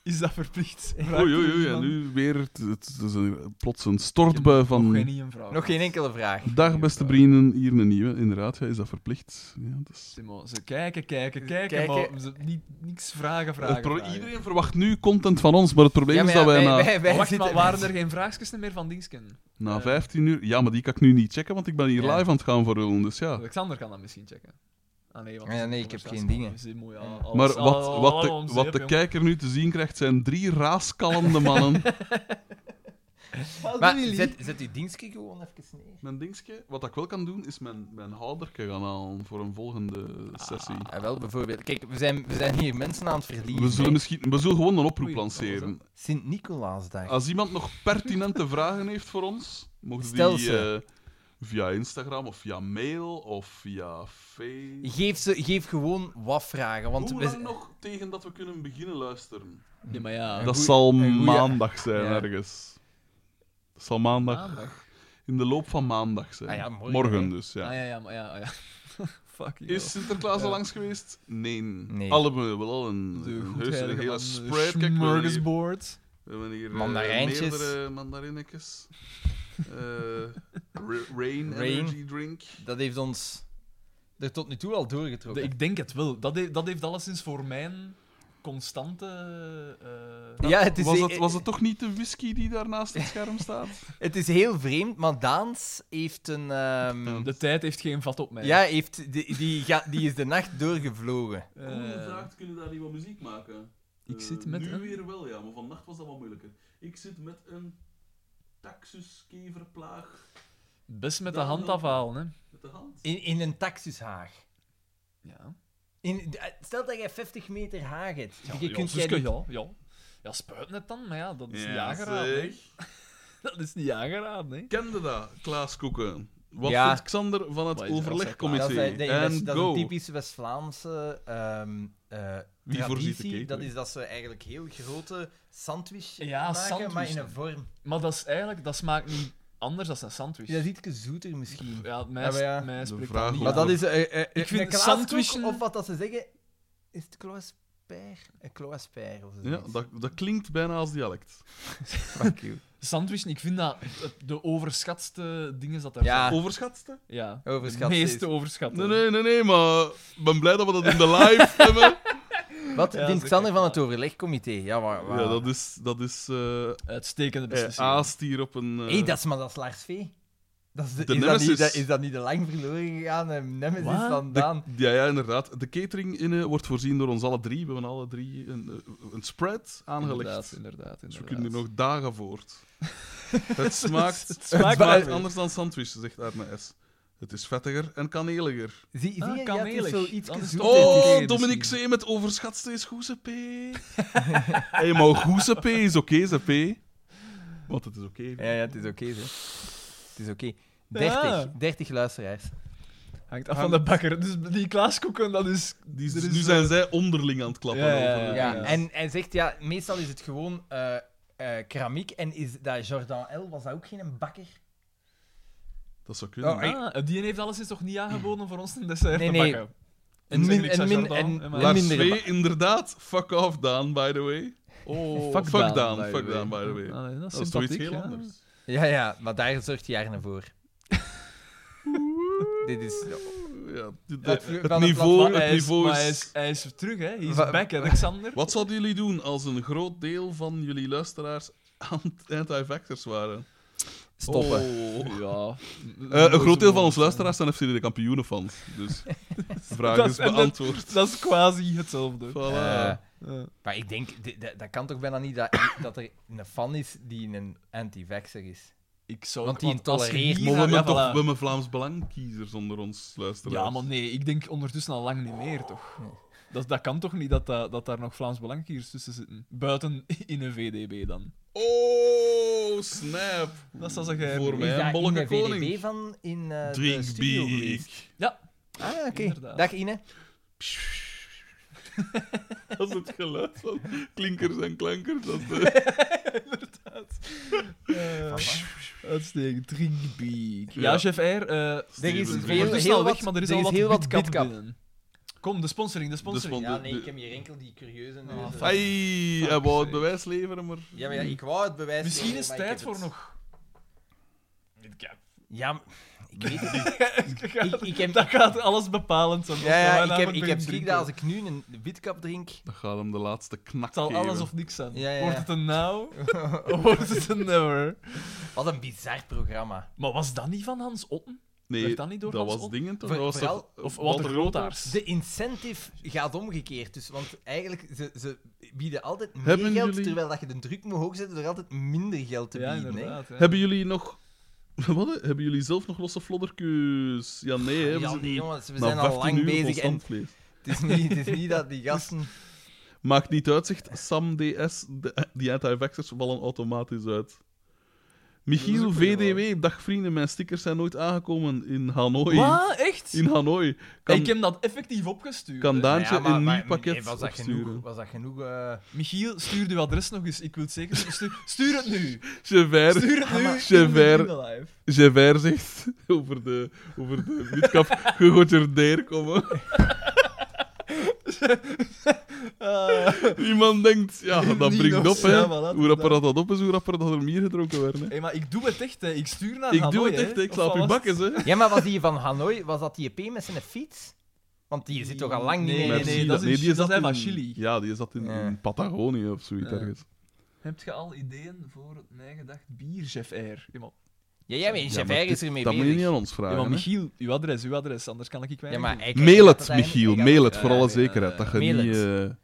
[SPEAKER 3] Is is dat verplicht.
[SPEAKER 1] Oei, oei, oei. En nu weer het, het, het is een- plots een stortbui
[SPEAKER 3] Nog
[SPEAKER 1] van...
[SPEAKER 3] geen een vraag.
[SPEAKER 4] Nog geen enkele vraag.
[SPEAKER 1] Dag, beste vrienden. Hier een nieuwe. Inderdaad, ja, is dat verplicht? Ja, dat is...
[SPEAKER 3] Simon, ze kijken, kijken, kijken,
[SPEAKER 4] kijken.
[SPEAKER 3] maar ze niet, niks vragen, vragen,
[SPEAKER 1] Het pro-
[SPEAKER 3] vragen.
[SPEAKER 1] Iedereen verwacht nu content van ons, maar het probleem
[SPEAKER 4] Ja,
[SPEAKER 1] is
[SPEAKER 4] maar
[SPEAKER 1] dat
[SPEAKER 4] ja,
[SPEAKER 1] wij, na,
[SPEAKER 3] Maar Oh, wacht,
[SPEAKER 4] zitten-
[SPEAKER 3] maar waren er geen vraagjes meer van Dingsken?
[SPEAKER 1] na
[SPEAKER 3] eh,
[SPEAKER 1] 15 uur... Ja, maar die kan ik nu niet checken, want ik ben hier
[SPEAKER 4] Ja.
[SPEAKER 1] live aan het gaan voor hun, dus ja.
[SPEAKER 3] Alexander kan dat misschien checken. Ah nee, want
[SPEAKER 4] Ja, nee, ik heb geen dingen.
[SPEAKER 1] Maar wat, wat, de, wat de kijker nu te zien krijgt, zijn drie raaskallende mannen.
[SPEAKER 4] Maar zet, zet uw dienstje gewoon even neer.
[SPEAKER 1] mijn dingetje, wat ik wel kan doen, is mijn, mijn houderke gaan halen voor een volgende
[SPEAKER 4] Ah,
[SPEAKER 1] sessie.
[SPEAKER 4] Ja, wel, bijvoorbeeld. Kijk, we zijn, we zijn hier mensen aan het verliezen.
[SPEAKER 1] We zullen, misschien, we zullen gewoon een oproep
[SPEAKER 3] Oei,
[SPEAKER 1] lanceren.
[SPEAKER 4] Sint-Nicolaasdag.
[SPEAKER 1] Als iemand nog pertinente vragen heeft voor ons, mogen
[SPEAKER 4] Stel
[SPEAKER 1] die
[SPEAKER 4] ze.
[SPEAKER 1] eh, via Instagram of via mail of via Facebook...
[SPEAKER 4] Geef, ze, geef gewoon wat vragen, want
[SPEAKER 1] Hoe
[SPEAKER 4] we-
[SPEAKER 1] lang nog tegen dat we kunnen beginnen luisteren?
[SPEAKER 3] Ja, maar ja.
[SPEAKER 4] Een
[SPEAKER 1] dat
[SPEAKER 4] goeie-
[SPEAKER 1] zal
[SPEAKER 4] een goeie-
[SPEAKER 1] maandag zijn,
[SPEAKER 4] Ja.
[SPEAKER 1] ergens. Dat zal maandag,
[SPEAKER 3] Maandag.
[SPEAKER 1] in de loop van maandag zijn.
[SPEAKER 4] Ah ja, morgen, hè.
[SPEAKER 1] dus, ja.
[SPEAKER 3] Ah ja, ja, maar ja. ah, ja. Fuck you.
[SPEAKER 1] Is Sinterklaas al
[SPEAKER 3] Ja.
[SPEAKER 1] langs geweest? Nee.
[SPEAKER 4] Nee.
[SPEAKER 1] Alle we hebben wel een,
[SPEAKER 3] de
[SPEAKER 1] een, heus, een
[SPEAKER 3] goedheilige
[SPEAKER 1] hele
[SPEAKER 4] eh,
[SPEAKER 3] man, eh,
[SPEAKER 1] spread. Kijk, we hebben hier,
[SPEAKER 3] smorgasbord.
[SPEAKER 1] we hebben hier eh,
[SPEAKER 4] Mandarijntjes.
[SPEAKER 1] meerdere mandarinnetjes. Eh, ra- rain,
[SPEAKER 4] Rain.
[SPEAKER 1] energy drink.
[SPEAKER 4] dat heeft ons er tot nu toe al doorgetrokken.
[SPEAKER 3] Ik denk het wel. Dat, heeft dat heeft alleszins voor mijn constante... eh,
[SPEAKER 4] ja, het is, e-
[SPEAKER 1] was,
[SPEAKER 4] he-
[SPEAKER 1] het, was het toch niet de whisky die daar naast het scherm staat?
[SPEAKER 4] het is heel vreemd, maar Daans heeft een... ehm,
[SPEAKER 3] de tijd heeft geen vat op mij.
[SPEAKER 4] ja, heeft, die, die, ga- die is de nacht doorgevlogen.
[SPEAKER 3] Eh,
[SPEAKER 1] kunnen daar niet wat muziek maken? Eh,
[SPEAKER 3] Ik zit met
[SPEAKER 1] Nu
[SPEAKER 3] een-
[SPEAKER 1] weer wel, ja, maar vannacht was dat wat moeilijker. Ik zit met een taxuskeverplaag
[SPEAKER 3] best met de
[SPEAKER 1] Dat
[SPEAKER 3] hand
[SPEAKER 1] wil-
[SPEAKER 3] afhalen, hè.
[SPEAKER 1] met de hand.
[SPEAKER 4] In, in een taxushaag.
[SPEAKER 3] Ja.
[SPEAKER 4] In, eh, stel dat jij 50 meter haag hebt.
[SPEAKER 3] Ja,
[SPEAKER 4] je
[SPEAKER 3] ja,
[SPEAKER 4] kunt jij
[SPEAKER 3] Suske,
[SPEAKER 4] niet-
[SPEAKER 3] ja, ja. Ja, spuit net dan, maar ja, dat is niet aangeraden. hè.
[SPEAKER 1] zeg.
[SPEAKER 3] Dat is niet aangeraden, hè.
[SPEAKER 1] Kende dat, Klaas Koeken? Wat
[SPEAKER 4] Ja.
[SPEAKER 1] vindt Xander van het
[SPEAKER 3] Wat is dat,
[SPEAKER 4] Dat
[SPEAKER 1] overlegcomité?
[SPEAKER 4] is, eh, nee, dat is-
[SPEAKER 1] En
[SPEAKER 4] dat is een
[SPEAKER 1] go.
[SPEAKER 4] typische West-Vlaamse ehm eh
[SPEAKER 1] Wie voorziet de
[SPEAKER 4] traditie.
[SPEAKER 1] catering?
[SPEAKER 4] Dat is dat ze eigenlijk heel grote sandwich
[SPEAKER 3] Ja,
[SPEAKER 4] maken, maar in
[SPEAKER 3] sandwichen.
[SPEAKER 4] een vorm.
[SPEAKER 3] Maar dat is eigenlijk, dat smaakt niet anders dan een sandwich.
[SPEAKER 4] Ja, dat is iets zoeter misschien.
[SPEAKER 3] Ja, mij,
[SPEAKER 4] Ja, maar ja.
[SPEAKER 3] mij
[SPEAKER 1] De
[SPEAKER 3] spreekt
[SPEAKER 1] vraag
[SPEAKER 3] dat niet.
[SPEAKER 1] hoe-
[SPEAKER 4] Maar
[SPEAKER 3] aan.
[SPEAKER 4] dat is... eh, eh,
[SPEAKER 3] Ik vind
[SPEAKER 4] een klaaskoek,
[SPEAKER 3] sandwichen-
[SPEAKER 4] Of wat dat ze zeggen, is het kloasper? Een kloasper of zo.
[SPEAKER 1] Ja, dat, dat klinkt bijna als dialect.
[SPEAKER 4] Fuck you.
[SPEAKER 3] Sandwich, ik vind dat het- de overschatste dingen dat er
[SPEAKER 4] Ja,
[SPEAKER 1] Overschatste?
[SPEAKER 3] zijn. Ja. De
[SPEAKER 4] overschat.
[SPEAKER 3] meeste
[SPEAKER 4] is.
[SPEAKER 3] overschatten.
[SPEAKER 1] Nee, nee, nee, nee, maar ik ben blij dat we dat in de live hebben.
[SPEAKER 4] Wat
[SPEAKER 3] Ja,
[SPEAKER 4] vindt
[SPEAKER 3] zo
[SPEAKER 4] Xander
[SPEAKER 3] kijk, ja.
[SPEAKER 4] van het overlegcomité? Ja, waar, waar.
[SPEAKER 1] Ja, dat is, dat is eh
[SPEAKER 3] Uitstekende
[SPEAKER 1] eh,
[SPEAKER 3] beslissing.
[SPEAKER 1] aast hier op een... eh,
[SPEAKER 4] Hé, dat is maar dat is Lars V. Dat is, de,
[SPEAKER 1] De
[SPEAKER 4] is, dat niet,
[SPEAKER 1] nemesis.
[SPEAKER 4] dat, is dat niet de lang verloren gegaan? eh, Nemesis
[SPEAKER 3] Wat?
[SPEAKER 4] van
[SPEAKER 1] de-
[SPEAKER 4] Daan.
[SPEAKER 1] ja, ja, inderdaad. De catering in, eh, wordt voorzien door ons alle drie. We hebben alle drie een, eh, een spread aangelegd.
[SPEAKER 3] Inderdaad, inderdaad.
[SPEAKER 1] Dus we
[SPEAKER 3] inderdaad.
[SPEAKER 1] kunnen hier nog dagen voort. het smaakt, het
[SPEAKER 3] smaakt
[SPEAKER 1] smaakt
[SPEAKER 3] wel.
[SPEAKER 1] anders dan sandwich, zegt Arne S. Het is vettiger en kaneliger.
[SPEAKER 4] Zie, zie
[SPEAKER 3] Ah,
[SPEAKER 4] je, ja, het is
[SPEAKER 3] kanelig.
[SPEAKER 4] zo iets
[SPEAKER 3] Dan is het
[SPEAKER 4] zoeter.
[SPEAKER 3] Tot in de
[SPEAKER 1] Oh,
[SPEAKER 3] reden
[SPEAKER 1] Dominic
[SPEAKER 3] misschien.
[SPEAKER 1] C. met overschatste is Goezep. Hé, hey, maar Goezep is oké, okay, Want het is oké.
[SPEAKER 4] Ja, ja, het is oké, zo. Het is oké. 30,
[SPEAKER 3] Ja.
[SPEAKER 4] 30 luisteraars.
[SPEAKER 3] Hangt af van de bakker. Dus die klaaskoeken, dat is...
[SPEAKER 1] Die,
[SPEAKER 3] er is, eh,
[SPEAKER 1] nu zijn zij onderling aan het klappen.
[SPEAKER 3] Ja, ja,
[SPEAKER 1] over-
[SPEAKER 4] Ja,
[SPEAKER 3] Ja.
[SPEAKER 4] Eh, en hij zegt, ja, meestal is het gewoon eh eh, keramiek. En is dat Jordan L, was dat ook geen bakker?
[SPEAKER 1] Dat zou kunnen.
[SPEAKER 4] Oh,
[SPEAKER 3] Ah, die heeft alleszins toch niet aangeboden voor ons een dessert
[SPEAKER 4] Nee,
[SPEAKER 3] te
[SPEAKER 4] nee.
[SPEAKER 3] bakken?
[SPEAKER 4] Een
[SPEAKER 3] zeg
[SPEAKER 4] min-
[SPEAKER 3] niks
[SPEAKER 4] een
[SPEAKER 3] aan
[SPEAKER 4] min-
[SPEAKER 3] Jordan,
[SPEAKER 4] een-
[SPEAKER 3] hè,
[SPEAKER 4] een
[SPEAKER 3] maar-
[SPEAKER 1] Lars
[SPEAKER 4] mindere
[SPEAKER 1] V,
[SPEAKER 4] bak.
[SPEAKER 1] inderdaad. Fuck off, Daan, by the way.
[SPEAKER 3] Oh,
[SPEAKER 1] Fuck Daan, by the way.
[SPEAKER 3] Ah, nee, dat is
[SPEAKER 1] Dat is toch iets
[SPEAKER 3] sympathiek,
[SPEAKER 1] heel
[SPEAKER 3] ja.
[SPEAKER 1] anders.
[SPEAKER 4] Ja, ja, maar daar zorgt Jarne voor. Dit is... eh,
[SPEAKER 1] Ja, dit-
[SPEAKER 4] Dat-
[SPEAKER 1] het
[SPEAKER 4] van het
[SPEAKER 1] niveau,
[SPEAKER 4] plat-
[SPEAKER 1] het
[SPEAKER 3] Maar hij, is,
[SPEAKER 1] niveau
[SPEAKER 3] maar
[SPEAKER 1] is-
[SPEAKER 3] hij, is, hij is terug, hè? Hij is
[SPEAKER 4] Wa-
[SPEAKER 3] back, Alexander.
[SPEAKER 1] Wat zouden jullie doen als een groot deel van jullie luisteraars ant- anti-vaxxers waren?
[SPEAKER 4] Stoppen.
[SPEAKER 3] Ja.
[SPEAKER 1] Oh. Eh, een groot deel van onze luisteraars zijn FC de kampioenen fans. Dus de vraag
[SPEAKER 3] Dat
[SPEAKER 1] is
[SPEAKER 3] is- en dat-
[SPEAKER 1] beantwoord.
[SPEAKER 3] Dat is quasi hetzelfde.
[SPEAKER 1] Voilà.
[SPEAKER 4] Eh,
[SPEAKER 3] Ja.
[SPEAKER 4] maar ik denk, dit- dat, dat kan toch bijna niet dat, dat er een fan is die een anti-vaxxer is.
[SPEAKER 3] Ik zou
[SPEAKER 4] Want die
[SPEAKER 3] als je
[SPEAKER 4] tolereert-
[SPEAKER 3] hier
[SPEAKER 1] maar we
[SPEAKER 3] naar-
[SPEAKER 1] hebben toch
[SPEAKER 3] ja,
[SPEAKER 1] we
[SPEAKER 3] voilà.
[SPEAKER 1] hebben Vlaams Belang kiezers onder ons luisteraars.
[SPEAKER 3] Ja, maar nee, ik denk ondertussen al lang niet meer, toch? Dat, dat kan toch niet dat, dat, dat daar nog Vlaams Belangkiers tussen zitten? Buiten in een VDB dan.
[SPEAKER 1] Oh, snap.
[SPEAKER 3] Dat zou ze geheim.
[SPEAKER 1] Voor
[SPEAKER 4] Is
[SPEAKER 1] mij een
[SPEAKER 4] dat in de
[SPEAKER 1] bolleke
[SPEAKER 4] VDB
[SPEAKER 1] koning.
[SPEAKER 4] van in eh de
[SPEAKER 1] Drink
[SPEAKER 4] studio
[SPEAKER 1] bier.
[SPEAKER 4] geweest?
[SPEAKER 3] Ja,
[SPEAKER 4] Ah, oké.
[SPEAKER 3] Inderdaad.
[SPEAKER 4] Dag Ine.
[SPEAKER 1] Dat is het geluid van klinkers en klankers. Dat, eh,
[SPEAKER 3] eh, uitstekend. Drink big. Ja,
[SPEAKER 1] Ja.
[SPEAKER 3] chef Air. eh,
[SPEAKER 1] Steven
[SPEAKER 4] is
[SPEAKER 1] Drink.
[SPEAKER 4] veel-
[SPEAKER 3] ondertussen
[SPEAKER 4] heel
[SPEAKER 3] al weg,
[SPEAKER 4] wat-
[SPEAKER 3] maar er is
[SPEAKER 4] er
[SPEAKER 3] al
[SPEAKER 4] is
[SPEAKER 3] wat
[SPEAKER 4] heel wat
[SPEAKER 3] bitcap
[SPEAKER 4] bitcap.
[SPEAKER 3] binnen. Kom, de sponsoring, de
[SPEAKER 1] sponsoring.
[SPEAKER 9] Ja,
[SPEAKER 1] spon-
[SPEAKER 3] sponsoring.
[SPEAKER 1] de-
[SPEAKER 9] nee,
[SPEAKER 1] de-
[SPEAKER 9] ik heb hier enkel die curieuze neus.
[SPEAKER 3] Ah,
[SPEAKER 9] eh.
[SPEAKER 1] Hey, hij wou het
[SPEAKER 3] sake.
[SPEAKER 1] bewijs leveren, maar...
[SPEAKER 9] Ja, maar ja, ik wou het bewijs
[SPEAKER 3] Misschien
[SPEAKER 9] leveren,
[SPEAKER 3] is het
[SPEAKER 9] maar ik
[SPEAKER 3] tijd
[SPEAKER 9] heb
[SPEAKER 3] voor
[SPEAKER 9] het-
[SPEAKER 3] nog.
[SPEAKER 4] Ja, maar- ik weet het niet. Ik, ik
[SPEAKER 3] Dat
[SPEAKER 4] heb,
[SPEAKER 3] gaat alles bepalend zijn.
[SPEAKER 4] ja, ja, ik heb, ik heb schrik dat als ik nu een witkap drink...
[SPEAKER 1] Dat gaat hem de laatste knak
[SPEAKER 3] Het zal
[SPEAKER 1] geven.
[SPEAKER 3] alles of niks zijn.
[SPEAKER 4] Ja, ja, ja.
[SPEAKER 3] Wordt het een now? of wordt het een never?
[SPEAKER 4] Wat een bizar programma.
[SPEAKER 3] Maar was dat niet van Hans Otten?
[SPEAKER 1] Nee,
[SPEAKER 3] Werd dat niet door
[SPEAKER 1] dat
[SPEAKER 3] Hans
[SPEAKER 1] was
[SPEAKER 3] Otten?
[SPEAKER 1] dingen toch?
[SPEAKER 4] Voor-
[SPEAKER 1] Dat was
[SPEAKER 4] vooral-
[SPEAKER 1] toch-
[SPEAKER 3] Of Walter Rotaars?
[SPEAKER 4] De incentive gaat omgekeerd. Dus, want eigenlijk, ze, ze bieden altijd meer
[SPEAKER 1] Hebben
[SPEAKER 4] geld,
[SPEAKER 1] jullie-
[SPEAKER 4] terwijl dat je de druk moet hoogzetten door altijd minder geld te
[SPEAKER 3] Ja,
[SPEAKER 4] bieden. hè.
[SPEAKER 3] inderdaad. ja.
[SPEAKER 1] Hebben jullie nog... Wat? hè? Hebben jullie zelf nog losse flodderkeus? Ja, nee, hè. we
[SPEAKER 4] Ja,
[SPEAKER 1] zitten
[SPEAKER 4] nee, jongens, we
[SPEAKER 1] na
[SPEAKER 4] zijn al
[SPEAKER 1] 15
[SPEAKER 4] lang
[SPEAKER 1] uur
[SPEAKER 4] bezig. En
[SPEAKER 1] constant vlees.
[SPEAKER 4] het, is niet, het is niet dat die gasten...
[SPEAKER 1] Maakt niet uit, zegt Sam DS. De, die anti-vaxxers vallen automatisch uit. Michiel VDW, dag vrienden, mijn stickers zijn nooit aangekomen in Hanoi.
[SPEAKER 3] Wat? Echt?
[SPEAKER 1] In Hanoi. Kan,
[SPEAKER 3] Ik heb dat effectief opgestuurd.
[SPEAKER 1] kan Daantje
[SPEAKER 4] Ja, maar-
[SPEAKER 1] een
[SPEAKER 4] maar-
[SPEAKER 1] nieuw pakket
[SPEAKER 4] nee, was dat
[SPEAKER 1] opsturen?
[SPEAKER 4] genoeg? Was dat genoeg? eh,
[SPEAKER 3] Michiel, stuur uw adres nog eens. Ik wil het zeker. Stuur, stuur het nu.
[SPEAKER 1] Javert,
[SPEAKER 3] Stuur het nu. in
[SPEAKER 1] Javert.
[SPEAKER 3] de live.
[SPEAKER 1] Javert zegt over de, over de witkaf, je gaat er neer komen. Iemand denkt, ja, dat
[SPEAKER 3] Niet
[SPEAKER 1] brengt
[SPEAKER 3] nog
[SPEAKER 1] op, hè.
[SPEAKER 3] zo, voilà,
[SPEAKER 1] hoe rapper dat dat op is, hoe rapper dat er meer gedronken werd. Hè.
[SPEAKER 3] Hé, maar ik doe het echt, hè. Ik stuur naar
[SPEAKER 1] Ik
[SPEAKER 3] Hanoi,
[SPEAKER 1] doe het echt, hè. ik
[SPEAKER 3] Of
[SPEAKER 1] slaap
[SPEAKER 3] wat
[SPEAKER 1] uw
[SPEAKER 3] was het?
[SPEAKER 1] bakkes, hè.
[SPEAKER 4] Ja, maar was die van Hanoi, was dat die EP met zijn fiets? Want die zit toch al lang niet
[SPEAKER 3] Nee,
[SPEAKER 4] meer
[SPEAKER 1] Maar
[SPEAKER 4] in-
[SPEAKER 3] nee,
[SPEAKER 1] zie
[SPEAKER 3] dat is in-
[SPEAKER 1] die
[SPEAKER 3] dat
[SPEAKER 1] zat
[SPEAKER 3] zijn van
[SPEAKER 1] in-
[SPEAKER 3] Chili.
[SPEAKER 1] Ja, die zat in,
[SPEAKER 4] Ja.
[SPEAKER 1] in Patagonië of zoiets
[SPEAKER 4] Ja.
[SPEAKER 1] ergens.
[SPEAKER 3] Heb je al ideeën voor het nagedacht bier, chef R? Ja, maar,
[SPEAKER 4] Ja, ja, maar in
[SPEAKER 1] Ja, maar
[SPEAKER 4] Javert is
[SPEAKER 1] dit-
[SPEAKER 4] er mee
[SPEAKER 1] Dat moet je niet
[SPEAKER 4] bezig.
[SPEAKER 1] aan ons
[SPEAKER 3] ja,
[SPEAKER 1] vragen.
[SPEAKER 3] maar
[SPEAKER 1] hè.
[SPEAKER 3] Michiel, uw adres, uw adres, anders kan ik ik
[SPEAKER 4] Ja,
[SPEAKER 3] weinig
[SPEAKER 4] maar
[SPEAKER 3] doen.
[SPEAKER 4] hij krijgt-
[SPEAKER 1] Mail
[SPEAKER 4] hij
[SPEAKER 1] het,
[SPEAKER 4] gaat dat
[SPEAKER 1] Michiel.
[SPEAKER 4] eigenlijk-
[SPEAKER 1] Mail het,
[SPEAKER 4] Ja,
[SPEAKER 1] voor
[SPEAKER 4] ja,
[SPEAKER 1] alle
[SPEAKER 4] ja.
[SPEAKER 1] zekerheid. Dat je
[SPEAKER 4] Mail
[SPEAKER 1] niet...
[SPEAKER 4] het.
[SPEAKER 1] eh,
[SPEAKER 3] Er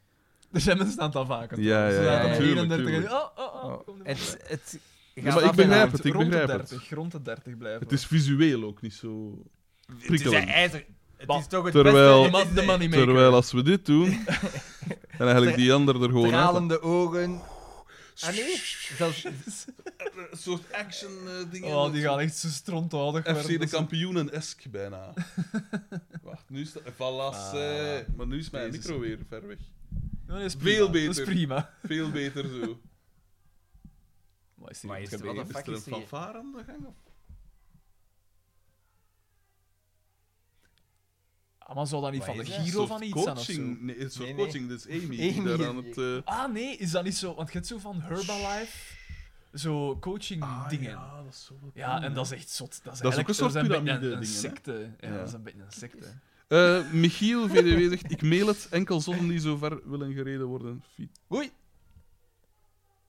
[SPEAKER 3] zijn mensen aan het afhaken.
[SPEAKER 1] Ja, ja,
[SPEAKER 4] ja, ja, tuurlijk,
[SPEAKER 3] 31
[SPEAKER 1] tuurlijk.
[SPEAKER 3] Oh, oh, oh.
[SPEAKER 4] Oh,
[SPEAKER 3] kom nu maar.
[SPEAKER 4] Het, het
[SPEAKER 1] maar
[SPEAKER 4] gaat
[SPEAKER 1] ik
[SPEAKER 4] af en
[SPEAKER 1] begrijp
[SPEAKER 4] aan.
[SPEAKER 1] het, ik
[SPEAKER 3] rond
[SPEAKER 1] begrijp
[SPEAKER 3] de
[SPEAKER 1] het.
[SPEAKER 3] 30, Rond de 30 blijven.
[SPEAKER 1] Het is visueel ook niet zo
[SPEAKER 4] Het is,
[SPEAKER 1] prikkelend.
[SPEAKER 4] hij is er- het
[SPEAKER 3] Bah,
[SPEAKER 4] is toch het
[SPEAKER 1] terwijl-
[SPEAKER 4] beste.
[SPEAKER 3] de money maker.
[SPEAKER 1] Terwijl als we dit doen... en eigenlijk die ander er gewoon uit...
[SPEAKER 4] Stralende ogen. Ah nee? Zelfs,
[SPEAKER 1] Een soort action eh, dingen.
[SPEAKER 3] Oh, die gaan echt zo strontoudig
[SPEAKER 1] FC
[SPEAKER 3] worden.
[SPEAKER 1] de
[SPEAKER 3] Dat is-
[SPEAKER 1] kampioenen-esk bijna. Wacht, nu is dat... Valasse. Maar nu is mijn
[SPEAKER 3] Jezus.
[SPEAKER 1] micro weer ver weg.
[SPEAKER 3] Ja, dat is
[SPEAKER 1] Veel
[SPEAKER 3] prima. Dat
[SPEAKER 1] beter.
[SPEAKER 3] is prima.
[SPEAKER 1] Veel beter zo.
[SPEAKER 3] Maar is hier
[SPEAKER 4] Maar
[SPEAKER 3] iets
[SPEAKER 4] is er-
[SPEAKER 3] gebeurd?
[SPEAKER 4] wat
[SPEAKER 1] Is
[SPEAKER 4] fuck
[SPEAKER 1] er een
[SPEAKER 4] is er hier?
[SPEAKER 1] fanfare aan de gang? Of?
[SPEAKER 3] Ah, maar zou dat niet
[SPEAKER 4] Wat
[SPEAKER 3] van de
[SPEAKER 4] is
[SPEAKER 3] Giro van iets zijn of zo?
[SPEAKER 1] coaching. Nee, een soort
[SPEAKER 4] Nee, nee.
[SPEAKER 1] coaching. Dus Amy, die
[SPEAKER 4] Amy.
[SPEAKER 1] daar aan het... eh,
[SPEAKER 3] Ah, nee, is dat niet zo? Want je hebt zo van Herbalife, zo coaching dingen. Ah,
[SPEAKER 1] Ah,
[SPEAKER 3] Ja,
[SPEAKER 1] Ja, dat is zo wat
[SPEAKER 3] en dat is echt zot. Dat is,
[SPEAKER 1] Dat is ook
[SPEAKER 3] eigenlijk
[SPEAKER 1] een soort
[SPEAKER 3] dat is beetje
[SPEAKER 1] piramide
[SPEAKER 3] een, een
[SPEAKER 1] dingen, hè?
[SPEAKER 3] secte. Ja,
[SPEAKER 1] Ja.
[SPEAKER 3] dat is een beetje een secte.
[SPEAKER 1] Eh, Michiel VDW zegt: Ik mail het enkel zonden die zo ver willen gereden worden. Fiet.
[SPEAKER 4] oei.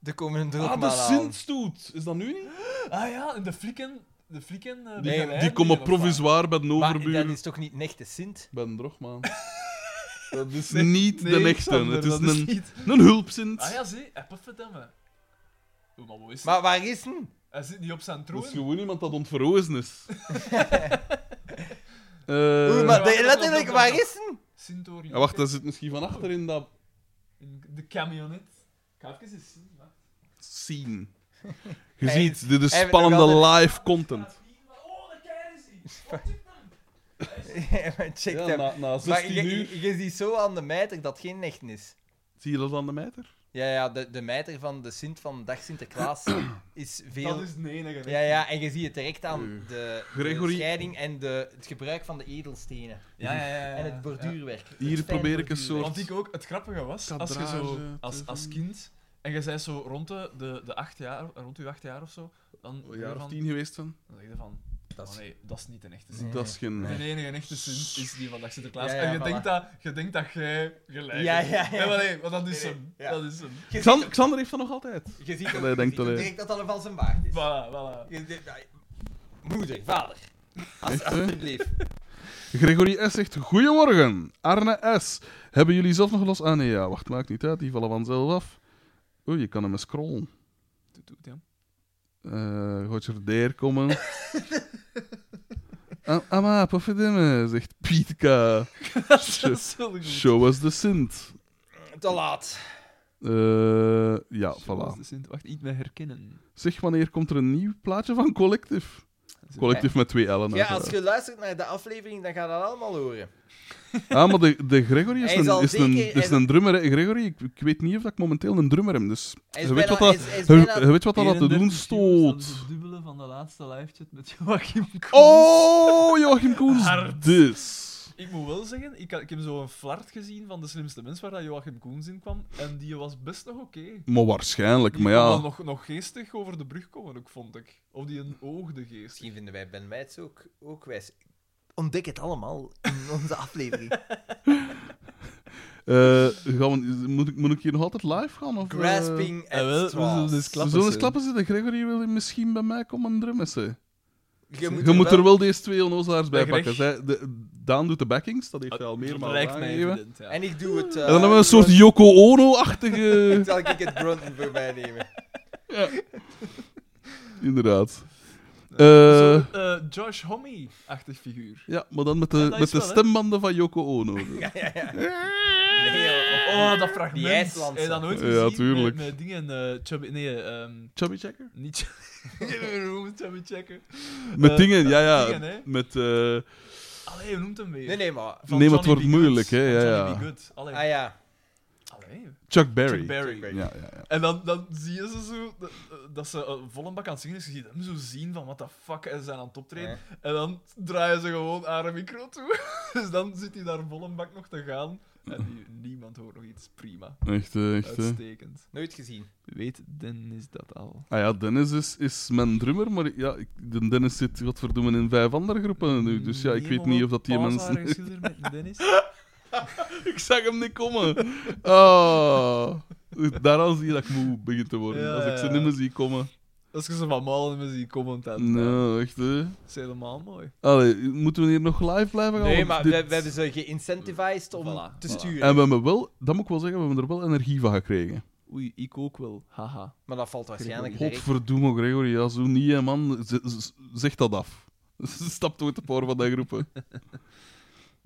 [SPEAKER 4] Er komen een
[SPEAKER 1] Ah,
[SPEAKER 4] drukmaal
[SPEAKER 1] de
[SPEAKER 4] aan.
[SPEAKER 1] Sint-stoet. Is dat nu niet?
[SPEAKER 3] Ah ja, en de flikken... De flikken eh,
[SPEAKER 1] Die,
[SPEAKER 3] begeleiden
[SPEAKER 1] die komen
[SPEAKER 3] of wat?
[SPEAKER 1] provisoir bij de
[SPEAKER 4] Maar
[SPEAKER 1] overbuur.
[SPEAKER 4] dat is toch niet een echte Sint?
[SPEAKER 1] Bij een drogman. Dat is niet
[SPEAKER 3] Nee,
[SPEAKER 1] de echte.
[SPEAKER 3] Xander,
[SPEAKER 1] Het is
[SPEAKER 3] dat
[SPEAKER 1] een,
[SPEAKER 3] niet-
[SPEAKER 1] een hulpzint.
[SPEAKER 3] Ah ja, zie, hij puffet hem. hè. Oeh, maar wat is
[SPEAKER 4] Maar waar is hem?
[SPEAKER 3] Hij zit niet op zijn
[SPEAKER 1] Dat is
[SPEAKER 3] troon.
[SPEAKER 1] gewoon iemand dat ontverrozen is. Eh,
[SPEAKER 4] Oeh, maar
[SPEAKER 3] wacht,
[SPEAKER 4] de- letterlijk,
[SPEAKER 3] wacht,
[SPEAKER 4] waar
[SPEAKER 3] wacht.
[SPEAKER 4] is hem?
[SPEAKER 3] Sintori.
[SPEAKER 1] ja, wacht, dat zit misschien van achter in dat
[SPEAKER 3] In de camionet. Ik ga even eens zien. wacht.
[SPEAKER 1] scene. Je
[SPEAKER 4] Hij-
[SPEAKER 1] ziet, dit is
[SPEAKER 4] hij-
[SPEAKER 1] spannende
[SPEAKER 4] nog
[SPEAKER 1] live content.
[SPEAKER 3] Oh, de kei is hij. Oh, check dan.
[SPEAKER 4] Ja, maar check
[SPEAKER 1] Ja,
[SPEAKER 4] hem.
[SPEAKER 1] na, na
[SPEAKER 4] Maar
[SPEAKER 1] 16
[SPEAKER 4] je,
[SPEAKER 1] uur.
[SPEAKER 4] je, je ziet zo aan de mijter dat geen echte is.
[SPEAKER 1] Zie je dat aan de meter?
[SPEAKER 4] Ja, ja de, de mijter van de Sint van Dag Sinterklaas is veel...
[SPEAKER 3] Dat is de enige.
[SPEAKER 4] Ja, ja, en je ziet het direct aan de, de
[SPEAKER 1] Eh, Gregory-
[SPEAKER 4] scheiding en de, het gebruik van de edelstenen.
[SPEAKER 3] Ja, ja, ja, ja.
[SPEAKER 4] En het
[SPEAKER 3] Ja.
[SPEAKER 4] borduurwerk. Het
[SPEAKER 1] Hier
[SPEAKER 4] fijne
[SPEAKER 1] probeer ik een
[SPEAKER 4] borduurwerk.
[SPEAKER 1] soort-
[SPEAKER 3] Want ik ook, het grappige was, als je
[SPEAKER 1] Kadrage,
[SPEAKER 3] zo, als, als kind, en je zei zo rond de, de, de acht jaar, rond je acht jaar of zo, dan
[SPEAKER 1] Een jaar of
[SPEAKER 3] van,
[SPEAKER 1] tien geweest zijn.
[SPEAKER 3] dan zeg je van,
[SPEAKER 4] Dat
[SPEAKER 3] oh
[SPEAKER 4] is-
[SPEAKER 3] nee, dat is niet een echte zin.
[SPEAKER 4] Nee.
[SPEAKER 1] Dat is geen.
[SPEAKER 3] De enige echte zin is die van Dag Sinterklaas.
[SPEAKER 4] Ja, ja,
[SPEAKER 3] en je,
[SPEAKER 4] voilà.
[SPEAKER 3] denkt dat, je denkt dat jij gelijk
[SPEAKER 4] Ja,
[SPEAKER 3] hebt.
[SPEAKER 4] ja, ja.
[SPEAKER 3] Nee, maar nee, want dat is
[SPEAKER 4] Nee, nee,
[SPEAKER 3] hem.
[SPEAKER 4] ja.
[SPEAKER 3] Dat is hem.
[SPEAKER 4] Je ziet
[SPEAKER 1] Xan-
[SPEAKER 4] ook-
[SPEAKER 1] Xander heeft dat nog altijd.
[SPEAKER 4] je ziet ook,
[SPEAKER 1] Allee,
[SPEAKER 4] je
[SPEAKER 1] denk
[SPEAKER 4] ziet
[SPEAKER 1] dat
[SPEAKER 4] ook
[SPEAKER 1] hij-
[SPEAKER 4] direct dat dat een van zijn waard is.
[SPEAKER 3] Voilà, voilà.
[SPEAKER 4] Je ziet- ja, Moeder, vader. Als,
[SPEAKER 1] Echt, hè?
[SPEAKER 4] alsjeblieft.
[SPEAKER 1] Gregory S. zegt: Goedemorgen, Arne S. Hebben jullie zelf nog los? Ah nee, ja, wacht, maakt niet uit. Die vallen vanzelf af. Oeh, je kan hem eens scrollen.
[SPEAKER 3] Doe, doe, doe.
[SPEAKER 1] Eh gaat je er daar komen? Ah, Amma, pofferdimme, zegt Pietka.
[SPEAKER 3] Dat is wel goed.
[SPEAKER 1] Show us the Sint.
[SPEAKER 4] Te laat.
[SPEAKER 1] Eh, ja,
[SPEAKER 3] Zo was
[SPEAKER 1] voilà.
[SPEAKER 3] de Sint. Wacht, iets meer herkennen.
[SPEAKER 1] Zeg, wanneer komt er een nieuw plaatje van Collective? Collective met twee L'en.
[SPEAKER 4] Ja, als
[SPEAKER 1] uiteraard.
[SPEAKER 4] je luistert naar de aflevering, dan ga je dat allemaal horen.
[SPEAKER 1] Ah, maar de, de Gregory is,
[SPEAKER 4] Hij
[SPEAKER 1] een,
[SPEAKER 4] zal
[SPEAKER 1] is, een,
[SPEAKER 4] zeker-
[SPEAKER 1] is
[SPEAKER 4] hij-
[SPEAKER 1] een drummer. hè. Gregory, ik, ik weet niet of dat ik momenteel een drummer heb, dus...
[SPEAKER 4] Hij is
[SPEAKER 1] Je weet
[SPEAKER 4] bijna-
[SPEAKER 1] wat dat-
[SPEAKER 4] hij is- hij is
[SPEAKER 1] Je,
[SPEAKER 4] bijna-
[SPEAKER 1] je weet wat dat te
[SPEAKER 3] 31
[SPEAKER 1] doen
[SPEAKER 3] views, dat is
[SPEAKER 1] stoot.
[SPEAKER 3] Het dubbele van de laatste livechat met Joachim Koen.
[SPEAKER 1] Oh, Joachim Koens.
[SPEAKER 3] Hard.
[SPEAKER 1] Dus.
[SPEAKER 3] Ik moet wel zeggen, ik, had- ik heb zo een flart gezien van de slimste mens waar dat Joachim Koens in kwam. En die was best nog oké.
[SPEAKER 1] Maar waarschijnlijk,
[SPEAKER 3] Die
[SPEAKER 1] maar
[SPEAKER 3] kon
[SPEAKER 1] ja.
[SPEAKER 3] dan nog, nog geestig over de brug komen, ook, vond ik. Of die een oogde geest.
[SPEAKER 9] Misschien vinden wij Ben Meijts ook, ook wijs. Ontdek het allemaal in onze aflevering.
[SPEAKER 1] Eh, gaan we, moet, ik, moet ik hier nog altijd live gaan? Of, eh,
[SPEAKER 9] Grasping at
[SPEAKER 2] eh, wel, we zullen
[SPEAKER 9] straws.
[SPEAKER 2] dus klappen.
[SPEAKER 1] we zullen eens
[SPEAKER 2] zijn.
[SPEAKER 1] klappen zitten. Gregory wil misschien bij mij komen drummen. ze.
[SPEAKER 9] Je
[SPEAKER 1] dus, Je
[SPEAKER 9] moet,
[SPEAKER 1] moet er wel deze twee onnozelaars bij
[SPEAKER 2] Bij Greg.
[SPEAKER 1] pakken. Zij, de, Daan doet de backings, dat heeft hij al meermaals
[SPEAKER 2] Ah, Lijkt mij
[SPEAKER 1] aangegeven.
[SPEAKER 2] evident, ja.
[SPEAKER 9] En ik doe het... eh,
[SPEAKER 1] En dan hebben we een soort Yoko Ono-achtige...
[SPEAKER 9] Zal ik het grunten voor mij nemen?
[SPEAKER 1] Inderdaad.
[SPEAKER 3] Zo,
[SPEAKER 1] Eh,
[SPEAKER 3] eh, Josh Homme-achtig figuur.
[SPEAKER 1] ja, maar dan met
[SPEAKER 3] Ja,
[SPEAKER 1] de,
[SPEAKER 3] dat
[SPEAKER 1] met
[SPEAKER 3] is
[SPEAKER 1] de
[SPEAKER 3] wel, hè.
[SPEAKER 1] stembanden van Yoko Ono.
[SPEAKER 9] Ja, ja, ja. Nee, joh.
[SPEAKER 3] Oh, dat fragment.
[SPEAKER 9] Die IJslandse.
[SPEAKER 3] Heb je dat nooit
[SPEAKER 1] Ja,
[SPEAKER 3] gezien?
[SPEAKER 1] tuurlijk.
[SPEAKER 3] Met, met dingen... eh, chubby, nee, ehm
[SPEAKER 1] Chubby Checker?
[SPEAKER 3] niet chubby. Hoe moet chubby checken?
[SPEAKER 1] Met
[SPEAKER 3] Eh,
[SPEAKER 1] dingen, ja, ja.
[SPEAKER 3] dingen, hè.
[SPEAKER 1] met, eh,
[SPEAKER 3] Allee, hoe noemt hem weer?
[SPEAKER 9] Nee, nee, maar...
[SPEAKER 3] Van
[SPEAKER 1] Nee, maar het
[SPEAKER 3] Johnny
[SPEAKER 1] wordt
[SPEAKER 3] B.
[SPEAKER 1] moeilijk,
[SPEAKER 3] Good.
[SPEAKER 1] hè,
[SPEAKER 3] Van
[SPEAKER 1] ja,
[SPEAKER 3] Johnny
[SPEAKER 1] ja.
[SPEAKER 3] B. Good. Allee.
[SPEAKER 9] Ah ja.
[SPEAKER 3] Allee.
[SPEAKER 1] Chuck Berry.
[SPEAKER 3] Chuck Berry.
[SPEAKER 1] Ja, ja, ja.
[SPEAKER 3] En dan, dan zie je ze zo, dat, dat ze eh, vol een bak aan het zingen is. Je ziet hem zo zien van, wat de fuck, en ze zijn aan het optreden. En dan draaien ze gewoon haar micro toe. Dus dan zit hij daar vol een bak nog te gaan. En die- niemand hoort nog iets. Prima.
[SPEAKER 1] Echt, eh, echt. eh.
[SPEAKER 3] Uitstekend.
[SPEAKER 9] Nooit gezien.
[SPEAKER 3] Weet Dennis dat al?
[SPEAKER 1] Ah ja, Dennis is, is mijn drummer, maar ik- ja, ik, de Dennis zit godverdomme in vijf andere groepen nu. Dus ja, ik weet niet of dat die mensen...
[SPEAKER 3] met Dennis?
[SPEAKER 1] Ik zag hem niet komen. Oh. Daaraan zie je dat ik moe begin te worden.
[SPEAKER 3] Ja,
[SPEAKER 1] Als ik ze
[SPEAKER 3] ja.
[SPEAKER 1] niet meer zie komen.
[SPEAKER 3] Als je ze van malen met die comment hebt, dat
[SPEAKER 1] Nou, echt hè.
[SPEAKER 3] is helemaal mooi.
[SPEAKER 1] Allee, moeten we hier nog live blijven gaan?
[SPEAKER 9] Nee,
[SPEAKER 1] Want
[SPEAKER 9] maar we,
[SPEAKER 1] dit-
[SPEAKER 9] we hebben ze geïncentivized om
[SPEAKER 3] Voilà,
[SPEAKER 9] te
[SPEAKER 3] voilà.
[SPEAKER 9] sturen.
[SPEAKER 1] En we hebben wel, dat moet ik wel zeggen, we hebben er wel energie van gekregen.
[SPEAKER 3] Oei, ik ook wel. Haha.
[SPEAKER 9] Maar dat valt waarschijnlijk direct.
[SPEAKER 1] Godverdomme, Gregory, ja, zo niet, hè, man. Z- z- zeg dat af. Stap door de paar van die groepen.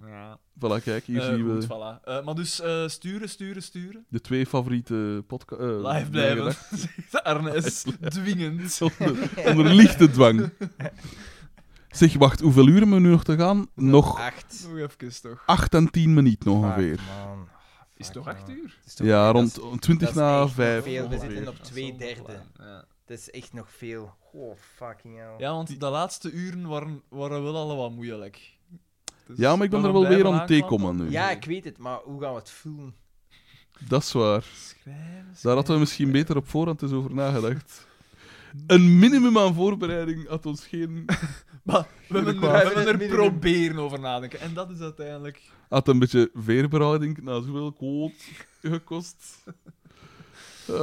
[SPEAKER 3] Ja.
[SPEAKER 1] Voilà, kijk, hier
[SPEAKER 3] Eh,
[SPEAKER 1] zien we
[SPEAKER 3] goed, voilà. Eh, maar dus eh, sturen, sturen, sturen.
[SPEAKER 1] de twee favoriete eh, podcasts.
[SPEAKER 3] Live blijven. Zegt Arnes. Dwingend.
[SPEAKER 1] Onder, onder lichte dwang. Zeg, wacht, hoeveel uur hebben we nu nog te gaan?
[SPEAKER 9] Eh,
[SPEAKER 1] Nog
[SPEAKER 9] Acht.
[SPEAKER 3] Nog even toch.
[SPEAKER 1] 8 en 10 minuten ongeveer.
[SPEAKER 9] Fuck, man.
[SPEAKER 3] Is
[SPEAKER 9] Fuck,
[SPEAKER 3] toch
[SPEAKER 9] man.
[SPEAKER 3] acht uur?
[SPEAKER 9] Het is toch-
[SPEAKER 1] Ja,
[SPEAKER 9] Ah, dat
[SPEAKER 1] rond
[SPEAKER 9] is- dat
[SPEAKER 1] 20
[SPEAKER 9] is
[SPEAKER 1] na
[SPEAKER 9] echt
[SPEAKER 1] 5.
[SPEAKER 9] veel. We
[SPEAKER 1] ongeveer.
[SPEAKER 9] zitten op twee
[SPEAKER 3] Dat is wel
[SPEAKER 9] derde.
[SPEAKER 3] laat, Ja.
[SPEAKER 9] Dat is echt nog veel. Oh, fucking hell.
[SPEAKER 3] ja, want de laatste uren waren, waren wel allemaal moeilijk. Dus
[SPEAKER 1] Ja, maar ik ben
[SPEAKER 3] we
[SPEAKER 1] er wel
[SPEAKER 3] blijven
[SPEAKER 1] weer aan het
[SPEAKER 3] aanklampen.
[SPEAKER 1] tegenkomen nu.
[SPEAKER 9] Ja, ik weet het, maar hoe gaan we het voelen?
[SPEAKER 1] Dat is waar.
[SPEAKER 3] Schrijven,
[SPEAKER 1] Daar hadden we misschien beter op voorhand eens over nagedacht. Een minimum aan voorbereiding had ons geen...
[SPEAKER 3] Maar we hebben er,
[SPEAKER 1] kwamen.
[SPEAKER 3] we hebben
[SPEAKER 9] Het
[SPEAKER 3] er
[SPEAKER 9] minimum.
[SPEAKER 3] proberen over nadenken. En dat is uiteindelijk...
[SPEAKER 1] Had een beetje veerbereiding na zoveel quote gekost. Eh,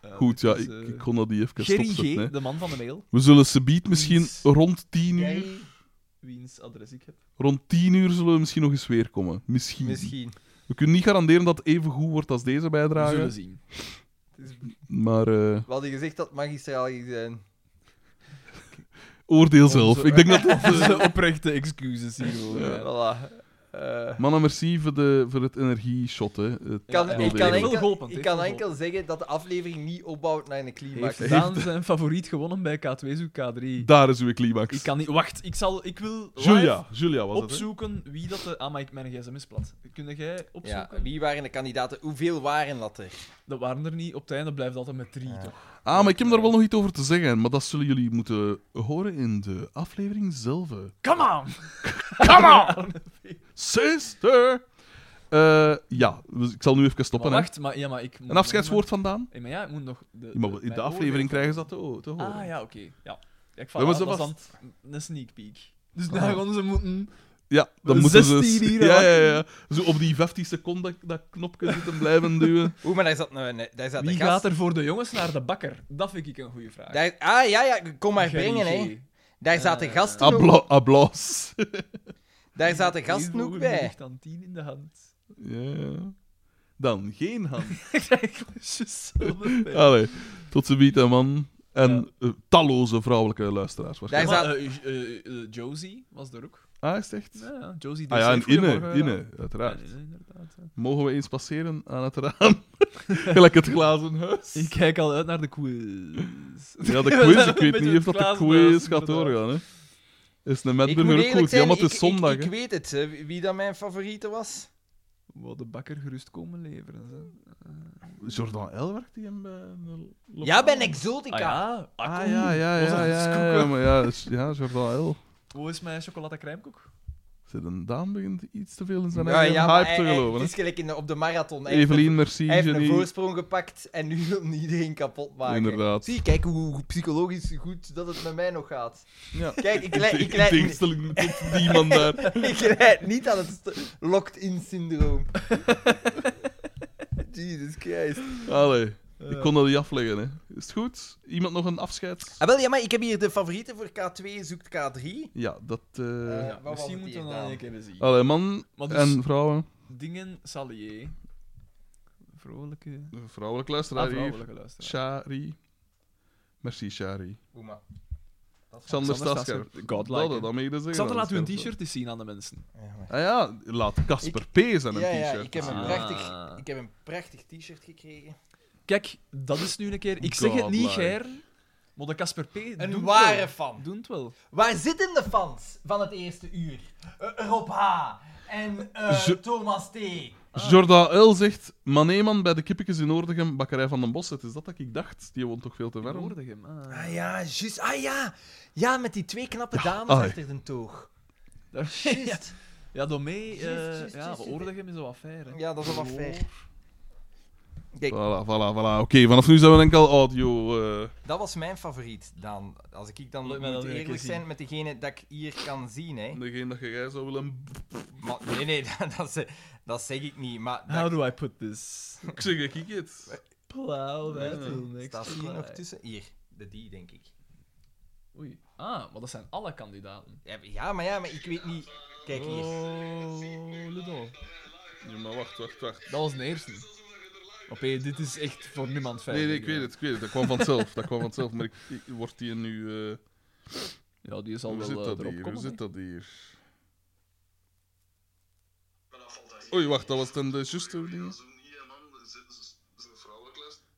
[SPEAKER 3] eh,
[SPEAKER 1] goed, ja,
[SPEAKER 3] dus,
[SPEAKER 1] ik,
[SPEAKER 3] eh,
[SPEAKER 1] ik kon dat die even
[SPEAKER 3] Gerry
[SPEAKER 1] stopzetten. hè.
[SPEAKER 3] G, de man van de mail,
[SPEAKER 1] We zullen subiet misschien
[SPEAKER 3] Iets.
[SPEAKER 1] rond 10 uur...
[SPEAKER 9] Jij?
[SPEAKER 3] wiens adres ik heb.
[SPEAKER 1] Rond 10 uur zullen we misschien nog eens weer komen. Misschien.
[SPEAKER 9] Misschien.
[SPEAKER 1] We kunnen niet garanderen dat het even goed wordt als deze
[SPEAKER 3] We zullen
[SPEAKER 1] bijdrage.
[SPEAKER 3] zien.
[SPEAKER 1] Maar eh,
[SPEAKER 9] We hadden gezegd dat het magistraal ging zijn.
[SPEAKER 1] oordeel
[SPEAKER 3] Onze-
[SPEAKER 1] zelf. Ik denk dat dat... eh,
[SPEAKER 3] Onze oprechte excuses hiervoor.
[SPEAKER 1] Ja.
[SPEAKER 3] Ja.
[SPEAKER 9] Voilà. Eh,
[SPEAKER 1] Mannen, merci voor, de, voor het energie-shot. Hè. Het
[SPEAKER 9] kan-
[SPEAKER 1] Ja,
[SPEAKER 9] ik
[SPEAKER 1] wilde
[SPEAKER 9] kan,
[SPEAKER 1] even.
[SPEAKER 3] Heel
[SPEAKER 9] enkel,
[SPEAKER 3] geholpen,
[SPEAKER 9] ik
[SPEAKER 3] heel
[SPEAKER 9] kan
[SPEAKER 3] geholpen.
[SPEAKER 9] enkel zeggen dat de aflevering niet opbouwt naar een climax.
[SPEAKER 3] Heeft Daan zijn favoriet gewonnen bij K2 zoek K3?
[SPEAKER 1] Daar is uw climax.
[SPEAKER 3] Ik kan niet... Wacht, ik, zal, ik wil live
[SPEAKER 1] Julia, Julia was het. hè?
[SPEAKER 3] opzoeken wie dat de... Ah, maar ik, mijn gsm is plat. Kun jij
[SPEAKER 9] Ja,
[SPEAKER 3] opzoeken?
[SPEAKER 9] wie waren de kandidaten? Hoeveel waren dat er?
[SPEAKER 3] Dat waren er niet. Op het einde blijft het altijd met drie,
[SPEAKER 9] Ja.
[SPEAKER 3] toch?
[SPEAKER 1] Ah, maar ik heb daar wel nog iets over te zeggen. Maar dat zullen jullie moeten horen in de aflevering zelf.
[SPEAKER 3] Come on! Come on!
[SPEAKER 1] Sister! Eh, ja, dus ik zal nu even stoppen. hè.
[SPEAKER 3] wacht, maar, ja, maar ik moet
[SPEAKER 1] Een afscheidswoord vandaan?
[SPEAKER 3] Ja, maar ja, ik moet nog... De,
[SPEAKER 1] Ja, maar in de
[SPEAKER 3] mijn
[SPEAKER 1] aflevering
[SPEAKER 3] oordeel-
[SPEAKER 1] krijgen ze dat te, te horen.
[SPEAKER 3] Ah, ja, oké. Ja. Ja, ik
[SPEAKER 1] Ja, maar
[SPEAKER 3] val
[SPEAKER 1] ze
[SPEAKER 3] aan, dat is dan
[SPEAKER 1] was-
[SPEAKER 3] een sneak peek. Dus
[SPEAKER 1] Ah.
[SPEAKER 3] daar gaan ze moeten...
[SPEAKER 1] Ja, dan
[SPEAKER 3] Een
[SPEAKER 1] moeten ze...
[SPEAKER 3] 16 hier,
[SPEAKER 1] ja,
[SPEAKER 3] hè.
[SPEAKER 1] ja, ja. Zo op die 15 seconden dat, dat knopje zitten blijven duwen.
[SPEAKER 9] Oeh, maar daar zat, nou een, daar zat
[SPEAKER 3] Wie
[SPEAKER 9] een gast.
[SPEAKER 3] gaat er voor de jongens naar de bakker? Dat vind ik een goede vraag.
[SPEAKER 9] Daar, ah, ja, ja, kom maar
[SPEAKER 3] Gerry
[SPEAKER 9] brengen,
[SPEAKER 3] G.
[SPEAKER 9] hè. Daar zaten
[SPEAKER 3] Eh,
[SPEAKER 9] gasten ook,
[SPEAKER 1] Abla applaus.
[SPEAKER 9] daar zaten
[SPEAKER 3] Heel
[SPEAKER 9] gasten ook
[SPEAKER 3] hoog,
[SPEAKER 9] bij.
[SPEAKER 3] ligt aan tien in de hand.
[SPEAKER 1] Ja, ja. Dan geen hand.
[SPEAKER 3] Ik krijg klusjes zonder dus pijn.
[SPEAKER 1] Allee, tot z'n biet, hè, man. En
[SPEAKER 3] Ja.
[SPEAKER 1] eh, talloze vrouwelijke luisteraars.
[SPEAKER 9] Daar
[SPEAKER 1] waarschijnlijk.
[SPEAKER 3] Maar,
[SPEAKER 9] zat-
[SPEAKER 3] eh, eh, eh, Josie was er ook.
[SPEAKER 1] Ah, is het echt?
[SPEAKER 3] Ja, ja, Josie
[SPEAKER 1] Ah ja, en
[SPEAKER 3] DC,
[SPEAKER 1] Inne,
[SPEAKER 3] goedemorgen.
[SPEAKER 1] Inne,
[SPEAKER 3] Ja,
[SPEAKER 1] uiteraard.
[SPEAKER 3] Inne, inderdaad. ja.
[SPEAKER 1] Mogen we eens passeren aan het raam? Gelijk het glazen huis.
[SPEAKER 3] Ik kijk al uit naar de quiz.
[SPEAKER 1] Ja, de quiz,
[SPEAKER 3] Een
[SPEAKER 1] ik weet
[SPEAKER 3] beetje
[SPEAKER 1] niet of dat de
[SPEAKER 3] glazen huis,
[SPEAKER 1] quiz gaat
[SPEAKER 3] inderdaad.
[SPEAKER 1] doorgaan, hè. Is een
[SPEAKER 9] Ik moet
[SPEAKER 1] Madburger ook
[SPEAKER 9] eerlijk
[SPEAKER 1] goed? Ja,
[SPEAKER 9] zijn,
[SPEAKER 1] maar
[SPEAKER 9] ik,
[SPEAKER 1] het is
[SPEAKER 9] ik,
[SPEAKER 1] zondag,
[SPEAKER 9] ik
[SPEAKER 1] hè.
[SPEAKER 9] weet het, hè, wie dat mijn favoriete was.
[SPEAKER 3] Wou de bakker gerust komen leveren. Zo.
[SPEAKER 1] Jordan L. werkt die eh, hem bij... een lo-
[SPEAKER 9] Ja, bij Exotica.
[SPEAKER 3] Ah ja,
[SPEAKER 1] Ah, ja, ja, ja, ja, ja, ja, maar ja, is- ja, Jordan L.
[SPEAKER 3] Hoe is mijn chocoladecrèmekoek?
[SPEAKER 1] Zit een Daan begint iets te veel in zijn
[SPEAKER 4] Ja,
[SPEAKER 1] eigen
[SPEAKER 4] ja, maar
[SPEAKER 1] hype
[SPEAKER 4] hij-
[SPEAKER 1] te
[SPEAKER 4] hij-
[SPEAKER 1] geloven. hè.
[SPEAKER 4] Het is gelijk in de- op de marathon. Hij heeft
[SPEAKER 1] Evelien,
[SPEAKER 4] een-
[SPEAKER 1] merci,
[SPEAKER 4] Hij heeft een
[SPEAKER 1] Jenny.
[SPEAKER 4] voorsprong gepakt en nu wil hij iedereen kapot maken.
[SPEAKER 1] Inderdaad.
[SPEAKER 4] Zie, kijk hoe psychologisch goed dat het met mij nog gaat.
[SPEAKER 1] Ja.
[SPEAKER 4] Kijk, ik
[SPEAKER 1] In
[SPEAKER 4] leid,
[SPEAKER 1] te-
[SPEAKER 4] ik
[SPEAKER 1] in
[SPEAKER 4] leid,
[SPEAKER 1] tegenstelling met die man daar.
[SPEAKER 4] ik leid niet aan het st- locked-in syndroom. Jesus Christ.
[SPEAKER 1] Allee,
[SPEAKER 4] Eh,
[SPEAKER 1] ik kon dat niet afleggen. Hè. Is het goed? Iemand nog een afscheid?
[SPEAKER 4] Ah, wel, ja, maar ik heb hier de favorieten voor K2 zoekt K3.
[SPEAKER 1] Ja, dat... eh,
[SPEAKER 4] Eh, wat was het
[SPEAKER 3] Misschien moeten we dat
[SPEAKER 4] hier
[SPEAKER 3] een
[SPEAKER 4] dan?
[SPEAKER 3] keer zien.
[SPEAKER 1] Allee, man
[SPEAKER 3] Maar dus,
[SPEAKER 1] Eh, en vrouwen.
[SPEAKER 3] dingen Salier. Vrolijke...
[SPEAKER 1] Een Vrouwelijk
[SPEAKER 3] Ah,
[SPEAKER 1] luisteraar hier.
[SPEAKER 3] vrouwelijke luisteraar.
[SPEAKER 1] Shari. Merci, Shari.
[SPEAKER 4] Oema. Dat is
[SPEAKER 1] Xander
[SPEAKER 3] Xander
[SPEAKER 1] Stasker.
[SPEAKER 3] Stasker. Godlike,
[SPEAKER 1] Dat,
[SPEAKER 3] hè.
[SPEAKER 1] dat mag je dat zeggen.
[SPEAKER 3] Xander, laat
[SPEAKER 1] Dat
[SPEAKER 3] uw
[SPEAKER 1] scheelt wel.
[SPEAKER 3] t-shirt eens zien aan de mensen.
[SPEAKER 4] Ja, maar-
[SPEAKER 1] Ah ja, laat Casper P. zijn een
[SPEAKER 4] ja, ja,
[SPEAKER 1] t-shirt.
[SPEAKER 4] ik heb een
[SPEAKER 1] zien.
[SPEAKER 3] Ah.
[SPEAKER 4] prachtig, ik heb een prachtig t-shirt gekregen.
[SPEAKER 3] Kijk, dat is nu een keer... Ik zeg het niet,
[SPEAKER 1] Godlike.
[SPEAKER 3] Ger, maar de Casper P... doet
[SPEAKER 4] Een
[SPEAKER 3] het
[SPEAKER 4] ware
[SPEAKER 3] wel.
[SPEAKER 4] fan.
[SPEAKER 3] Doet het wel.
[SPEAKER 4] Waar zitten de fans van het eerste uur? Eh, Rob H. en eh,
[SPEAKER 1] Ze-
[SPEAKER 4] Thomas T.
[SPEAKER 1] Jorda L. zegt... Maneeman bij de kippetjes in Oordegem, bakkerij van den Bos. Het is dat dat ik dacht. Die woont toch veel te ver om?
[SPEAKER 3] Verwoordig hem. Ah.
[SPEAKER 4] Ah ja, juist. Ah ja. Ja, met die twee knappe dames
[SPEAKER 1] ai.
[SPEAKER 4] achter de toog.
[SPEAKER 3] Daar- ja,
[SPEAKER 4] Juist.
[SPEAKER 3] ja, door mij... eh,
[SPEAKER 4] Juist, juist,
[SPEAKER 3] ja,
[SPEAKER 4] juist.
[SPEAKER 3] veroordeeld hem is wel affaire.
[SPEAKER 4] Ja, dat is wel wat fair. Kijk,
[SPEAKER 1] Voilà, voilà, voilà. Oké, vanaf nu zijn we enkel audio... eh,
[SPEAKER 4] dat was mijn favoriet, Daan. Als ik dan
[SPEAKER 3] Leuk, maar
[SPEAKER 4] moet
[SPEAKER 3] dat wil ik
[SPEAKER 4] eerlijk
[SPEAKER 3] eens zien.
[SPEAKER 4] zijn met degene dat ik hier kan zien, hè.
[SPEAKER 1] degene dat jij zou willen...
[SPEAKER 4] Maar, nee, nee, dat, dat, ze- dat zeg ik niet. Maar dat
[SPEAKER 3] How do I put this?
[SPEAKER 1] Ik zeg, ik ik het.
[SPEAKER 3] Plow
[SPEAKER 1] Ja.
[SPEAKER 3] that till next
[SPEAKER 4] staat hier nog
[SPEAKER 3] July.
[SPEAKER 4] tussen. Hier, de die, denk ik.
[SPEAKER 3] Oei. Ah, maar dat zijn alle kandidaten.
[SPEAKER 4] Ja, Ja, maar ja, maar ik weet niet... Kijk hier.
[SPEAKER 3] Oh, Ludo.
[SPEAKER 1] Ja, maar wacht, wacht, wacht.
[SPEAKER 3] Dat was de eerste. Op één, dit is echt voor niemand fijn.
[SPEAKER 1] Nee, nee, ik weet het, ik weet het. Dat kwam vanzelf. Dat kwam vanzelf. Maar ik, ik- wordt die nu... eh,
[SPEAKER 3] Ja, die zal
[SPEAKER 1] Hoe
[SPEAKER 3] wel
[SPEAKER 1] zit
[SPEAKER 3] eh,
[SPEAKER 1] dat hier?
[SPEAKER 3] erop
[SPEAKER 1] Hoe
[SPEAKER 3] komen.
[SPEAKER 1] zit dat hier? Oei, wacht, dat was dan de juiste ding.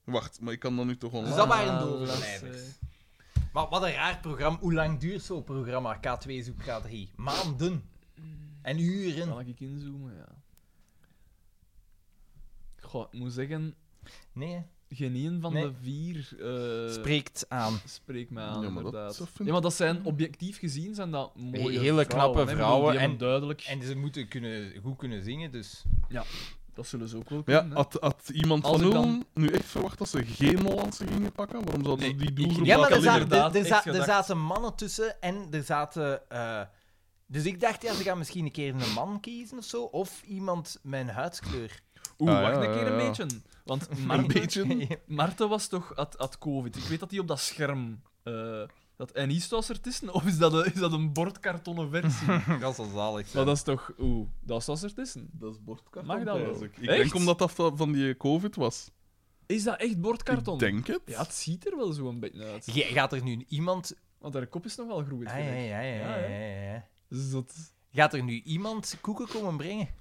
[SPEAKER 1] Wacht, maar ik kan dat nu toch
[SPEAKER 4] Dus
[SPEAKER 1] online.
[SPEAKER 4] dat waren de
[SPEAKER 3] Ah,
[SPEAKER 4] overblijvers.
[SPEAKER 3] lasse.
[SPEAKER 4] Maar wat een raar programma. Hoe lang duurt zo'n programma? K2 zoek K3. Maanden. En uren.
[SPEAKER 3] Kan ik inzoomen, ja. Goh, ik moet zeggen,
[SPEAKER 4] Nee. hè?
[SPEAKER 3] geen een van
[SPEAKER 4] Nee.
[SPEAKER 3] de vier eh,
[SPEAKER 4] Spreekt aan.
[SPEAKER 3] spreekt mij aan,
[SPEAKER 1] Ja, maar dat-
[SPEAKER 3] inderdaad.
[SPEAKER 1] dat vind
[SPEAKER 3] ja, maar dat zijn, objectief gezien, zijn dat mooie
[SPEAKER 4] Hele knappe
[SPEAKER 3] hè. Ik bedoel,
[SPEAKER 4] vrouwen
[SPEAKER 3] die
[SPEAKER 4] en-
[SPEAKER 3] hebben duidelijk...
[SPEAKER 4] En ze moeten kunnen, goed kunnen zingen, dus...
[SPEAKER 3] Dat zullen ze ook wel
[SPEAKER 1] Ja,
[SPEAKER 3] kunnen, hè.
[SPEAKER 1] had, had iemand
[SPEAKER 3] Als
[SPEAKER 1] van
[SPEAKER 3] ik
[SPEAKER 1] hun
[SPEAKER 3] dan-
[SPEAKER 1] nu echt verwacht dat ze geen Hollandse gingen pakken? Waarom zouden
[SPEAKER 3] Nee,
[SPEAKER 1] die
[SPEAKER 3] ik-
[SPEAKER 1] doelgroep
[SPEAKER 4] Ja,
[SPEAKER 1] dat
[SPEAKER 4] maar
[SPEAKER 3] had
[SPEAKER 4] er,
[SPEAKER 1] kaliber-
[SPEAKER 4] za-
[SPEAKER 3] inderdaad
[SPEAKER 4] er- er
[SPEAKER 3] echt
[SPEAKER 4] za- er
[SPEAKER 3] gedacht.
[SPEAKER 4] zaten mannen tussen en er zaten... eh, dus ik dacht, ja, ze gaan misschien een keer een man kiezen of zo. Of iemand met een huidskleur.
[SPEAKER 3] Oeh,
[SPEAKER 1] Ah,
[SPEAKER 3] wacht
[SPEAKER 1] ja,
[SPEAKER 3] een keer een
[SPEAKER 1] ja, ja.
[SPEAKER 3] beetje. Want
[SPEAKER 1] Een
[SPEAKER 3] Marten,
[SPEAKER 1] beetje.
[SPEAKER 3] Marten was toch at, at COVID. Ik weet dat hij op dat scherm. eh, dat, en is was er tussen, of is dat een, is dat een bordkartonnen versie?
[SPEAKER 4] dat is wel zalig.
[SPEAKER 3] maar dat is toch. Oeh, dat was er tussen.
[SPEAKER 1] Dat is bordkarton.
[SPEAKER 3] Mag dat wel?
[SPEAKER 1] prijs ik. Ik
[SPEAKER 3] Echt?
[SPEAKER 1] denk omdat dat va- van die COVID was.
[SPEAKER 3] Is dat echt bordkarton?
[SPEAKER 1] Ik denk het.
[SPEAKER 3] Ja, het ziet er wel zo een beetje uit.
[SPEAKER 4] Gaat er nu iemand...
[SPEAKER 3] Want haar kop is nog wel groeit.
[SPEAKER 4] Ah, ja,
[SPEAKER 3] vind ik.
[SPEAKER 4] ja, ja, ja,
[SPEAKER 3] Ja,
[SPEAKER 4] ja, ja.
[SPEAKER 3] Dus dat.
[SPEAKER 4] Gaat er nu iemand koeken komen brengen?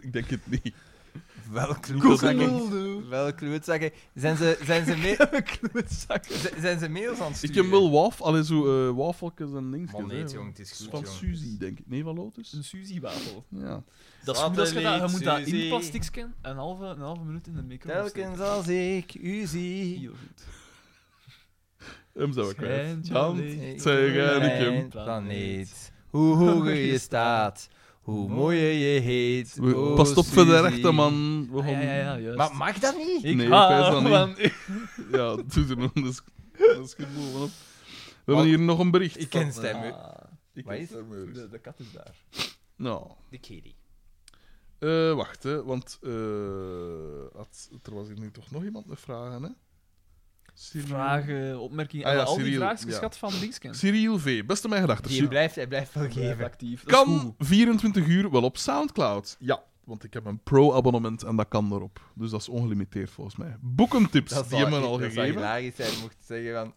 [SPEAKER 1] Ik denk het niet.
[SPEAKER 4] Welk klootzakken.
[SPEAKER 3] Koekenulde.
[SPEAKER 4] Welk klootzakken. Zijn ze, zijn ze, mee,
[SPEAKER 3] Klootzakken.
[SPEAKER 4] z- zijn ze mails aan het
[SPEAKER 1] Ik
[SPEAKER 4] sturen?
[SPEAKER 1] heb wel waf, allee, zo eh wafeltjes en dingetjes.
[SPEAKER 4] Man, nee,
[SPEAKER 1] hè.
[SPEAKER 4] het, jong, het is goed,
[SPEAKER 1] Van
[SPEAKER 4] jong. Mm.
[SPEAKER 1] Suzy, denk ik. Nee, van Lotus?
[SPEAKER 3] Een Suzy-wafel.
[SPEAKER 1] Ja.
[SPEAKER 3] Dat is goed als je dat. Je moet dat in
[SPEAKER 4] Suzy.
[SPEAKER 3] plastic scannen. Een halve, een halve minuut in de micro.
[SPEAKER 4] Telkens als ik u zie...
[SPEAKER 3] Heel goed.
[SPEAKER 1] Hem zijn we kwijt.
[SPEAKER 3] Schijntje
[SPEAKER 1] Dan
[SPEAKER 3] licht.
[SPEAKER 4] ik
[SPEAKER 1] zeg
[SPEAKER 4] mijn
[SPEAKER 1] ik hem.
[SPEAKER 4] planeet. Ehm, Hoe hoger je staat, hoe mooier je heet.
[SPEAKER 1] Hm? We-
[SPEAKER 4] Oh,
[SPEAKER 1] Pas op voor de
[SPEAKER 4] Suzy.
[SPEAKER 1] rechten, man. We
[SPEAKER 3] Ah, ja,
[SPEAKER 1] gaan...
[SPEAKER 3] ja, ja, juist.
[SPEAKER 4] Maar mag dat niet?
[SPEAKER 3] ik
[SPEAKER 1] Nee, ik Ah.
[SPEAKER 3] hou
[SPEAKER 1] wijs dat niet.
[SPEAKER 3] van u.
[SPEAKER 1] Ja, doe er nog een sk- een schip bovenop. We hebben hier nog een bericht.
[SPEAKER 4] Ik ken
[SPEAKER 1] van,
[SPEAKER 4] stemmen.
[SPEAKER 3] Ah,
[SPEAKER 1] eh, Ik
[SPEAKER 4] Wat
[SPEAKER 1] ken
[SPEAKER 4] is-
[SPEAKER 1] stemmen.
[SPEAKER 3] de, de kat is daar.
[SPEAKER 1] Nou,
[SPEAKER 4] De kitty.
[SPEAKER 1] eh, wacht, hè, want eh, had, er was hier nu toch nog iemand met vragen, hè? Cyril,
[SPEAKER 3] Vragen, opmerkingen.
[SPEAKER 1] Ah ja,
[SPEAKER 3] al die
[SPEAKER 1] Cyril,
[SPEAKER 3] vraagjes
[SPEAKER 1] ja.
[SPEAKER 3] schat van Dingsken.
[SPEAKER 1] Cyril V, beste mijn gedachten.
[SPEAKER 4] Die blijft, hij blijft wel geven.
[SPEAKER 3] actief. Dat is
[SPEAKER 1] Kan
[SPEAKER 3] goed.
[SPEAKER 1] 24 uur wel op Soundcloud? Ja, want ik heb een pro-abonnement en dat kan erop. Dus dat is ongelimiteerd volgens mij. Boekentips, die
[SPEAKER 4] Dat zou-
[SPEAKER 1] hebben we al
[SPEAKER 4] dat zou
[SPEAKER 1] gegeven.
[SPEAKER 4] hilarisch zijn, mocht zeggen van...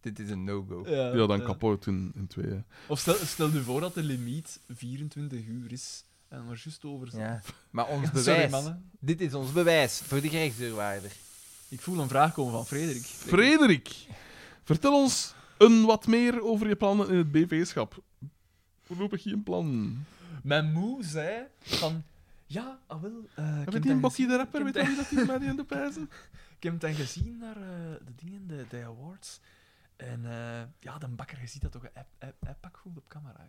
[SPEAKER 4] Dit is een no-go.
[SPEAKER 1] Ja, dan
[SPEAKER 3] eh,
[SPEAKER 1] kapot in, in tweeën.
[SPEAKER 3] Of stel, stel je voor dat de limiet 24 uur is en maar juist over zijn.
[SPEAKER 4] Ja. Maar ons
[SPEAKER 3] Sorry,
[SPEAKER 4] bewijs...
[SPEAKER 3] mannen.
[SPEAKER 4] Dit is ons bewijs voor de gerechtsdeurwaarder.
[SPEAKER 3] Ik voel een vraag komen van Frederik.
[SPEAKER 1] Frederik, vertel ons een wat meer over je plannen in het BV-schap. Voorlopig geen plan.
[SPEAKER 3] Mijn moe zei van... Ja, ah wel... eh, ik
[SPEAKER 1] Heb je
[SPEAKER 3] heb
[SPEAKER 1] die
[SPEAKER 3] dat
[SPEAKER 1] Bokkie de rapper?
[SPEAKER 3] ik
[SPEAKER 1] Weet
[SPEAKER 3] heb
[SPEAKER 1] je wie dat is met die in de pijzen?
[SPEAKER 3] Ik heb het dan gezien naar eh, de dingen, de, de awards. En eh, ja, de bakker, je ziet dat toch een app, app, app pak goed op camera. hè.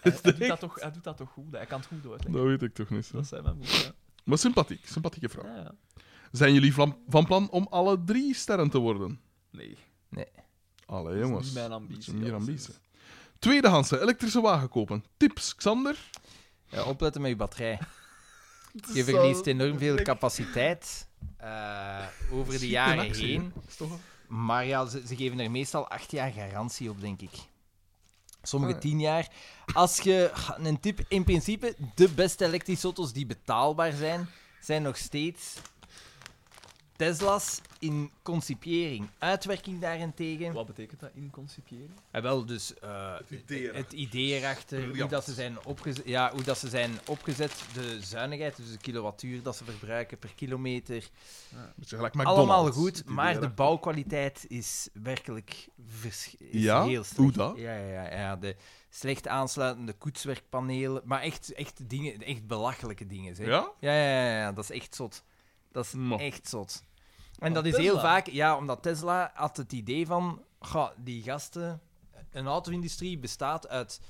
[SPEAKER 3] Hij, hij doet dat toch, hij doet dat toch goed? Hij kan het goed uitleggen.
[SPEAKER 1] Dat weet ik toch niet. Zo.
[SPEAKER 3] Dat zijn mijn boeken.
[SPEAKER 1] Maar sympathiek, sympathieke vrouw.
[SPEAKER 3] Ja, ja.
[SPEAKER 1] Zijn jullie vlam- van plan om alle drie sterren te worden?
[SPEAKER 3] Nee.
[SPEAKER 1] Alle
[SPEAKER 3] is
[SPEAKER 1] jongens.
[SPEAKER 3] niet mijn ambitie,
[SPEAKER 1] Dat is niet je
[SPEAKER 3] alleszins.
[SPEAKER 1] ambitie. Tweedehandse elektrische wagen kopen. Tips, Xander.
[SPEAKER 4] Ja, opletten met je batterij. Je verliest enorm veel capaciteit eh, over de jaren
[SPEAKER 1] actie,
[SPEAKER 4] heen.
[SPEAKER 1] Is toch-
[SPEAKER 4] Maar ja, ze, ze geven er meestal acht jaar garantie op, denk ik. Sommige
[SPEAKER 1] Ah,
[SPEAKER 4] tien jaar. Als je ah, een tip, in principe, de beste elektrische auto's die betaalbaar zijn, zijn nog steeds Tesla's in concipiëring. Uitwerking daarentegen.
[SPEAKER 3] Wat betekent dat inconcipiëren?
[SPEAKER 4] En wel, dus eh,
[SPEAKER 1] idee
[SPEAKER 4] het idee erachter, hoe,
[SPEAKER 1] Briljant.
[SPEAKER 4] dat ze, zijn opgezet, ja, hoe dat ze zijn opgezet, de zuinigheid, dus de kilowattuur dat ze verbruiken per kilometer.
[SPEAKER 1] Beetje gelijk
[SPEAKER 4] Allemaal
[SPEAKER 1] McDonald's,
[SPEAKER 4] goed,
[SPEAKER 1] het idee
[SPEAKER 4] maar de
[SPEAKER 1] erachter.
[SPEAKER 4] bouwkwaliteit is werkelijk vers- is
[SPEAKER 1] Ja?
[SPEAKER 4] heel slecht.
[SPEAKER 1] Hoe dat?
[SPEAKER 4] Ja, ja, ja, ja, de slecht aansluitende koetswerkpanelen, maar echt, echt, dingen, echt belachelijke dingen. Zeg.
[SPEAKER 1] Ja?
[SPEAKER 4] Ja, ja, ja, ja, dat is echt zot. Dat is
[SPEAKER 1] Maar-
[SPEAKER 4] echt zot. En
[SPEAKER 3] Van
[SPEAKER 4] dat is
[SPEAKER 3] Tesla?
[SPEAKER 4] heel vaak, ja, omdat Tesla had het idee van, ga, die gasten, een auto-industrie bestaat uit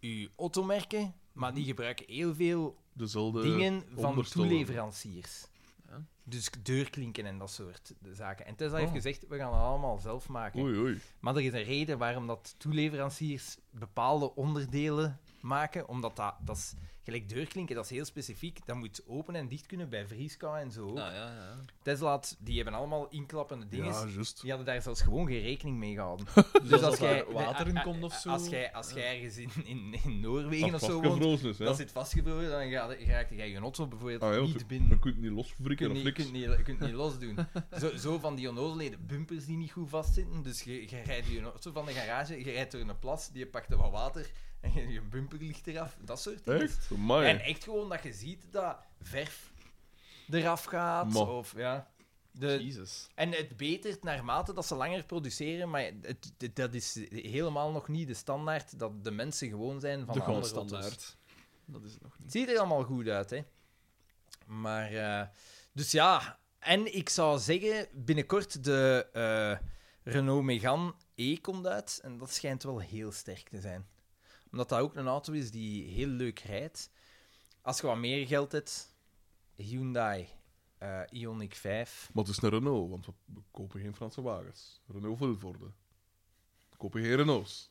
[SPEAKER 4] uw automerken, maar die gebruiken heel veel
[SPEAKER 1] Dezelfde
[SPEAKER 4] dingen van
[SPEAKER 1] ondersteunen.
[SPEAKER 4] toeleveranciers.
[SPEAKER 3] Ja.
[SPEAKER 4] Dus deurklinken en dat soort zaken. En Tesla
[SPEAKER 1] Oh.
[SPEAKER 4] heeft gezegd, we gaan het allemaal zelf maken.
[SPEAKER 1] Oei, oei.
[SPEAKER 4] Maar er is een reden waarom dat toeleveranciers bepaalde onderdelen maken. Omdat dat, dat is, gelijk deurklinken, dat is heel specifiek. Dat moet open en dicht kunnen bij vrieskou en zo.
[SPEAKER 3] Nou ja, ja.
[SPEAKER 4] Tesla, had- die hebben allemaal inklappende dingen.
[SPEAKER 1] Ja, juist.
[SPEAKER 4] Die hadden daar zelfs gewoon geen rekening mee gehouden.
[SPEAKER 3] Dus, als, eh,
[SPEAKER 4] jij-
[SPEAKER 3] er water in komt of zo.
[SPEAKER 4] Als jij, als jij ergens in, in, in Noorwegen of
[SPEAKER 1] Dat
[SPEAKER 4] zo woont,
[SPEAKER 1] vastgevrozen is, hè?
[SPEAKER 4] dat zit vastgevroren, dan ga, raak je je auto bijvoorbeeld
[SPEAKER 1] Ah, ja, want
[SPEAKER 4] niet
[SPEAKER 1] je-
[SPEAKER 4] binnen.
[SPEAKER 1] Je kunt niet
[SPEAKER 4] Je
[SPEAKER 1] loswrikken
[SPEAKER 4] kunt
[SPEAKER 1] of
[SPEAKER 4] niet, je kunt
[SPEAKER 1] niks.
[SPEAKER 4] niet, je kunt niet losdoen. Zo, zo van die onnozelheden. Bumpers die niet goed vastzitten. Dus je, je rijdt je auto van de garage, je rijdt door een plas, je pakt er wat water en je, je bumper ligt eraf. Dat soort dingen.
[SPEAKER 1] Echt? Ah,
[SPEAKER 4] En
[SPEAKER 1] Amai.
[SPEAKER 4] echt gewoon dat je ziet dat verf eraf gaat.
[SPEAKER 1] Ma.
[SPEAKER 4] Of, ja.
[SPEAKER 3] Eh,
[SPEAKER 4] De,
[SPEAKER 3] Jezus.
[SPEAKER 4] en het betert naarmate dat ze langer produceren, maar het, het- dat is helemaal nog niet de standaard dat de mensen gewoon zijn van
[SPEAKER 3] De
[SPEAKER 4] andere
[SPEAKER 3] gouden
[SPEAKER 4] auto's.
[SPEAKER 3] standaard. Dat is het nog niet.
[SPEAKER 4] Het ziet er allemaal goed uit, hè. Maar, eh, dus ja. En ik zou zeggen, binnenkort de eh, Renault Megane E komt uit. En dat schijnt wel heel sterk te zijn. Omdat dat ook een auto is die heel leuk rijdt. Als je wat meer geld hebt, Hyundai eh Ioniq 5.
[SPEAKER 1] Maar het is een Renault, want we kopen geen Franse wagens. Renault Vilvoorde. We kopen geen Renaults.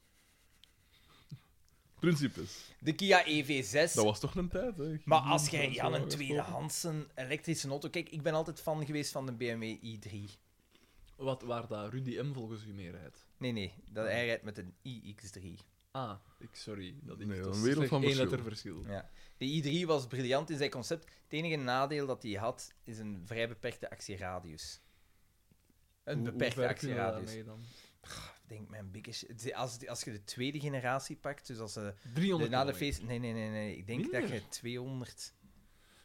[SPEAKER 1] Principes.
[SPEAKER 4] De Kia EV6.
[SPEAKER 1] Dat was toch een tijd, hè?
[SPEAKER 4] Maar als jij
[SPEAKER 1] Franse
[SPEAKER 4] ja, een
[SPEAKER 1] wagens kopen.
[SPEAKER 4] tweedehands een elektrische auto... Kijk, ik ben altijd fan geweest van de BMW i3.
[SPEAKER 3] Wat, waar dat Rudy M volgens u meer rijdt?
[SPEAKER 4] Nee, nee. Dat, hij rijdt met een iX3.
[SPEAKER 3] Ah, ik, sorry. Dat ik,
[SPEAKER 1] Nee,
[SPEAKER 3] dat
[SPEAKER 1] een
[SPEAKER 3] is
[SPEAKER 1] wereld
[SPEAKER 3] slechts
[SPEAKER 1] van
[SPEAKER 3] één
[SPEAKER 1] verschil.
[SPEAKER 3] letter verschil.
[SPEAKER 4] Ja. De i3 was briljant in zijn concept. Het enige nadeel dat hij had, is een vrij beperkte actieradius. Een
[SPEAKER 3] Hoe- hoe
[SPEAKER 4] beperkte
[SPEAKER 3] ver kunnen we
[SPEAKER 4] actieradius.
[SPEAKER 3] daarmee dan?
[SPEAKER 4] Ik denk, mijn biggest... het- Als, als je de tweede generatie pakt, dus als ze...
[SPEAKER 3] 300
[SPEAKER 4] Na de
[SPEAKER 3] kilometer.
[SPEAKER 4] feest... Nee, nee, nee, nee. Ik denk dat je 200...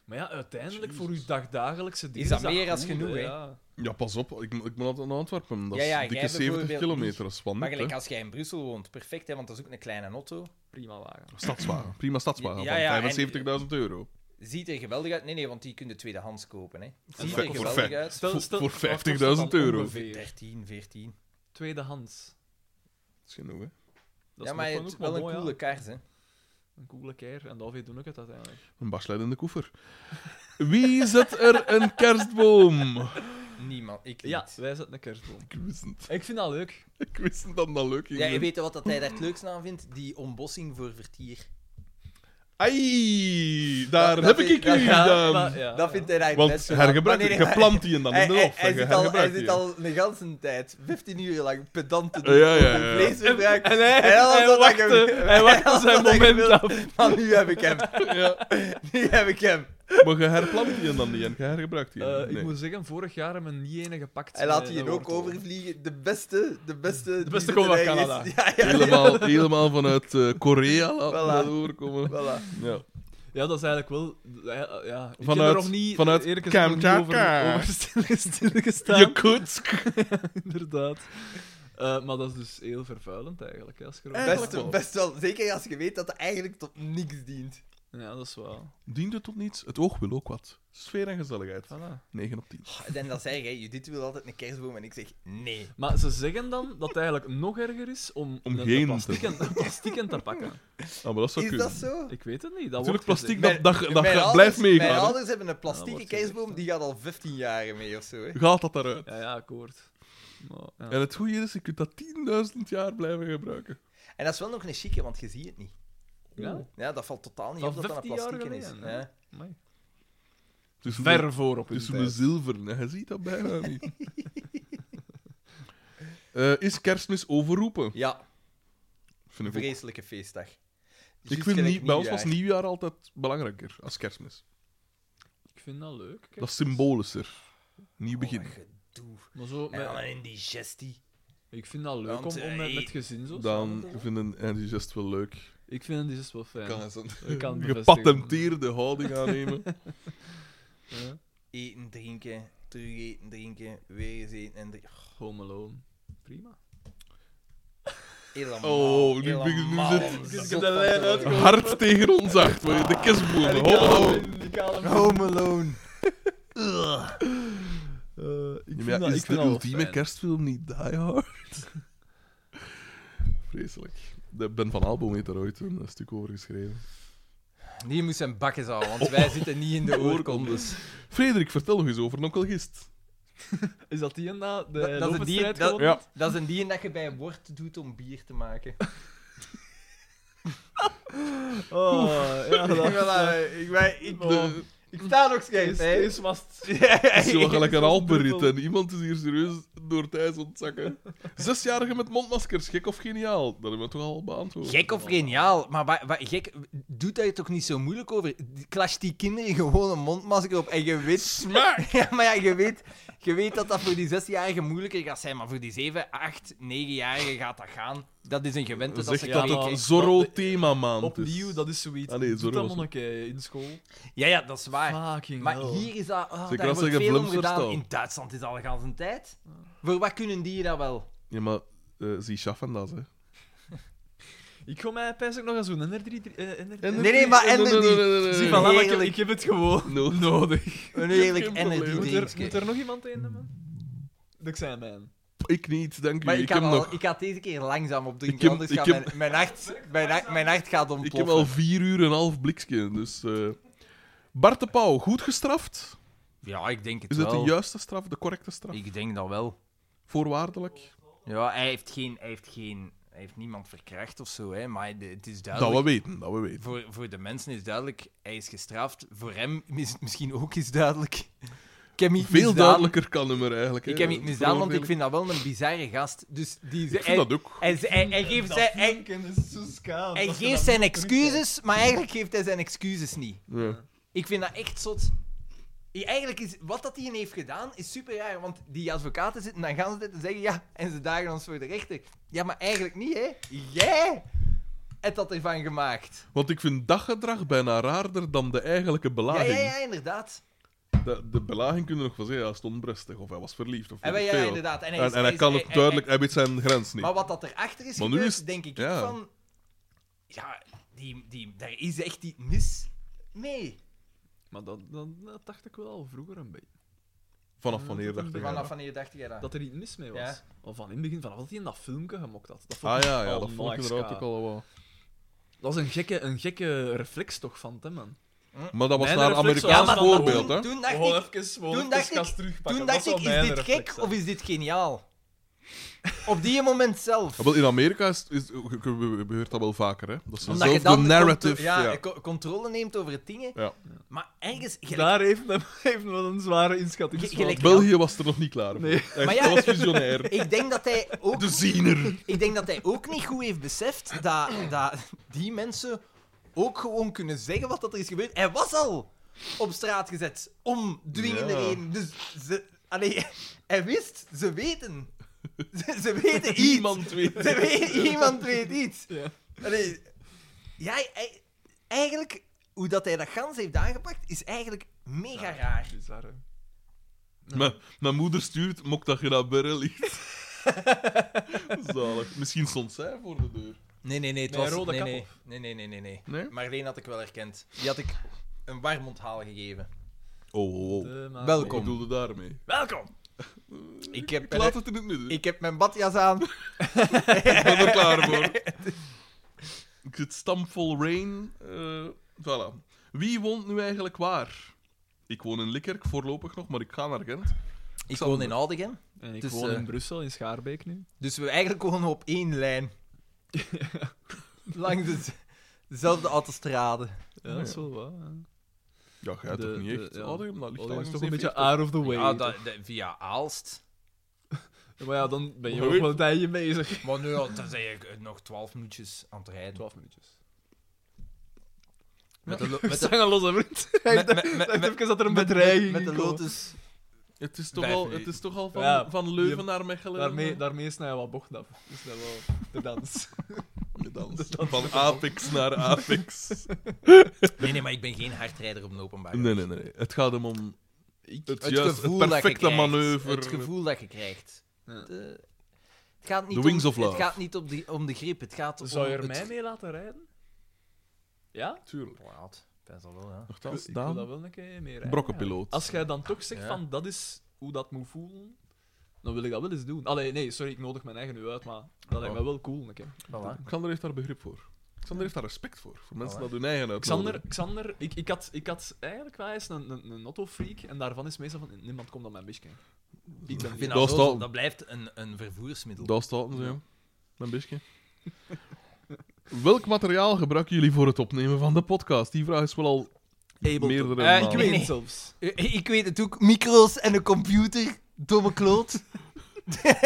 [SPEAKER 3] Maar ja, uiteindelijk voor uw dagdagelijkse dingen
[SPEAKER 4] Is dat meer als
[SPEAKER 3] goed,
[SPEAKER 4] genoeg, hè?
[SPEAKER 3] Ja.
[SPEAKER 1] Ja, pas op, ik, mo- ik moet altijd naar Antwerpen. Dat
[SPEAKER 4] Ja, ja,
[SPEAKER 1] is dikke
[SPEAKER 4] jij
[SPEAKER 1] 70
[SPEAKER 4] bijvoorbeeld
[SPEAKER 1] kilometer. Dat is wat
[SPEAKER 4] Maar
[SPEAKER 1] net,
[SPEAKER 4] gelijk
[SPEAKER 1] hè.
[SPEAKER 4] als jij in Brussel woont, perfect, hè, want dat is ook een kleine auto.
[SPEAKER 3] Prima wagen.
[SPEAKER 1] Stadswagen. Prima stadswagen
[SPEAKER 4] Ja, ja, en-
[SPEAKER 1] van 75.000 euro.
[SPEAKER 4] Ziet er geweldig uit. Nee, nee, want die kun je tweedehands kopen. Hè. Ziet
[SPEAKER 1] Voor
[SPEAKER 4] er
[SPEAKER 1] vij-
[SPEAKER 4] geweldig
[SPEAKER 1] voor
[SPEAKER 4] uit.
[SPEAKER 1] Voor- voor
[SPEAKER 3] wat kost dat
[SPEAKER 1] 50.000
[SPEAKER 3] dan
[SPEAKER 1] euro.
[SPEAKER 3] Ongeveer.
[SPEAKER 4] 13, 14.
[SPEAKER 3] Tweedehands.
[SPEAKER 1] Dat is genoeg, hè?
[SPEAKER 3] Dat
[SPEAKER 4] ja,
[SPEAKER 3] is
[SPEAKER 4] maar
[SPEAKER 3] nog
[SPEAKER 4] het is
[SPEAKER 3] wel
[SPEAKER 4] wel een
[SPEAKER 3] mooi, ja.
[SPEAKER 4] coole kaart, hè.
[SPEAKER 3] Een coole keer. En daarvoor doen ik het uiteindelijk.
[SPEAKER 1] Een baslijn in de koffer. Wie zet er een kerstboom?
[SPEAKER 4] Niemand, ik
[SPEAKER 3] Ja,
[SPEAKER 4] niet.
[SPEAKER 3] wij zetten een kerstboom.
[SPEAKER 1] Ik wist het.
[SPEAKER 3] Ik vind dat leuk.
[SPEAKER 1] Ik wist het dan dat leuk ging.
[SPEAKER 4] Ja, je weet wat dat hij daar het leukste aan vindt? Die ontbossing voor vertier.
[SPEAKER 1] Ai, daar
[SPEAKER 4] Dat-
[SPEAKER 1] heb
[SPEAKER 4] dat
[SPEAKER 1] ik ik
[SPEAKER 4] vind-
[SPEAKER 1] u
[SPEAKER 4] dat-
[SPEAKER 1] gedaan.
[SPEAKER 3] Maar ja,
[SPEAKER 4] dat
[SPEAKER 3] ja.
[SPEAKER 4] vindt hij daar het
[SPEAKER 1] Want
[SPEAKER 4] beste
[SPEAKER 1] hergebruik,
[SPEAKER 4] aan. Maar
[SPEAKER 1] je
[SPEAKER 4] nee, nee,
[SPEAKER 1] plant die in dan in de
[SPEAKER 4] hij-
[SPEAKER 1] hof.
[SPEAKER 4] hij-
[SPEAKER 1] en je
[SPEAKER 4] hij zit al- Hij
[SPEAKER 1] hergebruikt
[SPEAKER 4] zit
[SPEAKER 1] die.
[SPEAKER 4] al een ganse tijd, 15 uur lang, pedant te doen.
[SPEAKER 1] Ja, ja,
[SPEAKER 4] over
[SPEAKER 1] ja.
[SPEAKER 4] Vleesverbruik.
[SPEAKER 3] En hij,
[SPEAKER 4] En alles
[SPEAKER 3] hij
[SPEAKER 4] wat dat je-
[SPEAKER 3] wachtte, hij wachtte
[SPEAKER 4] alles
[SPEAKER 3] zijn
[SPEAKER 4] wat dat je
[SPEAKER 3] moment
[SPEAKER 4] wil.
[SPEAKER 3] af.
[SPEAKER 4] Maar nu heb ik hem. Nu heb ik hem.
[SPEAKER 1] Maar je herplant die dan niet en je hergebruikt die.
[SPEAKER 3] Eh,
[SPEAKER 1] nee.
[SPEAKER 3] Ik moet zeggen, vorig jaar hebben we niet ene gepakt.
[SPEAKER 4] Hij laat
[SPEAKER 3] eh,
[SPEAKER 4] die hier
[SPEAKER 3] dat
[SPEAKER 4] ook
[SPEAKER 3] wordt al.
[SPEAKER 4] overvliegen. De beste, de beste... die
[SPEAKER 3] beste
[SPEAKER 4] er
[SPEAKER 3] komt van
[SPEAKER 4] is.
[SPEAKER 3] Canada.
[SPEAKER 4] Ja, ja, ja.
[SPEAKER 1] helemaal, helemaal vanuit eh, Korea laten we
[SPEAKER 4] Voilà.
[SPEAKER 1] dat overkomen.
[SPEAKER 4] Voilà.
[SPEAKER 1] Ja.
[SPEAKER 3] Ja, dat is eigenlijk wel... Ja, ja. Ik vanuit,
[SPEAKER 1] Vanuit-
[SPEAKER 3] er nog niet,
[SPEAKER 1] vanuit
[SPEAKER 3] eerlijk gezegd, nog niet
[SPEAKER 1] Kamchatka.
[SPEAKER 3] over, over stil- stilgestaan.
[SPEAKER 1] Je kunt.
[SPEAKER 3] Inderdaad. Eh, maar dat is dus heel vervuilend eigenlijk. hè, Als je erover
[SPEAKER 4] Best,
[SPEAKER 3] nadenkt.
[SPEAKER 4] best wel. Zeker als je weet dat het eigenlijk tot niks dient.
[SPEAKER 3] Ja, dat is wel.
[SPEAKER 1] Diende tot niets, het oog wil ook wat. Sfeer en gezelligheid.
[SPEAKER 3] Voilà.
[SPEAKER 1] 9 op 10.
[SPEAKER 4] En dan zeg je, Judith wil altijd een kerstboom en ik zeg nee.
[SPEAKER 3] Maar ze zeggen dan dat het eigenlijk nog erger is om,
[SPEAKER 1] Om
[SPEAKER 3] een-
[SPEAKER 1] geen
[SPEAKER 3] een
[SPEAKER 1] te-
[SPEAKER 3] plastieken, een plastieken te pakken.
[SPEAKER 1] Ah, maar dat zou
[SPEAKER 4] Is
[SPEAKER 1] kunnen.
[SPEAKER 4] dat zo?
[SPEAKER 3] Ik weet het niet. Dat
[SPEAKER 1] Natuurlijk,
[SPEAKER 3] wordt gezegd.
[SPEAKER 1] plastic, dat, dat, dat
[SPEAKER 4] Mijn
[SPEAKER 1] gaat-
[SPEAKER 4] ouders-
[SPEAKER 1] blijft
[SPEAKER 4] Mijn
[SPEAKER 1] meegaan. hè.
[SPEAKER 4] ouders hebben een plastieke
[SPEAKER 3] wordt gezegd,
[SPEAKER 4] kerstboom, die gaat al 15 jaar mee of zo. Hè.
[SPEAKER 1] Gaat dat daaruit?
[SPEAKER 3] Ja, ja, akkoord. Maar, ja.
[SPEAKER 1] En het goede is, je kunt dat 10.000 jaar blijven gebruiken.
[SPEAKER 4] En dat is wel nog een chique, want je ziet het niet.
[SPEAKER 3] Ja?
[SPEAKER 4] Ja, dat valt totaal niet
[SPEAKER 3] Van
[SPEAKER 4] op dat dat een
[SPEAKER 3] 15 jaar
[SPEAKER 4] plastieke is.
[SPEAKER 3] geleden,
[SPEAKER 4] Ja.
[SPEAKER 3] hè? Amai.
[SPEAKER 1] Het is
[SPEAKER 3] Ver voor op
[SPEAKER 1] Het is
[SPEAKER 3] hun
[SPEAKER 1] een
[SPEAKER 3] tijd.
[SPEAKER 1] zilver, je ziet dat bijna niet. Eh, is kerstmis overroepen?
[SPEAKER 4] Ja,
[SPEAKER 1] Vind ik ook.
[SPEAKER 4] vreselijke feestdag.
[SPEAKER 1] Ik
[SPEAKER 4] Juist
[SPEAKER 1] vind
[SPEAKER 4] gelijk
[SPEAKER 1] niet, bij ons was
[SPEAKER 4] nieuwjaar.
[SPEAKER 1] nieuwjaar altijd belangrijker als kerstmis.
[SPEAKER 3] Ik vind dat leuk. kijk.
[SPEAKER 1] Dat is symbolischer. Nieuw
[SPEAKER 4] Oh,
[SPEAKER 1] begin.
[SPEAKER 4] wat gedoe.
[SPEAKER 3] Maar zo,
[SPEAKER 4] En dan
[SPEAKER 3] met-
[SPEAKER 4] een indigestie.
[SPEAKER 3] ik vind dat leuk om,
[SPEAKER 4] Want,
[SPEAKER 3] om
[SPEAKER 4] eh,
[SPEAKER 3] met,
[SPEAKER 4] hey,
[SPEAKER 3] met gezin zo samen
[SPEAKER 1] Dan
[SPEAKER 3] te zijn.
[SPEAKER 1] vinden enthousiast wel leuk.
[SPEAKER 3] Ik vind dit is wel fijn.
[SPEAKER 1] Kan eens een
[SPEAKER 3] Ik kan het bevestigen.
[SPEAKER 1] gepatenteerde houding aannemen.
[SPEAKER 3] Ja.
[SPEAKER 4] Eten, drinken, terug eten, drinken, weer eens eten en drinken. Oh,
[SPEAKER 3] Home Alone. Prima.
[SPEAKER 4] Helemaal,
[SPEAKER 1] Oh, nu ben ik- nu
[SPEAKER 4] helemaal
[SPEAKER 1] zit- nu
[SPEAKER 3] zit ik
[SPEAKER 4] zot
[SPEAKER 3] de lijn
[SPEAKER 4] van te
[SPEAKER 3] uit.
[SPEAKER 4] worden.
[SPEAKER 1] Hard tegen ons acht, maar de kerstbomen. Hallo.
[SPEAKER 4] Home Alone.
[SPEAKER 1] Eh,
[SPEAKER 3] ik
[SPEAKER 1] Ja, maar ja, is de ultieme kerstfilm niet Die Hard? Vreselijk. De Ben van Aalboom heeft daar ooit een eh, stuk over geschreven.
[SPEAKER 4] Die moest zijn bakjes houden, want wij zitten niet in de oorkondes.
[SPEAKER 1] Frederik, vertel nog eens over Nokkel Gist.
[SPEAKER 3] Is dat die en dat? De
[SPEAKER 4] Dat- dat is die-
[SPEAKER 3] lopenstrijd
[SPEAKER 4] dat-
[SPEAKER 3] gewonnen?
[SPEAKER 4] Dat is een die dat je bij wort doet om bier te maken.
[SPEAKER 3] Oh, ja, dat
[SPEAKER 4] ik, ben, ik,
[SPEAKER 1] De,
[SPEAKER 4] ik sta nog
[SPEAKER 3] is,
[SPEAKER 4] scheef,
[SPEAKER 3] is was het.
[SPEAKER 1] het is zo gelijk een Alpenrit en iemand is hier serieus door het ijs ontzakken. Zesjarigen met mondmaskers, gek of geniaal? Dat hebben we toch al beantwoord.
[SPEAKER 4] Gek of geniaal, maar wa, wa- gek, doet daar je toch niet zo moeilijk over? Clash die kinderen gewoon een mondmasker op en je weet... Ja, maar ja, je weet, je weet dat dat voor die zesjarigen moeilijker gaat zijn, maar voor die zeven, acht, negenjarigen gaat dat gaan. Dat is een gewente dat
[SPEAKER 1] Zeg
[SPEAKER 4] ze
[SPEAKER 1] dat
[SPEAKER 4] krijgen.
[SPEAKER 1] dat Zorro-thema-maand is.
[SPEAKER 3] Opnieuw, dat is zoiets.
[SPEAKER 1] Ah, nee,
[SPEAKER 3] Doe
[SPEAKER 1] sorry,
[SPEAKER 3] dat
[SPEAKER 1] was het.
[SPEAKER 3] monniken in school.
[SPEAKER 4] Ja, ja, dat is waar.
[SPEAKER 3] Fucking
[SPEAKER 4] Ah, Maar
[SPEAKER 3] hell.
[SPEAKER 4] hier is dat... ah,
[SPEAKER 1] Zeker
[SPEAKER 4] daar
[SPEAKER 1] als
[SPEAKER 4] wordt
[SPEAKER 1] ze
[SPEAKER 4] veel om
[SPEAKER 1] geflimst
[SPEAKER 4] gedaan.
[SPEAKER 1] verstaan.
[SPEAKER 4] In Duitsland is al gans een tijd. Voor wat kunnen die dat wel?
[SPEAKER 1] Ja, maar eh, zie schaffen dat, hè.
[SPEAKER 3] Ik ga mij pijs ook nog eens doen. En er drie... drie- eh, en er-
[SPEAKER 1] En-
[SPEAKER 3] en-
[SPEAKER 4] Nee, nee, maar Ender niet.
[SPEAKER 3] Zie,
[SPEAKER 1] nee.
[SPEAKER 3] voilà, maar ik,
[SPEAKER 4] Heerlijk.
[SPEAKER 3] ik heb het gewoon
[SPEAKER 1] No.
[SPEAKER 3] nodig.
[SPEAKER 4] Een eerlijk
[SPEAKER 1] Geen probleem.
[SPEAKER 4] Ender die
[SPEAKER 1] Moet
[SPEAKER 3] Moet er,
[SPEAKER 4] drinkje.
[SPEAKER 3] moet er nog iemand een nemen? Dat zijn mijn.
[SPEAKER 1] Ik niet, dank u.
[SPEAKER 4] Maar
[SPEAKER 1] ik
[SPEAKER 4] ik,
[SPEAKER 1] heb
[SPEAKER 4] had al-
[SPEAKER 1] nog...
[SPEAKER 4] ik had deze keer langzaam op drinken,
[SPEAKER 1] Ik heb-
[SPEAKER 4] anders
[SPEAKER 1] ik
[SPEAKER 4] gaat
[SPEAKER 1] heb-
[SPEAKER 4] mijn, mijn, hart, mijn, hart, mijn hart gaat
[SPEAKER 1] Ik heb
[SPEAKER 4] ontploffen.
[SPEAKER 1] al vier uur en een half blikje, dus... eh, Bart de Pauw, goed gestraft?
[SPEAKER 4] Ja, ik denk het
[SPEAKER 1] Is het
[SPEAKER 4] wel.
[SPEAKER 1] de juiste straf, de correcte straf?
[SPEAKER 4] Ik denk dat wel.
[SPEAKER 1] Voorwaardelijk?
[SPEAKER 4] Ja, hij heeft geen... Hij heeft, geen, hij heeft niemand verkracht of zo, hè, maar de- het is
[SPEAKER 1] Dat
[SPEAKER 4] duidelijk...
[SPEAKER 1] we weten, dat we weten.
[SPEAKER 4] Voor, voor de mensen is duidelijk, hij is gestraft. Voor hem is het misschien ook is duidelijk. Ik heb niet
[SPEAKER 1] Veel
[SPEAKER 4] misdaan.
[SPEAKER 1] duidelijker kan hem er eigenlijk.
[SPEAKER 4] Ik
[SPEAKER 1] hè,
[SPEAKER 4] heb niet misdaan, want ik
[SPEAKER 1] veroordelen.
[SPEAKER 4] vind dat wel een bizarre gast. Dus die,
[SPEAKER 1] Ik vind
[SPEAKER 4] hij,
[SPEAKER 1] dat ook.
[SPEAKER 4] hij, hij, hij geeft zijn, hij, hij geeft zijn excuses, maar eigenlijk geeft hij zijn excuses niet.
[SPEAKER 1] Ja.
[SPEAKER 4] Ik vind dat echt zot. I- Eigenlijk is wat dat hij heeft gedaan is super raar, want die advocaten zitten dan gaan ze zitten zeggen ja, en ze dagen ons voor de rechter. Ja, maar eigenlijk niet, hè? Jij hebt dat ervan gemaakt.
[SPEAKER 1] Want ik vind dat gedrag bijna raarder dan de eigenlijke
[SPEAKER 4] Ja,
[SPEAKER 1] belaging.
[SPEAKER 4] ja, ja, inderdaad.
[SPEAKER 1] De, de belaging kunnen we nog wel zeggen, hij stond brestig of hij was verliefd of
[SPEAKER 4] En, wij-
[SPEAKER 1] weet ik
[SPEAKER 4] ja, ja,
[SPEAKER 1] veel.
[SPEAKER 4] inderdaad. En, hij
[SPEAKER 1] En,
[SPEAKER 4] is-
[SPEAKER 1] en
[SPEAKER 4] hij
[SPEAKER 1] hij
[SPEAKER 4] is-
[SPEAKER 1] kan het duidelijk, hij weet zijn grens niet.
[SPEAKER 4] Maar wat dat erachter is
[SPEAKER 1] Maar nu
[SPEAKER 4] gebeurd,
[SPEAKER 1] is het-
[SPEAKER 4] denk ik
[SPEAKER 1] ja.
[SPEAKER 4] van... Ja, die, die, daar is echt iets mis mee.
[SPEAKER 3] Maar dat, dat, dat dacht ik wel al vroeger een beetje.
[SPEAKER 1] Vanaf wanneer
[SPEAKER 3] dat
[SPEAKER 1] dacht ik
[SPEAKER 3] een beetje-
[SPEAKER 1] dat?
[SPEAKER 4] Vanaf wanneer dacht jij dat?
[SPEAKER 3] Dat er iets mis mee was.
[SPEAKER 4] Ja.
[SPEAKER 3] Al van in het begin, vanaf dat hij in dat filmpje gemokt had. Dat vond
[SPEAKER 1] Ah
[SPEAKER 3] ik
[SPEAKER 1] ja, ja
[SPEAKER 4] Oh
[SPEAKER 3] al
[SPEAKER 1] dat vond ik
[SPEAKER 3] nice,
[SPEAKER 1] inderdaad
[SPEAKER 3] ka.
[SPEAKER 1] ook al wel.
[SPEAKER 3] Dat is een gekke, een gekke reflex toch van hem, man.
[SPEAKER 1] Maar dat was
[SPEAKER 3] Mijn
[SPEAKER 1] naar een
[SPEAKER 3] reflex was
[SPEAKER 1] Amerikaans
[SPEAKER 3] van-
[SPEAKER 1] voorbeeld, hè?
[SPEAKER 4] toen, toen dacht ik,
[SPEAKER 3] even,
[SPEAKER 4] toen dacht ik- gas toen dacht ik, is dit gek of is dit geniaal? Op die moment zelf.
[SPEAKER 1] Ja, wel, in Amerika is, is, ge- ge- gebeurt dat wel vaker, hè? Dat ze
[SPEAKER 4] Omdat je
[SPEAKER 1] zelf de
[SPEAKER 4] dan de
[SPEAKER 1] narrative...
[SPEAKER 4] contro- ja,
[SPEAKER 1] ja.
[SPEAKER 4] co- controle neemt over het dingen.
[SPEAKER 1] Ja.
[SPEAKER 4] Maar ergens... gelijk-
[SPEAKER 3] Daar heeft hem, heeft hem wel een zware inschatting.
[SPEAKER 4] Ge- gelijk-
[SPEAKER 1] België was er nog niet klaar voor.
[SPEAKER 3] Nee.
[SPEAKER 1] Echt,
[SPEAKER 4] Maar ja-
[SPEAKER 1] Dat was visionair.
[SPEAKER 4] ik denk dat hij ook
[SPEAKER 1] De ziener.
[SPEAKER 4] Ik denk dat hij ook niet goed heeft beseft dat, dat die mensen ook gewoon kunnen zeggen wat dat er is gebeurd. Hij was al op straat gezet om dwingende
[SPEAKER 1] Ja.
[SPEAKER 4] reden. Dus ze, allee, hij wist, ze weten. Ze, ze weten iets.
[SPEAKER 1] Iemand weet
[SPEAKER 4] Ze weten, iemand weet iets.
[SPEAKER 3] Ja.
[SPEAKER 4] Allee, ja, hij- hij- eigenlijk, hoe dat hij dat gans heeft aangepakt, is eigenlijk mega raar.
[SPEAKER 3] Bizar, hè.
[SPEAKER 1] Mijn, mijn moeder stuurt, mok dat je naar Berre ligt. Zalig. Misschien stond zij voor de deur.
[SPEAKER 9] Nee, nee, nee. Het
[SPEAKER 3] Met
[SPEAKER 9] was...
[SPEAKER 3] een rode
[SPEAKER 9] nee,
[SPEAKER 3] kap
[SPEAKER 9] nee.
[SPEAKER 3] op.
[SPEAKER 9] nee, nee, nee, nee, nee.
[SPEAKER 1] Nee?
[SPEAKER 9] Marleen had ik wel herkend. Die had ik een warm onthaal gegeven.
[SPEAKER 1] Oh, oh, oh.
[SPEAKER 3] De maat-
[SPEAKER 1] Ik
[SPEAKER 9] Welkom.
[SPEAKER 1] bedoelde daarmee.
[SPEAKER 3] Welkom!
[SPEAKER 9] Ik heb,
[SPEAKER 1] Ik laat het in het midden. Ik
[SPEAKER 9] ik heb mijn badjas aan.
[SPEAKER 1] ben er klaar voor. Ik zit stampvol rain. eh voilà. Wie woont nu eigenlijk waar? Ik woon in Likkerk voorlopig nog, maar ik ga naar Gent.
[SPEAKER 9] Ik woon in Aldegem.
[SPEAKER 3] En ik
[SPEAKER 9] Dus,
[SPEAKER 3] woon in
[SPEAKER 9] eh,
[SPEAKER 3] Brussel, in Schaarbeek nu.
[SPEAKER 9] Dus we eigenlijk wonen op één lijn. Langs de- dezelfde autostrade.
[SPEAKER 3] Ja, dat is wel waar. hè.
[SPEAKER 1] Ja, jij
[SPEAKER 3] De-
[SPEAKER 1] toch niet
[SPEAKER 3] de-
[SPEAKER 1] echt?
[SPEAKER 3] ja.
[SPEAKER 1] Aldegem, dat ligt
[SPEAKER 3] Oh, dat is
[SPEAKER 1] langs
[SPEAKER 3] toch
[SPEAKER 1] de
[SPEAKER 3] een beetje
[SPEAKER 1] 40.
[SPEAKER 3] out of the way.
[SPEAKER 4] Ah, dat- dat- via Aalst.
[SPEAKER 3] Ja, Maar ja, dan ben je
[SPEAKER 1] Hoi.
[SPEAKER 3] ook wel een tijdje bezig.
[SPEAKER 4] Maar nu, ja, dan zijn je nog 12 minuutjes aan het rijden.
[SPEAKER 3] 12 minuutjes.
[SPEAKER 4] Met de, lo-
[SPEAKER 3] We
[SPEAKER 4] met de,
[SPEAKER 3] zijn een losse vriend.
[SPEAKER 4] met,
[SPEAKER 3] Ik
[SPEAKER 4] met, met,
[SPEAKER 3] dacht
[SPEAKER 4] met,
[SPEAKER 3] even dat er een
[SPEAKER 9] Met de-
[SPEAKER 3] bedreiging
[SPEAKER 9] Met de
[SPEAKER 3] kwam.
[SPEAKER 9] Lotus.
[SPEAKER 1] Het is toch
[SPEAKER 4] Vijf
[SPEAKER 1] al, het
[SPEAKER 4] minuten.
[SPEAKER 1] is toch al van,
[SPEAKER 3] Ja,
[SPEAKER 1] van Leuven naar Mechelen?
[SPEAKER 3] Daarmee, daarmee snij je wat bocht af. Dus dat wel de dans.
[SPEAKER 1] De dans. Van Apex naar Apex.
[SPEAKER 3] Ah,
[SPEAKER 4] nee, nee, maar ik ben geen hardrijder op een openbaar.
[SPEAKER 1] Nee, nee, nee. Het gaat hem om het, juist,
[SPEAKER 4] gevoel
[SPEAKER 1] het
[SPEAKER 4] dat je
[SPEAKER 1] perfecte
[SPEAKER 4] krijgt.
[SPEAKER 1] manoeuvre.
[SPEAKER 4] Het gevoel dat je krijt.
[SPEAKER 3] Ja.
[SPEAKER 4] De- het gaat niet
[SPEAKER 1] The wings
[SPEAKER 4] om,
[SPEAKER 1] of love.
[SPEAKER 4] Het gaat niet om de, om de grip, het gaat om...
[SPEAKER 3] Zou je er
[SPEAKER 4] het
[SPEAKER 3] mij mee laten rijden? Ja?
[SPEAKER 1] Tuurlijk.
[SPEAKER 4] Laat, best wel wel, ja.
[SPEAKER 1] Nochtans,
[SPEAKER 3] ik wil dat
[SPEAKER 1] Daan,
[SPEAKER 3] wel een keer meer rijden.
[SPEAKER 1] brokkenpiloot.
[SPEAKER 3] Als jij dan toch zegt
[SPEAKER 4] Ja.
[SPEAKER 3] van dat is hoe dat moet voelen, dan wil ik dat wel eens doen. Allee, nee, sorry, ik nodig mijn eigen nu uit, maar dat lijkt me wel cool. Een keer.
[SPEAKER 4] Voilà.
[SPEAKER 1] Xander heeft daar begrip voor. Xander heeft daar respect voor. Voor mensen
[SPEAKER 4] Voilà.
[SPEAKER 1] dat hun eigen uit.
[SPEAKER 3] Xander, Xander ik, ik, had, ik had eigenlijk wel eens een, een, een auto-freak en daarvan is meestal van niemand komt aan mijn bisje. Ik ben
[SPEAKER 4] Ik
[SPEAKER 3] niet.
[SPEAKER 4] vind dat,
[SPEAKER 1] Dat
[SPEAKER 4] zo-
[SPEAKER 1] staat-
[SPEAKER 4] dat blijft een, een vervoersmiddel.
[SPEAKER 1] Dat staat ze, ja. Een beetje. Welk materiaal gebruiken jullie voor het opnemen van de podcast? Die vraag is wel al meerdere
[SPEAKER 3] Eh, ik
[SPEAKER 1] malen.
[SPEAKER 3] weet
[SPEAKER 4] Nee.
[SPEAKER 3] het zelfs.
[SPEAKER 4] Eh, Ik weet het ook, micro's en een computer, domme kloot.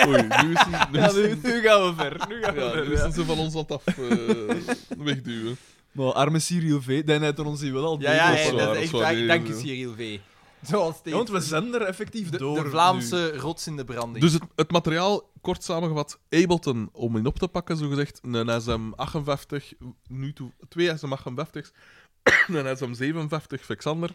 [SPEAKER 1] Oei, nu is het, nu
[SPEAKER 3] Ja,
[SPEAKER 1] is
[SPEAKER 3] nu,
[SPEAKER 1] het,
[SPEAKER 3] nu gaan we ver. Nu gaan we
[SPEAKER 1] ja,
[SPEAKER 3] ver.
[SPEAKER 1] nu is het ze van ons aan het af eh, wegduwen.
[SPEAKER 3] Maar Nou, arme Sirio V, die heeft er ons hier wel al
[SPEAKER 4] Ja,
[SPEAKER 3] degelijk
[SPEAKER 4] ja,
[SPEAKER 1] dat is waar,
[SPEAKER 4] ja, dat
[SPEAKER 1] dat
[SPEAKER 4] is
[SPEAKER 1] is
[SPEAKER 4] echt
[SPEAKER 1] waar,
[SPEAKER 4] waar.
[SPEAKER 1] die is,
[SPEAKER 4] Dank je,
[SPEAKER 1] eh,
[SPEAKER 4] Cyril V. Zoals
[SPEAKER 3] Ja,
[SPEAKER 4] steeds.
[SPEAKER 3] want we zijn er effectief
[SPEAKER 4] de,
[SPEAKER 3] door.
[SPEAKER 4] de Vlaamse rots in de branding.
[SPEAKER 1] Dus het, het materiaal, kort samengevat, Ableton, om in op te pakken, zogezegd, een SM58, nu toe, twee SM58's, een SM57 Vexander.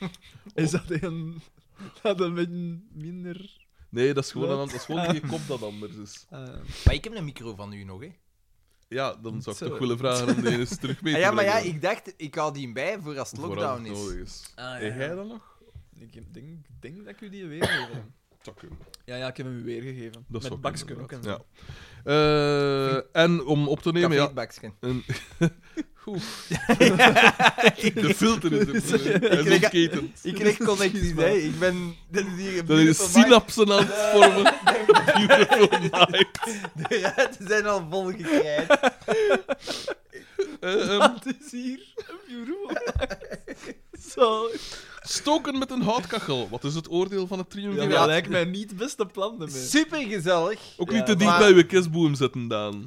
[SPEAKER 3] nu. Is dat een. Dat een beetje minder.
[SPEAKER 1] Nee, dat is gewoon,
[SPEAKER 3] Wat?
[SPEAKER 1] een, an- dat is gewoon die kop dat anders is.
[SPEAKER 3] eh,
[SPEAKER 4] Maar ik heb een micro van u nog, hè.
[SPEAKER 1] Ja, dan zou ik
[SPEAKER 3] Zo.
[SPEAKER 1] toch willen vragen om die eens terug mee
[SPEAKER 4] Ah
[SPEAKER 1] te
[SPEAKER 4] ja, maar ja,
[SPEAKER 1] brengen.
[SPEAKER 4] ik dacht, ik hou die bij voor als het
[SPEAKER 1] Voor als
[SPEAKER 4] lockdown
[SPEAKER 1] het
[SPEAKER 4] is.
[SPEAKER 1] nodig is.
[SPEAKER 4] Ah, ja,
[SPEAKER 1] Heb jij
[SPEAKER 4] ja.
[SPEAKER 1] dat nog?
[SPEAKER 3] Ik denk, denk dat ik u die weer gegeven
[SPEAKER 1] Dat kunnen.
[SPEAKER 3] Ja, ja, ik heb hem u weer gegeven.
[SPEAKER 1] Dat zou
[SPEAKER 3] Met
[SPEAKER 1] kunnen,
[SPEAKER 3] baksken ook en
[SPEAKER 1] inderdaad.
[SPEAKER 3] zo.
[SPEAKER 1] Ja. Eh, en om op te nemen, ja,
[SPEAKER 4] Cafébaksken.
[SPEAKER 1] een... Oeh. De filter is er. Hij is
[SPEAKER 4] kreeg-
[SPEAKER 1] ontketend.
[SPEAKER 4] Ik kreeg connecties bij. Ik ben... Dit is hier een
[SPEAKER 1] Dat is
[SPEAKER 4] beautiful mind.
[SPEAKER 1] synapsen aan het vormen. Beautiful mind.
[SPEAKER 4] De ruiten zijn al vol gekrijt.
[SPEAKER 1] Eh, ehm,
[SPEAKER 3] Het is hier een bureau. Zo.
[SPEAKER 1] stoken met een houtkachel. Wat is het oordeel van het
[SPEAKER 3] Ja,
[SPEAKER 1] triumviraat?
[SPEAKER 3] dat lijkt mij niet het beste plan daarmee.
[SPEAKER 4] Super gezellig.
[SPEAKER 1] Ook
[SPEAKER 3] Ja,
[SPEAKER 1] niet te dicht
[SPEAKER 4] maar-
[SPEAKER 1] bij uw kerstboom zetten, Daan.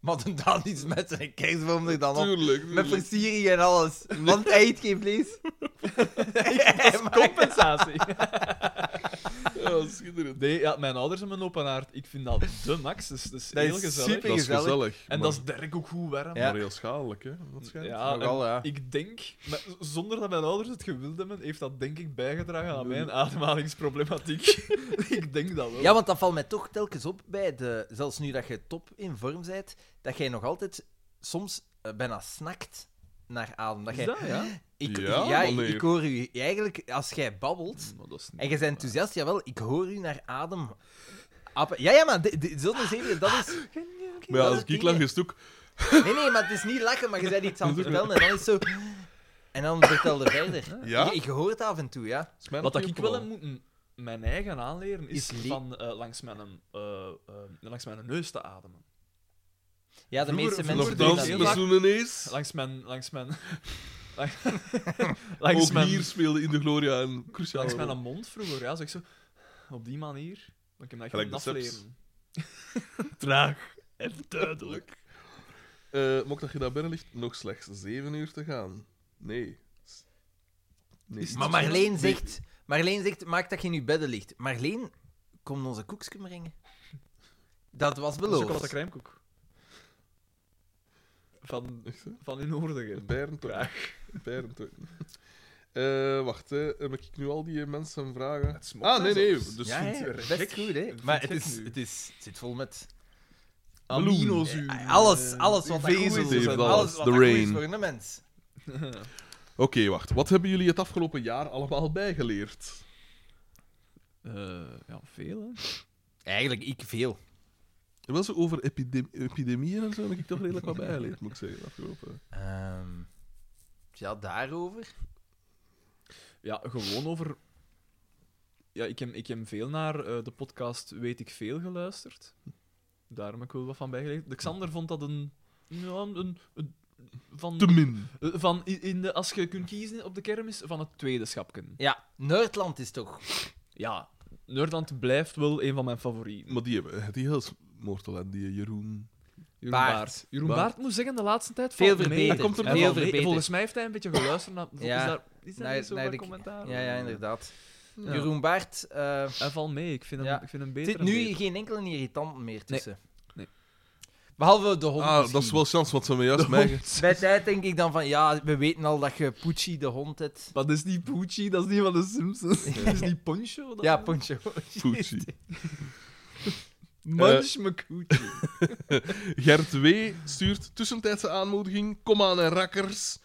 [SPEAKER 4] Maar dan dan iets met zijn kerstboom er dan op.
[SPEAKER 1] Tuurlijk.
[SPEAKER 4] Met
[SPEAKER 1] tuurlijk.
[SPEAKER 4] versiering en alles. Want hij eet geen vlees. Hij maakt-
[SPEAKER 3] Compensatie.
[SPEAKER 1] Ja, schitterend.
[SPEAKER 3] Nee, ja, mijn ouders hebben een open aard. Ik vind dat de max. Dus, dus
[SPEAKER 4] Dat
[SPEAKER 3] heel
[SPEAKER 4] is
[SPEAKER 3] gezellig.
[SPEAKER 4] super-
[SPEAKER 1] Dat is
[SPEAKER 4] gezellig.
[SPEAKER 1] gezellig. maar-
[SPEAKER 3] En dat is Dirk ook goed warm.
[SPEAKER 4] Ja.
[SPEAKER 1] Maar heel schadelijk, hè? Dat schijnt.
[SPEAKER 3] Ja, en
[SPEAKER 4] Nogal, ja.
[SPEAKER 3] ik denk, maar z- zonder dat mijn ouders het gewild hebben, heeft dat denk ik bijgedragen aan mijn ademhalingsproblematiek. ik denk dat wel.
[SPEAKER 4] Ja, want dat valt mij toch telkens op bij de... Zelfs nu dat je top in vorm bent, dat jij nog altijd soms eh, bijna snakt naar adem. Dat
[SPEAKER 3] Is
[SPEAKER 4] jij,
[SPEAKER 3] dat, ja?
[SPEAKER 4] Ik,
[SPEAKER 1] Ja,
[SPEAKER 4] ja, ik,
[SPEAKER 1] wanneer?
[SPEAKER 4] ik hoor u eigenlijk, als jij babbelt
[SPEAKER 3] Maar dat is
[SPEAKER 4] en
[SPEAKER 3] niet...
[SPEAKER 4] je bent enthousiast, jawel, ik hoor u naar adem. appen. Ja, ja, maar de- de- zo'n zeven, dat is.
[SPEAKER 1] Maar ja,
[SPEAKER 4] dat
[SPEAKER 1] als
[SPEAKER 4] ding,
[SPEAKER 1] ik lach is het ook...
[SPEAKER 4] Nee, nee, maar het is niet lachen, maar je bent iets aan het vertellen en dan is het zo. En dan vertel je verder.
[SPEAKER 1] Ja?
[SPEAKER 4] Je, je hoort dat af en toe, ja.
[SPEAKER 1] is mijn
[SPEAKER 3] Wat dat ik
[SPEAKER 1] opnieuw
[SPEAKER 3] wel heb moeten mijn eigen aanleren, is,
[SPEAKER 4] Is li-
[SPEAKER 3] van eh, langs, mijn, eh, eh, langs mijn neus te ademen.
[SPEAKER 4] Ja, de
[SPEAKER 3] Vroeger-
[SPEAKER 4] meeste
[SPEAKER 1] plan.
[SPEAKER 3] vroeger
[SPEAKER 4] mensen doen
[SPEAKER 1] Nochtans,
[SPEAKER 4] dat
[SPEAKER 3] heel
[SPEAKER 1] we
[SPEAKER 3] vaak.
[SPEAKER 4] niet.
[SPEAKER 1] zoenen eens.
[SPEAKER 3] Langs mijn... Langs mijn... lang- langs
[SPEAKER 1] Ook
[SPEAKER 3] mijn,
[SPEAKER 1] hier speelde in de Gloria een cruciale
[SPEAKER 3] langs mijn
[SPEAKER 1] rol.
[SPEAKER 3] mond vroeger, ja. Zeg zo, op die manier. Want ik heb dat
[SPEAKER 1] Gelijk
[SPEAKER 3] geen
[SPEAKER 1] de seps.
[SPEAKER 3] afleren. Traag en duidelijk.
[SPEAKER 1] Eh, Mocht dat je daar binnen ligt, nog slechts zeven uur te gaan. Nee. S- Nee.
[SPEAKER 4] Maar Marleen zegt, Marleen zegt: maak dat je in je bedden ligt. Marleen, kom onze koekjes brengen. Dat was
[SPEAKER 3] Chocolade
[SPEAKER 4] beloofd.
[SPEAKER 3] crèmekoek. Van,
[SPEAKER 1] Echt, hè?
[SPEAKER 3] van in Oordingen.
[SPEAKER 1] Berntocht. Berntocht. Eh, wacht, hè. Eh, Mag ik nu al die eh, mensen vragen?
[SPEAKER 3] Het smokt
[SPEAKER 1] Ah, nee,
[SPEAKER 3] hè,
[SPEAKER 1] nee.
[SPEAKER 3] zelfs.
[SPEAKER 1] Dus
[SPEAKER 4] Ja,
[SPEAKER 1] vindt-
[SPEAKER 4] ja,
[SPEAKER 3] vindt u er gek?
[SPEAKER 4] best goed, hè.
[SPEAKER 3] Vindt
[SPEAKER 4] Maar
[SPEAKER 3] u
[SPEAKER 4] het,
[SPEAKER 3] het
[SPEAKER 4] is,
[SPEAKER 3] gek nu?
[SPEAKER 4] het, is, het zit vol met
[SPEAKER 3] Aminozuur.
[SPEAKER 9] Eh, Alles, alles wat dat goed
[SPEAKER 1] vezels
[SPEAKER 9] is,
[SPEAKER 1] heeft
[SPEAKER 9] alles
[SPEAKER 1] alles.
[SPEAKER 9] wat
[SPEAKER 1] The
[SPEAKER 9] dat goed is
[SPEAKER 1] rain.
[SPEAKER 9] voor een mens.
[SPEAKER 1] Oké, wacht. Wat hebben jullie het afgelopen jaar allemaal bijgeleerd?
[SPEAKER 3] Eh, ja, veel, hè.
[SPEAKER 4] Eigenlijk ik veel.
[SPEAKER 1] Wel zo over epidem- epidemieën en zo heb ik toch redelijk wat bijgeleerd, moet ik zeggen. Afgelopen.
[SPEAKER 4] Ehm, ja, daarover.
[SPEAKER 3] Ja, gewoon over... Ja, ik heb, ik heb veel naar eh, de podcast Weet ik Veel geluisterd. Daar heb ik wel wat van bijgelegd. De Xander vond dat een... Ja, een, een van,
[SPEAKER 1] Te min.
[SPEAKER 3] eh, van i- in de, als je kunt kiezen op de kermis, van het tweede schapken.
[SPEAKER 4] Ja, Noordland is toch.
[SPEAKER 3] Ja, Nerdland blijft wel een van mijn favorieten.
[SPEAKER 1] Maar die hebben die heel moortel en die eh, Jeroen.
[SPEAKER 3] Jeroen
[SPEAKER 4] Baart.
[SPEAKER 3] Baart. Jeroen
[SPEAKER 1] Baart.
[SPEAKER 3] Baart, moet zeggen, de laatste tijd
[SPEAKER 4] Veel
[SPEAKER 3] valt mee.
[SPEAKER 4] verbeterd.
[SPEAKER 3] Hij komt er
[SPEAKER 4] Veel
[SPEAKER 3] wel mee.
[SPEAKER 4] verbeterd.
[SPEAKER 3] Volgens mij heeft hij een beetje geluisterd naar...
[SPEAKER 4] Ja.
[SPEAKER 3] Is daar, is daar
[SPEAKER 4] Naar-
[SPEAKER 3] niet zo
[SPEAKER 4] naar
[SPEAKER 3] veel
[SPEAKER 4] de-
[SPEAKER 3] commentaar?
[SPEAKER 4] Ja, ja, inderdaad.
[SPEAKER 3] Ja.
[SPEAKER 4] Jeroen Baart. eh,
[SPEAKER 3] Hij valt mee. Ik vind hem,
[SPEAKER 4] Ja.
[SPEAKER 3] ik vind hem
[SPEAKER 4] Er
[SPEAKER 3] beter
[SPEAKER 4] zit
[SPEAKER 3] en
[SPEAKER 4] nu
[SPEAKER 3] beter.
[SPEAKER 4] geen enkele irritant meer tussen.
[SPEAKER 3] Nee.
[SPEAKER 4] Behalve de hond.
[SPEAKER 1] Ah,
[SPEAKER 4] Oh, misschien.
[SPEAKER 1] dat is wel chance, want ze hebben juist mij...
[SPEAKER 4] Bij tijd denk ik dan van ja, we weten al dat je Pucci de hond hebt.
[SPEAKER 3] Dat is niet Poochie, dat is niet van de Simpsons. Dat is niet Poncho. Dat
[SPEAKER 4] Ja,
[SPEAKER 3] is-
[SPEAKER 4] Poncho.
[SPEAKER 1] Pucci.
[SPEAKER 3] Munch McCoochie.
[SPEAKER 1] Gert W. stuurt tussentijdse aanmoediging. Kom aan en rakkers.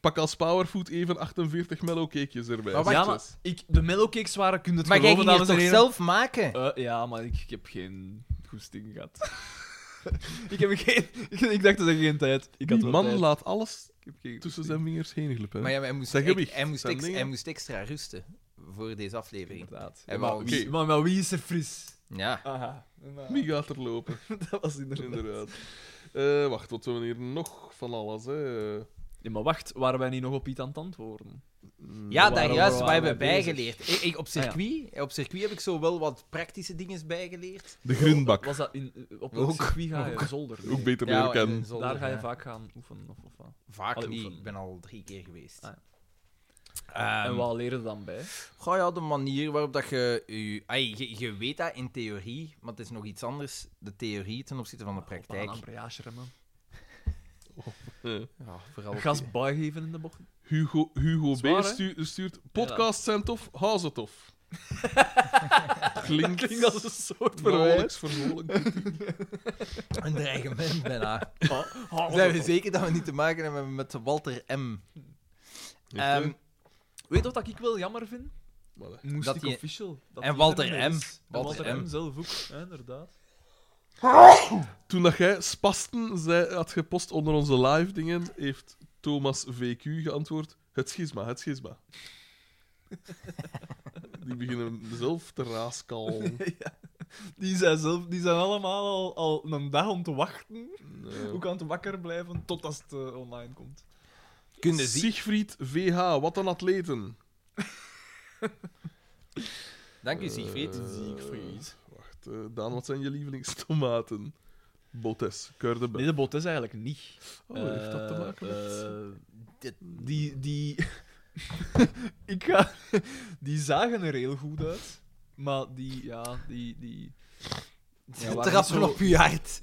[SPEAKER 1] Pak als powerfood even 48 mellow-cakejes erbij.
[SPEAKER 4] Maar wacht,
[SPEAKER 3] Ja, maar ik, de mellowcakes waren, kun je het
[SPEAKER 4] Maar jij
[SPEAKER 3] geloven,
[SPEAKER 4] ging het
[SPEAKER 3] dames en
[SPEAKER 4] toch
[SPEAKER 3] heren.
[SPEAKER 4] zelf maken?
[SPEAKER 3] Eh, ja, maar ik, ik heb geen goesting gehad. ik heb geen... Ik, ik dacht dat ik geen tijd... Ik had
[SPEAKER 1] Die
[SPEAKER 3] wel
[SPEAKER 1] man
[SPEAKER 3] tijd.
[SPEAKER 1] laat alles
[SPEAKER 3] Ik heb
[SPEAKER 1] tussen
[SPEAKER 3] geen goesting.
[SPEAKER 1] zijn vingers heen glippen.
[SPEAKER 4] Maar ja, maar hij moest,
[SPEAKER 1] Zijn
[SPEAKER 4] hij-
[SPEAKER 1] gewicht,
[SPEAKER 4] hij, moest
[SPEAKER 1] zijn
[SPEAKER 4] ex-
[SPEAKER 1] dingen.
[SPEAKER 4] hij moest extra rusten voor deze aflevering.
[SPEAKER 3] Inderdaad.
[SPEAKER 4] En
[SPEAKER 3] maar,
[SPEAKER 4] wel-
[SPEAKER 3] wie,
[SPEAKER 1] Oké.
[SPEAKER 3] maar, maar wie is er fris?
[SPEAKER 4] Ja.
[SPEAKER 3] Aha.
[SPEAKER 1] Wie gaat er lopen?
[SPEAKER 3] dat was inderdaad...
[SPEAKER 1] Inderdaad. Eh, wacht, wat hebben we hier nog van alles? Hè?
[SPEAKER 3] Ja, maar wacht, waren wij niet nog op iets aan het antwoorden?
[SPEAKER 4] Ja,
[SPEAKER 3] Waarom
[SPEAKER 4] daar juist,
[SPEAKER 3] waren
[SPEAKER 4] waar hebben
[SPEAKER 3] wij
[SPEAKER 4] bijgeleerd. Ik, ik- op, circuit, op circuit heb ik zo wel wat praktische dingen bijgeleerd.
[SPEAKER 1] De Grunbak.
[SPEAKER 3] Was dat in, op
[SPEAKER 4] Ook.
[SPEAKER 3] het circuit ga je zolder?
[SPEAKER 1] Ook beter
[SPEAKER 4] Ja,
[SPEAKER 1] leren
[SPEAKER 4] en
[SPEAKER 1] kennen.
[SPEAKER 4] zolder,
[SPEAKER 3] Daar ga je
[SPEAKER 4] ja.
[SPEAKER 3] vaak gaan oefenen of, of wat.
[SPEAKER 4] Vaak
[SPEAKER 3] Allee,
[SPEAKER 4] niet,
[SPEAKER 3] oefenen.
[SPEAKER 4] ik ben al drie keer geweest.
[SPEAKER 3] Ah,
[SPEAKER 4] Ehm,
[SPEAKER 3] en wat leren dan bij?
[SPEAKER 4] Goh, ja, de manier waarop dat je, je, ai, je... Je weet dat in theorie, maar het is nog iets anders, de theorie ten opzichte van de praktijk.
[SPEAKER 3] Een ambriage remmen.
[SPEAKER 1] Eh.
[SPEAKER 4] Ja, vooral op-
[SPEAKER 3] Gas bijgeven in de bocht.
[SPEAKER 1] Hugo, Hugo
[SPEAKER 3] Zwaar,
[SPEAKER 1] B.
[SPEAKER 3] hè?
[SPEAKER 1] stu- stuurt... Podcasts zijn tof, hou ze tof. Klinkt...
[SPEAKER 3] Klinkt als een soort verwijt.
[SPEAKER 1] Verhoorlijks, verhoorlijk.
[SPEAKER 4] een dreigement bijna.
[SPEAKER 3] Ah, ah,
[SPEAKER 4] Zijn we zeker dat we niet te maken hebben met Walter M. Ehm,
[SPEAKER 3] Weet je wat ik wel jammer vind?
[SPEAKER 1] Maar, eh,
[SPEAKER 3] Moest
[SPEAKER 4] Dat
[SPEAKER 3] ik
[SPEAKER 4] die-
[SPEAKER 3] official. dat
[SPEAKER 4] en
[SPEAKER 3] die
[SPEAKER 4] Walter
[SPEAKER 3] internet
[SPEAKER 4] M.
[SPEAKER 3] is. En
[SPEAKER 4] Walter
[SPEAKER 3] Walter,
[SPEAKER 4] M.
[SPEAKER 3] M. zelf ook, ja, inderdaad.
[SPEAKER 1] Toen dat jij spasten zei, had gepost onder onze live dingen, heeft Thomas VQ geantwoord: Het schisma, het schisma. Die beginnen zelf te raaskalmen.
[SPEAKER 3] Die zijn, zelf, die zijn allemaal al, al een dag om te wachten.
[SPEAKER 1] Nee.
[SPEAKER 3] Ook aan het wakker blijven totdat het eh, online komt.
[SPEAKER 4] kunnen zien.
[SPEAKER 1] Siegfried VH, wat een atleten.
[SPEAKER 4] Dank u, Siegfried.
[SPEAKER 1] Eh, Wacht, eh, Daan, wat zijn je lievelingstomaten? Botes, Keurdebe.
[SPEAKER 3] Nee, de bot is eigenlijk niet.
[SPEAKER 1] Oh, heeft dat te
[SPEAKER 3] Eh,
[SPEAKER 1] maken met...
[SPEAKER 3] eh, dit- die, die... ik ga... die zagen er heel goed uit. Maar die, ja, die... die Ja,
[SPEAKER 4] Ze
[SPEAKER 3] waren niet
[SPEAKER 4] trappen
[SPEAKER 3] zo-
[SPEAKER 4] op uw hart.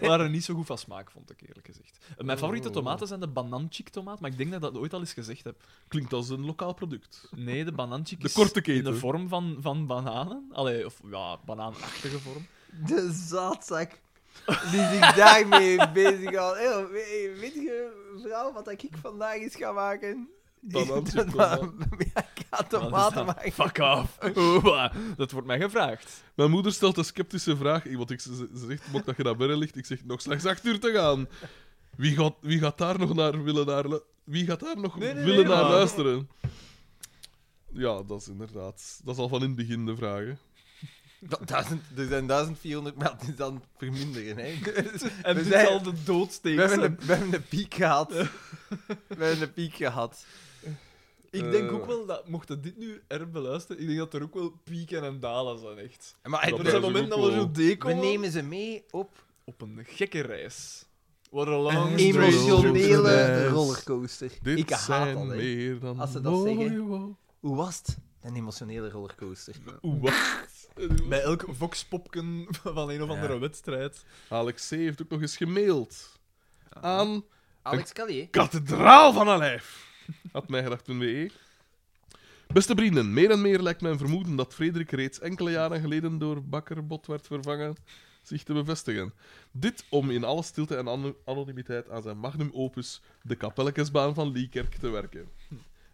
[SPEAKER 3] waren niet zo goed van smaak, vond ik eerlijk gezegd. Eh, Mijn favoriete
[SPEAKER 1] Oh.
[SPEAKER 3] tomaten zijn de bananchik tomaat, maar ik denk dat ik dat ooit al eens gezegd heb.
[SPEAKER 1] Klinkt als een lokaal product.
[SPEAKER 3] Nee, de bananchik
[SPEAKER 1] De
[SPEAKER 3] is
[SPEAKER 1] korte keten.
[SPEAKER 3] in de vorm van, van bananen. Allee, of ja, bananachtige vorm.
[SPEAKER 9] De zaadzak die zich daarmee bezighoudt. Hey, we- weet je, vrouw, wat ik vandaag eens ga maken?
[SPEAKER 1] Bananenchip
[SPEAKER 9] Ik-
[SPEAKER 1] tomaat.
[SPEAKER 9] Ja, ik ga
[SPEAKER 3] Wat is
[SPEAKER 9] tomaten
[SPEAKER 3] dat?
[SPEAKER 9] maken.
[SPEAKER 3] Fuck off. Oeh, dat wordt mij gevraagd.
[SPEAKER 1] Mijn moeder stelt een sceptische vraag. Ik- Want ik ze ze zegt, mok dat je naar binnen ligt. Ik zeg, nog slechts acht uur te gaan. Wie gaat, wie gaat daar nog naar willen naar... lu- Wie gaat daar nog
[SPEAKER 3] Nee, nee,
[SPEAKER 1] willen
[SPEAKER 3] nee,
[SPEAKER 1] naar
[SPEAKER 3] maar-
[SPEAKER 1] luisteren? Ja, dat is inderdaad... Dat is al van in het begin de vraag, hè.
[SPEAKER 4] Dat- duizend- Er zijn 1400, maar dat is dan verminderen. Hè.
[SPEAKER 3] En dit
[SPEAKER 4] zijn-
[SPEAKER 3] zal de doodsteek
[SPEAKER 4] We, hebben
[SPEAKER 3] zijn.
[SPEAKER 4] een, we hebben een piek gehad. We hebben een piek gehad.
[SPEAKER 3] Ik denk
[SPEAKER 1] Eh.
[SPEAKER 3] ook wel dat, mocht je dit nu erg beluisteren, ik denk dat er ook wel pieken en dalen zijn, echt.
[SPEAKER 4] Maar het-
[SPEAKER 1] Dat
[SPEAKER 3] er zijn
[SPEAKER 1] is ook
[SPEAKER 3] momenten dat we
[SPEAKER 1] wel.
[SPEAKER 3] zo deco
[SPEAKER 4] we nemen ze mee op
[SPEAKER 3] op een gekke reis. What a long
[SPEAKER 1] Een
[SPEAKER 3] straight trip to the-
[SPEAKER 1] emotionele-
[SPEAKER 9] Emotionele
[SPEAKER 1] Yes.
[SPEAKER 9] rollercoaster.
[SPEAKER 1] Dit
[SPEAKER 4] Ik haat
[SPEAKER 1] zijn
[SPEAKER 4] dat, hè.
[SPEAKER 1] meer dan...
[SPEAKER 4] Als ze dat
[SPEAKER 1] mooie
[SPEAKER 4] zeggen.
[SPEAKER 1] wo-
[SPEAKER 4] Hoe was het? Een emotionele rollercoaster.
[SPEAKER 1] Oeh, wacht.
[SPEAKER 3] Bij elk voxpopken van een of andere
[SPEAKER 4] Ja.
[SPEAKER 3] wedstrijd.
[SPEAKER 1] Alex C. heeft ook nog eens gemaild. Aan
[SPEAKER 4] Alex Callier.
[SPEAKER 1] kathedraal van een lijf. Had mij gedacht toen we. E. Beste vrienden, meer en meer lijkt mijn vermoeden dat Frederik reeds enkele jaren geleden door Bakkerbot werd vervangen zich te bevestigen. Dit om in alle stilte en ano- anonimiteit aan zijn magnum opus, de Kapellekesbaan van Liekerk, te werken.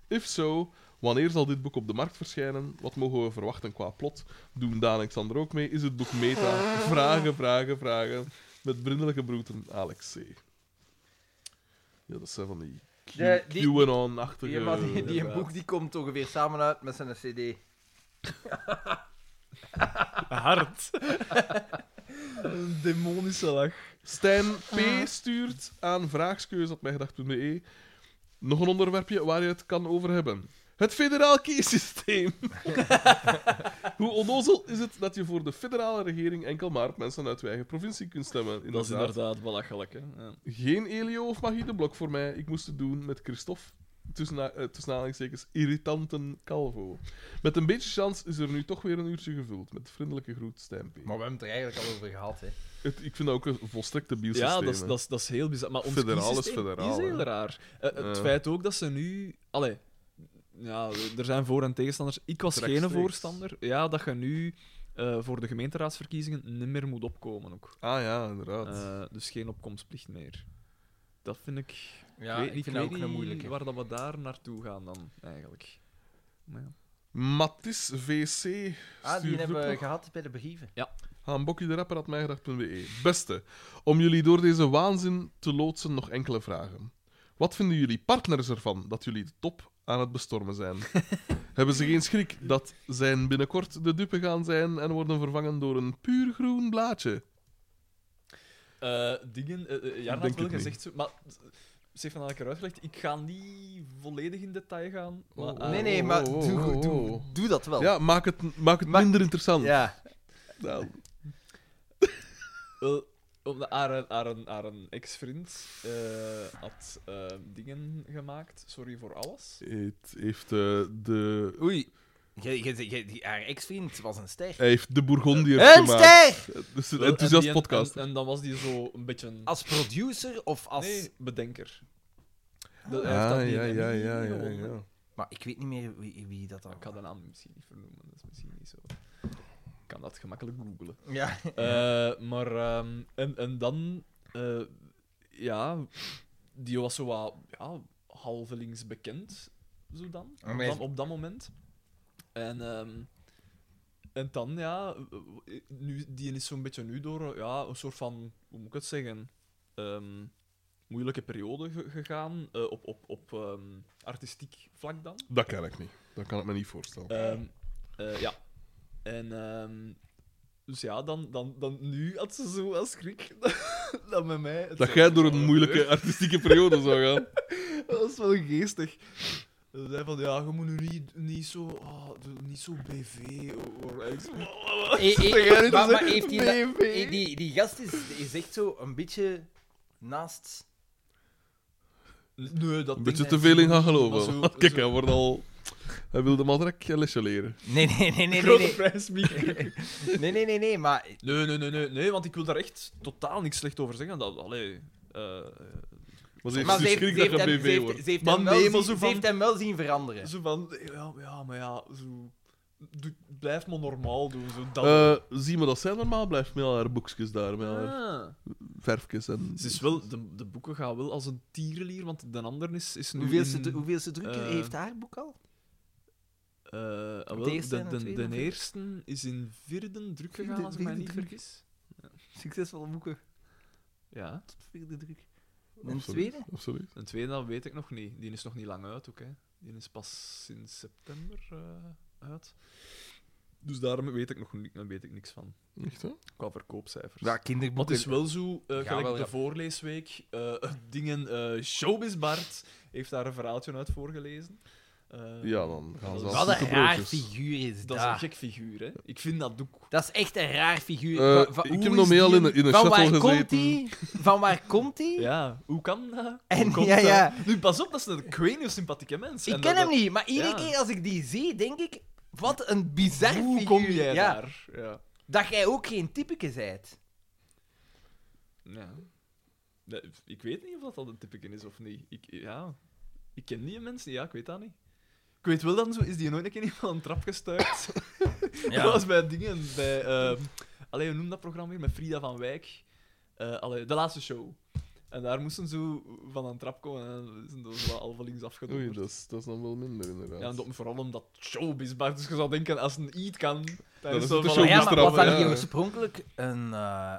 [SPEAKER 1] If so, wanneer zal dit boek op de markt verschijnen? Wat mogen we verwachten qua plot? Doen Daan en Xander ook mee? Is het boek meta? Vragen, vragen, vragen. Met vriendelijke broeder Alex C. Ja, dat zijn van die Q-
[SPEAKER 4] De- die-
[SPEAKER 1] QAnon-achtige...
[SPEAKER 4] Ja, maar die, die een
[SPEAKER 1] inderdaad.
[SPEAKER 4] boek die komt ongeveer samen uit met zijn CD.
[SPEAKER 3] Hard.
[SPEAKER 13] Een demonische lach.
[SPEAKER 1] Stijn
[SPEAKER 3] Ah.
[SPEAKER 1] P. stuurt aan vraagskeuze.mijgedacht.be e nog een onderwerpje waar je het kan over hebben. Het federaal kiesysteem. Hoe onnozel is het dat je voor de federale regering enkel maar op mensen uit je eigen provincie kunt stemmen?
[SPEAKER 3] Dat is inderdaad belachelijk. Hè? Ja.
[SPEAKER 1] Geen Elio of Magie de Blok voor mij. Ik moest het doen met Christophe. Tussen, eh, tussen aanhalingstekens, irritanten Calvo. Met een beetje kans is er nu toch weer een uurtje gevuld. Met vriendelijke groet, Stijn P.
[SPEAKER 4] Maar we hebben het er eigenlijk al over gehad, hè.
[SPEAKER 1] Het- ik vind dat ook een volstrekte biosysteem.
[SPEAKER 3] Ja, dat is, dat, is, dat is heel bizar. Maar ons
[SPEAKER 1] Federaal is
[SPEAKER 3] kiesysteem
[SPEAKER 1] federaal,
[SPEAKER 3] is heel
[SPEAKER 1] hè.
[SPEAKER 3] raar. Eh, het
[SPEAKER 1] Ja.
[SPEAKER 3] feit ook dat ze nu... Allee, ja, er zijn voor- en tegenstanders. Ik was geen
[SPEAKER 1] Rechtstreeks.
[SPEAKER 3] voorstander. Ja, dat je nu eh, voor de gemeenteraadsverkiezingen niet meer moet opkomen ook.
[SPEAKER 1] Ah ja, inderdaad.
[SPEAKER 3] Eh, dus geen opkomstplicht meer. Dat vind ik...
[SPEAKER 4] Ja,
[SPEAKER 3] ik weet niet, ik
[SPEAKER 4] dat
[SPEAKER 3] weet niet
[SPEAKER 4] moeilijke.
[SPEAKER 3] waar dat we daar naartoe gaan dan, eigenlijk. Maar ja.
[SPEAKER 1] Mathis VC
[SPEAKER 4] Ah, die
[SPEAKER 1] stuurt ook
[SPEAKER 4] hebben we
[SPEAKER 1] nog
[SPEAKER 4] gehad bij de brieven.
[SPEAKER 1] aan Bokkie de Rapper at mijgedacht.be. Beste, om jullie door deze waanzin te loodsen nog enkele vragen. Wat vinden jullie partners ervan dat jullie de top aan het bestormen zijn? Hebben ze geen schrik dat zij binnenkort de dupe gaan zijn en worden vervangen door een puur groen blaadje?
[SPEAKER 3] Eh, dingen, eh, eh,
[SPEAKER 1] denk
[SPEAKER 3] Jarna had wel
[SPEAKER 1] het niet.
[SPEAKER 3] gezegd, zo, maar ze heeft van eruit gelegd. Ik ga niet volledig in detail gaan. Maar,
[SPEAKER 1] Oh, oh.
[SPEAKER 3] eh,
[SPEAKER 4] nee, nee, maar
[SPEAKER 1] oh,
[SPEAKER 4] doe,
[SPEAKER 1] oh,
[SPEAKER 4] Doe,
[SPEAKER 1] oh.
[SPEAKER 4] doe dat wel.
[SPEAKER 1] Ja, maak het, maak het
[SPEAKER 4] Ma-
[SPEAKER 1] minder interessant.
[SPEAKER 4] Ja.
[SPEAKER 1] Nou,
[SPEAKER 3] Wel, omdat haar, haar, haar een ex-vriend eh, had eh, dingen gemaakt. Sorry voor alles.
[SPEAKER 1] het heeft, eh, de,
[SPEAKER 4] Oei. Je, je, je- die- haar ex-vriend was een ster.
[SPEAKER 1] hij heeft de Bourgondiërs
[SPEAKER 4] Een
[SPEAKER 1] gemaakt.
[SPEAKER 4] ster!
[SPEAKER 1] Dus een
[SPEAKER 3] Wel, en
[SPEAKER 1] enthousiast
[SPEAKER 3] die-
[SPEAKER 1] podcast.
[SPEAKER 3] En, en dan was die zo een beetje een
[SPEAKER 4] Als producer of als... Ah.
[SPEAKER 3] nee, bedenker. Dat- hij heeft
[SPEAKER 1] Ja,
[SPEAKER 3] dat die
[SPEAKER 1] Ah, ja,
[SPEAKER 3] Emmy
[SPEAKER 1] ja, ja, ja,
[SPEAKER 3] gewonnen.
[SPEAKER 1] ja.
[SPEAKER 4] Maar ik weet niet meer wie, wie dat dan...
[SPEAKER 3] Ik ga de naam misschien niet vernoemen, dat is misschien niet zo. Ik kan dat gemakkelijk googlen.
[SPEAKER 4] Ja.
[SPEAKER 3] Eh, maar, ehm, en, en dan, eh, ja, die was zo wat ja, halvelings bekend, zo dan, op
[SPEAKER 4] Maar-
[SPEAKER 3] dat, op dat moment. En, ehm, en dan, ja, nu, die is zo'n beetje nu door eh, ja, een soort van, hoe moet ik het zeggen, ehm, moeilijke periode ge- gegaan, eh, op, op, op ehm, artistiek vlak dan.
[SPEAKER 1] Dat kan ik niet. Dat kan ik me niet voorstellen.
[SPEAKER 3] Ehm, eh, ja. En ehm, dus ja, dan, dan, dan nu had ze zo als schrik dat met mij. het
[SPEAKER 1] dat
[SPEAKER 3] zou
[SPEAKER 1] jij door een
[SPEAKER 3] gebeuren.
[SPEAKER 1] moeilijke artistieke periode zou gaan.
[SPEAKER 3] Dat was wel geestig. Ze zei van ja, je moet nu niet, niet zo. ah, doe niet zo BV. Or, or, ik zo,
[SPEAKER 4] maar, maar heeft die, dat- eh, die, die gast is, is echt zo een beetje naast...
[SPEAKER 3] Dus, nee, dat
[SPEAKER 1] Een
[SPEAKER 3] ding
[SPEAKER 1] beetje
[SPEAKER 3] hij
[SPEAKER 1] te veel in
[SPEAKER 3] niet.
[SPEAKER 1] gaan
[SPEAKER 3] Maar zo-
[SPEAKER 1] geloven. Want Kijk,
[SPEAKER 3] zo-
[SPEAKER 1] hij wordt al... Hij wilde maar direct een lesje leren.
[SPEAKER 4] Nee, nee, nee, nee, nee.
[SPEAKER 3] Grote
[SPEAKER 4] Nee,
[SPEAKER 3] prijs, Mieke.
[SPEAKER 4] nee, nee, nee, nee maar...
[SPEAKER 3] Nee, nee, nee, nee, nee, want ik wil daar echt totaal niks slecht over zeggen. Dat, allee, eh,
[SPEAKER 1] Maar ze heeft dus
[SPEAKER 4] Maar ze heeft,
[SPEAKER 1] schrik
[SPEAKER 4] ze
[SPEAKER 1] dat
[SPEAKER 4] heeft,
[SPEAKER 1] je
[SPEAKER 4] hem, ze
[SPEAKER 1] BV
[SPEAKER 4] heeft-
[SPEAKER 1] wordt.
[SPEAKER 4] ze heeft
[SPEAKER 3] Maar
[SPEAKER 4] hem wel
[SPEAKER 3] nee,
[SPEAKER 4] zien-
[SPEAKER 3] maar zo
[SPEAKER 4] ze
[SPEAKER 3] van-
[SPEAKER 4] heeft hem wel zien veranderen.
[SPEAKER 3] Zo van, ja, ja maar ja, zo, doe, blijf maar normaal doen. Zo, dat.
[SPEAKER 1] Eh, zie maar dat zij normaal blijft met al haar boekjes daar, met al haar
[SPEAKER 3] Ah.
[SPEAKER 1] verfjes en...
[SPEAKER 3] Het is wel, de, de boeken gaan wel als een tierenlier, want de ander is, is nu.
[SPEAKER 4] Hoeveel
[SPEAKER 3] in,
[SPEAKER 4] ze, hoeveel ze druk
[SPEAKER 3] eh,
[SPEAKER 4] heeft haar boek al?
[SPEAKER 3] eh, ah, wel,
[SPEAKER 4] de eerste en
[SPEAKER 3] de,
[SPEAKER 4] de
[SPEAKER 3] de,
[SPEAKER 4] tweede,
[SPEAKER 3] de
[SPEAKER 4] of-
[SPEAKER 3] eerste is in vierde druk gegaan,
[SPEAKER 4] Vierde-
[SPEAKER 3] als ik mij
[SPEAKER 4] vierde
[SPEAKER 3] niet
[SPEAKER 4] druk.
[SPEAKER 3] vergis.
[SPEAKER 4] Succesvolle boeken
[SPEAKER 3] Ja,
[SPEAKER 4] tot vierde druk. En de
[SPEAKER 1] Absoluut,
[SPEAKER 4] tweede?
[SPEAKER 1] Absoluut.
[SPEAKER 3] een tweede dat weet ik nog niet. Die is nog niet lang uit ook, hè. Die is pas sinds september eh, uit. Dus daarom weet ik nog ni- daar weet ik niks van,
[SPEAKER 1] Echt, hè?
[SPEAKER 3] qua verkoopcijfers.
[SPEAKER 4] Ja,
[SPEAKER 3] Maar het
[SPEAKER 4] kinderboeken.
[SPEAKER 3] is wel zo, eh gelijk
[SPEAKER 4] wel,
[SPEAKER 3] de
[SPEAKER 4] ja.
[SPEAKER 3] voorleesweek, eh, dingen, eh Showbiz Bart heeft daar een verhaaltje uit voorgelezen. Eh,
[SPEAKER 1] Ja, dan gaan
[SPEAKER 3] dat
[SPEAKER 1] ze
[SPEAKER 3] is-
[SPEAKER 1] als
[SPEAKER 3] Wat
[SPEAKER 4] Wat een
[SPEAKER 1] zoete
[SPEAKER 4] raar
[SPEAKER 1] broodjes.
[SPEAKER 4] figuur is
[SPEAKER 3] Dus Dat is een
[SPEAKER 4] dat.
[SPEAKER 3] gek figuur, hè. Ik vind dat ook...
[SPEAKER 4] Dat is echt een raar figuur.
[SPEAKER 1] Eh,
[SPEAKER 4] Van- van-
[SPEAKER 1] ik
[SPEAKER 4] hoe
[SPEAKER 1] heb
[SPEAKER 4] is
[SPEAKER 1] nog mee al
[SPEAKER 4] die-
[SPEAKER 1] in een- in een
[SPEAKER 4] van
[SPEAKER 1] shuttle
[SPEAKER 4] waar Komt
[SPEAKER 1] gezeten.
[SPEAKER 4] die? Van waar komt hij?
[SPEAKER 3] Ja, hoe kan dat? Hoe
[SPEAKER 4] En-
[SPEAKER 3] komt
[SPEAKER 4] ja,
[SPEAKER 3] dat?
[SPEAKER 4] ja.
[SPEAKER 3] Nu, pas op, dat is een ik weet niet hoe sympathieke mens.
[SPEAKER 4] Ik
[SPEAKER 3] En
[SPEAKER 4] ken
[SPEAKER 3] dat-
[SPEAKER 4] hem niet, maar iedere
[SPEAKER 3] ja.
[SPEAKER 4] keer als ik die zie, denk ik... Wat een bizar
[SPEAKER 3] dat- Hoe
[SPEAKER 4] figuur.
[SPEAKER 3] kom jij
[SPEAKER 4] ja,
[SPEAKER 3] daar? Ja.
[SPEAKER 4] Dat jij ook geen typeke zijt.
[SPEAKER 3] Ja. Nee, ik weet niet of dat al een typeken is of niet. Ik, ja. ik ken die mensen, ja, ik weet dat niet. Ik weet wel dan zo, is die nooit een keer iemand een trap gestuurd? Dat was bij dingen, bij ehm, Allee, hoe noem dat programma weer? Met Frida van Wijk. Eh, allee, de laatste show. En daar moesten ze van een trap komen en zijn ze wel al van links
[SPEAKER 1] Oei,
[SPEAKER 3] afgedonderd.
[SPEAKER 1] dat is, dat is dan wel minder, inderdaad.
[SPEAKER 3] Ja, en dat, vooral omdat het showbiz maakt. Dus je zou denken, als een eat kan, dan
[SPEAKER 1] is
[SPEAKER 3] is ah het
[SPEAKER 1] het
[SPEAKER 3] wel
[SPEAKER 1] een
[SPEAKER 4] Maar
[SPEAKER 1] showbiz
[SPEAKER 4] ja, maar
[SPEAKER 1] straf,
[SPEAKER 4] was dat
[SPEAKER 1] ja.
[SPEAKER 4] niet oorspronkelijk een... eh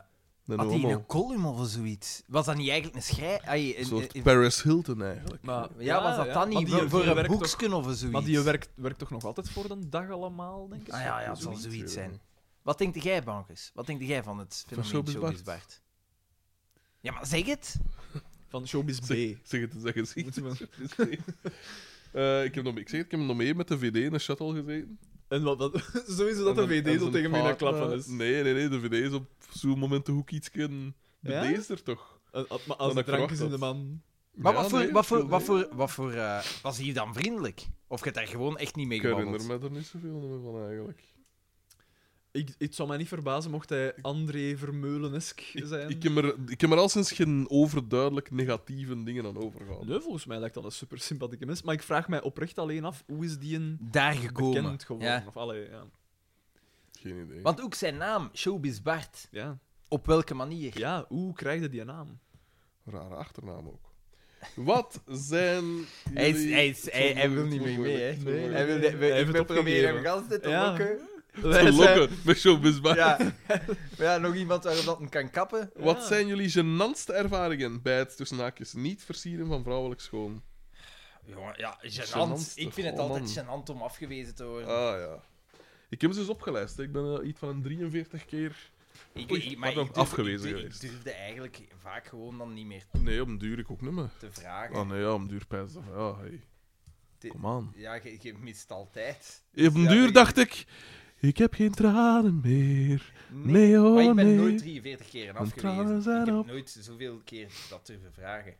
[SPEAKER 1] Een
[SPEAKER 4] had hij
[SPEAKER 1] homo.
[SPEAKER 4] een column of zoiets? Was dat niet eigenlijk een schrijf... Ai,
[SPEAKER 1] Een
[SPEAKER 4] een-
[SPEAKER 1] soort
[SPEAKER 4] een-
[SPEAKER 1] Paris Hilton, eigenlijk.
[SPEAKER 3] Maar,
[SPEAKER 4] ja, was dat dan
[SPEAKER 3] maar
[SPEAKER 4] niet?
[SPEAKER 3] die-
[SPEAKER 4] Voor, voor
[SPEAKER 3] die
[SPEAKER 4] een
[SPEAKER 3] werkt toch-
[SPEAKER 4] boeksken of zoiets?
[SPEAKER 3] Maar die werkt, werkt toch nog altijd voor de dag allemaal, denk ik?
[SPEAKER 4] Ah ja, ja, het zal
[SPEAKER 1] Zoiets,
[SPEAKER 4] zoiets
[SPEAKER 1] ja.
[SPEAKER 4] zijn. Wat denkt jij, Bankers? Wat denkt jij van het fenomeen
[SPEAKER 1] Showbiz
[SPEAKER 4] Showbiz,
[SPEAKER 1] Bart?
[SPEAKER 4] Bart? Ja, maar zeg het.
[SPEAKER 3] Van Showbiz B.
[SPEAKER 1] Zeg, zeg het, zeg het. Zeg
[SPEAKER 3] Moeten we-
[SPEAKER 1] het. Eh, ik, heb nog, ik zeg het, ik heb nog mee met de VD in een shuttle gezeten.
[SPEAKER 3] En wat, dat, sowieso dat
[SPEAKER 1] En
[SPEAKER 3] de
[SPEAKER 1] dan- en
[SPEAKER 3] VD zo
[SPEAKER 1] zijn
[SPEAKER 3] tegen mij aan het
[SPEAKER 1] partner-
[SPEAKER 3] klappen is.
[SPEAKER 1] Nee, nee, nee. De VD is op zo'n moment ook iets kunnen...
[SPEAKER 3] Ja?
[SPEAKER 1] De D is er toch?
[SPEAKER 3] En- ah, maar
[SPEAKER 1] Dan
[SPEAKER 3] als de
[SPEAKER 1] ik
[SPEAKER 3] drank is
[SPEAKER 1] verwacht
[SPEAKER 3] in de
[SPEAKER 1] dat.
[SPEAKER 3] man...
[SPEAKER 4] Maar
[SPEAKER 1] Ja,
[SPEAKER 4] wat voor...
[SPEAKER 1] nee,
[SPEAKER 4] wat voor,
[SPEAKER 1] VD.
[SPEAKER 4] wat voor, wat voor eh, was hij dan vriendelijk? Of je hebt daar gewoon echt niet mee
[SPEAKER 1] Ik herinner
[SPEAKER 4] gebabbeld?
[SPEAKER 1] me er niet zoveel meer van, eigenlijk.
[SPEAKER 3] Ik, het zou mij niet verbazen mocht hij André Vermeulenesk zijn.
[SPEAKER 1] Ik heb, er, ik heb er al sinds geen overduidelijk negatieve dingen aan overgehouden.
[SPEAKER 3] Nee, volgens mij lijkt dat een super sympathieke mens. Maar ik vraag mij oprecht alleen af, hoe is die een
[SPEAKER 4] Daar gekomen.
[SPEAKER 3] bekend geworden?
[SPEAKER 4] Ja.
[SPEAKER 3] Of, allee, ja.
[SPEAKER 1] Geen idee.
[SPEAKER 4] Want ook zijn naam, Showbiz Bart.
[SPEAKER 3] Ja.
[SPEAKER 4] Op welke manier?
[SPEAKER 3] ja, hoe krijg je die naam?
[SPEAKER 1] Rare achternaam ook. Wat zijn.
[SPEAKER 4] Hij, is,
[SPEAKER 1] jullie-
[SPEAKER 4] hij, is, hij, hij wil niet mee mee, hè.
[SPEAKER 1] Het wordt moeilijk.
[SPEAKER 4] Hij wil, we,
[SPEAKER 3] Hij heeft
[SPEAKER 4] ik
[SPEAKER 3] het
[SPEAKER 4] ben proberen hem
[SPEAKER 3] opgegeven.
[SPEAKER 4] gans dit te
[SPEAKER 3] Ja.
[SPEAKER 4] lokken.
[SPEAKER 1] Te
[SPEAKER 3] Wij zijn-
[SPEAKER 1] lokken met Showbiz Bar.
[SPEAKER 4] Ja. Maar ja, nog iemand waarop dat hem kan kappen.
[SPEAKER 1] Wat
[SPEAKER 3] Ja.
[SPEAKER 1] zijn jullie genantste ervaringen bij het tussen haakjes niet versieren van vrouwelijk schoon?
[SPEAKER 4] Jongen, ja,
[SPEAKER 1] Gênant,
[SPEAKER 4] gênant. Ik
[SPEAKER 1] toch?
[SPEAKER 4] vind het
[SPEAKER 1] Oh,
[SPEAKER 4] altijd
[SPEAKER 1] man.
[SPEAKER 4] gênant om afgewezen te worden.
[SPEAKER 1] Ah ja. Ik heb ze dus opgelijst. hè. Ik ben eh, iets van een 43 keer.
[SPEAKER 4] Ik,
[SPEAKER 1] Oei,
[SPEAKER 4] ik,
[SPEAKER 1] maar
[SPEAKER 4] maar
[SPEAKER 1] dan
[SPEAKER 4] ik durf-
[SPEAKER 1] afgewezen
[SPEAKER 4] ik durf-
[SPEAKER 1] geweest.
[SPEAKER 4] Ik durfde eigenlijk vaak gewoon dan niet meer
[SPEAKER 1] Nee, om duur ik ook niet meer.
[SPEAKER 4] te vragen.
[SPEAKER 1] Ah nee, ja, om duur pijs. ik van, Ja, hey.
[SPEAKER 4] Dit-
[SPEAKER 1] Kom aan.
[SPEAKER 4] Ja, je, je mist altijd.
[SPEAKER 1] Op een
[SPEAKER 4] Ja,
[SPEAKER 1] duur
[SPEAKER 4] ik-
[SPEAKER 1] dacht ik. Ik heb geen tranen meer.
[SPEAKER 4] Nee,
[SPEAKER 1] Nee hoor,
[SPEAKER 4] maar ik ben
[SPEAKER 1] nee.
[SPEAKER 4] nooit 43 keer
[SPEAKER 1] Mijn
[SPEAKER 4] afgewezen.
[SPEAKER 1] tranen
[SPEAKER 4] Ik
[SPEAKER 1] zijn
[SPEAKER 4] heb
[SPEAKER 1] op.
[SPEAKER 4] nooit zoveel keer dat durven vragen.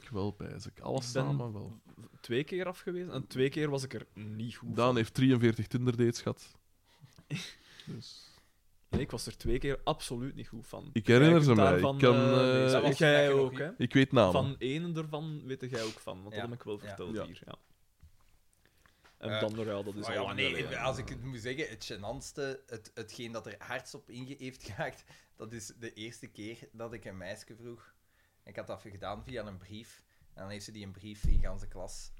[SPEAKER 1] Ik wel pijs. ik. Alles
[SPEAKER 3] Ik ben-
[SPEAKER 1] samen wel.
[SPEAKER 3] twee keer afgewezen en twee keer was ik er niet goed.
[SPEAKER 1] Daan heeft 43 Tinder dates gehad. Dus.
[SPEAKER 3] Nee, ik was er twee keer absoluut niet goed van.
[SPEAKER 1] Ik herinner
[SPEAKER 3] Jij
[SPEAKER 1] ze
[SPEAKER 3] kunt
[SPEAKER 1] mij.
[SPEAKER 3] daarvan,
[SPEAKER 1] Ik, kan,
[SPEAKER 3] eh,
[SPEAKER 1] eh,
[SPEAKER 3] lezen.
[SPEAKER 4] dat
[SPEAKER 1] ik,
[SPEAKER 4] was-
[SPEAKER 3] jij
[SPEAKER 4] dat je
[SPEAKER 3] ook,
[SPEAKER 4] nog-
[SPEAKER 3] hè?
[SPEAKER 1] ik weet namen.
[SPEAKER 3] Van één ervan weet jij ook van, want
[SPEAKER 4] Ja.
[SPEAKER 3] dat heb ik wel
[SPEAKER 4] Ja.
[SPEAKER 3] verteld
[SPEAKER 1] Ja.
[SPEAKER 3] hier. Ja. En
[SPEAKER 4] Eh,
[SPEAKER 3] dan, ja, dat is
[SPEAKER 4] Maar
[SPEAKER 3] al
[SPEAKER 4] ja,
[SPEAKER 3] lang
[SPEAKER 4] nee,
[SPEAKER 3] geleden.
[SPEAKER 4] als ik het moet zeggen, het gênantste, het, hetgeen dat er hardst op inge heeft gehaakt, dat is de eerste keer dat ik een meisje vroeg. Ik had dat gedaan via een brief. En dan heeft ze die een brief in ganse klas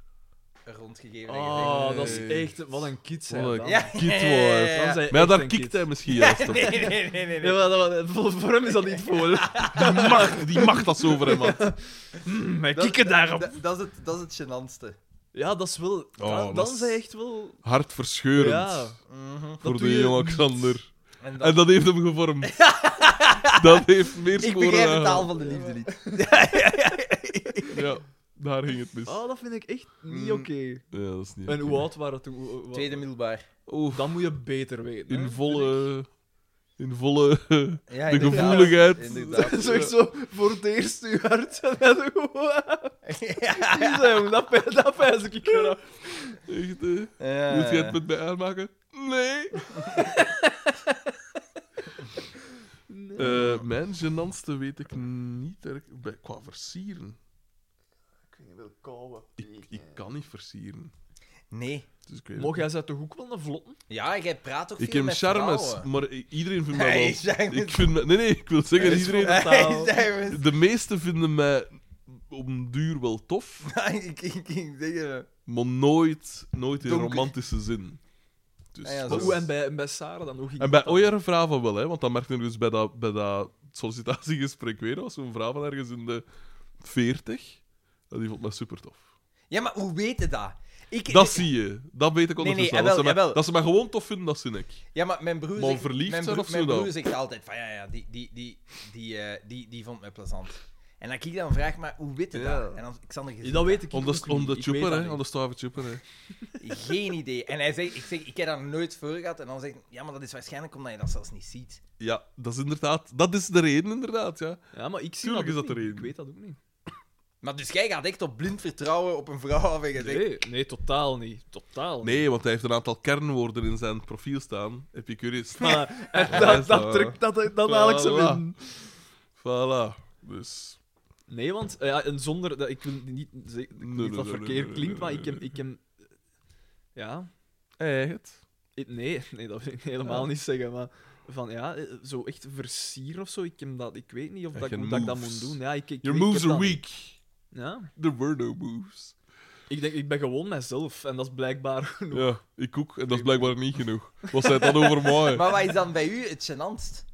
[SPEAKER 4] rondgegeven. en
[SPEAKER 3] Oh,
[SPEAKER 1] Nee.
[SPEAKER 3] dat is echt... Wat een kid zijn
[SPEAKER 1] Wat een
[SPEAKER 3] dan.
[SPEAKER 1] kid.
[SPEAKER 4] gezegd, ja,
[SPEAKER 1] Kidwoord.
[SPEAKER 4] ja, ja, ja.
[SPEAKER 3] Dan zijn
[SPEAKER 1] Maar ja,
[SPEAKER 3] echt
[SPEAKER 1] daar
[SPEAKER 3] een
[SPEAKER 1] kikt
[SPEAKER 3] kid.
[SPEAKER 1] hij misschien juist op.
[SPEAKER 4] Nee, nee, nee, nee.
[SPEAKER 3] Ja, maar dat- voor, voor hem is dat niet voor.
[SPEAKER 1] Die macht, die macht dat zo over hem had.
[SPEAKER 3] Mijn
[SPEAKER 4] Dat-
[SPEAKER 3] kikken daarop.
[SPEAKER 4] Dat, dat is het, dat is het gênantste.
[SPEAKER 3] Ja, dat is wel... dan
[SPEAKER 1] Oh, dat
[SPEAKER 3] dan
[SPEAKER 1] is-
[SPEAKER 3] zijn echt wel...
[SPEAKER 1] Hartverscheurend
[SPEAKER 3] Ja.
[SPEAKER 4] Mhm.
[SPEAKER 1] voor
[SPEAKER 3] doe
[SPEAKER 1] de
[SPEAKER 3] je
[SPEAKER 1] jonge Alexander.
[SPEAKER 4] En dat,
[SPEAKER 1] En dat heeft hem gevormd. dat heeft meer
[SPEAKER 4] ik
[SPEAKER 1] sporen.
[SPEAKER 4] begrijp de
[SPEAKER 1] aan-
[SPEAKER 4] taal van de liefde niet.
[SPEAKER 1] Ja, daar ging het mis.
[SPEAKER 3] Oh, dat vind ik echt niet
[SPEAKER 1] Mm.
[SPEAKER 3] oké.
[SPEAKER 1] Ja, dat is niet
[SPEAKER 3] En
[SPEAKER 1] oké.
[SPEAKER 3] hoe oud waren we toen? Hoe- hoe-
[SPEAKER 4] Tweede middelbaar.
[SPEAKER 3] Oeh, dat moet je beter weten. hè.
[SPEAKER 1] In volle... In volle...
[SPEAKER 4] Ja,
[SPEAKER 1] de
[SPEAKER 4] inderdaad.
[SPEAKER 1] gevoeligheid.
[SPEAKER 4] Inderdaad.
[SPEAKER 3] Dat is echt zo voor het eerst uw hart. En dan gewoon... Dat pijn- Dat pijs ik eraf.
[SPEAKER 1] Echt, hè?
[SPEAKER 4] Ja.
[SPEAKER 1] Moet jij het met mij aanmaken? Nee. Eh, mijn genantste weet ik niet. erg- bij- Qua versieren. Ik, ik kan niet versieren.
[SPEAKER 4] Nee.
[SPEAKER 1] Dus ik weet het
[SPEAKER 3] Mocht
[SPEAKER 1] niet.
[SPEAKER 3] jij ze toch ook wel een vlotten?
[SPEAKER 4] Ja, jij praat ook
[SPEAKER 1] Ik
[SPEAKER 4] veel
[SPEAKER 1] heb
[SPEAKER 4] met
[SPEAKER 1] charmes,
[SPEAKER 4] vrouwen.
[SPEAKER 1] maar i- iedereen vindt mij
[SPEAKER 4] Hij
[SPEAKER 1] wel...
[SPEAKER 4] zei
[SPEAKER 1] Ik vind me- Nee, nee, ik wil zeggen,
[SPEAKER 3] Hij is
[SPEAKER 1] iedereen...
[SPEAKER 3] gewoon-
[SPEAKER 4] Hij zei met-
[SPEAKER 1] De meesten vinden mij om duur wel tof,
[SPEAKER 4] ik, ik, ik zeg het.
[SPEAKER 1] maar nooit, nooit in
[SPEAKER 4] Donker.
[SPEAKER 1] romantische zin. Dus,
[SPEAKER 4] Ah ja,
[SPEAKER 1] dat
[SPEAKER 3] Maar
[SPEAKER 1] is-
[SPEAKER 3] hoe, Oh, en, bij, en bij Sarah dan? Hoe ging
[SPEAKER 1] En bij oh
[SPEAKER 3] dat dan?
[SPEAKER 1] Oyer vragen wel, hè, want dat merkte ik dus bij dat, bij dat sollicitatiegesprek weer. als zo'n vrouw van ergens in de 40. En die vond mij super tof.
[SPEAKER 4] Ja, maar hoe weet je dat? Ik,
[SPEAKER 1] Dat zie je. Dat weet ik ondertussen wel.
[SPEAKER 4] nee, jawel,
[SPEAKER 1] Dat, ze mij,
[SPEAKER 4] jawel.
[SPEAKER 1] dat ze mij gewoon tof vinden, dat zin ik.
[SPEAKER 4] Ja, maar mijn broer,
[SPEAKER 1] Maar
[SPEAKER 4] zegt,
[SPEAKER 1] verliefd
[SPEAKER 4] mijn
[SPEAKER 1] zijn
[SPEAKER 4] broer,
[SPEAKER 1] of
[SPEAKER 4] mijn
[SPEAKER 1] zo dan?
[SPEAKER 4] broer zegt altijd van, ja, ja, die, die, die, die, eh, die, die vond mij plezant. En dan kijk ik dan vraag, maar hoe weet je
[SPEAKER 1] Ja.
[SPEAKER 4] dat? En dan, Xander
[SPEAKER 3] Ja,
[SPEAKER 4] gezien,
[SPEAKER 3] dat weet ik
[SPEAKER 1] Om de,
[SPEAKER 3] ook
[SPEAKER 1] om
[SPEAKER 3] niet.
[SPEAKER 1] de
[SPEAKER 3] Ik
[SPEAKER 1] chopper,
[SPEAKER 3] weet dat
[SPEAKER 1] hè.
[SPEAKER 3] niet.
[SPEAKER 1] Om de stave chopper, hè.
[SPEAKER 4] geen idee. En hij zegt, ik zeg, ik heb dat nooit voor gehad. En dan zegt hij, ja, maar dat is waarschijnlijk omdat je dat zelfs niet ziet.
[SPEAKER 1] Ja, dat is inderdaad... Dat is de reden, inderdaad, ja.
[SPEAKER 3] Ja, maar ik zie
[SPEAKER 1] Tuurlijk
[SPEAKER 3] dat
[SPEAKER 1] is
[SPEAKER 3] ook
[SPEAKER 1] dat er
[SPEAKER 3] niet.
[SPEAKER 1] één.
[SPEAKER 3] Ik weet dat ook niet.
[SPEAKER 4] Maar dus jij gaat echt op blind vertrouwen op een vrouw af en je zegt,
[SPEAKER 3] Nee, nee, totaal niet. Totaal niet.
[SPEAKER 1] Nee, want hij heeft een aantal kernwoorden in zijn profiel staan. Epicurus.
[SPEAKER 3] Maar, en
[SPEAKER 1] Ja, is
[SPEAKER 3] dat,
[SPEAKER 1] dat
[SPEAKER 3] dat trekt, dat, dat haal ik ze
[SPEAKER 1] Voilà.
[SPEAKER 3] in.
[SPEAKER 1] Voilà. Dus...
[SPEAKER 3] Nee, want eh, ja, en zonder... Dat, ik wil niet, ze- ik
[SPEAKER 1] Nee,
[SPEAKER 3] wil
[SPEAKER 1] nee,
[SPEAKER 3] niet dat
[SPEAKER 1] nee, nee,
[SPEAKER 3] verkeerd
[SPEAKER 1] nee,
[SPEAKER 3] klinkt, maar
[SPEAKER 1] nee,
[SPEAKER 3] ik heb...
[SPEAKER 1] nee.
[SPEAKER 3] Ik heb ja,
[SPEAKER 1] Eigen.
[SPEAKER 3] Ik- Nee, nee, dat wil ik helemaal niet zeggen. Maar van ja, eh, zo echt versieren of zo. Ik, heb dat, ik weet niet of
[SPEAKER 1] Ja,
[SPEAKER 3] dat, ik-
[SPEAKER 1] je
[SPEAKER 3] hoe dat ik dat
[SPEAKER 1] moves.
[SPEAKER 3] moet doen. Ja, ik, ik,
[SPEAKER 1] Your
[SPEAKER 3] ik
[SPEAKER 1] moves
[SPEAKER 3] heb
[SPEAKER 1] are
[SPEAKER 3] dat niet.
[SPEAKER 1] weak.
[SPEAKER 3] Ja.
[SPEAKER 1] There were no moves.
[SPEAKER 3] Ik denk, ik ben gewoon mezelf. En dat is blijkbaar genoeg.
[SPEAKER 1] Ja, ik ook. En dat is blijkbaar niet genoeg. Wat zei dat over mij?
[SPEAKER 9] Maar wat is dan bij u het gênantst?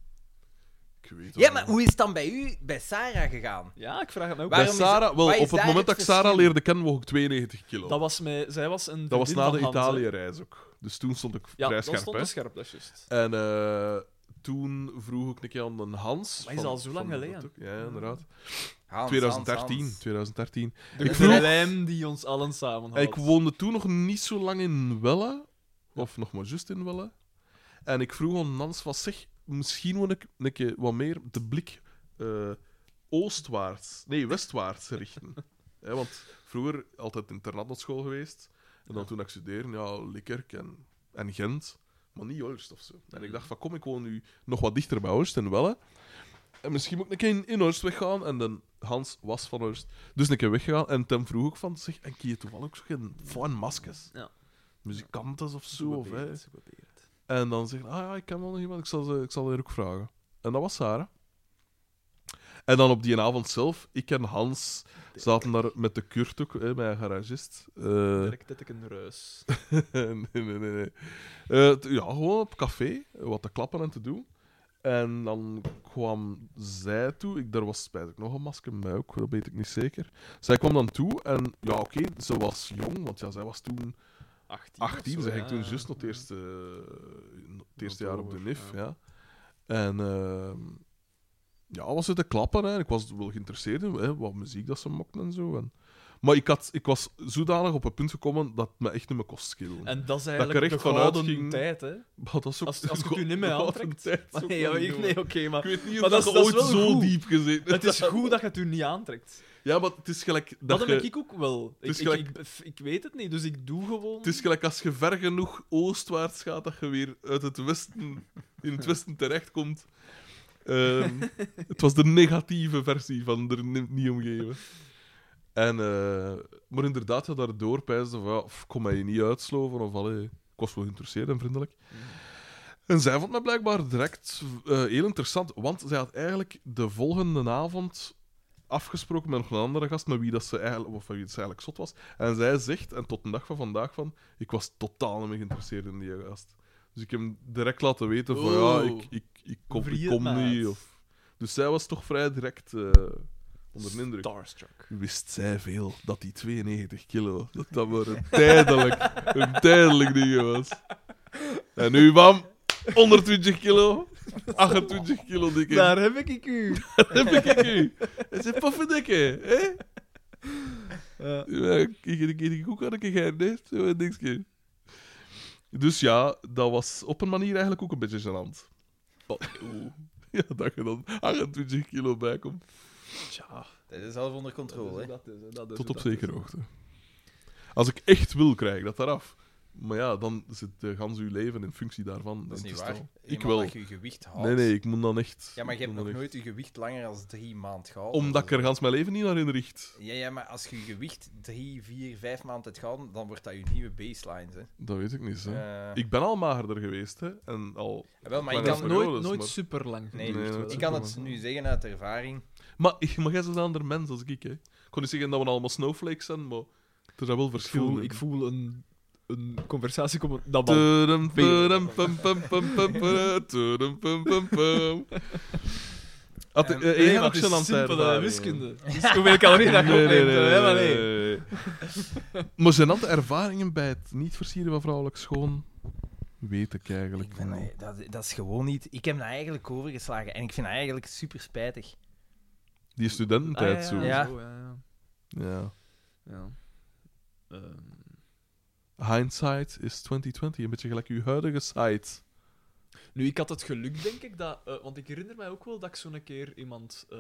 [SPEAKER 1] Ik weet het
[SPEAKER 4] Ja,
[SPEAKER 1] niet.
[SPEAKER 4] maar hoe is het dan bij u bij Sarah gegaan?
[SPEAKER 3] Ja, ik vraag het me ook.
[SPEAKER 1] Bij
[SPEAKER 4] waarom is-
[SPEAKER 1] Sarah, wel,
[SPEAKER 4] wat is
[SPEAKER 1] op het
[SPEAKER 4] daar
[SPEAKER 1] moment
[SPEAKER 4] het
[SPEAKER 1] dat ik Sarah
[SPEAKER 4] verschil?
[SPEAKER 1] leerde kennen, woog ik 92 kilo.
[SPEAKER 3] Dat was, mij, zij was een
[SPEAKER 1] Dat was
[SPEAKER 3] vriendin
[SPEAKER 1] na de
[SPEAKER 3] van Hans, hè.
[SPEAKER 1] Italië-reis ook. Dus toen stond ik
[SPEAKER 3] Ja,
[SPEAKER 1] vrij
[SPEAKER 3] dat
[SPEAKER 1] scherp.
[SPEAKER 3] stond
[SPEAKER 1] hè.
[SPEAKER 3] te scherp, dat is juist.
[SPEAKER 1] En eh, toen vroeg ik een keer aan een Hans.
[SPEAKER 3] Maar is
[SPEAKER 1] van-
[SPEAKER 3] al zo lang
[SPEAKER 1] van-
[SPEAKER 3] geleden.
[SPEAKER 1] dat ook. Ja, inderdaad.
[SPEAKER 4] Hans,
[SPEAKER 1] 2013.
[SPEAKER 4] Hans, Hans.
[SPEAKER 1] 2013.
[SPEAKER 3] De
[SPEAKER 1] Ik
[SPEAKER 3] ik
[SPEAKER 1] vroeg-
[SPEAKER 3] lijm die ons allen samenhoudt.
[SPEAKER 1] Ik woonde toen nog niet zo lang in Welle. Of nog maar juist in Welle. En ik vroeg aan Nans van zeg, misschien wil ik een keer wat meer de blik eh, oostwaarts, nee, westwaarts richten. Hè, want vroeger altijd internat op school geweest. En dan toen ik studeerde, ja, Likkerk en, en Gent. Maar niet Olst of zo. En ik dacht van kom, ik woon nu nog wat dichter bij Olst en Welle. En misschien moet ik een keer in- in Olst weggaan. En dan Hans was van Olst. Dus een keer weggegaan. En Tim vroeg ook van zeg, en kun je toevallig ook zo geen fijn maskers?
[SPEAKER 3] Ja.
[SPEAKER 1] Muzikanten of zo. Of, hè.
[SPEAKER 3] Geprobeerd, geprobeerd.
[SPEAKER 1] En dan zegt, ah ja, ik ken wel nog iemand, ik zal, ze, ik zal haar ook vragen. En dat was Sarah. En dan op die avond zelf, ik en Hans zaten daar met de Kurt ook, hè, mijn garagist. Eh,
[SPEAKER 3] Direct dat ik een ruis.
[SPEAKER 1] nee, nee, nee. nee. Eh, t- ja, gewoon op café, eh, wat te klappen en te doen. En dan kwam zij toe. Ik, daar was spijtig nog een masker bij ook, dat weet ik niet zeker. Zij kwam dan toe en ja, oké, ze was jong, want ja, zij was toen
[SPEAKER 3] 18. of
[SPEAKER 1] 18,
[SPEAKER 3] zo,
[SPEAKER 1] zeg
[SPEAKER 3] ja,
[SPEAKER 1] ik toen
[SPEAKER 3] ja.
[SPEAKER 1] juist nog het eerste, eh, het eerste jaar op de
[SPEAKER 3] over,
[SPEAKER 1] NIF.
[SPEAKER 3] ja.
[SPEAKER 1] Ja. En ehm, ja, was het te klappen. Hè. Ik was wel geïnteresseerd in hè, wat muziek dat ze mochten en zo. En... Maar ik, had, ik was zodanig op het punt gekomen dat het me echt niet meer kost schelen.
[SPEAKER 3] En dat is
[SPEAKER 1] ik er
[SPEAKER 3] eigenlijk
[SPEAKER 1] echt
[SPEAKER 3] de
[SPEAKER 1] vanuit
[SPEAKER 3] gouden
[SPEAKER 1] ging-
[SPEAKER 3] tijd, hè.
[SPEAKER 1] Maar dat is ook,
[SPEAKER 3] Als, als ik het u niet meer
[SPEAKER 1] Gouden
[SPEAKER 3] aantrekt.
[SPEAKER 1] tijd is ook
[SPEAKER 3] Nee,
[SPEAKER 1] wel
[SPEAKER 3] ja,
[SPEAKER 1] niet
[SPEAKER 3] ik-
[SPEAKER 1] door.
[SPEAKER 3] nee oké, maar...
[SPEAKER 1] Ik weet niet
[SPEAKER 3] Maar
[SPEAKER 1] of dat,
[SPEAKER 3] dat
[SPEAKER 1] je
[SPEAKER 3] is- dat
[SPEAKER 1] ooit
[SPEAKER 3] is wel
[SPEAKER 1] zo
[SPEAKER 3] goed.
[SPEAKER 1] diep gezeten
[SPEAKER 3] Het is
[SPEAKER 1] hebt.
[SPEAKER 3] goed dat je het u niet aantrekt.
[SPEAKER 1] Ja, maar het is gelijk... Dat
[SPEAKER 3] Dat, heb
[SPEAKER 1] je-
[SPEAKER 3] ik ook wel. Ik,
[SPEAKER 1] is
[SPEAKER 3] ik,
[SPEAKER 1] gelijk-
[SPEAKER 3] ik, ik, weet het niet, dus ik doe gewoon...
[SPEAKER 1] Het is gelijk als je ver genoeg oostwaarts gaat, dat je weer uit het westen, in het westen terechtkomt. Ehm, het was de negatieve versie van er ni- niet omgeven. En, eh, maar inderdaad, ja, daardoor pijsde van, ja, pff, kom mij je niet uitsloven, of allee, ik was wel geïnteresseerd en vriendelijk. En zij vond mij blijkbaar direct eh, heel interessant, want zij had eigenlijk de volgende avond afgesproken met nog een andere gast, met wie dat ze eigenlijk, of van wie dat ze eigenlijk zot was. En zij zegt, en tot de dag van vandaag van, ik was totaal niet meer geïnteresseerd in die gast. Dus ik heb hem direct laten weten van,
[SPEAKER 3] Oh.
[SPEAKER 1] ja, ik, ik, ik kom, ik
[SPEAKER 3] Vriend,
[SPEAKER 1] kom
[SPEAKER 3] maat.
[SPEAKER 1] niet. Of... Dus zij was toch vrij direct eh, onder de indruk.
[SPEAKER 3] Starstruck.
[SPEAKER 1] Wist zij veel dat die 92 kilo, dat dat maar een tijdelijk, een tijdelijk ding was. En nu, bam, 120 kilo, 28 kilo dikke.
[SPEAKER 3] Daar heb ik u.
[SPEAKER 1] Dat heb ik nu. Dat is een pofferdikke, hè?
[SPEAKER 3] Ja.
[SPEAKER 1] Ja, ik ik- ik ook aan een keer geheim, hè? Zo een dingetje. Dus ja, dat was op een manier eigenlijk ook een beetje gênant. Wat- oeh. Ja, dat je dan 28 kilo bijkomt.
[SPEAKER 3] Tja. Dus
[SPEAKER 9] Dat is zelf onder controle, hè.
[SPEAKER 3] Dat is, hè, dat is
[SPEAKER 1] Tot
[SPEAKER 3] hoe
[SPEAKER 1] op
[SPEAKER 3] dat
[SPEAKER 1] zekere
[SPEAKER 3] is.
[SPEAKER 1] hoogte. Als ik echt wil, krijg ik dat eraf. Maar ja, dan zit de gans uw leven in functie daarvan.
[SPEAKER 9] Dat is
[SPEAKER 1] in
[SPEAKER 9] niet
[SPEAKER 1] te
[SPEAKER 9] waar.
[SPEAKER 1] stellen. Ik
[SPEAKER 9] Eenmaal
[SPEAKER 1] wel.
[SPEAKER 9] dat je je gewicht houdt.
[SPEAKER 1] Nee, nee, ik moet dan echt...
[SPEAKER 9] Ja, maar je
[SPEAKER 1] ik
[SPEAKER 9] hebt
[SPEAKER 1] moet
[SPEAKER 9] nog
[SPEAKER 1] dan echt-
[SPEAKER 9] nooit je gewicht langer dan drie maanden gehouden.
[SPEAKER 1] Omdat ik
[SPEAKER 9] Dat
[SPEAKER 1] er gans mijn leven niet naar inricht.
[SPEAKER 9] is- Ja, ja, maar als je je gewicht drie, vier, vijf maanden hebt gehouden, dan wordt dat je nieuwe baseline, hè.
[SPEAKER 1] Dat weet ik niet, hè.
[SPEAKER 9] Eh,
[SPEAKER 1] Ik ben al magerder geweest, hè. En al...
[SPEAKER 9] wel, maar
[SPEAKER 1] ik
[SPEAKER 9] ik
[SPEAKER 1] ben
[SPEAKER 9] kan
[SPEAKER 1] nog
[SPEAKER 9] nooit...
[SPEAKER 1] nooit- nooit maar-
[SPEAKER 3] super lang.
[SPEAKER 9] Nee,
[SPEAKER 1] Nee, dat
[SPEAKER 9] ik
[SPEAKER 1] is
[SPEAKER 9] kan
[SPEAKER 1] ook
[SPEAKER 9] het
[SPEAKER 1] wel.
[SPEAKER 9] nu zeggen uit ervaring.
[SPEAKER 1] Maar, maar jij bent een ander mens als ik, hè. Ik kon niet zeggen dat we allemaal snowflakes zijn, maar er zijn wel
[SPEAKER 3] Ik
[SPEAKER 1] verschillen.
[SPEAKER 3] voel, ik voel een, een conversatie komen. Dat wel.
[SPEAKER 1] Tudum, tudum, pum, pum, pum, pum, pum, tudum, pum, pum, pum. Had ik
[SPEAKER 9] Ehm,
[SPEAKER 1] eh,
[SPEAKER 3] Nee,
[SPEAKER 1] één
[SPEAKER 3] maar het
[SPEAKER 1] actie
[SPEAKER 3] is
[SPEAKER 1] aan het eh.
[SPEAKER 3] simpele
[SPEAKER 1] ervaren,
[SPEAKER 3] wiskunde. Dus hoeveel calorieën dat je
[SPEAKER 1] Nee, nee,
[SPEAKER 3] opneemt,
[SPEAKER 1] nee,
[SPEAKER 3] hè, maar
[SPEAKER 1] nee,
[SPEAKER 3] nee.
[SPEAKER 1] nee, nee. Maar zijn dat de ervaringen bij het niet versieren van vrouwelijk schoon? Weet ik eigenlijk
[SPEAKER 9] Ik ben
[SPEAKER 1] niet.
[SPEAKER 9] dat, dat, dat is gewoon niet... Ik heb dat eigenlijk overgeslagen en ik vind dat eigenlijk super spijtig.
[SPEAKER 1] Die studententijd
[SPEAKER 3] Ah,
[SPEAKER 1] zo.
[SPEAKER 9] ja.
[SPEAKER 3] zo, ja, ja.
[SPEAKER 1] Ja.
[SPEAKER 3] Ja. Ehm,
[SPEAKER 1] Hindsight is 2020, een beetje gelijk uw huidige site.
[SPEAKER 3] nu, ik had het geluk, denk ik, dat... eh, want ik herinner mij ook wel dat ik zo'n keer iemand eh,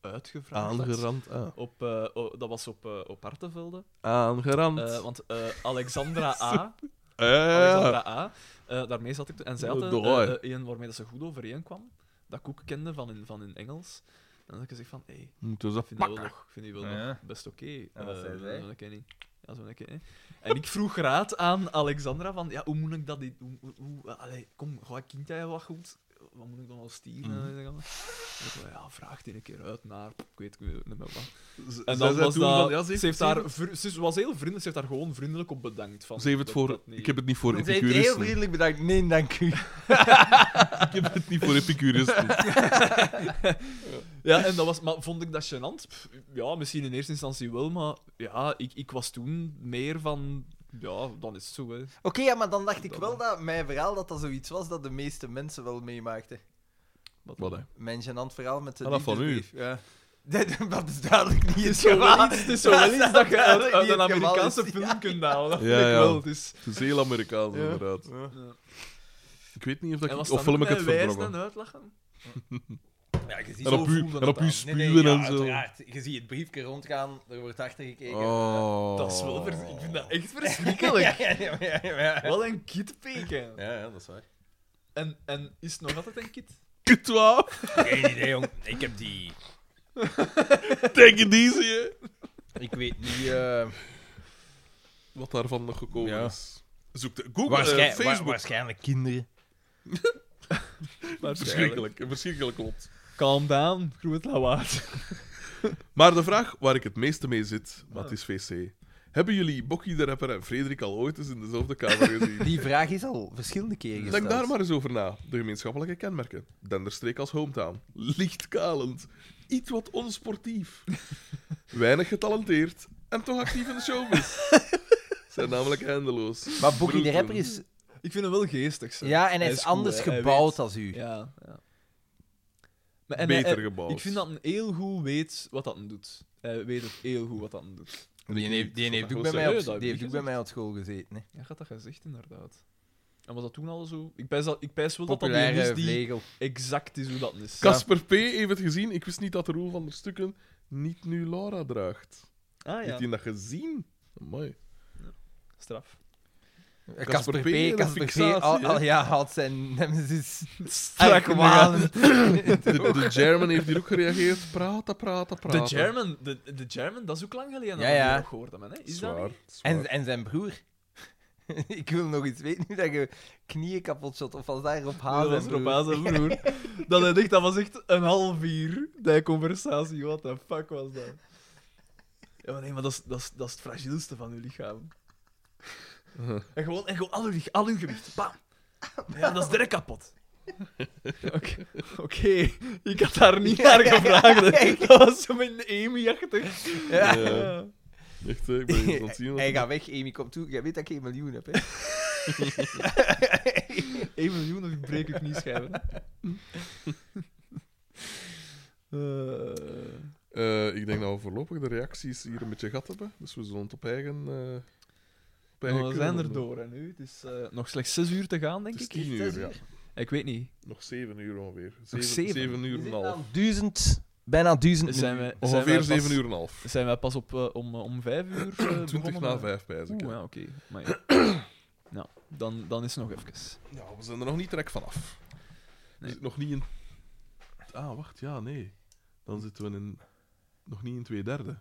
[SPEAKER 3] uitgevraagd had.
[SPEAKER 1] Aangerand. Ah.
[SPEAKER 3] Op, eh, o- dat was op, eh op Hartenvelde.
[SPEAKER 1] Aangerand.
[SPEAKER 3] Eh, want eh, Alexandra A.
[SPEAKER 1] Eh,
[SPEAKER 3] Alexandra A. eh, daarmee zat ik toen. En zij had een,
[SPEAKER 1] Doei.
[SPEAKER 3] eh, eh, een waarmee dat ze goed overeenkwam. Dat ik ook kende van in, van in Engels. En dan had ik gezegd van, hé, hey,
[SPEAKER 1] moeten ze
[SPEAKER 3] ik vind dat wel nog, ik vind die wel
[SPEAKER 9] Ah, Ja.
[SPEAKER 3] nog best oké.
[SPEAKER 9] En wat
[SPEAKER 3] Eh,
[SPEAKER 9] zei zij?
[SPEAKER 3] dat ken ik niet. Ja, zo'n lekker, hè. En ik vroeg raad aan Alexandra van, ja, hoe moet ik dat... dit- Hoe, hoe, hoe- allee, kom, ga ik kind dat je wat goed? Wat moet ik dan als eh, tien?
[SPEAKER 1] Mhm.
[SPEAKER 3] ja, vraag die een keer uit naar... Ik weet, ik weet niet meer wat.
[SPEAKER 1] Z- zij
[SPEAKER 3] En dan
[SPEAKER 1] zei
[SPEAKER 3] was
[SPEAKER 1] toen
[SPEAKER 3] dat...
[SPEAKER 1] van, ja, ze heeft,
[SPEAKER 3] ze, heeft
[SPEAKER 1] ze
[SPEAKER 3] daar,
[SPEAKER 1] heeft het-
[SPEAKER 3] vri- ze was heel vriendelijk. Ze heeft daar gewoon vriendelijk op bedankt. Van,
[SPEAKER 1] ze heeft het
[SPEAKER 3] dat
[SPEAKER 1] voor...
[SPEAKER 3] dat niet-
[SPEAKER 1] Ik heb het niet voor
[SPEAKER 4] Ze heeft heel
[SPEAKER 1] Epicurus. doen.
[SPEAKER 4] vriendelijk bedankt. Nee, dank u.
[SPEAKER 1] Ik heb het niet voor Epicurus. doen.
[SPEAKER 3] Ja, en dat was, maar vond ik dat gênant? Pff, ja, misschien in eerste instantie wel, maar ja, ik, ik was toen meer van... Ja, dan is het zo, hè.
[SPEAKER 4] Oké, ja, maar dan dacht ik wel dat mijn verhaal dat dat zoiets was dat de meeste mensen wel meemaakten.
[SPEAKER 1] Wat, hè?
[SPEAKER 4] Mijn gênant verhaal met de
[SPEAKER 1] Ah, dat van u.
[SPEAKER 4] liefdesbrief, Ja. Dat, dat is duidelijk niet het
[SPEAKER 3] Het is zo wel
[SPEAKER 4] geval.
[SPEAKER 3] iets, het is zo wel iets dat je uit, uit
[SPEAKER 4] niet
[SPEAKER 3] een
[SPEAKER 4] het geval
[SPEAKER 3] Amerikaanse
[SPEAKER 4] is.
[SPEAKER 3] film kunt halen. Dat
[SPEAKER 1] Ja,
[SPEAKER 3] vind ik
[SPEAKER 1] ja.
[SPEAKER 3] wel. Het is...
[SPEAKER 1] Het is heel Amerikaans,
[SPEAKER 4] Ja.
[SPEAKER 1] inderdaad.
[SPEAKER 3] Ja.
[SPEAKER 1] Ik weet niet of dat
[SPEAKER 3] En
[SPEAKER 1] ik...
[SPEAKER 3] was
[SPEAKER 1] Of film ik het
[SPEAKER 3] verbroggen?
[SPEAKER 1] verdrongen.
[SPEAKER 3] uitlachen?
[SPEAKER 4] Ja, je ziet
[SPEAKER 1] En op
[SPEAKER 4] zo
[SPEAKER 1] u,
[SPEAKER 3] voelde
[SPEAKER 1] en
[SPEAKER 3] het
[SPEAKER 1] op u
[SPEAKER 3] aan.
[SPEAKER 1] spuwen
[SPEAKER 4] ja,
[SPEAKER 1] en zo.
[SPEAKER 4] uiteraard. Je ziet het briefje rondgaan, er wordt achter gekeken.
[SPEAKER 1] Oh.
[SPEAKER 3] Dat is wel... vers- Ik vind dat echt verschrikkelijk.
[SPEAKER 4] Ja, ja, ja, ja, ja.
[SPEAKER 3] Wel een kitpeek, hè.
[SPEAKER 4] Ja, ja, dat is waar.
[SPEAKER 3] En, en is het nog altijd een kit?
[SPEAKER 1] Kut, wauw.
[SPEAKER 4] Geen idee, jong. Ik heb die...
[SPEAKER 1] Take it easy, hè.
[SPEAKER 4] Ik weet niet... eh,
[SPEAKER 1] Wat daarvan nog gekomen
[SPEAKER 4] Ja.
[SPEAKER 1] is. Zoek de... Google,
[SPEAKER 4] waarschijn-
[SPEAKER 1] eh,
[SPEAKER 4] wa-
[SPEAKER 1] Facebook.
[SPEAKER 4] waarschijnlijk kinderen.
[SPEAKER 1] verschrikkelijk. Een verschrikkelijk lot.
[SPEAKER 3] Calm down, groeit lawaad.
[SPEAKER 1] Maar de vraag waar ik het meeste mee zit, maar het is VC. Hebben jullie Bokkie de Rapper en Frederik al ooit eens in dezelfde kamer gezien?
[SPEAKER 4] Die vraag is al verschillende keren
[SPEAKER 1] Denk daar maar eens over na. De gemeenschappelijke kenmerken. Denderstreek als hometown. Licht kalend. Iets wat onsportief. Weinig getalenteerd. En toch actief in de showbiz. Zijn namelijk eindeloos.
[SPEAKER 4] Maar Boogie de
[SPEAKER 1] Broeken.
[SPEAKER 4] Rapper is...
[SPEAKER 3] Ik vind hem wel geestig, zeg.
[SPEAKER 4] Ja, en hij
[SPEAKER 3] Hij
[SPEAKER 4] is,
[SPEAKER 3] is cool,
[SPEAKER 4] anders
[SPEAKER 3] hè. Hij
[SPEAKER 4] gebouwd
[SPEAKER 3] weet-
[SPEAKER 4] als u.
[SPEAKER 3] Ja, ja. Maar, en hij-
[SPEAKER 1] Beter
[SPEAKER 3] hij-
[SPEAKER 1] gebouwd.
[SPEAKER 3] Ik vind dat een heel goed weet wat dat hem doet. Hij weet het heel goed wat dat hem doet.
[SPEAKER 4] Die heeft, die heeft, ook, bij mij
[SPEAKER 1] serieus,
[SPEAKER 4] op,
[SPEAKER 3] dat heb
[SPEAKER 4] die
[SPEAKER 3] ik
[SPEAKER 4] heeft ook bij
[SPEAKER 3] gezegd.
[SPEAKER 4] mij op school gezeten. Hè.
[SPEAKER 3] Ja, gaat dat gezegd, inderdaad. En was dat toen al zo? Ik pijs, dat, ik pijs wel dat dat die
[SPEAKER 4] Populaire
[SPEAKER 3] is die
[SPEAKER 4] vlegel.
[SPEAKER 3] exact is hoe dat is.
[SPEAKER 1] Casper P. heeft het gezien. Ik wist niet dat de rol van de stukken niet nu Laura draagt.
[SPEAKER 3] Ah
[SPEAKER 1] Heeft hij dat gezien? Mooi.
[SPEAKER 3] Straf.
[SPEAKER 4] Casper
[SPEAKER 1] Casper
[SPEAKER 4] P.
[SPEAKER 1] P,
[SPEAKER 4] Casper P.
[SPEAKER 1] fixatie,
[SPEAKER 4] al- al-
[SPEAKER 1] hè.
[SPEAKER 4] Ja, had zijn nemesis.
[SPEAKER 3] Strak
[SPEAKER 4] Argwanend.
[SPEAKER 1] De, de German heeft hier ook gereageerd. Praten, praten, praten.
[SPEAKER 3] De German, de, de German, dat is ook lang geleden
[SPEAKER 4] Ja,
[SPEAKER 3] dat we
[SPEAKER 4] ja.
[SPEAKER 3] die nog gehoord hebben. Hè? Is dat
[SPEAKER 1] Zwaar,
[SPEAKER 3] niet?
[SPEAKER 1] zwaar.
[SPEAKER 4] En, en zijn broer. Ik wil nog eens weten hoe dat je knieën kapot shot. Of als daar
[SPEAKER 3] Ah,
[SPEAKER 4] op
[SPEAKER 3] Dat
[SPEAKER 4] haal
[SPEAKER 3] was erop aan zijn broer. dat, hij dacht, dat was echt een half uur, die conversatie. What the fuck was dat? Ja, maar nee, maar dat is, dat is, dat is het fragielste van uw lichaam. En gewoon, en gewoon al, uw, lich- al uw gewicht. Bam! Ja, dat is direct kapot. Oké, oké. ik had daar niet naar gevraagd. hè. Dat was zo mijn eh, Amy-achtig.
[SPEAKER 1] Ja,
[SPEAKER 3] Ja.
[SPEAKER 1] echt, hè, ik ben hier aan het zien.
[SPEAKER 4] Hij gaat weg, Amy, kom toe. Jij weet dat ik geen miljoen heb, hè?
[SPEAKER 3] 1 miljoen of ik breek uw knieschijven. Eh
[SPEAKER 1] Eh, ik denk dat we voorlopig de reacties hier een beetje gat hebben. Dus we zullen het op eigen. eh op eigen
[SPEAKER 3] maar Oh, we
[SPEAKER 1] kunnen
[SPEAKER 3] zijn er
[SPEAKER 1] doen.
[SPEAKER 3] door hè, nu. Het is eh, nog slechts 6 uur te gaan, denk
[SPEAKER 1] Het is
[SPEAKER 3] ik.
[SPEAKER 1] tien uur, ja.
[SPEAKER 3] Ik weet niet.
[SPEAKER 1] Nog zeven uur ongeveer. Zeven,
[SPEAKER 3] zeven?
[SPEAKER 1] zeven uur en een half.
[SPEAKER 4] Duizend, bijna duizend
[SPEAKER 3] Zijn we, zijn wij
[SPEAKER 1] Ongeveer
[SPEAKER 3] pas,
[SPEAKER 1] zeven uur en een half.
[SPEAKER 3] Zijn wij pas op, eh, om, eh, om 5 uur? eh,
[SPEAKER 1] Twintig
[SPEAKER 3] begonnen?
[SPEAKER 1] na vijf, pijs ik.
[SPEAKER 3] Oeh,
[SPEAKER 1] hè.
[SPEAKER 3] ja, oké. Maar ja. Nou, dan, dan is het nog even.
[SPEAKER 1] Nou, we zijn er nog niet direct vanaf. We
[SPEAKER 3] Nee.
[SPEAKER 1] zitten nog niet in. Ah, wacht, ja, nee. Dan zitten we in. Nog niet in twee derde.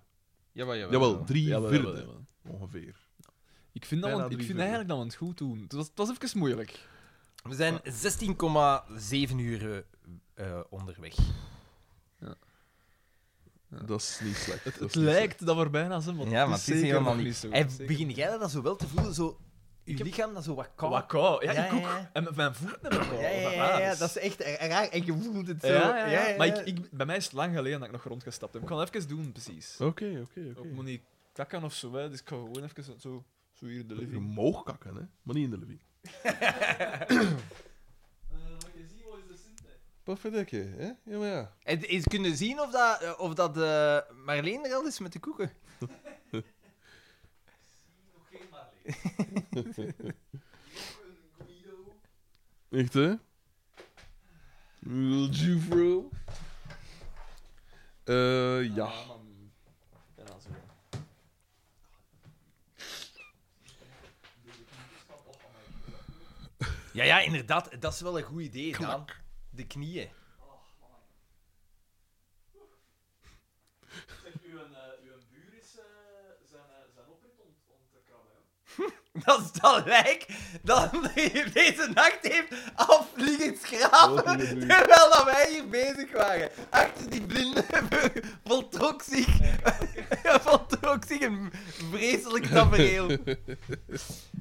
[SPEAKER 14] Jawel, jawel.
[SPEAKER 1] Jawel, drie
[SPEAKER 3] Jawel,
[SPEAKER 1] vierde
[SPEAKER 3] jawel, jawel.
[SPEAKER 1] ongeveer.
[SPEAKER 3] Ik vind, dat we-
[SPEAKER 1] Bijna
[SPEAKER 3] ik
[SPEAKER 1] drie
[SPEAKER 3] vind
[SPEAKER 1] vierde.
[SPEAKER 3] eigenlijk dat we het goed doen. Het was, het was even moeilijk.
[SPEAKER 4] We zijn 16,7 uur eh, onderweg.
[SPEAKER 3] Ja.
[SPEAKER 1] Dat is niet slecht.
[SPEAKER 3] Het,
[SPEAKER 1] dat
[SPEAKER 3] het
[SPEAKER 1] is niet
[SPEAKER 3] lijkt dat we er bijna zijn, want
[SPEAKER 4] ja, maar
[SPEAKER 3] het is zeker
[SPEAKER 4] helemaal
[SPEAKER 3] nog
[SPEAKER 4] niet.
[SPEAKER 3] niet zo.
[SPEAKER 4] en
[SPEAKER 3] Zeker.
[SPEAKER 4] begin jij dat zo wel te voelen? Zo, je
[SPEAKER 3] Ik heb-
[SPEAKER 4] lichaam dat zo wat koud.
[SPEAKER 3] Wat kou. Ja,
[SPEAKER 4] Ja,
[SPEAKER 3] ik ook.
[SPEAKER 4] ja, ja.
[SPEAKER 3] En met mijn voeten hebben kou.
[SPEAKER 4] Ja, ja,
[SPEAKER 3] Wat
[SPEAKER 4] ja, ja,
[SPEAKER 3] is-
[SPEAKER 4] dat is echt ra- raar. En je voelt het zo.
[SPEAKER 3] Ja, ja, ja. Maar
[SPEAKER 4] ja.
[SPEAKER 3] ik, ik, bij mij is het lang geleden dat ik nog rondgestapt heb. Ik ga het even doen, precies.
[SPEAKER 1] slecht. Oké, oké,
[SPEAKER 3] Ik moet
[SPEAKER 1] oké.
[SPEAKER 3] niet kakken of zo, hè. dus ik ga gewoon even zo, zo hier in de
[SPEAKER 1] Je
[SPEAKER 3] living.
[SPEAKER 1] mag kakken, hè? Maar niet in de Eh, living. Paffedekje, hè? Ja, maar ja.
[SPEAKER 4] En eens kunnen zien of dat, eh, of dat eh, Marleen er al is met de koeken.
[SPEAKER 1] Echt, hè? Little Jufro. Eh, ja.
[SPEAKER 4] Ja, ja, inderdaad. Dat is wel een goed idee, Daan. De
[SPEAKER 3] eh,
[SPEAKER 4] knieën.
[SPEAKER 3] Uw, uw buur is eh, zijn, zijn oprit ont,
[SPEAKER 4] Dat is dat lijk dat hij deze nacht heeft afvliegend schrapen,
[SPEAKER 1] Grote ruzie.
[SPEAKER 4] terwijl dat wij hier bezig waren. Achter die blinde voltrok zich, voltrok zich een vreselijk tafereel.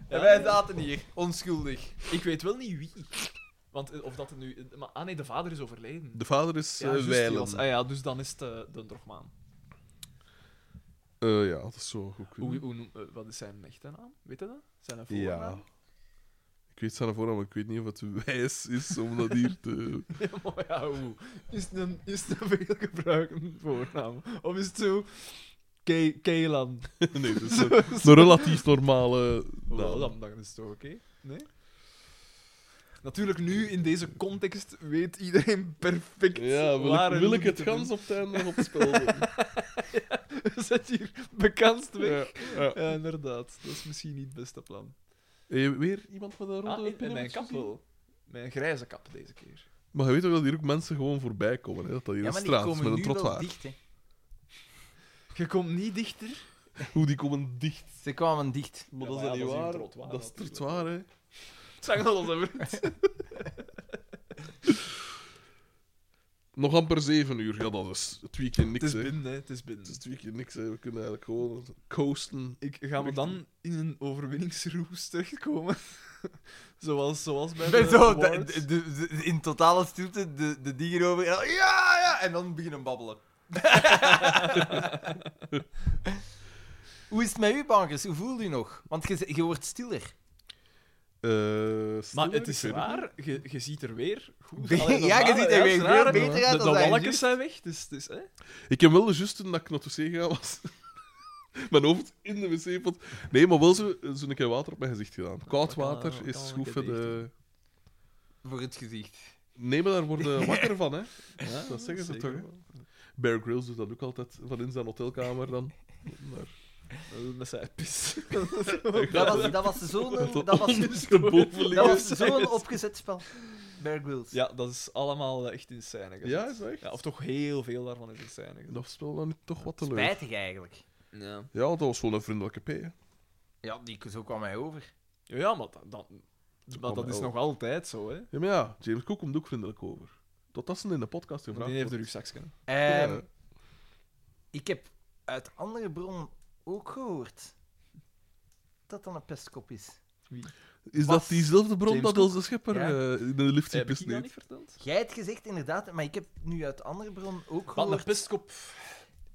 [SPEAKER 4] En wij zaten hier, onschuldig.
[SPEAKER 3] Ik weet wel niet wie. Want eh, of dat het nu. Maar, ah nee, de vader is overleden.
[SPEAKER 1] De vader is
[SPEAKER 3] Ja,
[SPEAKER 1] eh,
[SPEAKER 3] juist, die
[SPEAKER 1] Weilen.
[SPEAKER 3] was- ah ja, dus dan is het eh, de drogmaan.
[SPEAKER 1] Eh, ja, dat is zo goed. kunnen.
[SPEAKER 3] Hoe, hoe, noem- eh, wat is zijn echte naam? Weet je dat? Zijn
[SPEAKER 1] ja.
[SPEAKER 3] voornaam?
[SPEAKER 1] Ik weet zijn voornaam, maar ik weet niet of het wijs is om dat hier te...
[SPEAKER 3] Ja. maar ja, hoe? Is het een, is het een veel gebruikende voornaam? Of is het zo... Ke Keelan?
[SPEAKER 1] Nee, dat is een, een relatief normale naam.
[SPEAKER 3] Nou, dan, dan is het toch oké? Nee? Natuurlijk, nu in deze context weet iedereen perfect
[SPEAKER 1] Ja, wil
[SPEAKER 3] waar
[SPEAKER 1] ik,
[SPEAKER 3] en
[SPEAKER 1] wil
[SPEAKER 3] hoe
[SPEAKER 1] ik het
[SPEAKER 3] te doen.
[SPEAKER 1] gans op het einde nog op het spel doen?
[SPEAKER 3] Zet hier bekendst weg.
[SPEAKER 1] Ja, ja.
[SPEAKER 3] Ja, inderdaad. Dat is misschien niet het beste plan.
[SPEAKER 1] Eh, weer iemand met een rode
[SPEAKER 3] Ah, en- en
[SPEAKER 1] pinnen
[SPEAKER 3] mijn
[SPEAKER 1] of zo?
[SPEAKER 3] kap wel. Mijn grijze kap deze keer.
[SPEAKER 1] Maar je weet ook dat hier ook mensen gewoon voorbij komen, hè? Dat dat hier een straat is met een trottoir.
[SPEAKER 4] dicht, hè.
[SPEAKER 3] Je komt niet dichter.
[SPEAKER 1] Hoe die komen dicht.
[SPEAKER 4] Ze kwamen dicht.
[SPEAKER 1] Maar
[SPEAKER 3] Ja,
[SPEAKER 1] dat
[SPEAKER 3] maar
[SPEAKER 1] is
[SPEAKER 3] ja,
[SPEAKER 1] niet
[SPEAKER 3] dat is
[SPEAKER 1] waar.
[SPEAKER 3] een trottoir
[SPEAKER 1] Dat is
[SPEAKER 3] natuurlijk.
[SPEAKER 1] trottoir, hè.
[SPEAKER 3] Het zijn al onze vriend.
[SPEAKER 1] Nog amper zeven uur. Ja, dat is twee keer
[SPEAKER 3] Het
[SPEAKER 1] niks,
[SPEAKER 3] is
[SPEAKER 1] hè.
[SPEAKER 3] binnen, hè. Het is binnen.
[SPEAKER 1] Het is twee keer niks, hè. We kunnen eigenlijk gewoon coasten.
[SPEAKER 3] Ik ga me dan in een overwinningsroes terechtkomen. zoals, zoals bij
[SPEAKER 4] Ben
[SPEAKER 3] de
[SPEAKER 4] zo, de,
[SPEAKER 3] awards.
[SPEAKER 4] de, de- de- in totale stilte, de, de dingen over. en dan, Ja, ja! En dan beginnen babbelen. Hoe is het met u, Bankers? Hoe voelt u nog? Want je, ze- je wordt stiller.
[SPEAKER 1] Eh,
[SPEAKER 3] Maar
[SPEAKER 1] stil,
[SPEAKER 3] het
[SPEAKER 1] ik
[SPEAKER 3] is
[SPEAKER 1] weet niet.
[SPEAKER 3] raar, je, je ziet er weer goed
[SPEAKER 4] Ja,
[SPEAKER 3] Allee, dat
[SPEAKER 4] je
[SPEAKER 3] waren,
[SPEAKER 4] ziet er
[SPEAKER 3] ja,
[SPEAKER 4] weer
[SPEAKER 3] het is
[SPEAKER 4] veel
[SPEAKER 3] raar, hè.
[SPEAKER 4] beter uit
[SPEAKER 3] De,
[SPEAKER 4] dan
[SPEAKER 3] de
[SPEAKER 4] wij
[SPEAKER 3] walletjes
[SPEAKER 4] juist.
[SPEAKER 3] zijn weg, dus, dus hè?
[SPEAKER 1] Ik heb wel de juiste dat ik naar de wc gegaan was. mijn hoofd in de wc-pot. Nee, maar wel zo'n zo zo'n keer water op mijn gezicht gedaan. Koud
[SPEAKER 3] dat kan-
[SPEAKER 1] water
[SPEAKER 3] dat kan
[SPEAKER 1] is
[SPEAKER 3] wel
[SPEAKER 1] goed
[SPEAKER 3] een
[SPEAKER 1] voor
[SPEAKER 3] keer
[SPEAKER 1] de...
[SPEAKER 4] Voor het gezicht.
[SPEAKER 1] Nee, maar daar worden wakker van, hè. dat zeggen ze
[SPEAKER 3] zeker
[SPEAKER 1] toch, hè. Bear Grylls doet dat ook altijd, van in zijn hotelkamer dan. Maar
[SPEAKER 3] wel. Met zijn pis.
[SPEAKER 4] Dat was, dat was zo'n dat was,
[SPEAKER 1] ondersteboven
[SPEAKER 4] dat
[SPEAKER 1] liggen.
[SPEAKER 4] was zo'n opgezet spel. Bear Grylls.
[SPEAKER 3] Ja, dat is allemaal eh, echt in scène gezet.
[SPEAKER 1] Ja, is dat echt?
[SPEAKER 3] Ja, of toch heel veel daarvan is in scène gezet.
[SPEAKER 1] Dat spel dan toch wat te leuk.
[SPEAKER 4] Spijtig eigenlijk.
[SPEAKER 3] Ja,
[SPEAKER 1] Ja, dat was wel een vriendelijke P. hè.
[SPEAKER 4] Ja, die, zo kwam hij over.
[SPEAKER 3] ja maar dat, dat, maar dat
[SPEAKER 1] komen
[SPEAKER 3] is
[SPEAKER 1] ook.
[SPEAKER 3] nog altijd zo, hè.
[SPEAKER 1] Ja, maar ja, James Cook komt ook vriendelijk over. Totdat ze in de podcast
[SPEAKER 3] Want
[SPEAKER 1] gevraagd
[SPEAKER 3] die heeft een
[SPEAKER 1] wordt.
[SPEAKER 3] rugzakje.
[SPEAKER 4] Ehm,
[SPEAKER 1] Ja.
[SPEAKER 4] Ik heb uit andere bronnen ook gehoord dat dat een pestkop is.
[SPEAKER 1] Is
[SPEAKER 4] Bas-
[SPEAKER 1] dat diezelfde bron
[SPEAKER 3] James
[SPEAKER 1] dat onze schepper
[SPEAKER 4] Ja.
[SPEAKER 1] eh, in de lift
[SPEAKER 3] Heb ik
[SPEAKER 1] gepist
[SPEAKER 3] je dat niet
[SPEAKER 1] heeft?
[SPEAKER 3] verteld?
[SPEAKER 4] Jij hebt gezegd inderdaad, maar ik heb nu uit andere bron ook
[SPEAKER 3] Wat een
[SPEAKER 4] gehoord.
[SPEAKER 3] pestkop.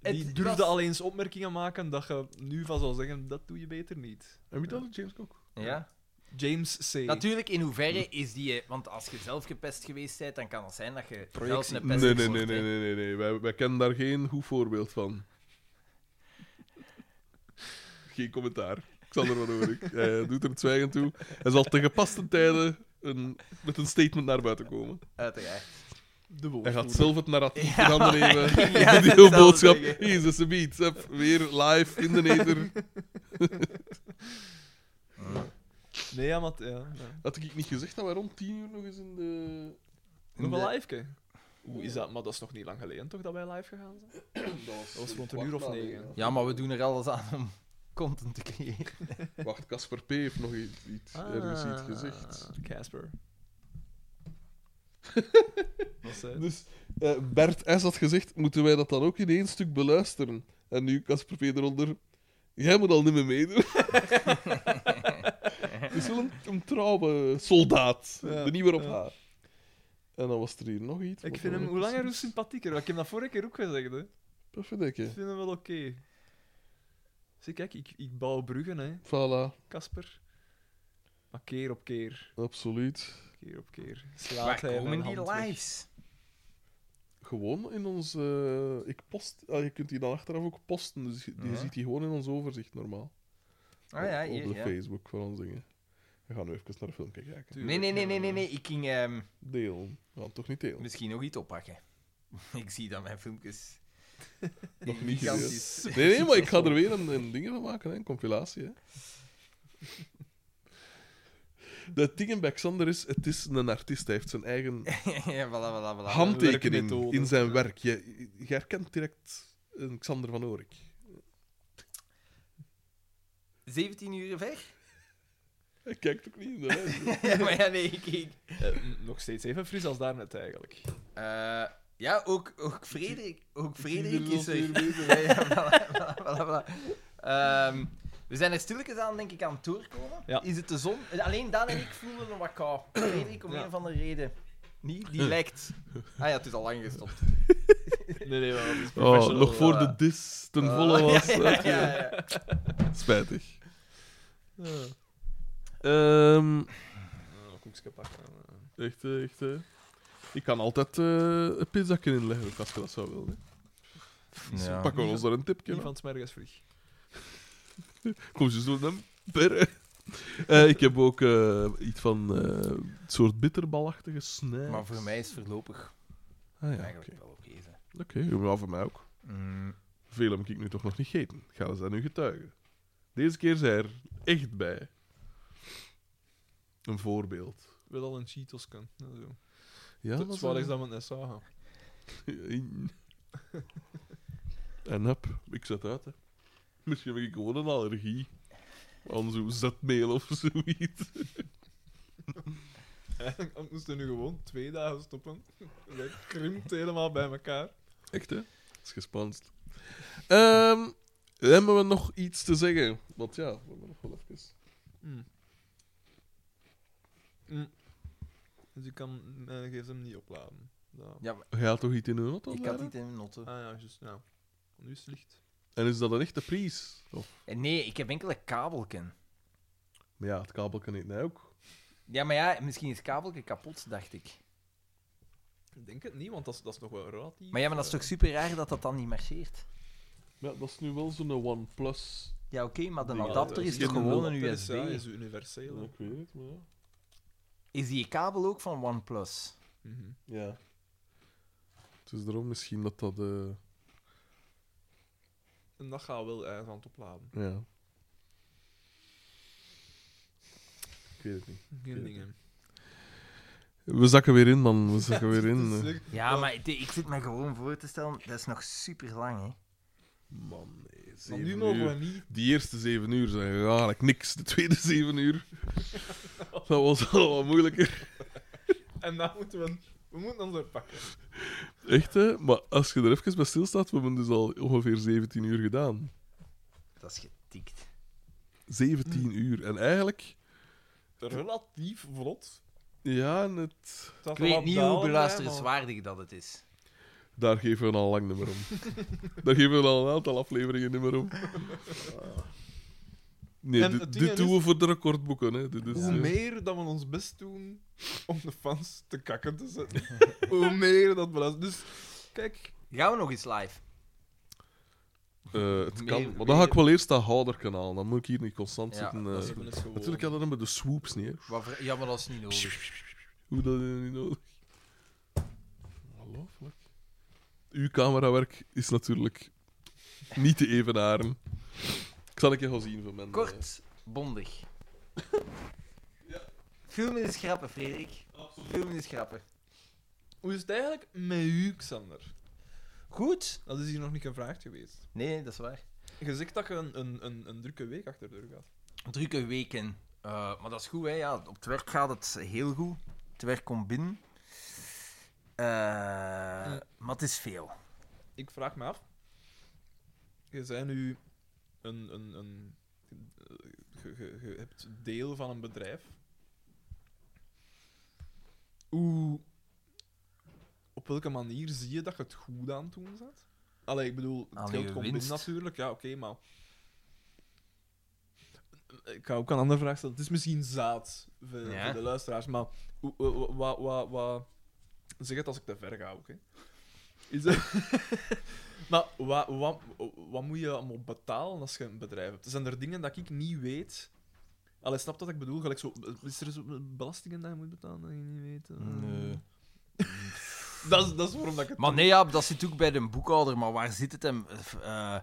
[SPEAKER 3] Die
[SPEAKER 4] Het
[SPEAKER 3] durfde
[SPEAKER 4] was-
[SPEAKER 3] al eens opmerkingen maken dat je nu van zou zeggen, dat doe je beter niet.
[SPEAKER 1] En wie dat? James Cook.
[SPEAKER 4] Ja.
[SPEAKER 3] James C.
[SPEAKER 4] Natuurlijk, in hoeverre is die. eh, Want als je zelf gepest geweest bent, dan kan het zijn dat je zelf
[SPEAKER 3] Projectie.
[SPEAKER 4] een
[SPEAKER 1] Nee,
[SPEAKER 4] pest
[SPEAKER 1] nee,
[SPEAKER 4] wordt,
[SPEAKER 1] nee, nee,
[SPEAKER 4] hè.
[SPEAKER 1] nee, nee, nee. Wij, wij kennen daar geen goed voorbeeld van. Geen commentaar. Xander van Oerik. Hij doet er het zwijgen toe. Hij zal te gepaste tijden een, met een statement naar buiten komen.
[SPEAKER 4] Uiteraard.
[SPEAKER 3] De
[SPEAKER 1] Hij
[SPEAKER 3] woord.
[SPEAKER 1] gaat zelf het narratief in handen nemen.
[SPEAKER 4] Ja,
[SPEAKER 1] Ja, die
[SPEAKER 4] dat
[SPEAKER 1] boodschap.
[SPEAKER 4] zou ik zeggen.
[SPEAKER 1] Jezus, ze biedt. Hup, Weer live in de nether.
[SPEAKER 3] Nee, ja, maar... t- Ja, ja.
[SPEAKER 1] Had ik niet gezegd dat wij rond 10 uur nog eens in de.
[SPEAKER 3] Nog
[SPEAKER 4] Nee.
[SPEAKER 3] een liveke. Hoe is dat? Maar dat is nog niet lang geleden, toch, dat wij live gegaan zijn? Dat was rond een uur of negen.
[SPEAKER 4] Ja, maar we doen er alles aan om content te creëren.
[SPEAKER 1] Wacht, Casper P. heeft nog iets, iets- ergens iets gezegd.
[SPEAKER 3] Ah, Casper. Wat zei het?
[SPEAKER 1] Dus eh, Bert S. had gezegd: moeten wij dat dan ook in één stuk beluisteren? En nu Casper P. eronder. Jij moet al niet meer meedoen. Het is wel een, een trouwe soldaat.
[SPEAKER 3] Ja,
[SPEAKER 1] de nieuwe op
[SPEAKER 3] ja.
[SPEAKER 1] haar. En dan was er hier nog iets.
[SPEAKER 3] Ik
[SPEAKER 1] wat
[SPEAKER 3] vind
[SPEAKER 1] dan
[SPEAKER 3] hem
[SPEAKER 1] ook
[SPEAKER 3] hoe langer
[SPEAKER 1] is.
[SPEAKER 3] hoe sympathieker. want Ik heb dat vorige keer ook gezegd, hè.
[SPEAKER 1] Perfect.
[SPEAKER 3] Ik vind hem wel oké. Zie, kijk, ik, ik bouw bruggen, hè,
[SPEAKER 1] Voilà,
[SPEAKER 3] Casper. Maar keer op keer,
[SPEAKER 1] absoluut.
[SPEAKER 3] keer op keer,
[SPEAKER 4] Waar
[SPEAKER 3] slaat hij mijn
[SPEAKER 4] komen
[SPEAKER 3] hand
[SPEAKER 4] die
[SPEAKER 3] weg.
[SPEAKER 4] lives?
[SPEAKER 1] Gewoon in ons. eh, ik post, ah, je kunt die dan achteraf ook posten. Dus je, je
[SPEAKER 4] Ja.
[SPEAKER 1] ziet die gewoon in ons overzicht normaal.
[SPEAKER 4] Mhm. Ah ja,
[SPEAKER 1] op, op
[SPEAKER 4] hier,
[SPEAKER 1] de
[SPEAKER 4] ja.
[SPEAKER 1] Facebook van ons dingen. We gaan nu even naar de filmpje kijken.
[SPEAKER 4] Nee, nee, nee, nee, nee, nee. Ik ging ehm,
[SPEAKER 1] Deel. We gaan toch niet delen.
[SPEAKER 4] misschien nog iets oppakken. Ik zie dat mijn filmpjes.
[SPEAKER 1] Nog niet
[SPEAKER 4] gigantisch.
[SPEAKER 1] gedeeld. Nee, nee, maar ik ga er weer een, een ding van maken, hè, een compilatie. Hè. De ding bij Xander is, het is een artiest. Hij heeft zijn eigen
[SPEAKER 4] ja, voilà, voilà, voilà.
[SPEAKER 1] handtekening
[SPEAKER 3] werkmethode.
[SPEAKER 1] in zijn werk. Je, je herkent direct een Xander van Oorik.
[SPEAKER 4] 17 uur ver?
[SPEAKER 1] Hij kijkt ook niet in de lijn.
[SPEAKER 4] ja, maar ja, nee, ik... ik-
[SPEAKER 3] Eh, n- nog steeds even fris als daarnet eigenlijk.
[SPEAKER 4] Eh, ja, ook, ook Frederik, ook Frederik
[SPEAKER 1] Die
[SPEAKER 4] is
[SPEAKER 1] wil ons
[SPEAKER 4] er. Ja, ja, voilà, voilà, voilà, voilà. Ehm, we zijn er stilletjes aan, denk ik, aan het doorkomen.
[SPEAKER 3] Ja.
[SPEAKER 4] Is het de zon? Alleen Daan en ik voelen een wat kou. Frederik, om
[SPEAKER 3] Ja.
[SPEAKER 4] een van de reden. Niet? Die lijkt. Ah ja, het is al lang gestopt.
[SPEAKER 3] Nee, nee, maar dat is
[SPEAKER 1] Oh,
[SPEAKER 3] professional.
[SPEAKER 1] nog voor
[SPEAKER 4] eh,
[SPEAKER 1] de dis ten volle was.
[SPEAKER 4] Ja, ja, ja, ja.
[SPEAKER 1] Spijtig.
[SPEAKER 3] Ja.
[SPEAKER 1] Ehm,
[SPEAKER 3] Oh, koekske pakken.
[SPEAKER 1] echt, eh, echt. eh. Ik kan altijd eh een pizzakken inleggen, ook als je dat zou willen. hè.
[SPEAKER 15] Ja.
[SPEAKER 1] Pakken we ons daar een tipje
[SPEAKER 3] Ivan
[SPEAKER 1] van.
[SPEAKER 3] van Smergas vlieg.
[SPEAKER 1] Kom, ze zo hem perren. Eh, ik heb ook eh, iets van eh, een soort bitterbalachtige snij.
[SPEAKER 4] Maar voor mij is voorlopig
[SPEAKER 1] Ah, ja,
[SPEAKER 4] eigenlijk
[SPEAKER 1] oké.
[SPEAKER 4] wel oké. hè.
[SPEAKER 1] Oké, maar voor mij ook.
[SPEAKER 15] Mm,
[SPEAKER 1] Veel heb ik nu toch nog niet gegeten. Gaan ze daar nu getuigen? Deze keer zijn er echt bij. Een voorbeeld.
[SPEAKER 3] Wil al een Cheetos kan. Nou, zo.
[SPEAKER 1] Ja,
[SPEAKER 3] Tot zwaar is dat we het net zagen.
[SPEAKER 1] In. En heb, ik zet uit, hè. Misschien heb ik gewoon een allergie. Aan zo'n zetmeel of zoiets.
[SPEAKER 3] Eigenlijk we moesten nu gewoon twee dagen stoppen. Dat krimpt helemaal bij elkaar.
[SPEAKER 1] Echt, hè? Dat is gespanst. Ehm, hebben we nog iets te zeggen? Want ja, we hebben nog wel even...
[SPEAKER 3] Mm. Mm. Dus ik kan mijn gsm niet opladen. Ja.
[SPEAKER 4] Ja, maar
[SPEAKER 1] Ga je toch iets in de auto?
[SPEAKER 4] ik had
[SPEAKER 1] laden?
[SPEAKER 4] niet in de noten.
[SPEAKER 3] Ah ja, juist. Ja. Nu is het licht.
[SPEAKER 1] En is dat een echte prijs? Of...
[SPEAKER 4] Eh, Nee, ik heb enkel een kabelken.
[SPEAKER 1] Maar ja, het kabel kan niet, nee, ook.
[SPEAKER 4] Ja, maar ja, misschien is het kabelken kapot, dacht ik.
[SPEAKER 3] Ik denk het niet, want dat is, dat is nog wel eh, raad.
[SPEAKER 4] Maar ja, maar dat is toch super raar dat dat dan niet marcheert?
[SPEAKER 1] Ja, dat is nu wel zo'n OnePlus.
[SPEAKER 4] Ja, oké, maar de
[SPEAKER 1] Ja,
[SPEAKER 4] adapter
[SPEAKER 1] dat is
[SPEAKER 4] is toch
[SPEAKER 1] geen
[SPEAKER 4] gewoon een
[SPEAKER 3] Dat eh, is, ja,
[SPEAKER 4] USB?
[SPEAKER 3] is universeel.
[SPEAKER 1] Ja,
[SPEAKER 3] hè.
[SPEAKER 1] ik weet het, maar ja.
[SPEAKER 4] Is die kabel ook van OnePlus?
[SPEAKER 3] Mhm.
[SPEAKER 1] Ja. Dus daarom misschien dat dat... eh,
[SPEAKER 3] En dat gaat wel ergens aan het opladen.
[SPEAKER 1] Ja. Ik weet het niet.
[SPEAKER 3] Geen
[SPEAKER 1] Ja.
[SPEAKER 3] dingen.
[SPEAKER 1] We zakken weer in, man. We zakken weer in.
[SPEAKER 3] Dus,
[SPEAKER 1] eh.
[SPEAKER 3] eh,
[SPEAKER 4] Ja, maar ik- ik zit me gewoon voor te stellen, dat is nog super lang, hè?
[SPEAKER 1] Man, nee.
[SPEAKER 3] maar
[SPEAKER 1] Zeven
[SPEAKER 3] nu mogen we
[SPEAKER 1] uur.
[SPEAKER 3] niet.
[SPEAKER 1] Die eerste zeven uur zijn eigenlijk niks. De tweede zeven uur... Dat was al wat moeilijker.
[SPEAKER 3] En dan moeten we. We moeten ons er pakken.
[SPEAKER 1] Echt, hè? Maar als je er even bij stilstaat, we hebben dus al ongeveer 17 uur gedaan.
[SPEAKER 4] Dat is getikt.
[SPEAKER 1] 17 uur. En eigenlijk...
[SPEAKER 3] Relatief vlot.
[SPEAKER 1] Ja, en het...
[SPEAKER 3] Het was
[SPEAKER 4] Ik
[SPEAKER 3] wel
[SPEAKER 4] weet
[SPEAKER 3] wat
[SPEAKER 4] niet
[SPEAKER 3] down,
[SPEAKER 4] hoe
[SPEAKER 3] hè,
[SPEAKER 4] beluisterenswaardig dat het is.
[SPEAKER 1] Daar geven we al lang niet meer om. Daar geven we al een aantal afleveringen niet meer om. Nee,
[SPEAKER 3] En
[SPEAKER 1] di-
[SPEAKER 3] het ding
[SPEAKER 1] dit
[SPEAKER 3] is-
[SPEAKER 1] doen we voor de recordboeken. Hè. Dit
[SPEAKER 3] maar
[SPEAKER 1] is,
[SPEAKER 3] Hoe
[SPEAKER 1] eh,
[SPEAKER 3] meer dat we ons best doen om de fans te kakken te zetten, hoe meer dat belast. Dus kijk,
[SPEAKER 4] Gaan we nog eens live?
[SPEAKER 1] eh, het
[SPEAKER 4] meer-
[SPEAKER 1] kan. Maar dan ga ik wel eerst dat houder kanaal. Dan moet ik hier niet constant
[SPEAKER 4] Ja,
[SPEAKER 1] zitten. eh.
[SPEAKER 4] dat is
[SPEAKER 3] we
[SPEAKER 4] goed.
[SPEAKER 3] doen het gewoon.
[SPEAKER 1] Natuurlijk hadden we met de swoops niet. Hè.
[SPEAKER 4] Wat voor- Ja, maar dat is niet nodig.
[SPEAKER 1] Hoe dat is niet nodig. Ongelooflijk. Uw camerawerk is natuurlijk niet te evenaren. Ik zal een keer gaan zien van mijn... eh,
[SPEAKER 4] Kort, bondig. Filmen is grappen, Frederik. Filmen is grappen.
[SPEAKER 3] Hoe is het eigenlijk met u, Xander?
[SPEAKER 4] Goed?
[SPEAKER 3] Dat is hier nog niet gevraagd geweest.
[SPEAKER 4] Nee, dat is waar.
[SPEAKER 3] Je zegt dat je een, een, een, een drukke week achter de rug had.
[SPEAKER 4] drukke weken. Eh, maar dat is goed, hè? Ja, op het werk gaat het heel goed. Het werk komt binnen. Eh, Maar het is veel.
[SPEAKER 3] Ik vraag me af. Je bent nu een. een, een eh, je, je- je hebt deel van een bedrijf. Hoe. Op welke manier zie je dat je het goed aan het doen bent? Allee, ik bedoel,
[SPEAKER 4] Aan
[SPEAKER 3] het geld
[SPEAKER 4] je
[SPEAKER 3] komt binnen
[SPEAKER 4] winst.
[SPEAKER 3] natuurlijk, ja, oké, maar. Ik ga ook een andere vraag stellen. Het is misschien zaad voor,
[SPEAKER 4] Ja.
[SPEAKER 3] voor de luisteraars, maar hoe- wa- wa- wa- wa- wa- zeg het als ik te ver ga ook. Hè. Is dat... maar wat, wat, wat moet je allemaal betalen als je een bedrijf hebt? Zijn er dingen dat ik niet weet? Allee, snap dat ik bedoel? Gelijk zo, is er zo belastingen dat je moet betalen dat je niet weet? Eh?
[SPEAKER 4] Nee.
[SPEAKER 3] dat, is, dat is waarom dat ik het...
[SPEAKER 4] Maar nee, ja, dat zit ook bij de boekhouder. Maar waar zit het hem? Eh,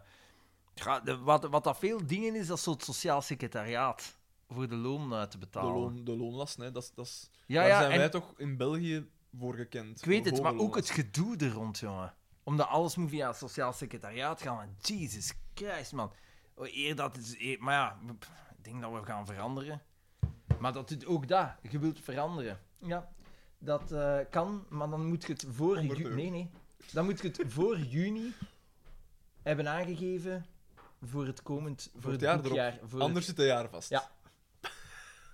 [SPEAKER 4] ja, de- wat, wat dat veel dingen is, dat is zo het sociaal secretariaat. Voor de loon uit te
[SPEAKER 3] de,
[SPEAKER 4] betalen.
[SPEAKER 3] loon, de loonlast, hè, dat, is- dat is...
[SPEAKER 4] Ja,
[SPEAKER 3] daar
[SPEAKER 4] ja,
[SPEAKER 3] zijn wij
[SPEAKER 4] en
[SPEAKER 3] toch in België voor gekend.
[SPEAKER 4] ik weet
[SPEAKER 3] voor
[SPEAKER 4] het,
[SPEAKER 3] hoge
[SPEAKER 4] maar ook
[SPEAKER 3] lonen.
[SPEAKER 4] het gedoe er rond, jongen. Omdat alles moet via het sociaal secretariaat gaan. Man. Jesus Christ, man. Oh, Eer dat is, eer- maar ja, pff, ik denk dat we gaan veranderen.
[SPEAKER 9] Maar dat doet ook dat. Je wilt veranderen. Ja, dat eh, kan, maar dan moet je het voor...
[SPEAKER 1] Honderd
[SPEAKER 9] ju-
[SPEAKER 1] euro.
[SPEAKER 9] Nee, nee. Dan moet je het voor juni hebben aangegeven voor het komend... Voor,
[SPEAKER 2] het jaar erop.
[SPEAKER 9] boekjaar, voor het-
[SPEAKER 2] Anders zit een jaar vast.
[SPEAKER 9] Ja.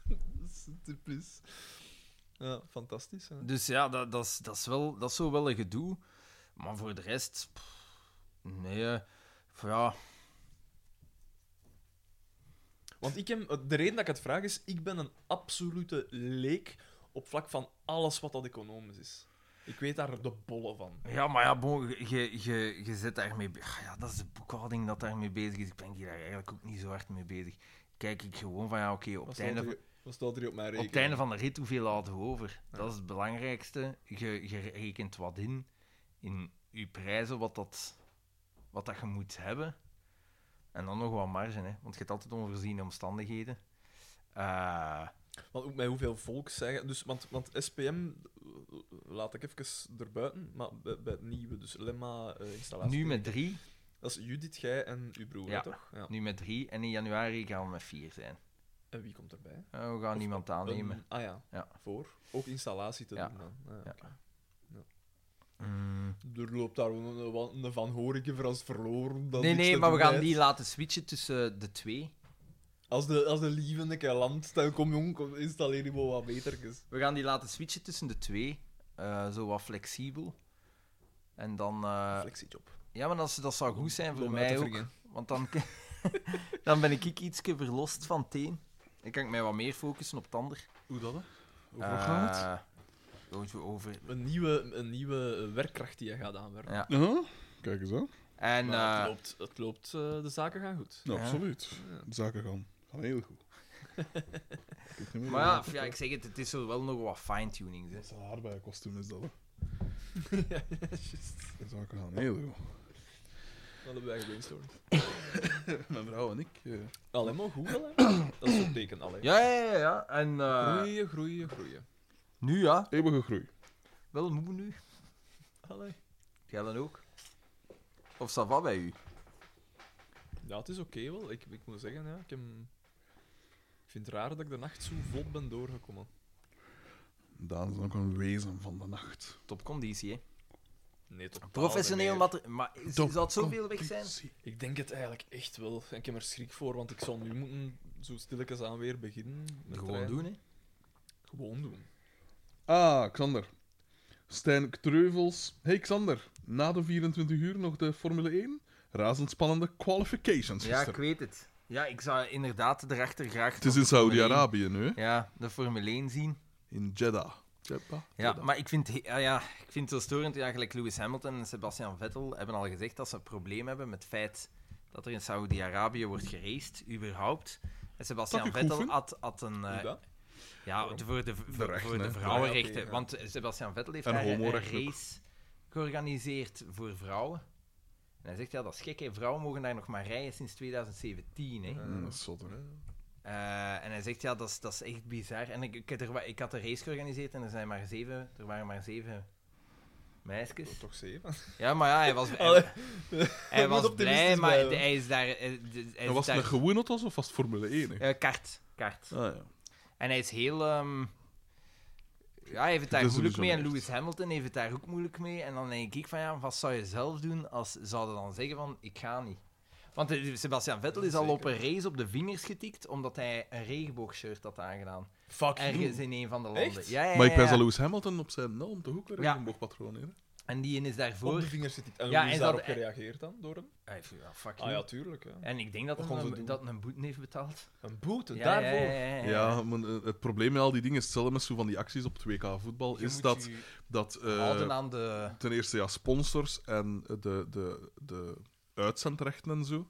[SPEAKER 2] Dat is typisch. Ja, fantastisch. Hè?
[SPEAKER 4] Dus ja, dat, dat, is, dat, is wel, dat is zo wel een gedoe. Maar voor de rest... pff, nee, eh, ja...
[SPEAKER 3] Want ik heb, de reden dat ik het vraag is, ik ben een absolute leek op vlak van alles wat dat economisch is. Ik weet daar de bolle van.
[SPEAKER 4] Ja, maar ja, bon, je- je, je, je zit daarmee... be- Ah Ja, dat is de boekhouding dat daarmee bezig is. Ik ben hier eigenlijk ook niet zo hard mee bezig. Kijk ik gewoon van, ja, oké, op,
[SPEAKER 2] Wat
[SPEAKER 4] het
[SPEAKER 2] staat
[SPEAKER 4] einde
[SPEAKER 2] er-
[SPEAKER 4] van-
[SPEAKER 2] Wat staat er op mijn
[SPEAKER 4] op
[SPEAKER 2] rekening?
[SPEAKER 4] het einde van de rit, hoeveel houden we over? Dat is het belangrijkste. Je, je rekent wat in, in je prijzen, wat dat, wat dat je moet hebben. En dan nog wat marge, hè, want je hebt altijd onvoorziene omstandigheden. Eh,
[SPEAKER 3] Want ook met hoeveel volk zeggen. Dus, want, want SPM, eh, laat ik even erbuiten, maar bij, bij het nieuwe, dus Lemma-installatie.
[SPEAKER 4] nu met drie,
[SPEAKER 3] Dat is Judith, jij en uw broer,
[SPEAKER 4] Ja.
[SPEAKER 3] hè, toch? Ja.
[SPEAKER 4] nu met drie en in januari gaan we met vier zijn.
[SPEAKER 3] En wie komt erbij?
[SPEAKER 4] Eh, we gaan
[SPEAKER 3] Of
[SPEAKER 4] niemand aannemen.
[SPEAKER 3] Een- ah ja.
[SPEAKER 4] Ja.
[SPEAKER 3] voor. Ook installatie te
[SPEAKER 4] Ja.
[SPEAKER 3] doen dan. Ah,
[SPEAKER 4] Ja.
[SPEAKER 3] oké.
[SPEAKER 4] Mm.
[SPEAKER 3] Er loopt daar wel een, een Van Horiken voor als verloren. dat
[SPEAKER 4] Nee,
[SPEAKER 3] niks
[SPEAKER 4] nee,
[SPEAKER 3] te
[SPEAKER 4] maar we
[SPEAKER 3] doen
[SPEAKER 4] gaan
[SPEAKER 3] heeft.
[SPEAKER 4] die laten switchen tussen de twee.
[SPEAKER 3] Als de, als de lieve een keer landt, dan kom jong, kom, installeer die wel wat dus betertjes.
[SPEAKER 4] We gaan die laten switchen tussen de twee. eh, zo wat flexibel. En dan... eh,
[SPEAKER 3] Flexiejob.
[SPEAKER 4] ja, maar dat, is- dat zou goed zijn voor
[SPEAKER 3] Om uit te
[SPEAKER 4] mij ook.
[SPEAKER 3] wringen.
[SPEAKER 4] Want dan, dan ben ik iets verlost van teen. Dan kan ik mij wat meer focussen op het ander.
[SPEAKER 1] Hoe dat, hè?
[SPEAKER 4] Over Over, over...
[SPEAKER 3] Een nieuwe, een nieuwe werkkracht die je gaat aanwerven.
[SPEAKER 4] Ja.
[SPEAKER 1] Ja, kijk eens aan.
[SPEAKER 4] En
[SPEAKER 3] Maar het
[SPEAKER 4] eh,
[SPEAKER 3] loopt, het loopt eh, de zaken gaan goed.
[SPEAKER 1] Nou,
[SPEAKER 4] Ja.
[SPEAKER 1] absoluut. De zaken gaan, gaan heel goed.
[SPEAKER 4] Maar ja, ja, ik zeg het, het is zo wel nog wat fine-tuning. dus.
[SPEAKER 1] Dat
[SPEAKER 4] hè.
[SPEAKER 1] is een aardbeienkostuum, is dat, hè? De zaken gaan heel goed.
[SPEAKER 3] Dat hebben wij gebrainstormd.
[SPEAKER 1] Mijn vrouw en ik... eh,
[SPEAKER 3] Allee, maar goed wel, hè. Dat is een teken, allee.
[SPEAKER 4] Ja, ja, ja. ja. En eh,
[SPEAKER 3] Groeien, groeien, groeien.
[SPEAKER 4] nu ja,
[SPEAKER 1] eeuwige groei.
[SPEAKER 4] wel moe nu.
[SPEAKER 3] Allee.
[SPEAKER 4] Jij dan ook? Of ça va bij u?
[SPEAKER 3] Ja, het is oké wel. Ik, ik moet zeggen, ja, ik, heb... ik vind het raar dat ik de nacht zo vlot ben doorgekomen.
[SPEAKER 1] Daan is ook een wezen van de nacht.
[SPEAKER 4] Topconditie, hè?
[SPEAKER 3] Nee, totaal
[SPEAKER 4] Professioneel
[SPEAKER 3] niet meer.
[SPEAKER 4] materiaal. Maar is-
[SPEAKER 1] Top
[SPEAKER 4] zou het zoveel weg zijn?
[SPEAKER 1] Zie.
[SPEAKER 3] Ik denk het eigenlijk echt wel. En ik heb er schrik voor, want ik zal nu moeten zo stilletjes aan weer beginnen. met
[SPEAKER 4] Gewoon
[SPEAKER 3] rijden.
[SPEAKER 4] doen, hè?
[SPEAKER 3] Gewoon doen.
[SPEAKER 1] Ah, Xander. Stijn Treuvels. Hey Xander, na de 24 uur nog de Formule 1? Razendspannende qualifications
[SPEAKER 4] Ja,
[SPEAKER 1] gisteren.
[SPEAKER 4] ik weet het. Ja, ik zou inderdaad erachter graag.
[SPEAKER 1] Het is in Saudi-Arabië nu, hè?
[SPEAKER 4] Ja, de Formule 1 zien.
[SPEAKER 1] In Jeddah. Jeddah.
[SPEAKER 4] Ja, maar ik vind, he- ja, ja, ik vind het zo storend. Ja, gelijk Lewis Hamilton en Sebastian Vettel hebben al gezegd dat ze een probleem hebben met het feit dat er in Saudi-Arabië wordt geraced, überhaupt. En Sebastian
[SPEAKER 1] ik goed
[SPEAKER 4] Vettel
[SPEAKER 1] vind.
[SPEAKER 4] had, had een. eh,
[SPEAKER 3] Hoe dat?
[SPEAKER 4] ja, voor de, voor,
[SPEAKER 1] rechten,
[SPEAKER 4] voor de
[SPEAKER 1] hè.
[SPEAKER 4] vrouwenrechten.
[SPEAKER 3] Ja, oké, ja.
[SPEAKER 4] Want eh, Sebastian Vettel heeft
[SPEAKER 1] En
[SPEAKER 4] daar een een
[SPEAKER 1] homorechten ook.
[SPEAKER 4] race georganiseerd voor vrouwen. En hij zegt ja, dat is gek, hè. vrouwen mogen daar nog maar rijden sinds 2017. Hè.
[SPEAKER 1] Mm, dat is zot, hè.
[SPEAKER 4] Eh, en hij zegt, ja, dat is, dat is echt bizar. En ik, ik, had er, wa- ik had een race georganiseerd en er, zijn maar zeven, er waren maar zeven meisjes.
[SPEAKER 3] Toch zeven?
[SPEAKER 4] Ja, maar ja, hij was,
[SPEAKER 3] Allee.
[SPEAKER 4] hij, hij was
[SPEAKER 3] optimistisch
[SPEAKER 4] blij, maar hij,
[SPEAKER 3] blijven.
[SPEAKER 4] hij is daar... Hij, hij
[SPEAKER 1] En
[SPEAKER 4] is
[SPEAKER 1] was het
[SPEAKER 4] daar
[SPEAKER 1] met gewone auto's of was het Formule 1? hè?
[SPEAKER 4] eh, kart, kart.
[SPEAKER 1] Ah, ja.
[SPEAKER 4] En hij is heel... ehm, ja, hij heeft het daar
[SPEAKER 1] is
[SPEAKER 4] moeilijk mee. En
[SPEAKER 1] bijzonder.
[SPEAKER 4] Lewis Hamilton heeft het daar ook moeilijk mee. En dan denk ik van, ja, wat zou je zelf doen als zouden dan zeggen van, ik ga niet. Want eh, Sebastian Vettel is al op een race op de vingers getikt, omdat hij een regenboogshirt had aangedaan.
[SPEAKER 3] Fuck
[SPEAKER 4] Ergens in een van de landen.
[SPEAKER 3] Echt?
[SPEAKER 4] Ja, ja, ja,
[SPEAKER 1] Maar ik ben
[SPEAKER 4] Eh, ja.
[SPEAKER 1] aan Lewis Hamilton op zijn helm toch ook een
[SPEAKER 4] Ja.
[SPEAKER 1] regenboogpatroon, hè?
[SPEAKER 4] En die is
[SPEAKER 3] Op
[SPEAKER 4] daarvoor.
[SPEAKER 3] de vingers zit ik. En
[SPEAKER 4] Ja,
[SPEAKER 3] hoe is
[SPEAKER 4] en dat- e-
[SPEAKER 3] daarop gereageerd dan, door hem?
[SPEAKER 4] Hij heeft- ja, fuck
[SPEAKER 3] Ah
[SPEAKER 4] you.
[SPEAKER 3] ja, tuurlijk. Ja.
[SPEAKER 4] En ik denk dat
[SPEAKER 3] Wat
[SPEAKER 4] hij
[SPEAKER 3] kon ze
[SPEAKER 4] een,
[SPEAKER 3] doen?
[SPEAKER 4] dat hij een boete heeft betaald.
[SPEAKER 3] Een boete,
[SPEAKER 4] Ja,
[SPEAKER 3] daarvoor.
[SPEAKER 4] Ja, ja, ja, ja.
[SPEAKER 1] Ja, maar eh, het probleem met al die dingen, hetzelfde met zo van die acties op 2K voetbal,
[SPEAKER 4] Je
[SPEAKER 1] is
[SPEAKER 4] moet
[SPEAKER 1] dat...
[SPEAKER 4] je
[SPEAKER 1] dat eh,
[SPEAKER 4] houden aan de.
[SPEAKER 1] ten eerste ja, sponsors en de, de, de uitzendrechten en zo.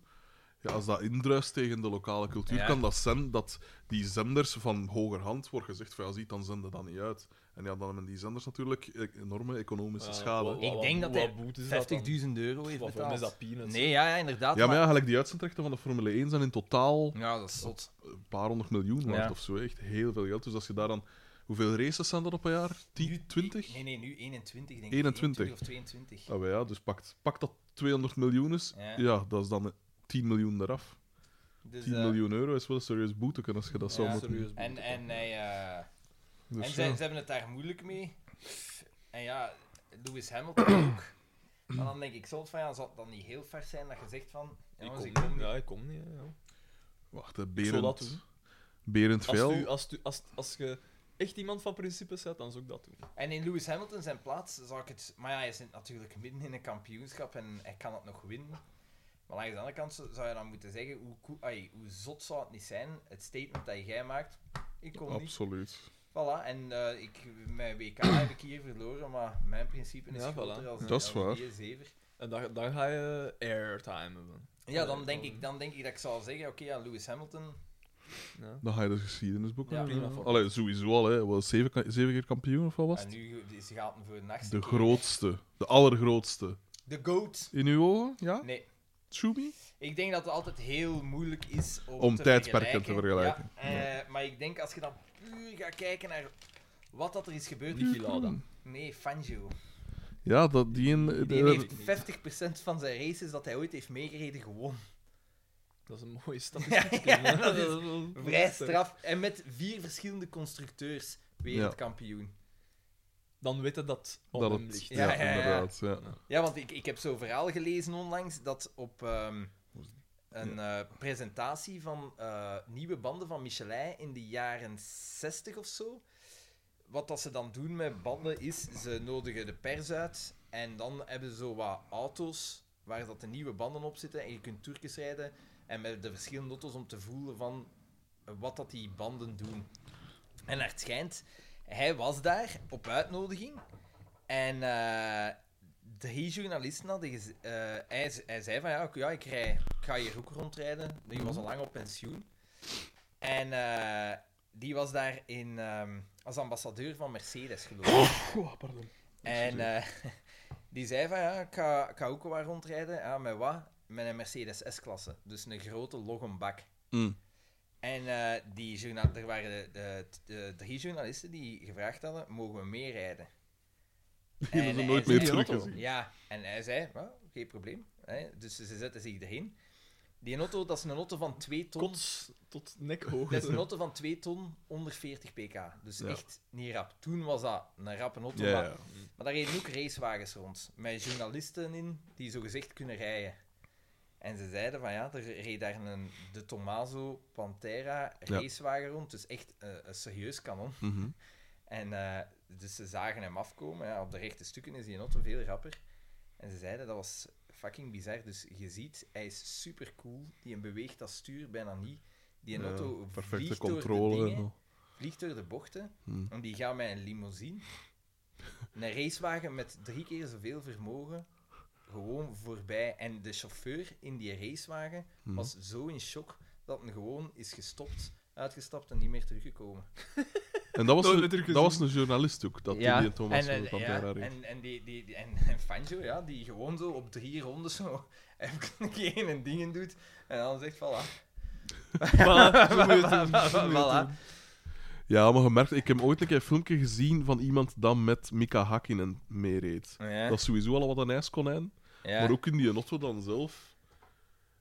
[SPEAKER 1] Ja, als dat indruist tegen de lokale cultuur,
[SPEAKER 4] Ja.
[SPEAKER 1] kan dat zijn dat die zenders van hogerhand wordt gezegd van ja, ziet, dan zenden dat niet uit. En ja, dan hebben die zenders natuurlijk eh, enorme economische
[SPEAKER 3] Ah,
[SPEAKER 1] schade.
[SPEAKER 3] wa- wa-
[SPEAKER 4] Ik denk
[SPEAKER 3] wa-
[SPEAKER 4] dat hij
[SPEAKER 3] wat boete is dat dan?
[SPEAKER 4] 50.000 euro
[SPEAKER 3] Wat
[SPEAKER 4] heeft
[SPEAKER 3] voor
[SPEAKER 4] betaald.
[SPEAKER 3] is dat peanuts?
[SPEAKER 4] Nee, ja, ja inderdaad.
[SPEAKER 1] Ja, maar ja, eigenlijk die uitzendrechten van de Formule 1 zijn in totaal
[SPEAKER 4] Ja, dat is zot.
[SPEAKER 1] een paar honderd miljoen waard
[SPEAKER 4] Ja.
[SPEAKER 1] of zo. Echt heel veel geld. Dus als je daar dan... Hoeveel races zijn dat op een jaar? 10, 20?
[SPEAKER 4] Nee, nee, nu 21, denk ik.
[SPEAKER 1] 21.
[SPEAKER 4] 21 of 22.
[SPEAKER 1] Ah, wel ja, dus pak, pak dat 200 miljoen is.
[SPEAKER 4] Ja.
[SPEAKER 1] Ja. dat is dan 10 miljoen eraf.
[SPEAKER 4] Dus,
[SPEAKER 1] 10
[SPEAKER 4] eh,
[SPEAKER 1] miljoen euro is wel een serieus boete kunnen als je dat zou
[SPEAKER 4] Ja,
[SPEAKER 1] moeten.
[SPEAKER 3] serieus.
[SPEAKER 4] En, en, hij, eh,
[SPEAKER 1] Dus
[SPEAKER 4] en
[SPEAKER 1] ja.
[SPEAKER 4] ze, ze hebben het daar moeilijk mee. En ja, Lewis Hamilton ook. Maar dan denk ik soms van, ja, zal het dan niet heel ver zijn dat je zegt van... Jongens, ik kom niet.
[SPEAKER 3] Ja, ik kom niet. hè, ja.
[SPEAKER 1] Wacht, hè,
[SPEAKER 3] zou
[SPEAKER 1] Berend.
[SPEAKER 3] dat doen.
[SPEAKER 1] Berend
[SPEAKER 3] Als,
[SPEAKER 1] Veil.
[SPEAKER 3] u, als, u, als, als je echt iemand van principes bent, dan zou ik dat doen.
[SPEAKER 4] En in Lewis Hamilton zijn plaats zou ik het... Maar ja, hij zit natuurlijk midden in een kampioenschap en hij kan het nog winnen. Maar aan de andere kant zo- zou je dan moeten zeggen, hoe, koe- ai, hoe zot zou het niet zijn, het statement dat jij maakt, ik kom niet.
[SPEAKER 1] Absoluut.
[SPEAKER 4] Voilà, en eh, ik, mijn WK heb ik hier verloren, maar mijn principe is
[SPEAKER 3] Ja,
[SPEAKER 4] groter
[SPEAKER 3] voilà.
[SPEAKER 4] als, een-
[SPEAKER 1] Dat is
[SPEAKER 4] als
[SPEAKER 1] waar.
[SPEAKER 4] die zever. Eh,
[SPEAKER 3] En dan, dan ga je airtime hebben.
[SPEAKER 4] Ja, dan
[SPEAKER 3] Ja,
[SPEAKER 4] denk,
[SPEAKER 3] dan-
[SPEAKER 4] ik, dan denk ik dat ik zal zeggen, oké, ja, Lewis Hamilton.
[SPEAKER 3] Ja.
[SPEAKER 1] Dan ga je de geschiedenisboek
[SPEAKER 4] Ja,
[SPEAKER 1] ja,
[SPEAKER 3] prima voor.
[SPEAKER 1] Allee, sowieso al, hè. Wel zeven, ka- zeven keer kampioen of wat was
[SPEAKER 4] En
[SPEAKER 1] het?
[SPEAKER 4] nu is, gaat hem voor de nachtste
[SPEAKER 1] De
[SPEAKER 4] keer.
[SPEAKER 1] grootste. De allergrootste.
[SPEAKER 4] De GOAT.
[SPEAKER 1] In uw ogen, ja?
[SPEAKER 4] Nee,
[SPEAKER 1] Tsumi?
[SPEAKER 4] ik denk dat het altijd heel moeilijk is om,
[SPEAKER 1] Om
[SPEAKER 4] te
[SPEAKER 1] tijdsperken te vergelijken.
[SPEAKER 4] Ja, eh, maar ik denk als je dan puur gaat kijken naar wat dat er is gebeurd.
[SPEAKER 3] Niki Lauda.
[SPEAKER 4] Nee, Fangio.
[SPEAKER 1] Ja, dat, die een...
[SPEAKER 4] Die
[SPEAKER 1] eh,
[SPEAKER 4] heeft 50% van zijn races dat hij ooit heeft meegereden gewonnen.
[SPEAKER 3] Dat is een mooie stap.
[SPEAKER 4] Ja, ja, dat is Vrij straf. En met vier verschillende constructeurs wereldkampioen.
[SPEAKER 3] Dan weet je dat op
[SPEAKER 1] dat
[SPEAKER 3] hem
[SPEAKER 1] het,
[SPEAKER 3] ligt.
[SPEAKER 1] ja,
[SPEAKER 4] Ja, ja, ja.
[SPEAKER 1] inderdaad. Ja.
[SPEAKER 4] Ja, want ik, ik heb zo'n verhaal gelezen onlangs dat op ehm, een eh, presentatie van eh, nieuwe banden van Michelin in de jaren 60 of zo. Wat dat ze dan doen met banden is, ze nodigen de pers uit en dan hebben ze zo wat auto's waar dat de nieuwe banden op zitten en je kunt toertjes rijden en met de verschillende auto's om te voelen van wat dat die banden doen. En naar het schijnt, hij was daar op uitnodiging en eh, drie journalisten hadden gez- eh, hij, z- hij zei van ja, ik- ja ik, rij, ik ga hier ook rondrijden. Die
[SPEAKER 1] Mhm.
[SPEAKER 4] was al lang op pensioen. En eh, die was daar in, ehm, als ambassadeur van Mercedes geloof ik. En eh, die zei van ja, ik ga, ik ga ook wel rondrijden. Ja, met wat? Met een Mercedes S-klasse. Dus een grote loggenbak.
[SPEAKER 1] Mm.
[SPEAKER 4] En eh, die journa- er waren de, de- de drie journalisten die gevraagd hadden, mogen we meerijden?
[SPEAKER 1] Die
[SPEAKER 4] En
[SPEAKER 1] hebben
[SPEAKER 4] hij
[SPEAKER 1] ze nooit
[SPEAKER 4] zei-
[SPEAKER 1] meer
[SPEAKER 3] die auto.
[SPEAKER 1] teruggezien.
[SPEAKER 4] ja, en hij zei, "Wel, geen probleem. Hè? Dus ze zetten zich erin. Die auto, dat is een auto van 2 ton.
[SPEAKER 3] Kots tot nekhoog.
[SPEAKER 4] Dat is een auto van 2 ton, 140 pk. Dus
[SPEAKER 1] Ja.
[SPEAKER 4] echt niet rap. Toen was dat een rappe auto.
[SPEAKER 1] Ja,
[SPEAKER 4] maar,
[SPEAKER 1] ja.
[SPEAKER 4] maar daar reden ook racewagens rond. Met journalisten in, die zogezegd kunnen rijden. En ze zeiden van ja, er reed daar een De Tomaso Pantera
[SPEAKER 1] Ja.
[SPEAKER 4] racewagen rond. Dus echt eh, een serieus kanon.
[SPEAKER 1] Mhm.
[SPEAKER 4] En eh, dus ze zagen hem afkomen. Ja, op de rechte stukken is die auto veel rapper. En ze zeiden, dat was fucking bizar. Dus je ziet, hij is super cool. Die beweegt dat stuur bijna niet. Die
[SPEAKER 1] Ja,
[SPEAKER 4] auto
[SPEAKER 1] Perfecte
[SPEAKER 4] vliegt door de
[SPEAKER 1] controle.
[SPEAKER 4] dingen,
[SPEAKER 1] en al.
[SPEAKER 4] vliegt door de bochten.
[SPEAKER 1] Hmm.
[SPEAKER 4] En die gaat met een limousine. Een racewagen met drie keer zoveel vermogen. Gewoon voorbij. En de chauffeur in die racewagen
[SPEAKER 1] Hmm.
[SPEAKER 4] was zo in shock dat hij gewoon is gestopt, uitgestapt en niet meer teruggekomen.
[SPEAKER 1] En dat was,
[SPEAKER 3] Nooit
[SPEAKER 1] een,
[SPEAKER 3] meer teruggezien.
[SPEAKER 1] dat was een journalist ook, dat
[SPEAKER 4] Ja,
[SPEAKER 1] die Thomas
[SPEAKER 4] en,
[SPEAKER 1] van de
[SPEAKER 4] eh,
[SPEAKER 1] Pantera
[SPEAKER 4] ja,
[SPEAKER 1] reed.
[SPEAKER 4] en, en, die, die, die- en, en Fangio, ja, die gewoon zo op drie ronden zo even geen en dingen doet. En dan zegt, ah, voilà.
[SPEAKER 3] Voilà, zo moet je het doen, zo moet je het
[SPEAKER 4] voilà.
[SPEAKER 3] doen.
[SPEAKER 1] Ja, maar gemerkt, ik heb ooit een keer een filmpje gezien van iemand dat met Mika Hakkinen meereed.
[SPEAKER 4] Ja,
[SPEAKER 1] Dat is sowieso al wat een ijskonijn.
[SPEAKER 4] ja,
[SPEAKER 1] Maar ook in die auto dan zelf.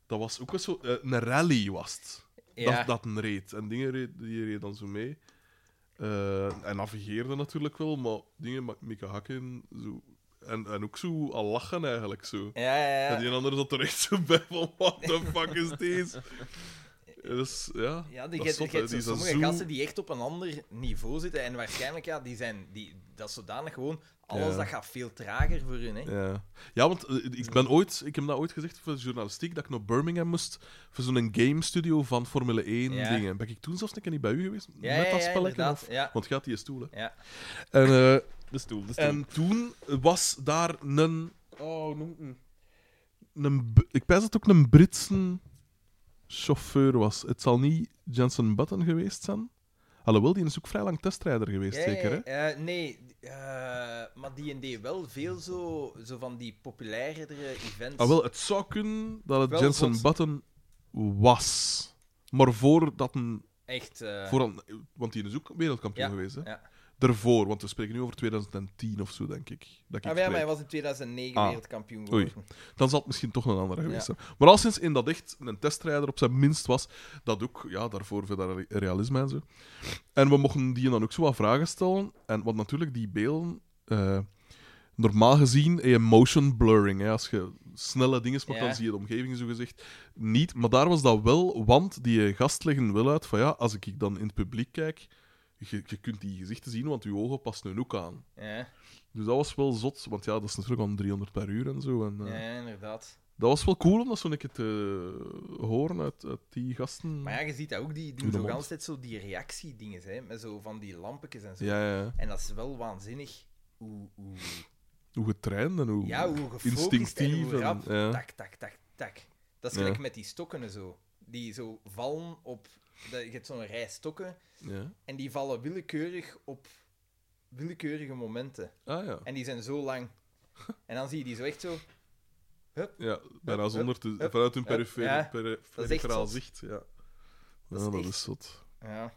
[SPEAKER 1] Dat was ook wel zo... eh, een rally was het.
[SPEAKER 4] ja.
[SPEAKER 1] Dat, dat een reed. En dingen reed, die reed dan zo mee. Eh, en navigeerde natuurlijk wel, maar dingen... Ma- Mika Hakkinen... Zo, en, en ook zo al lachen eigenlijk zo.
[SPEAKER 4] ja, ja,
[SPEAKER 1] En
[SPEAKER 4] ja.
[SPEAKER 1] die ander zat er echt zo bij van, what the fuck is deze? Dus ja,
[SPEAKER 4] Ja, die
[SPEAKER 1] dat
[SPEAKER 4] je-
[SPEAKER 1] is zot,
[SPEAKER 4] je
[SPEAKER 1] hè.
[SPEAKER 4] hebt zo
[SPEAKER 1] Die zijn
[SPEAKER 4] sommige
[SPEAKER 1] zo-
[SPEAKER 4] gasten die echt op een ander niveau zitten. En waarschijnlijk, ja, die zijn, die, dat is zodanig gewoon, alles
[SPEAKER 1] Ja.
[SPEAKER 4] dat gaat veel trager voor hun. Hè.
[SPEAKER 1] Ja, ja want eh, ik ben ooit, ik heb dat ooit gezegd voor de journalistiek, dat ik naar Birmingham moest voor zo'n game studio van Formule 1
[SPEAKER 4] Ja.
[SPEAKER 1] dingen. Ben ik toen zelfs een keer niet bij u geweest?
[SPEAKER 4] Ja,
[SPEAKER 1] met
[SPEAKER 4] ja,
[SPEAKER 1] dat
[SPEAKER 4] ja,
[SPEAKER 1] spelletje?
[SPEAKER 4] inderdaad,
[SPEAKER 1] of...
[SPEAKER 4] ja.
[SPEAKER 1] Want gaat die stoelen.
[SPEAKER 4] Ja.
[SPEAKER 1] En, eh,
[SPEAKER 3] De stoel, de stoel.
[SPEAKER 1] en toen was daar een. Oh, noem
[SPEAKER 4] mm.
[SPEAKER 1] het. Een, B- ik pijs dat het ook een Britse chauffeur was. Het zal niet Jensen Button geweest zijn. Alhoewel, die is ook vrij lang testrijder geweest,
[SPEAKER 4] Ja, ja,
[SPEAKER 1] zeker. Hè?
[SPEAKER 4] eh, nee, eh, maar die deed wel veel zo, zo van die populairdere events.
[SPEAKER 1] Ah, wel, het zou kunnen dat het
[SPEAKER 4] Wel
[SPEAKER 1] Jensen
[SPEAKER 4] zot.
[SPEAKER 1] Button was. Maar voordat een.
[SPEAKER 4] Echt. eh, Ah,
[SPEAKER 1] Voor een want die is ook wereldkampioen geweest. Hè?
[SPEAKER 4] ja.
[SPEAKER 1] daarvoor, want we spreken nu over 2010 of zo, denk ik. Dat ik
[SPEAKER 4] Ah, ja, maar hij
[SPEAKER 1] kijk.
[SPEAKER 4] was in 2009
[SPEAKER 1] Ah.
[SPEAKER 4] wereldkampioen
[SPEAKER 1] Oei.
[SPEAKER 4] geworden.
[SPEAKER 1] Dan zal het misschien toch een andere geweest
[SPEAKER 4] Ja.
[SPEAKER 1] zijn. Maar al sinds in dat echt een testrijder op zijn minst was, dat ook, ja, daarvoor veel dat re- realisme en zo. En we mochten die dan ook zo wat vragen stellen. En wat natuurlijk die beelden... eh, Normaal gezien, eh, motion blurring. Hè. Als je snelle dingen maakt,
[SPEAKER 4] Ja.
[SPEAKER 1] dan zie je de omgeving zo gezegd niet. Maar daar was dat wel, want die gast leggen wel uit van ja, als ik dan in het publiek kijk, je, je kunt die gezichten zien, want je ogen passen hun ook aan.
[SPEAKER 4] Ja,
[SPEAKER 1] Dus dat was wel zot, want ja, dat is natuurlijk aan 300 per uur en zo. En, eh,
[SPEAKER 4] ja, inderdaad.
[SPEAKER 1] dat was wel cool om dat zo'n keer te horen uit, uit die gasten.
[SPEAKER 4] Maar ja, je ziet dat ook, die
[SPEAKER 1] In
[SPEAKER 4] doen
[SPEAKER 1] de
[SPEAKER 4] zo
[SPEAKER 1] Mm. mond.
[SPEAKER 4] altijd zo die reactiedingen, hè, met zo van die lampetjes en zo.
[SPEAKER 1] ja, ja.
[SPEAKER 4] En dat is wel waanzinnig. Hoe, hoe,
[SPEAKER 1] Hoe getraind en hoe,
[SPEAKER 4] ja, hoe gefocust en
[SPEAKER 1] instinctief.
[SPEAKER 4] hoe rap.
[SPEAKER 1] ja.
[SPEAKER 4] Tak, tak, tak, tak. Dat is
[SPEAKER 1] Ja.
[SPEAKER 4] gelijk met die stokken en zo. Die zo vallen op... dat- Je hebt zo'n rij stokken
[SPEAKER 1] ja.
[SPEAKER 4] en die vallen willekeurig op willekeurige momenten.
[SPEAKER 1] Ah ja.
[SPEAKER 4] En die zijn zo lang. En dan zie je die zo echt zo...
[SPEAKER 1] Ja, bijna
[SPEAKER 4] hup,
[SPEAKER 1] zonder te...
[SPEAKER 4] hup,
[SPEAKER 1] vanuit hun
[SPEAKER 4] hup,
[SPEAKER 1] perifer-
[SPEAKER 4] ja.
[SPEAKER 1] peri-
[SPEAKER 4] echt
[SPEAKER 1] periferaal
[SPEAKER 4] zot.
[SPEAKER 1] zicht. Ja,
[SPEAKER 4] Dat
[SPEAKER 1] dat,
[SPEAKER 4] is
[SPEAKER 1] ja, dat
[SPEAKER 4] echt-
[SPEAKER 1] is zot.
[SPEAKER 4] Ja.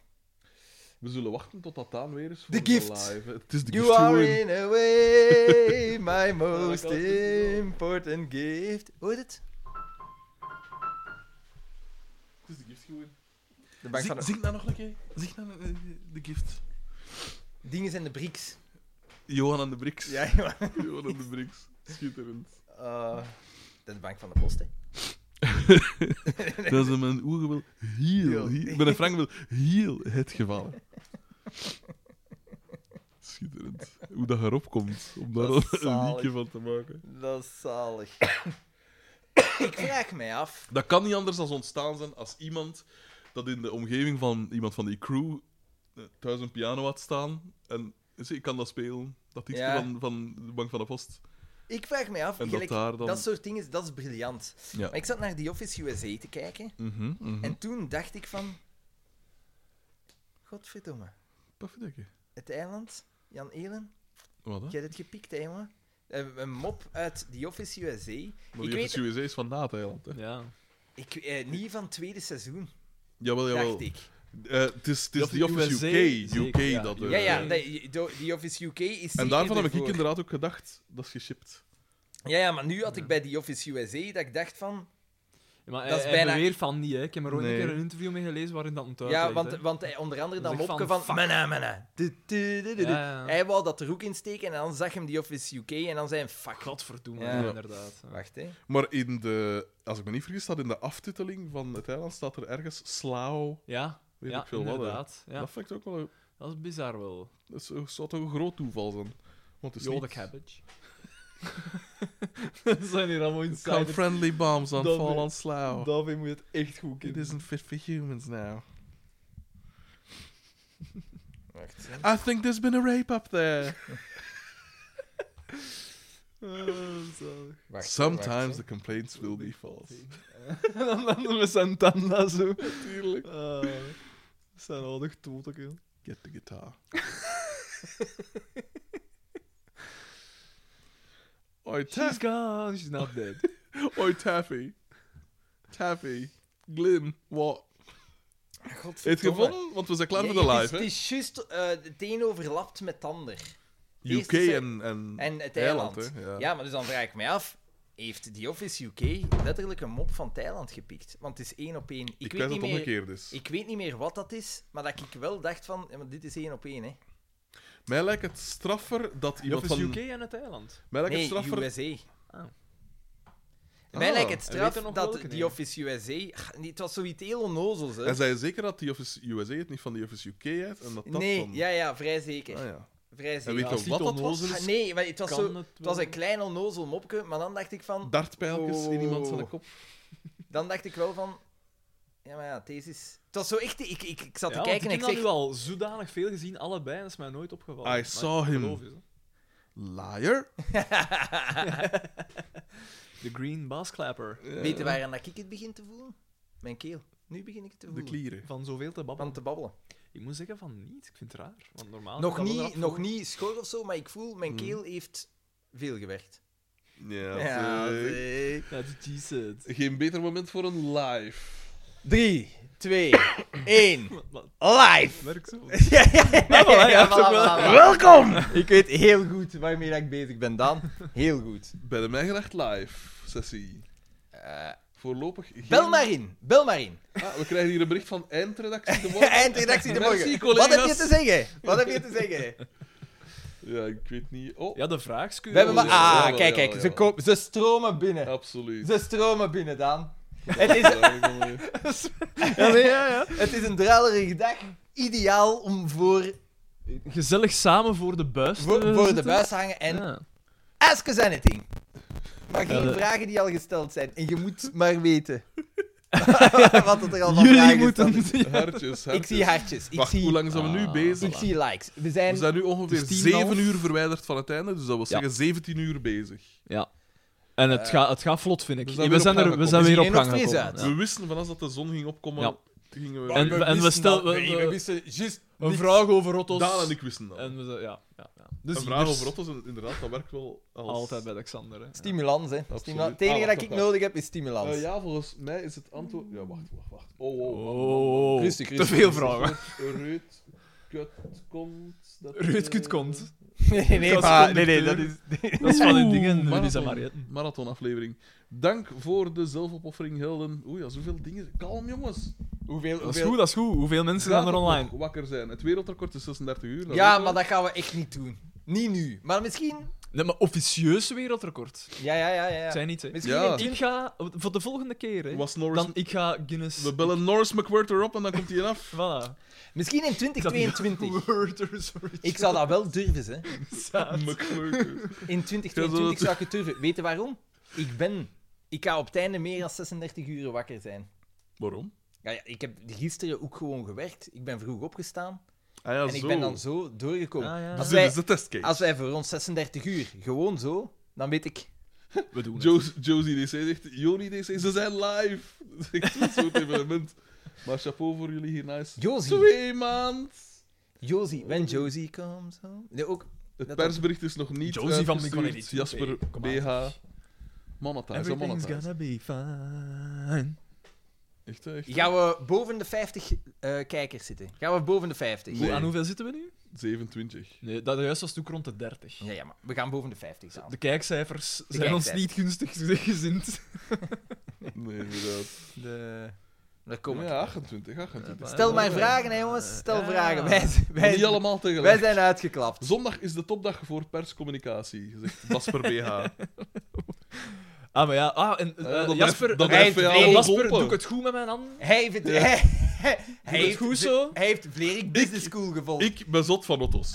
[SPEAKER 1] We zullen wachten tot dat aan weer is voor
[SPEAKER 4] The gift.
[SPEAKER 1] live. Het is de
[SPEAKER 4] You
[SPEAKER 1] gift
[SPEAKER 4] are
[SPEAKER 1] gewoon.
[SPEAKER 4] in a way my most
[SPEAKER 3] kan het doen, hoor.
[SPEAKER 4] important gift. Hoort het?
[SPEAKER 1] Het is de gift gewoon.
[SPEAKER 4] De bank van
[SPEAKER 1] Zing, zing nou nog een keer. Zing nou eh, de gift.
[SPEAKER 4] Dingen zijn de brieks.
[SPEAKER 1] Johan en de Brix.
[SPEAKER 4] Ja, ja.
[SPEAKER 1] Johan en de Brix. Schitterend.
[SPEAKER 4] Eh, dat is de bank van de post, hè.
[SPEAKER 1] Dat is in mijn ogen wel heel,
[SPEAKER 4] Heel.
[SPEAKER 1] heel... Ik ben in Frank wel heel het gevallen. Schitterend. Hoe dat erop komt. Om daar
[SPEAKER 4] Dat is
[SPEAKER 1] een
[SPEAKER 4] zalig.
[SPEAKER 1] liedje van te maken.
[SPEAKER 4] Dat is zalig. ik vraag mij af.
[SPEAKER 1] Dat kan niet anders dan ontstaan zijn als iemand dat in de omgeving van iemand van die crew eh, thuis een piano had staan en zie, ik kan dat spelen. Dat iets
[SPEAKER 4] Ja.
[SPEAKER 1] van, van de bank van de post.
[SPEAKER 4] Ik vraag mij af.
[SPEAKER 1] En
[SPEAKER 4] gelijk,
[SPEAKER 1] dat daar dan.
[SPEAKER 4] dat soort dingen, dat is briljant.
[SPEAKER 1] Ja.
[SPEAKER 4] Maar ik zat naar The Office USA te kijken.
[SPEAKER 1] Mhm, mhm.
[SPEAKER 4] En toen dacht ik van... Godverdomme.
[SPEAKER 1] Pafferdikke.
[SPEAKER 4] Het eiland, Jan Elen.
[SPEAKER 1] Wat hè?
[SPEAKER 4] Jij hebt het gepikt, hè, jongen. Een een mop uit The Office USA.
[SPEAKER 1] Maar
[SPEAKER 4] ik
[SPEAKER 1] die
[SPEAKER 4] weet-
[SPEAKER 1] FSUSA is van na het eiland. Hè?
[SPEAKER 3] Ja.
[SPEAKER 4] Ik, eh, niet van het tweede seizoen,
[SPEAKER 1] Jawel, jawel.
[SPEAKER 4] dacht ik.
[SPEAKER 1] Eh, Het is het is
[SPEAKER 3] Die
[SPEAKER 1] The
[SPEAKER 3] Office
[SPEAKER 1] Office
[SPEAKER 3] USA,
[SPEAKER 1] UK.
[SPEAKER 3] zeker,
[SPEAKER 1] UK
[SPEAKER 3] ja.
[SPEAKER 1] dat, eh,
[SPEAKER 4] Ja, ja,
[SPEAKER 3] Eh,
[SPEAKER 4] nee, do- The Office UK is zeker
[SPEAKER 1] En daarvan heb ik
[SPEAKER 4] ervoor.
[SPEAKER 1] inderdaad ook gedacht, dat is geshipped.
[SPEAKER 4] Ja, ja, maar nu had ik bij The Office USA dat ik dacht van...
[SPEAKER 3] Ja, Maar
[SPEAKER 4] Dat
[SPEAKER 3] dat
[SPEAKER 4] is
[SPEAKER 3] hij,
[SPEAKER 4] bijna-
[SPEAKER 3] beweert van niet, hè. Ik heb er ooit
[SPEAKER 1] Nee.
[SPEAKER 3] een keer een interview mee gelezen waarin dat ontduikt
[SPEAKER 4] Ja,
[SPEAKER 3] werd,
[SPEAKER 4] want,
[SPEAKER 3] hè.
[SPEAKER 4] want hij- onder andere
[SPEAKER 3] Dat
[SPEAKER 4] dat
[SPEAKER 3] is echt
[SPEAKER 4] mopje
[SPEAKER 3] van,
[SPEAKER 4] van... Mana, mana. Du- du- du- du- du.
[SPEAKER 3] Ja, ja.
[SPEAKER 4] Hij wou dat er ook in steken en dan zag hem The Office UK en dan zei hij... Fuck.
[SPEAKER 3] Godverdomme,
[SPEAKER 4] Ja.
[SPEAKER 3] inderdaad. Ja.
[SPEAKER 4] Wacht, hè.
[SPEAKER 1] Maar in de, als ik me niet vergis, staat in de aftiteling van het eiland staat er ergens Slao.
[SPEAKER 3] Ja,
[SPEAKER 1] Weet
[SPEAKER 3] ja,
[SPEAKER 1] ik veel wat, hè.
[SPEAKER 3] inderdaad. Ja.
[SPEAKER 1] Dat vind ik ook wel een
[SPEAKER 3] Dat is bizar wel.
[SPEAKER 1] Dat is- dat zou toch een groot toeval zijn? Want het is
[SPEAKER 3] Yo,
[SPEAKER 1] niet-
[SPEAKER 3] the cabbage. dat zijn hier allemaal
[SPEAKER 1] Come
[SPEAKER 3] insiders.
[SPEAKER 1] friendly bombs on
[SPEAKER 3] Dat
[SPEAKER 1] fall
[SPEAKER 3] we-
[SPEAKER 1] on Slough.
[SPEAKER 3] Davy moet het echt goed
[SPEAKER 1] It
[SPEAKER 3] kennen.
[SPEAKER 1] isn't fit for humans now.
[SPEAKER 4] Wacht, hè.
[SPEAKER 1] I think there's been a rape up there.
[SPEAKER 4] Wacht, hè,
[SPEAKER 1] Sometimes
[SPEAKER 4] wacht,
[SPEAKER 1] the
[SPEAKER 4] hè.
[SPEAKER 1] complaints will be false.
[SPEAKER 3] En dan landen we Santana zo. Natuurlijk. zijn oudig tot
[SPEAKER 1] Get the guitar. Oi,
[SPEAKER 3] She's
[SPEAKER 1] ta-
[SPEAKER 3] gone, she's not dead.
[SPEAKER 1] Oi, Taffy. Taffy. Glim. Wat? Heeft
[SPEAKER 4] Godverdomme.
[SPEAKER 1] gevonden? Want we zijn klaar
[SPEAKER 4] Ja,
[SPEAKER 1] voor de
[SPEAKER 4] het
[SPEAKER 1] live,
[SPEAKER 4] is-
[SPEAKER 1] hè?
[SPEAKER 4] Het is juist... eh, Het een overlapt met het ander.
[SPEAKER 1] UK
[SPEAKER 4] eerste-
[SPEAKER 1] en, en,
[SPEAKER 4] eh, En het
[SPEAKER 1] eiland,
[SPEAKER 4] eiland.
[SPEAKER 1] hè?
[SPEAKER 4] ja.
[SPEAKER 1] Ja.
[SPEAKER 4] maar dus dan vraag ik mij af. Heeft The Office UK letterlijk een mop van Thailand gepikt? Want het is één op één. Ik,
[SPEAKER 1] Ik,
[SPEAKER 4] weet
[SPEAKER 1] weet
[SPEAKER 4] niet
[SPEAKER 1] dat het
[SPEAKER 4] meer,
[SPEAKER 1] omgekeerd is.
[SPEAKER 4] ik weet niet meer wat dat is, maar dat ik wel dacht van, ja, maar dit is één op één, hè.
[SPEAKER 1] Mij lijkt het straffer dat iemand
[SPEAKER 3] Dat is
[SPEAKER 1] van...
[SPEAKER 3] UK en het eiland.
[SPEAKER 1] Mij lijkt
[SPEAKER 4] nee,
[SPEAKER 1] het straffer...
[SPEAKER 4] USA.
[SPEAKER 3] Ah.
[SPEAKER 4] Mij
[SPEAKER 1] Ah.
[SPEAKER 4] lijkt het straf
[SPEAKER 3] Weet je nog
[SPEAKER 4] dat
[SPEAKER 3] welke,
[SPEAKER 4] The
[SPEAKER 3] nee?
[SPEAKER 4] Office USA... Ach, nee, Het was zoiets heel onnozels, hè.
[SPEAKER 1] En zij zeker dat die Office USA het niet van die Office UK heeft? En dat dat
[SPEAKER 4] Nee,
[SPEAKER 1] dan...
[SPEAKER 4] ja, ja, vrij zeker.
[SPEAKER 1] Ah, ja.
[SPEAKER 4] Vrij
[SPEAKER 1] En weet
[SPEAKER 4] zeker.
[SPEAKER 1] je
[SPEAKER 3] als die
[SPEAKER 1] wat dat was?
[SPEAKER 3] onnozel
[SPEAKER 4] Ah, nee, maar het was,
[SPEAKER 3] Kan
[SPEAKER 4] zo,
[SPEAKER 3] het
[SPEAKER 4] het was
[SPEAKER 3] wel.
[SPEAKER 4] een klein onnozel mopje, maar dan dacht ik van...
[SPEAKER 1] Dartpijltjes in iemand zijn
[SPEAKER 4] Oh.
[SPEAKER 1] kop.
[SPEAKER 4] Dan dacht ik wel van... Ja, maar ja, deze is... Het was zo echt... Ik, ik, ik zat
[SPEAKER 3] Ja,
[SPEAKER 4] te
[SPEAKER 3] want
[SPEAKER 4] kijken
[SPEAKER 3] ik
[SPEAKER 4] en ik
[SPEAKER 3] heb dat
[SPEAKER 4] zeg...
[SPEAKER 3] nu al zodanig veel gezien, allebei, en dat is mij nooit opgevallen.
[SPEAKER 1] I
[SPEAKER 3] Maar
[SPEAKER 1] saw
[SPEAKER 3] ik
[SPEAKER 1] him.
[SPEAKER 3] geloof je, zo.
[SPEAKER 1] Liar.
[SPEAKER 3] The Green Bass Clapper.
[SPEAKER 4] Weet je waaraan dat ik het begin te voelen? Mijn keel. Nu begin ik het te
[SPEAKER 1] De
[SPEAKER 4] voelen.
[SPEAKER 1] klieren.
[SPEAKER 3] Van zoveel te babbelen.
[SPEAKER 4] Van te babbelen.
[SPEAKER 3] Ik moet zeggen van niet, ik vind het raar. Want normaal Ah,
[SPEAKER 4] nog
[SPEAKER 3] dat wel
[SPEAKER 4] niet,
[SPEAKER 3] eraf
[SPEAKER 4] nog
[SPEAKER 3] voor.
[SPEAKER 4] niet schor of zo, maar ik voel, mijn
[SPEAKER 1] Hmm.
[SPEAKER 4] keel heeft veel gewerkt.
[SPEAKER 1] Ja,
[SPEAKER 4] Ja,
[SPEAKER 1] zeg.
[SPEAKER 4] zeg.
[SPEAKER 3] Ja, die G-set.
[SPEAKER 1] Geen beter moment voor een live.
[SPEAKER 4] 3, 2, 1. Live!
[SPEAKER 16] Merk zo.
[SPEAKER 4] Ja, ja, ja,
[SPEAKER 3] Ah,
[SPEAKER 4] ja,
[SPEAKER 16] voilà, ja,
[SPEAKER 4] voilà,
[SPEAKER 16] toch wel.
[SPEAKER 4] voilà. Welkom! Ik weet heel goed waarmee dat ik bezig ben, Daan. Heel goed.
[SPEAKER 1] Bij de Mijgerecht Live sessie.
[SPEAKER 4] Eh,
[SPEAKER 1] Voorlopig. Geen...
[SPEAKER 4] bel maar in, bel maar in.
[SPEAKER 1] Ah, we krijgen hier een bericht van eindredactie de morgen.
[SPEAKER 4] Eindredactie de
[SPEAKER 1] Merci,
[SPEAKER 4] morgen. Wat
[SPEAKER 1] collega's.
[SPEAKER 4] heb je te zeggen? Wat heb je te zeggen?
[SPEAKER 1] Ja, ik weet niet. Oh,
[SPEAKER 3] Ja, de vraag
[SPEAKER 4] We hebben maar...
[SPEAKER 1] ja, ja,
[SPEAKER 4] Ah,
[SPEAKER 1] ja,
[SPEAKER 4] kijk,
[SPEAKER 1] ja,
[SPEAKER 4] kijk. Ze,
[SPEAKER 1] ja.
[SPEAKER 4] kopen, ze stromen binnen.
[SPEAKER 1] absoluut.
[SPEAKER 4] Ze stromen binnen, Daan. Het is,
[SPEAKER 16] Ja, nee, ja, ja.
[SPEAKER 4] het is een druilerige dag. Ideaal om voor,
[SPEAKER 3] Gezellig samen voor de buis.
[SPEAKER 4] ah. voor, voor de buis te hangen en
[SPEAKER 3] Ja.
[SPEAKER 4] ask us anything. Maar geen
[SPEAKER 3] Ja, de-
[SPEAKER 4] vragen die al gesteld zijn. En je moet maar weten wat het er allemaal
[SPEAKER 16] Jullie
[SPEAKER 4] vragen gesteld
[SPEAKER 16] moeten...
[SPEAKER 4] is.
[SPEAKER 1] Hartjes, hartjes.
[SPEAKER 4] Ik zie hartjes. Ik,
[SPEAKER 1] Wacht,
[SPEAKER 4] zie,
[SPEAKER 1] hoe lang zijn we nu
[SPEAKER 3] Ah,
[SPEAKER 1] bezig?
[SPEAKER 4] ik zie likes. We zijn...
[SPEAKER 1] We zijn nu ongeveer
[SPEAKER 3] Dus
[SPEAKER 16] Het is tien,
[SPEAKER 1] 7
[SPEAKER 16] half.
[SPEAKER 1] uur verwijderd van het einde, dus dat wil
[SPEAKER 16] Ja.
[SPEAKER 1] zeggen 17 uur bezig.
[SPEAKER 3] En het, gaat, het gaat vlot, vind ik.
[SPEAKER 1] we
[SPEAKER 3] Eh, We
[SPEAKER 1] zijn weer
[SPEAKER 3] zijn,
[SPEAKER 1] op gang gekomen.
[SPEAKER 3] er, we zijn
[SPEAKER 4] Dus
[SPEAKER 3] weer op
[SPEAKER 4] iedereen
[SPEAKER 3] gang
[SPEAKER 4] nog fris
[SPEAKER 3] gekomen.
[SPEAKER 4] uit.
[SPEAKER 3] ja.
[SPEAKER 1] We wisten van als dat de zon ging opkomen,
[SPEAKER 3] Ja.
[SPEAKER 1] gingen we.
[SPEAKER 3] En-
[SPEAKER 4] we
[SPEAKER 3] en we
[SPEAKER 4] wisten
[SPEAKER 3] stel-
[SPEAKER 4] dat.
[SPEAKER 3] we-
[SPEAKER 4] Nee,
[SPEAKER 3] we-
[SPEAKER 4] we wisten juist
[SPEAKER 3] Een
[SPEAKER 4] niks.
[SPEAKER 3] vraag over rotos.
[SPEAKER 1] Daan en ik wisten dat.
[SPEAKER 3] En we ze- ja, ja, ja. Dus
[SPEAKER 1] een vraag over Otto's, en inderdaad, dat werkt wel als...
[SPEAKER 3] Altijd bij Alexander. Hè.
[SPEAKER 4] Stimulans, hè.
[SPEAKER 1] Absoluut.
[SPEAKER 4] Stimulans. Het enige
[SPEAKER 1] Ah,
[SPEAKER 4] dat
[SPEAKER 1] wacht,
[SPEAKER 4] ik
[SPEAKER 1] wacht,
[SPEAKER 4] nodig heb, is stimulans.
[SPEAKER 1] Eh, ja, volgens mij is het antwoord... Ja, wacht, wacht, wacht. Oh, oh, oh.
[SPEAKER 3] Oh,
[SPEAKER 4] Rustig,
[SPEAKER 3] te
[SPEAKER 4] rustig.
[SPEAKER 3] veel vragen.
[SPEAKER 1] Ruud Kut komt... dat,
[SPEAKER 3] Ruud
[SPEAKER 1] eh,
[SPEAKER 3] Kut komt.
[SPEAKER 4] Nee, nee, maar, Ah, nee, nee, dat is...
[SPEAKER 3] Dat is van die dingen, Marisa
[SPEAKER 1] Marathon,
[SPEAKER 3] Marietten.
[SPEAKER 1] marathonaflevering. Dank voor de zelfopoffering, helden. Oei, ja, zoveel dingen. Kalm, jongens.
[SPEAKER 4] Hoeveel,
[SPEAKER 3] Dat is
[SPEAKER 4] hoeveel...
[SPEAKER 3] goed, dat is goed. Hoeveel mensen gaan er
[SPEAKER 1] Laat
[SPEAKER 3] online?
[SPEAKER 1] nog wakker zijn. Het wereldrecord is 36 uur. dat
[SPEAKER 4] Ja,
[SPEAKER 1] weten
[SPEAKER 4] maar
[SPEAKER 1] we.
[SPEAKER 4] dat gaan we echt niet doen. Niet nu. Maar misschien...
[SPEAKER 3] Nee, maar officieus wereldrecord. Ik
[SPEAKER 4] Ja, ja, ja, ja. ja.
[SPEAKER 3] zei niet, hè.
[SPEAKER 4] Misschien
[SPEAKER 1] Ja.
[SPEAKER 4] een
[SPEAKER 3] Ik ga, voor de volgende keer, hè.
[SPEAKER 1] Was Norris...
[SPEAKER 3] Dan, ik ga Guinness...
[SPEAKER 1] We bellen Norris McWhirter erop en dan komt hij af.
[SPEAKER 3] Voilà.
[SPEAKER 4] Misschien in 2022.
[SPEAKER 3] Worder, sorry.
[SPEAKER 4] Ik zou dat wel durven, hè.
[SPEAKER 3] Zaad.
[SPEAKER 1] McWhirter. Ja,
[SPEAKER 4] In
[SPEAKER 1] dat-
[SPEAKER 4] 2022 zou ik het durven. Weet je waarom? Ik ben... Ik ga op het einde meer dan 36 uur wakker zijn.
[SPEAKER 1] Waarom?
[SPEAKER 4] Ja, ja, ik heb gisteren ook gewoon gewerkt. Ik ben vroeg opgestaan.
[SPEAKER 1] Ah ja,
[SPEAKER 4] en ik
[SPEAKER 1] zo.
[SPEAKER 4] ben dan zo doorgekomen.
[SPEAKER 3] Ah, ja.
[SPEAKER 1] Dus
[SPEAKER 4] Als,
[SPEAKER 1] dit
[SPEAKER 4] wij,
[SPEAKER 1] is de testcase.
[SPEAKER 4] als wij voor ons 36 uur gewoon zo, dan weet ik...
[SPEAKER 3] We doen het.
[SPEAKER 1] Jos- Josie DC zegt, Joni DC, ze zijn live. Dat is echt een soort evenement. Maar chapeau voor jullie hier, nice.
[SPEAKER 4] Josie,
[SPEAKER 1] Twee maand.
[SPEAKER 4] Josie, when Josie comes home. Nee, ook...
[SPEAKER 1] Het
[SPEAKER 4] Dat-
[SPEAKER 1] persbericht is nog niet
[SPEAKER 3] Josie van
[SPEAKER 1] uitgestuurd.
[SPEAKER 3] Big Money.
[SPEAKER 1] Jasper
[SPEAKER 3] Hey, kom aan.
[SPEAKER 1] BH. Monetize, oh,
[SPEAKER 3] Everything's
[SPEAKER 1] monetize.
[SPEAKER 3] gonna be fine.
[SPEAKER 1] Echt, hè, echt.
[SPEAKER 4] Gaan we boven de 50 eh, kijkers zitten? Gaan we boven de 50?
[SPEAKER 1] Nee.
[SPEAKER 3] Aan hoeveel zitten we nu?
[SPEAKER 1] 27.
[SPEAKER 3] Nee, dat juist was toen rond de 30.
[SPEAKER 4] Ja, ja, maar we gaan boven de 50 staan.
[SPEAKER 3] De kijkcijfers zijn ons
[SPEAKER 4] kijkcijfers.
[SPEAKER 3] niet gunstig gezind.
[SPEAKER 1] Nee, inderdaad.
[SPEAKER 4] De... Daar komen we.
[SPEAKER 1] ja, 28, 28.
[SPEAKER 3] Ja,
[SPEAKER 4] Stel maar
[SPEAKER 3] Eh,
[SPEAKER 4] vragen, hè, jongens. Stel
[SPEAKER 3] ja.
[SPEAKER 4] vragen. Wij,
[SPEAKER 1] Maar
[SPEAKER 4] wij,
[SPEAKER 1] Niet allemaal
[SPEAKER 4] wij
[SPEAKER 1] tegelijk.
[SPEAKER 4] zijn uitgeklapt.
[SPEAKER 1] Zondag is de topdag voor perscommunicatie, zegt Jasper BH.
[SPEAKER 3] Ah, maar ja. Ah, en eh,
[SPEAKER 1] Ja, dat
[SPEAKER 3] Jasper,
[SPEAKER 1] blijft- dat
[SPEAKER 4] blijft
[SPEAKER 3] eh,
[SPEAKER 4] bij jou
[SPEAKER 3] Jasper,
[SPEAKER 1] open.
[SPEAKER 3] doe ik het goed met mijn handen?
[SPEAKER 4] Hij heeft,
[SPEAKER 1] Ja.
[SPEAKER 4] hij, hij
[SPEAKER 3] Doe ik
[SPEAKER 4] heeft
[SPEAKER 3] het goed zo?
[SPEAKER 4] Hij heeft Vlerik Business School gevolgd.
[SPEAKER 1] Ik ben zot van Otto's.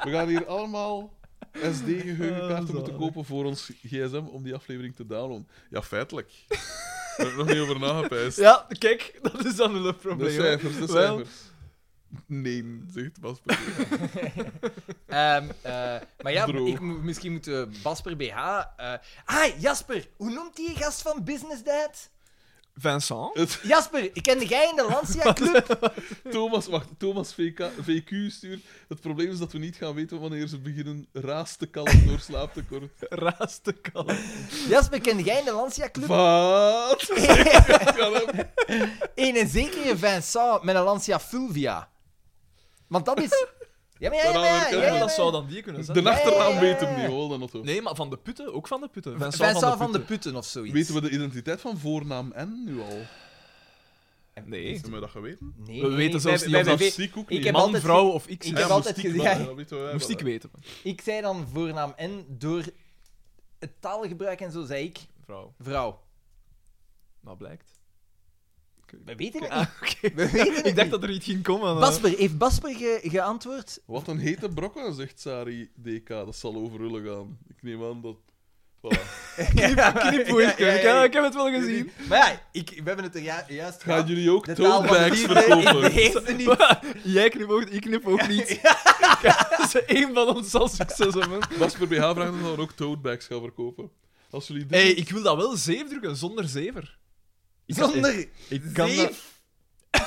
[SPEAKER 1] We gaan hier allemaal SD-geheugenkaarten
[SPEAKER 3] Ah,
[SPEAKER 1] moeten
[SPEAKER 3] zalig.
[SPEAKER 1] kopen voor ons gsm om die aflevering te downloaden. Ja, feitelijk. Daar heb ik nog niet over nagepijst.
[SPEAKER 3] Ja, kijk, dat is dan een
[SPEAKER 1] de
[SPEAKER 3] probleem. hè.
[SPEAKER 1] cijfers, de
[SPEAKER 3] Wel.
[SPEAKER 1] cijfers. Nee, zegt Jasper.
[SPEAKER 4] Ehm, eh, maar ja,
[SPEAKER 1] Droog.
[SPEAKER 4] ik, moet- misschien moeten we Basper BH... eh, Ah, Jasper! Hoe noemt die gast van Business Dad?
[SPEAKER 3] Vincent?
[SPEAKER 1] Het-
[SPEAKER 4] Jasper, ik kende jij in de Lancia Club?
[SPEAKER 1] Thomas, wacht, Thomas VK, VQ stuurt. Het probleem is dat we niet gaan weten wanneer ze beginnen raas te kallen door slaaptekort.
[SPEAKER 3] Raast de kalm.
[SPEAKER 4] Jasper, kende jij in de Lancia Club?
[SPEAKER 1] Wat? Ik kan hem.
[SPEAKER 4] Een en zekere Vincent met een Lancia Fulvia. Want dat is... Ja, maar ja, ja, maar ja, ja,
[SPEAKER 1] Ja,
[SPEAKER 4] ja,
[SPEAKER 3] maar
[SPEAKER 4] ja.
[SPEAKER 3] dat zou dan die kunnen zijn.
[SPEAKER 1] De achternaam
[SPEAKER 4] ja,
[SPEAKER 1] weet hem
[SPEAKER 4] ja.
[SPEAKER 1] niet, hoor, dan Otto.
[SPEAKER 3] Nee, maar van de putten, ook van de putten. Vincent,
[SPEAKER 4] Vincent van,
[SPEAKER 3] van
[SPEAKER 4] de
[SPEAKER 3] putten.
[SPEAKER 4] Putten of zoiets.
[SPEAKER 1] Weten we de identiteit van voornaam en nu al?
[SPEAKER 3] Nee.
[SPEAKER 1] Hebben we dat geweten?
[SPEAKER 4] Nee,
[SPEAKER 3] We
[SPEAKER 4] nee,
[SPEAKER 3] weten
[SPEAKER 4] nee,
[SPEAKER 3] zelfs
[SPEAKER 4] wij-
[SPEAKER 3] niet
[SPEAKER 4] wij-
[SPEAKER 3] of dat
[SPEAKER 4] wij-
[SPEAKER 1] Ziek ook
[SPEAKER 4] ik
[SPEAKER 1] niet.
[SPEAKER 4] heb
[SPEAKER 3] Man,
[SPEAKER 4] altijd
[SPEAKER 3] vrouw of X.
[SPEAKER 4] ik
[SPEAKER 3] is-
[SPEAKER 4] heb
[SPEAKER 1] Ja,
[SPEAKER 4] altijd
[SPEAKER 1] moest ik
[SPEAKER 4] gezegd-
[SPEAKER 1] wel, dat weten wij
[SPEAKER 3] Moest
[SPEAKER 1] wel,
[SPEAKER 3] ik
[SPEAKER 1] hè.
[SPEAKER 3] weten.
[SPEAKER 4] Ik zei dan voornaam en door het taalgebruik en zo zei ik
[SPEAKER 3] Vrouw,
[SPEAKER 4] vrouw.
[SPEAKER 3] nou blijkt.
[SPEAKER 4] We weten het niet.
[SPEAKER 3] Ah, oké.
[SPEAKER 4] We weten het
[SPEAKER 3] Ik dacht
[SPEAKER 4] niet.
[SPEAKER 3] dat er iets ging komen. maar-
[SPEAKER 4] Basper, heeft Basper ge- geantwoord?
[SPEAKER 1] Wat een hete brokken, zegt Sari DK. Dat zal overhullen gaan. Ik neem aan dat. Voilà.
[SPEAKER 3] Knipwoordje.
[SPEAKER 4] Ja, ja,
[SPEAKER 3] Ik,
[SPEAKER 4] ja.
[SPEAKER 3] heb- ik heb het wel gezien.
[SPEAKER 4] Maar ja, ik, we hebben het er ju- juist
[SPEAKER 1] Gaan
[SPEAKER 4] gehad.
[SPEAKER 1] jullie ook
[SPEAKER 4] De taal van de
[SPEAKER 1] totebags
[SPEAKER 4] liefde, ik
[SPEAKER 1] verkopen?
[SPEAKER 4] weet het niet.
[SPEAKER 3] Jij knipoogt, ik knipoog niet. Ze één van ons zal succes hebben.
[SPEAKER 1] Jasper BH vraagt of we dan ook totebags gaan verkopen. Als jullie dit
[SPEAKER 3] Hé, ik wil dat wel zeef drukken, zonder zever. Ik kan-
[SPEAKER 4] Zonder
[SPEAKER 3] Ik kan
[SPEAKER 4] zeef.
[SPEAKER 3] dat...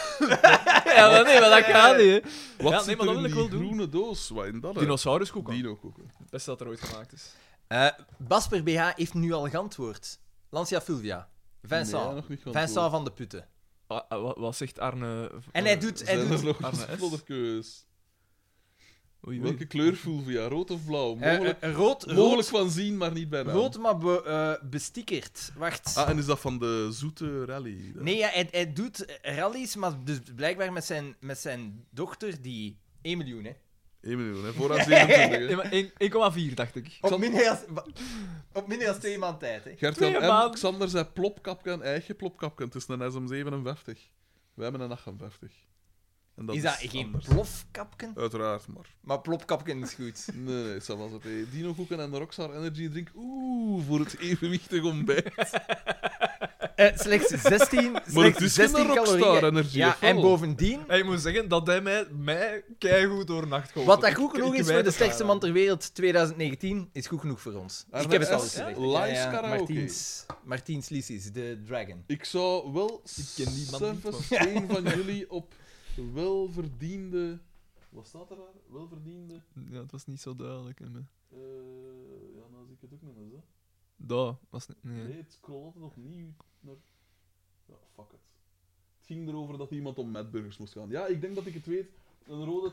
[SPEAKER 3] Ja, maar nee, maar dat gaat niet. hè.
[SPEAKER 1] Wat
[SPEAKER 3] Ja,
[SPEAKER 1] zit
[SPEAKER 3] nee, maar
[SPEAKER 1] er in
[SPEAKER 3] dat wil ik
[SPEAKER 1] die
[SPEAKER 3] wel doen.
[SPEAKER 1] groene doos? Wat in dat? hè?
[SPEAKER 3] Dinosauruskoek. Dino.
[SPEAKER 1] Dino-koeken.
[SPEAKER 3] Best dat er ooit gemaakt is.
[SPEAKER 4] Eh, Basper BH heeft nu al geantwoord. Lancia Fulvia. Vincent.
[SPEAKER 1] nog niet geantwoord.
[SPEAKER 4] Vincent van de Putten.
[SPEAKER 3] Ah, ah, wat, wat zegt Arne?
[SPEAKER 4] En hij doet... Hij
[SPEAKER 1] Zijn
[SPEAKER 4] doet
[SPEAKER 1] er nog
[SPEAKER 3] Arne S.
[SPEAKER 1] slodderkeus?
[SPEAKER 3] Oei, oei.
[SPEAKER 1] Welke kleur voel je? Ja, rood of blauw?
[SPEAKER 4] eh, eh,
[SPEAKER 1] Mogelijk,
[SPEAKER 4] rood,
[SPEAKER 1] mogelijk
[SPEAKER 4] rood,
[SPEAKER 1] van zien, maar niet bijna.
[SPEAKER 4] rood, maar be- eh, bestickerd. Wacht.
[SPEAKER 1] Ah, en is dat van de zoete rally? Dat-
[SPEAKER 4] Nee, ja, hij, hij doet rallies, maar dus blijkbaar met zijn, met zijn dochter, die 1 miljoen, hè.
[SPEAKER 1] Eén minuut, hè. Vooraan 27.
[SPEAKER 3] Nee,
[SPEAKER 1] hè.
[SPEAKER 3] maar één- 1,4 dacht ik.
[SPEAKER 4] Op minder als, op minder als twee maand tijd, hè.
[SPEAKER 1] Gert-Jan
[SPEAKER 3] Twee
[SPEAKER 1] M.
[SPEAKER 3] maanden.
[SPEAKER 1] Xander zei plopkapken, eigen plopkapken. Het is een SM57. Wij hebben een 58. En
[SPEAKER 4] is dat geen
[SPEAKER 1] anders.
[SPEAKER 4] plofkapken?
[SPEAKER 1] Uiteraard, maar...
[SPEAKER 4] Maar plopkapken is goed.
[SPEAKER 1] Nee, nee, ça was het. hè. Dino koeken en de Rockstar Energy drink. Oeh, voor het evenwichtig ontbijt.
[SPEAKER 4] Eh, slechts 16,
[SPEAKER 1] Maar het
[SPEAKER 4] slechts
[SPEAKER 1] is
[SPEAKER 4] 16
[SPEAKER 1] geen Rockstar
[SPEAKER 4] calorieën.
[SPEAKER 1] Energy,
[SPEAKER 4] Ja,
[SPEAKER 1] of wel?
[SPEAKER 4] en bovendien,
[SPEAKER 3] En ik moet zeggen dat hij mij, mij keigoed door nacht geholpen
[SPEAKER 4] wat dat
[SPEAKER 3] Ik-
[SPEAKER 4] goed
[SPEAKER 3] ik
[SPEAKER 4] genoeg is
[SPEAKER 3] wijd
[SPEAKER 4] voor de
[SPEAKER 3] het
[SPEAKER 4] sterkste
[SPEAKER 3] aan.
[SPEAKER 4] man ter wereld 2019, is goed genoeg voor ons. Ik heb het al
[SPEAKER 1] RS,
[SPEAKER 4] eens gezegd.
[SPEAKER 1] Lies
[SPEAKER 4] Ja, ja,
[SPEAKER 1] karaoke.
[SPEAKER 4] Martiens, Martiens Lissis, de dragon.
[SPEAKER 1] Ik zou wel
[SPEAKER 3] Ik ken die man niet,
[SPEAKER 1] zelfs een van jullie op welverdiende... Wat staat er daar? Welverdiende...
[SPEAKER 3] Ja, het was niet zo duidelijk. hè, maar-
[SPEAKER 1] eh ja, nou zie ik het ook nog eens, hè.
[SPEAKER 3] Dat was niet... Nee.
[SPEAKER 1] Nee, het scroll altijd opnieuw naar... Ja, fuck it. Het ging erover dat iemand om Madburgers moest gaan. Ja, ik denk dat ik het weet. Een rode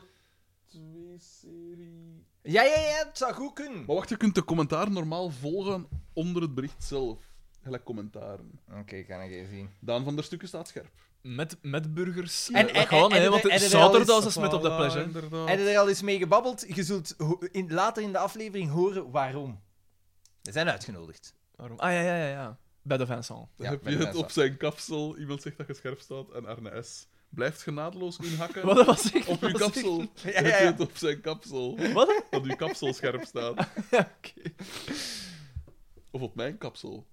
[SPEAKER 1] 2-serie...
[SPEAKER 4] Ja, ja, ja, het zou goed kunnen.
[SPEAKER 1] Maar wacht, je kunt de commentaar normaal volgen onder het bericht zelf. Gelijk commentaren.
[SPEAKER 4] Oké, ik ga nog even zien.
[SPEAKER 1] Daan van der Stukken staat scherp.
[SPEAKER 3] Met, met burgers.
[SPEAKER 4] En-
[SPEAKER 3] En,
[SPEAKER 4] en-
[SPEAKER 3] gewoon,
[SPEAKER 4] en-
[SPEAKER 3] hè,
[SPEAKER 4] en-
[SPEAKER 3] want
[SPEAKER 4] en-
[SPEAKER 3] het
[SPEAKER 4] en-
[SPEAKER 3] zaterdag
[SPEAKER 4] en-
[SPEAKER 3] is met op de plage. hè.
[SPEAKER 4] Heb je er al eens mee gebabbeld? Je zult ho- in, later in de aflevering horen waarom. We zijn uitgenodigd.
[SPEAKER 3] Waarom? Ah ja, ja, ja, ja. Bij de Vincent.
[SPEAKER 1] Dan
[SPEAKER 4] Ja,
[SPEAKER 1] heb
[SPEAKER 4] met
[SPEAKER 1] je
[SPEAKER 4] de
[SPEAKER 1] het
[SPEAKER 4] mes
[SPEAKER 1] op zijn kapsel. Iemand zegt dat je scherp staat. En Arne S. blijft genadeloos inhakken
[SPEAKER 3] Wat was ik?
[SPEAKER 1] op
[SPEAKER 3] Wat
[SPEAKER 1] uw
[SPEAKER 3] was ik?
[SPEAKER 1] kapsel.
[SPEAKER 4] Ja,
[SPEAKER 1] Heb je
[SPEAKER 4] ja, ja.
[SPEAKER 1] het op zijn kapsel.
[SPEAKER 3] Wat?
[SPEAKER 1] Dat uw kapsel scherp staat.
[SPEAKER 3] Oké.
[SPEAKER 1] Of op mijn kapsel.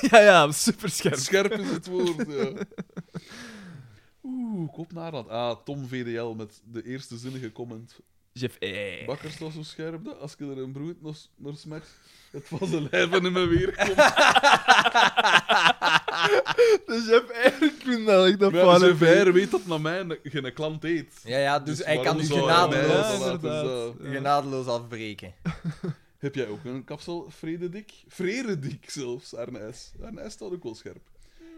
[SPEAKER 3] Ja, ja, super scherp.
[SPEAKER 1] Scherp is het woord, ja. Oeh, kop naar dat. Ah, Tom VDL met de eerste zinnige comment.
[SPEAKER 3] Jeff, eh.
[SPEAKER 1] Bakker staat zo scherp, dat als je er een brood nog naar smakt, het van zijn lijven in mijn weer komt.
[SPEAKER 3] Dus Jeff, eh, ik vind dat ik dat
[SPEAKER 1] Maar
[SPEAKER 3] van
[SPEAKER 1] zijn ver weet dat naar mij geen klant eet.
[SPEAKER 4] Ja, ja, dus, hij kan
[SPEAKER 1] waarom
[SPEAKER 4] u
[SPEAKER 1] zou hij
[SPEAKER 3] Ja,
[SPEAKER 1] mij
[SPEAKER 4] genadeloos,
[SPEAKER 1] dat laten,
[SPEAKER 3] inderdaad.
[SPEAKER 1] zo?
[SPEAKER 3] Ja.
[SPEAKER 4] genadeloos afbreken.
[SPEAKER 1] Heb jij ook een kapsel, Frededik? Freredik zelfs, Arne S. Arne S staat ook wel scherp.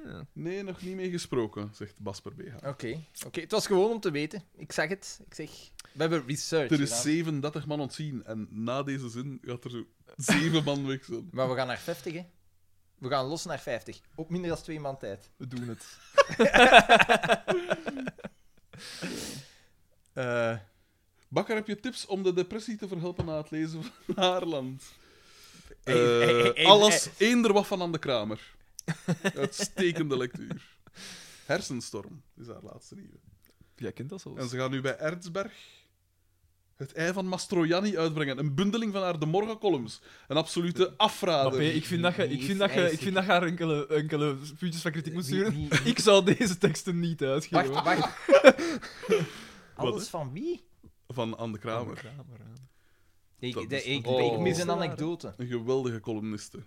[SPEAKER 3] Ja.
[SPEAKER 1] Nee, nog niet mee gesproken, zegt Basper BH.
[SPEAKER 4] Oké, oké. het was gewoon om te weten. Ik zeg het. Ik zeg... We hebben research
[SPEAKER 1] Er is
[SPEAKER 4] gedaan.
[SPEAKER 1] 37 man ontzien en na deze zin gaat er zo 7 man weg zijn.
[SPEAKER 4] Maar we gaan naar 50, hè. We gaan los naar 50. Op minder dan twee maand tijd.
[SPEAKER 3] We doen het.
[SPEAKER 4] Eh,
[SPEAKER 1] Bakker, heb je tips om de depressie te verhelpen na het lezen van Haarland? Eh,
[SPEAKER 4] Hey, hey, hey, hey,
[SPEAKER 1] alles eender wat van aan de kramer. Uitstekende lectuur. Hersenstorm is haar laatste nieuwe.
[SPEAKER 3] Jij kent dat zelfs.
[SPEAKER 1] En ze gaan nu bij Erzberg het ei van Mastroianni uitbrengen. Een bundeling van haar De Morgencolumns. Een absolute
[SPEAKER 3] Maar P,
[SPEAKER 1] afrader.
[SPEAKER 3] ik vind dat je, ik vind dat je, ik vind dat je haar enkele, enkele puntjes van kritiek moet
[SPEAKER 4] Wie-
[SPEAKER 3] sturen.
[SPEAKER 4] wie-
[SPEAKER 3] Ik zou deze teksten niet uitgeven.
[SPEAKER 4] wacht, wacht. Alles van wie?
[SPEAKER 1] Van Anne de Kramer.
[SPEAKER 4] Ik,
[SPEAKER 1] Dat
[SPEAKER 4] de-
[SPEAKER 1] is-
[SPEAKER 4] ik,
[SPEAKER 1] Oh.
[SPEAKER 4] ik mis een anekdote.
[SPEAKER 1] Een geweldige columniste.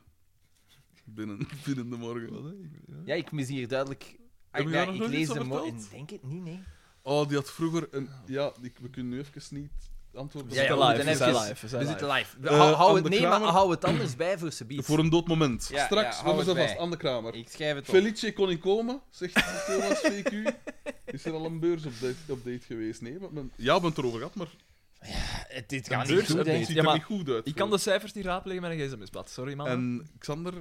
[SPEAKER 1] Binnen, binnen de morgen.
[SPEAKER 4] Ja, ik mis hier duidelijk...
[SPEAKER 1] Heb je daar
[SPEAKER 4] Ah, ja,
[SPEAKER 1] nog
[SPEAKER 4] ik
[SPEAKER 1] nooit
[SPEAKER 4] lees
[SPEAKER 1] iets
[SPEAKER 4] de
[SPEAKER 1] aan
[SPEAKER 4] mo-
[SPEAKER 1] verteld?
[SPEAKER 4] Ik Denk het niet, nee.
[SPEAKER 1] Oh, die had vroeger een... Ja, ik- we kunnen nu even niet antwoorden.
[SPEAKER 4] Ja, ja,
[SPEAKER 3] Zitten
[SPEAKER 4] we
[SPEAKER 3] live,
[SPEAKER 4] moeten
[SPEAKER 3] we zijn
[SPEAKER 4] even-
[SPEAKER 3] live. we zijn
[SPEAKER 4] We zitten
[SPEAKER 3] live.
[SPEAKER 4] live.
[SPEAKER 1] Eh,
[SPEAKER 4] hou, hou
[SPEAKER 1] Anne
[SPEAKER 4] het,
[SPEAKER 1] de
[SPEAKER 4] nee,
[SPEAKER 1] Kramer-
[SPEAKER 4] maar hou het anders bij voor Sebiet.
[SPEAKER 1] Voor een dood moment.
[SPEAKER 4] Ja,
[SPEAKER 1] Straks,
[SPEAKER 4] ja,
[SPEAKER 1] we hebben
[SPEAKER 4] hou
[SPEAKER 1] ze
[SPEAKER 4] het
[SPEAKER 1] vast.
[SPEAKER 4] bij.
[SPEAKER 1] Anne Kramer.
[SPEAKER 4] Ik schrijf het op.
[SPEAKER 1] Felice kon niet komen, zegt Thomas VQ. Is er al een beursupdate update geweest? Nee, want men... ja, we hebben het erover gehad, maar
[SPEAKER 4] Eh, Dit
[SPEAKER 3] Een
[SPEAKER 4] gaat niet
[SPEAKER 3] beurs-
[SPEAKER 4] goed,
[SPEAKER 1] het
[SPEAKER 4] hè.
[SPEAKER 3] update.
[SPEAKER 1] ziet
[SPEAKER 3] Ja,
[SPEAKER 1] er
[SPEAKER 3] maar
[SPEAKER 1] niet goed uit.
[SPEAKER 3] Ik kan de cijfers niet raadplegen met een gsm-blad. Sorry, man.
[SPEAKER 1] En Xander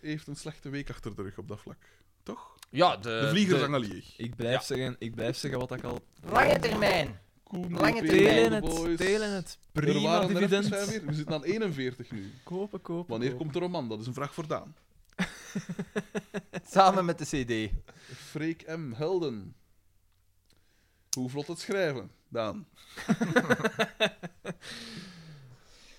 [SPEAKER 1] heeft een slechte week achter de rug op dat vlak. Toch?
[SPEAKER 4] Ja, de...
[SPEAKER 1] Eh, De vliegers
[SPEAKER 4] de-
[SPEAKER 1] hangen leeg.
[SPEAKER 3] Ik blijf, zeggen, ik blijf zeggen wat ik al...
[SPEAKER 4] Lange termijn.
[SPEAKER 1] Koen,
[SPEAKER 4] Lange
[SPEAKER 1] P,
[SPEAKER 4] termijn.
[SPEAKER 1] de
[SPEAKER 3] Telen
[SPEAKER 1] boys.
[SPEAKER 3] het, telen het.
[SPEAKER 1] Er
[SPEAKER 3] Prima
[SPEAKER 1] waren er even
[SPEAKER 3] dividend.
[SPEAKER 1] zijn weer. We zitten aan 41 nu.
[SPEAKER 3] Kopen, kopen.
[SPEAKER 1] Wanneer
[SPEAKER 3] kopen.
[SPEAKER 1] komt de roman? Dat is een vraag voor Daan.
[SPEAKER 4] Samen met de CD.
[SPEAKER 1] Freek M. Helden. Hoe vlot het schrijven, Daan?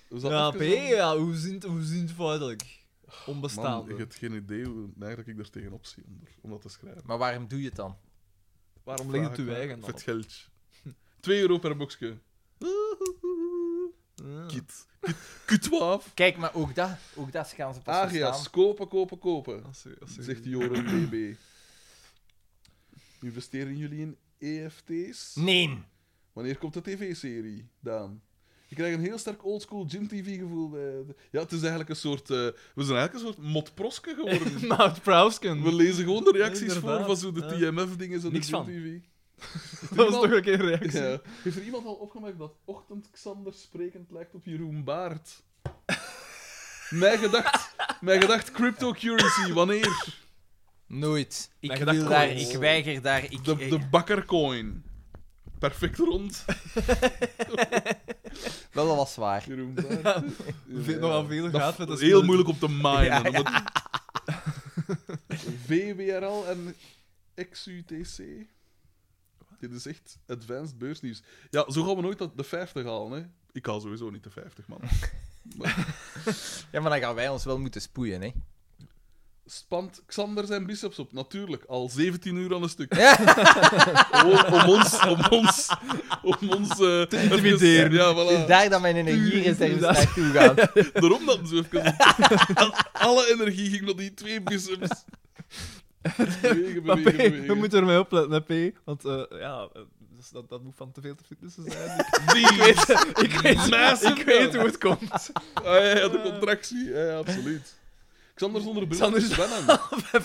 [SPEAKER 1] We zaten
[SPEAKER 3] Ja,
[SPEAKER 1] even
[SPEAKER 3] P, eh,
[SPEAKER 1] aan-
[SPEAKER 3] ja, hoe zint hoe zint feitelijk?
[SPEAKER 1] Man,
[SPEAKER 3] Onbestaande.
[SPEAKER 1] ik heb geen idee hoe eigenlijk ik er tegenop zie om, er- om dat te schrijven.
[SPEAKER 4] Maar waarom doe je het dan?
[SPEAKER 3] Waarom ligt het
[SPEAKER 1] Vraag
[SPEAKER 3] uw
[SPEAKER 1] maar.
[SPEAKER 3] eigen
[SPEAKER 1] Voor
[SPEAKER 3] dan?
[SPEAKER 1] het geld. 2 euro per boxje.
[SPEAKER 3] op? Ja.
[SPEAKER 1] Kit. Kit. Kit
[SPEAKER 4] Kijk, maar ook dat, ook dat gaan ze pas verstaan.
[SPEAKER 1] Agias, kopen, kopen, kopen.
[SPEAKER 3] Als u- als u-
[SPEAKER 1] Zegt Joren DB. Investeren jullie in E EFT's?
[SPEAKER 4] Nee.
[SPEAKER 1] Wanneer komt de tv-serie, Daan? Je krijgt een heel sterk oldschool Gym TV gevoel. bij de- Ja, het is eigenlijk een soort. eh, we zijn eigenlijk een soort motproske geworden.
[SPEAKER 2] Mount Prousken.
[SPEAKER 1] We lezen gewoon de reacties voor
[SPEAKER 2] Inderdaad,
[SPEAKER 1] van zo de
[SPEAKER 2] ja.
[SPEAKER 1] TMF-dingen zo de
[SPEAKER 2] Niks
[SPEAKER 1] Gym
[SPEAKER 2] van.
[SPEAKER 1] TV. Heeft er
[SPEAKER 2] Dat was
[SPEAKER 1] iemand-
[SPEAKER 2] toch een keer een reactie.
[SPEAKER 1] ja. Heeft er iemand al opgemerkt dat Ochtend Xander sprekend lijkt op Jeroen Baart? Mijn gedacht, mijn gedacht cryptocurrency, wanneer?
[SPEAKER 4] Nooit. Ik,
[SPEAKER 2] Mijn
[SPEAKER 4] wil
[SPEAKER 2] gedachte
[SPEAKER 4] daar,
[SPEAKER 2] komt.
[SPEAKER 4] ik weiger daar. Ik,
[SPEAKER 1] De, de bakkercoin. Perfect rond,
[SPEAKER 4] Wel, dat was waar.
[SPEAKER 1] Jeroen Baart.
[SPEAKER 2] Veel- Nogal veel
[SPEAKER 1] Dat
[SPEAKER 2] gaat met dat
[SPEAKER 1] is heel moeilijk om te minen. omdat- VWRL en XUTC. Dit is echt advanced beursnieuws. Ja, zo gaan we nooit dat- de 50 halen, hè. Ik haal sowieso niet de 50, man.
[SPEAKER 4] Ja, maar dan gaan wij ons wel moeten spoeien, hè?
[SPEAKER 1] spant Xander zijn biceps op. Natuurlijk, al 17 uur aan een stuk. Gewoon om ons, om ons, om ons eh, even-
[SPEAKER 2] intimideren.
[SPEAKER 1] Ja,
[SPEAKER 4] Het is
[SPEAKER 1] voilà.
[SPEAKER 4] daar dat mijn energiereserves naartoe gaan.
[SPEAKER 1] Daarom dat zo even. Alle energie ging naar die twee biceps. Bewegen,
[SPEAKER 2] Maar P,
[SPEAKER 1] bewegen,
[SPEAKER 2] we
[SPEAKER 1] bewegen.
[SPEAKER 2] moeten ermee opletten, hè, P. Want eh, ja, eh, dus dat, dat moet van te veel te fitnessen zijn.
[SPEAKER 1] Die
[SPEAKER 2] ik weet,
[SPEAKER 1] massive
[SPEAKER 2] ik weet hoe
[SPEAKER 1] gun.
[SPEAKER 2] het komt.
[SPEAKER 1] Ah, ja, ja, de contractie. Ja, ja, absoluut. Xander zonder bril
[SPEAKER 2] Xander
[SPEAKER 1] is wennen.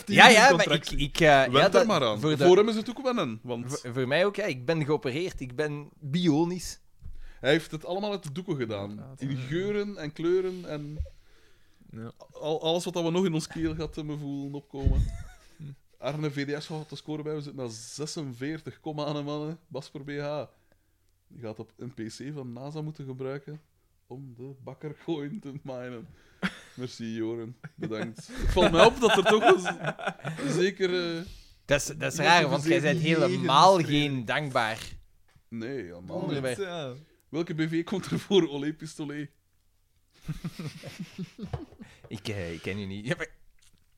[SPEAKER 4] Ja, ja, maar ik... ik eh, ja,
[SPEAKER 1] Wend
[SPEAKER 4] dat-
[SPEAKER 1] er maar aan.
[SPEAKER 4] Voor,
[SPEAKER 1] Voor,
[SPEAKER 4] de-
[SPEAKER 1] hem is het ook wennen, want
[SPEAKER 4] voor, voor mij ook, ja. Ik ben geopereerd. Ik ben bionisch.
[SPEAKER 1] hij heeft het allemaal uit de doeken gedaan. In geuren en kleuren en...
[SPEAKER 2] Ja.
[SPEAKER 1] Al, alles wat dat we nog in ons keel gaat eh, me voelen opkomen. Arne VDS had de score bij. We zitten naar 46, kom aan, hè, mannen. Bas per BH. Die gaat op een PC van NASA moeten gebruiken om de bakkercoin te minen. Merci, Joren. Bedankt. Het valt mij op dat er toch een z- zeker... eh,
[SPEAKER 4] Dat is, dat is
[SPEAKER 1] Je
[SPEAKER 4] raar,
[SPEAKER 1] moet
[SPEAKER 4] want
[SPEAKER 1] je
[SPEAKER 4] jij
[SPEAKER 1] zeker
[SPEAKER 4] bent
[SPEAKER 1] niet
[SPEAKER 4] helemaal geen dankbaar.
[SPEAKER 1] Nee, helemaal niet.
[SPEAKER 4] Onderwerp.
[SPEAKER 2] Ja.
[SPEAKER 1] Welke BV komt er voor? Olé Pistolet.
[SPEAKER 4] Ik, eh, ik ken je niet. Ja, maar-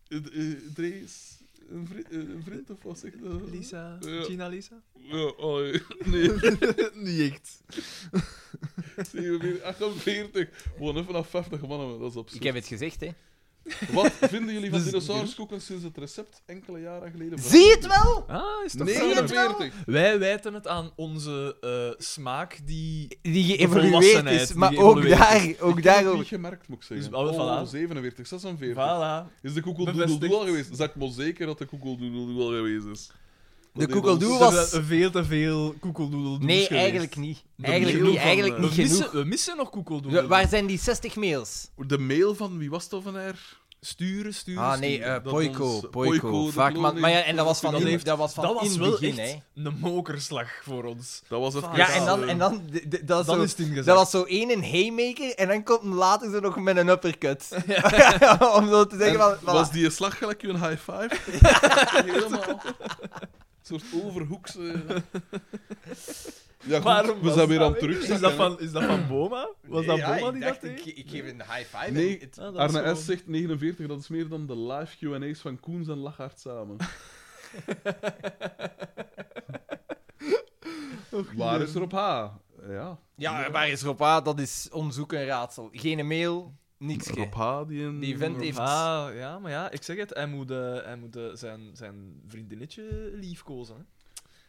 [SPEAKER 1] Eh, eh, Dre is een vriend, eh, een vriend of wat zegt dat?
[SPEAKER 2] Lisa,
[SPEAKER 1] Ja.
[SPEAKER 2] Gina Lisa?
[SPEAKER 1] Ja, allee. Nee.
[SPEAKER 2] Niet echt.
[SPEAKER 1] 47, 48. Gewoon even naar 50 mannen, dat is
[SPEAKER 4] ik
[SPEAKER 1] absurd.
[SPEAKER 4] heb het gezegd, hè.
[SPEAKER 1] Wat vinden jullie van
[SPEAKER 2] Dus-
[SPEAKER 1] dinosauruskoeken sinds het recept enkele jaren geleden
[SPEAKER 4] Zie je het wel?
[SPEAKER 2] Ah, is toch
[SPEAKER 4] het wel?
[SPEAKER 1] 49.
[SPEAKER 3] Wij wijten het aan onze eh, smaak die...
[SPEAKER 4] Die geëvolueerd
[SPEAKER 3] volwassenheid,
[SPEAKER 4] is,
[SPEAKER 3] die
[SPEAKER 4] maar ook,
[SPEAKER 3] geëvolueerd
[SPEAKER 4] daar, ook
[SPEAKER 1] heb
[SPEAKER 4] daarover.
[SPEAKER 1] niet gemerkt, moet ik zeggen.
[SPEAKER 3] Dus, oh,
[SPEAKER 1] oh,
[SPEAKER 3] voilà.
[SPEAKER 1] 47, 46.
[SPEAKER 3] Voilà.
[SPEAKER 1] Is de Google Doodle
[SPEAKER 3] Bevestigd.
[SPEAKER 1] Doodle al geweest? Zeg maar zeker dat de Google Doodle Doodle al geweest is.
[SPEAKER 4] De
[SPEAKER 1] Dat deed
[SPEAKER 4] Google
[SPEAKER 1] ons-
[SPEAKER 4] Doodle
[SPEAKER 2] Er
[SPEAKER 4] was-
[SPEAKER 2] zijn veel te veel koekeldoedeldoes
[SPEAKER 4] Nee,
[SPEAKER 2] geweest.
[SPEAKER 4] eigenlijk niet. Eigenlijk
[SPEAKER 1] mail
[SPEAKER 4] niet,
[SPEAKER 1] van,
[SPEAKER 4] eigenlijk
[SPEAKER 1] eh,
[SPEAKER 4] niet
[SPEAKER 3] We missen,
[SPEAKER 4] genoeg.
[SPEAKER 3] we missen nog koekeldoedel.
[SPEAKER 4] Ja, Waar zijn die 60 mails?
[SPEAKER 1] De mail van wie was het van haar?
[SPEAKER 3] Sturen, sturen,
[SPEAKER 4] Ah nee,
[SPEAKER 3] sturen.
[SPEAKER 4] eh
[SPEAKER 1] dat
[SPEAKER 4] Poico,
[SPEAKER 1] ons- Poico,
[SPEAKER 4] Poico.
[SPEAKER 1] de
[SPEAKER 4] Vaak, maar,
[SPEAKER 1] kloning.
[SPEAKER 4] maar ja, en dat was van,
[SPEAKER 1] Dat
[SPEAKER 4] in-
[SPEAKER 1] heeft-
[SPEAKER 4] dat was van
[SPEAKER 3] dat
[SPEAKER 4] in
[SPEAKER 3] was
[SPEAKER 4] het
[SPEAKER 3] wel
[SPEAKER 4] begin,
[SPEAKER 3] echt
[SPEAKER 4] hè.
[SPEAKER 3] een mokerslag voor ons.
[SPEAKER 1] Dat was het.
[SPEAKER 4] Ja, en dan, en dan, d- d- dat, is
[SPEAKER 2] Dan
[SPEAKER 4] zo-
[SPEAKER 2] is het ingezet.
[SPEAKER 4] dat was zo één een haymaker en dan komt hem later zo nog met een uppercut. Om zo te zeggen van, voilà.
[SPEAKER 1] Was die een slag gelijk je een high five? Helemaal. Een soort overhoekse... Ja, goed,
[SPEAKER 2] Waarom
[SPEAKER 1] we
[SPEAKER 2] was
[SPEAKER 1] zijn weer
[SPEAKER 2] dat
[SPEAKER 1] aan het
[SPEAKER 2] weer?
[SPEAKER 1] terugzakken.
[SPEAKER 2] Is dat van, is dat van Boma? Was dat Boma die dat deed?
[SPEAKER 4] ik geef een high five.
[SPEAKER 1] Nee,
[SPEAKER 2] Ah, dat is
[SPEAKER 1] Arne
[SPEAKER 2] wel-
[SPEAKER 1] S. zegt 49, dat is meer dan de live Q&A's van Koens en Lachaert samen. Waar is er op H? Ja.
[SPEAKER 4] Ja, waar is Rob A? Dat is onderzoek een raadsel. Geen mail, niks.
[SPEAKER 1] Rob H. Die, een...
[SPEAKER 4] Die vent heeft...
[SPEAKER 3] Ah, ja, maar ja, ik zeg het, hij moet, eh, hij moet eh, zijn, zijn vriendinnetje liefkozen. Hè.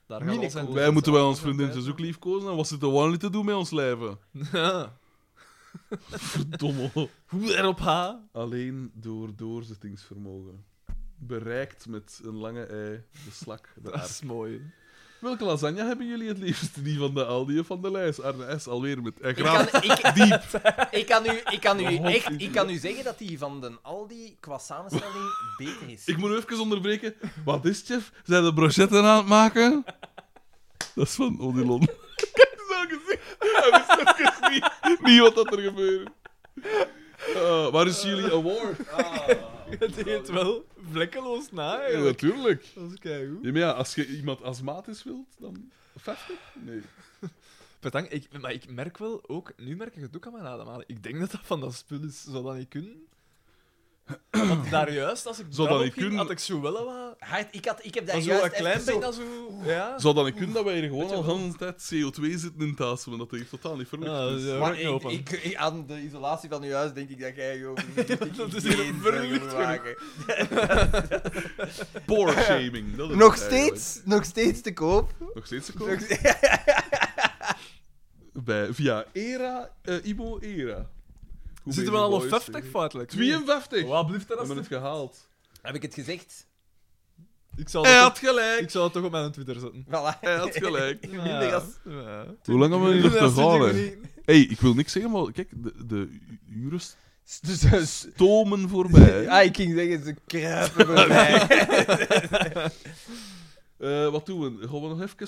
[SPEAKER 3] Daar gaat al
[SPEAKER 4] Minekozen.
[SPEAKER 3] zijn-
[SPEAKER 1] Wij moeten bij ons vriendinnetjes ook liefkozen. En wat zit er wel niet te doen met ons lijven?
[SPEAKER 3] Ja.
[SPEAKER 1] Domme.
[SPEAKER 3] Hoe erop H?
[SPEAKER 1] Alleen door doorzettingsvermogen. Bereikt met een lange ei, de slak, de
[SPEAKER 2] Dat
[SPEAKER 1] aard.
[SPEAKER 2] is mooi.
[SPEAKER 1] Welke lasagne hebben jullie het liefst? Die van de Aldi of van de lijst? Arne S. alweer met... En
[SPEAKER 4] Ik
[SPEAKER 1] graag
[SPEAKER 4] kan, ik,
[SPEAKER 1] diep.
[SPEAKER 4] ik kan u, ik kan u
[SPEAKER 1] Oh,
[SPEAKER 4] echt
[SPEAKER 1] God.
[SPEAKER 4] ik kan u zeggen dat die van den Aldi qua samenstelling beter is.
[SPEAKER 1] Ik moet nu even onderbreken. Wat is het, chef? Zijn de brochetten aan het maken? Dat is van Odilon. Kijk eens aan gezicht. Hij wist even niet, niet wat dat er gebeurde. Ah, waar is jullie award?
[SPEAKER 2] Het heet wel vlekkeloos na,
[SPEAKER 1] Ja,
[SPEAKER 2] eigenlijk.
[SPEAKER 1] natuurlijk.
[SPEAKER 2] Dat is keigoed.
[SPEAKER 1] Ja, maar ja, als je iemand astmatisch wilt, dan 50? Nee.
[SPEAKER 2] Bedankt, ik, maar ik merk wel ook, nu merk ik het ook aan mijn ademhaling. Ik denk dat dat van dat spul is, zou dat niet kunnen? Want daar juist, als ik
[SPEAKER 1] Zou
[SPEAKER 2] zou
[SPEAKER 1] dat
[SPEAKER 2] dat
[SPEAKER 1] niet
[SPEAKER 2] ging,
[SPEAKER 1] kunnen?
[SPEAKER 2] had ik zo wel wat...
[SPEAKER 4] Hard, ik, had, ik heb daar
[SPEAKER 2] Zo
[SPEAKER 4] juist
[SPEAKER 2] een klein
[SPEAKER 4] even zo-
[SPEAKER 2] beetje als zo... Ja.
[SPEAKER 1] Zou dan niet kunnen dat wij hier gewoon al de hele tijd CO2 zitten in tassen, want dat heeft totaal niet verlucht.
[SPEAKER 2] Ah,
[SPEAKER 1] is.
[SPEAKER 2] ja.
[SPEAKER 4] Maar
[SPEAKER 2] Rug niet
[SPEAKER 4] ik,
[SPEAKER 2] open.
[SPEAKER 4] ik, ik- aan de isolatie van uw huis denk ik dat jij over
[SPEAKER 2] Dat is hier een verlicht
[SPEAKER 1] Poor shaming. Dat is
[SPEAKER 4] Nog
[SPEAKER 1] het eigenlijk.
[SPEAKER 4] steeds, nog steeds te koop.
[SPEAKER 1] Nog steeds te koop.
[SPEAKER 4] Nog steeds-
[SPEAKER 1] bij via Era, eh Ibo Era. Hoe
[SPEAKER 3] Zitten we
[SPEAKER 1] ben je
[SPEAKER 3] al op
[SPEAKER 1] boys?
[SPEAKER 3] 50 feitelijk?
[SPEAKER 1] 52!
[SPEAKER 3] Wat blijft
[SPEAKER 1] We
[SPEAKER 3] er als
[SPEAKER 1] hebben het gehaald.
[SPEAKER 4] Heb ik het gezegd?
[SPEAKER 3] Ik zal,
[SPEAKER 1] Hij
[SPEAKER 3] het
[SPEAKER 1] had
[SPEAKER 3] toch,
[SPEAKER 1] gelijk!
[SPEAKER 3] ik zal het toch op mijn Twitter zetten.
[SPEAKER 4] Voilà.
[SPEAKER 1] Hij had gelijk.
[SPEAKER 3] Minder
[SPEAKER 4] als-
[SPEAKER 1] Hoe lang hebben we hier nog te gaan? hè?
[SPEAKER 3] niet.
[SPEAKER 1] Hey, ik wil niks zeggen, maar kijk, de, de u- uren
[SPEAKER 4] Dus,
[SPEAKER 1] eh,
[SPEAKER 4] dus,
[SPEAKER 1] stomen voorbij.
[SPEAKER 4] ah, ik ging zeggen, ze kruipen voorbij.
[SPEAKER 1] Eh, wat doen we? Gaan we nog even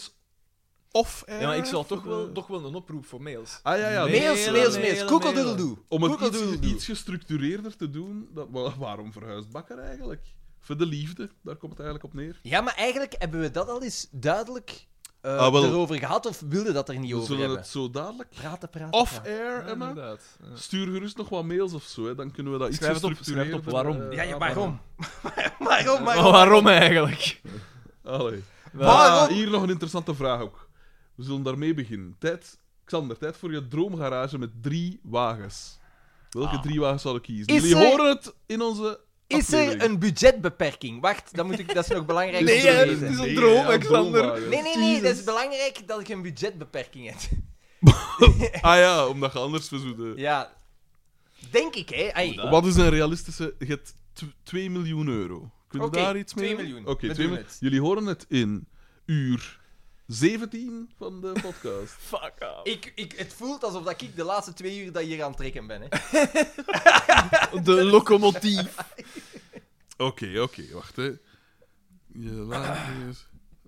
[SPEAKER 1] off air?
[SPEAKER 3] Ja, maar ik zal toch wel,
[SPEAKER 1] Eh,
[SPEAKER 3] toch wel een oproep voor mails.
[SPEAKER 1] Ah ja, ja.
[SPEAKER 3] Nee.
[SPEAKER 4] Mails, mails, mails. Koekeldoedeldoe.
[SPEAKER 1] Om het iets,
[SPEAKER 4] Koekeldoedeldoe.
[SPEAKER 1] iets gestructureerder te doen, dat, wa- waarom verhuist Bakker eigenlijk? Voor de liefde, daar komt het eigenlijk op neer.
[SPEAKER 4] Ja, maar eigenlijk hebben we dat al eens duidelijk eh,
[SPEAKER 1] Ah, wel.
[SPEAKER 4] erover gehad of wilden dat er niet
[SPEAKER 1] We
[SPEAKER 4] over
[SPEAKER 1] zullen
[SPEAKER 4] hebben.
[SPEAKER 1] het zo dadelijk
[SPEAKER 4] Praten, praten.
[SPEAKER 1] off
[SPEAKER 4] praten.
[SPEAKER 1] air, Emma.
[SPEAKER 3] inderdaad. Ja.
[SPEAKER 1] Stuur gerust nog wat mails of zo, hè. dan kunnen we dat iets
[SPEAKER 3] Schrijf het op, schrijf
[SPEAKER 1] gestructureerder...
[SPEAKER 3] het op waarom.
[SPEAKER 1] eh,
[SPEAKER 4] Ja, ja, waarom?
[SPEAKER 3] Maar
[SPEAKER 4] waarom, waarom?
[SPEAKER 3] waarom eigenlijk?
[SPEAKER 1] Allee.
[SPEAKER 4] Waarom?
[SPEAKER 1] Ah, hier nog een interessante vraag ook. We zullen daarmee beginnen. Tijd, Xander, tijd voor je droomgarage met drie wagens. Welke
[SPEAKER 4] Ah.
[SPEAKER 1] drie wagens zouden we kiezen?
[SPEAKER 4] Is
[SPEAKER 1] Jullie
[SPEAKER 4] er-
[SPEAKER 1] horen het in onze
[SPEAKER 4] Is er
[SPEAKER 1] aflevering.
[SPEAKER 4] een budgetbeperking? Wacht, dat, moet ik, dat is nog belangrijk om
[SPEAKER 3] Nee,
[SPEAKER 4] te
[SPEAKER 3] hè, het
[SPEAKER 4] weten.
[SPEAKER 3] is een
[SPEAKER 1] Nee,
[SPEAKER 3] droom,
[SPEAKER 1] ja,
[SPEAKER 3] Alexander.
[SPEAKER 1] droomwagen.
[SPEAKER 4] Nee, nee, nee, dat
[SPEAKER 3] Jezus.
[SPEAKER 4] is belangrijk dat ik een budgetbeperking heb.
[SPEAKER 1] Ah ja, omdat je anders verzoet.
[SPEAKER 4] Ja. Denk ik, hè. Ai.
[SPEAKER 1] Wat is een realistische... Je hebt tw- 2 miljoen euro. Kun je
[SPEAKER 4] Oké,
[SPEAKER 1] daar iets mee
[SPEAKER 4] 2
[SPEAKER 1] doen?
[SPEAKER 4] miljoen.
[SPEAKER 1] Oké,
[SPEAKER 4] We
[SPEAKER 1] 2
[SPEAKER 4] doen
[SPEAKER 1] miljoen.
[SPEAKER 4] het.
[SPEAKER 1] Jullie horen het in uur 17 van de podcast.
[SPEAKER 3] Fuck off.
[SPEAKER 4] Ik, ik, het voelt alsof dat ik de laatste twee uur dat hier aan het trekken ben. Hè.
[SPEAKER 3] De locomotief.
[SPEAKER 1] Oké, oké, wacht hè. Je laat hier...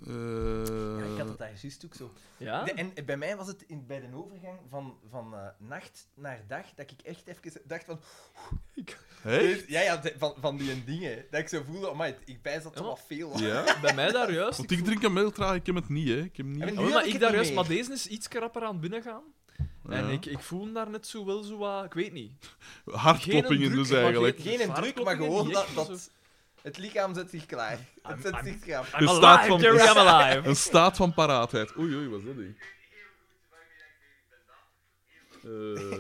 [SPEAKER 1] eh,
[SPEAKER 4] ik had het daar juist ook zo.
[SPEAKER 3] Ja?
[SPEAKER 4] De- en bij mij was het in, bij de overgang van, van eh, nacht naar dag dat ik echt even dacht van...
[SPEAKER 1] hè?
[SPEAKER 4] Ja, ja, de- van, van die dingen. Dat ik zo voelde, amai, ik bijs dat toch
[SPEAKER 3] Ja.
[SPEAKER 4] wel veel.
[SPEAKER 1] Ja?
[SPEAKER 3] Bij mij daar juist.
[SPEAKER 1] Want ik drink hem heel traag, ik heb het niet, hè. Ik heb hem niet...
[SPEAKER 4] Hebben
[SPEAKER 3] Ja, maar
[SPEAKER 4] Nu heb ik
[SPEAKER 3] ik
[SPEAKER 4] het
[SPEAKER 3] daar
[SPEAKER 4] niet
[SPEAKER 3] juist,
[SPEAKER 4] meer.
[SPEAKER 3] maar deze is iets rapper aan het binnengaan. En ik, ik voel hem daar net zo wel zo wat, ik weet niet.
[SPEAKER 1] Hartkloppingen
[SPEAKER 3] Geen
[SPEAKER 1] dus
[SPEAKER 3] druk, maar
[SPEAKER 1] eigenlijk.
[SPEAKER 3] geen-
[SPEAKER 4] Geen druk, maar gewoon dat,
[SPEAKER 3] Vaartkloppingen, die
[SPEAKER 4] dat... Het lichaam zet zich klaar. Het zet zich klaar.
[SPEAKER 1] Een staat van-
[SPEAKER 3] Jerry, I'm alive.
[SPEAKER 1] Een staat van paraatheid. Oei, oei, wat is dat ding? Eh,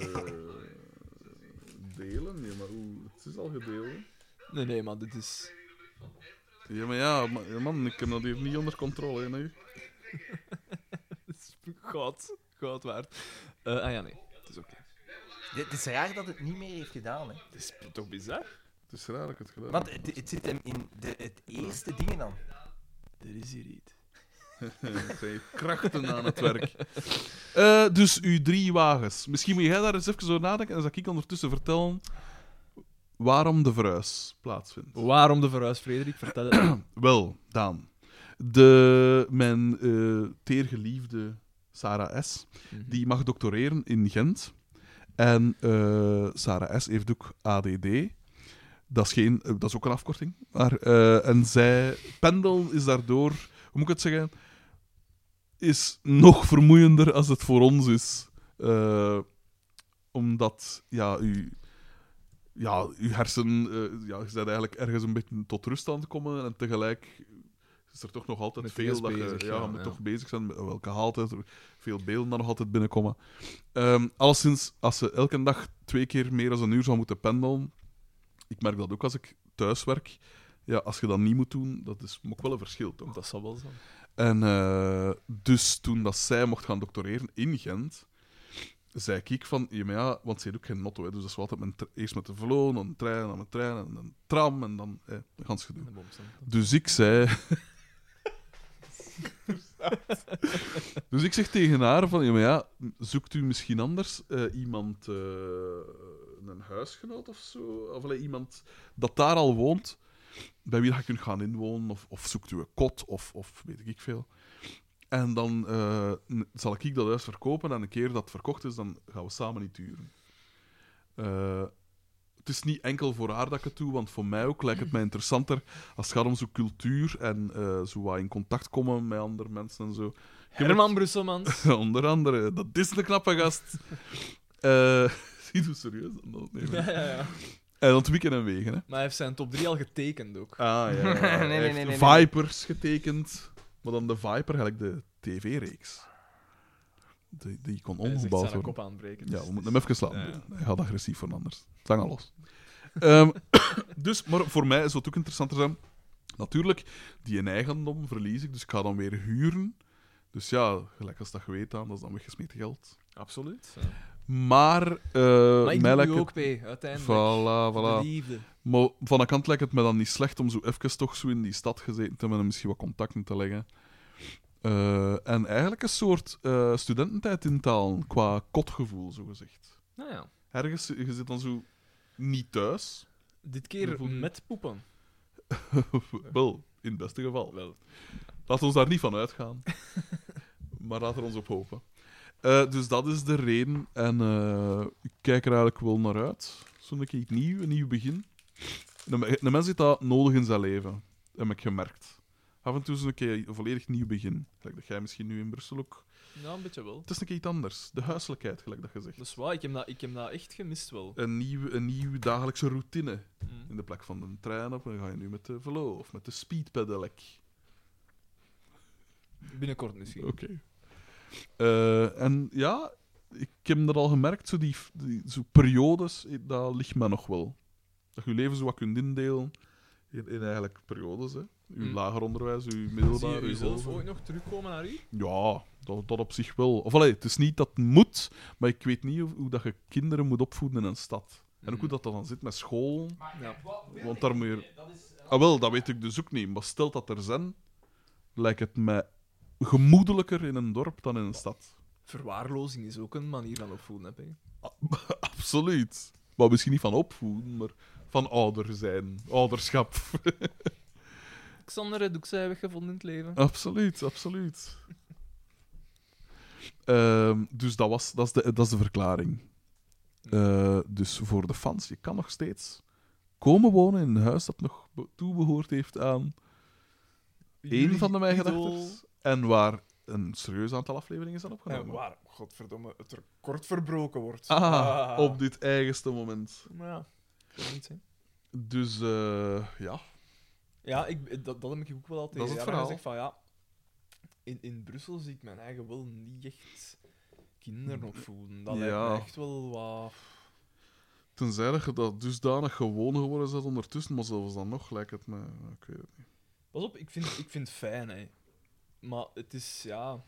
[SPEAKER 1] delen? Ja, maar hoe? Het is al gedeeld.
[SPEAKER 3] Nee, nee, maar dit is...
[SPEAKER 1] Ja, maar ja, ma- ja, man, ik heb dat hier niet onder controle, hè, nu.
[SPEAKER 3] God, God waard. Eh, ah ja, nee. Het is oké.
[SPEAKER 4] Het is raar dat het niet meer heeft gedaan. Hè.
[SPEAKER 3] Het is toch bizar?
[SPEAKER 1] Het is raar dat ik het gedaan
[SPEAKER 4] Want het, het zit hem in de, het eerste ding dan.
[SPEAKER 3] Er is hier iets.
[SPEAKER 1] heb. Het zijn krachten aan het werk. Eh, dus uw drie wagens. Misschien moet jij daar eens even over nadenken en dan zal ik ondertussen vertellen waarom de verhuis plaatsvindt.
[SPEAKER 3] Waarom de verhuis, Frederik? Vertel het me.
[SPEAKER 1] Wel, Daan. De, mijn eh, teergeliefde Sarah S.
[SPEAKER 3] Mhm.
[SPEAKER 1] Die mag doctoreren in Gent. En eh, Sarah S. heeft ook ADD. Dat is, geen, eh, dat is ook een afkorting. Maar, eh, en zij, pendel is daardoor, hoe moet ik het zeggen, is nog vermoeiender als het voor ons is. Eh, omdat, ja, u, ja, uw hersen, eh, ja, je bent eigenlijk ergens een beetje tot rust aan het komen en tegelijk is er toch nog altijd
[SPEAKER 3] Met
[SPEAKER 1] veel
[SPEAKER 3] iets
[SPEAKER 1] dat je,
[SPEAKER 3] bezig,
[SPEAKER 1] ja,
[SPEAKER 3] ja,
[SPEAKER 1] je moet
[SPEAKER 3] ja.
[SPEAKER 1] toch bezig zijn met welke haalt het, veel beelden dan nog altijd binnenkomen. Ehm alleszins, als ze elke dag twee keer meer dan een uur zou moeten pendelen, ik merk dat ook als ik thuis werk, ja, als je dat niet moet doen, dat is ook wel een verschil, toch?
[SPEAKER 3] Dat zal wel zijn.
[SPEAKER 1] En eh, dus toen dat zij mocht gaan doctoreren in Gent, zei ik van, ja, maar ja, want ze heeft ook geen motto, hè, dus dat is wel altijd met, een tre- eerst met de vloon, dan een trein, dan een trein, en een tram, en dan eh, een gans gedoe.
[SPEAKER 3] De bom staat.
[SPEAKER 1] Dus ik zei... dus ik zeg tegen haar van, ja, maar ja, zoekt u misschien anders eh, iemand, eh, een huisgenoot of zo? Of allee, iemand dat daar al woont, bij wie dat je kunt gaan inwonen, of, of zoekt u een kot, of, of weet ik veel. En dan eh, n- zal ik dat huis verkopen en een keer dat het verkocht is, dan gaan we samen niet huren. Eh, het is niet enkel voor haar dat ik het doe, want voor mij ook lijkt het mij interessanter als het gaat om zo'n cultuur en eh, zo wat in contact komen met andere mensen en zo.
[SPEAKER 3] Herman Brusselmans.
[SPEAKER 1] Onder andere, dat is een knappe gast. Eh die doet serieus aan dat nemen.
[SPEAKER 3] ja, ja, ja.
[SPEAKER 1] En dat weekend en wegen, hè.
[SPEAKER 3] Maar hij heeft zijn top 3 al getekend ook.
[SPEAKER 1] Ah, ja.
[SPEAKER 4] nee, nee, nee, nee, nee.
[SPEAKER 1] Vipers getekend. Maar dan de Viper, eigenlijk de tv-reeks. Die, die kon
[SPEAKER 3] Hij zegt
[SPEAKER 1] omgebouwd
[SPEAKER 3] zijn
[SPEAKER 1] worden.
[SPEAKER 3] kop aanbreken.
[SPEAKER 1] Ja,
[SPEAKER 3] dus
[SPEAKER 1] we
[SPEAKER 3] het
[SPEAKER 1] moeten hem even slaan.
[SPEAKER 3] Ja, ja.
[SPEAKER 1] Hij gaat agressief van anders. Zang al los. Ehm, dus, maar voor mij zou het ook interessanter zijn. Natuurlijk, die in eigendom verlies ik, dus ik ga dan weer huren. Dus ja, gelijk als dat je weet aan, dat is dan weggesmeten geld.
[SPEAKER 3] Absoluut.
[SPEAKER 1] Maar, eh
[SPEAKER 3] maar ik
[SPEAKER 1] mij
[SPEAKER 3] doe
[SPEAKER 1] lijkt
[SPEAKER 3] nu
[SPEAKER 1] het-
[SPEAKER 3] ook mee, uiteindelijk.
[SPEAKER 1] Voilà,
[SPEAKER 3] Voor de
[SPEAKER 1] voilà.
[SPEAKER 3] liefde.
[SPEAKER 1] Maar van de kant lijkt het me dan niet slecht om zo even toch zo in die stad gezeten te hebben en misschien wat contacten te leggen. Eh, en eigenlijk een soort eh, studententijd in taal, qua kotgevoel, zo gezegd.
[SPEAKER 3] Nou ja.
[SPEAKER 1] Ergens, je zit dan zo niet thuis.
[SPEAKER 3] Dit keer
[SPEAKER 1] Bijvoorbeeld-
[SPEAKER 3] met poepen.
[SPEAKER 1] Wel, in het beste geval. Laat ons daar niet van uitgaan. maar laten we ons op hopen. Eh, dus dat is de reden. En eh, ik kijk er eigenlijk wel naar uit. Zo'n keer iets nieuw, een nieuw begin. Een, me- een mens heeft dat nodig in zijn leven. Heb ik gemerkt. Af en toe is een keer een volledig nieuw begin. Gelijk dat jij misschien nu in Brussel ook...
[SPEAKER 3] Ja, een beetje wel.
[SPEAKER 1] Het is een keer iets anders. De huiselijkheid, gelijk dat je zegt.
[SPEAKER 3] Dat is waar, ik heb dat, ik heb dat echt gemist wel.
[SPEAKER 1] Een nieuwe, een nieuwe dagelijkse routine.
[SPEAKER 3] Mm.
[SPEAKER 1] In de plek van een trein op, dan ga je nu met de velo of met de speedpedelec.
[SPEAKER 17] Binnenkort misschien.
[SPEAKER 1] Oké. Eh, en ja, ik heb dat al gemerkt, zo die, die zo periodes, eh, dat ligt me nog wel. Dat je je leven zo wat kunt indelen in, in eigenlijk periodes. Hè. Uw
[SPEAKER 3] Mm.
[SPEAKER 1] lager onderwijs, uw
[SPEAKER 3] Zie
[SPEAKER 1] middelbaar,
[SPEAKER 3] je
[SPEAKER 1] uw
[SPEAKER 3] jezelf
[SPEAKER 1] hoger.
[SPEAKER 3] ooit nog terugkomen naar hier?
[SPEAKER 1] Ja, dat, dat op zich wel. Of allee, het is niet dat het moet, maar ik weet niet hoe, hoe dat je kinderen moet opvoeden in een stad. En ook hoe dat, dat dan zit met school.
[SPEAKER 3] Ja.
[SPEAKER 1] Want daar moet je... Ah, wel, dat weet ik dus ook niet. Maar stelt dat er zijn, lijkt het mij gemoedelijker in een dorp dan in een stad.
[SPEAKER 3] Verwaarlozing is ook een manier van opvoeden, heb ik.
[SPEAKER 1] Absoluut. Maar misschien niet van opvoeden, maar van ouder zijn. Ouderschap.
[SPEAKER 3] Xander heeft ook zijn weg gevonden in het leven.
[SPEAKER 1] absoluut, absoluut. Ehm, dus dat, was, dat, is de, dat is de verklaring. Eh, dus voor de fans, je kan nog steeds komen wonen in een huis dat nog be- toebehoord heeft aan één van de mijn gedachten. En waar een serieus aantal afleveringen zijn opgenomen.
[SPEAKER 17] waar, godverdomme, het record verbroken wordt.
[SPEAKER 1] Ah, op dit eigenste moment.
[SPEAKER 3] Maar ja, dat kan niet zijn.
[SPEAKER 1] Dus eh, ja,
[SPEAKER 3] Ja, ik, dat, dat heb ik ook wel altijd
[SPEAKER 1] Dat is het verhaal.
[SPEAKER 3] gezegd van ja, in, in Brussel zie ik mijn eigen wel niet echt kinderen opvoeden. Dat
[SPEAKER 1] Ja.
[SPEAKER 3] lijkt me echt wel wat...
[SPEAKER 1] Tenzij dat je dat dusdanig gewoon geworden is dat ondertussen, maar zelfs dan nog lijkt het me. Ik weet het niet.
[SPEAKER 3] Pas op, ik vind, ik vind het fijn, hè. Maar het is, ja...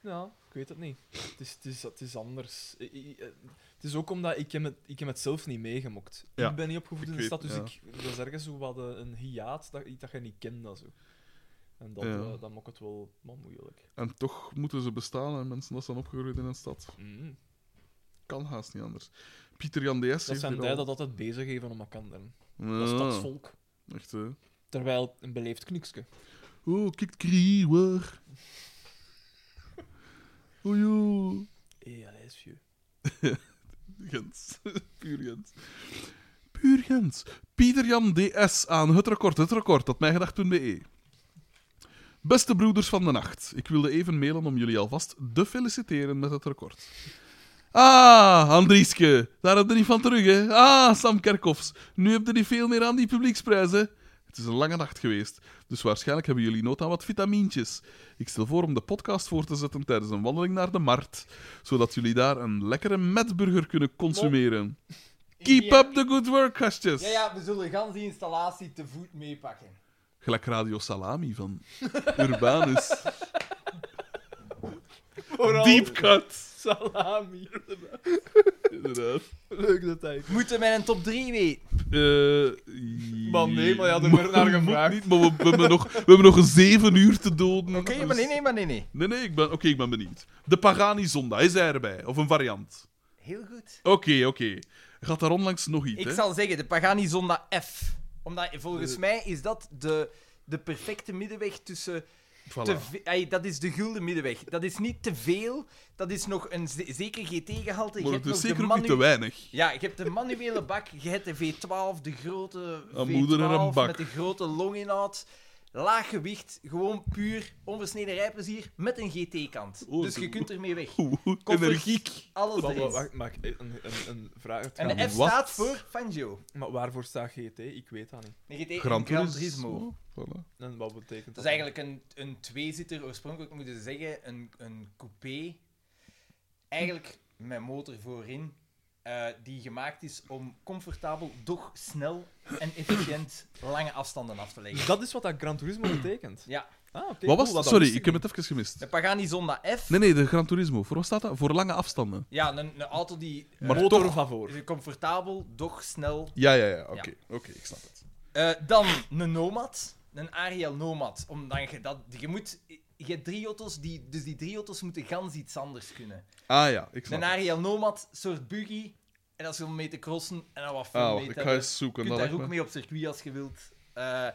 [SPEAKER 3] Ja, ik weet het niet. Het is, het is, het is anders. I- i- eh, Het is ook omdat ik heb het, ik heb het zelf niet meegemokt.
[SPEAKER 1] Ja,
[SPEAKER 3] Ik ben niet opgevoed
[SPEAKER 1] ik
[SPEAKER 3] in de stad,
[SPEAKER 1] weet-
[SPEAKER 3] dus ik, dat is ergens zo wat eh, een hiaat dat, dat je niet kent. Dat, zo. En dat,
[SPEAKER 1] Ja.
[SPEAKER 3] eh, dat maakt het wel maar moeilijk.
[SPEAKER 1] En toch moeten ze bestaan, hè. mensen dat zijn opgegroeid in een stad.
[SPEAKER 3] Mm.
[SPEAKER 1] Kan haast niet anders. Pieter Jan DS
[SPEAKER 3] Dat
[SPEAKER 1] heeft
[SPEAKER 3] zijn
[SPEAKER 1] hier
[SPEAKER 3] die
[SPEAKER 1] al-
[SPEAKER 3] dat altijd bezig geven om elkaar. Dat
[SPEAKER 1] Ja,
[SPEAKER 3] is stadsvolk.
[SPEAKER 1] Echt, hè.
[SPEAKER 3] Terwijl een beleefd knikske.
[SPEAKER 1] Oh, kijk, kriewer. Oei, oei.
[SPEAKER 3] Hé, hey, is vieux.
[SPEAKER 1] Gent. Puur Gent. Puur Gent. Pieter Jan DS aan het record, het record, dat mij gedacht toen BE. Beste broeders van de nacht, ik wilde even mailen om jullie alvast te feliciteren met het record. Ah, Andrieske, daar heb je niet van terug, hè? Ah, Sam Kerkhoffs, nu heb je niet veel meer aan die publieksprijs, hè? Het is een lange nacht geweest, dus waarschijnlijk hebben jullie nood aan wat vitamintjes. Ik stel voor om de podcast voor te zetten tijdens een wandeling naar de markt, zodat jullie daar een lekkere metburger kunnen consumeren. Keep up the good work, gastjes!
[SPEAKER 4] Ja, ja, we zullen gans die installatie te voet meepakken.
[SPEAKER 1] Gelijk Radio Salami van Urbanus. Deep cut!
[SPEAKER 3] Salami.
[SPEAKER 1] Inderdaad.
[SPEAKER 3] Leuk dat hij...
[SPEAKER 4] Moeten wij een top 3 weten?
[SPEAKER 1] Eh,
[SPEAKER 3] Maar nee, maar ja, er werd naar
[SPEAKER 1] moet
[SPEAKER 3] gevraagd.
[SPEAKER 1] Niet, maar we, we hebben nog, we hebben nog een zeven uur te doden. Dus-
[SPEAKER 4] Oké, maar dus- nee, nee, maar nee, nee.
[SPEAKER 1] Nee, nee, ik ben, oké, ik ben benieuwd. De Pagani Zonda, is hij erbij? Of een variant?
[SPEAKER 4] Heel goed.
[SPEAKER 1] Oké, oké. Gaat daar onlangs nog iets,
[SPEAKER 4] Ik
[SPEAKER 1] hè?
[SPEAKER 4] zal zeggen, de Pagani Zonda F. Omdat volgens mij is dat de, de perfecte middenweg tussen
[SPEAKER 1] Voilà.
[SPEAKER 4] Te ve- ey, dat is de gulden middenweg. Dat is niet te veel. Dat is nog een ze- zeker GT-gehalte.
[SPEAKER 1] Maar het is zeker ook
[SPEAKER 4] manu-
[SPEAKER 1] niet te weinig.
[SPEAKER 4] Ja, je hebt de manuele bak. Je hebt de V12, de grote
[SPEAKER 1] Een
[SPEAKER 4] V12
[SPEAKER 1] moeder en een bak.
[SPEAKER 4] met de grote longinhoud. Laag gewicht, gewoon puur onversneden rijplezier met een GT-kant.
[SPEAKER 1] Oh,
[SPEAKER 4] dus
[SPEAKER 1] de-
[SPEAKER 4] je kunt ermee weg.
[SPEAKER 1] Hoe
[SPEAKER 4] Koffers,
[SPEAKER 1] energiek.
[SPEAKER 4] Alles
[SPEAKER 3] Wacht, wacht,
[SPEAKER 4] erin.
[SPEAKER 3] wacht, maak een, een, een vraag. Het
[SPEAKER 4] En
[SPEAKER 3] gaat-
[SPEAKER 4] de F
[SPEAKER 1] Wat?
[SPEAKER 4] staat voor Fangio.
[SPEAKER 3] Maar waarvoor staat GT? Ik weet dat niet.
[SPEAKER 4] Een GT en
[SPEAKER 1] Gran
[SPEAKER 4] Gran
[SPEAKER 1] Turismo.
[SPEAKER 4] Turismo.
[SPEAKER 1] Voilà.
[SPEAKER 3] En wat betekent dat?
[SPEAKER 4] Dat is eigenlijk een, een tweezitter, oorspronkelijk moeten ze zeggen, een, een coupé. Eigenlijk met motor voorin, eh, die gemaakt is om comfortabel, doch snel en efficiënt lange afstanden af te leggen.
[SPEAKER 3] Dat is wat dat Gran Turismo betekent.
[SPEAKER 4] Ja,
[SPEAKER 3] Ah, oké.
[SPEAKER 1] Wat was
[SPEAKER 3] cool, dat
[SPEAKER 1] Sorry,
[SPEAKER 3] wist
[SPEAKER 1] ik heb het even gemist.
[SPEAKER 4] De Pagani Zonda F.
[SPEAKER 1] Nee, nee, de Gran Turismo. Voor wat staat dat? Voor lange afstanden.
[SPEAKER 4] Ja, een, een auto die eh,
[SPEAKER 1] Maar
[SPEAKER 3] Motor
[SPEAKER 1] toch...
[SPEAKER 3] van voor.
[SPEAKER 4] is comfortabel, doch snel.
[SPEAKER 1] Ja, ja, ja. Oké, oké, ik snap het.
[SPEAKER 4] Eh, dan een Nomad. Een Ariel Nomad. Omdat je dat... Je moet... Je hebt drie auto's, die, dus die drie auto's moeten gans iets anders kunnen.
[SPEAKER 1] Ah ja, ik snap
[SPEAKER 4] Een
[SPEAKER 1] het.
[SPEAKER 4] Ariel Nomad, soort buggy. En dat is om mee te crossen en dan wat fun
[SPEAKER 1] Ah,
[SPEAKER 4] mee
[SPEAKER 1] wacht,
[SPEAKER 4] te
[SPEAKER 1] ik ga
[SPEAKER 4] hebben.
[SPEAKER 1] eens zoeken.
[SPEAKER 4] Je kunt
[SPEAKER 1] dat lijkt
[SPEAKER 4] daar ook
[SPEAKER 1] me-
[SPEAKER 4] mee op circuit als je wilt. Eh,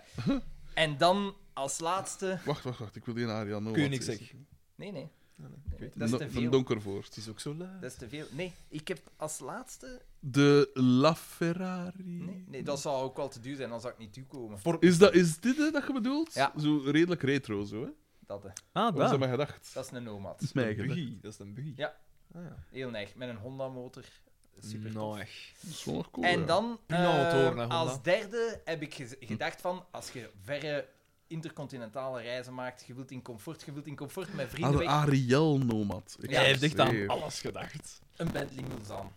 [SPEAKER 4] en dan als laatste...
[SPEAKER 1] Wacht, wacht, wacht. Ik wil die naar Ariane.
[SPEAKER 3] Kun je niks zeggen.
[SPEAKER 4] Nee, nee.
[SPEAKER 3] ik weet
[SPEAKER 4] Dat is te
[SPEAKER 1] Van
[SPEAKER 4] veel.
[SPEAKER 1] Donkervoort.
[SPEAKER 3] Het is ook zo lui.
[SPEAKER 4] Dat is te veel. Nee, ik heb als laatste...
[SPEAKER 1] De La Ferrari.
[SPEAKER 4] Nee, nee dat zou ook wel te duur zijn, dan zou ik niet toekomen.
[SPEAKER 1] Is, dat, is dit hè, dat je bedoelt?
[SPEAKER 4] Ja.
[SPEAKER 1] Zo redelijk retro, zo, hè?
[SPEAKER 4] Dat, eh,
[SPEAKER 3] Ah,
[SPEAKER 1] Wat is dat
[SPEAKER 3] daar.
[SPEAKER 1] maar gedacht?
[SPEAKER 4] dat is een Nomad.
[SPEAKER 1] is mij
[SPEAKER 3] Een
[SPEAKER 1] gedacht.
[SPEAKER 3] buggy. Dat is een buggy.
[SPEAKER 4] Ja.
[SPEAKER 3] Ah, ja.
[SPEAKER 4] Heel neig. Met een Honda-motor. Super tof.
[SPEAKER 3] Nou, echt.
[SPEAKER 1] Dat is wel nog cool, ja.
[SPEAKER 4] En dan,
[SPEAKER 3] Prima
[SPEAKER 4] eh,
[SPEAKER 3] motor, hè, Honda.
[SPEAKER 4] als derde heb ik gez-
[SPEAKER 1] Hm.
[SPEAKER 4] gedacht van, als je verre intercontinentale reizen maakt, je wilt in comfort, je wilt in comfort met
[SPEAKER 1] Ah,
[SPEAKER 4] vrienden
[SPEAKER 1] de
[SPEAKER 4] weg,
[SPEAKER 1] Ariel Nomad. Ik heb
[SPEAKER 4] Ja,
[SPEAKER 3] Hij
[SPEAKER 4] hij
[SPEAKER 1] het
[SPEAKER 3] heeft echt aan
[SPEAKER 1] geschreven.
[SPEAKER 3] alles gedacht.
[SPEAKER 4] een Bentley Mulsanne.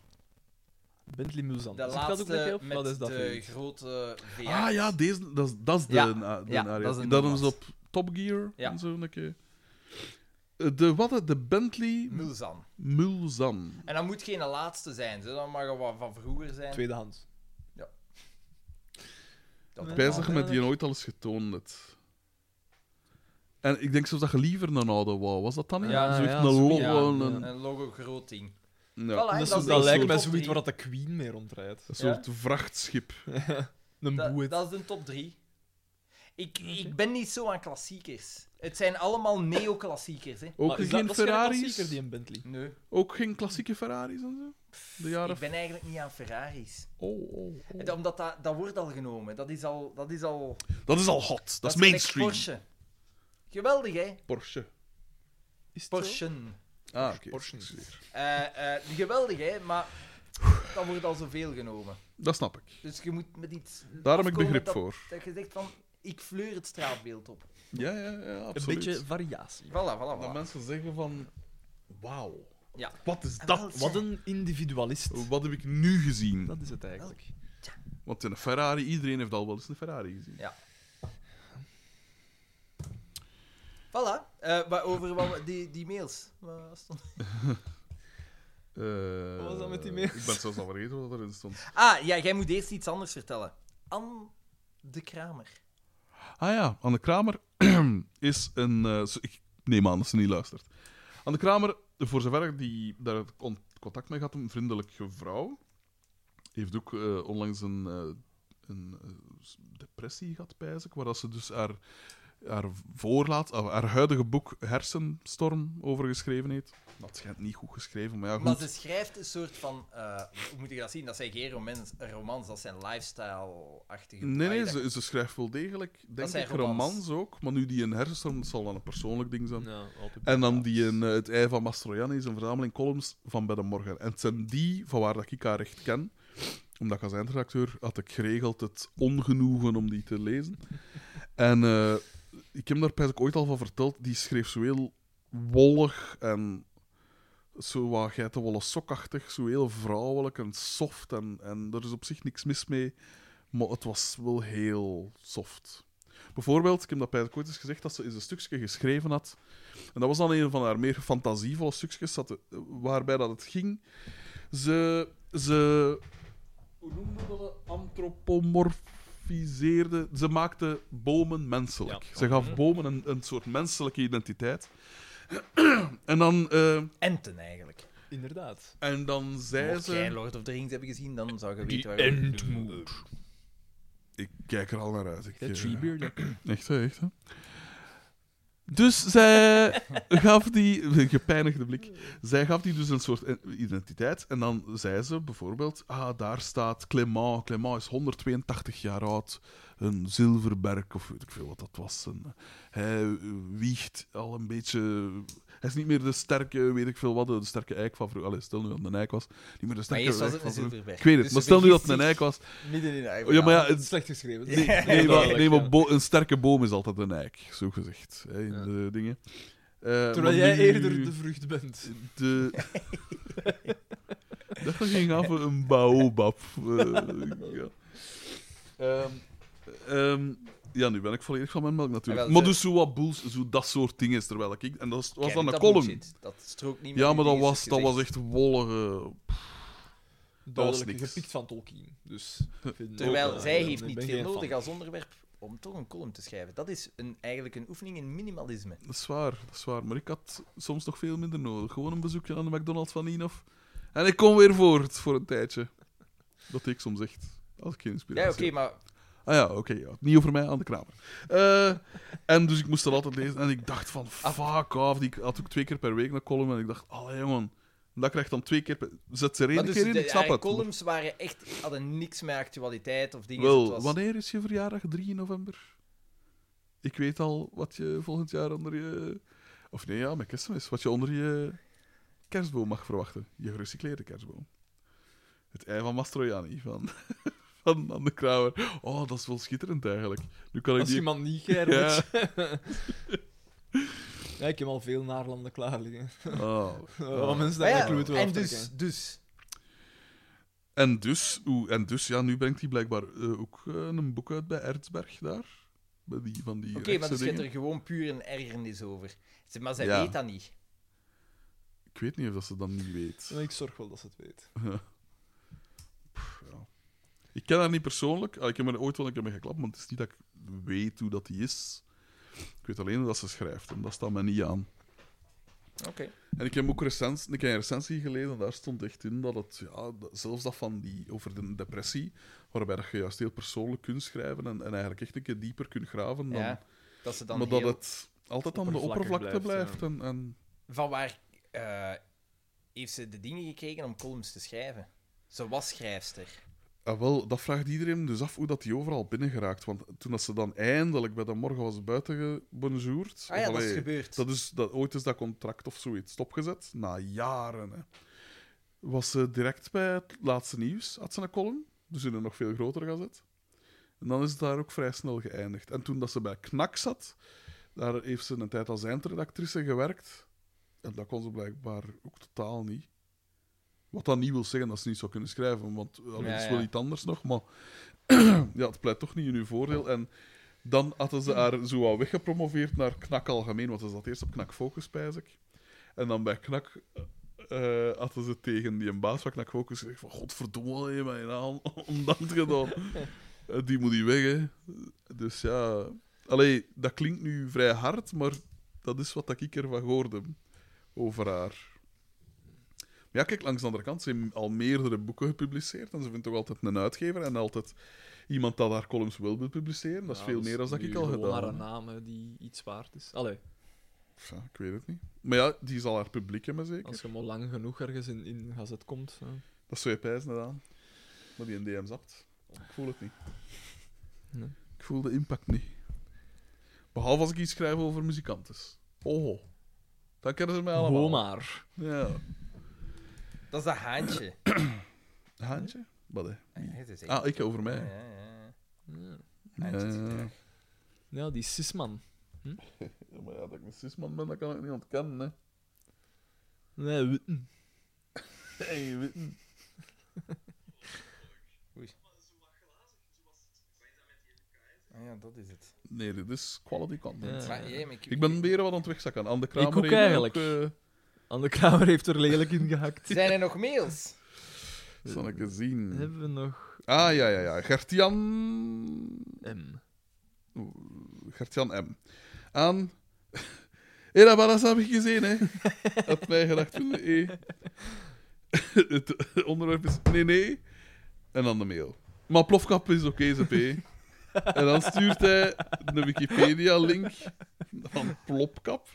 [SPEAKER 3] Bentley Mulsanne.
[SPEAKER 4] De
[SPEAKER 3] Zit dat ook lekker
[SPEAKER 4] laatste
[SPEAKER 3] op?
[SPEAKER 4] met
[SPEAKER 3] Wat is dat
[SPEAKER 4] de
[SPEAKER 3] voor iets?
[SPEAKER 4] grote V8.
[SPEAKER 1] Ah ja, deze, dat, is, dat is de,
[SPEAKER 4] Ja,
[SPEAKER 1] na- de
[SPEAKER 4] ja,
[SPEAKER 1] Ariel.
[SPEAKER 4] dat is een
[SPEAKER 1] Dat
[SPEAKER 4] Nomad.
[SPEAKER 1] is op Top Gear
[SPEAKER 4] Ja.
[SPEAKER 1] en zo. Een keer. Eh, De, wat, hè? de Bentley
[SPEAKER 4] Mulsanne.
[SPEAKER 1] Mulzan.
[SPEAKER 4] En dat moet geen laatste zijn, zo. dat mag wat van vroeger zijn.
[SPEAKER 3] Tweedehands.
[SPEAKER 4] Dat-
[SPEAKER 1] Ik wijs dat je met die ooit al eens getoond hebt. En ik denk zelfs dat je liever een oude wou. Was dat dan niet?
[SPEAKER 4] Ja,
[SPEAKER 1] Zoiets
[SPEAKER 3] ja,
[SPEAKER 1] een
[SPEAKER 3] zoiets,
[SPEAKER 1] lolle...
[SPEAKER 4] ja,
[SPEAKER 1] een,
[SPEAKER 4] Een logo groot ding.
[SPEAKER 1] ja,
[SPEAKER 4] Voilà,
[SPEAKER 3] Dat, is
[SPEAKER 4] dat
[SPEAKER 3] zo-
[SPEAKER 4] is
[SPEAKER 3] dat lijkt
[SPEAKER 4] een soort
[SPEAKER 3] mij
[SPEAKER 4] top
[SPEAKER 3] zoiets
[SPEAKER 4] drie.
[SPEAKER 3] waar dat de Queen mee rondrijdt.
[SPEAKER 1] Een soort vrachtschip.
[SPEAKER 3] Een
[SPEAKER 4] Dat,
[SPEAKER 3] boeit.
[SPEAKER 4] dat is de top 3. Ik, ik ben niet zo aan klassiekers. Het zijn allemaal neoclassiekers. Hè.
[SPEAKER 1] Ook
[SPEAKER 3] Maar is dat-
[SPEAKER 1] geen
[SPEAKER 3] dat is
[SPEAKER 1] Ferraris.
[SPEAKER 3] klassieker, die een Bentley.
[SPEAKER 4] Nee,
[SPEAKER 1] Ook geen klassieke Ferraris en zo. De jaren...
[SPEAKER 4] ik ben eigenlijk niet aan Ferraris.
[SPEAKER 1] Oh, oh, oh.
[SPEAKER 4] Dat- Omdat dat, dat wordt al genomen. Dat is al... Dat is, al, dat
[SPEAKER 1] Dat is al hot. Dat, is
[SPEAKER 4] gelijk
[SPEAKER 1] mainstream. Porsche.
[SPEAKER 4] Porsche. Geweldig, hè?
[SPEAKER 3] Is het zo?
[SPEAKER 4] Porsche.
[SPEAKER 1] Ah, oké.
[SPEAKER 3] Porsche.
[SPEAKER 4] Eh, eh, geweldig, hè? Maar dat wordt al zoveel genomen.
[SPEAKER 1] Dat snap ik.
[SPEAKER 4] Dus je moet met iets...
[SPEAKER 1] Daar heb ik
[SPEAKER 4] afkomen
[SPEAKER 1] begrip
[SPEAKER 4] dat,
[SPEAKER 1] voor.
[SPEAKER 4] Dat je zegt van, ik fleur het straatbeeld op.
[SPEAKER 1] Ja, ja, ja, absoluut.
[SPEAKER 3] Een beetje variatie.
[SPEAKER 4] Voilà, voilà,
[SPEAKER 1] Dat
[SPEAKER 4] voilà.
[SPEAKER 1] mensen zeggen van... Wauw.
[SPEAKER 4] Ja.
[SPEAKER 1] Wat is
[SPEAKER 4] En
[SPEAKER 1] dat?
[SPEAKER 4] wel,
[SPEAKER 3] Wat een individualist.
[SPEAKER 1] Wat heb ik nu gezien?
[SPEAKER 3] Dat is het eigenlijk.
[SPEAKER 1] Want een Ferrari, iedereen heeft al wel eens een Ferrari gezien.
[SPEAKER 4] Voilà. Eh, maar over wat we- die, die mails. Wat stond-
[SPEAKER 1] Eh,
[SPEAKER 3] Wat was dat met die mails?
[SPEAKER 1] Ik ben zelfs al vergeten wat erin stond.
[SPEAKER 4] Ah, ja, jij moet eerst iets anders vertellen. Anne de Kramer.
[SPEAKER 1] Ah ja, Anne Kramer is een... eh, ze- ik neem aan dat ze niet luistert. Anne Kramer, voor zover ik die, daar con- contact mee had, een vriendelijke vrouw. Heeft ook eh, onlangs een, eh, een eh, s- depressie gehad, pijs ik, waar dat ze dus haar, haar voorlaat, ah, haar huidige boek Hersenstorm over geschreven heeft. Dat schijnt niet goed geschreven, maar ja, Ah, goed.
[SPEAKER 4] Maar ze schrijft een soort van... eh, hoe moet ik dat zien? Dat zijn geen romans, romans dat zijn lifestyle-achtige...
[SPEAKER 1] Nee,
[SPEAKER 4] Ah,
[SPEAKER 1] nee,
[SPEAKER 4] dat-
[SPEAKER 1] ze, ze schrijft wel degelijk, denk
[SPEAKER 4] zijn
[SPEAKER 1] ik,
[SPEAKER 4] romans.
[SPEAKER 1] romans ook. Maar nu die een hersenstorm, dat zal dan een persoonlijk ding zijn.
[SPEAKER 3] Ja, altijd
[SPEAKER 1] En dan die een, eh, Het Ei van Mastroianni is een verzameling columns van bij de morgen. En het zijn die van waar dat ik haar echt ken. Omdat ik als eindredacteur had ik geregeld het ongenoegen om die te lezen. En eh, ik heb daar pijs ik ooit al van verteld, die schreef zo heel wollig en zo wat geitenwolle sokachtig, zo heel vrouwelijk en soft. En, en er is op zich niks mis mee, maar het was wel heel soft. Bijvoorbeeld, ik heb dat bij het ooit eens gezegd, dat ze eens een stukje geschreven had. En dat was dan een van haar meer fantasievolle stukjes, dat, de- waarbij dat het ging. Ze... ze hoe noemde dat? het? Antropomorfiseerde... Ze maakte bomen menselijk.
[SPEAKER 3] Ja.
[SPEAKER 1] Ze gaf bomen een, een soort menselijke identiteit. en dan... eh,
[SPEAKER 4] Enten, eigenlijk.
[SPEAKER 3] Inderdaad.
[SPEAKER 1] en dan zei
[SPEAKER 4] Mocht jij
[SPEAKER 1] ze...
[SPEAKER 4] Lord of the Rings hebben gezien, dan zou je
[SPEAKER 3] Die
[SPEAKER 4] weten waar...
[SPEAKER 3] Entmoed.
[SPEAKER 1] Ik kijk er al naar uit. Ik,
[SPEAKER 3] De
[SPEAKER 1] eh,
[SPEAKER 3] Treebeard.
[SPEAKER 1] Echt, hè, echt, hè. Dus zij gaf die... Gepeinigde blik. Zij gaf die dus een soort identiteit. En dan zei ze bijvoorbeeld... Ah, daar staat Clément. Clément is 182 jaar oud. Een zilverberg, of weet ik veel wat dat was. En eh, hij wiegt al een beetje... Hij is niet meer de sterke, weet ik veel wat, de sterke eik van vroeger. Allee, stel nu dat het een eik was. Niet meer de
[SPEAKER 4] Maar
[SPEAKER 1] sterke
[SPEAKER 4] eerst was
[SPEAKER 1] eik
[SPEAKER 4] het
[SPEAKER 1] van
[SPEAKER 4] een
[SPEAKER 1] vroeger.
[SPEAKER 4] zilverberg.
[SPEAKER 1] Ik weet het,
[SPEAKER 4] Dus
[SPEAKER 1] maar
[SPEAKER 4] ze
[SPEAKER 1] stel nu dat het een
[SPEAKER 4] vergist
[SPEAKER 1] eik was.
[SPEAKER 4] zich Midden in de eigen
[SPEAKER 1] Oh, ja, maar ja,
[SPEAKER 4] verhaal.
[SPEAKER 1] het-
[SPEAKER 3] Slecht geschreven.
[SPEAKER 1] Nee, nee, maar, nee, maar bo- een sterke boom is altijd een eik, zo gezegd. Hè, in
[SPEAKER 3] Ja.
[SPEAKER 1] de dingen. Eh, maar
[SPEAKER 3] Terwijl jij
[SPEAKER 1] nu-
[SPEAKER 3] eerder de vrucht bent.
[SPEAKER 1] de... Dat ging af voor een baobab. Eh, ja. Ehm, ehm, Ja, nu ben ik volledig van mijn melk natuurlijk.
[SPEAKER 9] Ah, wel,
[SPEAKER 1] maar
[SPEAKER 9] ze-
[SPEAKER 1] dus zo wat boels, zo dat soort dingen is terwijl ik. En dat is- was
[SPEAKER 9] Kijk,
[SPEAKER 1] dan een
[SPEAKER 9] dat
[SPEAKER 1] column.
[SPEAKER 9] bullshit. Dat strookt niet
[SPEAKER 1] Ja,
[SPEAKER 9] met
[SPEAKER 1] maar
[SPEAKER 9] uw
[SPEAKER 1] dat was,
[SPEAKER 9] eerste
[SPEAKER 1] dat was
[SPEAKER 9] gezicht.
[SPEAKER 1] echt wollige.
[SPEAKER 3] Duidelijk
[SPEAKER 1] niks.
[SPEAKER 3] gepikt van Tolkien. Dus,
[SPEAKER 9] Terwijl
[SPEAKER 3] ook,
[SPEAKER 9] zij
[SPEAKER 3] eh,
[SPEAKER 9] heeft
[SPEAKER 3] ik
[SPEAKER 9] niet
[SPEAKER 3] ben
[SPEAKER 9] veel
[SPEAKER 3] geen fan.
[SPEAKER 9] nodig als onderwerp om toch een column te schrijven. Dat is een, eigenlijk een oefening in minimalisme.
[SPEAKER 1] Dat is waar, dat is waar. Maar ik had soms nog veel minder nodig. Gewoon een bezoekje aan de McDonald's van Inof. En ik kom weer voort voor een tijdje. Dat deed ik soms echt. Als ik geen
[SPEAKER 9] Ja,
[SPEAKER 1] inspiratie
[SPEAKER 9] oké,
[SPEAKER 1] heb.
[SPEAKER 9] maar
[SPEAKER 1] Ah ja, oké. ja. Niet over mij, aan de kramer. Eh, en dus ik moest dat altijd lezen. En ik dacht van,
[SPEAKER 9] Ah.
[SPEAKER 1] fuck off. Die had ook twee keer per week een column. En ik dacht, allee jongen. Dat krijgt dan twee keer per... Zet ze er één
[SPEAKER 9] maar
[SPEAKER 1] keer
[SPEAKER 9] dus
[SPEAKER 1] in,
[SPEAKER 9] de-
[SPEAKER 1] ik snap
[SPEAKER 9] haar
[SPEAKER 1] het.
[SPEAKER 9] columns waren echt, hadden niks met actualiteit of dingen.
[SPEAKER 1] Wel,
[SPEAKER 9] het was-
[SPEAKER 1] wanneer is je verjaardag? 3 november? Ik weet al wat je volgend jaar onder je... Of nee, ja, met kerstmis. Wat je onder je kerstboom mag verwachten. Je gerecycleerde kerstboom. Het ei van Mastroianni van, van Anne Kramer. Oh, dat is wel schitterend eigenlijk. Nu kan ik
[SPEAKER 3] Als
[SPEAKER 1] die...
[SPEAKER 3] iemand niet geir
[SPEAKER 1] Ja.
[SPEAKER 3] ja, ik heb al veel naarlanden klaar liggen.
[SPEAKER 1] Oh.
[SPEAKER 9] Maar
[SPEAKER 3] Wat mensen daar
[SPEAKER 9] ja,
[SPEAKER 3] eigenlijk moeten
[SPEAKER 9] en
[SPEAKER 3] wel
[SPEAKER 9] dus,
[SPEAKER 3] aftrekken.
[SPEAKER 9] dus.
[SPEAKER 1] En dus, oeh, en dus, ja, nu brengt hij blijkbaar eh, ook eh, een boek uit bij Erzberg daar. Bij die, van die
[SPEAKER 9] Oké, maar
[SPEAKER 1] rechtse
[SPEAKER 9] dus je hebt
[SPEAKER 1] dingen.
[SPEAKER 9] er gewoon puur een ergernis over. Ze- Maar zij
[SPEAKER 1] Ja.
[SPEAKER 9] weet dat niet.
[SPEAKER 1] Ik weet niet of dat ze dat niet weet.
[SPEAKER 3] Ik zorg wel dat ze het weet.
[SPEAKER 1] Ja. Ik ken haar niet persoonlijk. Ah, Ik heb er ooit wel een keer mee geklapt, maar het is niet dat ik weet hoe dat die is. Ik weet alleen hoe dat ze schrijft, en dat staat mij niet aan.
[SPEAKER 9] Oké.
[SPEAKER 1] En ik heb ook recens, ik heb een recensie gelezen en daar stond echt in dat het, ja, dat- zelfs dat van die, over de depressie, waarbij dat je juist heel persoonlijk kunt schrijven en, en eigenlijk echt een keer dieper kunt graven, dan,
[SPEAKER 9] Ja, dat ze dan
[SPEAKER 1] maar
[SPEAKER 9] heel...
[SPEAKER 1] dat het altijd aan de
[SPEAKER 3] oppervlakkig
[SPEAKER 1] oppervlakte blijft.
[SPEAKER 3] blijft,
[SPEAKER 1] en, en,
[SPEAKER 9] Van waar eh, heeft ze de dingen gekregen om columns te schrijven? Ze was schrijfster.
[SPEAKER 1] ah, wel, dat vraagt iedereen dus af hoe dat die overal binnen geraakt. Want toen dat ze dan eindelijk bij de morgen was buiten gebonjourd...
[SPEAKER 9] Ah ja,
[SPEAKER 1] of
[SPEAKER 9] dat is
[SPEAKER 1] allee,
[SPEAKER 9] gebeurd.
[SPEAKER 1] Dat is, dat, ooit is dat contract of zoiets stopgezet, na jaren. Hè. Was ze direct bij het laatste nieuws, had ze een column, dus in een nog veel grotere gazet. En dan is het daar ook vrij snel geëindigd. En toen dat ze bij Knak zat, daar heeft ze een tijd als eindredactrice gewerkt. En dat kon ze blijkbaar ook totaal niet. Wat dat niet wil zeggen dat ze niet zou kunnen schrijven, want eh, allee,
[SPEAKER 9] Ja,
[SPEAKER 1] dat is
[SPEAKER 9] ja.
[SPEAKER 1] wel iets anders nog, maar ja, het pleit toch niet in uw voordeel. En dan hadden ze haar zo wat weggepromoveerd naar Knak Algemeen, want ze zat eerst op Knak Focus, pijs ik. En dan bij Knak eh, hadden ze tegen die een baas van Knak Focus gezegd van godverdomme, je mij aan ondanks gedaan. Eh, die moet die weg, hè. Dus ja... Allee, dat klinkt nu vrij hard, maar dat is wat dat ik ervan hoorde over haar. Maar ja, kijk, langs de andere kant, ze heeft al meerdere boeken gepubliceerd en ze vindt toch altijd een uitgever en altijd iemand dat haar columns wil publiceren. Dat is
[SPEAKER 3] Ja,
[SPEAKER 1] veel
[SPEAKER 3] dus
[SPEAKER 1] meer dan dat
[SPEAKER 3] nu
[SPEAKER 1] ik al
[SPEAKER 3] gewoon
[SPEAKER 1] gedaan
[SPEAKER 3] maar
[SPEAKER 1] heb.
[SPEAKER 3] een naam hè, die iets waard is. Allee,
[SPEAKER 1] Pff, ja, ik weet het niet. Maar ja, die zal haar publiek hebben, zeker.
[SPEAKER 3] als je maar lang genoeg ergens in, in gazet komt. eh,
[SPEAKER 1] Dat zou je pijzen, gedaan. Maar die een DM zapt. Ik voel het niet.
[SPEAKER 3] Nee.
[SPEAKER 1] Ik voel de impact niet. Behalve als ik iets schrijf over muzikanten. Oh, dan kennen ze mij allemaal.
[SPEAKER 3] Gewoon maar.
[SPEAKER 1] Ja.
[SPEAKER 9] Dat is dat haantje.
[SPEAKER 1] Haantje? Wat hè?
[SPEAKER 9] Ah, ja, dat is echt-
[SPEAKER 1] Ah, ik over
[SPEAKER 9] Ja,
[SPEAKER 1] mij.
[SPEAKER 9] ja, ja.
[SPEAKER 3] Ja.
[SPEAKER 9] Haantje.
[SPEAKER 1] Ja.
[SPEAKER 3] Ja, die Sisman.
[SPEAKER 1] Ja, maar ja, dat ik een cisman ben, dat kan ik niet ontkennen. Hè.
[SPEAKER 3] Nee, Witten.
[SPEAKER 1] Hey, witten.
[SPEAKER 9] Ah ja, dat is het.
[SPEAKER 1] Nee, dit is quality content.
[SPEAKER 3] Ja.
[SPEAKER 9] Maar, ja, maar
[SPEAKER 1] Ik ben weer wat aan het wegzakken. Aan de kramer
[SPEAKER 3] ook
[SPEAKER 1] heeft ook,
[SPEAKER 3] eigenlijk.
[SPEAKER 1] eh,
[SPEAKER 3] Anne Kramer heeft er lelijk in gehakt.
[SPEAKER 9] Zijn er nog mails?
[SPEAKER 1] zal ik eens zien.
[SPEAKER 3] Hebben we nog
[SPEAKER 1] Ah, ja, ja, ja. Gertjan...
[SPEAKER 3] M?
[SPEAKER 1] Gertjan M. Aan... Hé, dat was heb ik gezien, hè. Had mij gedacht, eh. Het onderwerp is nee, nee. En dan de mail. Maar plofkap is oké, ZP. En dan stuurt hij de Wikipedia-link van plopkap.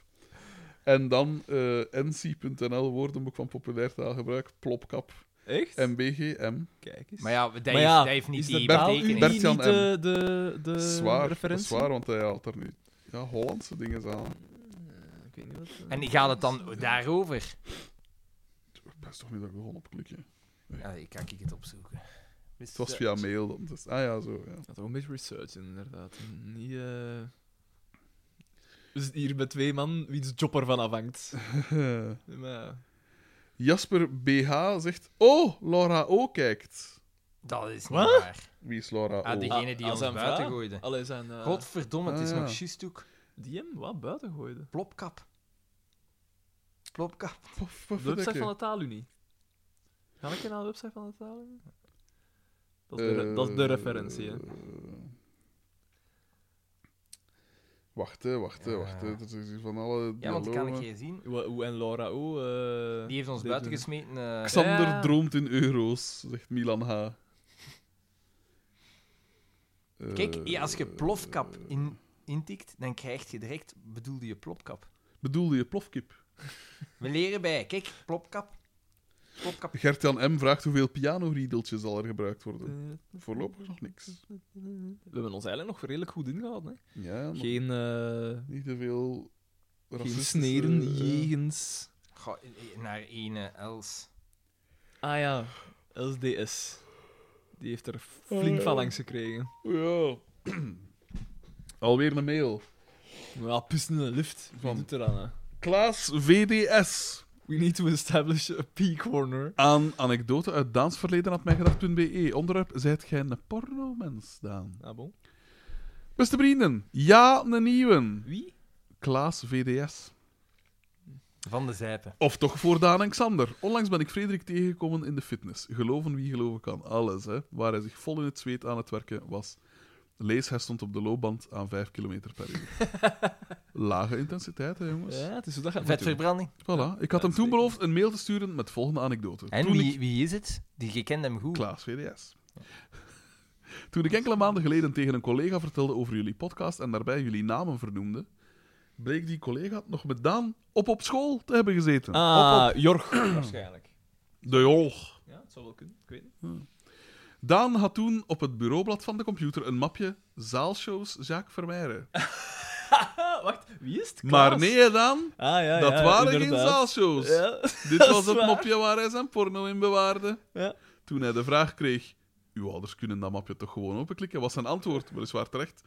[SPEAKER 1] En dan eh, nc.nl, woordenboek van populair taalgebruik, plopkap,
[SPEAKER 3] Echt?
[SPEAKER 1] mbgm.
[SPEAKER 3] Kijk eens.
[SPEAKER 9] Maar ja, dat
[SPEAKER 3] Maar
[SPEAKER 9] heeft, dat
[SPEAKER 3] ja,
[SPEAKER 9] heeft niet
[SPEAKER 3] is
[SPEAKER 9] die
[SPEAKER 3] de
[SPEAKER 1] betekenis.
[SPEAKER 9] betekenis.
[SPEAKER 3] taalunie
[SPEAKER 1] Bert-Jan
[SPEAKER 3] niet de, de, de
[SPEAKER 1] Zwaar, dat is
[SPEAKER 3] Eh, referentie?
[SPEAKER 1] zwaar, want hij haalt er nu ja, Hollandse dingen aan.
[SPEAKER 3] Ik weet niet wat... eh,
[SPEAKER 9] En gaat het dan daarover?
[SPEAKER 1] Best toch niet dat ik gewoon opklikken.
[SPEAKER 9] Ja, ik kan ik het opzoeken.
[SPEAKER 1] Het was via mail dan. Dus, ah ja, zo. Ja.
[SPEAKER 3] Dat is ook een beetje research, inderdaad. Niet, eh, We zitten hier met twee man wiens job ervan afhangt. Maar, ja.
[SPEAKER 1] Jasper BH zegt: Oh, Laura O kijkt.
[SPEAKER 4] Dat is niet
[SPEAKER 3] Wat?
[SPEAKER 4] waar.
[SPEAKER 1] Wie is Laura?
[SPEAKER 4] Ah,
[SPEAKER 1] Oh.
[SPEAKER 4] diegene die
[SPEAKER 3] Ah,
[SPEAKER 4] ons
[SPEAKER 3] zijn
[SPEAKER 4] buiten
[SPEAKER 3] vraag?
[SPEAKER 4] gooide.
[SPEAKER 3] Allee, zijn... eh,
[SPEAKER 4] Godverdomme, het is
[SPEAKER 1] Ah, ja.
[SPEAKER 4] nog juist ook
[SPEAKER 3] Die hem wat buiten gooide.
[SPEAKER 4] plopkap. Plopkap.
[SPEAKER 1] Paf,
[SPEAKER 3] De
[SPEAKER 1] paf,
[SPEAKER 3] website
[SPEAKER 1] dekke.
[SPEAKER 3] van de Taalunie. Ga ik naar de website van de Taalunie? Dat is de, re- dat is de
[SPEAKER 1] Eh,
[SPEAKER 3] referentie, hè.
[SPEAKER 1] Wacht, hè, wacht, hè,
[SPEAKER 4] Ja.
[SPEAKER 1] wacht. Hè. Dat is hier van alle
[SPEAKER 4] Ja, want ik kan een
[SPEAKER 1] dialogen.
[SPEAKER 4] keer zien.
[SPEAKER 3] Hoe- hoe- En Laura O. eh,
[SPEAKER 4] Die heeft ons
[SPEAKER 3] dit
[SPEAKER 4] buiten
[SPEAKER 3] doen.
[SPEAKER 4] gesmeten. eh,
[SPEAKER 1] Xander
[SPEAKER 3] Ja.
[SPEAKER 1] droomt in euro's, zegt Milan H. Eh,
[SPEAKER 4] Kijk, ja, als je plofkap in, intikt, dan krijg je direct bedoelde je plopkap.
[SPEAKER 1] Bedoelde je plofkip?
[SPEAKER 4] We leren bij. Kijk, plopkap. Plopkap.
[SPEAKER 1] Gert-Jan M. vraagt hoeveel pianoriedeltjes zal er gebruikt worden.
[SPEAKER 3] Eh,
[SPEAKER 1] Voorlopig nog niks.
[SPEAKER 3] We hebben ons eigenlijk nog redelijk goed ingehouden, hè.
[SPEAKER 1] Ja, nog
[SPEAKER 3] Geen, eh,
[SPEAKER 1] niet te veel
[SPEAKER 3] geen
[SPEAKER 1] racistische,
[SPEAKER 3] sneren,
[SPEAKER 1] eh,
[SPEAKER 3] jegens...
[SPEAKER 4] Goh, eh, naar ene els.
[SPEAKER 3] Ah ja, LSDS. Die heeft er flink van langs gekregen.
[SPEAKER 1] Ja. Alweer een mail.
[SPEAKER 3] Ja, pissen in de lift. Wie
[SPEAKER 1] Van-
[SPEAKER 3] doet eraan, hè?
[SPEAKER 1] Klaas VDS.
[SPEAKER 3] We need to establish a P-corner.
[SPEAKER 1] Aan anekdote uit Daansverleden had mijgedacht.be. E. Onderwerp: Zijt gij een pornomens, Daan?
[SPEAKER 3] Ah, bon.
[SPEAKER 1] Beste vrienden, ja, een nieuwe.
[SPEAKER 3] Wie?
[SPEAKER 1] Klaas VDS.
[SPEAKER 4] Van de zijpen.
[SPEAKER 1] Of toch voor Daan en Xander. Onlangs ben ik Frederik tegengekomen in de fitness. Geloven wie geloven kan, alles hè. Waar hij zich vol in het zweet aan het werken was. Lees, hij stond op de loopband aan 5 km per uur. Lage intensiteit, hè, jongens.
[SPEAKER 3] Ja, het is zo dat gaat moeten doen.
[SPEAKER 4] Vetverbranding.
[SPEAKER 1] Voilà. Ik had hem toen beloofd een mail te sturen met volgende anekdote.
[SPEAKER 4] En
[SPEAKER 1] Toen ik-
[SPEAKER 4] wie, wie is het? Die, je kent hem goed.
[SPEAKER 1] Klaas VDS. Toen ik enkele maanden geleden tegen een collega vertelde over jullie podcast en daarbij jullie namen vernoemde, bleek die collega nog met Daan op op school te hebben gezeten.
[SPEAKER 3] Ah, Jorg.
[SPEAKER 4] waarschijnlijk.
[SPEAKER 1] De jol.
[SPEAKER 3] Ja, het zou wel kunnen. Ik weet niet.
[SPEAKER 1] Daan had toen op het bureaublad van de computer een mapje zaalshows Jacques Vermeijeren.
[SPEAKER 3] Ah, wacht. Wie is het? Klaas?
[SPEAKER 1] Maar nee, hè, Daan,
[SPEAKER 3] Ah, ja,
[SPEAKER 1] dat
[SPEAKER 3] ja,
[SPEAKER 1] waren geen
[SPEAKER 3] inderdaad.
[SPEAKER 1] zaalshows.
[SPEAKER 3] Ja.
[SPEAKER 1] Dit
[SPEAKER 3] dat
[SPEAKER 1] was
[SPEAKER 3] is
[SPEAKER 1] het
[SPEAKER 3] waar.
[SPEAKER 1] mapje waar hij zijn porno in bewaarde.
[SPEAKER 3] Ja.
[SPEAKER 1] Toen hij de vraag kreeg: Uw ouders kunnen dat mapje toch gewoon openklikken? was zijn antwoord, weliswaar terecht.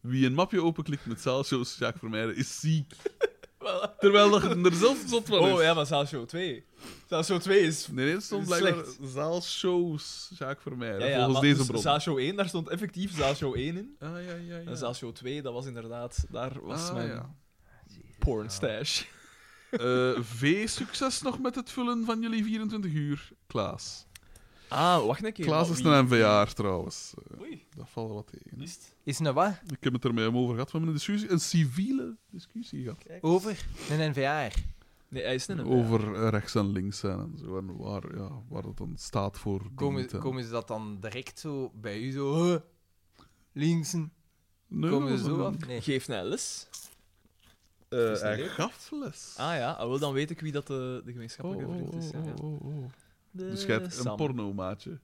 [SPEAKER 1] Wie een mapje openklikt met zaalshows, Jacques Vermeijden, is ziek. Terwijl dat je er zelf zot van is.
[SPEAKER 3] Oh ja, maar Zaalshow 2. Zaalshow 2 is.
[SPEAKER 1] Nee, nee, er stond
[SPEAKER 3] Slecht.
[SPEAKER 1] blijkbaar zaalshows, Jacques
[SPEAKER 3] Ja,
[SPEAKER 1] Vermeijden,
[SPEAKER 3] ja,
[SPEAKER 1] volgens
[SPEAKER 3] maar
[SPEAKER 1] deze
[SPEAKER 3] dus
[SPEAKER 1] bron.
[SPEAKER 3] Zaalshow 1, daar stond effectief Zaalshow 1 in.
[SPEAKER 1] Ah, ja, ja, ja.
[SPEAKER 3] En Zaalshow 2, dat was inderdaad. Daar was
[SPEAKER 1] Ah,
[SPEAKER 3] mijn
[SPEAKER 1] ja.
[SPEAKER 3] porn stash.
[SPEAKER 1] Eh, v, succes nog met het vullen van jullie 24 uur, Klaas.
[SPEAKER 3] Ah, wacht een keer.
[SPEAKER 1] Klaas
[SPEAKER 3] maar
[SPEAKER 1] is
[SPEAKER 3] wie-
[SPEAKER 1] een NVA'er trouwens. Eh,
[SPEAKER 3] Oei,
[SPEAKER 1] dat valt wel wat tegen.
[SPEAKER 3] is het?
[SPEAKER 4] Is het een wat?
[SPEAKER 1] Ik heb het er met hem over gehad. We hebben een, discussie, een civiele discussie gehad.
[SPEAKER 4] Over? Een NVA'er.
[SPEAKER 3] Nee, hij is een.
[SPEAKER 1] over eh, rechts en links zijn en zo. En waar, ja, waar dat dan staat voor. dient, hè.
[SPEAKER 4] Komen, komen ze dat dan direct zo bij u zo... huh? Linksen.
[SPEAKER 1] nee,
[SPEAKER 4] Komen
[SPEAKER 1] dat
[SPEAKER 4] ze
[SPEAKER 1] was
[SPEAKER 4] zo
[SPEAKER 1] een-
[SPEAKER 4] af? Nee.
[SPEAKER 3] Geef een les.
[SPEAKER 1] Eh,
[SPEAKER 3] Is dat
[SPEAKER 1] hij
[SPEAKER 3] leuk?
[SPEAKER 1] gaf les.
[SPEAKER 3] Ah ja, ah, wel, dan weet ik wie dat de, de
[SPEAKER 1] Oh,
[SPEAKER 3] gemeenschappelijke
[SPEAKER 1] oh,
[SPEAKER 3] vriend is. dus Ja, ja.
[SPEAKER 1] oh, oh, oh.
[SPEAKER 3] De
[SPEAKER 1] Dus jij hebt een
[SPEAKER 3] Sam.
[SPEAKER 1] pornomaatje.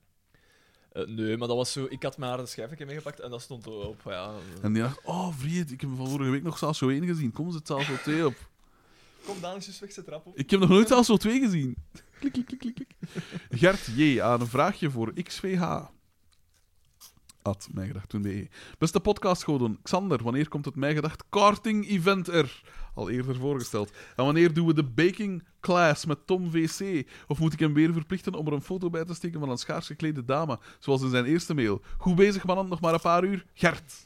[SPEAKER 3] Eh, nee, maar dat was zo. Ik had maar een schijfje meegepakt en dat stond op. Ja.
[SPEAKER 1] En die dacht, oh vriend, ik heb van vorige week nog Salso 1 gezien. Kom, zet Salso 2 op.
[SPEAKER 3] Kom, Daan, is weg, ze trap op.
[SPEAKER 1] Ik heb nog nooit Salso 2 gezien. Klik, klik, klik, klik, klik. Gert J. aan een vraagje voor XVH. At mijgedacht.be. E. Beste podcastgoden, Xander, wanneer komt het mijgedacht karting event er? Al eerder voorgesteld. En wanneer doen we de baking class met Tom VC? Of moet ik hem weer verplichten om er een foto bij te steken van een schaars geklede dame, zoals in zijn eerste mail? Goed bezig, mannen, nog maar een paar uur. Gert.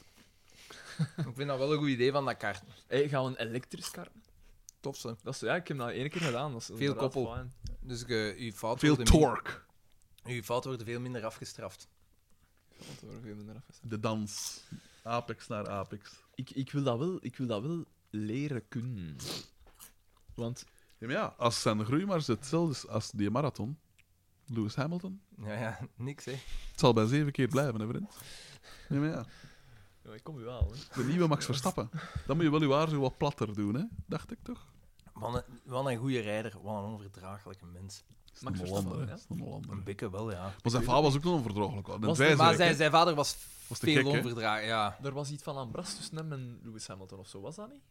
[SPEAKER 4] Ik vind dat wel een goed idee van dat kaart.
[SPEAKER 3] Hey, gaan we een elektrisch kar?
[SPEAKER 4] Tof, zo.
[SPEAKER 3] Dat is, ja, ik heb dat één keer gedaan. Dat is inderdaad
[SPEAKER 4] koppel.
[SPEAKER 3] fijn.
[SPEAKER 4] Dus je uw, fouten
[SPEAKER 1] Veel
[SPEAKER 4] worden min-
[SPEAKER 1] torque.
[SPEAKER 4] uw fouten worden veel minder afgestraft.
[SPEAKER 3] Want we waren veel minder af.
[SPEAKER 1] De dans. Apex naar Apex.
[SPEAKER 3] Ik, ik, wil dat wel, ik wil dat wel leren kunnen. Want
[SPEAKER 1] Ja, maar ja, als zijn groei maar hetzelfde is als die marathon, Lewis Hamilton,
[SPEAKER 4] Ja, ja, niks, hè.
[SPEAKER 1] het zal bij zeven keer blijven, hè, vriend? Ja, maar ja,
[SPEAKER 3] ja, ik kom u wel. Hè.
[SPEAKER 1] de nieuwe Max Verstappen. Dan moet je wel je haar zo wat platter doen, hè? Dacht ik toch?
[SPEAKER 4] Wat een, wat een goede rijder, wat een onverdraaglijke mens.
[SPEAKER 1] Is het
[SPEAKER 3] Max
[SPEAKER 1] een
[SPEAKER 3] Verstappen,
[SPEAKER 1] Hollander, hè?
[SPEAKER 3] ja.
[SPEAKER 1] Is het een Hollander.
[SPEAKER 4] Een bikke wel, ja.
[SPEAKER 1] Maar zijn vader was ook nog onverdraaglijk. hoor. En
[SPEAKER 3] Was-
[SPEAKER 1] zij
[SPEAKER 4] Mm. Maar
[SPEAKER 1] zei,
[SPEAKER 4] zijn, zijn vader was,
[SPEAKER 1] Was te
[SPEAKER 4] veel
[SPEAKER 1] gek, hè?
[SPEAKER 4] onverdraaglijk, ja.
[SPEAKER 3] Er was iets van Ambras tussen hem en Lewis Hamilton of zo, was dat niet?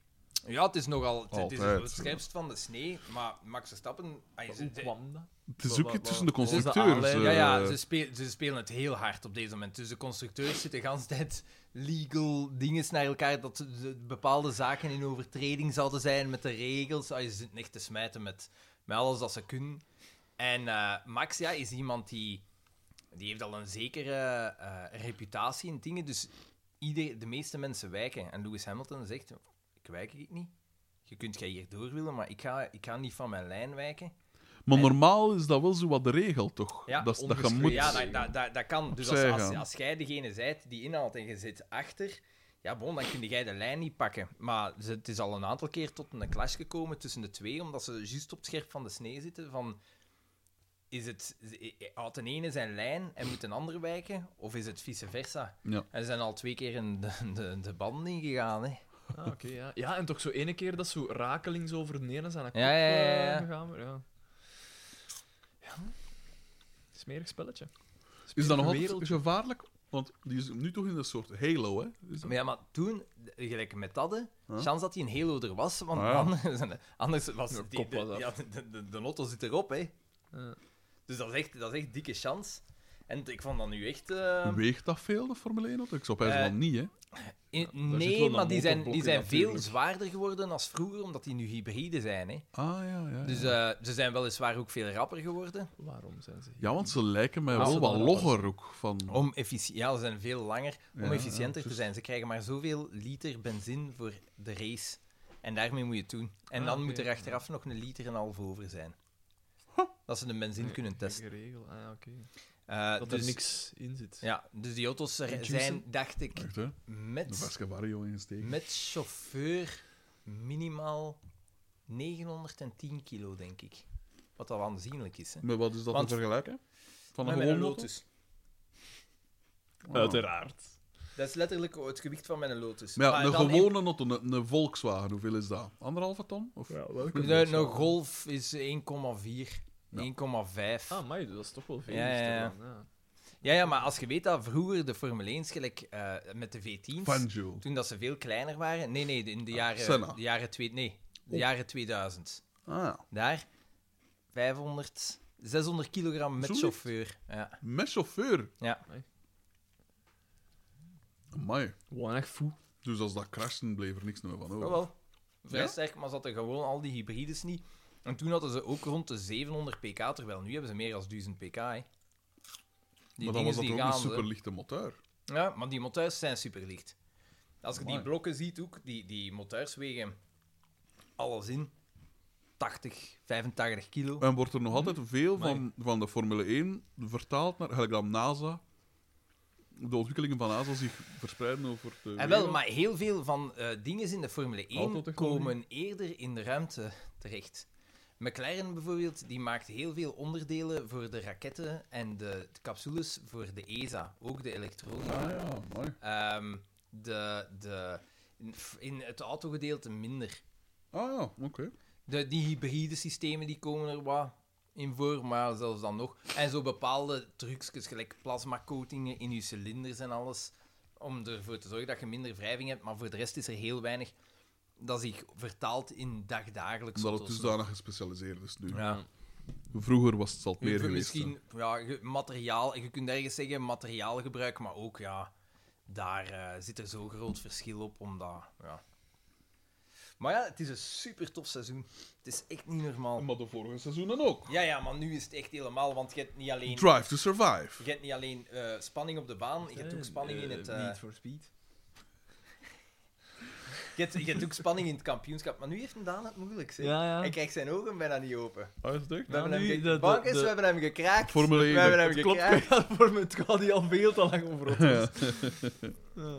[SPEAKER 4] Ja, het is nogal... Het, het is
[SPEAKER 1] Altijd,
[SPEAKER 4] het scherpst van de snee, maar Max Verstappen... ah,
[SPEAKER 3] Maar
[SPEAKER 4] ze-
[SPEAKER 3] Hoe
[SPEAKER 4] ze-
[SPEAKER 3] kwam dat?
[SPEAKER 1] Het is ook
[SPEAKER 3] Wa- wa-
[SPEAKER 1] iets tussen de
[SPEAKER 3] wa- is dat
[SPEAKER 1] constructeurs.
[SPEAKER 3] aanleiding?
[SPEAKER 1] eh,
[SPEAKER 4] Ja, ja ze, speel- ze spelen het heel hard op deze moment. Dus de constructeurs zitten de hele tijd legal dingen naar elkaar, dat ze- ze bepaalde zaken in overtreding zouden zijn met de regels. Ah, je zit echt te smijten met, met alles dat ze kunnen. En eh, Max ja, is iemand die Die heeft al een zekere eh, reputatie en dingen, dus ieder, de meeste mensen wijken. En Lewis Hamilton zegt, ik wijk ik niet. Je kunt jij hier door willen, maar ik ga, ik ga niet van mijn lijn wijken.
[SPEAKER 1] Maar
[SPEAKER 4] En-
[SPEAKER 1] normaal is dat wel zo wat de regel, toch?
[SPEAKER 4] Ja,
[SPEAKER 1] dat, is- dat je
[SPEAKER 3] ongeschreven.
[SPEAKER 1] moet...
[SPEAKER 4] Ja, dat, dat, dat, dat kan. Dus als,
[SPEAKER 1] Opzij
[SPEAKER 4] als,
[SPEAKER 1] gaan.
[SPEAKER 4] als jij degene zijt die inhaalt en je zit achter, ja, bon, dan kun jij de lijn niet pakken. Maar ze- het is al een aantal keer tot een clash gekomen tussen de twee, omdat ze juist op het scherp van de snee zitten. Van, is het, houdt een ene zijn lijn en moet een ander wijken, of is het vice versa?
[SPEAKER 1] Ja.
[SPEAKER 4] En ze zijn al twee keer in de, de, de band ingegaan. Hè.
[SPEAKER 3] Ah, oké, ja. Ja, en toch zo ene keer dat zo rakelings over neer en zijn kop
[SPEAKER 4] Ja, ja, ja, ja.
[SPEAKER 3] eh, gegaan wordt, ja. Ja. Smerig spelletje.
[SPEAKER 1] Is dat nog
[SPEAKER 3] Smerig
[SPEAKER 1] altijd
[SPEAKER 3] wereldje.
[SPEAKER 1] gevaarlijk? Want die is nu toch in een soort halo, hè? Is dat-
[SPEAKER 4] Maar ja, maar toen, gelijk met dat, hè,
[SPEAKER 1] Huh?
[SPEAKER 4] chance dat hij een Halo er was, want
[SPEAKER 1] Ah, ja.
[SPEAKER 4] anders, anders was
[SPEAKER 3] Ja,
[SPEAKER 4] die,
[SPEAKER 3] kop
[SPEAKER 4] de,
[SPEAKER 3] was af.
[SPEAKER 4] ja, de, de, de lotto zit erop, hè.
[SPEAKER 3] Ja.
[SPEAKER 4] Dus dat is echt, dat is echt dikke chance. En ik vond dat nu echt... eh,
[SPEAKER 1] Weegt dat veel, de Formule 1? auto? Ik zou bijna
[SPEAKER 4] Eh,
[SPEAKER 1] wel niet, hè?
[SPEAKER 4] in-
[SPEAKER 1] wel
[SPEAKER 4] nee,
[SPEAKER 1] een
[SPEAKER 4] maar die zijn, die
[SPEAKER 1] motorblok
[SPEAKER 4] zijn
[SPEAKER 1] in,
[SPEAKER 4] veel
[SPEAKER 1] natuurlijk.
[SPEAKER 4] zwaarder geworden als vroeger, omdat die nu hybride zijn. Hè.
[SPEAKER 1] Ah, ja, ja.
[SPEAKER 4] Dus
[SPEAKER 1] ja.
[SPEAKER 4] eh, ze zijn weliswaar ook veel rapper geworden.
[SPEAKER 3] Waarom zijn ze hier?
[SPEAKER 1] ja, want ze lijken mij
[SPEAKER 3] Ah,
[SPEAKER 1] wel
[SPEAKER 3] ze
[SPEAKER 1] wat
[SPEAKER 3] waren rappers.
[SPEAKER 1] logger ook. Van...
[SPEAKER 4] Om effici- ja, ze zijn veel langer om
[SPEAKER 1] Ja, ja, dus-
[SPEAKER 4] efficiënter te
[SPEAKER 1] juist.
[SPEAKER 4] zijn. Ze krijgen maar zoveel liter benzine voor de race. En daarmee moet je het doen. En
[SPEAKER 3] Ah,
[SPEAKER 4] dan
[SPEAKER 3] oké.
[SPEAKER 4] moet er achteraf nog een liter en een half over zijn. Dat ze de benzine
[SPEAKER 3] Nee,
[SPEAKER 4] kunnen
[SPEAKER 3] geen
[SPEAKER 4] testen.
[SPEAKER 3] regel. Ah, ja, oké.
[SPEAKER 4] Eh,
[SPEAKER 3] Dat er
[SPEAKER 4] dus,
[SPEAKER 3] niks in zit.
[SPEAKER 4] Ja, dus die auto's er
[SPEAKER 3] Geen
[SPEAKER 4] zijn,
[SPEAKER 3] juicen?
[SPEAKER 4] dacht ik,
[SPEAKER 1] Echt, hè? De
[SPEAKER 4] met,
[SPEAKER 1] Vasca Vario insteken.
[SPEAKER 4] met chauffeur minimaal 910 kilo, denk ik. Wat al aanzienlijk is. Hè.
[SPEAKER 1] Maar wat is dat
[SPEAKER 4] Want-
[SPEAKER 1] te vergelijken? Van een
[SPEAKER 4] Maar met een
[SPEAKER 1] gewone
[SPEAKER 4] Lotus.
[SPEAKER 1] auto? Ah.
[SPEAKER 3] Uiteraard.
[SPEAKER 4] Dat is letterlijk het gewicht van mijn Lotus. Ah,
[SPEAKER 1] Maar ja, een
[SPEAKER 4] dan in-
[SPEAKER 1] gewone auto, een, een Volkswagen, hoeveel is dat? Anderhalve ton? Of?
[SPEAKER 3] Ja, welke?
[SPEAKER 1] Een
[SPEAKER 4] De, een
[SPEAKER 1] Volkswagen.
[SPEAKER 4] Nou, Golf is 1,4,
[SPEAKER 1] Ja.
[SPEAKER 4] 1,5.
[SPEAKER 3] Ah, maar dat is toch wel veel.
[SPEAKER 4] Ja,
[SPEAKER 3] dus
[SPEAKER 4] ja, ja.
[SPEAKER 3] dan, ja.
[SPEAKER 4] Ja, ja, maar als je weet dat vroeger de Formule 1 gelijk eh, met de V10's,
[SPEAKER 1] Fangio.
[SPEAKER 4] toen dat ze veel kleiner waren. Nee, nee, in de
[SPEAKER 1] Ah, Senna.
[SPEAKER 4] jaren, de jaren, twee, nee, de
[SPEAKER 1] Oh.
[SPEAKER 4] jaren 2000.
[SPEAKER 1] Ah, ja.
[SPEAKER 4] Daar 500, 600 kilogram met
[SPEAKER 1] Zoiets? Oh.
[SPEAKER 4] chauffeur. Ja.
[SPEAKER 1] Met chauffeur.
[SPEAKER 4] Ja.
[SPEAKER 1] Amai.
[SPEAKER 3] Weinig foe.
[SPEAKER 1] Dus als dat crashen, bleef er niks meer van over.
[SPEAKER 4] Oh, wel. Vrij
[SPEAKER 1] Ja?
[SPEAKER 4] sterk, maar ze hadden gewoon al die hybrides niet. En toen hadden ze ook rond de 700 pk, terwijl nu hebben ze meer dan 1000 pk. Hè. Die
[SPEAKER 1] maar dan was
[SPEAKER 4] dingen
[SPEAKER 1] dat
[SPEAKER 4] die
[SPEAKER 1] toch ook een
[SPEAKER 4] gaan. hè.
[SPEAKER 1] superlichte motor.
[SPEAKER 4] Ja, maar die moteurs zijn superlicht. Als je die
[SPEAKER 1] Amai.
[SPEAKER 4] blokken ziet ook, die, die moteurs wegen alles in. 80, 85 kilo.
[SPEAKER 1] En wordt er nog
[SPEAKER 4] Mhm.
[SPEAKER 1] altijd veel van, van de Formule 1 vertaald naar... Gelijk dat NASA... De ontwikkelingen van NASA zich verspreiden over de
[SPEAKER 4] En wel,
[SPEAKER 1] wereld.
[SPEAKER 4] maar heel veel van eh, dingen in de Formule 1
[SPEAKER 1] Autotechnologie.
[SPEAKER 4] komen eerder in de ruimte terecht. McLaren bijvoorbeeld, die maakt heel veel onderdelen voor de raketten en de capsules voor de ESA. Ook de elektronica.
[SPEAKER 1] Ah ja, mooi.
[SPEAKER 4] Ehm, de, de, in- in het autogedeelte minder.
[SPEAKER 1] Ah ja, oké.
[SPEAKER 4] De, die hybride systemen die komen er wat in voor, maar zelfs dan nog. En zo bepaalde trucjes, gelijk plasmacoatingen in je cilinders en alles, om ervoor te zorgen dat je minder wrijving hebt. Maar voor de rest is er heel weinig dat zich vertaalt in dagdagelijks.
[SPEAKER 1] Omdat het
[SPEAKER 4] auto's.
[SPEAKER 1] dusdanig gespecialiseerd is nu.
[SPEAKER 4] Ja.
[SPEAKER 1] Vroeger was het al meer
[SPEAKER 4] Voor
[SPEAKER 1] geweest. hè.
[SPEAKER 4] misschien ja, ge- materiaal, je kunt ergens zeggen materiaalgebruik, maar ook ja, daar eh, zit er zo'n groot verschil op. Omdat, ja. Maar ja, het is een super tof seizoen. Het is echt niet normaal.
[SPEAKER 1] Maar de vorige seizoenen ook.
[SPEAKER 4] Ja, ja, maar nu is het echt helemaal, want je hebt niet alleen,
[SPEAKER 1] Drive to Survive.
[SPEAKER 4] je hebt niet alleen eh, spanning op de baan, je hebt ook spanning in het, eh,
[SPEAKER 3] Need for Speed.
[SPEAKER 4] je hebt, je hebt ook spanning in het kampioenschap. Maar nu heeft hem Daan het moeilijk, zeg.
[SPEAKER 3] Ja, ja.
[SPEAKER 4] Hij krijgt zijn ogen bijna niet open.
[SPEAKER 1] Ah, is het echt?
[SPEAKER 4] We hebben hem
[SPEAKER 3] nu,
[SPEAKER 4] ge-
[SPEAKER 3] de- de-
[SPEAKER 4] bang is,
[SPEAKER 3] de-
[SPEAKER 4] we hebben hem gekraakt.
[SPEAKER 1] Formule 1.
[SPEAKER 4] we hebben hem
[SPEAKER 3] Het klopt,
[SPEAKER 4] gekraakt.
[SPEAKER 3] voor me, het gaat hier al veel te lang over.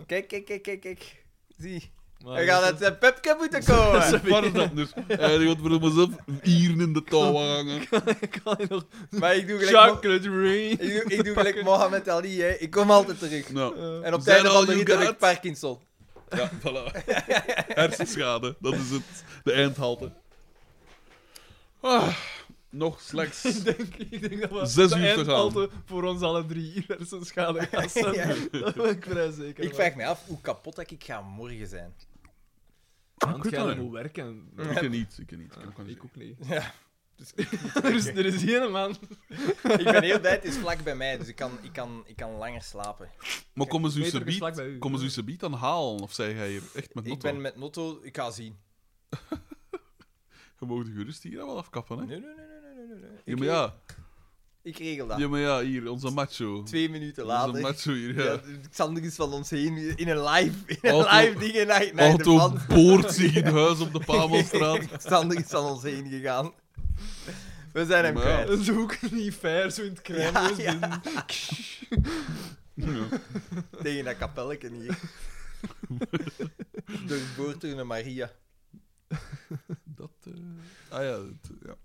[SPEAKER 4] Kijk, kijk, kijk, kijk, kijk. Zie,
[SPEAKER 3] Maar
[SPEAKER 4] hij
[SPEAKER 3] Ah, dat
[SPEAKER 4] gaat
[SPEAKER 3] is-
[SPEAKER 4] uit zijn pepke moeten komen.
[SPEAKER 1] Waar is dat dus? nu? Hij gaat voor mezelf hier in de touwen hangen.
[SPEAKER 3] Ik kan hier nog...
[SPEAKER 4] Maar ik doe gelijk... Mo-
[SPEAKER 3] Chocolate rain.
[SPEAKER 4] Ik doe, ik doe gelijk Mohamed Ali, hè. ik kom altijd terug.
[SPEAKER 1] Nou,
[SPEAKER 4] En op het
[SPEAKER 1] Zijn
[SPEAKER 4] einde van
[SPEAKER 1] all
[SPEAKER 4] de
[SPEAKER 1] you
[SPEAKER 4] rit heb
[SPEAKER 1] got?
[SPEAKER 4] ik Parkinson.
[SPEAKER 1] ja, voilà. Hersenschade, dat is het. De eindhalte. Ah, nog slechts.
[SPEAKER 3] Ik denk, ik denk dat we
[SPEAKER 1] Zes
[SPEAKER 3] de
[SPEAKER 1] uur te gaan.
[SPEAKER 3] eindhalte voor ons alle drie hier er zo'n schade gaan zijn.
[SPEAKER 4] Ja.
[SPEAKER 3] Dat ben ik vrij zeker.
[SPEAKER 4] Ik vraag me af hoe kapot dat ik ga morgen zijn.
[SPEAKER 3] aan
[SPEAKER 1] Ik weet dat niet.
[SPEAKER 3] moet werken.
[SPEAKER 1] Ik ken niet, ik ken niet. Ik kan ook
[SPEAKER 3] Ah,
[SPEAKER 1] niet
[SPEAKER 3] ik ook niet. Dus
[SPEAKER 4] Ja.
[SPEAKER 3] er, is, er is hier een man.
[SPEAKER 4] Ik ben heel blij, het is vlak bij mij, dus ik kan, ik kan, ik kan langer slapen.
[SPEAKER 1] zeggen. Maar komen ze u
[SPEAKER 3] Meter
[SPEAKER 1] subiet-
[SPEAKER 3] vlak bij u.
[SPEAKER 1] komen ze u subiet dan halen? Of zij jij hier echt met
[SPEAKER 4] Ik
[SPEAKER 1] noten?
[SPEAKER 4] ben met Notto, ik ga zien.
[SPEAKER 1] Je mag de gerust hier wel afkappen, hè?
[SPEAKER 4] Nee, nee, nee, nee, nee, nee. nee.
[SPEAKER 1] Ja,
[SPEAKER 4] Ik-
[SPEAKER 1] maar ja.
[SPEAKER 4] Ik regel dat.
[SPEAKER 1] Ja, maar ja, hier, onze macho.
[SPEAKER 4] Twee minuten
[SPEAKER 1] Onze
[SPEAKER 4] later.
[SPEAKER 1] macho hier,
[SPEAKER 4] Ja,
[SPEAKER 1] ja.
[SPEAKER 4] Xander is van ons heen in een live, in een
[SPEAKER 1] Auto-
[SPEAKER 4] live ding en hij naar de
[SPEAKER 1] Auto
[SPEAKER 4] man.
[SPEAKER 1] boort zich in huis op de Pamelstraat.
[SPEAKER 4] Xander is van ons heen gegaan. We zijn hem
[SPEAKER 1] Maar ja.
[SPEAKER 4] kwijt.
[SPEAKER 18] Dat is ook niet fair, zo in het
[SPEAKER 4] Ja,
[SPEAKER 18] kruimels.
[SPEAKER 4] ja.
[SPEAKER 1] Ja.
[SPEAKER 4] Tegen dat kapelletje hier. Doorboord door een Maria.
[SPEAKER 1] Dat, eh, Ah ja, dat, ja.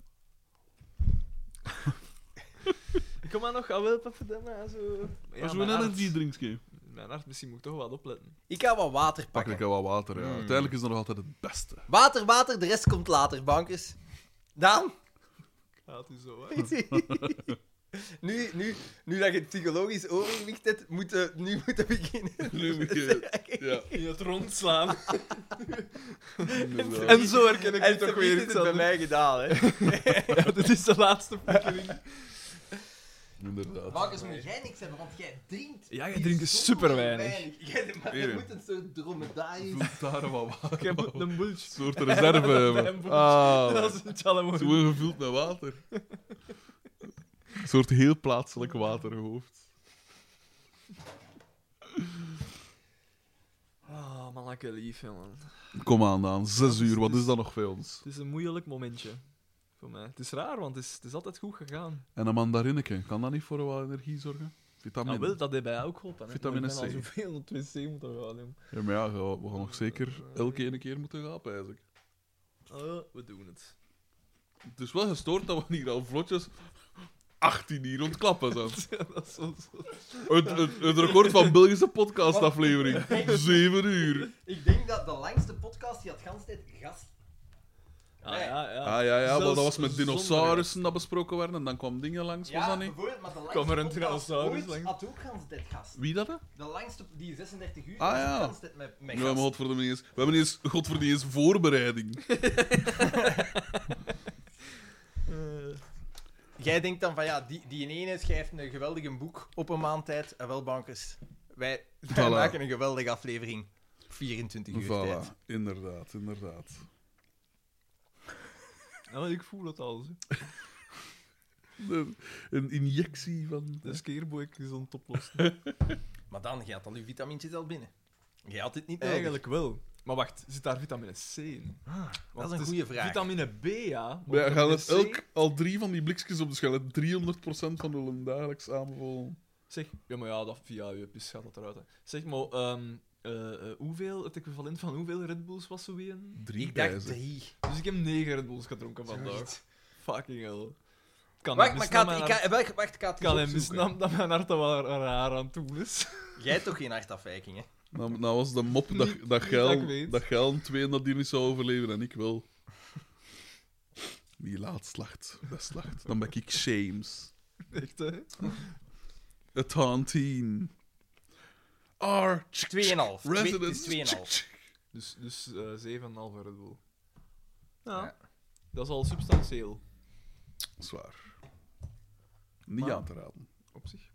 [SPEAKER 3] Kom maar nog, ah, wel, papadama, zo. Ja,
[SPEAKER 1] Als we
[SPEAKER 3] mijn
[SPEAKER 1] een
[SPEAKER 3] hart-
[SPEAKER 1] energy drink geven.
[SPEAKER 3] Mijn hart, misschien moet ik toch wel opletten.
[SPEAKER 4] Ik ga wat water
[SPEAKER 1] Pak
[SPEAKER 4] pakken.
[SPEAKER 1] ik wel water, ja.
[SPEAKER 4] Mm.
[SPEAKER 1] Uiteindelijk is dat nog altijd het beste.
[SPEAKER 4] Water, water, de rest komt later, bankers. Daan,
[SPEAKER 3] Gaat u zo, hè?
[SPEAKER 4] nu, nu, nu dat je het psychologisch overwicht hebt, moeten nu moeten beginnen.
[SPEAKER 1] Nu moet je... Ja,
[SPEAKER 3] In het rondslaan.
[SPEAKER 1] inderdaad.
[SPEAKER 18] En zo herken ik
[SPEAKER 4] En
[SPEAKER 18] het
[SPEAKER 4] toch
[SPEAKER 18] toch weer.
[SPEAKER 4] is het bij
[SPEAKER 18] Xander.
[SPEAKER 4] mij gedaan, hè.
[SPEAKER 18] Ja, dit is de laatste verkeering.
[SPEAKER 1] inderdaad.
[SPEAKER 4] Bankers, moet jij niks hebben, want jij drinkt.
[SPEAKER 18] Ja, jij drinkt super weinig.
[SPEAKER 4] Jij, maar
[SPEAKER 1] Erik.
[SPEAKER 4] je moet een soort dromedarisch...
[SPEAKER 1] Voelt daar wat water.
[SPEAKER 18] Ik heb
[SPEAKER 1] Een
[SPEAKER 18] een bulge.
[SPEAKER 1] soort reserve hebben.
[SPEAKER 18] Tempo.
[SPEAKER 1] Ah,
[SPEAKER 18] Dat is het allemaal.
[SPEAKER 1] Zo gevuld met water. Een soort heel plaatselijk waterhoofd.
[SPEAKER 3] Ah, man, lekker lief, hè, man.
[SPEAKER 1] Kom aan, Daan. Zes uur, wat is dat nog bij ons?
[SPEAKER 3] Het is een moeilijk momentje. Voor mij. Het is raar, want het is, het is altijd goed gegaan.
[SPEAKER 1] En een mandarineke, kan dat niet voor wat energie zorgen?
[SPEAKER 3] Maar wel,
[SPEAKER 1] Vitamine.
[SPEAKER 3] dat deed bij jou ook geholpen. hè.
[SPEAKER 1] Vitamine
[SPEAKER 3] Ik ben al
[SPEAKER 1] C.
[SPEAKER 3] zoveel op 2C moeten gaan, jong.
[SPEAKER 1] Ja, maar ja, we we gaan nog zeker elke ene keer moeten gaan, eigenlijk.
[SPEAKER 3] Eh, we doen het.
[SPEAKER 1] Het is wel gestoord dat we hier al vlotjes 18 hier ontklappen zijn.
[SPEAKER 3] dat is zo, zo.
[SPEAKER 1] Het, het, het record van Belgische podcastaflevering. 7 uur.
[SPEAKER 4] Ik denk dat de langste podcast die had gans tijd gast.
[SPEAKER 3] Ah, ja, ja.
[SPEAKER 1] Ah ja, ja, want dat
[SPEAKER 3] Zelfs
[SPEAKER 1] was met
[SPEAKER 3] zonder-
[SPEAKER 1] dinosaurussen dat besproken werden en dan kwam dingen langs, was dat niet?
[SPEAKER 4] bijvoorbeeld, maar de langste
[SPEAKER 3] Kom er een
[SPEAKER 4] podcast
[SPEAKER 3] dinosaurus
[SPEAKER 4] ooit
[SPEAKER 3] langs.
[SPEAKER 4] had ook gans tijd gast.
[SPEAKER 1] Wie dat? hè?
[SPEAKER 4] De langste, die 36 uur,
[SPEAKER 1] Ah,
[SPEAKER 4] was
[SPEAKER 1] ja.
[SPEAKER 4] ook gans tijd met, met
[SPEAKER 1] Ja, maar
[SPEAKER 4] gast.
[SPEAKER 1] godverdomme niet eens. We hebben niet eens, godverdomme niet eens voorbereiding.
[SPEAKER 4] Jij denkt dan van, ja, die, die ene schrijft een geweldige boek op een maand tijd. En wel, bankers, wij, wij
[SPEAKER 1] Voilà.
[SPEAKER 4] maken een geweldige aflevering. 24 uur tijd.
[SPEAKER 1] Voilà, inderdaad, inderdaad.
[SPEAKER 3] Ja, maar ik voel het al. zo.
[SPEAKER 1] Een- Een injectie van...
[SPEAKER 3] De skeerboek is aan het oplossen.
[SPEAKER 4] Maar dan, jij had al je vitamintjes al binnen. Jij had dit niet nodig.
[SPEAKER 3] Eigenlijk wel. Maar wacht, zit daar vitamine C in?
[SPEAKER 4] dat is
[SPEAKER 3] het
[SPEAKER 4] een goede vraag.
[SPEAKER 3] Vitamine B, ja. maar
[SPEAKER 1] We gaan
[SPEAKER 3] vitamine
[SPEAKER 1] het
[SPEAKER 3] C?
[SPEAKER 1] elk al drie van die blikjes op de schel. 300% van de dagelijks aanbevolen.
[SPEAKER 3] Zeg, ja, maar ja, dat, via je pis gaat dat eruit. Hè. Zeg, maar ehm, eh, eh, hoeveel, het equivalent van hoeveel Red Bulls was zo in?
[SPEAKER 1] Drie
[SPEAKER 4] Ik dacht
[SPEAKER 1] prijzen.
[SPEAKER 4] drie.
[SPEAKER 3] Dus ik heb negen Red Bulls gedronken vandaag. Fucking hell. Kan
[SPEAKER 4] Wacht,
[SPEAKER 3] hem
[SPEAKER 4] maar ik
[SPEAKER 3] besnaam
[SPEAKER 4] had- ik
[SPEAKER 3] mijn hart-
[SPEAKER 4] ga- wacht, wacht, ik ga het
[SPEAKER 3] kan
[SPEAKER 4] eens
[SPEAKER 3] hem
[SPEAKER 4] opzoeken.
[SPEAKER 3] besnaam dat mijn hart er wel raar aan toe is.
[SPEAKER 4] Jij hebt toch geen hartafwijking, hè?
[SPEAKER 1] Nou, nou was de mop dat,
[SPEAKER 3] Niet-
[SPEAKER 1] dat,
[SPEAKER 3] niet dat ik
[SPEAKER 1] geil,
[SPEAKER 3] weet.
[SPEAKER 1] dat geil en twee dat die niet zou overleven en ik wel. Wie laat slacht, dat slacht. Dan ben ik James.
[SPEAKER 3] Echt, hè?
[SPEAKER 1] Het Hantien. R.
[SPEAKER 4] Tweeënhalf. Twee- het is
[SPEAKER 1] Residence.
[SPEAKER 4] Tweeënhalf.
[SPEAKER 3] Dus, dus eh 7,5 Red Bull. Ja.
[SPEAKER 4] Ja.
[SPEAKER 3] Dat is al substantieel,
[SPEAKER 1] Zwaar. Niet
[SPEAKER 3] Maar-
[SPEAKER 1] aan te raden.
[SPEAKER 3] op zich.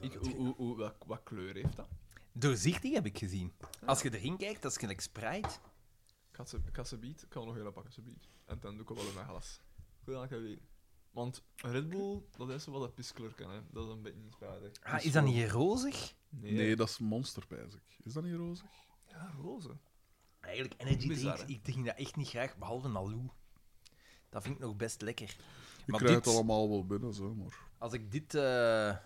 [SPEAKER 3] Ik, hoe, hoe, hoe- wat, wat kleur heeft dat?
[SPEAKER 4] Doorzichtig heb ik gezien. Als je erin kijkt, dat is gelijk Sprite.
[SPEAKER 3] Ik had ze- Ik had ze beat, ik kan nog heel pakken, ze beat. En dan doe ik het wel in mijn glas. Goed aan het weten. Want Red Bull, dat is zo wat een piskleur kan, hè. Dat is een beetje spijtig.
[SPEAKER 4] Ah, is dat niet rozig?
[SPEAKER 3] Nee,
[SPEAKER 1] Nee, dat is monster, pijs ik. Is dat niet rozig?
[SPEAKER 3] ja, roze.
[SPEAKER 4] Eigenlijk, energy
[SPEAKER 3] Bizar,
[SPEAKER 4] drinks, ik drink dat echt niet graag, behalve Naloo. Dat vind ik nog best lekker.
[SPEAKER 1] Ik
[SPEAKER 4] Maar
[SPEAKER 1] krijg
[SPEAKER 4] dit-
[SPEAKER 1] het allemaal wel binnen, zo, maar...
[SPEAKER 4] Als ik dit... eh,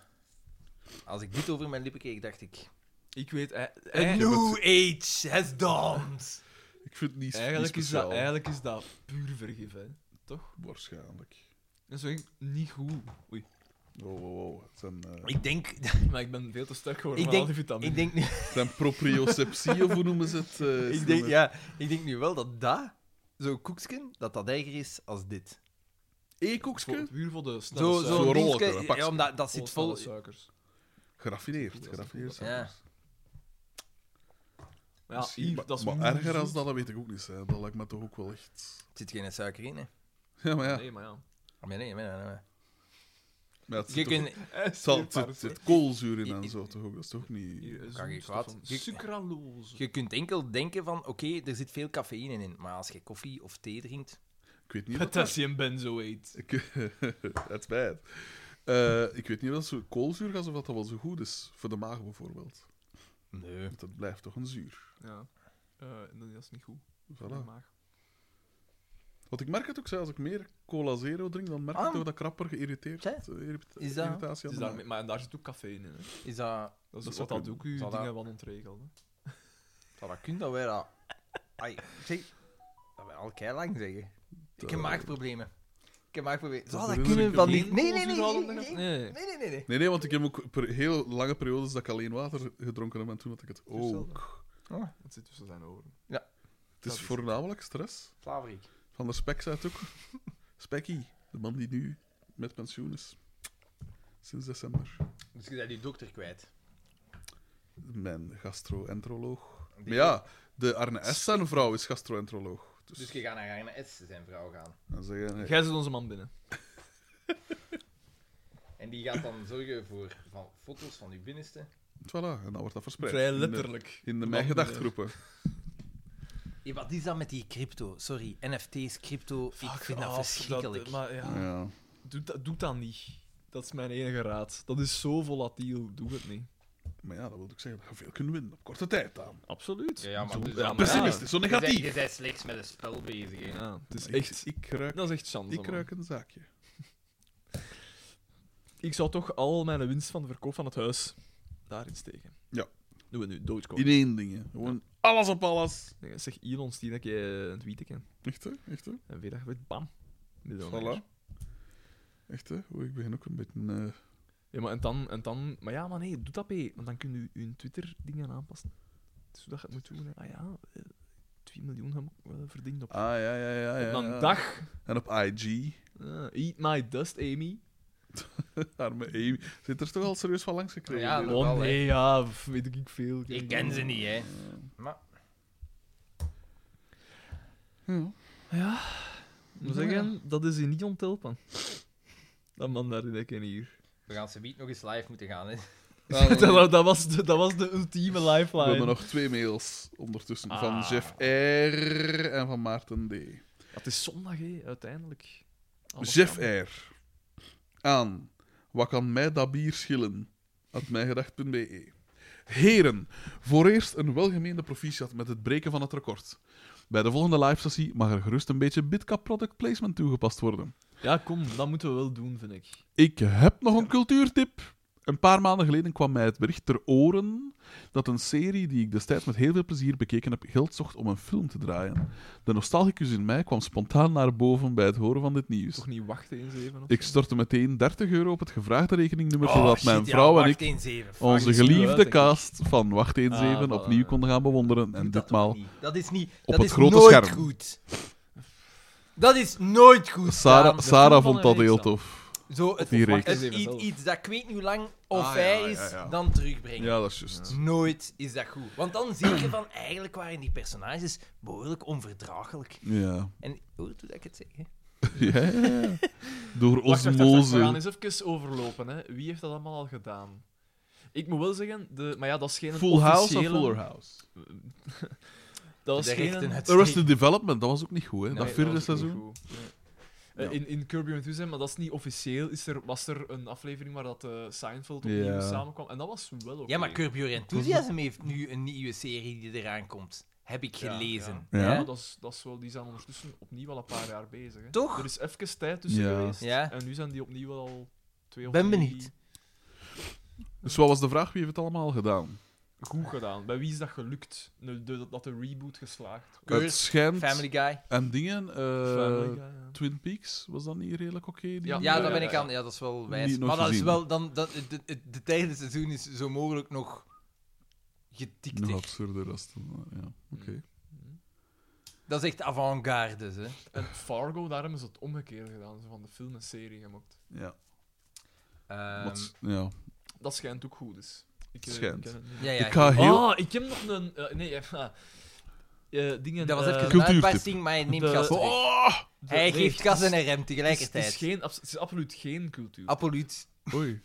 [SPEAKER 4] Als ik dit over mijn lippen kreeg, dacht ik...
[SPEAKER 3] Ik weet... e- ei-
[SPEAKER 4] A
[SPEAKER 3] ei-
[SPEAKER 4] new age has dawned!
[SPEAKER 1] Ik vind het niet,
[SPEAKER 3] eigenlijk,
[SPEAKER 1] niet
[SPEAKER 3] is dat,
[SPEAKER 1] speciaal,
[SPEAKER 3] eigenlijk is dat puur vergif, hè. Toch?
[SPEAKER 1] Waarschijnlijk.
[SPEAKER 3] Dat is eigenlijk niet goed. Oei.
[SPEAKER 1] Oh, oh, oh. Het zijn, eh,
[SPEAKER 4] Ik denk...
[SPEAKER 3] Maar ik ben veel te sterk geworden
[SPEAKER 4] Ik
[SPEAKER 3] van al
[SPEAKER 4] denk,
[SPEAKER 3] die vitamine.
[SPEAKER 4] ik denk nu...
[SPEAKER 1] het zijn proprioceptie, of hoe noemen ze het? eh,
[SPEAKER 4] Ik
[SPEAKER 1] ze
[SPEAKER 4] denk,
[SPEAKER 1] noemen-
[SPEAKER 4] ja, ik denk nu wel dat dat, zo'n koeksken, dat dat eiger is als dit.
[SPEAKER 3] Voor,
[SPEAKER 1] Eekhoekske?
[SPEAKER 3] puur voor de snelle
[SPEAKER 4] Zo,
[SPEAKER 1] zo'n
[SPEAKER 4] zo'n
[SPEAKER 1] rolletje,
[SPEAKER 4] dingetje,
[SPEAKER 1] eh, een pakje.
[SPEAKER 4] ja, omdat dat
[SPEAKER 3] zit
[SPEAKER 4] zit vol...
[SPEAKER 3] suikers.
[SPEAKER 1] Geraffineerd, geraffineerd.
[SPEAKER 4] Ja.
[SPEAKER 3] Maar ja,
[SPEAKER 1] Misschien,
[SPEAKER 3] hier,
[SPEAKER 1] Ah, maar-
[SPEAKER 3] dat is
[SPEAKER 1] maar
[SPEAKER 3] moe
[SPEAKER 1] erger als
[SPEAKER 3] zoet.
[SPEAKER 1] dat, dat weet ik ook niet. Hè. Dat lijkt me toch ook wel echt...
[SPEAKER 4] Er zit geen suiker in, hè.
[SPEAKER 1] Ja, maar ja.
[SPEAKER 3] Nee, maar ja.
[SPEAKER 4] Ah, Maar nee, maar nee, maar nee.
[SPEAKER 1] Maar het,
[SPEAKER 4] Je
[SPEAKER 1] zit toch-
[SPEAKER 4] kunt...
[SPEAKER 1] het zal- het zit, zit koolzuur in
[SPEAKER 4] I-
[SPEAKER 1] en
[SPEAKER 4] i-
[SPEAKER 1] zo toch ook. Dat is toch niet...
[SPEAKER 3] Hier,
[SPEAKER 4] Kan
[SPEAKER 3] zo'n
[SPEAKER 4] geen
[SPEAKER 3] stof
[SPEAKER 4] kwaad.
[SPEAKER 3] van
[SPEAKER 4] Je-
[SPEAKER 3] Sucralose.
[SPEAKER 4] Je kunt enkel denken van, oké, er zit veel cafeïne in, maar als je koffie of thee drinkt...
[SPEAKER 1] Ik weet niet. wat dat-
[SPEAKER 2] Potassium benzoate.
[SPEAKER 1] Ik- That's bad. Eh, ik weet niet of dat zo koolzuurgas of dat, dat wel zo goed is. Voor de maag bijvoorbeeld.
[SPEAKER 2] Nee.
[SPEAKER 1] Want dat blijft toch een zuur.
[SPEAKER 3] Ja. Eh, en dat is niet goed. voor de
[SPEAKER 1] Voilà.
[SPEAKER 3] maag.
[SPEAKER 1] Want ik merk het ook, zelfs als ik meer cola zero drink, dan merk ik
[SPEAKER 9] Ah.
[SPEAKER 1] toch dat ik rapper geïrriteerd
[SPEAKER 9] Tja.
[SPEAKER 1] eh, irrit-
[SPEAKER 9] Is dat-
[SPEAKER 1] irritatie
[SPEAKER 3] Het
[SPEAKER 1] aan
[SPEAKER 3] is
[SPEAKER 1] de
[SPEAKER 3] daarmee- maar en daar zit ook cafeïne in. Hè.
[SPEAKER 9] Is dat...
[SPEAKER 3] Dat is
[SPEAKER 1] Dat is
[SPEAKER 3] wat
[SPEAKER 1] ook
[SPEAKER 3] dat
[SPEAKER 1] een-
[SPEAKER 3] ook uw
[SPEAKER 9] zal dat-
[SPEAKER 3] dingen wat ontregelt. hè.
[SPEAKER 9] Zou dat kunnen, dat wij dat... Ai, zeg, dat wij al lang zeggen. Ik heb
[SPEAKER 1] Eh.
[SPEAKER 9] maagproblemen. Ik heb maagproblemen. Zou
[SPEAKER 1] Dat
[SPEAKER 9] dat
[SPEAKER 1] bedoel
[SPEAKER 9] kunnen
[SPEAKER 1] ik
[SPEAKER 9] van
[SPEAKER 1] ook.
[SPEAKER 9] die...
[SPEAKER 3] Geen
[SPEAKER 9] Nee, nee, nee, nee,
[SPEAKER 3] koolzuurhoudende
[SPEAKER 9] nee,
[SPEAKER 3] gas?
[SPEAKER 9] nee,
[SPEAKER 3] Nee, nee.
[SPEAKER 9] nee, nee, nee.
[SPEAKER 1] Nee, nee, want ik heb ook per heel lange periodes dat ik alleen water gedronken heb en toen had ik het ook.
[SPEAKER 3] Het zit tussen zijn oren.
[SPEAKER 1] Het is voornamelijk stress.
[SPEAKER 4] Slaverik.
[SPEAKER 1] Van der Spek zei het ook. Spekkie, de man die nu met pensioen is. Sinds december.
[SPEAKER 4] Dus je bent die dokter kwijt.
[SPEAKER 1] Mijn gastroenteroloog.
[SPEAKER 4] Die-
[SPEAKER 1] Maar ja, de Arne S. zijn vrouw is gastroenteroloog. Dus,
[SPEAKER 4] Dus je gaat naar Arne Ets, zijn vrouw, gaan.
[SPEAKER 1] dan zeggen, nee.
[SPEAKER 3] Jij zit onze man binnen.
[SPEAKER 4] En die gaat dan zorgen voor van, foto's van uw binnenste.
[SPEAKER 1] Voilà, en dan wordt dat verspreid.
[SPEAKER 3] Vrij
[SPEAKER 1] In de-
[SPEAKER 3] letterlijk.
[SPEAKER 1] In de, mijn
[SPEAKER 3] binnen.
[SPEAKER 1] gedachtgroepen.
[SPEAKER 9] Hey, wat is dat met die crypto? Sorry, NFT's, crypto, ik vind dat
[SPEAKER 3] off,
[SPEAKER 9] verschrikkelijk.
[SPEAKER 3] dat- maar ja,
[SPEAKER 1] Ja.
[SPEAKER 3] doe, dat, doe dat niet. Dat is mijn enige raad. Dat is zo volatiel. Doe het niet.
[SPEAKER 1] Maar ja, dat wil ik zeggen, dat je veel kunnen winnen op korte tijd aan.
[SPEAKER 3] Absoluut.
[SPEAKER 4] Ja, ja, maar
[SPEAKER 3] Zo-
[SPEAKER 4] dus
[SPEAKER 3] ja,
[SPEAKER 4] dan-
[SPEAKER 1] Pessimist, zo
[SPEAKER 4] Je bent-
[SPEAKER 1] negatief.
[SPEAKER 4] Je bent slechts met een spel bezig. hè.
[SPEAKER 3] Ja, het is
[SPEAKER 1] Ik-
[SPEAKER 3] echt...
[SPEAKER 1] Ik, ruik,
[SPEAKER 3] Dat is echt chance,
[SPEAKER 1] ik
[SPEAKER 3] man.
[SPEAKER 1] ruik een zaakje.
[SPEAKER 3] Ik zou toch al mijn winst van de verkoop van het huis daarin steken.
[SPEAKER 1] Ja.
[SPEAKER 3] Doen we nu, Dogecoin.
[SPEAKER 1] In één ding, hè. Gewoon alles op alles.
[SPEAKER 3] Nee, Zeg Elon, die dat je een tweet kan.
[SPEAKER 1] Echt, hè? Echt, hè?
[SPEAKER 3] En weet dat je weet, bam.
[SPEAKER 1] Voilà.
[SPEAKER 3] Miljonair.
[SPEAKER 1] Echt, hè? Oei, ik begin ook een beetje... eh,
[SPEAKER 3] Ja, maar en dan, en dan... Maar ja, maar nee, doe dat, P. Want dan kun je je Twitter-dingen aanpassen. Zodat je het moet doen. hè. Ah ja, eh, 2 miljoen heb ik wel verdiend op,
[SPEAKER 1] Ah, ja, ja, ja. ja,
[SPEAKER 3] op een
[SPEAKER 1] ja.
[SPEAKER 3] dag.
[SPEAKER 1] En op IG.
[SPEAKER 3] Ah, eat my dust, Amy.
[SPEAKER 1] Arme Amy. Zit er toch al serieus van langs gekregen?
[SPEAKER 4] Ja,
[SPEAKER 1] hè?
[SPEAKER 4] dat wel,
[SPEAKER 3] Oh
[SPEAKER 4] hè.
[SPEAKER 3] nee, ja, pff, weet ik veel.
[SPEAKER 4] Ik ken ze niet, hè.
[SPEAKER 1] Ja.
[SPEAKER 3] Moet zeggen, dat is je niet onthelpen. Dat man daar in de ken hier.
[SPEAKER 4] We gaan ze niet nog eens live moeten gaan, hè.
[SPEAKER 3] dat, wa- dat was de, dat was de ultieme
[SPEAKER 1] We
[SPEAKER 3] lifeline.
[SPEAKER 1] hebben nog twee mails ondertussen. Van
[SPEAKER 3] Ah.
[SPEAKER 1] Jeff R. en van Maarten D.
[SPEAKER 3] Ja, het is zondag, hè, uiteindelijk. Alles
[SPEAKER 1] Jeff
[SPEAKER 3] kan.
[SPEAKER 1] R. Aan. Wat kan mij dat bier schillen? At mijgedacht.be. E. Heren, voor eerst een welgemeende proficiat met het breken van het record. Bij de volgende live sessie mag er gerust een beetje Bitcap product placement toegepast worden.
[SPEAKER 3] Ja, kom, dat moeten we wel doen, vind ik.
[SPEAKER 1] Ik heb nog een cultuurtip. Een paar maanden geleden kwam mij het bericht ter oren dat een serie die ik destijds met heel veel plezier bekeken heb, geld zocht om een film te draaien. De nostalgicus in mij kwam spontaan naar boven bij het horen van dit nieuws.
[SPEAKER 3] Toch niet wachten eens even. of
[SPEAKER 1] Ik
[SPEAKER 3] zo?
[SPEAKER 1] stortte meteen 30 euro op het gevraagde rekeningnummer,
[SPEAKER 9] Oh,
[SPEAKER 1] zodat
[SPEAKER 9] shit,
[SPEAKER 1] mijn
[SPEAKER 9] ja,
[SPEAKER 1] vrouw en
[SPEAKER 9] wacht
[SPEAKER 1] ik
[SPEAKER 9] eens even, fuck.
[SPEAKER 1] onze
[SPEAKER 3] is wel, denk
[SPEAKER 1] geliefde
[SPEAKER 3] ik.
[SPEAKER 1] cast van Wacht 1-7
[SPEAKER 3] Ah, voilà,
[SPEAKER 1] opnieuw
[SPEAKER 3] ja.
[SPEAKER 1] konden gaan bewonderen. En
[SPEAKER 9] Doe dat
[SPEAKER 1] ditmaal
[SPEAKER 9] toch niet. Dat is niet...
[SPEAKER 1] op
[SPEAKER 9] dat
[SPEAKER 1] het
[SPEAKER 9] is
[SPEAKER 1] grote
[SPEAKER 9] nooit
[SPEAKER 1] scherm.
[SPEAKER 9] goed. Dat is nooit goed,
[SPEAKER 1] Sarah,
[SPEAKER 9] Daan.
[SPEAKER 1] Sarah
[SPEAKER 3] van
[SPEAKER 1] vond
[SPEAKER 3] een
[SPEAKER 1] dat
[SPEAKER 3] reeks
[SPEAKER 1] heel
[SPEAKER 3] dan.
[SPEAKER 1] tof.
[SPEAKER 9] Zo, het,
[SPEAKER 1] die
[SPEAKER 9] het
[SPEAKER 1] reeks.
[SPEAKER 9] is
[SPEAKER 3] Even
[SPEAKER 9] iets,
[SPEAKER 3] zelf.
[SPEAKER 9] iets dat ik weet niet hoe lang of
[SPEAKER 1] Ah,
[SPEAKER 9] hij
[SPEAKER 1] ja,
[SPEAKER 9] is,
[SPEAKER 1] ja, ja.
[SPEAKER 9] dan terugbrengen.
[SPEAKER 1] Ja, dat is juist.
[SPEAKER 9] Nooit is dat goed. Want dan zie je van, eigenlijk waren die personages behoorlijk onverdraaglijk.
[SPEAKER 1] Ja.
[SPEAKER 9] En hoort hoe dat ik het zeg, hè?
[SPEAKER 1] Ja, ja, ja. Door
[SPEAKER 3] Wacht, wacht, wacht, wacht, we gaan
[SPEAKER 1] osmose.
[SPEAKER 3] eens even overlopen. Hè. Wie heeft dat allemaal al gedaan? Ik moet wel zeggen, de, maar ja, dat is geen
[SPEAKER 1] Full House of
[SPEAKER 3] officiële-
[SPEAKER 1] Fuller House?
[SPEAKER 3] Dat is
[SPEAKER 9] De
[SPEAKER 3] geen...
[SPEAKER 9] rechten het-
[SPEAKER 1] Arrested Development, dat was dus- ook niet goed, hè? dat
[SPEAKER 3] Nee,
[SPEAKER 1] vierde
[SPEAKER 3] was ook
[SPEAKER 1] seizoen.
[SPEAKER 3] niet goed. Nee. Eh,
[SPEAKER 1] Ja.
[SPEAKER 3] In, in Curb Your Enthusiasm, maar dat is niet officieel, is er, was er een aflevering waar dat eh, Seinfeld opnieuw
[SPEAKER 1] Ja.
[SPEAKER 3] samenkwam. En dat was wel oké.
[SPEAKER 9] Ja, maar Curb Your Enthusiasm heeft nu een nieuwe serie die eraan komt. Heb ik
[SPEAKER 3] Ja,
[SPEAKER 9] gelezen.
[SPEAKER 1] ja.
[SPEAKER 3] Ja,
[SPEAKER 1] Ja?
[SPEAKER 3] dat is, dat is wel, die zijn ondertussen opnieuw al een paar jaar bezig. Hè.
[SPEAKER 9] Toch?
[SPEAKER 3] Er is even tijd tussen
[SPEAKER 1] Ja.
[SPEAKER 3] geweest.
[SPEAKER 9] Ja.
[SPEAKER 3] En nu zijn die opnieuw al twee of
[SPEAKER 9] Ben
[SPEAKER 3] drie
[SPEAKER 9] benieuwd.
[SPEAKER 1] Dus wat was de vraag? Wie heeft het allemaal gedaan?
[SPEAKER 3] goed gedaan. Bij wie is dat gelukt? De, de- dat de reboot geslaagd was.
[SPEAKER 9] Kurt,
[SPEAKER 1] het schijnt...
[SPEAKER 9] Family Guy.
[SPEAKER 1] En dingen... eh,
[SPEAKER 3] Family Guy, ja.
[SPEAKER 1] Twin Peaks, was dat niet redelijk oké? die?
[SPEAKER 3] Ja.
[SPEAKER 9] Ja, daar
[SPEAKER 3] ja,
[SPEAKER 9] ben ik
[SPEAKER 3] ja.
[SPEAKER 9] aan. Ja, dat is wel
[SPEAKER 1] Niet
[SPEAKER 9] wijs.
[SPEAKER 1] nog
[SPEAKER 9] Maar dat is
[SPEAKER 1] gezien.
[SPEAKER 9] wel... Dan, dat, de, de, de derde seizoen is zo mogelijk nog
[SPEAKER 1] Nog
[SPEAKER 9] getikt.
[SPEAKER 1] absurder als het... Ja, oké.
[SPEAKER 9] Dat is echt avant-garde, hè.
[SPEAKER 3] Mm. En Fargo, daar hebben ze het omgekeerde gedaan. Zo van de film en serie gemaakt.
[SPEAKER 1] Ja.
[SPEAKER 9] Ehm,
[SPEAKER 1] wat- ja.
[SPEAKER 3] Dat schijnt ook goed is. Ik, eh,
[SPEAKER 1] Schijnt.
[SPEAKER 3] ken het niet.
[SPEAKER 9] ja, ja,
[SPEAKER 1] ik ga heel...
[SPEAKER 3] Ah, ik heb nog een... eh, nee, eh, eh, dingen...
[SPEAKER 9] Dat was
[SPEAKER 3] eh,
[SPEAKER 9] even een
[SPEAKER 1] Cultuurtip.
[SPEAKER 9] uitbarsting, maar hij neemt
[SPEAKER 3] De-
[SPEAKER 9] gas terug.
[SPEAKER 1] Oh!
[SPEAKER 3] de-
[SPEAKER 9] Hij
[SPEAKER 3] nee,
[SPEAKER 9] geeft gas
[SPEAKER 3] het
[SPEAKER 9] en
[SPEAKER 3] is-
[SPEAKER 9] een rem
[SPEAKER 3] het is- Het is,
[SPEAKER 9] tegelijkertijd.
[SPEAKER 3] geen, abs- het is absoluut geen cultuur.
[SPEAKER 9] Absoluut.
[SPEAKER 1] Oei.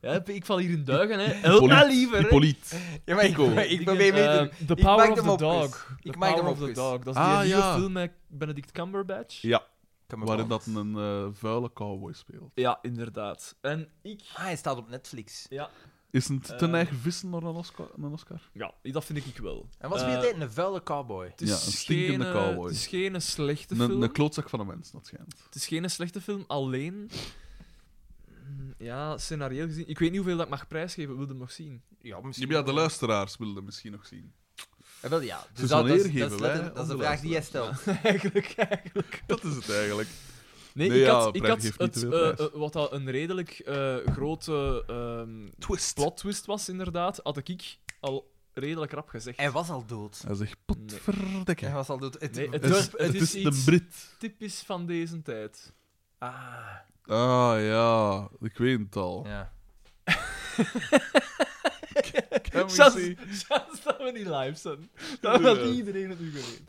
[SPEAKER 3] Ja, ik val hier in duigen, hè. Help
[SPEAKER 1] Poliet,
[SPEAKER 3] mij liever, hè.
[SPEAKER 1] Hippolyte.
[SPEAKER 9] Ja, maar ik,
[SPEAKER 1] Cool.
[SPEAKER 9] ik,
[SPEAKER 3] Ik
[SPEAKER 9] probeer
[SPEAKER 3] denk,
[SPEAKER 9] mee te-
[SPEAKER 3] eh, The
[SPEAKER 9] ik
[SPEAKER 3] Power
[SPEAKER 9] maak
[SPEAKER 3] of
[SPEAKER 9] hem
[SPEAKER 3] the
[SPEAKER 9] op, Chris.
[SPEAKER 3] Dog.
[SPEAKER 9] Ik
[SPEAKER 3] The
[SPEAKER 9] maak hem
[SPEAKER 3] Power
[SPEAKER 9] op,
[SPEAKER 3] of the
[SPEAKER 9] Chris.
[SPEAKER 3] Dog. Dat is
[SPEAKER 1] Ah,
[SPEAKER 3] die
[SPEAKER 1] ja.
[SPEAKER 3] nieuwe film met Benedict Cumberbatch.
[SPEAKER 1] Ja,
[SPEAKER 9] Come on.
[SPEAKER 1] waarin dat een eh, vuile cowboy speelt.
[SPEAKER 3] Ja, inderdaad. En ik...
[SPEAKER 9] Ah, hij staat op Netflix.
[SPEAKER 1] Is het ten
[SPEAKER 3] Eh.
[SPEAKER 1] eigen vissen naar een Oscar? Naar een Oscar?
[SPEAKER 3] Ja, dat vind ik wel.
[SPEAKER 9] En was
[SPEAKER 3] Eh,
[SPEAKER 9] weer altijd een vuile cowboy.
[SPEAKER 3] Het is
[SPEAKER 1] Ja, een stinkende
[SPEAKER 3] geen, eh,
[SPEAKER 1] cowboy.
[SPEAKER 3] Het is geen slechte
[SPEAKER 1] Een,
[SPEAKER 3] film.
[SPEAKER 1] een klootzak van een mens, dat schijnt.
[SPEAKER 3] Het is geen slechte film, alleen... Mm, Ja, scenario gezien... Ik weet niet hoeveel dat ik mag prijsgeven, wilde hem nog zien.
[SPEAKER 9] Ja,
[SPEAKER 1] Ja,
[SPEAKER 9] misschien.
[SPEAKER 1] maar ja, de luisteraars wilden misschien nog zien.
[SPEAKER 9] Eh, wel, ja.
[SPEAKER 1] Ze
[SPEAKER 9] Dus dat,
[SPEAKER 1] zal
[SPEAKER 9] dat, is-
[SPEAKER 1] eer
[SPEAKER 9] dat,
[SPEAKER 1] geven,
[SPEAKER 9] is,
[SPEAKER 1] wij,
[SPEAKER 9] letterlijk- dat is de
[SPEAKER 1] onze
[SPEAKER 9] vraag die jij stelt.
[SPEAKER 1] luisteraars.
[SPEAKER 3] eigenlijk, eigenlijk.
[SPEAKER 1] Dat is het eigenlijk.
[SPEAKER 3] Nee,
[SPEAKER 1] Nee,
[SPEAKER 3] ik
[SPEAKER 1] ja,
[SPEAKER 3] had, ik
[SPEAKER 1] Brad
[SPEAKER 3] had
[SPEAKER 1] geeft niet
[SPEAKER 3] het,
[SPEAKER 1] te veel
[SPEAKER 3] eh,
[SPEAKER 1] prijs.
[SPEAKER 3] eh, wat al een redelijk eh, grote ehm,
[SPEAKER 1] Twist.
[SPEAKER 3] plot twist was, inderdaad, had ik, ik al redelijk rap gezegd.
[SPEAKER 9] Hij was al dood.
[SPEAKER 1] Hij zegt,
[SPEAKER 3] Nee.
[SPEAKER 1] potverdekke.
[SPEAKER 9] Hij was al dood. Het,
[SPEAKER 3] Nee, het
[SPEAKER 1] Het is,
[SPEAKER 3] dorp-
[SPEAKER 1] het
[SPEAKER 3] is
[SPEAKER 1] is de
[SPEAKER 3] iets-
[SPEAKER 1] Brit.
[SPEAKER 3] Typisch van deze tijd.
[SPEAKER 9] Ah,
[SPEAKER 1] Ah ja, ik weet het al.
[SPEAKER 9] ja.
[SPEAKER 1] Can we
[SPEAKER 3] Chance,
[SPEAKER 1] see?
[SPEAKER 3] chance dat we niet live zijn. Dat had niet iedereen het nu geweten.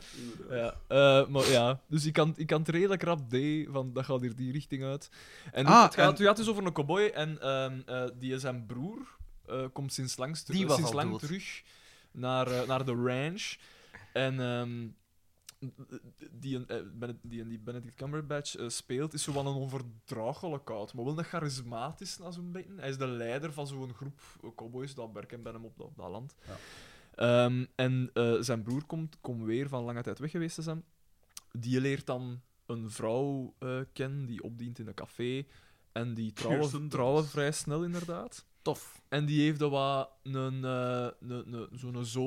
[SPEAKER 3] Ja, eh, maar ja, dus ik kan, ik kan het redelijk rap D, van dat gaat hier die richting uit. En
[SPEAKER 1] Ah,
[SPEAKER 3] het, gaat,
[SPEAKER 1] en-
[SPEAKER 3] het gaat dus over een cowboy en ehm, eh, die is zijn broer eh, komt sinds, langs teru-
[SPEAKER 9] Die was
[SPEAKER 3] sinds
[SPEAKER 9] al
[SPEAKER 3] lang
[SPEAKER 9] dood.
[SPEAKER 3] terug naar, eh, naar de ranch. En ehm, die, een- eh, Bene- die, een- die Benedict Cumberbatch eh, speelt, is zo wel een onverdraaglijke oud, maar wel een charismatisch na zo'n beetje. Hij is de leider van zo'n groep eh, cowboys dat werken bij hem op dat, dat land. Ehm, en eh, zijn broer komt, komt weer van lange tijd weg geweest te zijn. Die leert dan een vrouw eh, kennen die opdient in een café. En die trouwen,
[SPEAKER 1] Kirsten
[SPEAKER 3] trouwen
[SPEAKER 1] Dunst.
[SPEAKER 3] vrij snel, inderdaad.
[SPEAKER 9] Tof.
[SPEAKER 3] En die heeft dan wat een, eh, een, een, zo'n zoon